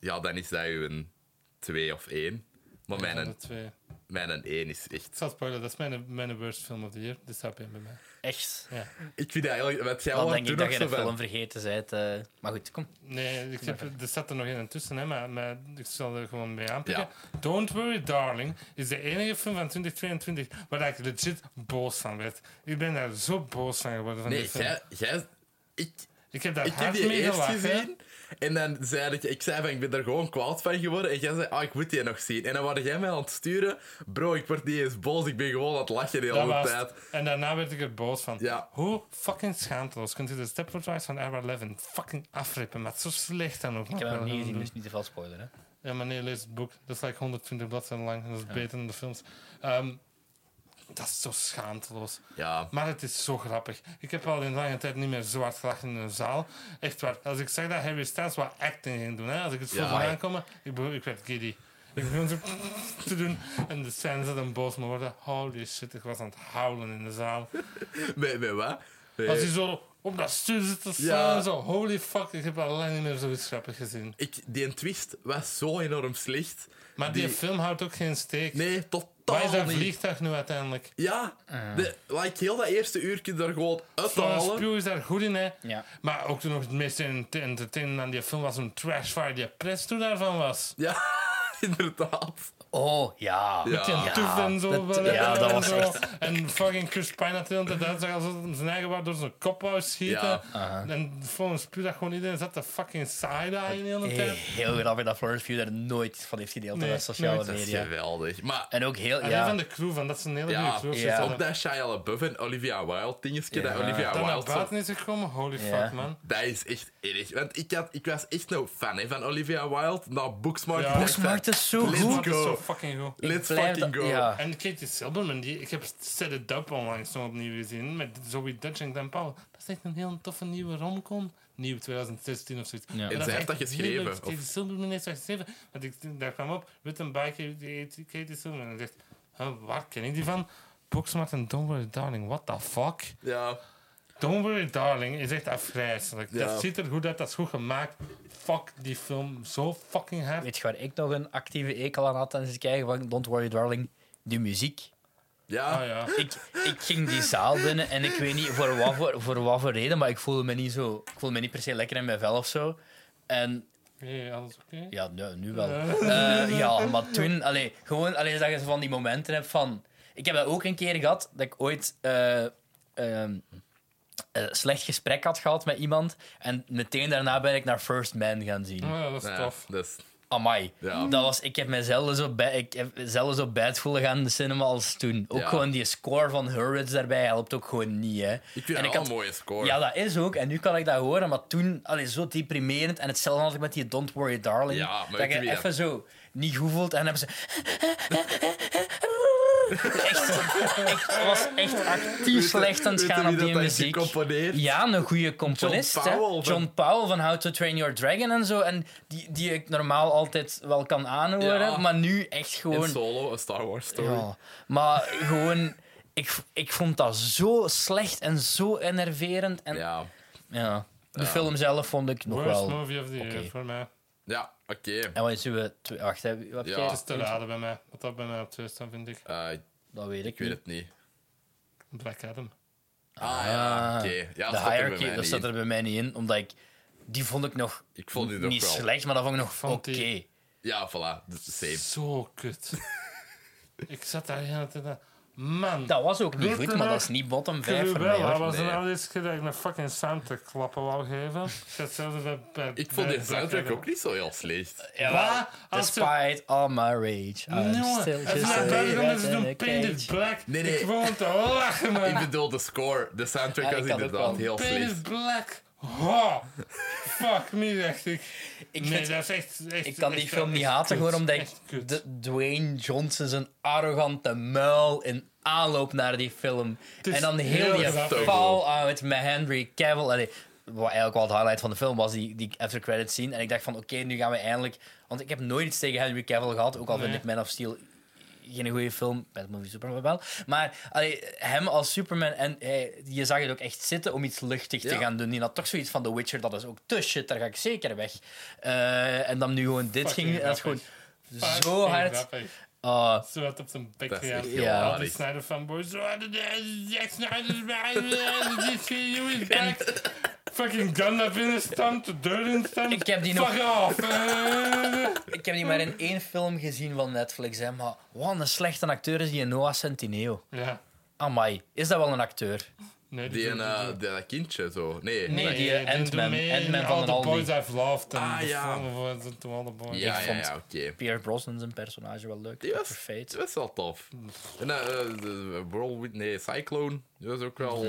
[SPEAKER 1] Ja, dan is dat uw een 2 of 1. Maar mijn,
[SPEAKER 2] Nummer
[SPEAKER 1] een-
[SPEAKER 2] twee.
[SPEAKER 1] mijn een 1 is
[SPEAKER 2] Ik
[SPEAKER 1] echt...
[SPEAKER 2] zal spoilen, dat is mijn, mijn worst film of the year. Dit staat bij mij.
[SPEAKER 3] Echt.
[SPEAKER 2] Ja.
[SPEAKER 1] Ik vind dat eigenlijk... Wat jij
[SPEAKER 3] Dan
[SPEAKER 1] al
[SPEAKER 3] denk
[SPEAKER 1] toen
[SPEAKER 3] ik dat
[SPEAKER 1] nog
[SPEAKER 3] je de
[SPEAKER 1] zo van-
[SPEAKER 3] film vergeten bent. eh. Maar goed, kom.
[SPEAKER 2] Nee, ik heb, er zat er nog één tussen, hè, maar, maar ik zal er gewoon mee aanpikken. Don't Worry Darling is de enige film van 2022 waar ik legit boos van werd. Ik ben daar zo boos van geworden. Van
[SPEAKER 1] Nee,
[SPEAKER 2] die film.
[SPEAKER 1] jij... jij ik,
[SPEAKER 2] Ik heb daar
[SPEAKER 1] ik heb
[SPEAKER 2] hard
[SPEAKER 1] die
[SPEAKER 2] mee
[SPEAKER 1] eerst
[SPEAKER 2] gelachen.
[SPEAKER 1] gezien. En dan zei ik... Ik zei van, ik ben er gewoon kwaad van geworden. En jij zei, ah, ik moet die nog zien. En dan waren jij mij aan het sturen. Bro, ik word niet eens boos. Ik ben gewoon aan het lachen de
[SPEAKER 2] Dat
[SPEAKER 1] hele
[SPEAKER 2] was
[SPEAKER 1] tijd.
[SPEAKER 2] het. En daarna werd ik er boos van.
[SPEAKER 1] Oh, Ja.
[SPEAKER 2] Hoe fucking schaamteloos kunt u de Stepford Wives van Era 11 fucking afrippen, maar het is zo slecht dan ook.
[SPEAKER 3] Ik heb hem nog niet gezien, dus niet te veel spoileren.
[SPEAKER 2] Ja, maar nee, lees het boek. Dat is like 120 bladzijden lang en dat is beter dan de films. Ehm, dat is zo schaamteloos.
[SPEAKER 1] Ja.
[SPEAKER 2] Maar het is zo grappig. Ik heb al in lange tijd niet meer zo hard gelachen in een zaal. Echt waar. Als ik zag dat Harry Styles wat acting ging doen, hè, als ik het
[SPEAKER 1] Ja.
[SPEAKER 2] voor me aankomen, ik, begon- ik werd giddy. Ik begon zo te doen en de scène zat een boos me worden. Holy shit, ik was aan het huilen in de zaal.
[SPEAKER 1] Met, met wat? Met-
[SPEAKER 2] Als hij zo op dat stuur zit te staan,
[SPEAKER 1] Ja.
[SPEAKER 2] zo holy fuck, ik heb al lang niet meer zoiets grappig gezien.
[SPEAKER 1] Ik, die twist was zo enorm slecht.
[SPEAKER 2] Maar die,
[SPEAKER 1] Die-
[SPEAKER 2] film houdt ook geen steek.
[SPEAKER 1] Nee, totaal
[SPEAKER 2] Waar
[SPEAKER 3] Oh,
[SPEAKER 2] is Ah. dat
[SPEAKER 1] niet.
[SPEAKER 2] vliegtuig nu uiteindelijk?
[SPEAKER 1] Ja, de, like, heel dat eerste uur kun je er gewoon
[SPEAKER 2] Florence
[SPEAKER 1] uithalen.
[SPEAKER 2] Pugh is daar goed in, hè.
[SPEAKER 3] Ja.
[SPEAKER 2] Maar ook toen nog het meest entertainend aan die film was een trash waar die press toen daarvan was.
[SPEAKER 1] Ja, (laughs) inderdaad.
[SPEAKER 3] Oh, ja.
[SPEAKER 1] Ja.
[SPEAKER 2] Die toef en zo.
[SPEAKER 3] dat-
[SPEAKER 2] wel,
[SPEAKER 3] ja,
[SPEAKER 2] en
[SPEAKER 3] dat was
[SPEAKER 2] zo.
[SPEAKER 3] echt-
[SPEAKER 2] En fucking Chris Pine had de hele tijd uitzag als zijn eigen waar door zijn kop wou schieten.
[SPEAKER 1] Ja.
[SPEAKER 2] En volgens Puur dat gewoon iedereen zat te fucking side-eye de
[SPEAKER 3] Eh,
[SPEAKER 2] hele tijd.
[SPEAKER 3] Heel grappig dat Florence View daar nooit van heeft gedeeld
[SPEAKER 2] Nee,
[SPEAKER 3] op sociale
[SPEAKER 2] nooit.
[SPEAKER 1] Dat is
[SPEAKER 3] media.
[SPEAKER 1] geweldig. Maar
[SPEAKER 3] En ook heel...
[SPEAKER 2] En
[SPEAKER 3] Ja,
[SPEAKER 2] van de crew van, dat is een hele
[SPEAKER 1] ja,
[SPEAKER 2] goede crew.
[SPEAKER 3] ja.
[SPEAKER 2] Ze
[SPEAKER 1] ook dat Shia LaBeouf en Olivia Wilde dingetje, dat
[SPEAKER 3] Ja.
[SPEAKER 1] Olivia
[SPEAKER 2] dan naar
[SPEAKER 1] Wilde... zo-
[SPEAKER 2] buiten is gekomen, holy
[SPEAKER 3] Ja.
[SPEAKER 2] fuck man.
[SPEAKER 1] Dat is echt erg. Want ik, had, ik was echt nou fan hè, van Olivia Wilde. Nou, Booksmart...
[SPEAKER 2] Ja.
[SPEAKER 1] ik dacht
[SPEAKER 3] Booksmart
[SPEAKER 1] van,
[SPEAKER 3] is zo
[SPEAKER 1] Let's
[SPEAKER 3] goed.
[SPEAKER 2] Dat is
[SPEAKER 1] go.
[SPEAKER 2] zo fucking goed.
[SPEAKER 3] Ik
[SPEAKER 1] Let's
[SPEAKER 3] blijf
[SPEAKER 1] fucking
[SPEAKER 3] dat-
[SPEAKER 1] go.
[SPEAKER 3] ja.
[SPEAKER 2] En Katie Silberman, die, ik heb Set It Up onlangs nog opnieuw gezien met Zoe Dutch en Dan Powell. Dat is echt een heel toffe nieuwe romcom. Nieuw 2016 of zoiets.
[SPEAKER 3] Ja.
[SPEAKER 2] is
[SPEAKER 3] En
[SPEAKER 1] zij heeft
[SPEAKER 2] echt
[SPEAKER 1] dat
[SPEAKER 2] heel
[SPEAKER 1] geschreven,
[SPEAKER 2] leuk.
[SPEAKER 1] of?
[SPEAKER 2] Katie Silberman heeft dat geschreven. Want ik, daar kwam op, written by Katie, Katie Silberman. En ik dacht, huh, waar ken ik die van? Booksmart en Don't Worry Darling, what the fuck?
[SPEAKER 1] Ja.
[SPEAKER 2] Don't Worry Darling is echt afgrijzelijk.
[SPEAKER 1] Ja.
[SPEAKER 2] Dat ziet er goed uit, dat is goed gemaakt. Fuck die film, zo fucking hard.
[SPEAKER 3] Weet je waar ik nog een actieve ekel aan had tijdens het kijken van Don't Worry Darling? De muziek.
[SPEAKER 1] Ja.
[SPEAKER 2] Ah ja.
[SPEAKER 3] Ik, ik ging die zaal binnen en ik weet niet voor wat voor, voor, wat voor reden, maar ik voelde me niet zo... Ik voelde me niet per se lekker in mijn vel of zo. En
[SPEAKER 2] Hey, alles oké?
[SPEAKER 3] ja, nu, nu wel. Eh, ja, maar toen... Allee, gewoon allee, dat je zo van die momenten hebt van... Ik heb dat ook een keer gehad, dat ik ooit... eh, ehm, een slecht gesprek had gehad met iemand en meteen daarna ben ik naar First Man gaan zien.
[SPEAKER 2] Ah, ja, dat is
[SPEAKER 1] Ja,
[SPEAKER 2] tof.
[SPEAKER 1] Dus,
[SPEAKER 3] Amai.
[SPEAKER 1] Ja.
[SPEAKER 3] Dat was, ik heb me zelden zo, bij, ik heb zelden zo bad voelen gaan in de cinema als toen. Ook
[SPEAKER 1] Ja.
[SPEAKER 3] gewoon die score van Hurwitz daarbij helpt ook gewoon niet. Hè.
[SPEAKER 1] ik vind
[SPEAKER 3] en
[SPEAKER 1] dat
[SPEAKER 3] ik
[SPEAKER 1] wel
[SPEAKER 3] had-
[SPEAKER 1] een mooie score.
[SPEAKER 3] Ja, dat is ook. En nu kan ik dat horen, maar toen allee, zo deprimerend. En hetzelfde had ik met die Don't Worry Darling.
[SPEAKER 1] Ja, maar
[SPEAKER 3] dat
[SPEAKER 1] weet je
[SPEAKER 3] je
[SPEAKER 1] wie dat-
[SPEAKER 3] even zo niet goed voelt en dan hebben ze... echt, echt, was echt actief slecht aan het
[SPEAKER 1] Weet je
[SPEAKER 3] gaan
[SPEAKER 1] wie
[SPEAKER 3] op
[SPEAKER 1] dat
[SPEAKER 3] die
[SPEAKER 1] dat heeft
[SPEAKER 3] muziek.
[SPEAKER 1] gecomponeerd?
[SPEAKER 3] Ja, een goede componist.
[SPEAKER 1] John Powell
[SPEAKER 3] hè?
[SPEAKER 1] van-
[SPEAKER 3] John Powell van How to Train Your Dragon en zo. En die, die ik normaal altijd wel kan aanhoren,
[SPEAKER 1] Ja.
[SPEAKER 3] maar nu echt
[SPEAKER 1] In
[SPEAKER 3] gewoon.
[SPEAKER 1] Solo, een Star Wars story.
[SPEAKER 3] Ja, maar gewoon, ik, ik vond dat zo slecht en zo enerverend. En, ja.
[SPEAKER 1] Ja.
[SPEAKER 3] De film zelf vond ik nog
[SPEAKER 2] Worst
[SPEAKER 3] wel.
[SPEAKER 2] movie of the year
[SPEAKER 3] Oké.
[SPEAKER 2] eh, voor mij.
[SPEAKER 3] Ah,
[SPEAKER 1] Ja, oké.
[SPEAKER 3] En wat is uw. twe- Wacht, hè, wat heb
[SPEAKER 1] Ja.
[SPEAKER 3] jij?
[SPEAKER 2] Het is te raden bij mij. Wat dat bij mij op twee staat, vind ik.
[SPEAKER 1] Eh,
[SPEAKER 3] Dat weet ik
[SPEAKER 1] ik weet
[SPEAKER 3] niet.
[SPEAKER 1] het niet.
[SPEAKER 2] Black Adam.
[SPEAKER 1] Ah, ja, oké. Ja, dat
[SPEAKER 3] de
[SPEAKER 1] staat er bij
[SPEAKER 3] hierarchy,
[SPEAKER 1] mij
[SPEAKER 3] dat
[SPEAKER 1] niet
[SPEAKER 3] staat
[SPEAKER 1] in.
[SPEAKER 3] er bij mij niet in, omdat ik. Die vond ik nog
[SPEAKER 1] Ik vond die nog
[SPEAKER 3] niet
[SPEAKER 1] wel.
[SPEAKER 3] slecht, maar dat vond ik nog
[SPEAKER 2] Vond
[SPEAKER 3] oké.
[SPEAKER 2] die-
[SPEAKER 1] Ja, voilà. Dus Same.
[SPEAKER 2] Zo
[SPEAKER 3] (laughs)
[SPEAKER 2] kut. ik zat daar heel de hele tijd aan. Man.
[SPEAKER 3] Dat was ook niet
[SPEAKER 2] Weet
[SPEAKER 3] goed,
[SPEAKER 2] je
[SPEAKER 3] maar
[SPEAKER 2] nog?
[SPEAKER 3] dat is niet bottom 5 voor mij.
[SPEAKER 2] Cruella
[SPEAKER 3] hoor.
[SPEAKER 2] was
[SPEAKER 1] Nee.
[SPEAKER 2] de allereerste keer dat ik een fucking soundtrack klappen wou
[SPEAKER 3] (laughs)
[SPEAKER 2] geven. Ik zat zelfs bij, bij-
[SPEAKER 1] Ik vond die
[SPEAKER 2] bij Black
[SPEAKER 1] soundtrack
[SPEAKER 2] Adam.
[SPEAKER 1] ook niet zo heel slecht.
[SPEAKER 3] Ja,
[SPEAKER 2] Wat? Als ze-
[SPEAKER 3] Despite all my rage, I'm
[SPEAKER 2] Jongen,
[SPEAKER 3] still
[SPEAKER 2] als
[SPEAKER 3] just
[SPEAKER 2] ze
[SPEAKER 3] a
[SPEAKER 2] naar buiten komen en ze
[SPEAKER 3] rat in a
[SPEAKER 2] doen Painted
[SPEAKER 3] cage.
[SPEAKER 2] Black.
[SPEAKER 1] Nee, nee.
[SPEAKER 2] Ik woon te lachen,
[SPEAKER 1] Ik
[SPEAKER 2] man.
[SPEAKER 1] bedoel, de score, de soundtrack
[SPEAKER 3] Ja, ik
[SPEAKER 1] was
[SPEAKER 3] had ook
[SPEAKER 1] inderdaad
[SPEAKER 3] wel.
[SPEAKER 1] heel slecht.
[SPEAKER 2] Painted Black.
[SPEAKER 3] (laughs)
[SPEAKER 2] Ho. Fuck me, dacht ik.
[SPEAKER 3] Ik
[SPEAKER 2] nee,
[SPEAKER 3] vind-
[SPEAKER 2] dat is echt, echt-
[SPEAKER 3] Ik kan die
[SPEAKER 2] echt-
[SPEAKER 3] film niet
[SPEAKER 2] echt kut.
[SPEAKER 3] haten, gewoon omdat
[SPEAKER 2] Echt
[SPEAKER 3] ik
[SPEAKER 2] kut.
[SPEAKER 3] de Dwayne Johnson zijn arrogante muil in aanloop naar die film.
[SPEAKER 2] is
[SPEAKER 3] En dan heel
[SPEAKER 2] heel
[SPEAKER 3] die
[SPEAKER 2] grappig.
[SPEAKER 3] fallout met Henry Cavill. Allee, wat eigenlijk wel het highlight van de film was, die, die after credit scene. En ik dacht van, oké, nu gaan we eindelijk... Want ik heb nooit iets tegen Henry Cavill gehad, ook al vind
[SPEAKER 2] Nee.
[SPEAKER 3] ik Man of Steel geen goede film, Bad Movie Superman wel. Maar allee, hem als Superman, en hij- je zag het ook echt zitten om iets luchtig te
[SPEAKER 1] Ja.
[SPEAKER 3] gaan doen. Die had toch zoiets van The Witcher, dat is ook te shit, daar ga ik zeker weg. Eh, en dan nu gewoon dit
[SPEAKER 2] Fucking
[SPEAKER 3] ging, dat is gewoon
[SPEAKER 2] grappig.
[SPEAKER 3] zo hard. Ah,
[SPEAKER 2] Zo hard op zijn bek
[SPEAKER 1] Dat is
[SPEAKER 2] gegaan.
[SPEAKER 1] echt
[SPEAKER 3] heel
[SPEAKER 2] Ja, al die
[SPEAKER 1] raar.
[SPEAKER 2] Snyder fanboys. Zo hard. Zack Snyder is bij.
[SPEAKER 1] (laughs)
[SPEAKER 2] DC is back. Fucking gun naar binnen stampt. De deur in stampt.
[SPEAKER 3] Ik heb die
[SPEAKER 2] Fuck
[SPEAKER 3] nog-
[SPEAKER 2] off. Eh,
[SPEAKER 3] ik heb die maar in één film gezien van Netflix, hè, maar wat een slechte acteur is die Noah Centineo.
[SPEAKER 2] ja.
[SPEAKER 3] Amai, is dat wel een acteur?
[SPEAKER 2] Nee,
[SPEAKER 1] Die en
[SPEAKER 2] doen-
[SPEAKER 1] eh,
[SPEAKER 2] doen-
[SPEAKER 1] die dat kindje zo. Nee,
[SPEAKER 3] Nee,
[SPEAKER 1] dat-
[SPEAKER 3] die, eh,
[SPEAKER 2] doen
[SPEAKER 3] Ant-Man-
[SPEAKER 2] mee in
[SPEAKER 3] Ant-Man van
[SPEAKER 2] All the
[SPEAKER 3] Aldi.
[SPEAKER 2] Boys I've Loved. En
[SPEAKER 1] Ah,
[SPEAKER 2] de
[SPEAKER 1] ja.
[SPEAKER 2] film voor de- to All the Boys.
[SPEAKER 1] Ja,
[SPEAKER 3] ik
[SPEAKER 1] ja,
[SPEAKER 3] vond-
[SPEAKER 1] ja, oké.
[SPEAKER 3] Pierce Brosnan zijn personage wel leuk.
[SPEAKER 1] Die was-
[SPEAKER 3] Dr. Fate.
[SPEAKER 1] Het was wel tof. En eh, eh, de Whirlwind, nee, Cyclone. Die was ook wel.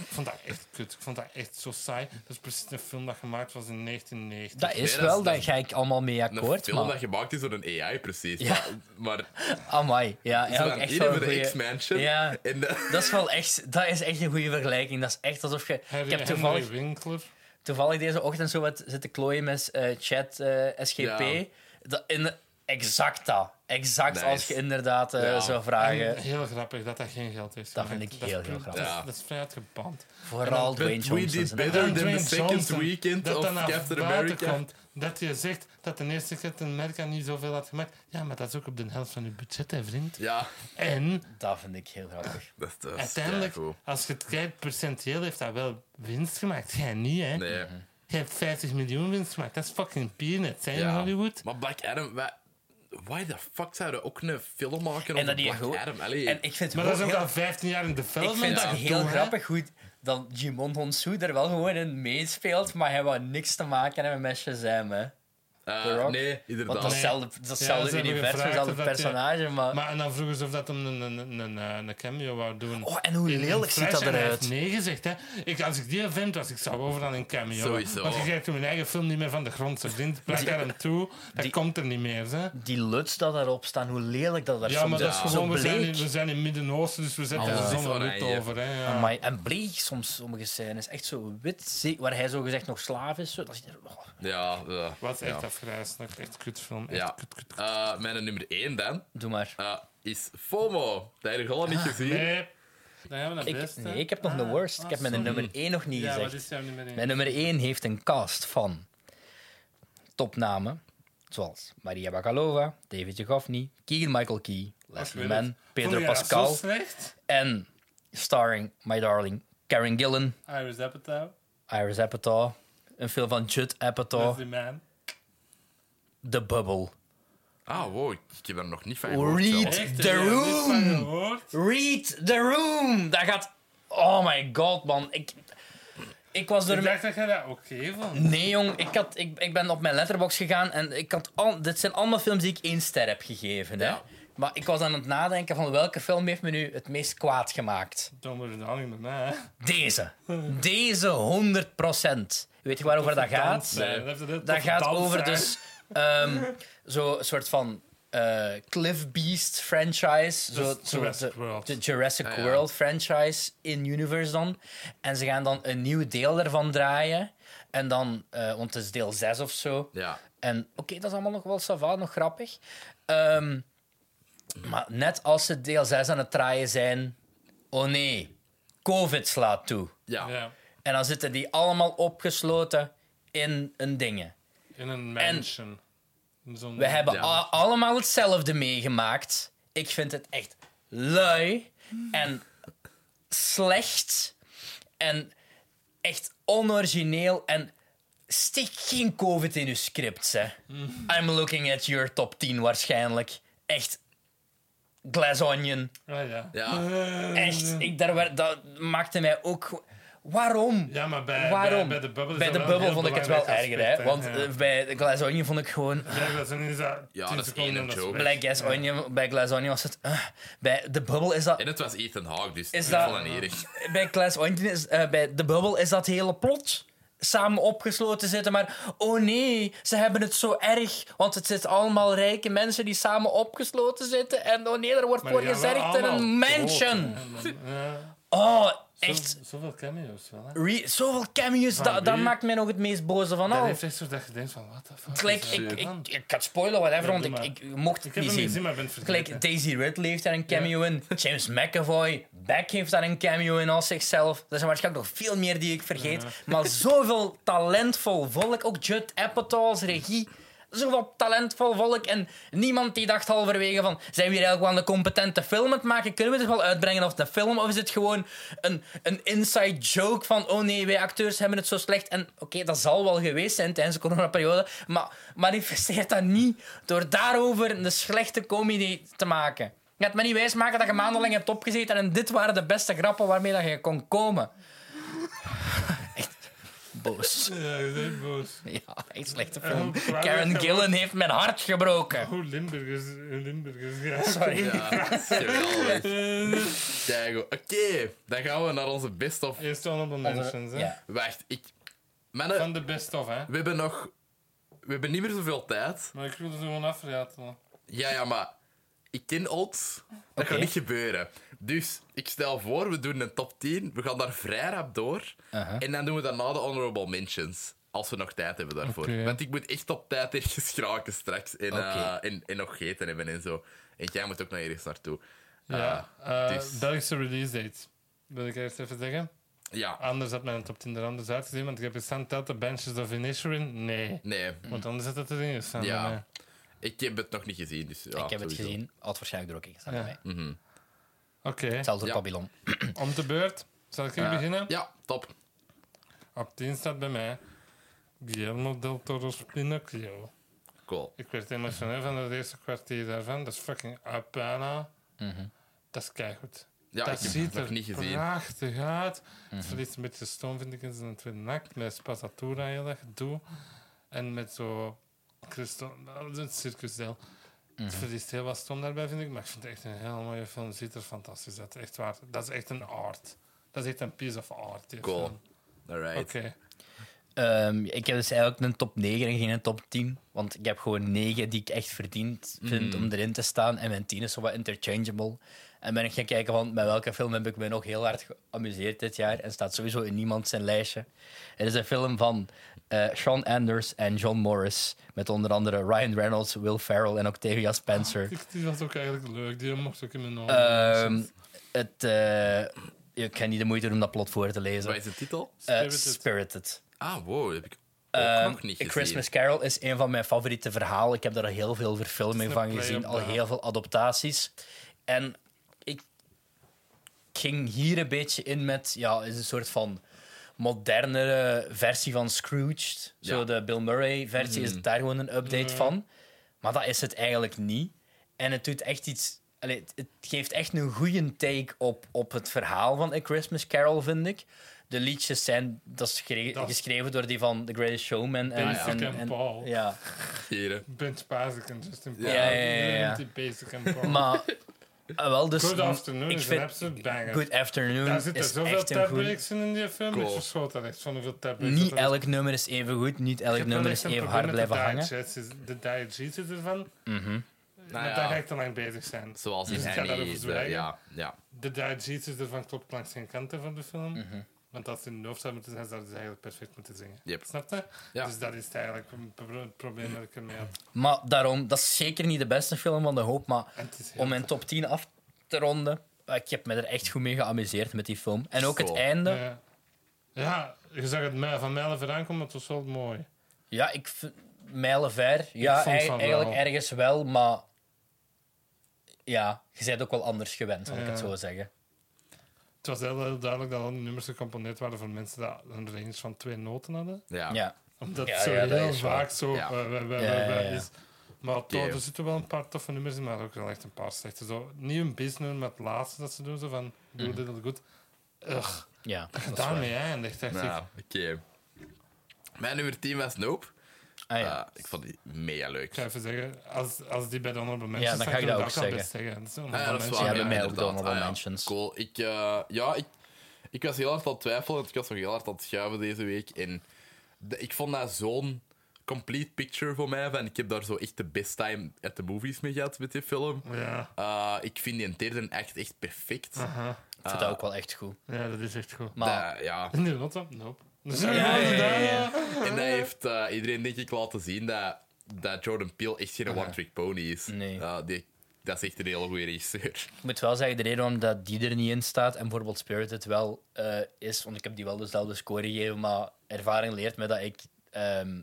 [SPEAKER 2] Ik vond dat echt kut. Ik vond dat echt zo saai. Dat is precies een film dat gemaakt was in 1990.
[SPEAKER 3] Dat is
[SPEAKER 1] dat is-
[SPEAKER 3] wel,
[SPEAKER 1] dat
[SPEAKER 3] daar
[SPEAKER 1] is-
[SPEAKER 3] ga ik allemaal mee
[SPEAKER 1] Een
[SPEAKER 3] akkoord.
[SPEAKER 1] film dat
[SPEAKER 3] Maar...
[SPEAKER 1] gemaakt is door een AI, precies.
[SPEAKER 3] Ja.
[SPEAKER 1] Maar, maar
[SPEAKER 3] Amai, ja,
[SPEAKER 1] ze
[SPEAKER 3] ja ook
[SPEAKER 1] waren
[SPEAKER 3] echt
[SPEAKER 1] in
[SPEAKER 3] wel een
[SPEAKER 1] over de
[SPEAKER 3] goeie-
[SPEAKER 1] X-Mansion.
[SPEAKER 3] Ja.
[SPEAKER 1] En de- (laughs)
[SPEAKER 3] Dat is wel echt, dat is echt een goede vergelijking. Dat is echt alsof je.
[SPEAKER 2] Harry,
[SPEAKER 3] ik heb
[SPEAKER 2] Henry
[SPEAKER 3] toevallig,
[SPEAKER 2] Winkler.
[SPEAKER 3] toevallig deze ochtend zo wat zitten klooien met eh, chat eh, SGP.
[SPEAKER 1] Ja.
[SPEAKER 3] Dat, in, exact dat. Exact
[SPEAKER 1] Nice.
[SPEAKER 3] als je inderdaad eh,
[SPEAKER 1] Ja.
[SPEAKER 3] zou
[SPEAKER 2] En
[SPEAKER 3] vragen.
[SPEAKER 2] heel grappig dat dat geen geld heeft.
[SPEAKER 3] Dat vind ik
[SPEAKER 2] is
[SPEAKER 3] heel,
[SPEAKER 2] puur-
[SPEAKER 3] heel grappig.
[SPEAKER 2] Dat,
[SPEAKER 1] Ja.
[SPEAKER 2] is- dat is vrij uitgeband.
[SPEAKER 3] Vooral
[SPEAKER 2] en
[SPEAKER 3] Dwayne
[SPEAKER 1] But we
[SPEAKER 3] Johnson.
[SPEAKER 1] did
[SPEAKER 3] zijn
[SPEAKER 1] better
[SPEAKER 3] eigen-
[SPEAKER 1] than the
[SPEAKER 2] Dwayne
[SPEAKER 1] second
[SPEAKER 2] Johnson,
[SPEAKER 1] weekend
[SPEAKER 2] dat
[SPEAKER 1] of
[SPEAKER 2] dan naar
[SPEAKER 1] Captain
[SPEAKER 2] buiten
[SPEAKER 1] America.
[SPEAKER 2] Komt, dat je zegt dat de eerste Captain America niet zoveel had gemaakt. Ja, maar dat is ook op de helft van je budget, hè, vriend.
[SPEAKER 1] Ja,
[SPEAKER 2] En
[SPEAKER 3] Dat vind ik heel grappig.
[SPEAKER 1] dat is- dat is
[SPEAKER 2] uiteindelijk,
[SPEAKER 1] keigoed.
[SPEAKER 2] als je het kijkt, percentieel heeft dat wel winst gemaakt. Jij niet, hè?
[SPEAKER 1] Nee.
[SPEAKER 2] Jij hebt 50 miljoen winst gemaakt. Dat is fucking peanuts, hè, in
[SPEAKER 1] Ja.
[SPEAKER 2] Hollywood.
[SPEAKER 1] Maar Black Adam, wij, why the fuck zouden we ook een film maken
[SPEAKER 3] En
[SPEAKER 1] over
[SPEAKER 3] dat die
[SPEAKER 1] Black
[SPEAKER 3] gewoon-
[SPEAKER 1] Adam? Allee,
[SPEAKER 3] En ik vind het
[SPEAKER 2] Maar dat is
[SPEAKER 3] gewoon
[SPEAKER 2] ook al
[SPEAKER 3] heel-
[SPEAKER 2] 15 jaar in
[SPEAKER 3] Ik vind
[SPEAKER 2] development.
[SPEAKER 3] het
[SPEAKER 2] dat
[SPEAKER 3] heel
[SPEAKER 2] doe, hè.
[SPEAKER 3] grappig hoe dat Jimon Honsu er wel gewoon in meespeelt, maar hij wou niks te maken hebben met Shazam, hè.
[SPEAKER 1] eh,
[SPEAKER 3] The Rock?
[SPEAKER 1] nee,
[SPEAKER 3] Want
[SPEAKER 1] inderdaad.
[SPEAKER 3] dat is
[SPEAKER 2] Nee.
[SPEAKER 3] hetzelfde dat is
[SPEAKER 2] Ja,
[SPEAKER 3] hetzelfde
[SPEAKER 2] ze hebben
[SPEAKER 3] universum,
[SPEAKER 2] gevraagd
[SPEAKER 3] hetzelfde
[SPEAKER 2] of dat je-
[SPEAKER 3] personage, maar...
[SPEAKER 2] Maar en dan vroegen ze of dat hem een, een, een, een, een cameo wou doen.
[SPEAKER 3] Oh, en hoe
[SPEAKER 2] In- in
[SPEAKER 3] lelijk ziet
[SPEAKER 2] Flash,
[SPEAKER 3] dat
[SPEAKER 2] en hij
[SPEAKER 3] eruit.
[SPEAKER 2] heeft nee gezegd, hè. Ik, als ik die vent was, ik zou overal een cameo.
[SPEAKER 1] Sowieso.
[SPEAKER 2] Want je krijgt mijn eigen film niet meer van de grond. Ze vriend, plak daar hem toe. Dat
[SPEAKER 3] die-
[SPEAKER 2] komt er niet meer,
[SPEAKER 1] Dus
[SPEAKER 2] hè.
[SPEAKER 3] Die luts dat daarop staan, hoe lelijk dat daar
[SPEAKER 2] Ja, maar
[SPEAKER 3] soms
[SPEAKER 2] dat is
[SPEAKER 3] uit-
[SPEAKER 2] gewoon... We
[SPEAKER 3] Zo
[SPEAKER 2] zijn, in-
[SPEAKER 3] bleek.
[SPEAKER 2] we zijn in het Midden-Oosten, dus we zetten
[SPEAKER 3] Ah,
[SPEAKER 2] er
[SPEAKER 3] dat is
[SPEAKER 2] zonder
[SPEAKER 1] oranje.
[SPEAKER 2] roet over, hè. Ja.
[SPEAKER 3] Amai, en bleek soms sommige scènes. Echt zo wit, zie- waar hij zo gezegd nog slaaf is. Zo. Dat ziet er- oh.
[SPEAKER 1] Ja, eh,
[SPEAKER 2] Wat
[SPEAKER 1] ja.
[SPEAKER 2] echt afgrijselijk. Echt kutfilm. Echt
[SPEAKER 1] Ja.
[SPEAKER 2] kut, kut, kut.
[SPEAKER 1] Eh, mijn nummer 1 dan
[SPEAKER 3] Doe maar.
[SPEAKER 1] eh, is FOMO. Dat heb ik al niet gezien.
[SPEAKER 2] Ah, Nee. Dan hebben we de
[SPEAKER 3] Ik,
[SPEAKER 2] beste. Ah,
[SPEAKER 3] nee, ik heb nog de worst. ik heb mijn nummer 1 nog niet
[SPEAKER 2] Ja, wat
[SPEAKER 3] gezegd.
[SPEAKER 2] is jouw nummer één?
[SPEAKER 3] Mijn nummer 1 heeft een cast van topnamen. Zoals Maria Bakalova, David Duchovny, Keegan Michael Key, Leslie
[SPEAKER 2] Ah, Oh, weet
[SPEAKER 3] Mann,
[SPEAKER 2] het. Vond
[SPEAKER 3] Pedro
[SPEAKER 2] je dat
[SPEAKER 3] Pascal
[SPEAKER 2] Zo slecht?
[SPEAKER 3] en starring my darling Karen Gillan,
[SPEAKER 2] Iris Apatow.
[SPEAKER 3] Iris Apatow, een film van Judd Apatow,
[SPEAKER 2] Leslie Mann.
[SPEAKER 3] The Bubble.
[SPEAKER 1] Ah, wow, ik- ik heb er nog niet van gehoord. zelfs.
[SPEAKER 3] Oh, Read
[SPEAKER 2] Echt,
[SPEAKER 3] the
[SPEAKER 2] heb je er niet van
[SPEAKER 3] Room!
[SPEAKER 2] gehoord?
[SPEAKER 3] Read the Room! Dat gaat... Oh my god, man. Ik, ik was door
[SPEAKER 2] Ik
[SPEAKER 3] mijn-
[SPEAKER 2] dacht dat jij dat oké vond.
[SPEAKER 3] Nee, jong, ik, had, ik, ik ben op mijn letterbox gegaan en ik had al, dit zijn allemaal films die ik één ster heb gegeven. Hè?
[SPEAKER 1] Ja.
[SPEAKER 3] Maar ik was aan het nadenken van welke film heeft me nu het meest kwaad gemaakt.
[SPEAKER 2] Dan wordt het hangen met mij. hè.
[SPEAKER 3] Deze. Deze 100 Weet je waarover dat
[SPEAKER 2] Dans
[SPEAKER 3] gaat?
[SPEAKER 2] zijn. Dat heeft een heel
[SPEAKER 3] Dat
[SPEAKER 2] toffe
[SPEAKER 3] gaat
[SPEAKER 2] dans
[SPEAKER 3] over
[SPEAKER 2] zijn.
[SPEAKER 3] dus ehm, zo'n soort van eh, Cliff Beast franchise. Zo,
[SPEAKER 2] Dus
[SPEAKER 3] zo,
[SPEAKER 2] Jurassic
[SPEAKER 3] de,
[SPEAKER 2] World.
[SPEAKER 3] de Jurassic
[SPEAKER 1] Ah, ja.
[SPEAKER 3] World franchise in Universe dan. En ze gaan dan een nieuw deel daarvan draaien. En dan, eh, want het is deel 6 of zo.
[SPEAKER 1] Ja.
[SPEAKER 3] En oké, dat is allemaal nog wel sava, nog grappig. Ehm, maar net als ze deel 6 aan het draaien zijn... Oh nee, COVID slaat toe.
[SPEAKER 1] Ja.
[SPEAKER 2] Ja.
[SPEAKER 3] En dan zitten die allemaal opgesloten in een dingen.
[SPEAKER 2] In een mansion. Zo'n-
[SPEAKER 3] We hebben
[SPEAKER 1] Ja.
[SPEAKER 3] a- allemaal hetzelfde meegemaakt. Ik vind het echt lui en slecht en echt onorigineel en steek geen COVID in uw scripts, hè. I'm looking at your top 10 waarschijnlijk. Echt glass onion.
[SPEAKER 2] Ah, ja. Eh,
[SPEAKER 1] Ja.
[SPEAKER 3] Echt, ik, daar, werd- dat maakte mij ook... gewoon- Waarom?
[SPEAKER 2] Ja, maar bij,
[SPEAKER 3] Waarom?
[SPEAKER 2] bij, bij de bubbel, is
[SPEAKER 3] Bij
[SPEAKER 2] dat
[SPEAKER 3] de
[SPEAKER 2] wel een
[SPEAKER 3] bubbel
[SPEAKER 2] heel
[SPEAKER 3] vond ik het wel
[SPEAKER 2] belangrijk
[SPEAKER 3] erger, hè?
[SPEAKER 2] aspect,
[SPEAKER 3] Want eh, bij de Glass Onion vond ik gewoon.
[SPEAKER 2] Ja, dat is een- is dat
[SPEAKER 1] Ja,
[SPEAKER 2] 10
[SPEAKER 1] dat is
[SPEAKER 2] seconden
[SPEAKER 1] één
[SPEAKER 2] en dat
[SPEAKER 1] joke.
[SPEAKER 2] weg.
[SPEAKER 3] Bij Glass Onion, bij Glass Onion was het. eh, bij de bubbel is dat.
[SPEAKER 1] En het was Ethan Hawke, dus
[SPEAKER 3] Is
[SPEAKER 1] ik
[SPEAKER 3] dat-
[SPEAKER 1] vond dat niet erg.
[SPEAKER 3] Bij Glass Onion is. eh, bij de bubbel is dat hele plot. Samen opgesloten zitten, maar oh nee, ze hebben het zo erg. Want het zit allemaal rijke mensen die samen opgesloten zitten. En oh nee, er wordt
[SPEAKER 2] Maar
[SPEAKER 3] voor
[SPEAKER 2] die gaan
[SPEAKER 3] gezorgd
[SPEAKER 2] wel
[SPEAKER 3] in een
[SPEAKER 2] allemaal
[SPEAKER 3] mansion.
[SPEAKER 2] dood, hè. Ja.
[SPEAKER 3] Oh,
[SPEAKER 2] Zo-
[SPEAKER 3] echt.
[SPEAKER 2] Zoveel cameo's wel, hè?
[SPEAKER 3] Re- zoveel cameo's,
[SPEAKER 2] Van
[SPEAKER 3] dat, dat
[SPEAKER 2] Ah, wie?
[SPEAKER 3] maakt mij nog het meest boze van
[SPEAKER 2] Dat
[SPEAKER 3] al.
[SPEAKER 2] heeft echt zo dat je denkt van, what the fuck
[SPEAKER 3] Gelijk,
[SPEAKER 2] is er
[SPEAKER 3] ik, ik,
[SPEAKER 2] aan?
[SPEAKER 3] ik, kan het spoilen, whatever,
[SPEAKER 2] Ja,
[SPEAKER 3] want
[SPEAKER 2] doe
[SPEAKER 3] ik,
[SPEAKER 2] maar.
[SPEAKER 3] ik mocht
[SPEAKER 2] heb
[SPEAKER 3] het niet
[SPEAKER 2] hem niet
[SPEAKER 3] zien.
[SPEAKER 2] gezien, maar ik ben het
[SPEAKER 3] Gelijk,
[SPEAKER 2] vergeten.
[SPEAKER 3] Daisy Ridley heeft daar een cameo in. James McAvoy. Beck heeft daar een cameo in als zichzelf. Er zijn waarschijnlijk nog veel meer die ik vergeet. (laughs) Maar zoveel talentvol volk. Ook Judd Apatow als regie. Zoveel talentvol volk. En niemand die dacht halverwege van... Zijn we hier eigenlijk wel een competente film aan het maken? Kunnen we dit wel uitbrengen of de film? Of is het gewoon een, een inside joke van... Oh nee, wij acteurs hebben het zo slecht. En oké, dat zal wel geweest zijn tijdens de coronaperiode. Maar manifesteert dat niet door daarover een slechte comedy te maken. Je gaat me niet wijsmaken dat je maandenlang hebt opgezeten en dit waren de beste grappen waarmee dat je kon komen. (laughs) Echt boos.
[SPEAKER 2] Ja, dat is echt boos.
[SPEAKER 3] Ja, echt slechte
[SPEAKER 2] Eh,
[SPEAKER 3] film.
[SPEAKER 2] hoe kwaad is
[SPEAKER 3] Karen
[SPEAKER 2] dat
[SPEAKER 3] Gillen heeft mijn hart gebroken.
[SPEAKER 2] Hoe Limburgers, eh, Limburgers,
[SPEAKER 3] (laughs)
[SPEAKER 2] ja.
[SPEAKER 3] Sorry.
[SPEAKER 1] Ja, geweldig. Kijk, Oké, dan gaan we naar onze best of.
[SPEAKER 2] Eerst Honorable Mentions, hè.
[SPEAKER 3] Ja.
[SPEAKER 1] Wacht, ik. Mannen,
[SPEAKER 2] Van de best of, hè.
[SPEAKER 1] we hebben nog. We hebben niet meer zoveel tijd.
[SPEAKER 2] Maar ik wil er gewoon afratelen.
[SPEAKER 1] Ja, ja, maar ik ken odds. Dat gaat niet gebeuren. Dus ik stel voor, we doen een top 10. We gaan daar vrij rap door.
[SPEAKER 3] Aha.
[SPEAKER 1] En dan doen we daarna de honorable mentions. Als we nog tijd hebben daarvoor.
[SPEAKER 2] Oké.
[SPEAKER 1] Want ik moet echt op tijd ergens geraken straks. En, eh,
[SPEAKER 3] Oké.
[SPEAKER 1] en, en nog gegeten hebben en zo. En jij moet ook nog ergens naartoe.
[SPEAKER 2] Ja,
[SPEAKER 1] het
[SPEAKER 2] eh
[SPEAKER 1] is-
[SPEAKER 2] Belgische release date. Wil ik eerst even zeggen?
[SPEAKER 1] Ja,
[SPEAKER 2] Anders had mijn top 10 er anders uitgezien, want ik heb gestaan, telt de Benches of Inisherin? Nee.
[SPEAKER 1] nee.
[SPEAKER 2] Want anders had het erin gestaan.
[SPEAKER 1] Ja.
[SPEAKER 2] bij mij.
[SPEAKER 1] Ik heb het nog niet gezien. Dus, ja,
[SPEAKER 3] Ik heb het
[SPEAKER 1] sowieso.
[SPEAKER 3] gezien. Had waarschijnlijk er ook in gestaan
[SPEAKER 2] Ja.
[SPEAKER 3] bij mij.
[SPEAKER 2] Oké,
[SPEAKER 3] Hetzelfde
[SPEAKER 1] Ja.
[SPEAKER 3] Babylon.
[SPEAKER 2] om de beurt. Zal ik hier beginnen?
[SPEAKER 1] Ja, top.
[SPEAKER 2] Op 10 staat bij mij Guillermo del Toro's Pinocchio.
[SPEAKER 1] Cool.
[SPEAKER 2] Ik werd emotioneel van het eerste kwartier daarvan. Dat is fucking Apana.
[SPEAKER 3] Mhm.
[SPEAKER 2] Dat is keigoed.
[SPEAKER 1] Ja,
[SPEAKER 2] dat
[SPEAKER 1] ik heb
[SPEAKER 2] ziet
[SPEAKER 1] het nog
[SPEAKER 2] er
[SPEAKER 1] niet gezien. Mhm.
[SPEAKER 2] prachtig uit. Het verliest een beetje stoom, vind ik, in zijn tweede act. Met Spazzatura heel erg gedoe. En met zo... Christo, een circusdeel.
[SPEAKER 1] Mhm.
[SPEAKER 2] Het verliest heel wat stoom daarbij, vind ik. Maar ik vind het echt een heel mooie film. Het ziet er fantastisch uit. Echt waar. Dat is echt een art. Dat is echt een piece of art. die
[SPEAKER 1] Cool.
[SPEAKER 2] film.
[SPEAKER 1] Alright.
[SPEAKER 2] Oké.
[SPEAKER 3] Ehm, ik heb dus eigenlijk een top 9 en geen top 10. Want ik heb gewoon 9 die ik echt verdiend vind om erin te staan. En mijn 10 is zo wat interchangeable. En ben ik gaan kijken van met welke film heb ik me nog heel hard geamuseerd dit jaar. En staat sowieso in niemand zijn lijstje. Het is een film van eh, Sean Anders en John Morris. Met onder andere Ryan Reynolds, Will Ferrell en Octavia Spencer.
[SPEAKER 2] Ik- Die was ook eigenlijk leuk. Die mocht ook in mijn
[SPEAKER 3] Ehm,
[SPEAKER 2] ogen.
[SPEAKER 3] het, eh, ik ga niet de moeite doen om dat plot voor te lezen.
[SPEAKER 1] Wat is de titel?
[SPEAKER 3] Eh,
[SPEAKER 2] Spirited.
[SPEAKER 3] Spirited.
[SPEAKER 1] Ah, wow, die heb ik ook
[SPEAKER 3] Ehm,
[SPEAKER 1] nog niet gezien.
[SPEAKER 3] Christmas Carol is een van mijn favoriete verhalen. Ik heb daar heel veel
[SPEAKER 2] Het
[SPEAKER 3] verfilming
[SPEAKER 2] is een
[SPEAKER 3] van gezien, al
[SPEAKER 2] play-up, ja.
[SPEAKER 3] heel veel adaptaties. En ik ging hier een beetje in met ja, is een soort van modernere versie van Scrooged. Zo
[SPEAKER 1] Ja. Mm.
[SPEAKER 3] de Bill Murray-versie is daar gewoon een update
[SPEAKER 2] Ja.
[SPEAKER 3] van. Maar dat is het eigenlijk niet. En het doet echt iets. allee, het, het geeft echt een goede take op, op het verhaal van A Christmas Carol, vind ik. De liedjes zijn dat is gere-
[SPEAKER 2] Dat is-
[SPEAKER 3] geschreven door die van The Greatest Showman. En,
[SPEAKER 2] Basic
[SPEAKER 3] en,
[SPEAKER 2] and
[SPEAKER 3] en-
[SPEAKER 2] Paul.
[SPEAKER 3] ja.
[SPEAKER 1] Hier.
[SPEAKER 2] Bent Basic en Justin Paul.
[SPEAKER 1] Ja,
[SPEAKER 3] ja, ja, ja, ja.
[SPEAKER 2] Die
[SPEAKER 1] (laughs)
[SPEAKER 2] Basic en Paul.
[SPEAKER 3] Maar
[SPEAKER 2] (laughs)
[SPEAKER 3] eh, wel, dus
[SPEAKER 2] Good Afternoon
[SPEAKER 3] ik
[SPEAKER 2] is
[SPEAKER 3] vind
[SPEAKER 2] een absolute banger.
[SPEAKER 3] Good Afternoon
[SPEAKER 2] Daar zitten
[SPEAKER 3] is
[SPEAKER 2] zoveel
[SPEAKER 3] echt een goed.
[SPEAKER 2] tabbreaks in in die film.
[SPEAKER 1] Cool.
[SPEAKER 2] Ik verschoot daar echt van hoeveel tabbreaks.
[SPEAKER 3] Niet elk nummer is even goed, niet elk nummer is even hard blijven hangen.
[SPEAKER 2] De diegesis ervan.
[SPEAKER 1] Nou
[SPEAKER 2] maar
[SPEAKER 1] ja.
[SPEAKER 2] daar ga ik te lang bezig zijn.
[SPEAKER 1] Zoals
[SPEAKER 2] Dus
[SPEAKER 1] in
[SPEAKER 2] ik ga daarover
[SPEAKER 1] Annie. de-
[SPEAKER 2] zwijgen.
[SPEAKER 1] ja, ja.
[SPEAKER 2] De diegesis ervan klopt langs geen kanten van de film.
[SPEAKER 3] Mhm.
[SPEAKER 2] Want als het in de hoofd zou moeten zijn, zouden ze eigenlijk perfect moeten zingen.
[SPEAKER 1] Yep.
[SPEAKER 2] Snap je?
[SPEAKER 1] Ja.
[SPEAKER 2] Dus dat is het eigenlijk een pro- het probleem dat ik ermee had.
[SPEAKER 3] Maar daarom, dat is zeker niet de beste film van de hoop, maar
[SPEAKER 2] En het is heel
[SPEAKER 3] om mijn top 10 af te ronden, eh, ik heb me er echt goed mee geamuseerd met die film. En ook het
[SPEAKER 1] Cool.
[SPEAKER 3] einde.
[SPEAKER 2] Ja. ja, je zag het mij- van mij even aankomen, maar het was wel mooi.
[SPEAKER 3] Ja, ik v- mijlenver. Ja,
[SPEAKER 2] vond
[SPEAKER 3] ei-
[SPEAKER 2] van
[SPEAKER 3] eigenlijk
[SPEAKER 2] wel.
[SPEAKER 3] ergens wel, maar ja, je bent ook wel anders gewend, zal ik
[SPEAKER 2] Ja.
[SPEAKER 3] het zo zeggen.
[SPEAKER 2] Het was heel, heel duidelijk dat al die nummers gecomponeerd waren voor mensen dat een range van twee noten hadden.
[SPEAKER 1] Ja.
[SPEAKER 3] Ja.
[SPEAKER 2] Omdat
[SPEAKER 3] Ja,
[SPEAKER 2] het zo
[SPEAKER 3] ja, dat
[SPEAKER 2] heel
[SPEAKER 3] is wel-
[SPEAKER 2] vaak zo
[SPEAKER 1] ja.
[SPEAKER 2] eh, eh, eh,
[SPEAKER 3] Ja, ja,
[SPEAKER 2] eh,
[SPEAKER 3] ja.
[SPEAKER 2] is. Maar toch,
[SPEAKER 1] Oké.
[SPEAKER 2] er zitten wel een paar toffe nummers in, maar ook wel echt een paar slechte. Zo, niet een business, maar het laatste dat ze doen, zo van doe dit al goed. Ugh,
[SPEAKER 3] Ja, Mhm. dat is waar.
[SPEAKER 2] daarmee eindigt, dacht
[SPEAKER 1] Nou,
[SPEAKER 2] ik.
[SPEAKER 1] oké. Mijn nummer 10 was Nope.
[SPEAKER 3] Ah, ja.
[SPEAKER 1] Eh, ik vond die mega leuk.
[SPEAKER 2] Ik ga even zeggen, als, als die bij de honorable
[SPEAKER 3] Ja,
[SPEAKER 2] mensen
[SPEAKER 3] dan ga ik dat ook zeggen.
[SPEAKER 2] Dat is een
[SPEAKER 1] Ah, ja,
[SPEAKER 2] honorable
[SPEAKER 1] dat is
[SPEAKER 2] mention.
[SPEAKER 1] waar.
[SPEAKER 3] Ja, bij mij
[SPEAKER 1] inderdaad.
[SPEAKER 3] ook
[SPEAKER 1] Ah,
[SPEAKER 3] de honorable
[SPEAKER 1] ja.
[SPEAKER 3] mentions.
[SPEAKER 1] Cool. Ik, eh, ja, ik, ik was heel hard aan het twijfelen. want Ik was nog heel hard aan het schuiven deze week. En de- ik vond dat zo'n complete picture voor mij. Van, ik heb daar zo echt de best time at the movies mee gehad met die film.
[SPEAKER 2] Ja,
[SPEAKER 1] Eh, ik vind die derde echt, echt perfect.
[SPEAKER 3] Ik vond dat ook wel echt goed.
[SPEAKER 2] ja, dat is echt goed. (laughs)
[SPEAKER 3] Maar
[SPEAKER 1] Dat- ja.
[SPEAKER 2] In die noten? Nope. Dus ja,
[SPEAKER 3] ja, ja, ja, ja.
[SPEAKER 1] En
[SPEAKER 2] Ah.
[SPEAKER 1] dat heeft eh, iedereen, denk ik, laten zien dat, dat Jordan Peele echt geen one-trick pony is.
[SPEAKER 3] Ah. Nee.
[SPEAKER 1] Eh, die, dat is echt een hele goede regisseur. (laughs)
[SPEAKER 3] ik moet wel zeggen, de reden waarom dat die er niet in staat en bijvoorbeeld Spirited wel eh, is, want ik heb die wel dezelfde score gegeven, maar ervaring leert me dat ik. ehm,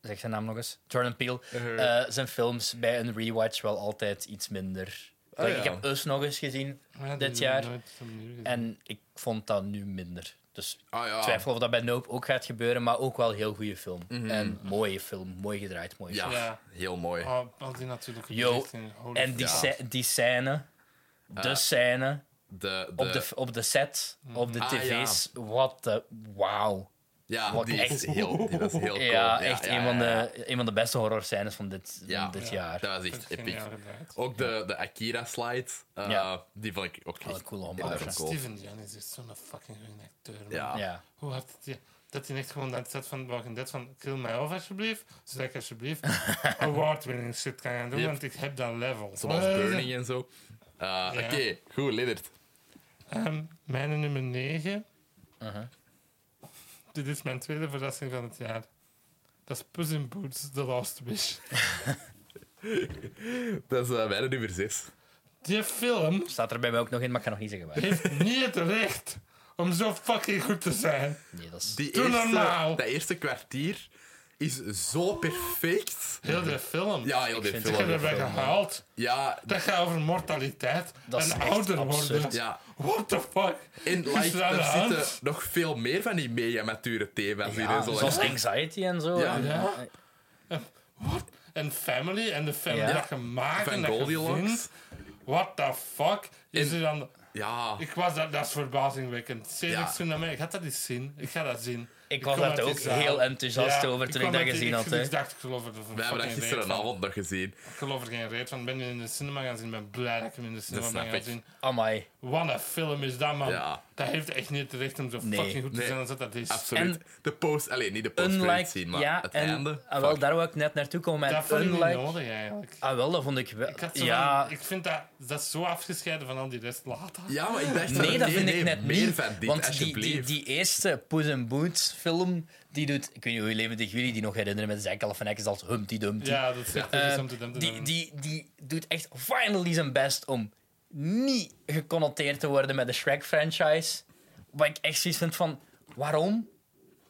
[SPEAKER 3] zeg zijn naam nog eens: Jordan Peele.
[SPEAKER 2] Uh-huh.
[SPEAKER 3] eh, zijn films bij een rewatch wel altijd iets minder.
[SPEAKER 1] Oh,
[SPEAKER 3] Like, Ik
[SPEAKER 1] ja.
[SPEAKER 3] heb Us nog eens gezien
[SPEAKER 2] Ja, Ah, die
[SPEAKER 3] dit
[SPEAKER 2] heb ik
[SPEAKER 3] jaar
[SPEAKER 2] nooit opnieuw gezien.
[SPEAKER 3] en ik vond dat nu minder. Dus ik
[SPEAKER 1] Ah, ja.
[SPEAKER 3] twijfel of dat bij Nope ook gaat gebeuren, maar ook wel een heel goede film. En mooie film, mooi gedraaid, mooi.
[SPEAKER 1] Ja,
[SPEAKER 2] Mhm. Ja.
[SPEAKER 1] heel mooi.
[SPEAKER 3] Ah.
[SPEAKER 2] Oh, al die natuurlijk een
[SPEAKER 3] Yo,
[SPEAKER 2] gezicht in, holy
[SPEAKER 3] En die,
[SPEAKER 1] Ja.
[SPEAKER 3] sce- die scène, de
[SPEAKER 1] Eh,
[SPEAKER 3] scène
[SPEAKER 1] De, de,
[SPEAKER 3] op de, op de set, op de
[SPEAKER 1] Ah,
[SPEAKER 3] tv's, wat de... Wauw.
[SPEAKER 1] ja,
[SPEAKER 3] wat
[SPEAKER 1] die is
[SPEAKER 3] echt-
[SPEAKER 1] heel, die was heel cool.
[SPEAKER 3] (laughs) Ja, echt
[SPEAKER 1] ja,
[SPEAKER 3] een, van
[SPEAKER 1] ja,
[SPEAKER 3] de, een van de beste horror scènes van dit,
[SPEAKER 1] ja.
[SPEAKER 3] van dit
[SPEAKER 1] Ja,
[SPEAKER 3] jaar.
[SPEAKER 1] Dat was
[SPEAKER 2] fuck,
[SPEAKER 1] echt epic.
[SPEAKER 2] geniaal gedraaid.
[SPEAKER 3] Oh,
[SPEAKER 1] Ook de, de Akira-slide, eh,
[SPEAKER 3] Ja.
[SPEAKER 1] die vond ik ook
[SPEAKER 3] Wel
[SPEAKER 1] echt
[SPEAKER 3] een coole
[SPEAKER 1] heel
[SPEAKER 3] hommage.
[SPEAKER 1] erg cool.
[SPEAKER 2] Steven Jan is echt zo'n fucking goede acteur. man.
[SPEAKER 1] Ja.
[SPEAKER 3] Ja.
[SPEAKER 2] Hoe hard dat hij... Dat hij echt gewoon dat zet van Walking Dead van kill mij af alsjeblieft, zodat ik
[SPEAKER 1] (laughs)
[SPEAKER 2] alsjeblieft award-winning shit kan gaan doen,
[SPEAKER 1] Yep.
[SPEAKER 2] want ik heb dat level.
[SPEAKER 1] Zoals
[SPEAKER 2] Eh,
[SPEAKER 1] Burning en zo. Eh, Oké, goed, Liddert.
[SPEAKER 2] ehm, mijn nummer 9.
[SPEAKER 1] Uh-huh.
[SPEAKER 2] Dit is mijn tweede verrassing van het jaar. Dat is Puss in Boots The Last Wish.
[SPEAKER 1] Dat is eh, mijn nummer 6.
[SPEAKER 2] Die film
[SPEAKER 3] Staat er bij mij ook nog in, maar ik ga nog niet zeggen waar.
[SPEAKER 1] (laughs)
[SPEAKER 2] heeft niet het recht om zo fucking goed te zijn. (laughs)
[SPEAKER 3] Nee, dat is...
[SPEAKER 1] Die
[SPEAKER 2] Doe
[SPEAKER 1] eerste,
[SPEAKER 2] normaal.
[SPEAKER 1] dat eerste kwartier is zo perfect.
[SPEAKER 2] Heel de film.
[SPEAKER 1] Ja, heel die
[SPEAKER 3] vind
[SPEAKER 2] Ik
[SPEAKER 1] film.
[SPEAKER 2] heb erbij
[SPEAKER 3] film,
[SPEAKER 2] gehaald.
[SPEAKER 1] Ja,
[SPEAKER 2] Dat gaat over mortaliteit
[SPEAKER 3] Dat is
[SPEAKER 2] en
[SPEAKER 3] echt
[SPEAKER 2] ouder
[SPEAKER 3] absurd.
[SPEAKER 2] worden.
[SPEAKER 1] ja.
[SPEAKER 2] What the fuck?
[SPEAKER 3] (laughs)
[SPEAKER 1] En
[SPEAKER 2] Is
[SPEAKER 1] like,
[SPEAKER 2] er aan de
[SPEAKER 1] er
[SPEAKER 2] hand?
[SPEAKER 1] zitten nog veel meer van die mega mature thema's in.
[SPEAKER 3] Ja,
[SPEAKER 1] en zo.
[SPEAKER 3] zoals Ah, anxiety en zo.
[SPEAKER 1] Ja.
[SPEAKER 3] En,
[SPEAKER 2] Ja.
[SPEAKER 3] eh,
[SPEAKER 2] En, what? en family en de family
[SPEAKER 3] Ja.
[SPEAKER 2] dat je maakt en
[SPEAKER 1] Van
[SPEAKER 2] dat je
[SPEAKER 1] Goldilocks.
[SPEAKER 2] vindt. What the fuck? Is
[SPEAKER 1] In-
[SPEAKER 2] er dan...
[SPEAKER 1] Ja.
[SPEAKER 2] Ik was dat, dat is verbazingwekkend. Serieus,
[SPEAKER 1] Ja.
[SPEAKER 2] toen naar mij. Ik had dat eens zien. Ik ga dat zien.
[SPEAKER 3] Ik was
[SPEAKER 2] kom
[SPEAKER 3] daar
[SPEAKER 2] uit die
[SPEAKER 3] ook
[SPEAKER 2] zaal.
[SPEAKER 3] heel enthousiast over toen ik
[SPEAKER 2] kwam
[SPEAKER 3] dat
[SPEAKER 2] uit die-
[SPEAKER 3] gezien had,
[SPEAKER 2] Ik,
[SPEAKER 3] hè.
[SPEAKER 2] ik dacht, ik geloof er
[SPEAKER 1] We hebben dat
[SPEAKER 2] fucking reet van.
[SPEAKER 1] gisteravond nog gezien.
[SPEAKER 2] Ik geloof er geen reet van. Ik ben in de cinema gaan zien. Ik ben blij dat ik hem in de cinema
[SPEAKER 1] snap
[SPEAKER 2] ben gaan
[SPEAKER 1] ik.
[SPEAKER 2] zien.
[SPEAKER 3] Amai.
[SPEAKER 2] Wat een film is dat, man.
[SPEAKER 1] Ja.
[SPEAKER 2] Dat heeft echt niet het recht om zo
[SPEAKER 3] Nee.
[SPEAKER 2] fucking goed te
[SPEAKER 1] Nee.
[SPEAKER 2] zijn als dat dat is.
[SPEAKER 1] Absoluut.
[SPEAKER 3] En-
[SPEAKER 1] de post, alleen niet de post
[SPEAKER 3] Unlike,
[SPEAKER 1] zien, maar
[SPEAKER 3] ja,
[SPEAKER 1] het
[SPEAKER 3] en,
[SPEAKER 1] einde.
[SPEAKER 3] ah, wel,
[SPEAKER 1] Fuck.
[SPEAKER 3] daar wou ik net naartoe komen. En
[SPEAKER 2] Dat vond ik niet
[SPEAKER 3] unlike-
[SPEAKER 2] nodig, eigenlijk.
[SPEAKER 3] Ah, wel, dat vond ik wel.
[SPEAKER 2] Ik, had zo
[SPEAKER 3] ja,
[SPEAKER 2] van- ik vind dat, dat is zo afgescheiden van al die rest later.
[SPEAKER 1] Ja, maar ik dacht
[SPEAKER 3] nee, dat vind ik
[SPEAKER 1] nee,
[SPEAKER 3] net
[SPEAKER 1] meer
[SPEAKER 3] niet.
[SPEAKER 1] Van dit,
[SPEAKER 3] want die,
[SPEAKER 1] alsjeblieft.
[SPEAKER 3] die, die eerste Puss in Boots film, die doet... Ik weet niet hoe levendig jullie die nog herinneren met zijn kalfenekjes als Humpty Dumpty.
[SPEAKER 2] Ja, dat is echt iets om te
[SPEAKER 3] Eh,
[SPEAKER 2] doen.
[SPEAKER 3] die, die, die doet echt finally zijn best om niet geconnoteerd te worden met de Shrek-franchise. Waar ik echt zoiets vind van, waarom?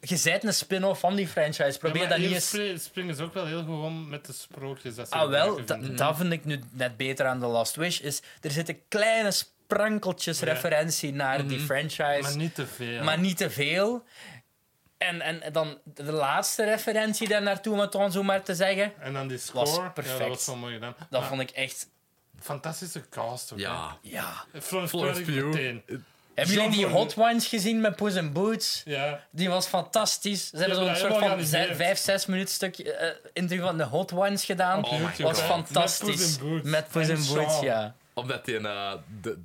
[SPEAKER 3] Je bent een spin-off van die franchise. Probeer dat niet eens...
[SPEAKER 2] springen ze ook wel heel goed om met de sprookjes. Dat ze
[SPEAKER 3] Ah, wel,
[SPEAKER 2] gebruiken,
[SPEAKER 3] da-
[SPEAKER 2] vind ik.
[SPEAKER 3] dat vind ik nu net beter aan The Last Wish. Is, er zitten kleine sprankeltjes
[SPEAKER 2] Ja. Mhm.
[SPEAKER 3] referentie naar die franchise,
[SPEAKER 2] Maar niet te veel.
[SPEAKER 3] maar niet te veel. En, en dan de laatste referentie daar naartoe, om het dan zo maar te zeggen.
[SPEAKER 2] en dan die score. Ja,
[SPEAKER 3] perfect.
[SPEAKER 2] dat was zo mooi gedaan.
[SPEAKER 3] Dat
[SPEAKER 2] Maar
[SPEAKER 3] vond ik echt...
[SPEAKER 2] Fantastische cast ook.
[SPEAKER 1] Ja.
[SPEAKER 3] Ja.
[SPEAKER 2] hè. Florence
[SPEAKER 1] Florence
[SPEAKER 2] Pugh
[SPEAKER 1] Pugh.
[SPEAKER 2] meteen.
[SPEAKER 3] Hebben jullie die
[SPEAKER 2] Jean-Paul-
[SPEAKER 3] Hot Ones gezien met Poes en Boots?
[SPEAKER 2] Ja.
[SPEAKER 3] Die was fantastisch. Ze hebben
[SPEAKER 2] hebben
[SPEAKER 3] zo'n
[SPEAKER 2] dat
[SPEAKER 3] soort
[SPEAKER 2] helemaal
[SPEAKER 3] van
[SPEAKER 2] georganiseerd.
[SPEAKER 3] ze- vijf, zes minuut stuk eh, interview van de Hot Ones gedaan.
[SPEAKER 1] Oh my
[SPEAKER 2] YouTube,
[SPEAKER 3] was
[SPEAKER 1] God.
[SPEAKER 2] hè.
[SPEAKER 3] fantastisch.
[SPEAKER 2] Met Puss in Boots.
[SPEAKER 3] Met Poes
[SPEAKER 2] En
[SPEAKER 3] en Boots,
[SPEAKER 2] Shaw.
[SPEAKER 3] ja.
[SPEAKER 1] Omdat die... eh, de,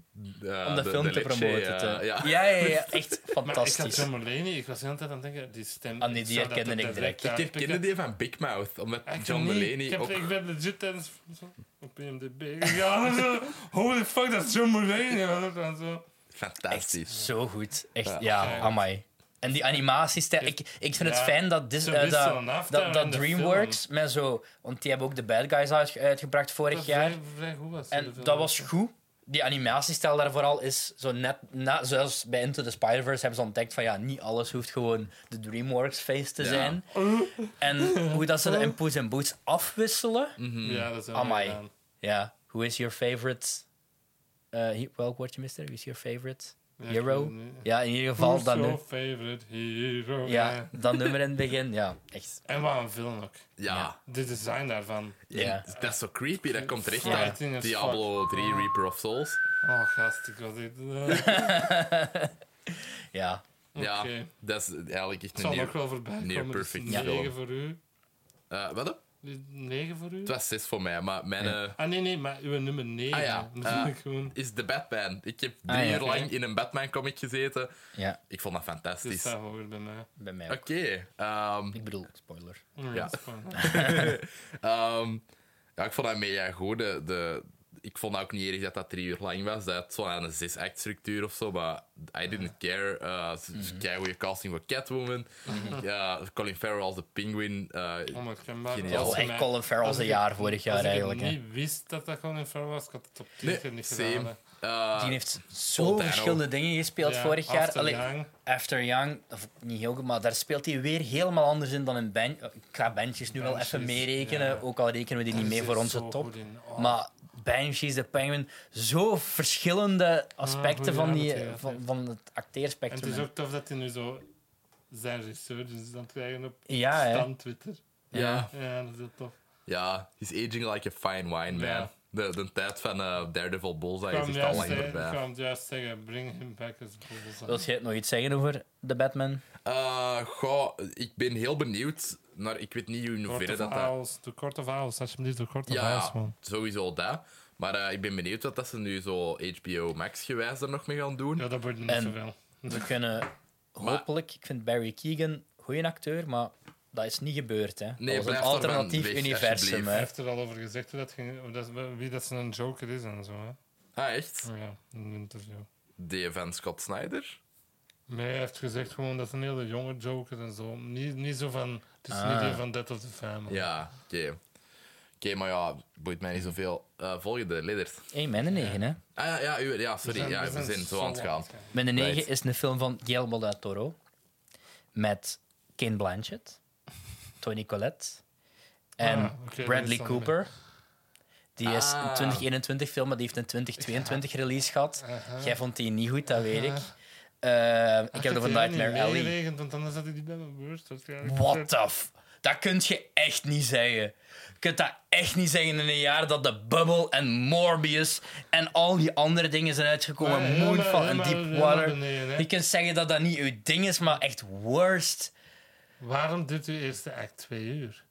[SPEAKER 1] eh,
[SPEAKER 3] Om de, film te
[SPEAKER 1] leche,
[SPEAKER 3] promoten.
[SPEAKER 1] eh,
[SPEAKER 3] te-
[SPEAKER 1] ja.
[SPEAKER 3] ja, ja, ja,
[SPEAKER 2] (laughs)
[SPEAKER 3] echt
[SPEAKER 2] Maar ik had
[SPEAKER 3] fantastisch.
[SPEAKER 2] John Mulaney, ik was de hele tijd aan het denken, die stem...
[SPEAKER 3] Ah, nee, die
[SPEAKER 2] zou dat
[SPEAKER 3] herkende
[SPEAKER 2] er
[SPEAKER 1] Ik
[SPEAKER 3] ik direct.
[SPEAKER 1] herkende die van Big Mouth, omdat
[SPEAKER 2] Echt
[SPEAKER 1] John
[SPEAKER 2] niet. Ik,
[SPEAKER 1] Mulaney
[SPEAKER 2] heb,
[SPEAKER 1] ook...
[SPEAKER 2] ik ben legit tijdens zo op IMDb gegaan. en (laughs) zo. Holy fuck, dat is John Mulaney. man. En zo.
[SPEAKER 1] Fantastisch.
[SPEAKER 3] Zo goed. Echt,
[SPEAKER 1] Ja.
[SPEAKER 3] ja,
[SPEAKER 2] Ja.
[SPEAKER 3] amai. En die animatiestijl. Ik, ik vind het
[SPEAKER 2] Ja,
[SPEAKER 3] fijn dat, Dis-
[SPEAKER 2] ze
[SPEAKER 3] eh,
[SPEAKER 2] wisselen
[SPEAKER 3] dat,
[SPEAKER 2] af
[SPEAKER 3] dat,
[SPEAKER 2] daar
[SPEAKER 3] dat
[SPEAKER 2] in de
[SPEAKER 3] DreamWorks met zo. Want die hebben ook de Bad Guys uitge- uitgebracht vorig
[SPEAKER 2] Dat
[SPEAKER 3] jaar.
[SPEAKER 2] Vrij, vrij goed was.
[SPEAKER 3] En dat was goed. Die animatiestijl daar vooral is zo net... Na, zoals bij Into the Spider-Verse hebben ze ontdekt van ja, niet alles hoeft gewoon de DreamWorks-face te
[SPEAKER 1] Ja.
[SPEAKER 3] zijn. En hoe dat ze de in Poes en Boots afwisselen.
[SPEAKER 1] Mhm, Mm.
[SPEAKER 2] Ja, dat is wel
[SPEAKER 3] Amai.
[SPEAKER 2] gedaan.
[SPEAKER 3] Ja, who is your favorite... eh he- welk woordje, mister? Who is your favorite
[SPEAKER 2] Ja, ik
[SPEAKER 3] hero?
[SPEAKER 2] weet het niet.
[SPEAKER 3] Ja, in ieder geval
[SPEAKER 2] Who's
[SPEAKER 3] dat,
[SPEAKER 2] your
[SPEAKER 3] nu,
[SPEAKER 2] favorite hero?
[SPEAKER 3] ja, dat nummer in het begin. Ja, echt.
[SPEAKER 2] En wat een film ook.
[SPEAKER 1] Ja.
[SPEAKER 2] De design daarvan.
[SPEAKER 3] Ja.
[SPEAKER 1] En Dat is zo creepy, dat komt terecht
[SPEAKER 2] Ja.
[SPEAKER 1] uit Diablo 3 Reaper of Souls.
[SPEAKER 2] Oh, gast, ik was dit. eh,
[SPEAKER 3] Ja.
[SPEAKER 1] Ja,
[SPEAKER 2] Oké.
[SPEAKER 1] dat is eigenlijk echt
[SPEAKER 2] Het
[SPEAKER 1] een
[SPEAKER 2] zal
[SPEAKER 1] nieuw...
[SPEAKER 2] nog wel voorbij
[SPEAKER 1] near
[SPEAKER 2] komen. Dus
[SPEAKER 1] perfect
[SPEAKER 2] negen
[SPEAKER 1] film.
[SPEAKER 2] voor u.
[SPEAKER 1] Eh, wat?
[SPEAKER 2] negen voor u?
[SPEAKER 1] Het was 6 voor mij, maar mijn... eh,
[SPEAKER 2] Ah, nee, nee, maar uw nummer 9.
[SPEAKER 1] Ah ja,
[SPEAKER 2] Moet
[SPEAKER 1] eh,
[SPEAKER 2] ik gewoon...
[SPEAKER 1] is de Batman. Ik heb drie
[SPEAKER 3] Ah, ja.
[SPEAKER 1] uur lang in een Batman-comic gezeten.
[SPEAKER 3] Ja,
[SPEAKER 1] Ik vond dat
[SPEAKER 2] Die
[SPEAKER 1] fantastisch.
[SPEAKER 2] staat hoger bij mij.
[SPEAKER 3] bij mij ook.
[SPEAKER 1] Oké. ehm,
[SPEAKER 3] Ik bedoel, spoiler.
[SPEAKER 2] Ja. (laughs) dat is fijn.
[SPEAKER 1] ehm, ja, ik vond dat mega goed. De, de- ik vond dat ook niet erg dat dat drie uur lang was. Dat had zo aan een zes-act-structuur of zo, maar I didn't care. Eh
[SPEAKER 3] Mhm.
[SPEAKER 1] goede casting voor Catwoman. Ja, Colin Farrell als de Penguin. eh,
[SPEAKER 2] Onherkenbaar.
[SPEAKER 1] Geniaal.
[SPEAKER 3] Dat
[SPEAKER 1] Als
[SPEAKER 3] was
[SPEAKER 1] je
[SPEAKER 3] echt Oh, Colin Farrell's jaar, vorig jaar eigenlijk.
[SPEAKER 2] Als ik
[SPEAKER 3] hè.
[SPEAKER 2] het niet wist dat dat gewoon in Farrell was, ik had het op
[SPEAKER 1] nee,
[SPEAKER 2] Twitter niet gedaan.
[SPEAKER 1] same.
[SPEAKER 2] hè.
[SPEAKER 1] Eh,
[SPEAKER 3] Die heeft zo
[SPEAKER 1] Voltano.
[SPEAKER 3] verschillende dingen gespeeld
[SPEAKER 2] Ja,
[SPEAKER 3] vorig jaar.
[SPEAKER 2] After
[SPEAKER 3] Allee,
[SPEAKER 2] Young.
[SPEAKER 3] After Young, of niet heel goed, maar daar speelt hij weer helemaal anders in dan in Ben. Ik ga Benchies nu wel even
[SPEAKER 2] Banshees,
[SPEAKER 3] meerekenen,
[SPEAKER 2] ja.
[SPEAKER 3] ook al rekenen we die niet
[SPEAKER 2] Daar
[SPEAKER 3] mee
[SPEAKER 2] zit
[SPEAKER 3] voor
[SPEAKER 2] dus zo
[SPEAKER 3] onze top.
[SPEAKER 2] goed in. Oh.
[SPEAKER 3] Maar Banshees, de Penguin, zo verschillende aspecten
[SPEAKER 2] Ah, goeie
[SPEAKER 3] van,
[SPEAKER 2] raad,
[SPEAKER 3] die,
[SPEAKER 2] ja, ja.
[SPEAKER 3] van, van het
[SPEAKER 2] En het
[SPEAKER 3] acteerspectrum.
[SPEAKER 2] is ook tof dat hij nu zo zijn resurgence is aan het krijgen op
[SPEAKER 3] Ja, hè.
[SPEAKER 2] stan Twitter.
[SPEAKER 1] ja,
[SPEAKER 2] Ja, dat is heel tof.
[SPEAKER 1] ja, he's aging like a fine wine, man.
[SPEAKER 2] Ja.
[SPEAKER 1] De, de tijd van eh, Daredevil Bullseye
[SPEAKER 2] Ik
[SPEAKER 1] is
[SPEAKER 2] kwam
[SPEAKER 1] echt al
[SPEAKER 2] juist
[SPEAKER 1] lang
[SPEAKER 2] zeggen- ik
[SPEAKER 1] voorbij.
[SPEAKER 2] kwam juist zeggen, bring him back as
[SPEAKER 3] Wil
[SPEAKER 2] Bullseye.
[SPEAKER 3] jij nog iets zeggen over de Batman?
[SPEAKER 1] Eh, goh, ik ben heel benieuwd, maar ik weet niet hoe in
[SPEAKER 2] Court
[SPEAKER 1] hoeverre
[SPEAKER 2] of
[SPEAKER 1] dat dat...
[SPEAKER 2] Owls, de Court of Owls, alsjeblieft, de Court of
[SPEAKER 1] Ja,
[SPEAKER 2] Owls,
[SPEAKER 1] ja,
[SPEAKER 2] man.
[SPEAKER 1] sowieso dat. Maar eh, ik ben benieuwd wat dat ze nu zo HBO Max gewijs er nog mee gaan doen.
[SPEAKER 2] Ja, dat wordt niet
[SPEAKER 3] En-
[SPEAKER 2] zoveel. (laughs)
[SPEAKER 3] We kunnen hopelijk, ik vind Barry Keegan goede acteur, maar dat is niet gebeurd. Hè.
[SPEAKER 1] Nee,
[SPEAKER 3] dat was een
[SPEAKER 1] blijf daar
[SPEAKER 3] alternatief
[SPEAKER 1] weg,
[SPEAKER 3] universum.
[SPEAKER 1] alsjeblieft.
[SPEAKER 3] Hè.
[SPEAKER 2] Hij heeft er al over gezegd hoe dat ging- hoe dat, wie dat zijn joker is en zo. Hè.
[SPEAKER 1] Ah, echt?
[SPEAKER 2] Ja, in een interview.
[SPEAKER 1] Die van Scott Snyder?
[SPEAKER 2] Nee, hij heeft gezegd gewoon dat is een hele jonge Joker en zo. Niet, niet zo van. Het is
[SPEAKER 3] Ah.
[SPEAKER 2] niet die van Dead of the Family.
[SPEAKER 1] Ja, oké. Oké, maar ja, boeit mij niet zoveel. Eh, volgende, leaders.
[SPEAKER 3] Eén met de negen, hè?
[SPEAKER 1] Ah ja, ja, u- ja sorry. ja, we zijn zo aan het gaan.
[SPEAKER 3] Met de negen
[SPEAKER 1] Right.
[SPEAKER 3] is een film van Guillermo del Toro met Kane Blanchett, Tony Collette en
[SPEAKER 2] Ah, oké, dat is
[SPEAKER 3] Bradley
[SPEAKER 2] dan
[SPEAKER 3] Cooper. Die is
[SPEAKER 1] Ah.
[SPEAKER 3] een 2021 film, maar die heeft een 2022 release gehad.
[SPEAKER 2] uh-huh.
[SPEAKER 3] Jij vond die niet goed, dat weet ik. Eh, ik heb er van Nightmare Alley.
[SPEAKER 2] want anders had ik die bij mijn beurs.
[SPEAKER 3] What the f... Dat kun je echt niet zeggen. Je kunt dat echt niet zeggen in een jaar dat de Bubble en Morbius en al die andere dingen zijn uitgekomen.
[SPEAKER 2] Nee, helemaal-
[SPEAKER 3] Moonfall en
[SPEAKER 2] helemaal-
[SPEAKER 3] Deepwater.
[SPEAKER 2] helemaal beneden, hè.
[SPEAKER 3] Je kunt zeggen dat dat niet uw ding is, maar echt worst.
[SPEAKER 2] Waarom duurt uw eerste act twee uur?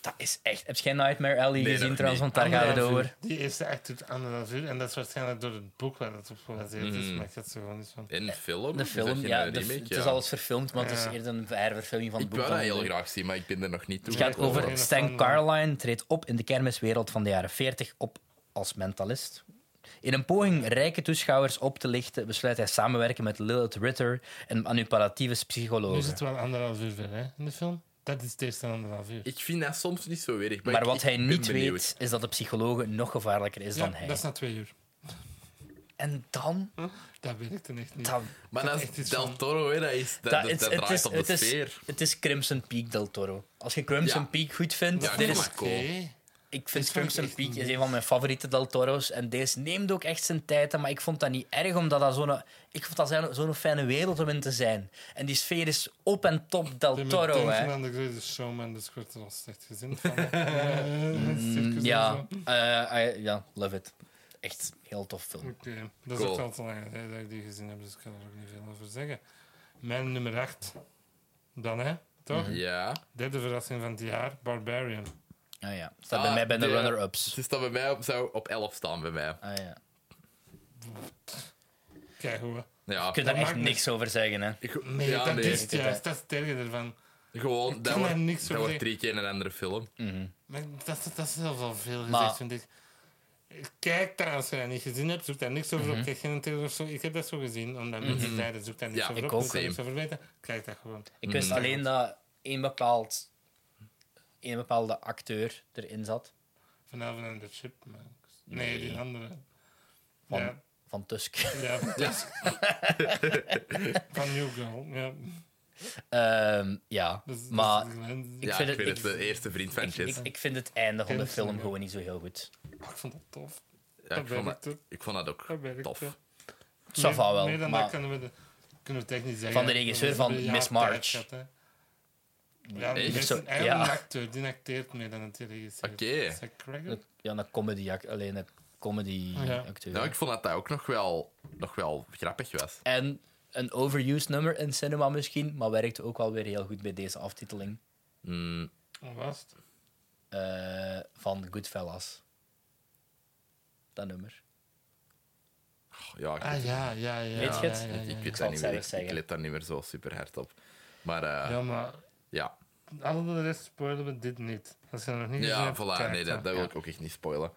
[SPEAKER 3] Dat is echt... Heb jij Nightmare Alley
[SPEAKER 1] Nee, Ah,
[SPEAKER 3] gezien
[SPEAKER 1] nog
[SPEAKER 3] trouwens?
[SPEAKER 1] niet.
[SPEAKER 3] Want daar gaat het
[SPEAKER 2] Anderhalf
[SPEAKER 3] over.
[SPEAKER 2] uur. Die eerste act duurt anderhalf uur. En dat is waarschijnlijk door het boek waar dat op gebaseerd
[SPEAKER 1] Mm.
[SPEAKER 2] is. Maar ik had ze gewoon niet van.
[SPEAKER 1] In de film?
[SPEAKER 3] De
[SPEAKER 1] Is dat
[SPEAKER 3] film,
[SPEAKER 1] geen
[SPEAKER 3] ja. de-
[SPEAKER 1] remake?
[SPEAKER 3] het
[SPEAKER 1] Ja.
[SPEAKER 3] is alles verfilmd, maar het is
[SPEAKER 2] Ja.
[SPEAKER 3] eerder een ververfilming van het
[SPEAKER 1] Ik
[SPEAKER 3] boek.
[SPEAKER 1] wil
[SPEAKER 3] dan
[SPEAKER 1] dat heel
[SPEAKER 3] de-
[SPEAKER 1] graag zien, maar ik ben er nog niet toe.
[SPEAKER 3] Het gaat
[SPEAKER 2] Nee, ik
[SPEAKER 3] over
[SPEAKER 2] hoor.
[SPEAKER 3] Stan
[SPEAKER 2] Geen fan van.
[SPEAKER 3] Carline treedt op in de kermiswereld van de jaren 40 op als mentalist. In een poging rijke toeschouwers op te lichten, besluit hij samenwerken met Lilith Ritter, een manipulatieve
[SPEAKER 2] Nu
[SPEAKER 3] psycholoog.
[SPEAKER 2] zitten we al anderhalf uur verder hè, in de film. Dat is het eerste anderhalf uur.
[SPEAKER 1] Ik vind dat soms niet zo erg. Maar,
[SPEAKER 3] Maar
[SPEAKER 1] ik-
[SPEAKER 3] wat
[SPEAKER 1] ik
[SPEAKER 3] hij
[SPEAKER 1] ben
[SPEAKER 3] niet
[SPEAKER 1] benieuwd.
[SPEAKER 3] weet, is dat de psycholoog nog gevaarlijker is
[SPEAKER 2] Ja,
[SPEAKER 3] dan hij.
[SPEAKER 2] dat is Hm? na twee uur.
[SPEAKER 3] En dan?
[SPEAKER 2] Dat werkte echt niet.
[SPEAKER 3] dan
[SPEAKER 1] Maar
[SPEAKER 2] Dat
[SPEAKER 1] dat is
[SPEAKER 2] is echt iets
[SPEAKER 1] Del
[SPEAKER 2] van-
[SPEAKER 1] Toro, hè, dat, is, dat,
[SPEAKER 3] dat
[SPEAKER 1] dat-
[SPEAKER 3] is-
[SPEAKER 1] dat
[SPEAKER 3] het
[SPEAKER 1] draait
[SPEAKER 3] is-
[SPEAKER 1] op de
[SPEAKER 3] het is-
[SPEAKER 1] sfeer.
[SPEAKER 3] het is Crimson Peak del Toro. Als je Crimson
[SPEAKER 1] Ja.
[SPEAKER 3] Peak goed vindt,
[SPEAKER 1] Ja,
[SPEAKER 3] dit
[SPEAKER 1] ik
[SPEAKER 3] is
[SPEAKER 1] vond dat cool.
[SPEAKER 2] Oké.
[SPEAKER 3] Ik vind
[SPEAKER 2] Dit vond ik
[SPEAKER 3] Crimson
[SPEAKER 2] echt
[SPEAKER 3] Peak is
[SPEAKER 2] niks.
[SPEAKER 3] een van mijn favoriete Del Toro's. En deze neemt ook echt zijn tijd. hè, Maar ik vond dat niet erg, omdat dat zo'n... Ik vond dat zo'n- zo'n fijne wereld om in te zijn. En die sfeer is op en top Del
[SPEAKER 2] De
[SPEAKER 3] Toro,
[SPEAKER 2] McDonald's
[SPEAKER 3] hè.
[SPEAKER 2] van de Greatest Showman, dus ik werd er al slecht (laughs) gezien van.
[SPEAKER 1] Mm,
[SPEAKER 2] Eh, met circus en
[SPEAKER 3] Mm, Ja,
[SPEAKER 2] zo.
[SPEAKER 3] eh, I- ja, love it. Echt een heel tof film.
[SPEAKER 2] Oké, dat is
[SPEAKER 1] Cool.
[SPEAKER 2] ook al te lang geleden dat ik die gezien heb, dus ik kan er ook niet veel over zeggen. Mijn nummer 8. Dan hè, toch?
[SPEAKER 1] Ja.
[SPEAKER 2] Derde verrassing van het jaar, Barbarian.
[SPEAKER 3] Ah ja, staat
[SPEAKER 1] Ah,
[SPEAKER 3] bij mij bij de
[SPEAKER 1] de-
[SPEAKER 3] runner-ups.
[SPEAKER 1] Ze staan bij mij op, zou op 11 staan bij mij.
[SPEAKER 3] Ah, ja.
[SPEAKER 2] Kijk hoe.
[SPEAKER 3] Je
[SPEAKER 1] Ja.
[SPEAKER 3] kunt
[SPEAKER 2] dat
[SPEAKER 3] daar echt
[SPEAKER 2] maakt me-
[SPEAKER 3] niks over zeggen, hè.
[SPEAKER 1] Ik-
[SPEAKER 2] Nee,
[SPEAKER 1] ja,
[SPEAKER 2] dat
[SPEAKER 1] nee.
[SPEAKER 2] is het
[SPEAKER 3] Ik-
[SPEAKER 2] juist, dat is het erge ervan.
[SPEAKER 1] Gewoon,
[SPEAKER 2] Ik
[SPEAKER 1] dat
[SPEAKER 2] kan
[SPEAKER 1] wordt,
[SPEAKER 2] daar niks
[SPEAKER 1] dat
[SPEAKER 2] over
[SPEAKER 1] wordt drie keer een andere film.
[SPEAKER 2] Maar dat, dat is zelfs al veel gezegd,
[SPEAKER 3] Maar-
[SPEAKER 2] vind ik. Kijk daar, als je dat niet gezien hebt, zoek daar niks over
[SPEAKER 1] Mhm.
[SPEAKER 2] op. Kijk geen trailer of zo. Ik heb dat zo gezien, omdat mensen zeiden, zoek daar niks
[SPEAKER 1] Ja,
[SPEAKER 2] over
[SPEAKER 1] ik
[SPEAKER 2] op.
[SPEAKER 1] ook.
[SPEAKER 2] zoek daar niks
[SPEAKER 1] Same.
[SPEAKER 2] over weten. Kijk dat gewoon.
[SPEAKER 3] Ik wist
[SPEAKER 1] Mhm.
[SPEAKER 3] alleen dat één bepaald... één bepaalde acteur erin zat.
[SPEAKER 2] Vanavond aan de chip. maar- Nee, die andere.
[SPEAKER 3] Van,
[SPEAKER 2] Ja,
[SPEAKER 3] van Tusk. (laughs)
[SPEAKER 2] ja, (laughs) van New Girl. Ja,
[SPEAKER 3] Ehm, ja,
[SPEAKER 2] dat is-
[SPEAKER 3] maar...
[SPEAKER 2] dat is-
[SPEAKER 3] Ik
[SPEAKER 1] ja,
[SPEAKER 3] vind
[SPEAKER 1] ik
[SPEAKER 3] het-
[SPEAKER 1] vind het
[SPEAKER 3] ik-
[SPEAKER 1] de eerste vriend van
[SPEAKER 3] Ik, ik,
[SPEAKER 1] Jess.
[SPEAKER 3] ik vind het einde van de
[SPEAKER 2] Kennis,
[SPEAKER 3] film
[SPEAKER 2] ja.
[SPEAKER 3] gewoon niet zo heel goed.
[SPEAKER 2] Ah, ik vond dat tof.
[SPEAKER 1] Ja, ik,
[SPEAKER 2] dat
[SPEAKER 1] vond
[SPEAKER 2] werkt,
[SPEAKER 1] dat, ik vond dat ook
[SPEAKER 2] Dat werkt,
[SPEAKER 1] tof.
[SPEAKER 2] ja.
[SPEAKER 3] Ça va
[SPEAKER 2] Meer-
[SPEAKER 3] wel,
[SPEAKER 2] Meer dan
[SPEAKER 3] maar-
[SPEAKER 2] dat kunnen we, de, kunnen we technisch zeggen.
[SPEAKER 3] Van de regisseur
[SPEAKER 2] Dat is
[SPEAKER 3] van
[SPEAKER 2] een jaar
[SPEAKER 3] Miss March.
[SPEAKER 2] tijd gehad, hè. Ja,
[SPEAKER 1] Echt?
[SPEAKER 2] dat is
[SPEAKER 3] Zo,
[SPEAKER 2] een eigen
[SPEAKER 3] ja.
[SPEAKER 2] acteur. Die acteert meer dan het die regisseert.
[SPEAKER 1] Oké.
[SPEAKER 2] Is dat correct?
[SPEAKER 3] Ja, een comedy, act- alleen een comedy
[SPEAKER 2] Ja.
[SPEAKER 3] acteur.
[SPEAKER 1] Nou, ik vond dat dat ook nog wel, nog wel grappig was.
[SPEAKER 3] En een overused nummer in cinema misschien, maar werkt ook wel weer heel goed bij deze aftiteling
[SPEAKER 1] Mm,
[SPEAKER 2] Wat was het?
[SPEAKER 3] eh, van Goodfellas. Dat nummer.
[SPEAKER 1] ja, ik,
[SPEAKER 2] Ah ja, ja, ja.
[SPEAKER 3] Weet je het?
[SPEAKER 2] Ja, ja,
[SPEAKER 1] ik, ik
[SPEAKER 2] ja,
[SPEAKER 1] weet
[SPEAKER 3] zal
[SPEAKER 1] dat
[SPEAKER 3] het
[SPEAKER 1] niet
[SPEAKER 3] zelf
[SPEAKER 1] meer. Ik- Ik,
[SPEAKER 3] zeggen.
[SPEAKER 1] let daar niet meer zo super hard op. Maar
[SPEAKER 2] ja.
[SPEAKER 1] eh,
[SPEAKER 2] Ja, maar
[SPEAKER 1] ja.
[SPEAKER 2] alle de rest spoilen we dit niet. Als je dat nog niet
[SPEAKER 1] Ja,
[SPEAKER 2] gezien hebt,
[SPEAKER 1] voilà.
[SPEAKER 2] kijk
[SPEAKER 1] Nee, dat, dat wil ik ook echt niet spoilen.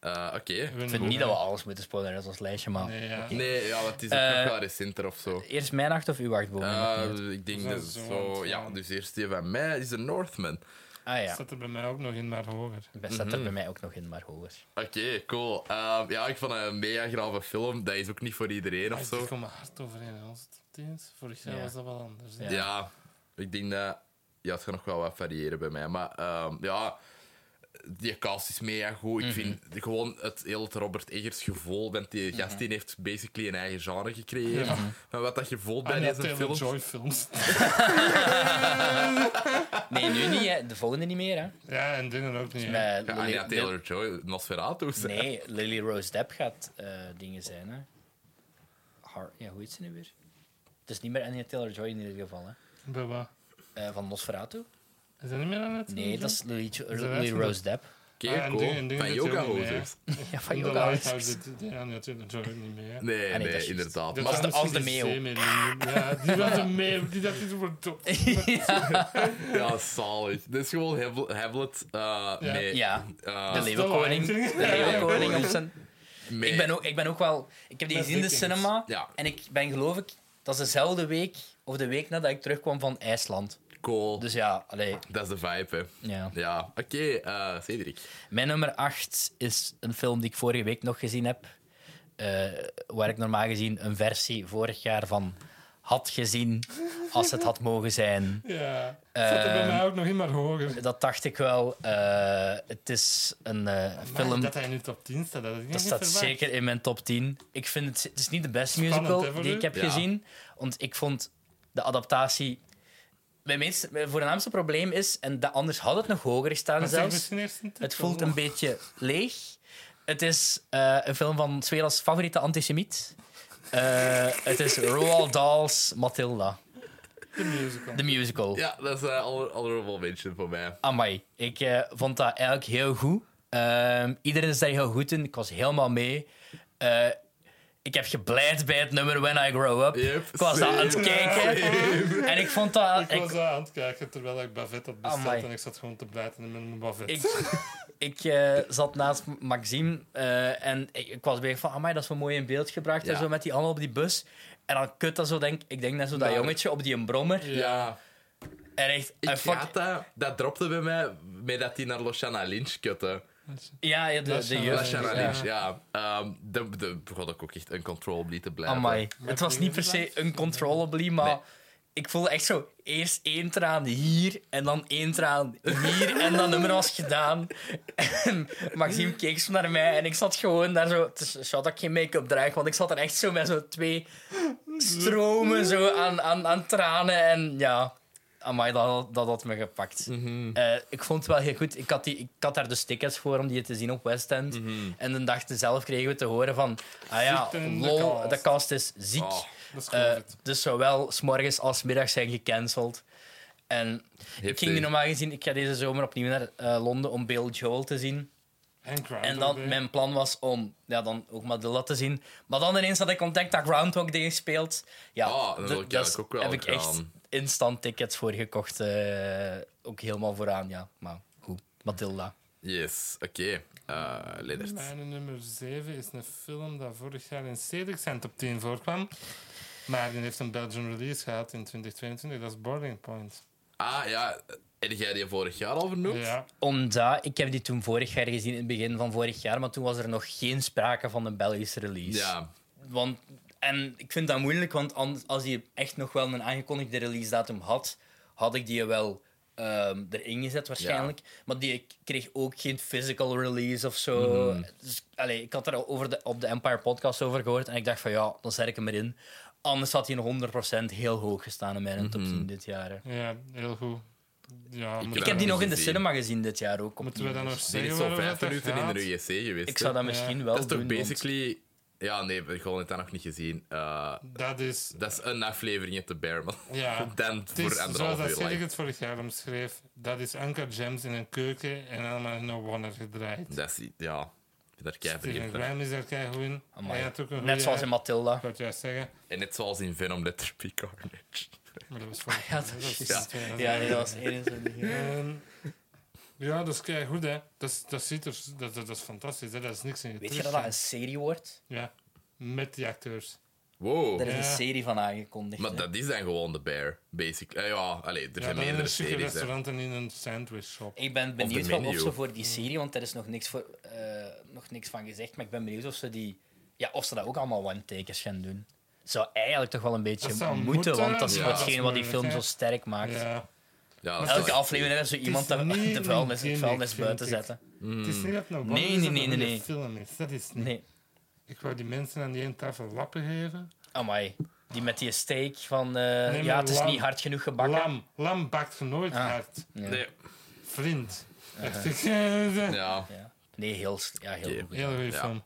[SPEAKER 1] Eh, Oké.
[SPEAKER 3] Ik vind niet dat we alles moeten spoileren uit ons lijstje, maar...
[SPEAKER 2] Nee, ja.
[SPEAKER 1] Nee, ja, want het is ook
[SPEAKER 3] Eh,
[SPEAKER 1] nog wel recenter of zo.
[SPEAKER 3] Eerst mijn acht of uw acht, Bo?
[SPEAKER 1] Eh, ik denk
[SPEAKER 2] Dat
[SPEAKER 1] dat
[SPEAKER 2] is
[SPEAKER 1] zo...
[SPEAKER 2] zo
[SPEAKER 1] Ja,
[SPEAKER 2] ontzettend.
[SPEAKER 1] dus eerst die van mij is de Northman.
[SPEAKER 3] Ah ja,
[SPEAKER 2] Staat er bij mij ook nog in, maar hoger.
[SPEAKER 3] dat staat
[SPEAKER 1] Mhm.
[SPEAKER 3] er bij mij ook nog in, maar hoger.
[SPEAKER 1] Oké, cool. Ehm, ja, ik vond het een mega grave film. Dat is ook niet voor iedereen of
[SPEAKER 2] Ah, Die
[SPEAKER 1] zo.
[SPEAKER 2] komen hard overeen in onze top 10's. Vorig jaar
[SPEAKER 3] Ja.
[SPEAKER 2] was dat wel anders. hè.
[SPEAKER 1] Ja. ik denk dat... Ja, het gaat nog wel wat variëren bij mij. Maar ehm, ja, die cast is mega goed. Ik vind gewoon het hele het Robert Eggers gevoel. Want die gast die heeft basically een eigen genre gecreëerd. Van wat dat je voelt bij
[SPEAKER 2] En dat
[SPEAKER 1] deze
[SPEAKER 2] Ah, Taylor
[SPEAKER 1] film.
[SPEAKER 2] Joy films. (laughs)
[SPEAKER 3] Nee, nu niet, hè. De volgende niet meer, hè.
[SPEAKER 2] ja, en dingen ook niet. hè.
[SPEAKER 3] Eh,
[SPEAKER 1] Ja,
[SPEAKER 3] Lily-
[SPEAKER 1] Anya Taylor-Joy, Nosferatu. zeg.
[SPEAKER 3] (laughs) Nee, Lily Rose Depp gaat eh, dingen zijn, hè. Har ja, hoe heet ze nu weer? Het is niet meer Anya Taylor-Joy in ieder geval, hè.
[SPEAKER 2] Bij wat?
[SPEAKER 3] Eh, van Nosferatu?
[SPEAKER 2] Is dat niet meer aan het
[SPEAKER 3] Nee, dat is Lily, Jo-
[SPEAKER 2] dat
[SPEAKER 3] Lily
[SPEAKER 2] echt een-
[SPEAKER 3] Rose Depp.
[SPEAKER 1] Oké,
[SPEAKER 2] Ah, en
[SPEAKER 1] cool.
[SPEAKER 2] dingen- en dingen
[SPEAKER 1] Van
[SPEAKER 2] dat je
[SPEAKER 1] yoga
[SPEAKER 2] ook niet
[SPEAKER 1] hosers.
[SPEAKER 3] (laughs) Ja, van
[SPEAKER 2] Van de
[SPEAKER 3] Yoga
[SPEAKER 2] Lighthouse, dit- dit- ja, natuurlijk natuurlijk niet meer. hè.
[SPEAKER 1] Nee,
[SPEAKER 3] Ah, nee,
[SPEAKER 1] nee,
[SPEAKER 3] dat is
[SPEAKER 1] inderdaad.
[SPEAKER 2] Dat
[SPEAKER 1] Maar
[SPEAKER 3] was
[SPEAKER 2] zou
[SPEAKER 3] de- als de
[SPEAKER 2] misschien
[SPEAKER 3] meeuw.
[SPEAKER 2] een C meeuw. Ja, die was een meeuw. Die dacht, dit wordt
[SPEAKER 3] (laughs)
[SPEAKER 2] top.
[SPEAKER 1] ja, zalig. Dit is gewoon Hamlet- Hamlet eh
[SPEAKER 2] Ja.
[SPEAKER 1] met...
[SPEAKER 3] Ja,
[SPEAKER 1] eh,
[SPEAKER 3] de leeuwenkoning.
[SPEAKER 2] de
[SPEAKER 3] De
[SPEAKER 2] Leeuwenkoning.
[SPEAKER 3] leeuwenkoning op zijn...
[SPEAKER 1] met-
[SPEAKER 3] Ik ben, ook, ik ben ook wel... Ik heb die
[SPEAKER 2] Met
[SPEAKER 3] gezien in de
[SPEAKER 2] Vikings.
[SPEAKER 3] cinema.
[SPEAKER 1] Ja.
[SPEAKER 3] En ik ben geloof ik... Dat is dezelfde week of de week nadat ik terugkwam van IJsland.
[SPEAKER 1] Cool.
[SPEAKER 3] Dus ja, allee,
[SPEAKER 1] Dat is de vibe, hè.
[SPEAKER 3] ja.
[SPEAKER 1] Ja, oké, eh, Cedric.
[SPEAKER 3] Mijn nummer 8 is een film die ik vorige week nog gezien heb. eh, waar ik normaal gezien een versie vorig jaar van had gezien als het had mogen zijn.
[SPEAKER 2] Ja. Zat er bij
[SPEAKER 3] Ehm,
[SPEAKER 2] mij ook nog in, maar hoger.
[SPEAKER 3] Dat dacht ik wel. Eh, het is een eh,
[SPEAKER 2] Maar
[SPEAKER 3] film.
[SPEAKER 2] Dat hij nu top 10 staat, dat had ik niet
[SPEAKER 3] Dat staat
[SPEAKER 2] verwacht.
[SPEAKER 3] zeker in mijn top 10. Ik vind het, het is niet de beste
[SPEAKER 2] Spannend,
[SPEAKER 3] musical
[SPEAKER 2] hè, voor
[SPEAKER 3] die
[SPEAKER 2] u?
[SPEAKER 3] ik heb
[SPEAKER 1] Ja.
[SPEAKER 3] gezien. Want ik vond de adaptatie mijn, meest, mijn voornaamste probleem is, en dat, anders had het nog hoger
[SPEAKER 2] Maar
[SPEAKER 3] staan
[SPEAKER 2] zeg
[SPEAKER 3] zelfs,
[SPEAKER 2] misschien eerst een titel.
[SPEAKER 3] het voelt een beetje leeg. Het is eh, een film van Swela's favoriete antisemiet. Eh, het is Roald Dahl's Matilda,
[SPEAKER 2] De musical.
[SPEAKER 3] de musical.
[SPEAKER 1] Ja, dat is eh, honor- honorable mention voor mij.
[SPEAKER 3] Amai, ik eh, vond dat eigenlijk heel goed. Ehm, iedereen is daar heel goed in. Ik was helemaal mee. Eh, ik heb gebleid bij het nummer When I Grow Up.
[SPEAKER 1] Yep,
[SPEAKER 3] ik was dat aan het
[SPEAKER 1] same,
[SPEAKER 3] kijken. En ik vond dat...
[SPEAKER 2] Ik
[SPEAKER 3] ik-
[SPEAKER 2] was daar aan het kijken terwijl ik Bavette had besteld
[SPEAKER 3] Amai.
[SPEAKER 2] en ik zat gewoon te blijten in mijn Bavette.
[SPEAKER 3] Ik, (laughs) ik eh, zat naast Maxime eh, en ik, ik was weer van, amai, dat is wel mooi in beeld gebracht en
[SPEAKER 1] Ja.
[SPEAKER 3] zo met die allemaal op die bus. En dan kut dat zo, denk ik, denk net zo dat
[SPEAKER 1] Nou.
[SPEAKER 3] jongetje op die een brommer.
[SPEAKER 1] Ja,
[SPEAKER 3] En echt,
[SPEAKER 1] ik
[SPEAKER 3] eh, fuck,
[SPEAKER 1] had dat, dat dropte bij mij, met dat hij naar Loshana Lynch kutte.
[SPEAKER 3] ja, ja, de,
[SPEAKER 2] Lasha-
[SPEAKER 3] de jeugd.
[SPEAKER 1] Loshana
[SPEAKER 3] Ja.
[SPEAKER 1] Lynch, ja. Ehm de, de, begon ik ook echt uncontrollably te blijven.
[SPEAKER 3] Amai. Het was niet per se uncontrollably, maar
[SPEAKER 1] Nee.
[SPEAKER 3] ik voelde echt zo, eerst één traan hier en dan één traan hier en dat nummer was gedaan. En Maxime keek zo naar mij en ik zat gewoon daar zo... Het is een shot dat ik geen make-up draag, want ik zat er echt zo met zo twee stromen zo aan, aan, aan tranen en ja... Amai, dat, dat had me gepakt. Eh, ik vond het wel heel goed. Ik had, die, ik had daar dus tickets voor om die te zien op West End. En de dag zelf kregen we te horen van... Ah ja,
[SPEAKER 2] Ziek in de
[SPEAKER 3] lol,
[SPEAKER 2] cast.
[SPEAKER 3] de cast is ziek.
[SPEAKER 1] Oh,
[SPEAKER 2] Dat is
[SPEAKER 3] Eh,
[SPEAKER 2] gewoon vet.
[SPEAKER 3] dus zowel s morgens als 's middags zijn gecanceld. En ik ging nu normaal gezien... Ik ga deze zomer opnieuw naar eh, Londen om Bill Joel te zien.
[SPEAKER 2] En Crowder
[SPEAKER 1] Ah,
[SPEAKER 3] En dan,
[SPEAKER 2] erbij.
[SPEAKER 3] mijn plan was om ja, dan ook Madilla te zien. Maar dan ineens had ik ontdekt dat Groundhog Day speelt. Ja,
[SPEAKER 1] Ah, dat
[SPEAKER 3] d-
[SPEAKER 1] wil ik
[SPEAKER 3] dat is-
[SPEAKER 1] eigenlijk ook wel
[SPEAKER 3] heb ik echt
[SPEAKER 1] gedaan.
[SPEAKER 3] instant tickets voor gekocht. eh, ook helemaal vooraan, ja. Maar goed, Matilda.
[SPEAKER 1] Yes, oké. Eh Lennart.
[SPEAKER 2] Mijn nummer 7 is een film dat vorig jaar in Stedelijk Cent op 10 voorkwam. Maar die heeft een Belgian release gehad in 2022. Dat is Boiling Point.
[SPEAKER 1] Ah ja, heb jij die vorig jaar al vernoemd?
[SPEAKER 2] Ja.
[SPEAKER 3] Omdat, ik heb die toen vorig jaar gezien, in het begin van vorig jaar. Maar toen was er nog geen sprake van een Belgische release.
[SPEAKER 1] Ja,
[SPEAKER 3] Want, en ik vind dat moeilijk, want an- als hij echt nog wel een aangekondigde release datum had, had ik die wel ehm, erin gezet waarschijnlijk. Maar die k- kreeg ook geen physical release of zo. Dus, allee, ik had er over de, op de Empire podcast over gehoord en ik dacht van ja, dan zet ik hem erin. Anders had hij nog 100% heel hoog gestaan in mijn top 10 dit jaar. hè.
[SPEAKER 2] ja, heel goed. Ja,
[SPEAKER 1] Ik
[SPEAKER 2] moeten
[SPEAKER 3] Ik
[SPEAKER 2] we-
[SPEAKER 3] heb die nog in de
[SPEAKER 1] gezien.
[SPEAKER 3] cinema gezien dit jaar ook.
[SPEAKER 2] Moeten we
[SPEAKER 3] opnieuw,
[SPEAKER 2] dan nog
[SPEAKER 3] dus
[SPEAKER 1] die
[SPEAKER 2] zeggen
[SPEAKER 1] is al
[SPEAKER 2] waarover
[SPEAKER 1] vijf
[SPEAKER 2] dat
[SPEAKER 1] minuten in
[SPEAKER 2] gaat?
[SPEAKER 1] de UGC geweest.
[SPEAKER 3] Ik
[SPEAKER 1] hè?
[SPEAKER 3] zou dat
[SPEAKER 2] Ja.
[SPEAKER 3] misschien wel
[SPEAKER 1] dat is toch
[SPEAKER 3] doen. want-
[SPEAKER 1] basically... Ja, nee, we gewoon het dat nog niet gezien. Eh,
[SPEAKER 2] Dat is...
[SPEAKER 1] dat is een aflevering uit de Bearman. (laughs)
[SPEAKER 2] Ja.
[SPEAKER 1] Dan
[SPEAKER 2] Het is,
[SPEAKER 1] voor
[SPEAKER 2] zoals dat
[SPEAKER 1] anderhalf uur
[SPEAKER 2] Cedric
[SPEAKER 1] lang.
[SPEAKER 2] het vorig jaar omschreef, dat is Anker Gems in een keuken en allemaal in een wonder gedraaid.
[SPEAKER 1] Dat is... Ja, ik ben daar kei
[SPEAKER 2] Steven
[SPEAKER 1] vergeten naar.
[SPEAKER 2] Graham is daar keigoed in.
[SPEAKER 3] Amai.
[SPEAKER 2] Hij had ook een goeie-
[SPEAKER 3] Net zoals in Matilda.
[SPEAKER 2] Ik wou het juist zeggen,
[SPEAKER 1] En net zoals in Venom Letter P. Carnage.
[SPEAKER 2] maar dat was vorig
[SPEAKER 3] (laughs) Ja,
[SPEAKER 2] jaar. Dat
[SPEAKER 3] dat is
[SPEAKER 2] was
[SPEAKER 3] juist.
[SPEAKER 2] 2022.
[SPEAKER 3] Ja, nee, dat was één
[SPEAKER 2] Ehm, ja, dat is keigoed, hè. Dat, is- dat, ziet er, dat, dat, dat is fantastisch, hè. Dat is niks in je
[SPEAKER 3] Weet je
[SPEAKER 2] terug,
[SPEAKER 3] dat dat
[SPEAKER 2] hè.
[SPEAKER 3] een serie wordt?
[SPEAKER 2] Ja, met die acteurs.
[SPEAKER 1] (laughs) Wow.
[SPEAKER 3] Er is
[SPEAKER 2] Ja.
[SPEAKER 3] een serie van aangekondigd.
[SPEAKER 1] Maar
[SPEAKER 3] hè.
[SPEAKER 1] dat is dan gewoon de bear, basic. Eh, ja, allee, er
[SPEAKER 2] Ja,
[SPEAKER 1] zijn
[SPEAKER 2] dan in
[SPEAKER 1] meerdere
[SPEAKER 2] een chique
[SPEAKER 1] series. hè.
[SPEAKER 2] restaurant en in een sandwich shop.
[SPEAKER 3] Ik ben
[SPEAKER 1] de
[SPEAKER 3] benieuwd of, of
[SPEAKER 1] menu.
[SPEAKER 3] ze voor die
[SPEAKER 2] Mm.
[SPEAKER 3] serie, want er is nog niks, voor, eh, nog niks van gezegd, maar ik ben benieuwd of ze, die, ja, of ze dat ook allemaal one-takers gaan doen. Zou eigenlijk toch wel een beetje
[SPEAKER 2] Dat zou
[SPEAKER 3] moeten,
[SPEAKER 2] moeten,
[SPEAKER 3] want dat is
[SPEAKER 1] ja.
[SPEAKER 3] hetgeen wat die
[SPEAKER 2] Moeilijk,
[SPEAKER 3] film
[SPEAKER 2] hè.
[SPEAKER 3] zo sterk maakt.
[SPEAKER 2] Ja.
[SPEAKER 1] Ja, dat
[SPEAKER 3] Elke
[SPEAKER 1] is-
[SPEAKER 3] aflevering is zo iemand
[SPEAKER 2] Het is
[SPEAKER 3] dat
[SPEAKER 2] niet
[SPEAKER 3] de vuilnis,
[SPEAKER 2] een
[SPEAKER 3] het vuilnis
[SPEAKER 2] gimmick,
[SPEAKER 3] buiten
[SPEAKER 2] vind ik.
[SPEAKER 3] zetten.
[SPEAKER 2] Het
[SPEAKER 1] Hmm.
[SPEAKER 2] is niet dat het een
[SPEAKER 3] Nee,
[SPEAKER 2] wonder is
[SPEAKER 3] nee,
[SPEAKER 2] dat
[SPEAKER 3] nee,
[SPEAKER 2] het een
[SPEAKER 3] nee,
[SPEAKER 2] goede
[SPEAKER 3] nee.
[SPEAKER 2] film is. Dat is niet.
[SPEAKER 3] Nee,
[SPEAKER 2] Ik wou die mensen aan die ene tafel lappen geven.
[SPEAKER 3] amai. Die met die steak van, eh,
[SPEAKER 2] maar
[SPEAKER 3] ja, het is
[SPEAKER 2] lam-
[SPEAKER 3] niet hard genoeg gebakken.
[SPEAKER 2] Lam, lam bakt nooit
[SPEAKER 3] Ah.
[SPEAKER 2] hard.
[SPEAKER 3] Ja.
[SPEAKER 1] Nee,
[SPEAKER 2] Vriend. (laughs) Echt ik-
[SPEAKER 1] ja.
[SPEAKER 3] Ja. Nee, heel, s- ja, heel
[SPEAKER 1] Oké.
[SPEAKER 3] goed.
[SPEAKER 2] Heel goede
[SPEAKER 1] Ja.
[SPEAKER 2] film.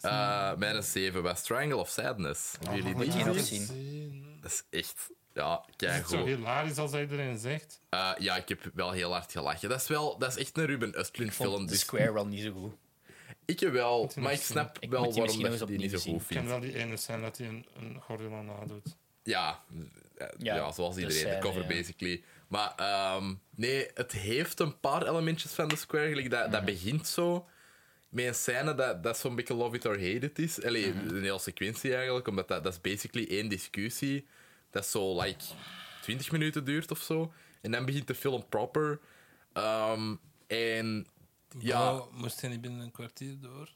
[SPEAKER 1] Eh, mijn 7 was Triangle of Sadness. Hebben Jullie
[SPEAKER 3] moet
[SPEAKER 1] die?
[SPEAKER 3] je nog
[SPEAKER 2] Ja.
[SPEAKER 3] zien.
[SPEAKER 1] Dat is echt... Ja,
[SPEAKER 2] Is het zo
[SPEAKER 1] keigoed.
[SPEAKER 2] hilarisch als iedereen zegt?
[SPEAKER 1] Eh ja, ik heb wel heel hard gelachen. Dat is, wel, dat is echt een Ruben Östlund
[SPEAKER 3] Ik vond
[SPEAKER 1] film.
[SPEAKER 3] de
[SPEAKER 1] Dus
[SPEAKER 3] Square wel niet zo goed.
[SPEAKER 1] ik wel,
[SPEAKER 2] die
[SPEAKER 1] maar ik
[SPEAKER 2] nog
[SPEAKER 1] snap
[SPEAKER 3] Ik moet
[SPEAKER 1] wel
[SPEAKER 3] die
[SPEAKER 1] waarom
[SPEAKER 3] misschien
[SPEAKER 1] dat
[SPEAKER 3] nog
[SPEAKER 1] je
[SPEAKER 3] eens
[SPEAKER 1] die niet zo
[SPEAKER 3] opnieuw
[SPEAKER 1] goed
[SPEAKER 2] Ik ken
[SPEAKER 1] vindt.
[SPEAKER 2] wel die ene scène dat hij een, een gordel aan nadoet.
[SPEAKER 1] Ja, eh, ja,
[SPEAKER 3] Ja,
[SPEAKER 1] zoals
[SPEAKER 3] de
[SPEAKER 1] iedereen, de,
[SPEAKER 3] scène,
[SPEAKER 1] cover
[SPEAKER 3] ja.
[SPEAKER 1] basically. Maar ehm, nee, het heeft een paar elementjes van de Square. gelijk Dat,
[SPEAKER 3] Mhm.
[SPEAKER 1] dat begint zo met een scène dat, dat zo'n beetje Love It or Hate It is. Allee,
[SPEAKER 3] Mhm.
[SPEAKER 1] een hele sequentie eigenlijk, omdat dat, dat is basically één discussie. Dat zo, like, 20 minuten duurt of zo. En dan begint de film proper. Ehm, en ja...
[SPEAKER 2] moest hij niet binnen een kwartier door?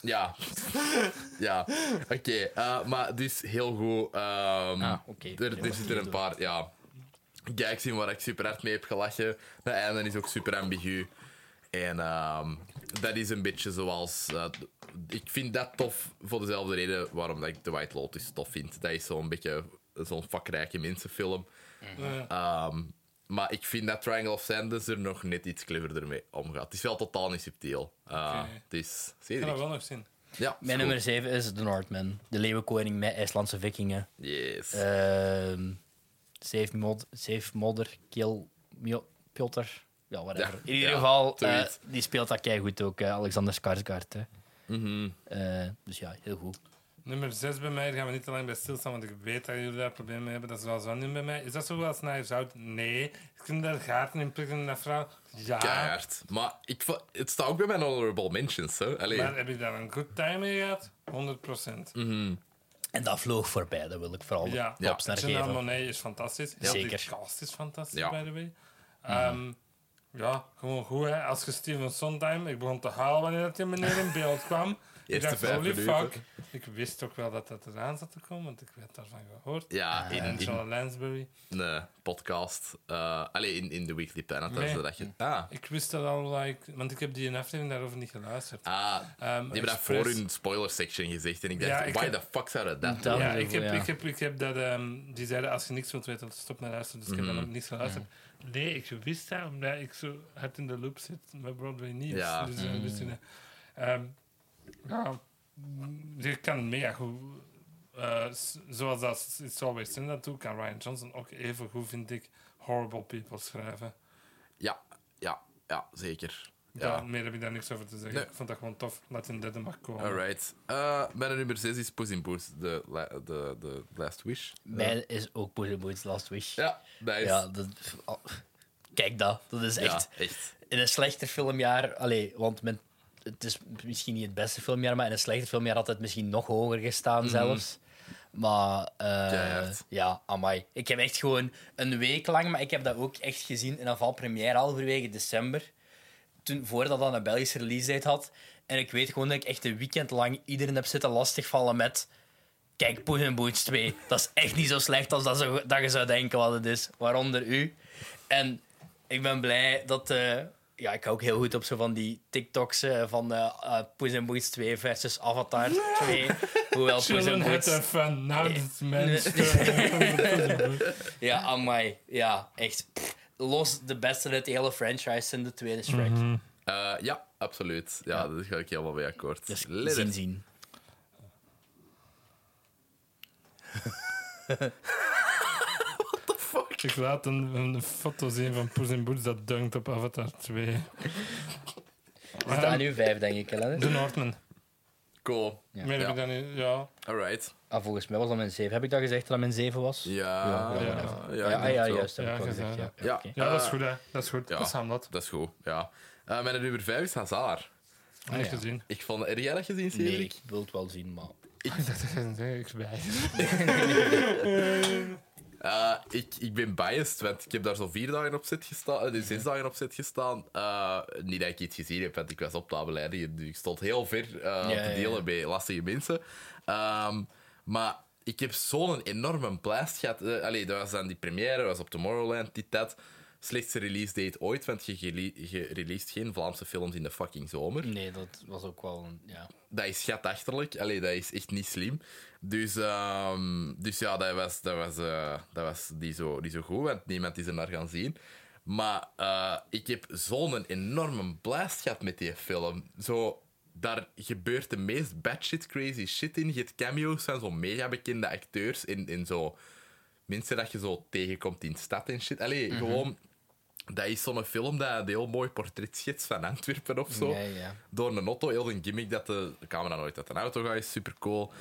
[SPEAKER 1] Ja. (laughs) ja. Oké. eh, maar dus heel goed. ehm,
[SPEAKER 3] Ah, oké.
[SPEAKER 1] Er, er zitten een paar... Ja. Kijk zien waar ik super hard mee heb gelachen. De einde is ook super ambigu. En ehm, dat is een beetje zoals... eh, ik vind dat tof voor dezelfde reden waarom dat ik The White Lotus tof vind. Dat is zo'n beetje zo'n vakrijke mensenfilm.
[SPEAKER 2] Eh,
[SPEAKER 1] Ehm, maar ik vind dat Triangle of Sanders er nog net iets cleverder mee omgaat. Het is wel totaal niet subtiel. Eh,
[SPEAKER 2] Oké.
[SPEAKER 1] Het is...
[SPEAKER 2] ik
[SPEAKER 1] Cedric.
[SPEAKER 2] ga dat wel nog zien.
[SPEAKER 1] Ja, is
[SPEAKER 3] Mijn
[SPEAKER 1] goed.
[SPEAKER 3] nummer 7 is The Northman. De leeuwenkoning met IJslandse vikingen.
[SPEAKER 1] Yes.
[SPEAKER 3] Ehm Save, mod, save Modder, Kill Mio- Piotr. Ja, whatever.
[SPEAKER 1] Ja,
[SPEAKER 3] In ieder
[SPEAKER 1] ja,
[SPEAKER 3] geval, eh,
[SPEAKER 1] zoiets.
[SPEAKER 3] die speelt dat goed ook, eh, Alexander Skarsgård. hè.
[SPEAKER 1] Mhm.
[SPEAKER 3] Eh, dus ja, heel goed.
[SPEAKER 2] Nummer 6 bij mij, daar gaan we niet te lang bij stilstaan, want ik weet dat jullie daar problemen mee hebben. Dat is wel zo'n nummer bij mij. Is dat zo als naar zout? Nee. Kunnen daar gaten in prikken in dat verhaal? Ja.
[SPEAKER 1] Keihard. Maar ik, vo- het staat ook bij mijn honorable mentions. Hè? Allee,
[SPEAKER 2] Maar heb je daar een good time mee gehad? 100 procent.
[SPEAKER 3] En dat vloog voorbij, dat wil ik vooral
[SPEAKER 2] Ja.
[SPEAKER 1] Ja.
[SPEAKER 3] props naar
[SPEAKER 2] Janelle
[SPEAKER 3] geven.
[SPEAKER 2] Monáe is fantastisch. Heel
[SPEAKER 3] Zeker.
[SPEAKER 2] Die cast is fantastisch,
[SPEAKER 1] Ja. Mhm.
[SPEAKER 2] by the way. Ehm, Ja, gewoon goed. Hè. Als je Steven Sondheim... Ik begon te huilen wanneer dat die meneer in beeld kwam. ik
[SPEAKER 1] (laughs) Eerste
[SPEAKER 2] dacht,
[SPEAKER 1] vijf
[SPEAKER 2] holy
[SPEAKER 1] minuten.
[SPEAKER 2] fuck. Ik wist ook wel dat dat eraan zat te komen, want ik werd daarvan gehoord.
[SPEAKER 1] ja, in,
[SPEAKER 2] En
[SPEAKER 1] in
[SPEAKER 2] Angela Lansbury.
[SPEAKER 1] een podcast. eh allee, in, in de Weekly Planet. daar
[SPEAKER 2] Nee.
[SPEAKER 1] zodat je, ah,
[SPEAKER 2] Ik wist dat al, like, want ik heb die aflevering daarover niet geluisterd.
[SPEAKER 1] ah,
[SPEAKER 2] Ehm,
[SPEAKER 1] die hebben dat
[SPEAKER 2] expres-
[SPEAKER 1] voor hun spoiler section gezegd. En ik dacht,
[SPEAKER 2] Ja, ik
[SPEAKER 1] why
[SPEAKER 2] heb-
[SPEAKER 1] the fuck zouden dat
[SPEAKER 3] Dat-
[SPEAKER 1] doen?
[SPEAKER 2] Ja,
[SPEAKER 3] Ja,
[SPEAKER 2] ik heb,
[SPEAKER 3] ja.
[SPEAKER 2] Ik, heb, ik heb dat... ehm, die zeiden, als je niks wilt weten, stop naar luisteren. Dus ik heb dan ook niks geluisterd. Nee, ik wist dat, omdat ik zo hard in de loop zit met Broadway Nieuws.
[SPEAKER 1] Ja.
[SPEAKER 2] Dus eh, wist je dat. Ehm, ja, mm, je kan mega goed... eh, s- zoals dat It's Always Sunny dat doet, kan Ryan Johnson ook even goed, vind ik, Horrible People schrijven.
[SPEAKER 1] Ja, ja, ja, zeker.
[SPEAKER 2] Ja.
[SPEAKER 1] Ja.
[SPEAKER 2] Meer heb ik daar niks over te zeggen.
[SPEAKER 1] Nee.
[SPEAKER 2] Ik vond dat gewoon tof. Laat in derde mag komen.
[SPEAKER 1] Alright. Eh mijn nummer 6 is Puss in Boots, de, la- de, de Last Wish.
[SPEAKER 3] Mij is ook Puss in Boots Last Wish.
[SPEAKER 1] Ja, dat is...
[SPEAKER 3] Ja, dat, al- kijk dat. Dat is
[SPEAKER 1] Ja,
[SPEAKER 3] echt... In een slechter filmjaar... Allee, want men, het is misschien niet het beste filmjaar, maar in een slechter filmjaar had het misschien nog hoger gestaan zelfs. Maar eh
[SPEAKER 1] Keihard.
[SPEAKER 3] ja, amai. Ik heb echt gewoon een week lang, maar ik heb dat ook echt gezien in afval première halverwege december. Toen, voordat dat een Belgische release date had. En ik weet gewoon dat ik echt een weekend lang iedereen heb zitten lastigvallen met... Kijk, Poes en Boots 2, dat is echt niet zo slecht als dat, zo, dat je zou denken wat het is. Waaronder u. En ik ben blij dat... eh, ja, ik hou ook heel goed op zo van die TikToks eh, van eh eh, Poes en Boots 2 versus Avatar 2. Hoewel
[SPEAKER 2] (laughs)
[SPEAKER 3] Poes en
[SPEAKER 2] Children had
[SPEAKER 3] Boots...
[SPEAKER 2] their fun. Now
[SPEAKER 3] Nee.
[SPEAKER 2] it's men's
[SPEAKER 3] Nee.
[SPEAKER 2] (laughs) turn.
[SPEAKER 3] Ja, amai. Ja, echt. Pff, Los de beste uit de hele franchise in de tweede Shrek.
[SPEAKER 1] Eh, ja, absoluut. Ja, daar ga ik helemaal mee akkoord.
[SPEAKER 3] Dus
[SPEAKER 1] Let
[SPEAKER 3] zien
[SPEAKER 1] it.
[SPEAKER 3] zien.
[SPEAKER 2] Ik laat een, een foto zien van Poes in Boots dat dunkt op Avatar 2.
[SPEAKER 3] We staan nu vijf, denk ik. Hè?
[SPEAKER 2] De Noordman.
[SPEAKER 1] Cool.
[SPEAKER 3] Ja.
[SPEAKER 2] Meer heb
[SPEAKER 1] Ja.
[SPEAKER 2] ik dan niet. Ja.
[SPEAKER 1] Alright.
[SPEAKER 3] Ah, volgens mij was dat mijn zeven. Heb ik dat gezegd dat dat mijn zeven was?
[SPEAKER 1] Ja,
[SPEAKER 3] Ja,
[SPEAKER 1] ja,
[SPEAKER 2] ja.
[SPEAKER 1] ja,
[SPEAKER 3] ja, ah, ja,
[SPEAKER 1] inderdaad wel.
[SPEAKER 3] juist. heb
[SPEAKER 2] Ja,
[SPEAKER 3] ik wel
[SPEAKER 2] gezegd,
[SPEAKER 3] gezegd. Ja,
[SPEAKER 1] ja. Ja.
[SPEAKER 3] oké.
[SPEAKER 2] ja, dat is
[SPEAKER 1] Eh,
[SPEAKER 2] goed, hè. Dat is goed.
[SPEAKER 1] ja.
[SPEAKER 2] Dat is Hamlet.
[SPEAKER 1] Dat is goed, ja. Eh, mijn nummer 5 is Hazard.
[SPEAKER 3] Ah,
[SPEAKER 2] Heb je gezien?
[SPEAKER 1] Ik vond... Heb jij dat gezien,
[SPEAKER 3] Nee,
[SPEAKER 1] Cedric?
[SPEAKER 3] ik wil het wel zien, maar...
[SPEAKER 2] Ik dacht dat je het zei, ik bij.
[SPEAKER 1] Eh, ik, ik ben biased, want ik heb daar zo vier dagen op zit gestaan, eh, nee, zes dagen op zit gestaan. Eh, niet dat ik iets gezien heb, want ik was op tafelleider. Dus ik stond heel ver eh,
[SPEAKER 3] ja,
[SPEAKER 1] te delen
[SPEAKER 3] ja.
[SPEAKER 1] bij lastige mensen. Ehm, maar ik heb zo'n enorme blast gehad. Eh, allee, dat was dan die première, dat was op Tomorrowland, dit, dat. Slechtste release date ooit, want je, gele- je released geen Vlaamse films in de fucking zomer
[SPEAKER 3] Nee, dat was ook wel een... Ja.
[SPEAKER 1] dat is schatachterlijk. Allee, dat is echt niet slim. Dus, ehm, dus ja, dat was, dat was, eh, dat was niet, zo, niet zo goed, want niemand is er naar gaan zien. Maar eh, ik heb zo'n enorme blast gehad met die film. Zo, daar gebeurt de meest batshit crazy shit in. Je hebt cameo's van zo'n mega bekende acteurs en, en zo... Mensen dat je zo tegenkomt in de stad en shit. Allee,
[SPEAKER 3] Mhm.
[SPEAKER 1] gewoon... Dat is zo'n film dat een heel mooi portret schetst van Antwerpen of zo
[SPEAKER 3] Ja, ja.
[SPEAKER 1] door een auto. Heel een gimmick dat de camera nooit uit een auto gaat, is super cool.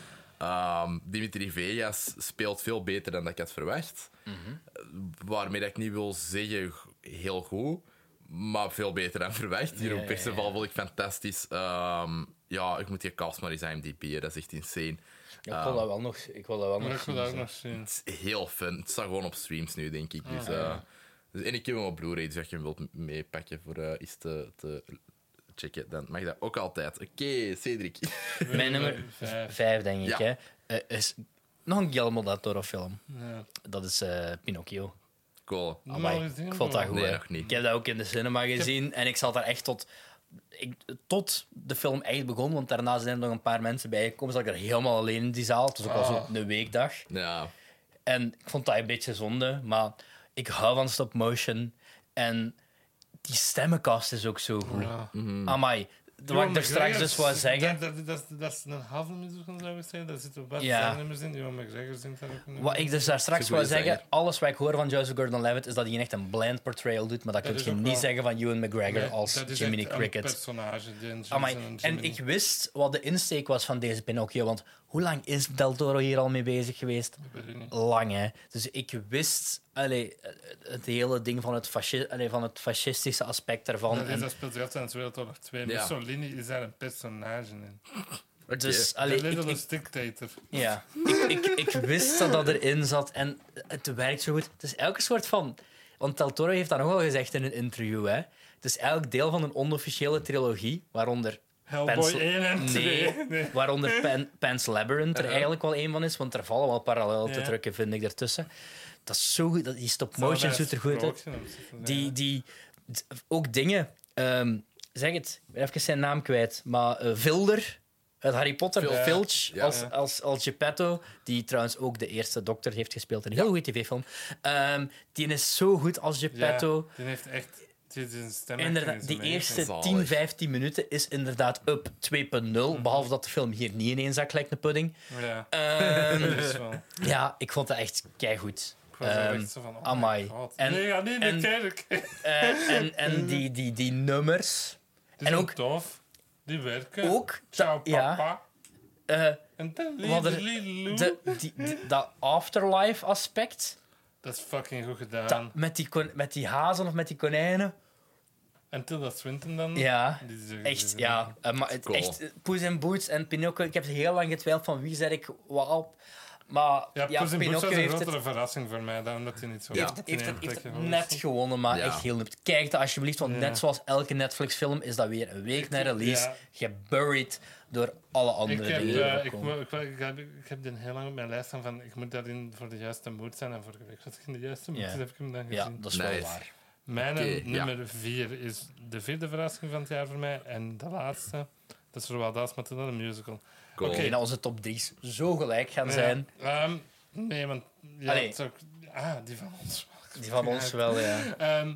[SPEAKER 1] Dimitri Vegas speelt veel beter dan dat ik had verwacht.
[SPEAKER 3] Mhm.
[SPEAKER 1] Eh, Waarmee dat ik niet wil zeggen g- heel goed, maar veel beter dan verwacht. Jeroen
[SPEAKER 3] ja,
[SPEAKER 1] Perceval vond ik fantastisch. Ehm, ja, ik moet die cast maar eens IMDb, hè. dat is echt insane.
[SPEAKER 3] Ja, Ik wil dat wel nog, ik wil dat wel
[SPEAKER 2] Maar
[SPEAKER 3] nog
[SPEAKER 2] ik wil
[SPEAKER 3] zien.
[SPEAKER 2] dat ook
[SPEAKER 3] zo.
[SPEAKER 2] nog zien.
[SPEAKER 1] Het is heel fun. Het staat gewoon op streams nu, denk ik.
[SPEAKER 2] Ah,
[SPEAKER 1] Dus, eh, dus- en ik heb hem op Blu-ray, dus als je hem wilt m- meepakken voor eh iets te, te checken, dan mag dat ook altijd. Oké, Cedric. (laughs)
[SPEAKER 3] Mijn nummer
[SPEAKER 2] Vijf.
[SPEAKER 3] vijf, denk
[SPEAKER 1] Ja.
[SPEAKER 3] ik, hè. eh, is nog een Guillermo del Toro film.
[SPEAKER 2] Ja.
[SPEAKER 3] Dat is eh, Pinocchio.
[SPEAKER 1] Cool.
[SPEAKER 2] Nog
[SPEAKER 3] Amai,
[SPEAKER 2] maar gezien,
[SPEAKER 3] ik vond dat
[SPEAKER 2] bro.
[SPEAKER 3] goed.
[SPEAKER 1] Nee,
[SPEAKER 3] hè.
[SPEAKER 1] nog niet.
[SPEAKER 3] Ik heb dat ook in de cinema gezien en ik zat daar echt tot, ik, tot de film echt begon, want daarna zijn er nog een paar mensen bijgekomen. Zat ik er helemaal alleen in die zaal. Het was ook al
[SPEAKER 2] Ah.
[SPEAKER 3] zo'n weekdag.
[SPEAKER 1] Ja.
[SPEAKER 3] Eh, En ik vond dat een beetje zonde, maar ik hou van stop-motion. En die stemmenkast is ook zo goed.
[SPEAKER 2] Ja.
[SPEAKER 1] Mm.
[SPEAKER 3] Amai, wat ik
[SPEAKER 2] Ewan
[SPEAKER 3] er straks
[SPEAKER 2] McGregor
[SPEAKER 3] dus wou
[SPEAKER 2] is-
[SPEAKER 3] zeggen...
[SPEAKER 2] Dat, dat, dat, dat is een havenmuziek, zou ik zeggen. Daar zitten wat
[SPEAKER 3] Ja.
[SPEAKER 2] ja. nummers in. Johan McGregor zingt daar ook een
[SPEAKER 3] Wat
[SPEAKER 2] nummer.
[SPEAKER 3] ik dus daar straks
[SPEAKER 1] Ze goeie
[SPEAKER 3] wil zeggen,
[SPEAKER 1] zanger.
[SPEAKER 3] alles wat ik hoor van Joseph Gordon-Levitt is dat hij echt een bland portrayal doet, maar dat,
[SPEAKER 2] Dat
[SPEAKER 3] kun
[SPEAKER 2] is
[SPEAKER 3] je
[SPEAKER 2] ook
[SPEAKER 3] niet
[SPEAKER 2] wel-
[SPEAKER 3] zeggen van Ewan McGregor
[SPEAKER 2] Nee,
[SPEAKER 3] als
[SPEAKER 2] dat is
[SPEAKER 3] Jiminy
[SPEAKER 2] echt een
[SPEAKER 3] Cricket.
[SPEAKER 2] personage. die in
[SPEAKER 3] Amai,
[SPEAKER 2] Jason en
[SPEAKER 3] en
[SPEAKER 2] Jiminy.
[SPEAKER 3] ik wist wat de insteek was van deze Pinocchio, want hoe lang is Del Toro hier al mee bezig geweest?
[SPEAKER 2] Ik weet het niet.
[SPEAKER 3] Lang, hè? Dus ik wist allee, het hele ding van het, fasci- allee, van het fascistische aspect daarvan.
[SPEAKER 2] Dat, is,
[SPEAKER 3] En
[SPEAKER 2] dat speelt zich af tijdens Wereldoorlog 2.
[SPEAKER 1] Ja.
[SPEAKER 2] Mussolini is daar een personage in.
[SPEAKER 1] Oké.
[SPEAKER 3] dus,
[SPEAKER 2] De
[SPEAKER 3] allee, ik, ik-
[SPEAKER 2] Littlest Dictator.
[SPEAKER 3] ja, ik, ik, ik wist dat dat erin zat en het werkt zo goed. Het is elke soort van... Want Del Toro heeft dat nog wel gezegd in een interview, hè. Het is elk deel van een onofficiële trilogie, waaronder
[SPEAKER 2] Hellboy
[SPEAKER 3] Pencil-
[SPEAKER 2] 1 en (laughs) 2.
[SPEAKER 3] Nee, waaronder Pen, Pan's Labyrinth er
[SPEAKER 2] Hm. Ja.
[SPEAKER 3] eigenlijk wel een van is, want er vallen wel parallel te
[SPEAKER 2] Ja.
[SPEAKER 3] drukken, vind ik, ertussen. Dat is zo goed, dat- die stop-motion ziet er goed uit. Die, die, d- ook dingen... ehm, zeg het, ik ben even zijn naam kwijt, maar eh, Vilder uit Harry Potter,
[SPEAKER 1] Vilder.
[SPEAKER 3] Filch,
[SPEAKER 1] Ja.
[SPEAKER 3] als,
[SPEAKER 2] Ja.
[SPEAKER 3] als, als Geppetto, die trouwens ook de eerste dokter heeft gespeeld in een heel goede tv-film. Ehm, die is zo goed als Geppetto.
[SPEAKER 2] Die heeft echt... Die is een stem.
[SPEAKER 3] Inderdaad, die eerste
[SPEAKER 1] Zalig.
[SPEAKER 3] 10, 15 minuten is inderdaad up 2.0. Behalve dat de film hier niet in één zak lijkt een pudding.
[SPEAKER 2] Ja.
[SPEAKER 3] (laughs) Ehm,
[SPEAKER 2] Dat (laughs) is wel...
[SPEAKER 3] ja, ik vond dat echt keigoed.
[SPEAKER 2] Ik was wel
[SPEAKER 3] Ehm,
[SPEAKER 2] echt zo van... Oh
[SPEAKER 3] amai.
[SPEAKER 2] my god.
[SPEAKER 3] En-
[SPEAKER 2] nee, ja, nee, in de
[SPEAKER 3] en-
[SPEAKER 2] kerk. (laughs)
[SPEAKER 3] Eh, en en die, die, die nummers.
[SPEAKER 2] Die
[SPEAKER 3] en
[SPEAKER 2] zijn
[SPEAKER 3] ook-
[SPEAKER 2] tof. Die werken.
[SPEAKER 3] Ook.
[SPEAKER 2] Ciao,
[SPEAKER 3] dat- ja.
[SPEAKER 2] papa.
[SPEAKER 3] eh,
[SPEAKER 2] En dan
[SPEAKER 3] Want er-
[SPEAKER 2] Lili Lilou.
[SPEAKER 3] de, die, die- dat afterlife aspect.
[SPEAKER 2] Dat is fucking goed gedaan.
[SPEAKER 3] dat- met, die kon- met die hazen of met die konijnen.
[SPEAKER 2] En Tilda Swinton dan?
[SPEAKER 3] Ja.
[SPEAKER 2] Die is ook-
[SPEAKER 3] Echt, ja. Eh, maar het,
[SPEAKER 1] Cool.
[SPEAKER 3] echt, eh, Poes en Boots en Pinocchio. Ik heb heel lang getwijfeld van wie zet ik wat op. Maar ja,
[SPEAKER 2] Ja, Puss in Boots was
[SPEAKER 3] Pinocchio
[SPEAKER 2] een
[SPEAKER 3] heeft het,
[SPEAKER 2] grotere verrassing voor mij, dan dat hij niet zo
[SPEAKER 1] Ja.
[SPEAKER 2] goed in
[SPEAKER 3] heeft
[SPEAKER 2] één
[SPEAKER 3] het, heeft
[SPEAKER 2] plekje was.
[SPEAKER 3] het net gewonnen, maar
[SPEAKER 1] Ja.
[SPEAKER 3] echt heel nipt. Kijk dat alsjeblieft, want
[SPEAKER 2] Ja.
[SPEAKER 3] net zoals elke Netflix-film is dat weer een week na release
[SPEAKER 2] ja.
[SPEAKER 3] geburied door alle andere
[SPEAKER 2] Ik heb,
[SPEAKER 3] dingen. die
[SPEAKER 2] eh,
[SPEAKER 3] erop
[SPEAKER 2] ik,
[SPEAKER 3] komen.
[SPEAKER 2] moet- ik, ik, heb, ik heb den heel lang op mijn lijst staan van ik moet daarin voor de juiste moed zijn. En vorige week was ik in de juiste moed,
[SPEAKER 3] Ja.
[SPEAKER 2] dus heb ik hem dan
[SPEAKER 3] Ja,
[SPEAKER 2] gezien.
[SPEAKER 3] dat is wel
[SPEAKER 1] Nice.
[SPEAKER 3] waar.
[SPEAKER 2] Mijn
[SPEAKER 1] Oké, ja.
[SPEAKER 2] nummer vier is de vierde verrassing van het jaar voor mij. En de laatste, dat is Roald Dahl's Matilda, de musical.
[SPEAKER 1] Cool.
[SPEAKER 3] Ik denk dat onze top 3's zo gelijk gaan
[SPEAKER 2] Ja,
[SPEAKER 3] zijn.
[SPEAKER 2] ehm, nee, want... Ja,
[SPEAKER 3] Allee.
[SPEAKER 2] het is ook- ah, die van ons.
[SPEAKER 3] Die van ons wel, ja.
[SPEAKER 2] Ehm,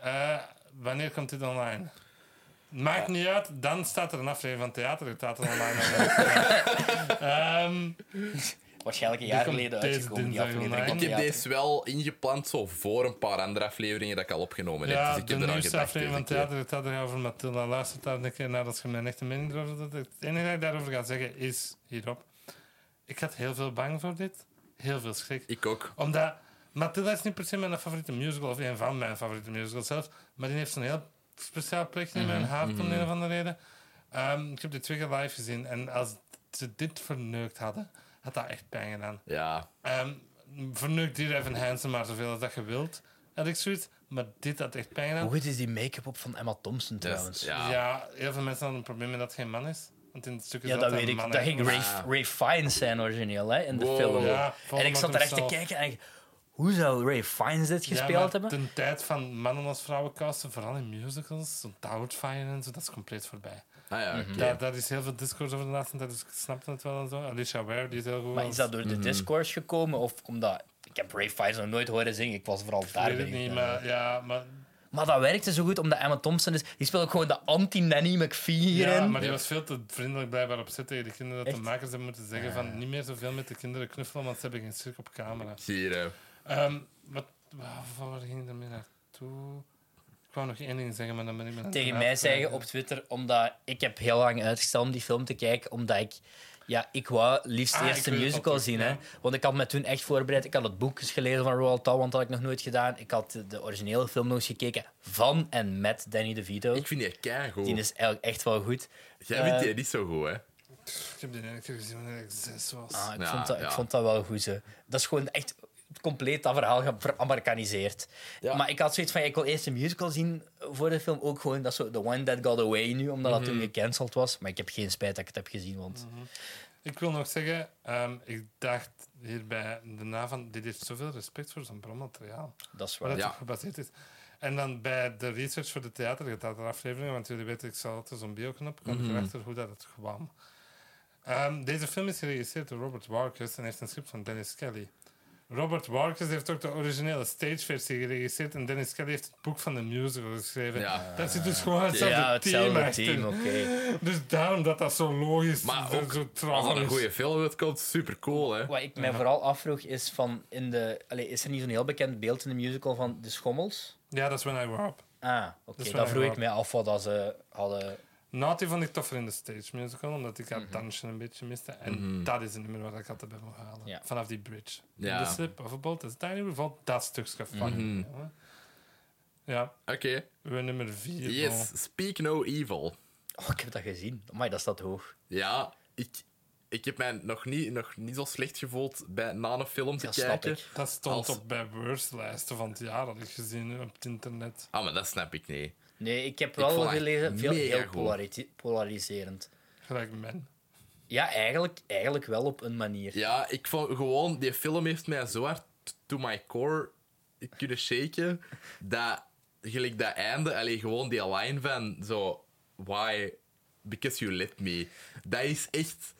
[SPEAKER 2] eh, wanneer komt dit online? Maakt niet uit, dan staat er een aflevering van Theater Het staat er
[SPEAKER 1] (laughs)
[SPEAKER 2] online. Ehm,
[SPEAKER 3] Waarschijnlijk een jaar
[SPEAKER 2] komt
[SPEAKER 3] geleden
[SPEAKER 2] deze
[SPEAKER 3] uitgekomen, die
[SPEAKER 2] dinsdag
[SPEAKER 3] aflevering. van
[SPEAKER 1] Ik heb
[SPEAKER 3] theater.
[SPEAKER 1] deze wel ingepland zo voor een paar andere afleveringen dat ik al opgenomen heb.
[SPEAKER 2] ja,
[SPEAKER 1] dus ik
[SPEAKER 2] de
[SPEAKER 1] heb eraan
[SPEAKER 2] nieuwste
[SPEAKER 1] gedacht.
[SPEAKER 2] aflevering van
[SPEAKER 1] deze keer.
[SPEAKER 2] Theater Het staat er over Matilda. Luister daar een keer naar als je mijn echte mening erover doet. Het enige dat ik daarover ga zeggen is hierop. Ik had heel veel bang voor dit. Heel veel schrik.
[SPEAKER 1] Ik ook.
[SPEAKER 2] Omdat Matilda is niet per se mijn favoriete musical, of een van mijn favoriete musicals zelf, maar die heeft zo'n heel speciaal plekje in mijn hart om een of andere reden. Ehm, ik heb de twee keer live gezien en als ze dit verneukt hadden, had dat echt pijn gedaan.
[SPEAKER 1] Ja.
[SPEAKER 2] Ehm verneukt hier even Hansen maar zoveel als dat je wilt, had ik zoiets, maar dit had echt pijn gedaan.
[SPEAKER 3] Hoe goed is die make-up op van Emma Thompson
[SPEAKER 1] Dus,
[SPEAKER 3] trouwens?
[SPEAKER 1] ja.
[SPEAKER 2] Ja, heel veel mensen hadden een probleem met dat het geen man is. Want in het stuk is
[SPEAKER 3] Ja, dat
[SPEAKER 2] altijd
[SPEAKER 3] weet
[SPEAKER 2] een
[SPEAKER 3] ik.
[SPEAKER 2] man
[SPEAKER 3] Dat
[SPEAKER 2] en-
[SPEAKER 3] ging Ray, Ray Fiennes zijn origineel hè, in de
[SPEAKER 1] Wow.
[SPEAKER 3] film.
[SPEAKER 2] Ja,
[SPEAKER 3] en ik zat er echt te
[SPEAKER 2] himself.
[SPEAKER 3] kijken en ik- hoe zou Ray Fiennes dit gespeeld
[SPEAKER 2] maar
[SPEAKER 3] hebben?
[SPEAKER 2] Ten tijd van mannen als vrouwen casten, vooral in musicals, zo'n Doubtfire en zo, dat is compleet voorbij.
[SPEAKER 1] Ah ja, oké.
[SPEAKER 2] Daar, daar is heel veel discourse over de laatste tijd, dus ik snapte het wel en zo. Alicia Ware, die is heel goed.
[SPEAKER 3] Maar
[SPEAKER 2] als-
[SPEAKER 3] is dat door
[SPEAKER 1] Mhm.
[SPEAKER 3] de discourse gekomen of omdat... Ik heb Ray Fiennes nog nooit horen zingen, ik was vooral
[SPEAKER 2] Ik
[SPEAKER 3] daar.
[SPEAKER 2] weet het
[SPEAKER 3] ben ik
[SPEAKER 2] niet,
[SPEAKER 3] naar.
[SPEAKER 2] maar ja, maar,
[SPEAKER 3] Maar dat werkte zo goed omdat Emma Thompson is. Die speelt ook gewoon de anti-Nanny McPhee hierin.
[SPEAKER 2] ja, maar die was veel te vriendelijk blijkbaar op zitten tegen de kinderen. Dat
[SPEAKER 3] Echt?
[SPEAKER 2] de makers hebben moeten zeggen van niet meer zoveel met de kinderen knuffelen, want ze hebben geen cirk op camera.
[SPEAKER 1] Hier, hè.
[SPEAKER 2] Ehm, wat, waar- waar ging ik daarmee naartoe? Ik wou nog één ding zeggen, maar dan ben ik me aan het
[SPEAKER 3] Tegen mij zeggen
[SPEAKER 2] afwijken.
[SPEAKER 3] op Twitter, omdat ik heb heel lang uitgesteld om die film te kijken, omdat ik... Ja, ik wou liefst
[SPEAKER 2] Ah, ik
[SPEAKER 3] eerst de
[SPEAKER 2] weet het al
[SPEAKER 3] musical
[SPEAKER 2] terug,
[SPEAKER 3] zien.
[SPEAKER 2] ja.
[SPEAKER 3] Hè? Want ik had me toen echt voorbereid. Ik had het boek eens gelezen van Roald Dahl, want dat had ik nog nooit gedaan. Ik had de- de originele film nog eens gekeken van en met Danny DeVito.
[SPEAKER 1] Ik vind die keigoed.
[SPEAKER 3] Die is eigenlijk echt wel goed.
[SPEAKER 1] Jij vindt
[SPEAKER 3] eh,
[SPEAKER 1] die niet zo goed, hè?
[SPEAKER 2] Ik heb die ene keer gezien wanneer ik zes was.
[SPEAKER 3] Ah, ik,
[SPEAKER 1] Ja,
[SPEAKER 3] vond dat, ik
[SPEAKER 1] ja.
[SPEAKER 3] vond dat wel goed. Ze. Dat is gewoon echt compleet dat verhaal ge- veramerikaniseerd.
[SPEAKER 1] Ja.
[SPEAKER 3] Maar ik had zoiets van, ja, ik wil eerst een musical zien voor de film. Ook gewoon, dat is zo The One That Got Away nu, omdat dat
[SPEAKER 1] Mhm.
[SPEAKER 3] toen gecanceld was. Maar ik heb geen spijt dat ik het heb gezien, want...
[SPEAKER 2] Mhm. Ik wil nog zeggen, ehm, ik dacht hierbij daarna van, dit heeft zoveel respect voor zo'n bronmateriaal.
[SPEAKER 3] Dat is
[SPEAKER 2] Waar
[SPEAKER 3] waar.
[SPEAKER 2] dat
[SPEAKER 1] Ja.
[SPEAKER 2] op gebaseerd is. En dan bij de research voor de theater, je had er afleveringen, want jullie weten, ik zal altijd zo'n bioknop, kwam
[SPEAKER 1] Mhm.
[SPEAKER 2] ik erachter hoe dat het kwam. Ehm, deze film is geregisseerd door Robert Warkus en heeft een script van Dennis Kelly. Robert Walkers heeft ook de originele stageversie geregisseerd en Dennis Kelly heeft het boek van de musical geschreven.
[SPEAKER 1] Ja.
[SPEAKER 2] Dat zit dus gewoon hetzelfde,
[SPEAKER 3] ja, hetzelfde
[SPEAKER 2] achter.
[SPEAKER 3] team, oké.
[SPEAKER 2] Dus daarom dat dat zo logisch
[SPEAKER 1] Maar
[SPEAKER 2] en
[SPEAKER 1] ook,
[SPEAKER 2] zo
[SPEAKER 1] als
[SPEAKER 2] traag
[SPEAKER 1] er een
[SPEAKER 2] is.
[SPEAKER 1] goede film uitkomt, super cool, hè?
[SPEAKER 3] Wat ik mij vooral afvroeg is van in de... Allee, is er niet zo'n heel bekend beeld in de musical van de schommels?
[SPEAKER 2] Ja, dat is When I Grow Up.
[SPEAKER 3] Ah, oké.
[SPEAKER 2] Dat is
[SPEAKER 3] Dan
[SPEAKER 2] wel
[SPEAKER 3] vroeg ik
[SPEAKER 2] waar.
[SPEAKER 3] mij af wat dat ze hadden...
[SPEAKER 2] Naughty vond ik toffer in de stage musical, omdat ik
[SPEAKER 3] Mhm.
[SPEAKER 2] haar dansen een beetje miste. En dat is het nummer waar ik altijd bij moet halen.
[SPEAKER 3] Ja.
[SPEAKER 2] Vanaf die bridge.
[SPEAKER 1] Mhm. Ja. Mhm.
[SPEAKER 2] De slip of a bolt is tiny, bijvoorbeeld dat stukje van. jongen. Ja,
[SPEAKER 1] Oké.
[SPEAKER 2] we nummer vier. bon.
[SPEAKER 1] Yes, Speak No Evil.
[SPEAKER 3] Oh, ik heb dat gezien. Amai, dat staat hoog.
[SPEAKER 1] Ja, ik, ik heb mij nog niet, nog niet zo slecht gevoeld bij, na een film te
[SPEAKER 3] Dat snap
[SPEAKER 1] kijken.
[SPEAKER 3] ik.
[SPEAKER 2] Dat stond
[SPEAKER 1] Als-
[SPEAKER 2] op bij worstlijsten van het jaar, had ik gezien op het internet.
[SPEAKER 1] Ah, maar dat snap ik niet.
[SPEAKER 3] Nee, ik heb
[SPEAKER 1] vond
[SPEAKER 3] wel
[SPEAKER 1] dat
[SPEAKER 3] gelezen, veel,
[SPEAKER 1] mega
[SPEAKER 3] heel
[SPEAKER 1] goed.
[SPEAKER 3] polari- polariserend.
[SPEAKER 2] Gelijk men.
[SPEAKER 3] Ja, eigenlijk, eigenlijk wel op een manier.
[SPEAKER 1] Ja, ik vond gewoon, die film heeft mij zo hard to my core kunnen shaken. Dat, gelijk dat einde, alleen gewoon die line van zo, why, because you let me. Dat is echt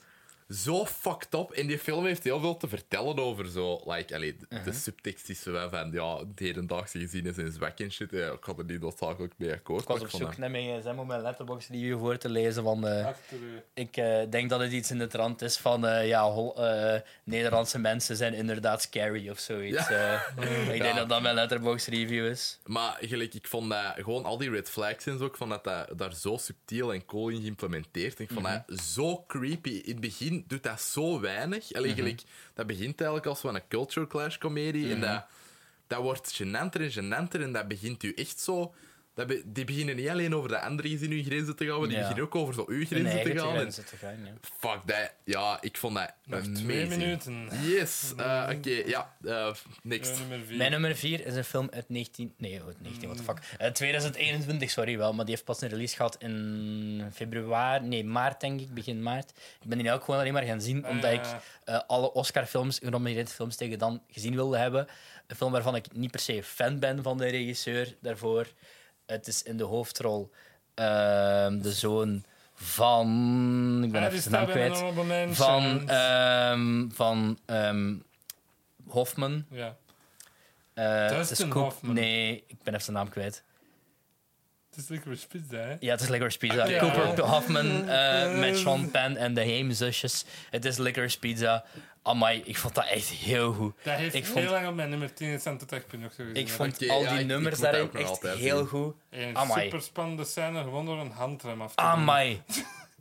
[SPEAKER 1] zo fucked up. En die film heeft heel veel te vertellen over zo, like, allee, de,
[SPEAKER 3] Mhm.
[SPEAKER 1] de subtekst is zo van, van, ja, de hedendaagse gezien zijn zwak en shit. Ja, ik had er niet noodzakelijk mee akkoord.
[SPEAKER 3] Ik was
[SPEAKER 1] maar
[SPEAKER 3] op
[SPEAKER 1] ik vond
[SPEAKER 3] zoek naar mijn gsm om mijn letterbox review voor te lezen. Van, eh,
[SPEAKER 2] Achter u.
[SPEAKER 3] ik eh, denk dat het iets in de trant is van eh, ja, Hol- eh, Nederlandse mensen zijn inderdaad scary of zoiets. eh. ik denk
[SPEAKER 1] Ja.
[SPEAKER 3] dat dat mijn letterbox review is.
[SPEAKER 1] Maar gelijk, ik vond dat gewoon al die red flags en zo, ik vond dat, dat daar zo subtiel en cool in geïmplementeerd. En ik vond
[SPEAKER 3] Mhm.
[SPEAKER 1] dat zo creepy. In het begin doet dat zo weinig.
[SPEAKER 3] Mhm.
[SPEAKER 1] Allee, gelijk, dat begint eigenlijk als van een culture clash comedie.
[SPEAKER 3] Mhm.
[SPEAKER 1] En dat, dat wordt genanter en genanter. En dat begint u echt zo. Dat be- die beginnen niet alleen over de andere gezin hun grenzen te gaan, maar die
[SPEAKER 3] Ja.
[SPEAKER 1] beginnen ook over zo uw
[SPEAKER 3] Hun
[SPEAKER 1] grenzen te
[SPEAKER 3] eigen
[SPEAKER 1] gaan. En
[SPEAKER 3] grenzen te gaan, ja.
[SPEAKER 1] fuck dat. Ja, ik vond dat
[SPEAKER 2] Nog
[SPEAKER 1] amazing.
[SPEAKER 2] twee
[SPEAKER 1] (laughs)
[SPEAKER 2] minuten.
[SPEAKER 1] Yes, eh, oké, ja, eh, next.
[SPEAKER 2] Ja, nummer vier. Ah,
[SPEAKER 3] Mijn nummer 4 is een film uit 19... Nee, uit 19, what the fuck. Eh, 2021, sorry wel, maar die heeft pas een release gehad in februari... Nee, maart denk ik, begin maart. Ik ben die nou ook gewoon alleen maar gaan zien,
[SPEAKER 2] Ah,
[SPEAKER 3] omdat
[SPEAKER 2] ja.
[SPEAKER 3] ik eh, alle Oscar-films, genomineerde films tegen dan gezien wilde hebben. Een film waarvan ik niet per se fan ben van de regisseur daarvoor. Het is in de hoofdrol ehm, de zoon van... Ik ben
[SPEAKER 2] Ah, die
[SPEAKER 3] even zijn
[SPEAKER 2] staat
[SPEAKER 3] naam
[SPEAKER 2] bij mijn
[SPEAKER 3] kwijt.
[SPEAKER 2] honorable mentions.
[SPEAKER 3] Van, ehm, van ehm, Hoffman.
[SPEAKER 2] Ja,
[SPEAKER 3] Eh,
[SPEAKER 2] Dustin
[SPEAKER 3] het is Coop-
[SPEAKER 2] Hoffman.
[SPEAKER 3] Nee, ik ben even zijn naam kwijt.
[SPEAKER 2] het is lekker spits, hè?
[SPEAKER 3] Ja, het is Licorice Pizza.
[SPEAKER 2] Ja.
[SPEAKER 3] Cooper Hoffman eh, met Sean Penn en de Heemzusjes. Het is Licorice Pizza. Amai, ik vond dat echt heel goed.
[SPEAKER 2] Dat heeft
[SPEAKER 3] Ik
[SPEAKER 2] heel
[SPEAKER 3] vond-
[SPEAKER 2] lang op mijn nummer 10 gestaan, tot ik nog gezien
[SPEAKER 3] Ik
[SPEAKER 2] heb.
[SPEAKER 3] vond
[SPEAKER 1] Oké,
[SPEAKER 3] al
[SPEAKER 1] ja,
[SPEAKER 3] die
[SPEAKER 1] ik- ik
[SPEAKER 3] nummers
[SPEAKER 1] moet dat
[SPEAKER 3] daarin
[SPEAKER 1] ook nog
[SPEAKER 3] echt
[SPEAKER 1] altijd
[SPEAKER 3] heel
[SPEAKER 1] zien.
[SPEAKER 3] goed.
[SPEAKER 2] Een
[SPEAKER 3] Amai.
[SPEAKER 2] super spannende scène, gewoon door een handrem af te doen.
[SPEAKER 3] Amai.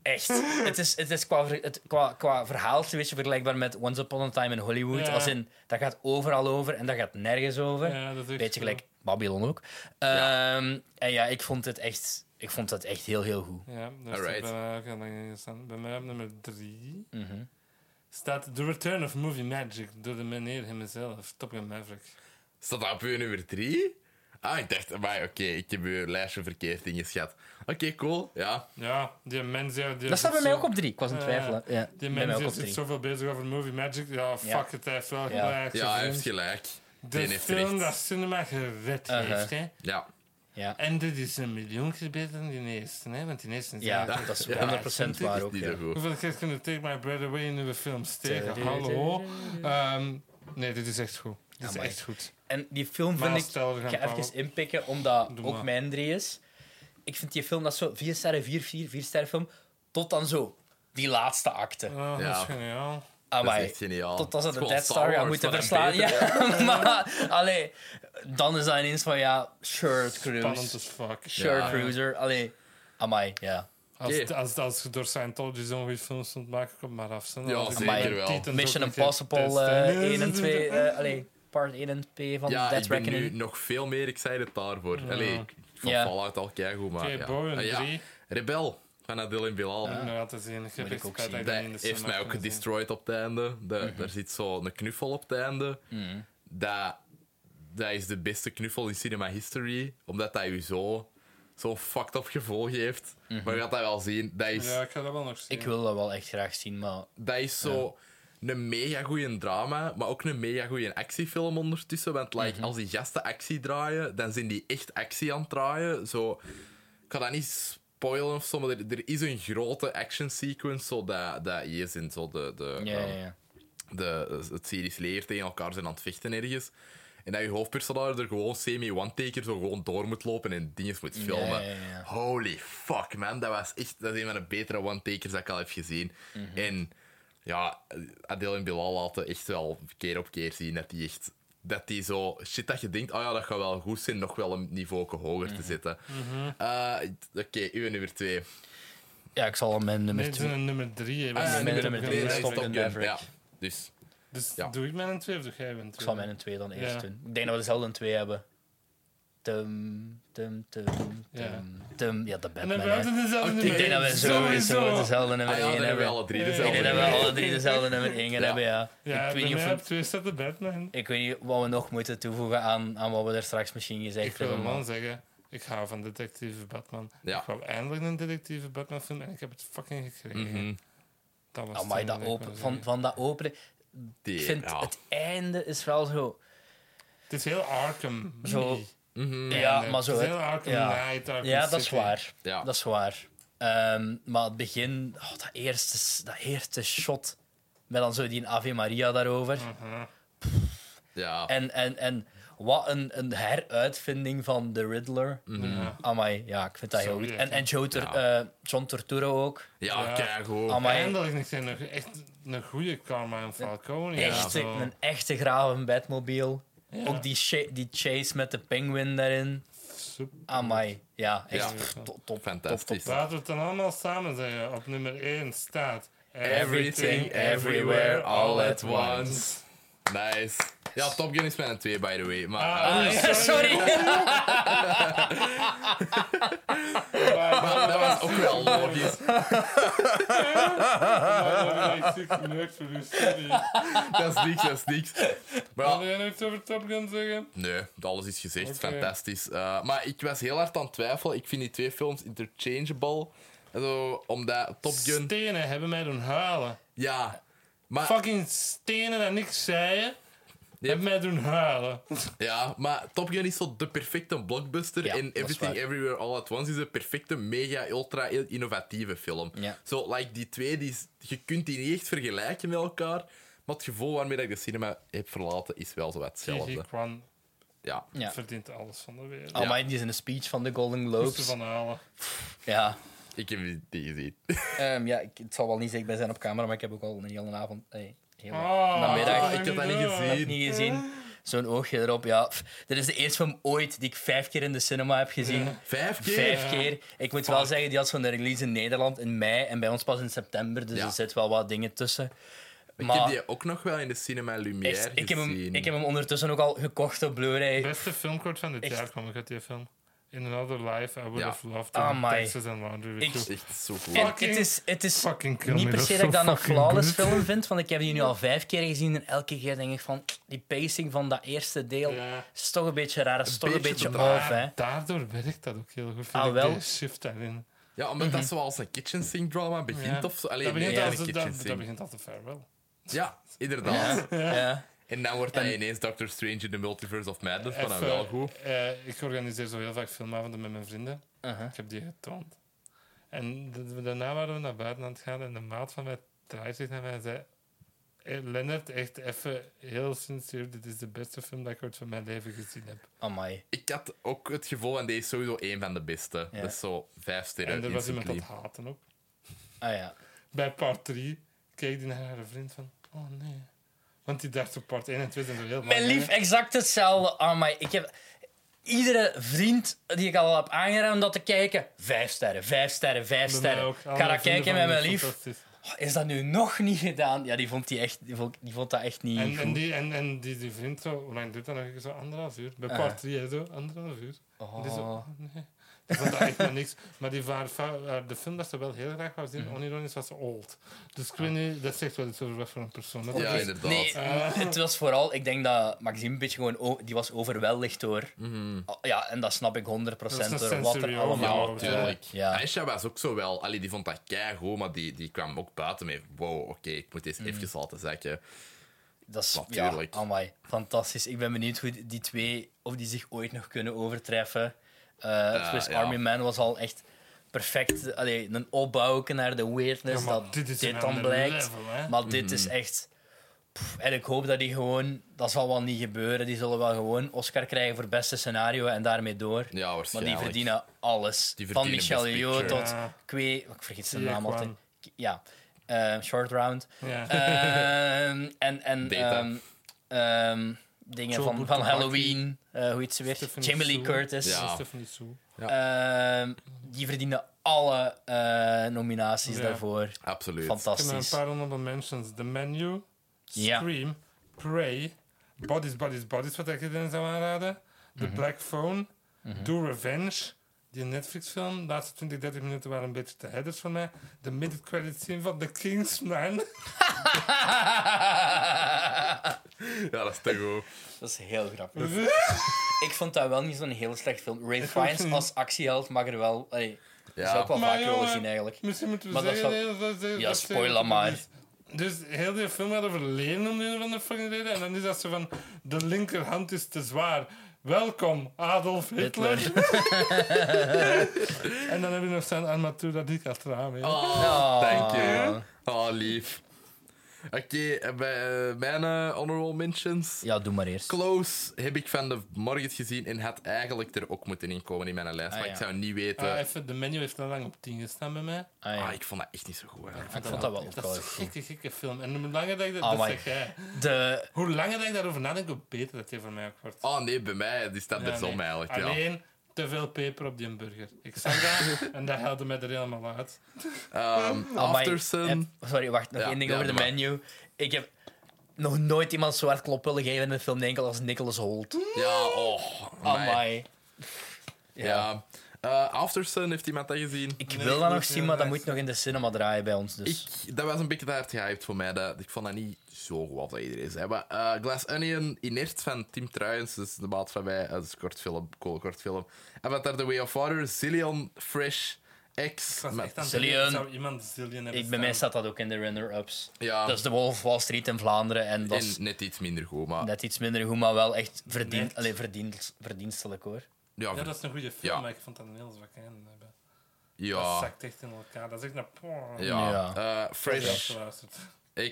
[SPEAKER 3] Echt. het is, het is qua, ver- het, qua, qua verhaal een beetje vergelijkbaar met Once Upon a Time in Hollywood.
[SPEAKER 2] Ja.
[SPEAKER 3] Als in, dat gaat overal over en dat gaat nergens over.
[SPEAKER 2] Ja, dat is echt
[SPEAKER 3] beetje
[SPEAKER 2] zo.
[SPEAKER 3] gelijk Babylon ook. Ehm, en ja, ik vond, het echt, ik vond dat echt heel, heel goed.
[SPEAKER 2] Ja, dat is eh,
[SPEAKER 1] Alright.
[SPEAKER 2] bij mij ook heel lang in gestaan. Bij mij op nummer 3
[SPEAKER 3] Mhm.
[SPEAKER 2] staat The Return of Movie Magic door de meneer hemzelf, Top Gun Maverick.
[SPEAKER 1] Staat dat op uw nummer 3? Ah, ik dacht, maar oké, ik heb uw lijstje verkeerd ingeschat. Oké, cool, ja.
[SPEAKER 2] Ja, die mens... Ja, die
[SPEAKER 3] Dat staat bij
[SPEAKER 2] zit
[SPEAKER 3] mij
[SPEAKER 2] zo-
[SPEAKER 3] ook op drie. Ik was in
[SPEAKER 2] Ja,
[SPEAKER 3] twijfel. hè. Ja,
[SPEAKER 2] Eh, Die
[SPEAKER 3] bij mij
[SPEAKER 2] mens
[SPEAKER 3] ook op
[SPEAKER 2] is zich
[SPEAKER 3] drie.
[SPEAKER 2] zoveel bezig over Movie Magic. Ja, fuck
[SPEAKER 3] Ja.
[SPEAKER 2] het, hij heeft wel
[SPEAKER 3] Ja.
[SPEAKER 2] gelijk.
[SPEAKER 1] Ja, hij
[SPEAKER 2] gevriend.
[SPEAKER 1] heeft gelijk.
[SPEAKER 2] De
[SPEAKER 1] Die heeft
[SPEAKER 2] film dat
[SPEAKER 1] recht.
[SPEAKER 2] cinema gered
[SPEAKER 3] Uh-huh.
[SPEAKER 2] heeft, hè.
[SPEAKER 1] Ja.
[SPEAKER 3] Ja.
[SPEAKER 2] En dit is een miljoen keer beter dan die eerste, hè? Want die eerste is
[SPEAKER 3] Ja,
[SPEAKER 2] eigenlijk-
[SPEAKER 3] dat is
[SPEAKER 1] Ja,
[SPEAKER 3] 100% waar ook.
[SPEAKER 1] Niet
[SPEAKER 3] Ja.
[SPEAKER 1] zo goed.
[SPEAKER 2] Hoeveel keer kunnen Take My Breath Away in nieuwe film steken?
[SPEAKER 3] Tudu,
[SPEAKER 2] Hallo. Ehm, nee, dit is echt goed. Dit is
[SPEAKER 3] Amai.
[SPEAKER 2] echt goed.
[SPEAKER 3] En die film
[SPEAKER 2] Maar
[SPEAKER 3] vind
[SPEAKER 2] als
[SPEAKER 3] ik...
[SPEAKER 2] stel, we
[SPEAKER 3] Ik
[SPEAKER 2] gaan
[SPEAKER 3] ga
[SPEAKER 2] Paul-
[SPEAKER 3] even inpikken, omdat
[SPEAKER 2] Doe
[SPEAKER 3] ook
[SPEAKER 2] maar.
[SPEAKER 3] mijn drie is. Ik vind die film, dat is zo vier sterren, vier, vier, vier sterren film. Tot dan zo, die laatste acte.
[SPEAKER 2] Ah, dat
[SPEAKER 1] Ja.
[SPEAKER 2] is geniaal.
[SPEAKER 1] Dat
[SPEAKER 3] Amai.
[SPEAKER 1] is echt geniaal.
[SPEAKER 3] Tot als
[SPEAKER 1] Het
[SPEAKER 3] ze
[SPEAKER 1] is gewoon
[SPEAKER 3] de Death Star
[SPEAKER 1] Wars,
[SPEAKER 3] gaan moeten
[SPEAKER 1] maar dan
[SPEAKER 3] verslaan.
[SPEAKER 1] beter.
[SPEAKER 3] Ja, (laughs) maar allee, dan is dat ineens van ja, shirt
[SPEAKER 2] Spannend
[SPEAKER 3] cruise.
[SPEAKER 2] as fuck.
[SPEAKER 3] Shirt
[SPEAKER 1] Ja.
[SPEAKER 3] cruiser. Allee, amai, ja.
[SPEAKER 2] Als,
[SPEAKER 1] Oké.
[SPEAKER 2] als, als je door Scientology zo'n goede film stond maken, kom maar af. hè.
[SPEAKER 1] Ja,
[SPEAKER 2] Als ik
[SPEAKER 1] zeker
[SPEAKER 2] die
[SPEAKER 1] wel.
[SPEAKER 2] titels ook
[SPEAKER 3] Mission
[SPEAKER 2] niet heb getest,
[SPEAKER 3] Impossible
[SPEAKER 2] hè.
[SPEAKER 3] eh,
[SPEAKER 2] Nee,
[SPEAKER 3] 1 en
[SPEAKER 2] dat is
[SPEAKER 3] 2.
[SPEAKER 2] het.
[SPEAKER 3] eh, allee, part 1 en 2 van
[SPEAKER 1] Ja,
[SPEAKER 3] Death
[SPEAKER 1] ik ben nu
[SPEAKER 3] Reckoning. Mm.
[SPEAKER 1] nog veel meer excited daarvoor. Allee, ik vond
[SPEAKER 3] Ja.
[SPEAKER 1] Fallout al keigoed, maar
[SPEAKER 2] Oké,
[SPEAKER 1] ja.
[SPEAKER 2] Bowen
[SPEAKER 1] Ah, ja.
[SPEAKER 2] 3.
[SPEAKER 1] Rebel, van Adil en Bilal.
[SPEAKER 3] Ah.
[SPEAKER 2] Om nog altijd zien. Ik heb
[SPEAKER 3] Wil ik
[SPEAKER 2] echt
[SPEAKER 3] ook
[SPEAKER 2] spijt
[SPEAKER 3] zien.
[SPEAKER 2] dat ik
[SPEAKER 1] Dat
[SPEAKER 2] die in de
[SPEAKER 1] heeft
[SPEAKER 2] cinema
[SPEAKER 1] mij ook
[SPEAKER 2] kon zien. Mhm.
[SPEAKER 1] gedestroyed op het einde. De, Daar zit zo'n knuffel op het einde. Dat, dat is de beste knuffel in cinema history. Omdat dat je zo- zo'n fucked up gevolg heeft. Maar je gaat dat wel zien. Dat is,
[SPEAKER 2] Mhm. Ja, ik ga dat wel nog zien.
[SPEAKER 3] Ik wil dat wel echt graag zien, maar
[SPEAKER 1] dat is zo een mega goeie drama, maar ook een mega goeie actiefilm ondertussen. Want like,
[SPEAKER 2] Mhm.
[SPEAKER 1] als die gasten actie draaien, dan zijn die echt actie aan het draaien. Zo, ik ga dat niet spoilen of zo, maar er, er is een grote action sequence. Zo dat, dat je zin, zo de, de
[SPEAKER 3] ja, ja,
[SPEAKER 1] ehm,
[SPEAKER 3] ja.
[SPEAKER 1] de, het series leer tegen elkaar zijn aan het vechten ergens. En dat je hoofdpersonage er gewoon semi-one-taker zo gewoon door moet lopen en dingen moet filmen.
[SPEAKER 3] Ja, ja, ja.
[SPEAKER 1] Holy fuck, man. Dat was echt dat is een van de betere one-takers dat ik al heb gezien.
[SPEAKER 3] Mhm.
[SPEAKER 1] En ja, Adele en Bilal laten echt wel keer op keer zien dat die echt... Dat die zo... Shit, dat je denkt, oh ja, dat gaat wel goed zijn, nog wel een niveau hoger
[SPEAKER 3] Mhm.
[SPEAKER 1] te zitten. Eh, Oké, uw nummer twee.
[SPEAKER 3] Ja, ik zal al mijn nummer
[SPEAKER 2] Nee,
[SPEAKER 3] twee.
[SPEAKER 2] zijn nummer drie. hè. We
[SPEAKER 1] Ah,
[SPEAKER 2] zijn
[SPEAKER 3] nummer
[SPEAKER 2] nummer
[SPEAKER 3] drie,
[SPEAKER 2] drie.
[SPEAKER 1] dat is
[SPEAKER 3] Top
[SPEAKER 1] Top
[SPEAKER 3] Gun
[SPEAKER 1] Gun,
[SPEAKER 3] Maverick.
[SPEAKER 1] Ja, dus...
[SPEAKER 2] Dus
[SPEAKER 1] Ja.
[SPEAKER 2] doe ik mijn een twee of doe jij mijn
[SPEAKER 3] Ik
[SPEAKER 2] twee?
[SPEAKER 3] zal mijn twee dan eerst
[SPEAKER 2] Ja.
[SPEAKER 3] doen. Ik denk dat we dezelfde twee hebben. Tum, tum, tum, tum,
[SPEAKER 2] Ja.
[SPEAKER 3] tum. Ja, de
[SPEAKER 2] En dan
[SPEAKER 3] Batman.
[SPEAKER 2] hebben
[SPEAKER 3] hè.
[SPEAKER 2] we dezelfde
[SPEAKER 1] Ik
[SPEAKER 2] nummer
[SPEAKER 3] Ik denk dat we
[SPEAKER 2] één.
[SPEAKER 3] sowieso dezelfde nummer
[SPEAKER 1] Ah ja,
[SPEAKER 3] 1
[SPEAKER 1] dan hebben we
[SPEAKER 3] hebben.
[SPEAKER 1] alle drie
[SPEAKER 2] Ja, ja.
[SPEAKER 1] dezelfde.
[SPEAKER 3] Ik denk dat we
[SPEAKER 2] nummer één.
[SPEAKER 3] alle drie dezelfde nummer 1 gaan
[SPEAKER 1] Ja.
[SPEAKER 3] hebben, ja.
[SPEAKER 2] Ja,
[SPEAKER 3] Ik weet
[SPEAKER 2] bij
[SPEAKER 3] niet of
[SPEAKER 2] mij op
[SPEAKER 3] dat-
[SPEAKER 2] twee staat de Batman.
[SPEAKER 3] Ik weet niet wat we nog moeten toevoegen aan, aan wat we daar straks misschien
[SPEAKER 2] Ik
[SPEAKER 3] gezegd
[SPEAKER 2] wil
[SPEAKER 3] hebben.
[SPEAKER 2] gewoon
[SPEAKER 3] maar-
[SPEAKER 2] zeggen, ik hou van detectieve Batman.
[SPEAKER 1] Ja.
[SPEAKER 2] Ik wou eindelijk een detectieve Batman film en ik heb het fucking gekregen.
[SPEAKER 1] Mhm.
[SPEAKER 2] Dat was toen
[SPEAKER 3] Amai, Nou, dat
[SPEAKER 2] wat ik
[SPEAKER 3] open,
[SPEAKER 2] wou
[SPEAKER 3] van,
[SPEAKER 2] zeggen.
[SPEAKER 3] van dat openen.
[SPEAKER 1] Die,
[SPEAKER 3] Ik vind
[SPEAKER 1] ja.
[SPEAKER 3] het einde is vooral zo.
[SPEAKER 2] Het is heel Arkham.
[SPEAKER 3] Zo,
[SPEAKER 2] Nee.
[SPEAKER 1] Mhm.
[SPEAKER 3] Ja,
[SPEAKER 2] Nee,
[SPEAKER 3] maar zo.
[SPEAKER 2] Het is
[SPEAKER 3] het-
[SPEAKER 2] heel Arkham
[SPEAKER 3] ja.
[SPEAKER 2] Knight, Arkham
[SPEAKER 3] Ja, dat is
[SPEAKER 2] City.
[SPEAKER 3] waar.
[SPEAKER 1] Ja.
[SPEAKER 3] Dat is waar. Ehm, maar het begin, oh, dat, eerste, dat eerste shot. Met dan zo die Ave Maria daarover.
[SPEAKER 2] Mhm.
[SPEAKER 1] ja.
[SPEAKER 3] En, en, en wat een, een heruitvinding van The Riddler.
[SPEAKER 1] Mhm.
[SPEAKER 2] Ja.
[SPEAKER 3] Amai, ja, ik vind dat heel
[SPEAKER 2] Sorry,
[SPEAKER 3] goed.
[SPEAKER 2] Mhm. hè.
[SPEAKER 3] En, en Joe Tur-
[SPEAKER 1] Ja.
[SPEAKER 3] eh, John Torturo ook.
[SPEAKER 1] Ja,
[SPEAKER 2] Ja.
[SPEAKER 1] keigoed.
[SPEAKER 3] Amai.
[SPEAKER 2] Eindelijk ik zei nog echt een goede Karma en Falcone. Ja,
[SPEAKER 3] Echt,
[SPEAKER 2] zo.
[SPEAKER 3] een echte graven Batmobile.
[SPEAKER 2] Ja.
[SPEAKER 3] Ook die, cha- die chase met de penguin daarin.
[SPEAKER 2] Super.
[SPEAKER 3] Amai, ja, echt
[SPEAKER 1] Ja.
[SPEAKER 3] pff, to- top, top,
[SPEAKER 1] Fantastisch.
[SPEAKER 3] top, top.
[SPEAKER 2] Laten we het dan allemaal samen zeggen. Op nummer 1 staat...
[SPEAKER 1] Everything, everywhere, all at once. Nice. Ja, Top Gun is mijn twee, by the way. Maar, eh,
[SPEAKER 2] Ah,
[SPEAKER 3] Ja, (laughs) sorry.
[SPEAKER 2] Maar-
[SPEAKER 1] (laughs) maar dat was ook wel logisch.
[SPEAKER 2] maar ik zie het leuk voor uw studie.
[SPEAKER 1] Ah. dat is niks, dat is niks. Maar
[SPEAKER 2] Wil
[SPEAKER 3] (laughs)
[SPEAKER 1] ja,
[SPEAKER 2] jij nog iets over Top Gun zeggen?
[SPEAKER 1] nee, alles is gezegd.
[SPEAKER 2] Oké.
[SPEAKER 1] Fantastisch. Eh, maar ik was heel hard aan het twijfelen. Ik vind die twee films interchangeable. Zo, omdat Top Gun...
[SPEAKER 2] Stenen hebben mij doen huilen.
[SPEAKER 1] Ja. Maar,
[SPEAKER 2] Fucking stenen en niks zeiden.
[SPEAKER 1] Ja.
[SPEAKER 2] Hebben mij doen huilen.
[SPEAKER 1] Ja, maar Top Gun is zo de perfecte blockbuster.
[SPEAKER 3] Ja,
[SPEAKER 1] en
[SPEAKER 3] dat is
[SPEAKER 1] Everything
[SPEAKER 3] waar.
[SPEAKER 1] Everywhere All At Once is een perfecte, mega, ultra innovatieve film. Zo,
[SPEAKER 3] Ja.
[SPEAKER 1] like, die twee, die, is- je kunt die niet echt vergelijken met elkaar. Maar het gevoel waarmee dat ik de cinema heb verlaten is wel zo
[SPEAKER 2] Gigi
[SPEAKER 1] hetzelfde.
[SPEAKER 2] Kwan
[SPEAKER 1] Ja.
[SPEAKER 3] Ja.
[SPEAKER 2] verdient alles van de wereld. Ik
[SPEAKER 3] Amai, die is in de speech van de Golden
[SPEAKER 2] moest
[SPEAKER 3] Globes.
[SPEAKER 2] ervan huilen.
[SPEAKER 3] Ja,
[SPEAKER 1] Ik heb die niet gezien. (laughs)
[SPEAKER 3] Ehm, ja ik, het zal wel niet zichtbaar zijn op camera, maar ik heb ook al een hele avond... eh, hele
[SPEAKER 2] Ah,
[SPEAKER 3] namiddag
[SPEAKER 1] ik heb dat niet gezien.
[SPEAKER 3] heb niet gezien. Zo'n oogje erop, ja. Pff, dit is de eerste film ooit die ik vijf keer in de cinema heb gezien.
[SPEAKER 2] Ja.
[SPEAKER 1] Vijf keer?
[SPEAKER 3] Vijf keer. Ik moet wel zeggen, die had zo'n release in Nederland in mei en bij ons pas in september, dus
[SPEAKER 1] Ja.
[SPEAKER 3] er zit wel wat dingen tussen.
[SPEAKER 1] Ik heb
[SPEAKER 3] Maar
[SPEAKER 1] die ook nog wel in de cinema Lumière
[SPEAKER 3] echt, ik, heb
[SPEAKER 1] gezien.
[SPEAKER 3] hem, ik heb hem ondertussen ook al gekocht op Blu-ray.
[SPEAKER 2] Beste filmkort van dit
[SPEAKER 3] Echt.
[SPEAKER 2] jaar kwam ik uit die film. In Another Life, I Would
[SPEAKER 1] Ja.
[SPEAKER 2] Have Loved
[SPEAKER 3] Ah,
[SPEAKER 2] in
[SPEAKER 3] my.
[SPEAKER 2] Texas and Laundry with
[SPEAKER 3] Ik-
[SPEAKER 2] You.
[SPEAKER 1] Echt zo goed.
[SPEAKER 3] En
[SPEAKER 2] fucking-
[SPEAKER 3] het is, het is
[SPEAKER 2] fucking kill me,
[SPEAKER 3] niet per
[SPEAKER 2] dat
[SPEAKER 3] se
[SPEAKER 2] is
[SPEAKER 3] dat ik
[SPEAKER 2] zo
[SPEAKER 3] dat een
[SPEAKER 2] fucking
[SPEAKER 3] flawless
[SPEAKER 2] good.
[SPEAKER 3] film vind, want ik heb die nu al vijf keer gezien en elke keer denk ik van, die pacing van dat eerste deel
[SPEAKER 2] Ja. Ah,
[SPEAKER 3] is toch een beetje raar, is toch een
[SPEAKER 1] beetje
[SPEAKER 3] beetje
[SPEAKER 1] traag.
[SPEAKER 3] off, hè.
[SPEAKER 2] Daardoor werkt dat ook heel goed. vind
[SPEAKER 3] Ah,
[SPEAKER 2] ik,
[SPEAKER 3] wel.
[SPEAKER 2] die shift daarin.
[SPEAKER 1] Ja, omdat dat zoals een kitchen sink drama begint
[SPEAKER 2] Ja.
[SPEAKER 1] of zo. Alleen
[SPEAKER 2] dat, begint
[SPEAKER 1] nee,
[SPEAKER 2] als,
[SPEAKER 1] een
[SPEAKER 2] dat,
[SPEAKER 1] kitchen
[SPEAKER 2] dat,
[SPEAKER 1] sink.
[SPEAKER 2] begint als een farewell.
[SPEAKER 1] Ja, inderdaad.
[SPEAKER 3] Ja.
[SPEAKER 1] En dan wordt hij ineens Doctor Strange in the Multiverse of Madness. Van dan
[SPEAKER 2] Even,
[SPEAKER 1] wel goed.
[SPEAKER 2] eh, ik organiseer zo heel vaak filmavonden met mijn vrienden.
[SPEAKER 3] Uh-huh.
[SPEAKER 2] Ik heb die getoond. En d- d- daarna waren we naar buiten aan het gaan en de maat van mij draait zich naar mij en zei... "Eh, Lennart, echt even heel sincere, dit is de beste film dat ik ooit van mijn leven gezien heb.
[SPEAKER 3] Amai.
[SPEAKER 1] Ik had ook het gevoel, en deze is sowieso één van de beste.
[SPEAKER 3] Ja.
[SPEAKER 1] Dat is zo vijf
[SPEAKER 2] en
[SPEAKER 1] sterren.
[SPEAKER 2] er was iemand aan
[SPEAKER 1] instantly.
[SPEAKER 2] het haten ook.
[SPEAKER 3] Ah ja.
[SPEAKER 2] Bij part 3 keek die naar haar vriend van... Oh nee. Want die dacht op part 1 en 2 zijn zo heel
[SPEAKER 3] Mijn
[SPEAKER 2] lang,
[SPEAKER 3] lief,
[SPEAKER 2] hè.
[SPEAKER 3] exact hetzelfde. Amai, ik heb iedere vriend die ik al heb aangeraden om dat te kijken, vijf sterren, vijf sterren, vijf
[SPEAKER 2] Bij mij
[SPEAKER 3] sterren.
[SPEAKER 2] ook.
[SPEAKER 3] Ik ga
[SPEAKER 2] Allemaal
[SPEAKER 3] dat
[SPEAKER 2] vrienden
[SPEAKER 3] kijken
[SPEAKER 2] van
[SPEAKER 3] met
[SPEAKER 2] mij,
[SPEAKER 3] mijn lief.
[SPEAKER 2] fantastisch.
[SPEAKER 3] Oh, Is dat nu nog niet gedaan? Ja, die vond, die echt, die vond, die vond dat echt niet
[SPEAKER 2] En,
[SPEAKER 3] goed.
[SPEAKER 2] en, die, en, en die, die vriend zo... Hoe lang duurt dat nog? Ik Zo anderhalf uur. Bij
[SPEAKER 3] Ah.
[SPEAKER 2] part 3 hè, zo, anderhalf uur.
[SPEAKER 3] Oh.
[SPEAKER 2] En die zo, oh, (laughs) nee. Die vond dat echt maar niks. Maar die waren fa- eh, de film dat ze wel heel graag wou zien,
[SPEAKER 3] Mhm.
[SPEAKER 2] onironisch, was old. Dus ik weet niet, dat zegt wel iets over wat voor een persoon dat
[SPEAKER 1] Ja,
[SPEAKER 2] is.
[SPEAKER 1] inderdaad.
[SPEAKER 3] Nee,
[SPEAKER 2] Ah.
[SPEAKER 3] het was vooral, ik denk dat Maxime een beetje gewoon, o- die was overweldigd door. Ja, en dat snap ik 100%
[SPEAKER 2] Dat is een
[SPEAKER 3] door wat
[SPEAKER 2] sensory
[SPEAKER 3] er allemaal.
[SPEAKER 1] Ja,
[SPEAKER 2] overload, hè.
[SPEAKER 1] natuurlijk.
[SPEAKER 3] Ja.
[SPEAKER 1] Aisha was ook zo wel. Allee, die vond dat keigoed, maar die, die kwam ook buiten mee. Wow, oké, ik moet deze even laten zakken.
[SPEAKER 3] Dat is
[SPEAKER 1] Natuurlijk.
[SPEAKER 3] Ja, amai, fantastisch. Ik ben benieuwd hoe die twee, of die zich ooit nog kunnen overtreffen. Eh
[SPEAKER 1] Ja,
[SPEAKER 3] Swiss
[SPEAKER 1] ja.
[SPEAKER 3] Army Man was al echt perfect. Allee, een opbouw naar de weirdness
[SPEAKER 2] Ja, maar
[SPEAKER 3] dat
[SPEAKER 2] dit
[SPEAKER 3] dit,
[SPEAKER 2] is een
[SPEAKER 3] dan
[SPEAKER 2] ander
[SPEAKER 3] blijkt.
[SPEAKER 1] Mhm.
[SPEAKER 2] level, hè.
[SPEAKER 3] maar dit is echt... Pff, En ik hoop dat die gewoon, dat zal wel niet gebeuren, die zullen wel gewoon Oscar krijgen voor beste scenario en daarmee door.
[SPEAKER 1] Ja,
[SPEAKER 3] Maar die
[SPEAKER 1] waarschijnlijk.
[SPEAKER 3] verdienen alles.
[SPEAKER 1] Die
[SPEAKER 3] Van
[SPEAKER 1] verdienen
[SPEAKER 3] Michel
[SPEAKER 1] Best
[SPEAKER 3] Yeoh
[SPEAKER 1] Picture.
[SPEAKER 3] tot
[SPEAKER 2] Ja.
[SPEAKER 3] Kwee, ik vergeet zijn
[SPEAKER 2] Kwee
[SPEAKER 3] naam altijd.
[SPEAKER 2] Kwan.
[SPEAKER 3] Ja, Eh, Short Round.
[SPEAKER 2] Ja.
[SPEAKER 3] eh, Ehm, en en
[SPEAKER 1] Data.
[SPEAKER 3] ehm, ehm, dingen
[SPEAKER 2] Joe
[SPEAKER 3] van, van
[SPEAKER 2] Butabaki.
[SPEAKER 3] Halloween, eh, hoe heet ze
[SPEAKER 2] (laughs)
[SPEAKER 3] weer?
[SPEAKER 2] Stephanie
[SPEAKER 3] Jamie Lee
[SPEAKER 2] Sue.
[SPEAKER 3] Curtis.
[SPEAKER 1] Ja.
[SPEAKER 2] Stephanie Sue.
[SPEAKER 3] Ehm, die verdienen alle eh, nominaties
[SPEAKER 2] Ja.
[SPEAKER 3] daarvoor.
[SPEAKER 1] Absoluut.
[SPEAKER 2] Ik heb een
[SPEAKER 3] Fantastisch.
[SPEAKER 2] paar honorable mentions. The Menu,
[SPEAKER 3] Ja.
[SPEAKER 2] Scream, Prey, Bodies, Bodies, Bodies, wat ik iedereen zou aanraden. The
[SPEAKER 3] Mhm.
[SPEAKER 2] Black Phone, Do Revenge, die Netflix-film. De laatste 20, 30 minuten waren een beetje te headers van mij. De mid-credit scene van The Kingsman. (laughs)
[SPEAKER 1] Ja, dat is te goed.
[SPEAKER 3] (laughs) Dat is heel grappig. ik vond dat wel niet zo'n heel slecht film. Ray Fiennes als actieheld mag er wel... Allee, Dat zou
[SPEAKER 1] Ja.
[SPEAKER 3] ik wel
[SPEAKER 2] Maar
[SPEAKER 3] vaker willen
[SPEAKER 2] jongen,
[SPEAKER 3] zien, eigenlijk.
[SPEAKER 2] Misschien moeten we
[SPEAKER 3] Maar dat
[SPEAKER 2] zeggen...
[SPEAKER 3] zou-
[SPEAKER 2] nee, dat- dat- dat-
[SPEAKER 3] Ja,
[SPEAKER 2] dat-
[SPEAKER 3] spoiler maar.
[SPEAKER 2] Dus, dus heel die film gaat over lenen om de een of andere fucking reden. En dan is dat ze van... De linkerhand is te zwaar. Welkom, Adolf Hitler. en dan heb je nog zijn armatuur dat ik
[SPEAKER 3] (laughs)
[SPEAKER 2] achteraan weet.
[SPEAKER 1] Oh, thank you. Oh, lief. Oké, eh, bij- eh, mijn eh, honorable mentions.
[SPEAKER 3] Ja, doe maar eerst.
[SPEAKER 1] Close heb ik van de morgens gezien en had eigenlijk er ook moeten inkomen in mijn lijst.
[SPEAKER 3] Ah,
[SPEAKER 1] maar
[SPEAKER 3] ja.
[SPEAKER 1] ik zou niet
[SPEAKER 2] Ah,
[SPEAKER 1] weten.
[SPEAKER 2] even, de menu heeft al lang op 10 gestaan bij mij.
[SPEAKER 3] Ah, ja.
[SPEAKER 1] Ah, ik vond dat echt niet zo goed. eigenlijk.
[SPEAKER 3] Ik vond dat wel
[SPEAKER 2] Dat is een
[SPEAKER 3] opgevallen.
[SPEAKER 2] gekke, gekke film. En hoe langer dat ik, dat,
[SPEAKER 3] Ah,
[SPEAKER 2] dat
[SPEAKER 3] maar-
[SPEAKER 2] zeg jij.
[SPEAKER 3] De...
[SPEAKER 2] Hoe langer dat ik daarover nadenk, hoe beter dat die voor mij ook wordt.
[SPEAKER 1] Oh nee, bij mij die staat
[SPEAKER 2] Ja,
[SPEAKER 1] best
[SPEAKER 2] nee.
[SPEAKER 1] om eigenlijk. Ja.
[SPEAKER 2] Alleen te veel peper op die burger. Ik zag dat en dat haalde mij er helemaal uit.
[SPEAKER 1] Ehm,
[SPEAKER 3] Amai,
[SPEAKER 1] Aftersun.
[SPEAKER 3] heb- sorry, wacht, nog
[SPEAKER 1] Ja,
[SPEAKER 3] één ding
[SPEAKER 1] ja,
[SPEAKER 3] over de
[SPEAKER 1] doe maar.
[SPEAKER 3] menu. Ik heb nog nooit iemand zo hard klop willen geven in een film, enkel als Nicholas Holt.
[SPEAKER 1] Ja, oh. amai.
[SPEAKER 3] Amai. Ja.
[SPEAKER 1] Ja. Eh, Aftersun, heeft iemand dat gezien?
[SPEAKER 3] Ik
[SPEAKER 2] Nee,
[SPEAKER 3] wil
[SPEAKER 2] ik
[SPEAKER 3] dat nog
[SPEAKER 2] moet
[SPEAKER 3] zien,
[SPEAKER 2] heel
[SPEAKER 3] maar dat
[SPEAKER 2] nice
[SPEAKER 3] moet nog in de cinema draaien bij ons. Dus.
[SPEAKER 1] Ik, dat was een beetje te hard gehyped voor mij. Dat, ik vond dat niet zo goed als dat iedereen zei. Maar eh, Glass Onion, Inert van Tim Truijens, dus de maat van mij. eh, Dat is een kort film, cool kort film. Avatar The Way of Water, Zillion, Fresh, X.
[SPEAKER 2] Ik was
[SPEAKER 1] met-
[SPEAKER 2] echt aan het
[SPEAKER 3] Zillion.
[SPEAKER 2] denken, zou iemand Zillion hebben
[SPEAKER 3] Ik, bij mij
[SPEAKER 2] staan?
[SPEAKER 3] staat dat ook in de runner-ups.
[SPEAKER 1] ja,
[SPEAKER 3] Dat is de Wolf of Wall Street in Vlaanderen en dat is
[SPEAKER 1] en net iets minder goed. Maar
[SPEAKER 3] net iets minder goed, maar wel echt verdiend,
[SPEAKER 2] Net.
[SPEAKER 3] allee, verdienst, verdienstelijk hoor.
[SPEAKER 1] ja,
[SPEAKER 2] Ja,
[SPEAKER 1] ver-
[SPEAKER 2] dat is een goede film,
[SPEAKER 1] Ja.
[SPEAKER 2] maar ik vond dat een heel zwak einde hebben. Dat
[SPEAKER 1] ja,
[SPEAKER 2] zakt echt in elkaar. Dat is echt een...
[SPEAKER 1] ja.
[SPEAKER 3] Ja.
[SPEAKER 1] Eh, Fresh,
[SPEAKER 2] geluisterd.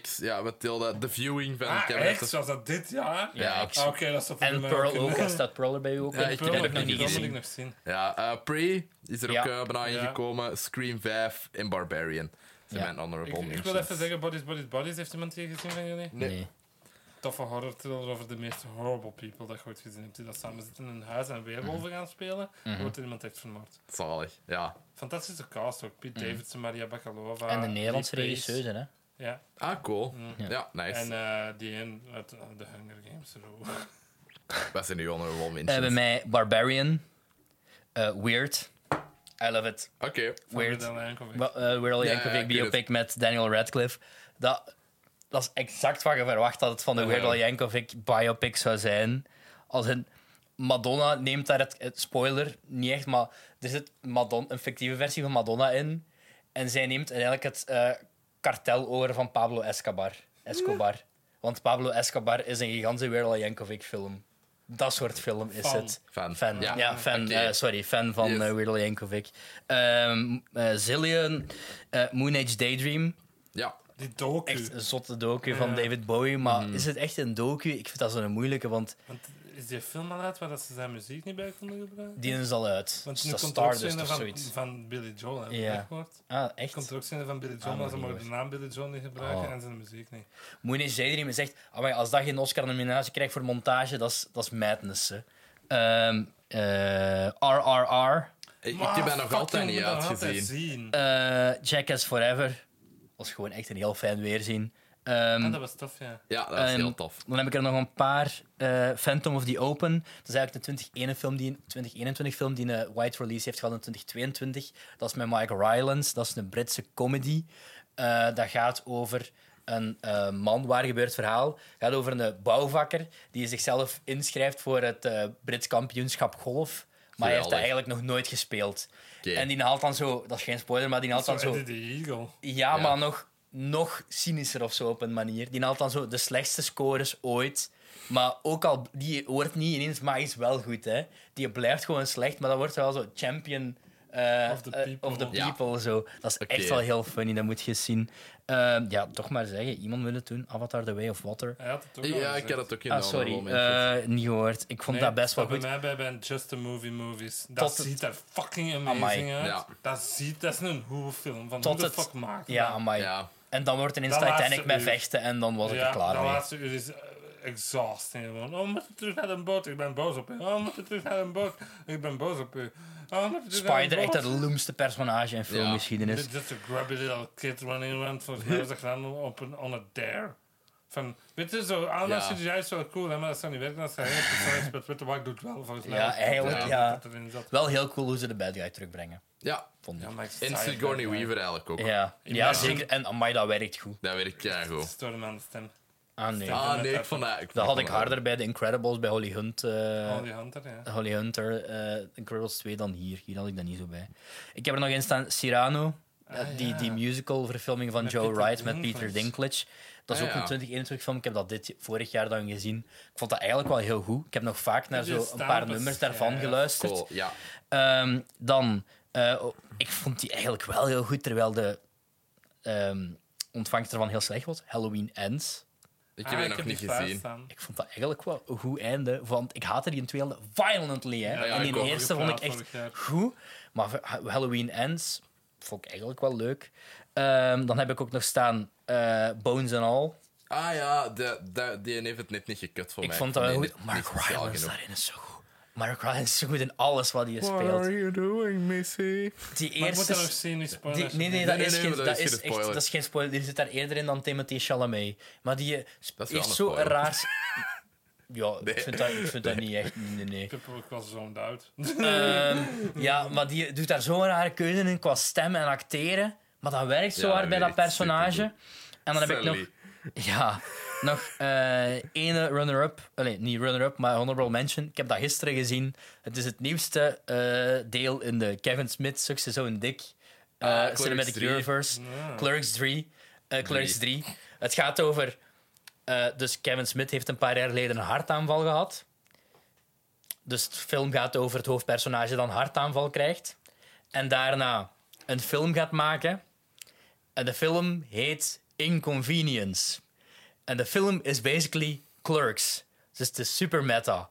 [SPEAKER 1] X, ja, Matilda, The Viewing van
[SPEAKER 2] Ah,
[SPEAKER 1] Cameron
[SPEAKER 2] echt?
[SPEAKER 1] Estes-
[SPEAKER 2] Zoals dat dit jaar?
[SPEAKER 3] Ja,
[SPEAKER 1] Ja.
[SPEAKER 3] ik-
[SPEAKER 2] Ah, Oké, dat is dat voor
[SPEAKER 3] En
[SPEAKER 2] mij
[SPEAKER 3] Pearl
[SPEAKER 2] een-
[SPEAKER 3] ook, hè. staat Pearl er bij u ook?
[SPEAKER 1] Ja,
[SPEAKER 3] in?
[SPEAKER 1] ik
[SPEAKER 2] Pearl
[SPEAKER 1] heb
[SPEAKER 3] het
[SPEAKER 2] nog
[SPEAKER 3] nog niet
[SPEAKER 2] Dat moet ik
[SPEAKER 3] gezien.
[SPEAKER 2] nog zien.
[SPEAKER 1] Ja, eh, Prey is er
[SPEAKER 3] Ja.
[SPEAKER 1] ook eh, bijna
[SPEAKER 2] Ja.
[SPEAKER 1] ingekomen. Scream 5 en Barbarian. Dat zijn
[SPEAKER 3] Ja.
[SPEAKER 1] mijn honorable
[SPEAKER 2] Ik, ik wil
[SPEAKER 1] mentions.
[SPEAKER 2] even zeggen, Bodies, Bodies, Bodies. Heeft iemand die gezien van jullie?
[SPEAKER 1] Nee.
[SPEAKER 3] Nee.
[SPEAKER 2] Toffe horror thriller over de meest horrible people dat je ooit gezien hebt. Die dat samen zitten in een huis en weerwolven gaan spelen. Wordt er iemand echt vermoord.
[SPEAKER 1] Zalig, ja.
[SPEAKER 2] Fantastische cast ook. Pete Davidson, Maria Bakalova.
[SPEAKER 3] En de Nederlandse
[SPEAKER 2] Lee
[SPEAKER 3] regisseur,
[SPEAKER 2] Pace.
[SPEAKER 3] hè?
[SPEAKER 2] Ja.
[SPEAKER 1] Ah, cool. Ja, nice.
[SPEAKER 2] En eh, die een uit eh, de Hunger Games. (laughs) Roe.
[SPEAKER 1] Wij zijn nu honorable
[SPEAKER 3] Eh, bij
[SPEAKER 1] mentions.
[SPEAKER 3] mij Barbarian, Eh, Weird, I Love It,
[SPEAKER 1] Oké.
[SPEAKER 3] Weird,
[SPEAKER 2] Van Weird Al Yankovic.
[SPEAKER 3] Wa- eh, Weird Al
[SPEAKER 1] Ja,
[SPEAKER 3] Yankovic
[SPEAKER 1] ja, ik weet het.
[SPEAKER 3] biopic met Daniel Radcliffe. Dat, dat is exact wat je verwacht dat het van de Weird Al
[SPEAKER 1] Ja.
[SPEAKER 3] Yankovic biopic zou zijn. Als in Madonna neemt daar het, het- spoiler niet echt, maar er zit Madon een fictieve versie van Madonna in en zij neemt eigenlijk het eh kartel over van Pablo Escobar. Escobar. Want Pablo Escobar is een gigantische Weird Al Yankovic film. Dat soort film is
[SPEAKER 2] Fan.
[SPEAKER 3] het.
[SPEAKER 1] Fan.
[SPEAKER 3] Fan, ja,
[SPEAKER 1] Ja.
[SPEAKER 3] fan,
[SPEAKER 1] Oké.
[SPEAKER 3] eh, sorry, fan van
[SPEAKER 1] Yes.
[SPEAKER 3] eh, Weird Al Yankovic. Ehm, eh, Zillion, eh, Moon Age Daydream.
[SPEAKER 1] Ja.
[SPEAKER 2] Die docu.
[SPEAKER 3] Echt eh, een zotte docu van
[SPEAKER 2] Ja.
[SPEAKER 3] David Bowie.
[SPEAKER 1] Mm.
[SPEAKER 3] Maar is het echt een docu? Ik vind dat zo'n moeilijke, want
[SPEAKER 2] Want is die film al uit waar dat ze zijn muziek niet bij konden gebruiken?
[SPEAKER 3] die is al uit.
[SPEAKER 2] Want
[SPEAKER 3] Dus
[SPEAKER 2] nu
[SPEAKER 3] dat
[SPEAKER 2] komt er ook
[SPEAKER 3] Stardust
[SPEAKER 2] zin
[SPEAKER 3] of
[SPEAKER 2] van,
[SPEAKER 3] zoiets.
[SPEAKER 2] van Billy Joel. Heb je
[SPEAKER 3] Ja.
[SPEAKER 2] dat gehoord?
[SPEAKER 3] Ah,
[SPEAKER 2] Er komt
[SPEAKER 3] echt?
[SPEAKER 2] er ook zin van Billy Joel,
[SPEAKER 3] Ah,
[SPEAKER 2] maar ze
[SPEAKER 3] nog niet
[SPEAKER 2] mogen de naam Billy Joel niet gebruiken
[SPEAKER 3] Oh.
[SPEAKER 2] en zijn muziek niet.
[SPEAKER 3] Moon Age Daydream is echt... amai, als dat geen Oscar-nominatie krijgt voor montage, dat is, dat is madness, hè. Ehm, eh, RRR,
[SPEAKER 1] Ik, ik
[SPEAKER 2] Maar
[SPEAKER 1] heb dat nog
[SPEAKER 2] fuck,
[SPEAKER 1] altijd
[SPEAKER 2] je
[SPEAKER 1] niet
[SPEAKER 2] moet dat altijd
[SPEAKER 1] uitgezien. Mm.
[SPEAKER 2] zien.
[SPEAKER 3] eh, Jackass Forever. was gewoon echt een heel fijn weerzien. Ehm,
[SPEAKER 2] Ah, dat was tof, ja.
[SPEAKER 1] Ja, dat is
[SPEAKER 3] En
[SPEAKER 1] heel tof.
[SPEAKER 3] Dan heb ik er nog een paar. eh, Phantom of the Open. Dat is eigenlijk de 2021 film die, 2021 film die een wide release heeft gehad in 2022. Dat is met Michael Rylance. Dat is een Britse comedy. Eh, dat gaat over een eh, man, waar gebeurt het verhaal? Het gaat over een bouwvakker die zichzelf inschrijft voor het eh, Brits kampioenschap golf. Maar hij heeft dat
[SPEAKER 1] Geweldig.
[SPEAKER 3] eigenlijk nog nooit gespeeld.
[SPEAKER 1] Oké.
[SPEAKER 3] En die haalt dan zo, dat is geen spoiler, maar die haalt dan
[SPEAKER 2] Zo
[SPEAKER 3] zo
[SPEAKER 2] Eddie the Eagle.
[SPEAKER 3] ja,
[SPEAKER 1] Ja.
[SPEAKER 3] maar nog, nog cynischer of zo op een manier. Die haalt dan zo de slechtste scores ooit. Maar ook al, die wordt niet ineens magisch wel goed, hè. Die blijft gewoon slecht, maar dan wordt hij wel zo champion eh,
[SPEAKER 2] Of the
[SPEAKER 3] eh,
[SPEAKER 2] people.
[SPEAKER 3] of the
[SPEAKER 1] Ja.
[SPEAKER 3] people zo. Dat is
[SPEAKER 1] Oké.
[SPEAKER 3] echt wel heel funny, dat moet je zien. Eh, ja, toch maar zeggen, iemand wil het doen. Avatar The Way of Water.
[SPEAKER 2] Hij had het ook al
[SPEAKER 1] Ja, ik
[SPEAKER 2] gezegd.
[SPEAKER 1] had het ook in
[SPEAKER 3] Ah,
[SPEAKER 1] een ander
[SPEAKER 3] sorry,
[SPEAKER 1] moment.
[SPEAKER 3] eh, niet gehoord. Ik vond
[SPEAKER 2] Nee,
[SPEAKER 3] dat best wel
[SPEAKER 2] staat
[SPEAKER 3] goed.
[SPEAKER 2] Bij mij bij ben Just a Movie Movies. Dat
[SPEAKER 3] Tot het-
[SPEAKER 2] ziet er fucking amazing
[SPEAKER 3] Amai.
[SPEAKER 2] uit.
[SPEAKER 1] Ja.
[SPEAKER 2] Dat, ziet, dat is een hoe film van
[SPEAKER 3] Tot
[SPEAKER 2] hoe de
[SPEAKER 3] het-
[SPEAKER 2] fuck maken.
[SPEAKER 3] Ja, amai.
[SPEAKER 1] ja.
[SPEAKER 3] En dan wordt ineens
[SPEAKER 2] Dat
[SPEAKER 3] Titanic
[SPEAKER 2] laatste
[SPEAKER 3] met
[SPEAKER 2] uur.
[SPEAKER 3] vechten en dan was ik er klaar
[SPEAKER 2] dat
[SPEAKER 3] mee.
[SPEAKER 2] laatste uur is eh, exhausting gewoon. Oh, we moeten terug naar de boot. Ik ben boos op u. Oh, we moeten terug naar de boot. Ik ben boos op u. Oh, we moeten terug naar de
[SPEAKER 3] Spider,
[SPEAKER 2] boot.
[SPEAKER 3] echt het loemste personage in filmgeschiedenis.
[SPEAKER 2] Just- Just a grubby little kid running around
[SPEAKER 3] (laughs)
[SPEAKER 2] for music aan op een on a dare. Van, weet je, zo, Anna
[SPEAKER 1] Ja.
[SPEAKER 2] CGI is wel cool, hè, maar dat zou niet werken als hij heel
[SPEAKER 3] (laughs)
[SPEAKER 2] persoonlijk speelt. Witte Wak doet wel, volgens mij.
[SPEAKER 3] Ja,
[SPEAKER 2] Dat-
[SPEAKER 3] eigenlijk,
[SPEAKER 2] dat-
[SPEAKER 3] ja.
[SPEAKER 2] dat erin zat.
[SPEAKER 3] Wel heel cool hoe ze de bad guy terugbrengen,
[SPEAKER 1] ja.
[SPEAKER 3] vond ik.
[SPEAKER 2] Ja,
[SPEAKER 3] Ja,
[SPEAKER 2] maar ik sta
[SPEAKER 1] En
[SPEAKER 2] hier
[SPEAKER 1] Sigourney
[SPEAKER 2] bij-
[SPEAKER 1] Weaver eigenlijk ook.
[SPEAKER 3] ja.
[SPEAKER 2] Imagine-
[SPEAKER 3] zeker. En amai, dat werkt goed.
[SPEAKER 1] Dat werkt
[SPEAKER 2] Ik
[SPEAKER 1] keigoed.
[SPEAKER 2] stoor hem aan de stem.
[SPEAKER 3] Ah, nee.
[SPEAKER 2] Ah,
[SPEAKER 1] Ah, nee, ik vond dat...
[SPEAKER 3] Dat had ik
[SPEAKER 1] vond
[SPEAKER 3] harder bij The Incredibles, bij Holly Hunt. eh,
[SPEAKER 2] Holly Hunter, ja. Ah,
[SPEAKER 3] Holly Hunter, eh Incredibles 2 dan hier. Hier had ik dat niet zo bij. Ik heb er nog in staan Cyrano, eh,
[SPEAKER 2] Ah,
[SPEAKER 3] die,
[SPEAKER 2] ja.
[SPEAKER 3] die musical-verfilming van
[SPEAKER 2] Met
[SPEAKER 3] Joe
[SPEAKER 2] Peter
[SPEAKER 3] Wright met
[SPEAKER 2] Dinklage.
[SPEAKER 3] Peter Dinklage. Dat is
[SPEAKER 1] Ah,
[SPEAKER 3] ook
[SPEAKER 1] ja.
[SPEAKER 3] een 2021 film. Ik heb dat dit vorig jaar dan gezien. Ik vond dat eigenlijk wel heel goed. Ik heb nog vaak naar
[SPEAKER 2] Die
[SPEAKER 3] zo een
[SPEAKER 2] staan
[SPEAKER 3] paar
[SPEAKER 2] op een
[SPEAKER 3] nummers daarvan
[SPEAKER 2] schijf.
[SPEAKER 3] geluisterd.
[SPEAKER 1] Cool, ja.
[SPEAKER 3] Ehm, dan, eh, oh, ik vond die eigenlijk wel heel goed, terwijl de ehm, ontvangst ervan heel slecht was. Halloween Ends.
[SPEAKER 1] Ik
[SPEAKER 2] Ah,
[SPEAKER 1] heb die nog niet
[SPEAKER 2] die
[SPEAKER 1] gezien.
[SPEAKER 2] klaarstaan.
[SPEAKER 3] Ik vond dat eigenlijk wel een goed einde, want ik haatte die in tweede violently. Hè.
[SPEAKER 2] Ja, ja,
[SPEAKER 3] en
[SPEAKER 1] ik
[SPEAKER 3] die
[SPEAKER 1] ook.
[SPEAKER 3] eerste vond ik
[SPEAKER 2] Gepraat
[SPEAKER 3] echt
[SPEAKER 2] vorig jaar.
[SPEAKER 3] goed, maar Ha- Halloween Ends vond ik eigenlijk wel leuk. Ehm, dan heb ik ook nog staan eh, Bones and All.
[SPEAKER 1] Ah ja, de, de, die heeft het net niet gekut voor
[SPEAKER 3] Ik
[SPEAKER 1] mij.
[SPEAKER 3] vond dat wel
[SPEAKER 1] Nee,
[SPEAKER 3] goed.
[SPEAKER 1] niet-
[SPEAKER 3] Mark
[SPEAKER 1] niet speciaal
[SPEAKER 3] Rylance
[SPEAKER 1] genoeg.
[SPEAKER 3] daarin is zo goed. Mark Rylance is zo goed in alles wat hij speelt.
[SPEAKER 1] you doing, Missy?
[SPEAKER 3] Die
[SPEAKER 2] Maar ik moet
[SPEAKER 3] eerste...
[SPEAKER 2] dat nog zien, die
[SPEAKER 3] Die-
[SPEAKER 2] spoilers.
[SPEAKER 3] nee, nee,
[SPEAKER 1] Oh, Nee,
[SPEAKER 3] dat
[SPEAKER 1] nee,
[SPEAKER 3] is
[SPEAKER 1] nee,
[SPEAKER 3] geen
[SPEAKER 1] maar
[SPEAKER 3] dat is echt- dat is geen spoiler. Die zit daar eerder in dan Timothy Chalamet. Maar die eh, sp-
[SPEAKER 1] Dat is wel
[SPEAKER 3] heeft
[SPEAKER 1] een
[SPEAKER 3] zo
[SPEAKER 1] spoiler.
[SPEAKER 3] raar...
[SPEAKER 1] (laughs)
[SPEAKER 3] Ja, ik vind dat, ik vind dat niet echt. Nee, nee,
[SPEAKER 1] (laughs)
[SPEAKER 3] nee.
[SPEAKER 2] Ik heb ook wel zo'n
[SPEAKER 3] (laughs)
[SPEAKER 2] duit.
[SPEAKER 3] Ehm, ja, maar die doet daar zo'n rare keuze in qua stem en acteren. Maar dat werkt zo
[SPEAKER 1] Ja, dat
[SPEAKER 3] hard bij dat
[SPEAKER 1] werkt
[SPEAKER 3] personage. En dan heb ik nog...
[SPEAKER 1] Sally.
[SPEAKER 3] Ja, nog eh ene runner-up. Allee, niet runner-up, maar honorable mention. Ik heb dat gisteren gezien. Het is het nieuwste eh, deel in de Kevin Smith Succes Zo'n Dick eh,
[SPEAKER 1] Ah, Clerks Ah.
[SPEAKER 3] Cinematic
[SPEAKER 1] 3.
[SPEAKER 3] Universe. Clerks 3. eh, Clerks 3. Het gaat over... eh, dus Kevin Smith heeft een paar jaar geleden een hartaanval gehad. Dus de film gaat over het hoofdpersonage dat een hartaanval krijgt. En daarna een film gaat maken. En de film heet Inconvenience. En de film is basically Clerks. Dus het is super meta.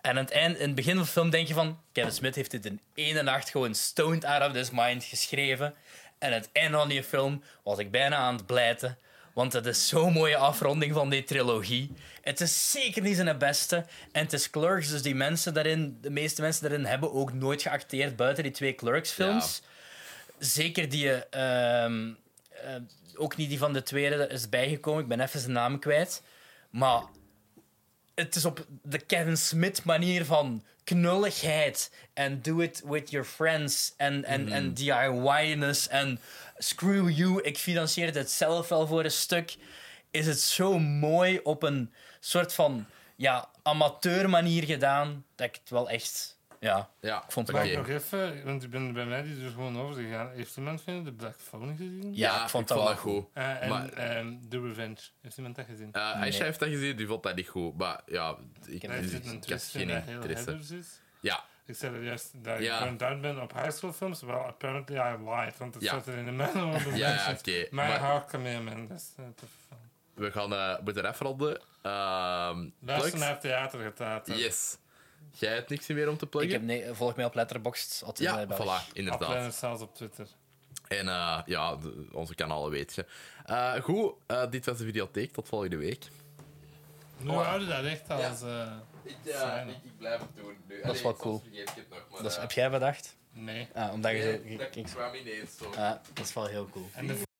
[SPEAKER 3] En aan het eind, in het begin van de film denk je van... Kevin Smith heeft dit in één nacht gewoon stoned out of his mind geschreven. En aan het einde van die film was ik bijna aan het blijten. Want het is zo'n mooie afronding van die trilogie. Het is zeker niet zijn beste. En het is Clerks, dus die mensen daarin... De meeste mensen daarin hebben ook nooit geacteerd buiten die twee Clerks-films. Zeker die... eh, ehm, eh, ook niet die van de tweede er is bijgekomen. Ik ben even zijn naam kwijt. Maar het is op de Kevin Smith manier van knulligheid en do it with your friends en, en, en DIY-ness en screw you, ik financier het zelf wel voor een stuk. Is het zo mooi op een soort van ja, amateur manier gedaan dat ik het wel echt. Ja,
[SPEAKER 1] Ja,
[SPEAKER 3] ik vond het
[SPEAKER 2] Mag
[SPEAKER 3] wel
[SPEAKER 2] ik
[SPEAKER 1] Oké.
[SPEAKER 2] nog even, want ik ben bij mij die is er gewoon over gegaan. Heeft iemand van jullie de Black Phone gezien?
[SPEAKER 3] Ja, ik vond dat wel
[SPEAKER 1] goed.
[SPEAKER 2] Eh, en
[SPEAKER 1] Maar-
[SPEAKER 2] ehm, The Revenge. Heeft iemand dat gezien?
[SPEAKER 1] Eh Aisha heeft dat gezien, die vond dat niet goed. Maar ja, ik,
[SPEAKER 2] Daar
[SPEAKER 1] dus
[SPEAKER 2] zit een
[SPEAKER 1] ik had
[SPEAKER 2] twist in
[SPEAKER 1] geen
[SPEAKER 2] dat heel
[SPEAKER 1] interesse.
[SPEAKER 2] headers is.
[SPEAKER 1] Ja,
[SPEAKER 2] Ik zei dat juist, dat
[SPEAKER 1] Ja.
[SPEAKER 2] ik burned out ben op high school films. Well, apparently I lied, want het
[SPEAKER 1] Ja.
[SPEAKER 2] zat er in de manual of the
[SPEAKER 1] (laughs) Ja, ja,
[SPEAKER 2] mentions.
[SPEAKER 1] oké,
[SPEAKER 2] My
[SPEAKER 1] maar-
[SPEAKER 2] Heart Commandment, dat is eh, te veel.
[SPEAKER 1] we gaan eh moeten afronden. Ehm
[SPEAKER 2] Luister
[SPEAKER 1] plugs?
[SPEAKER 2] naar theater getaten.
[SPEAKER 1] Yes. Jij hebt niks meer om te pluggen?
[SPEAKER 3] Ik heb nee, volg mij op Letterboxd. altijd
[SPEAKER 1] Ja,
[SPEAKER 3] bij België.
[SPEAKER 1] voilà, inderdaad.
[SPEAKER 2] Applein is zelfs op eh, Twitter.
[SPEAKER 1] En eh, ja, de- onze kanalen weet je. Eh, goed, eh, dit was de videotheek. Tot volgende week.
[SPEAKER 2] Nu
[SPEAKER 1] Oh.
[SPEAKER 2] houden dat echt als... eh,
[SPEAKER 1] Ik,
[SPEAKER 2] Fijn. ik-
[SPEAKER 1] blijf het doen nu.
[SPEAKER 3] Allee, wel soms cool.
[SPEAKER 1] Vergeet ik het nog, maar, eh,
[SPEAKER 3] Dat is, Dus heb jij bedacht?
[SPEAKER 2] nee.
[SPEAKER 3] Ah, omdat je zo.
[SPEAKER 1] kwam ineens zo.
[SPEAKER 3] Uh, Ah, dat is wel heel cool.
[SPEAKER 2] En de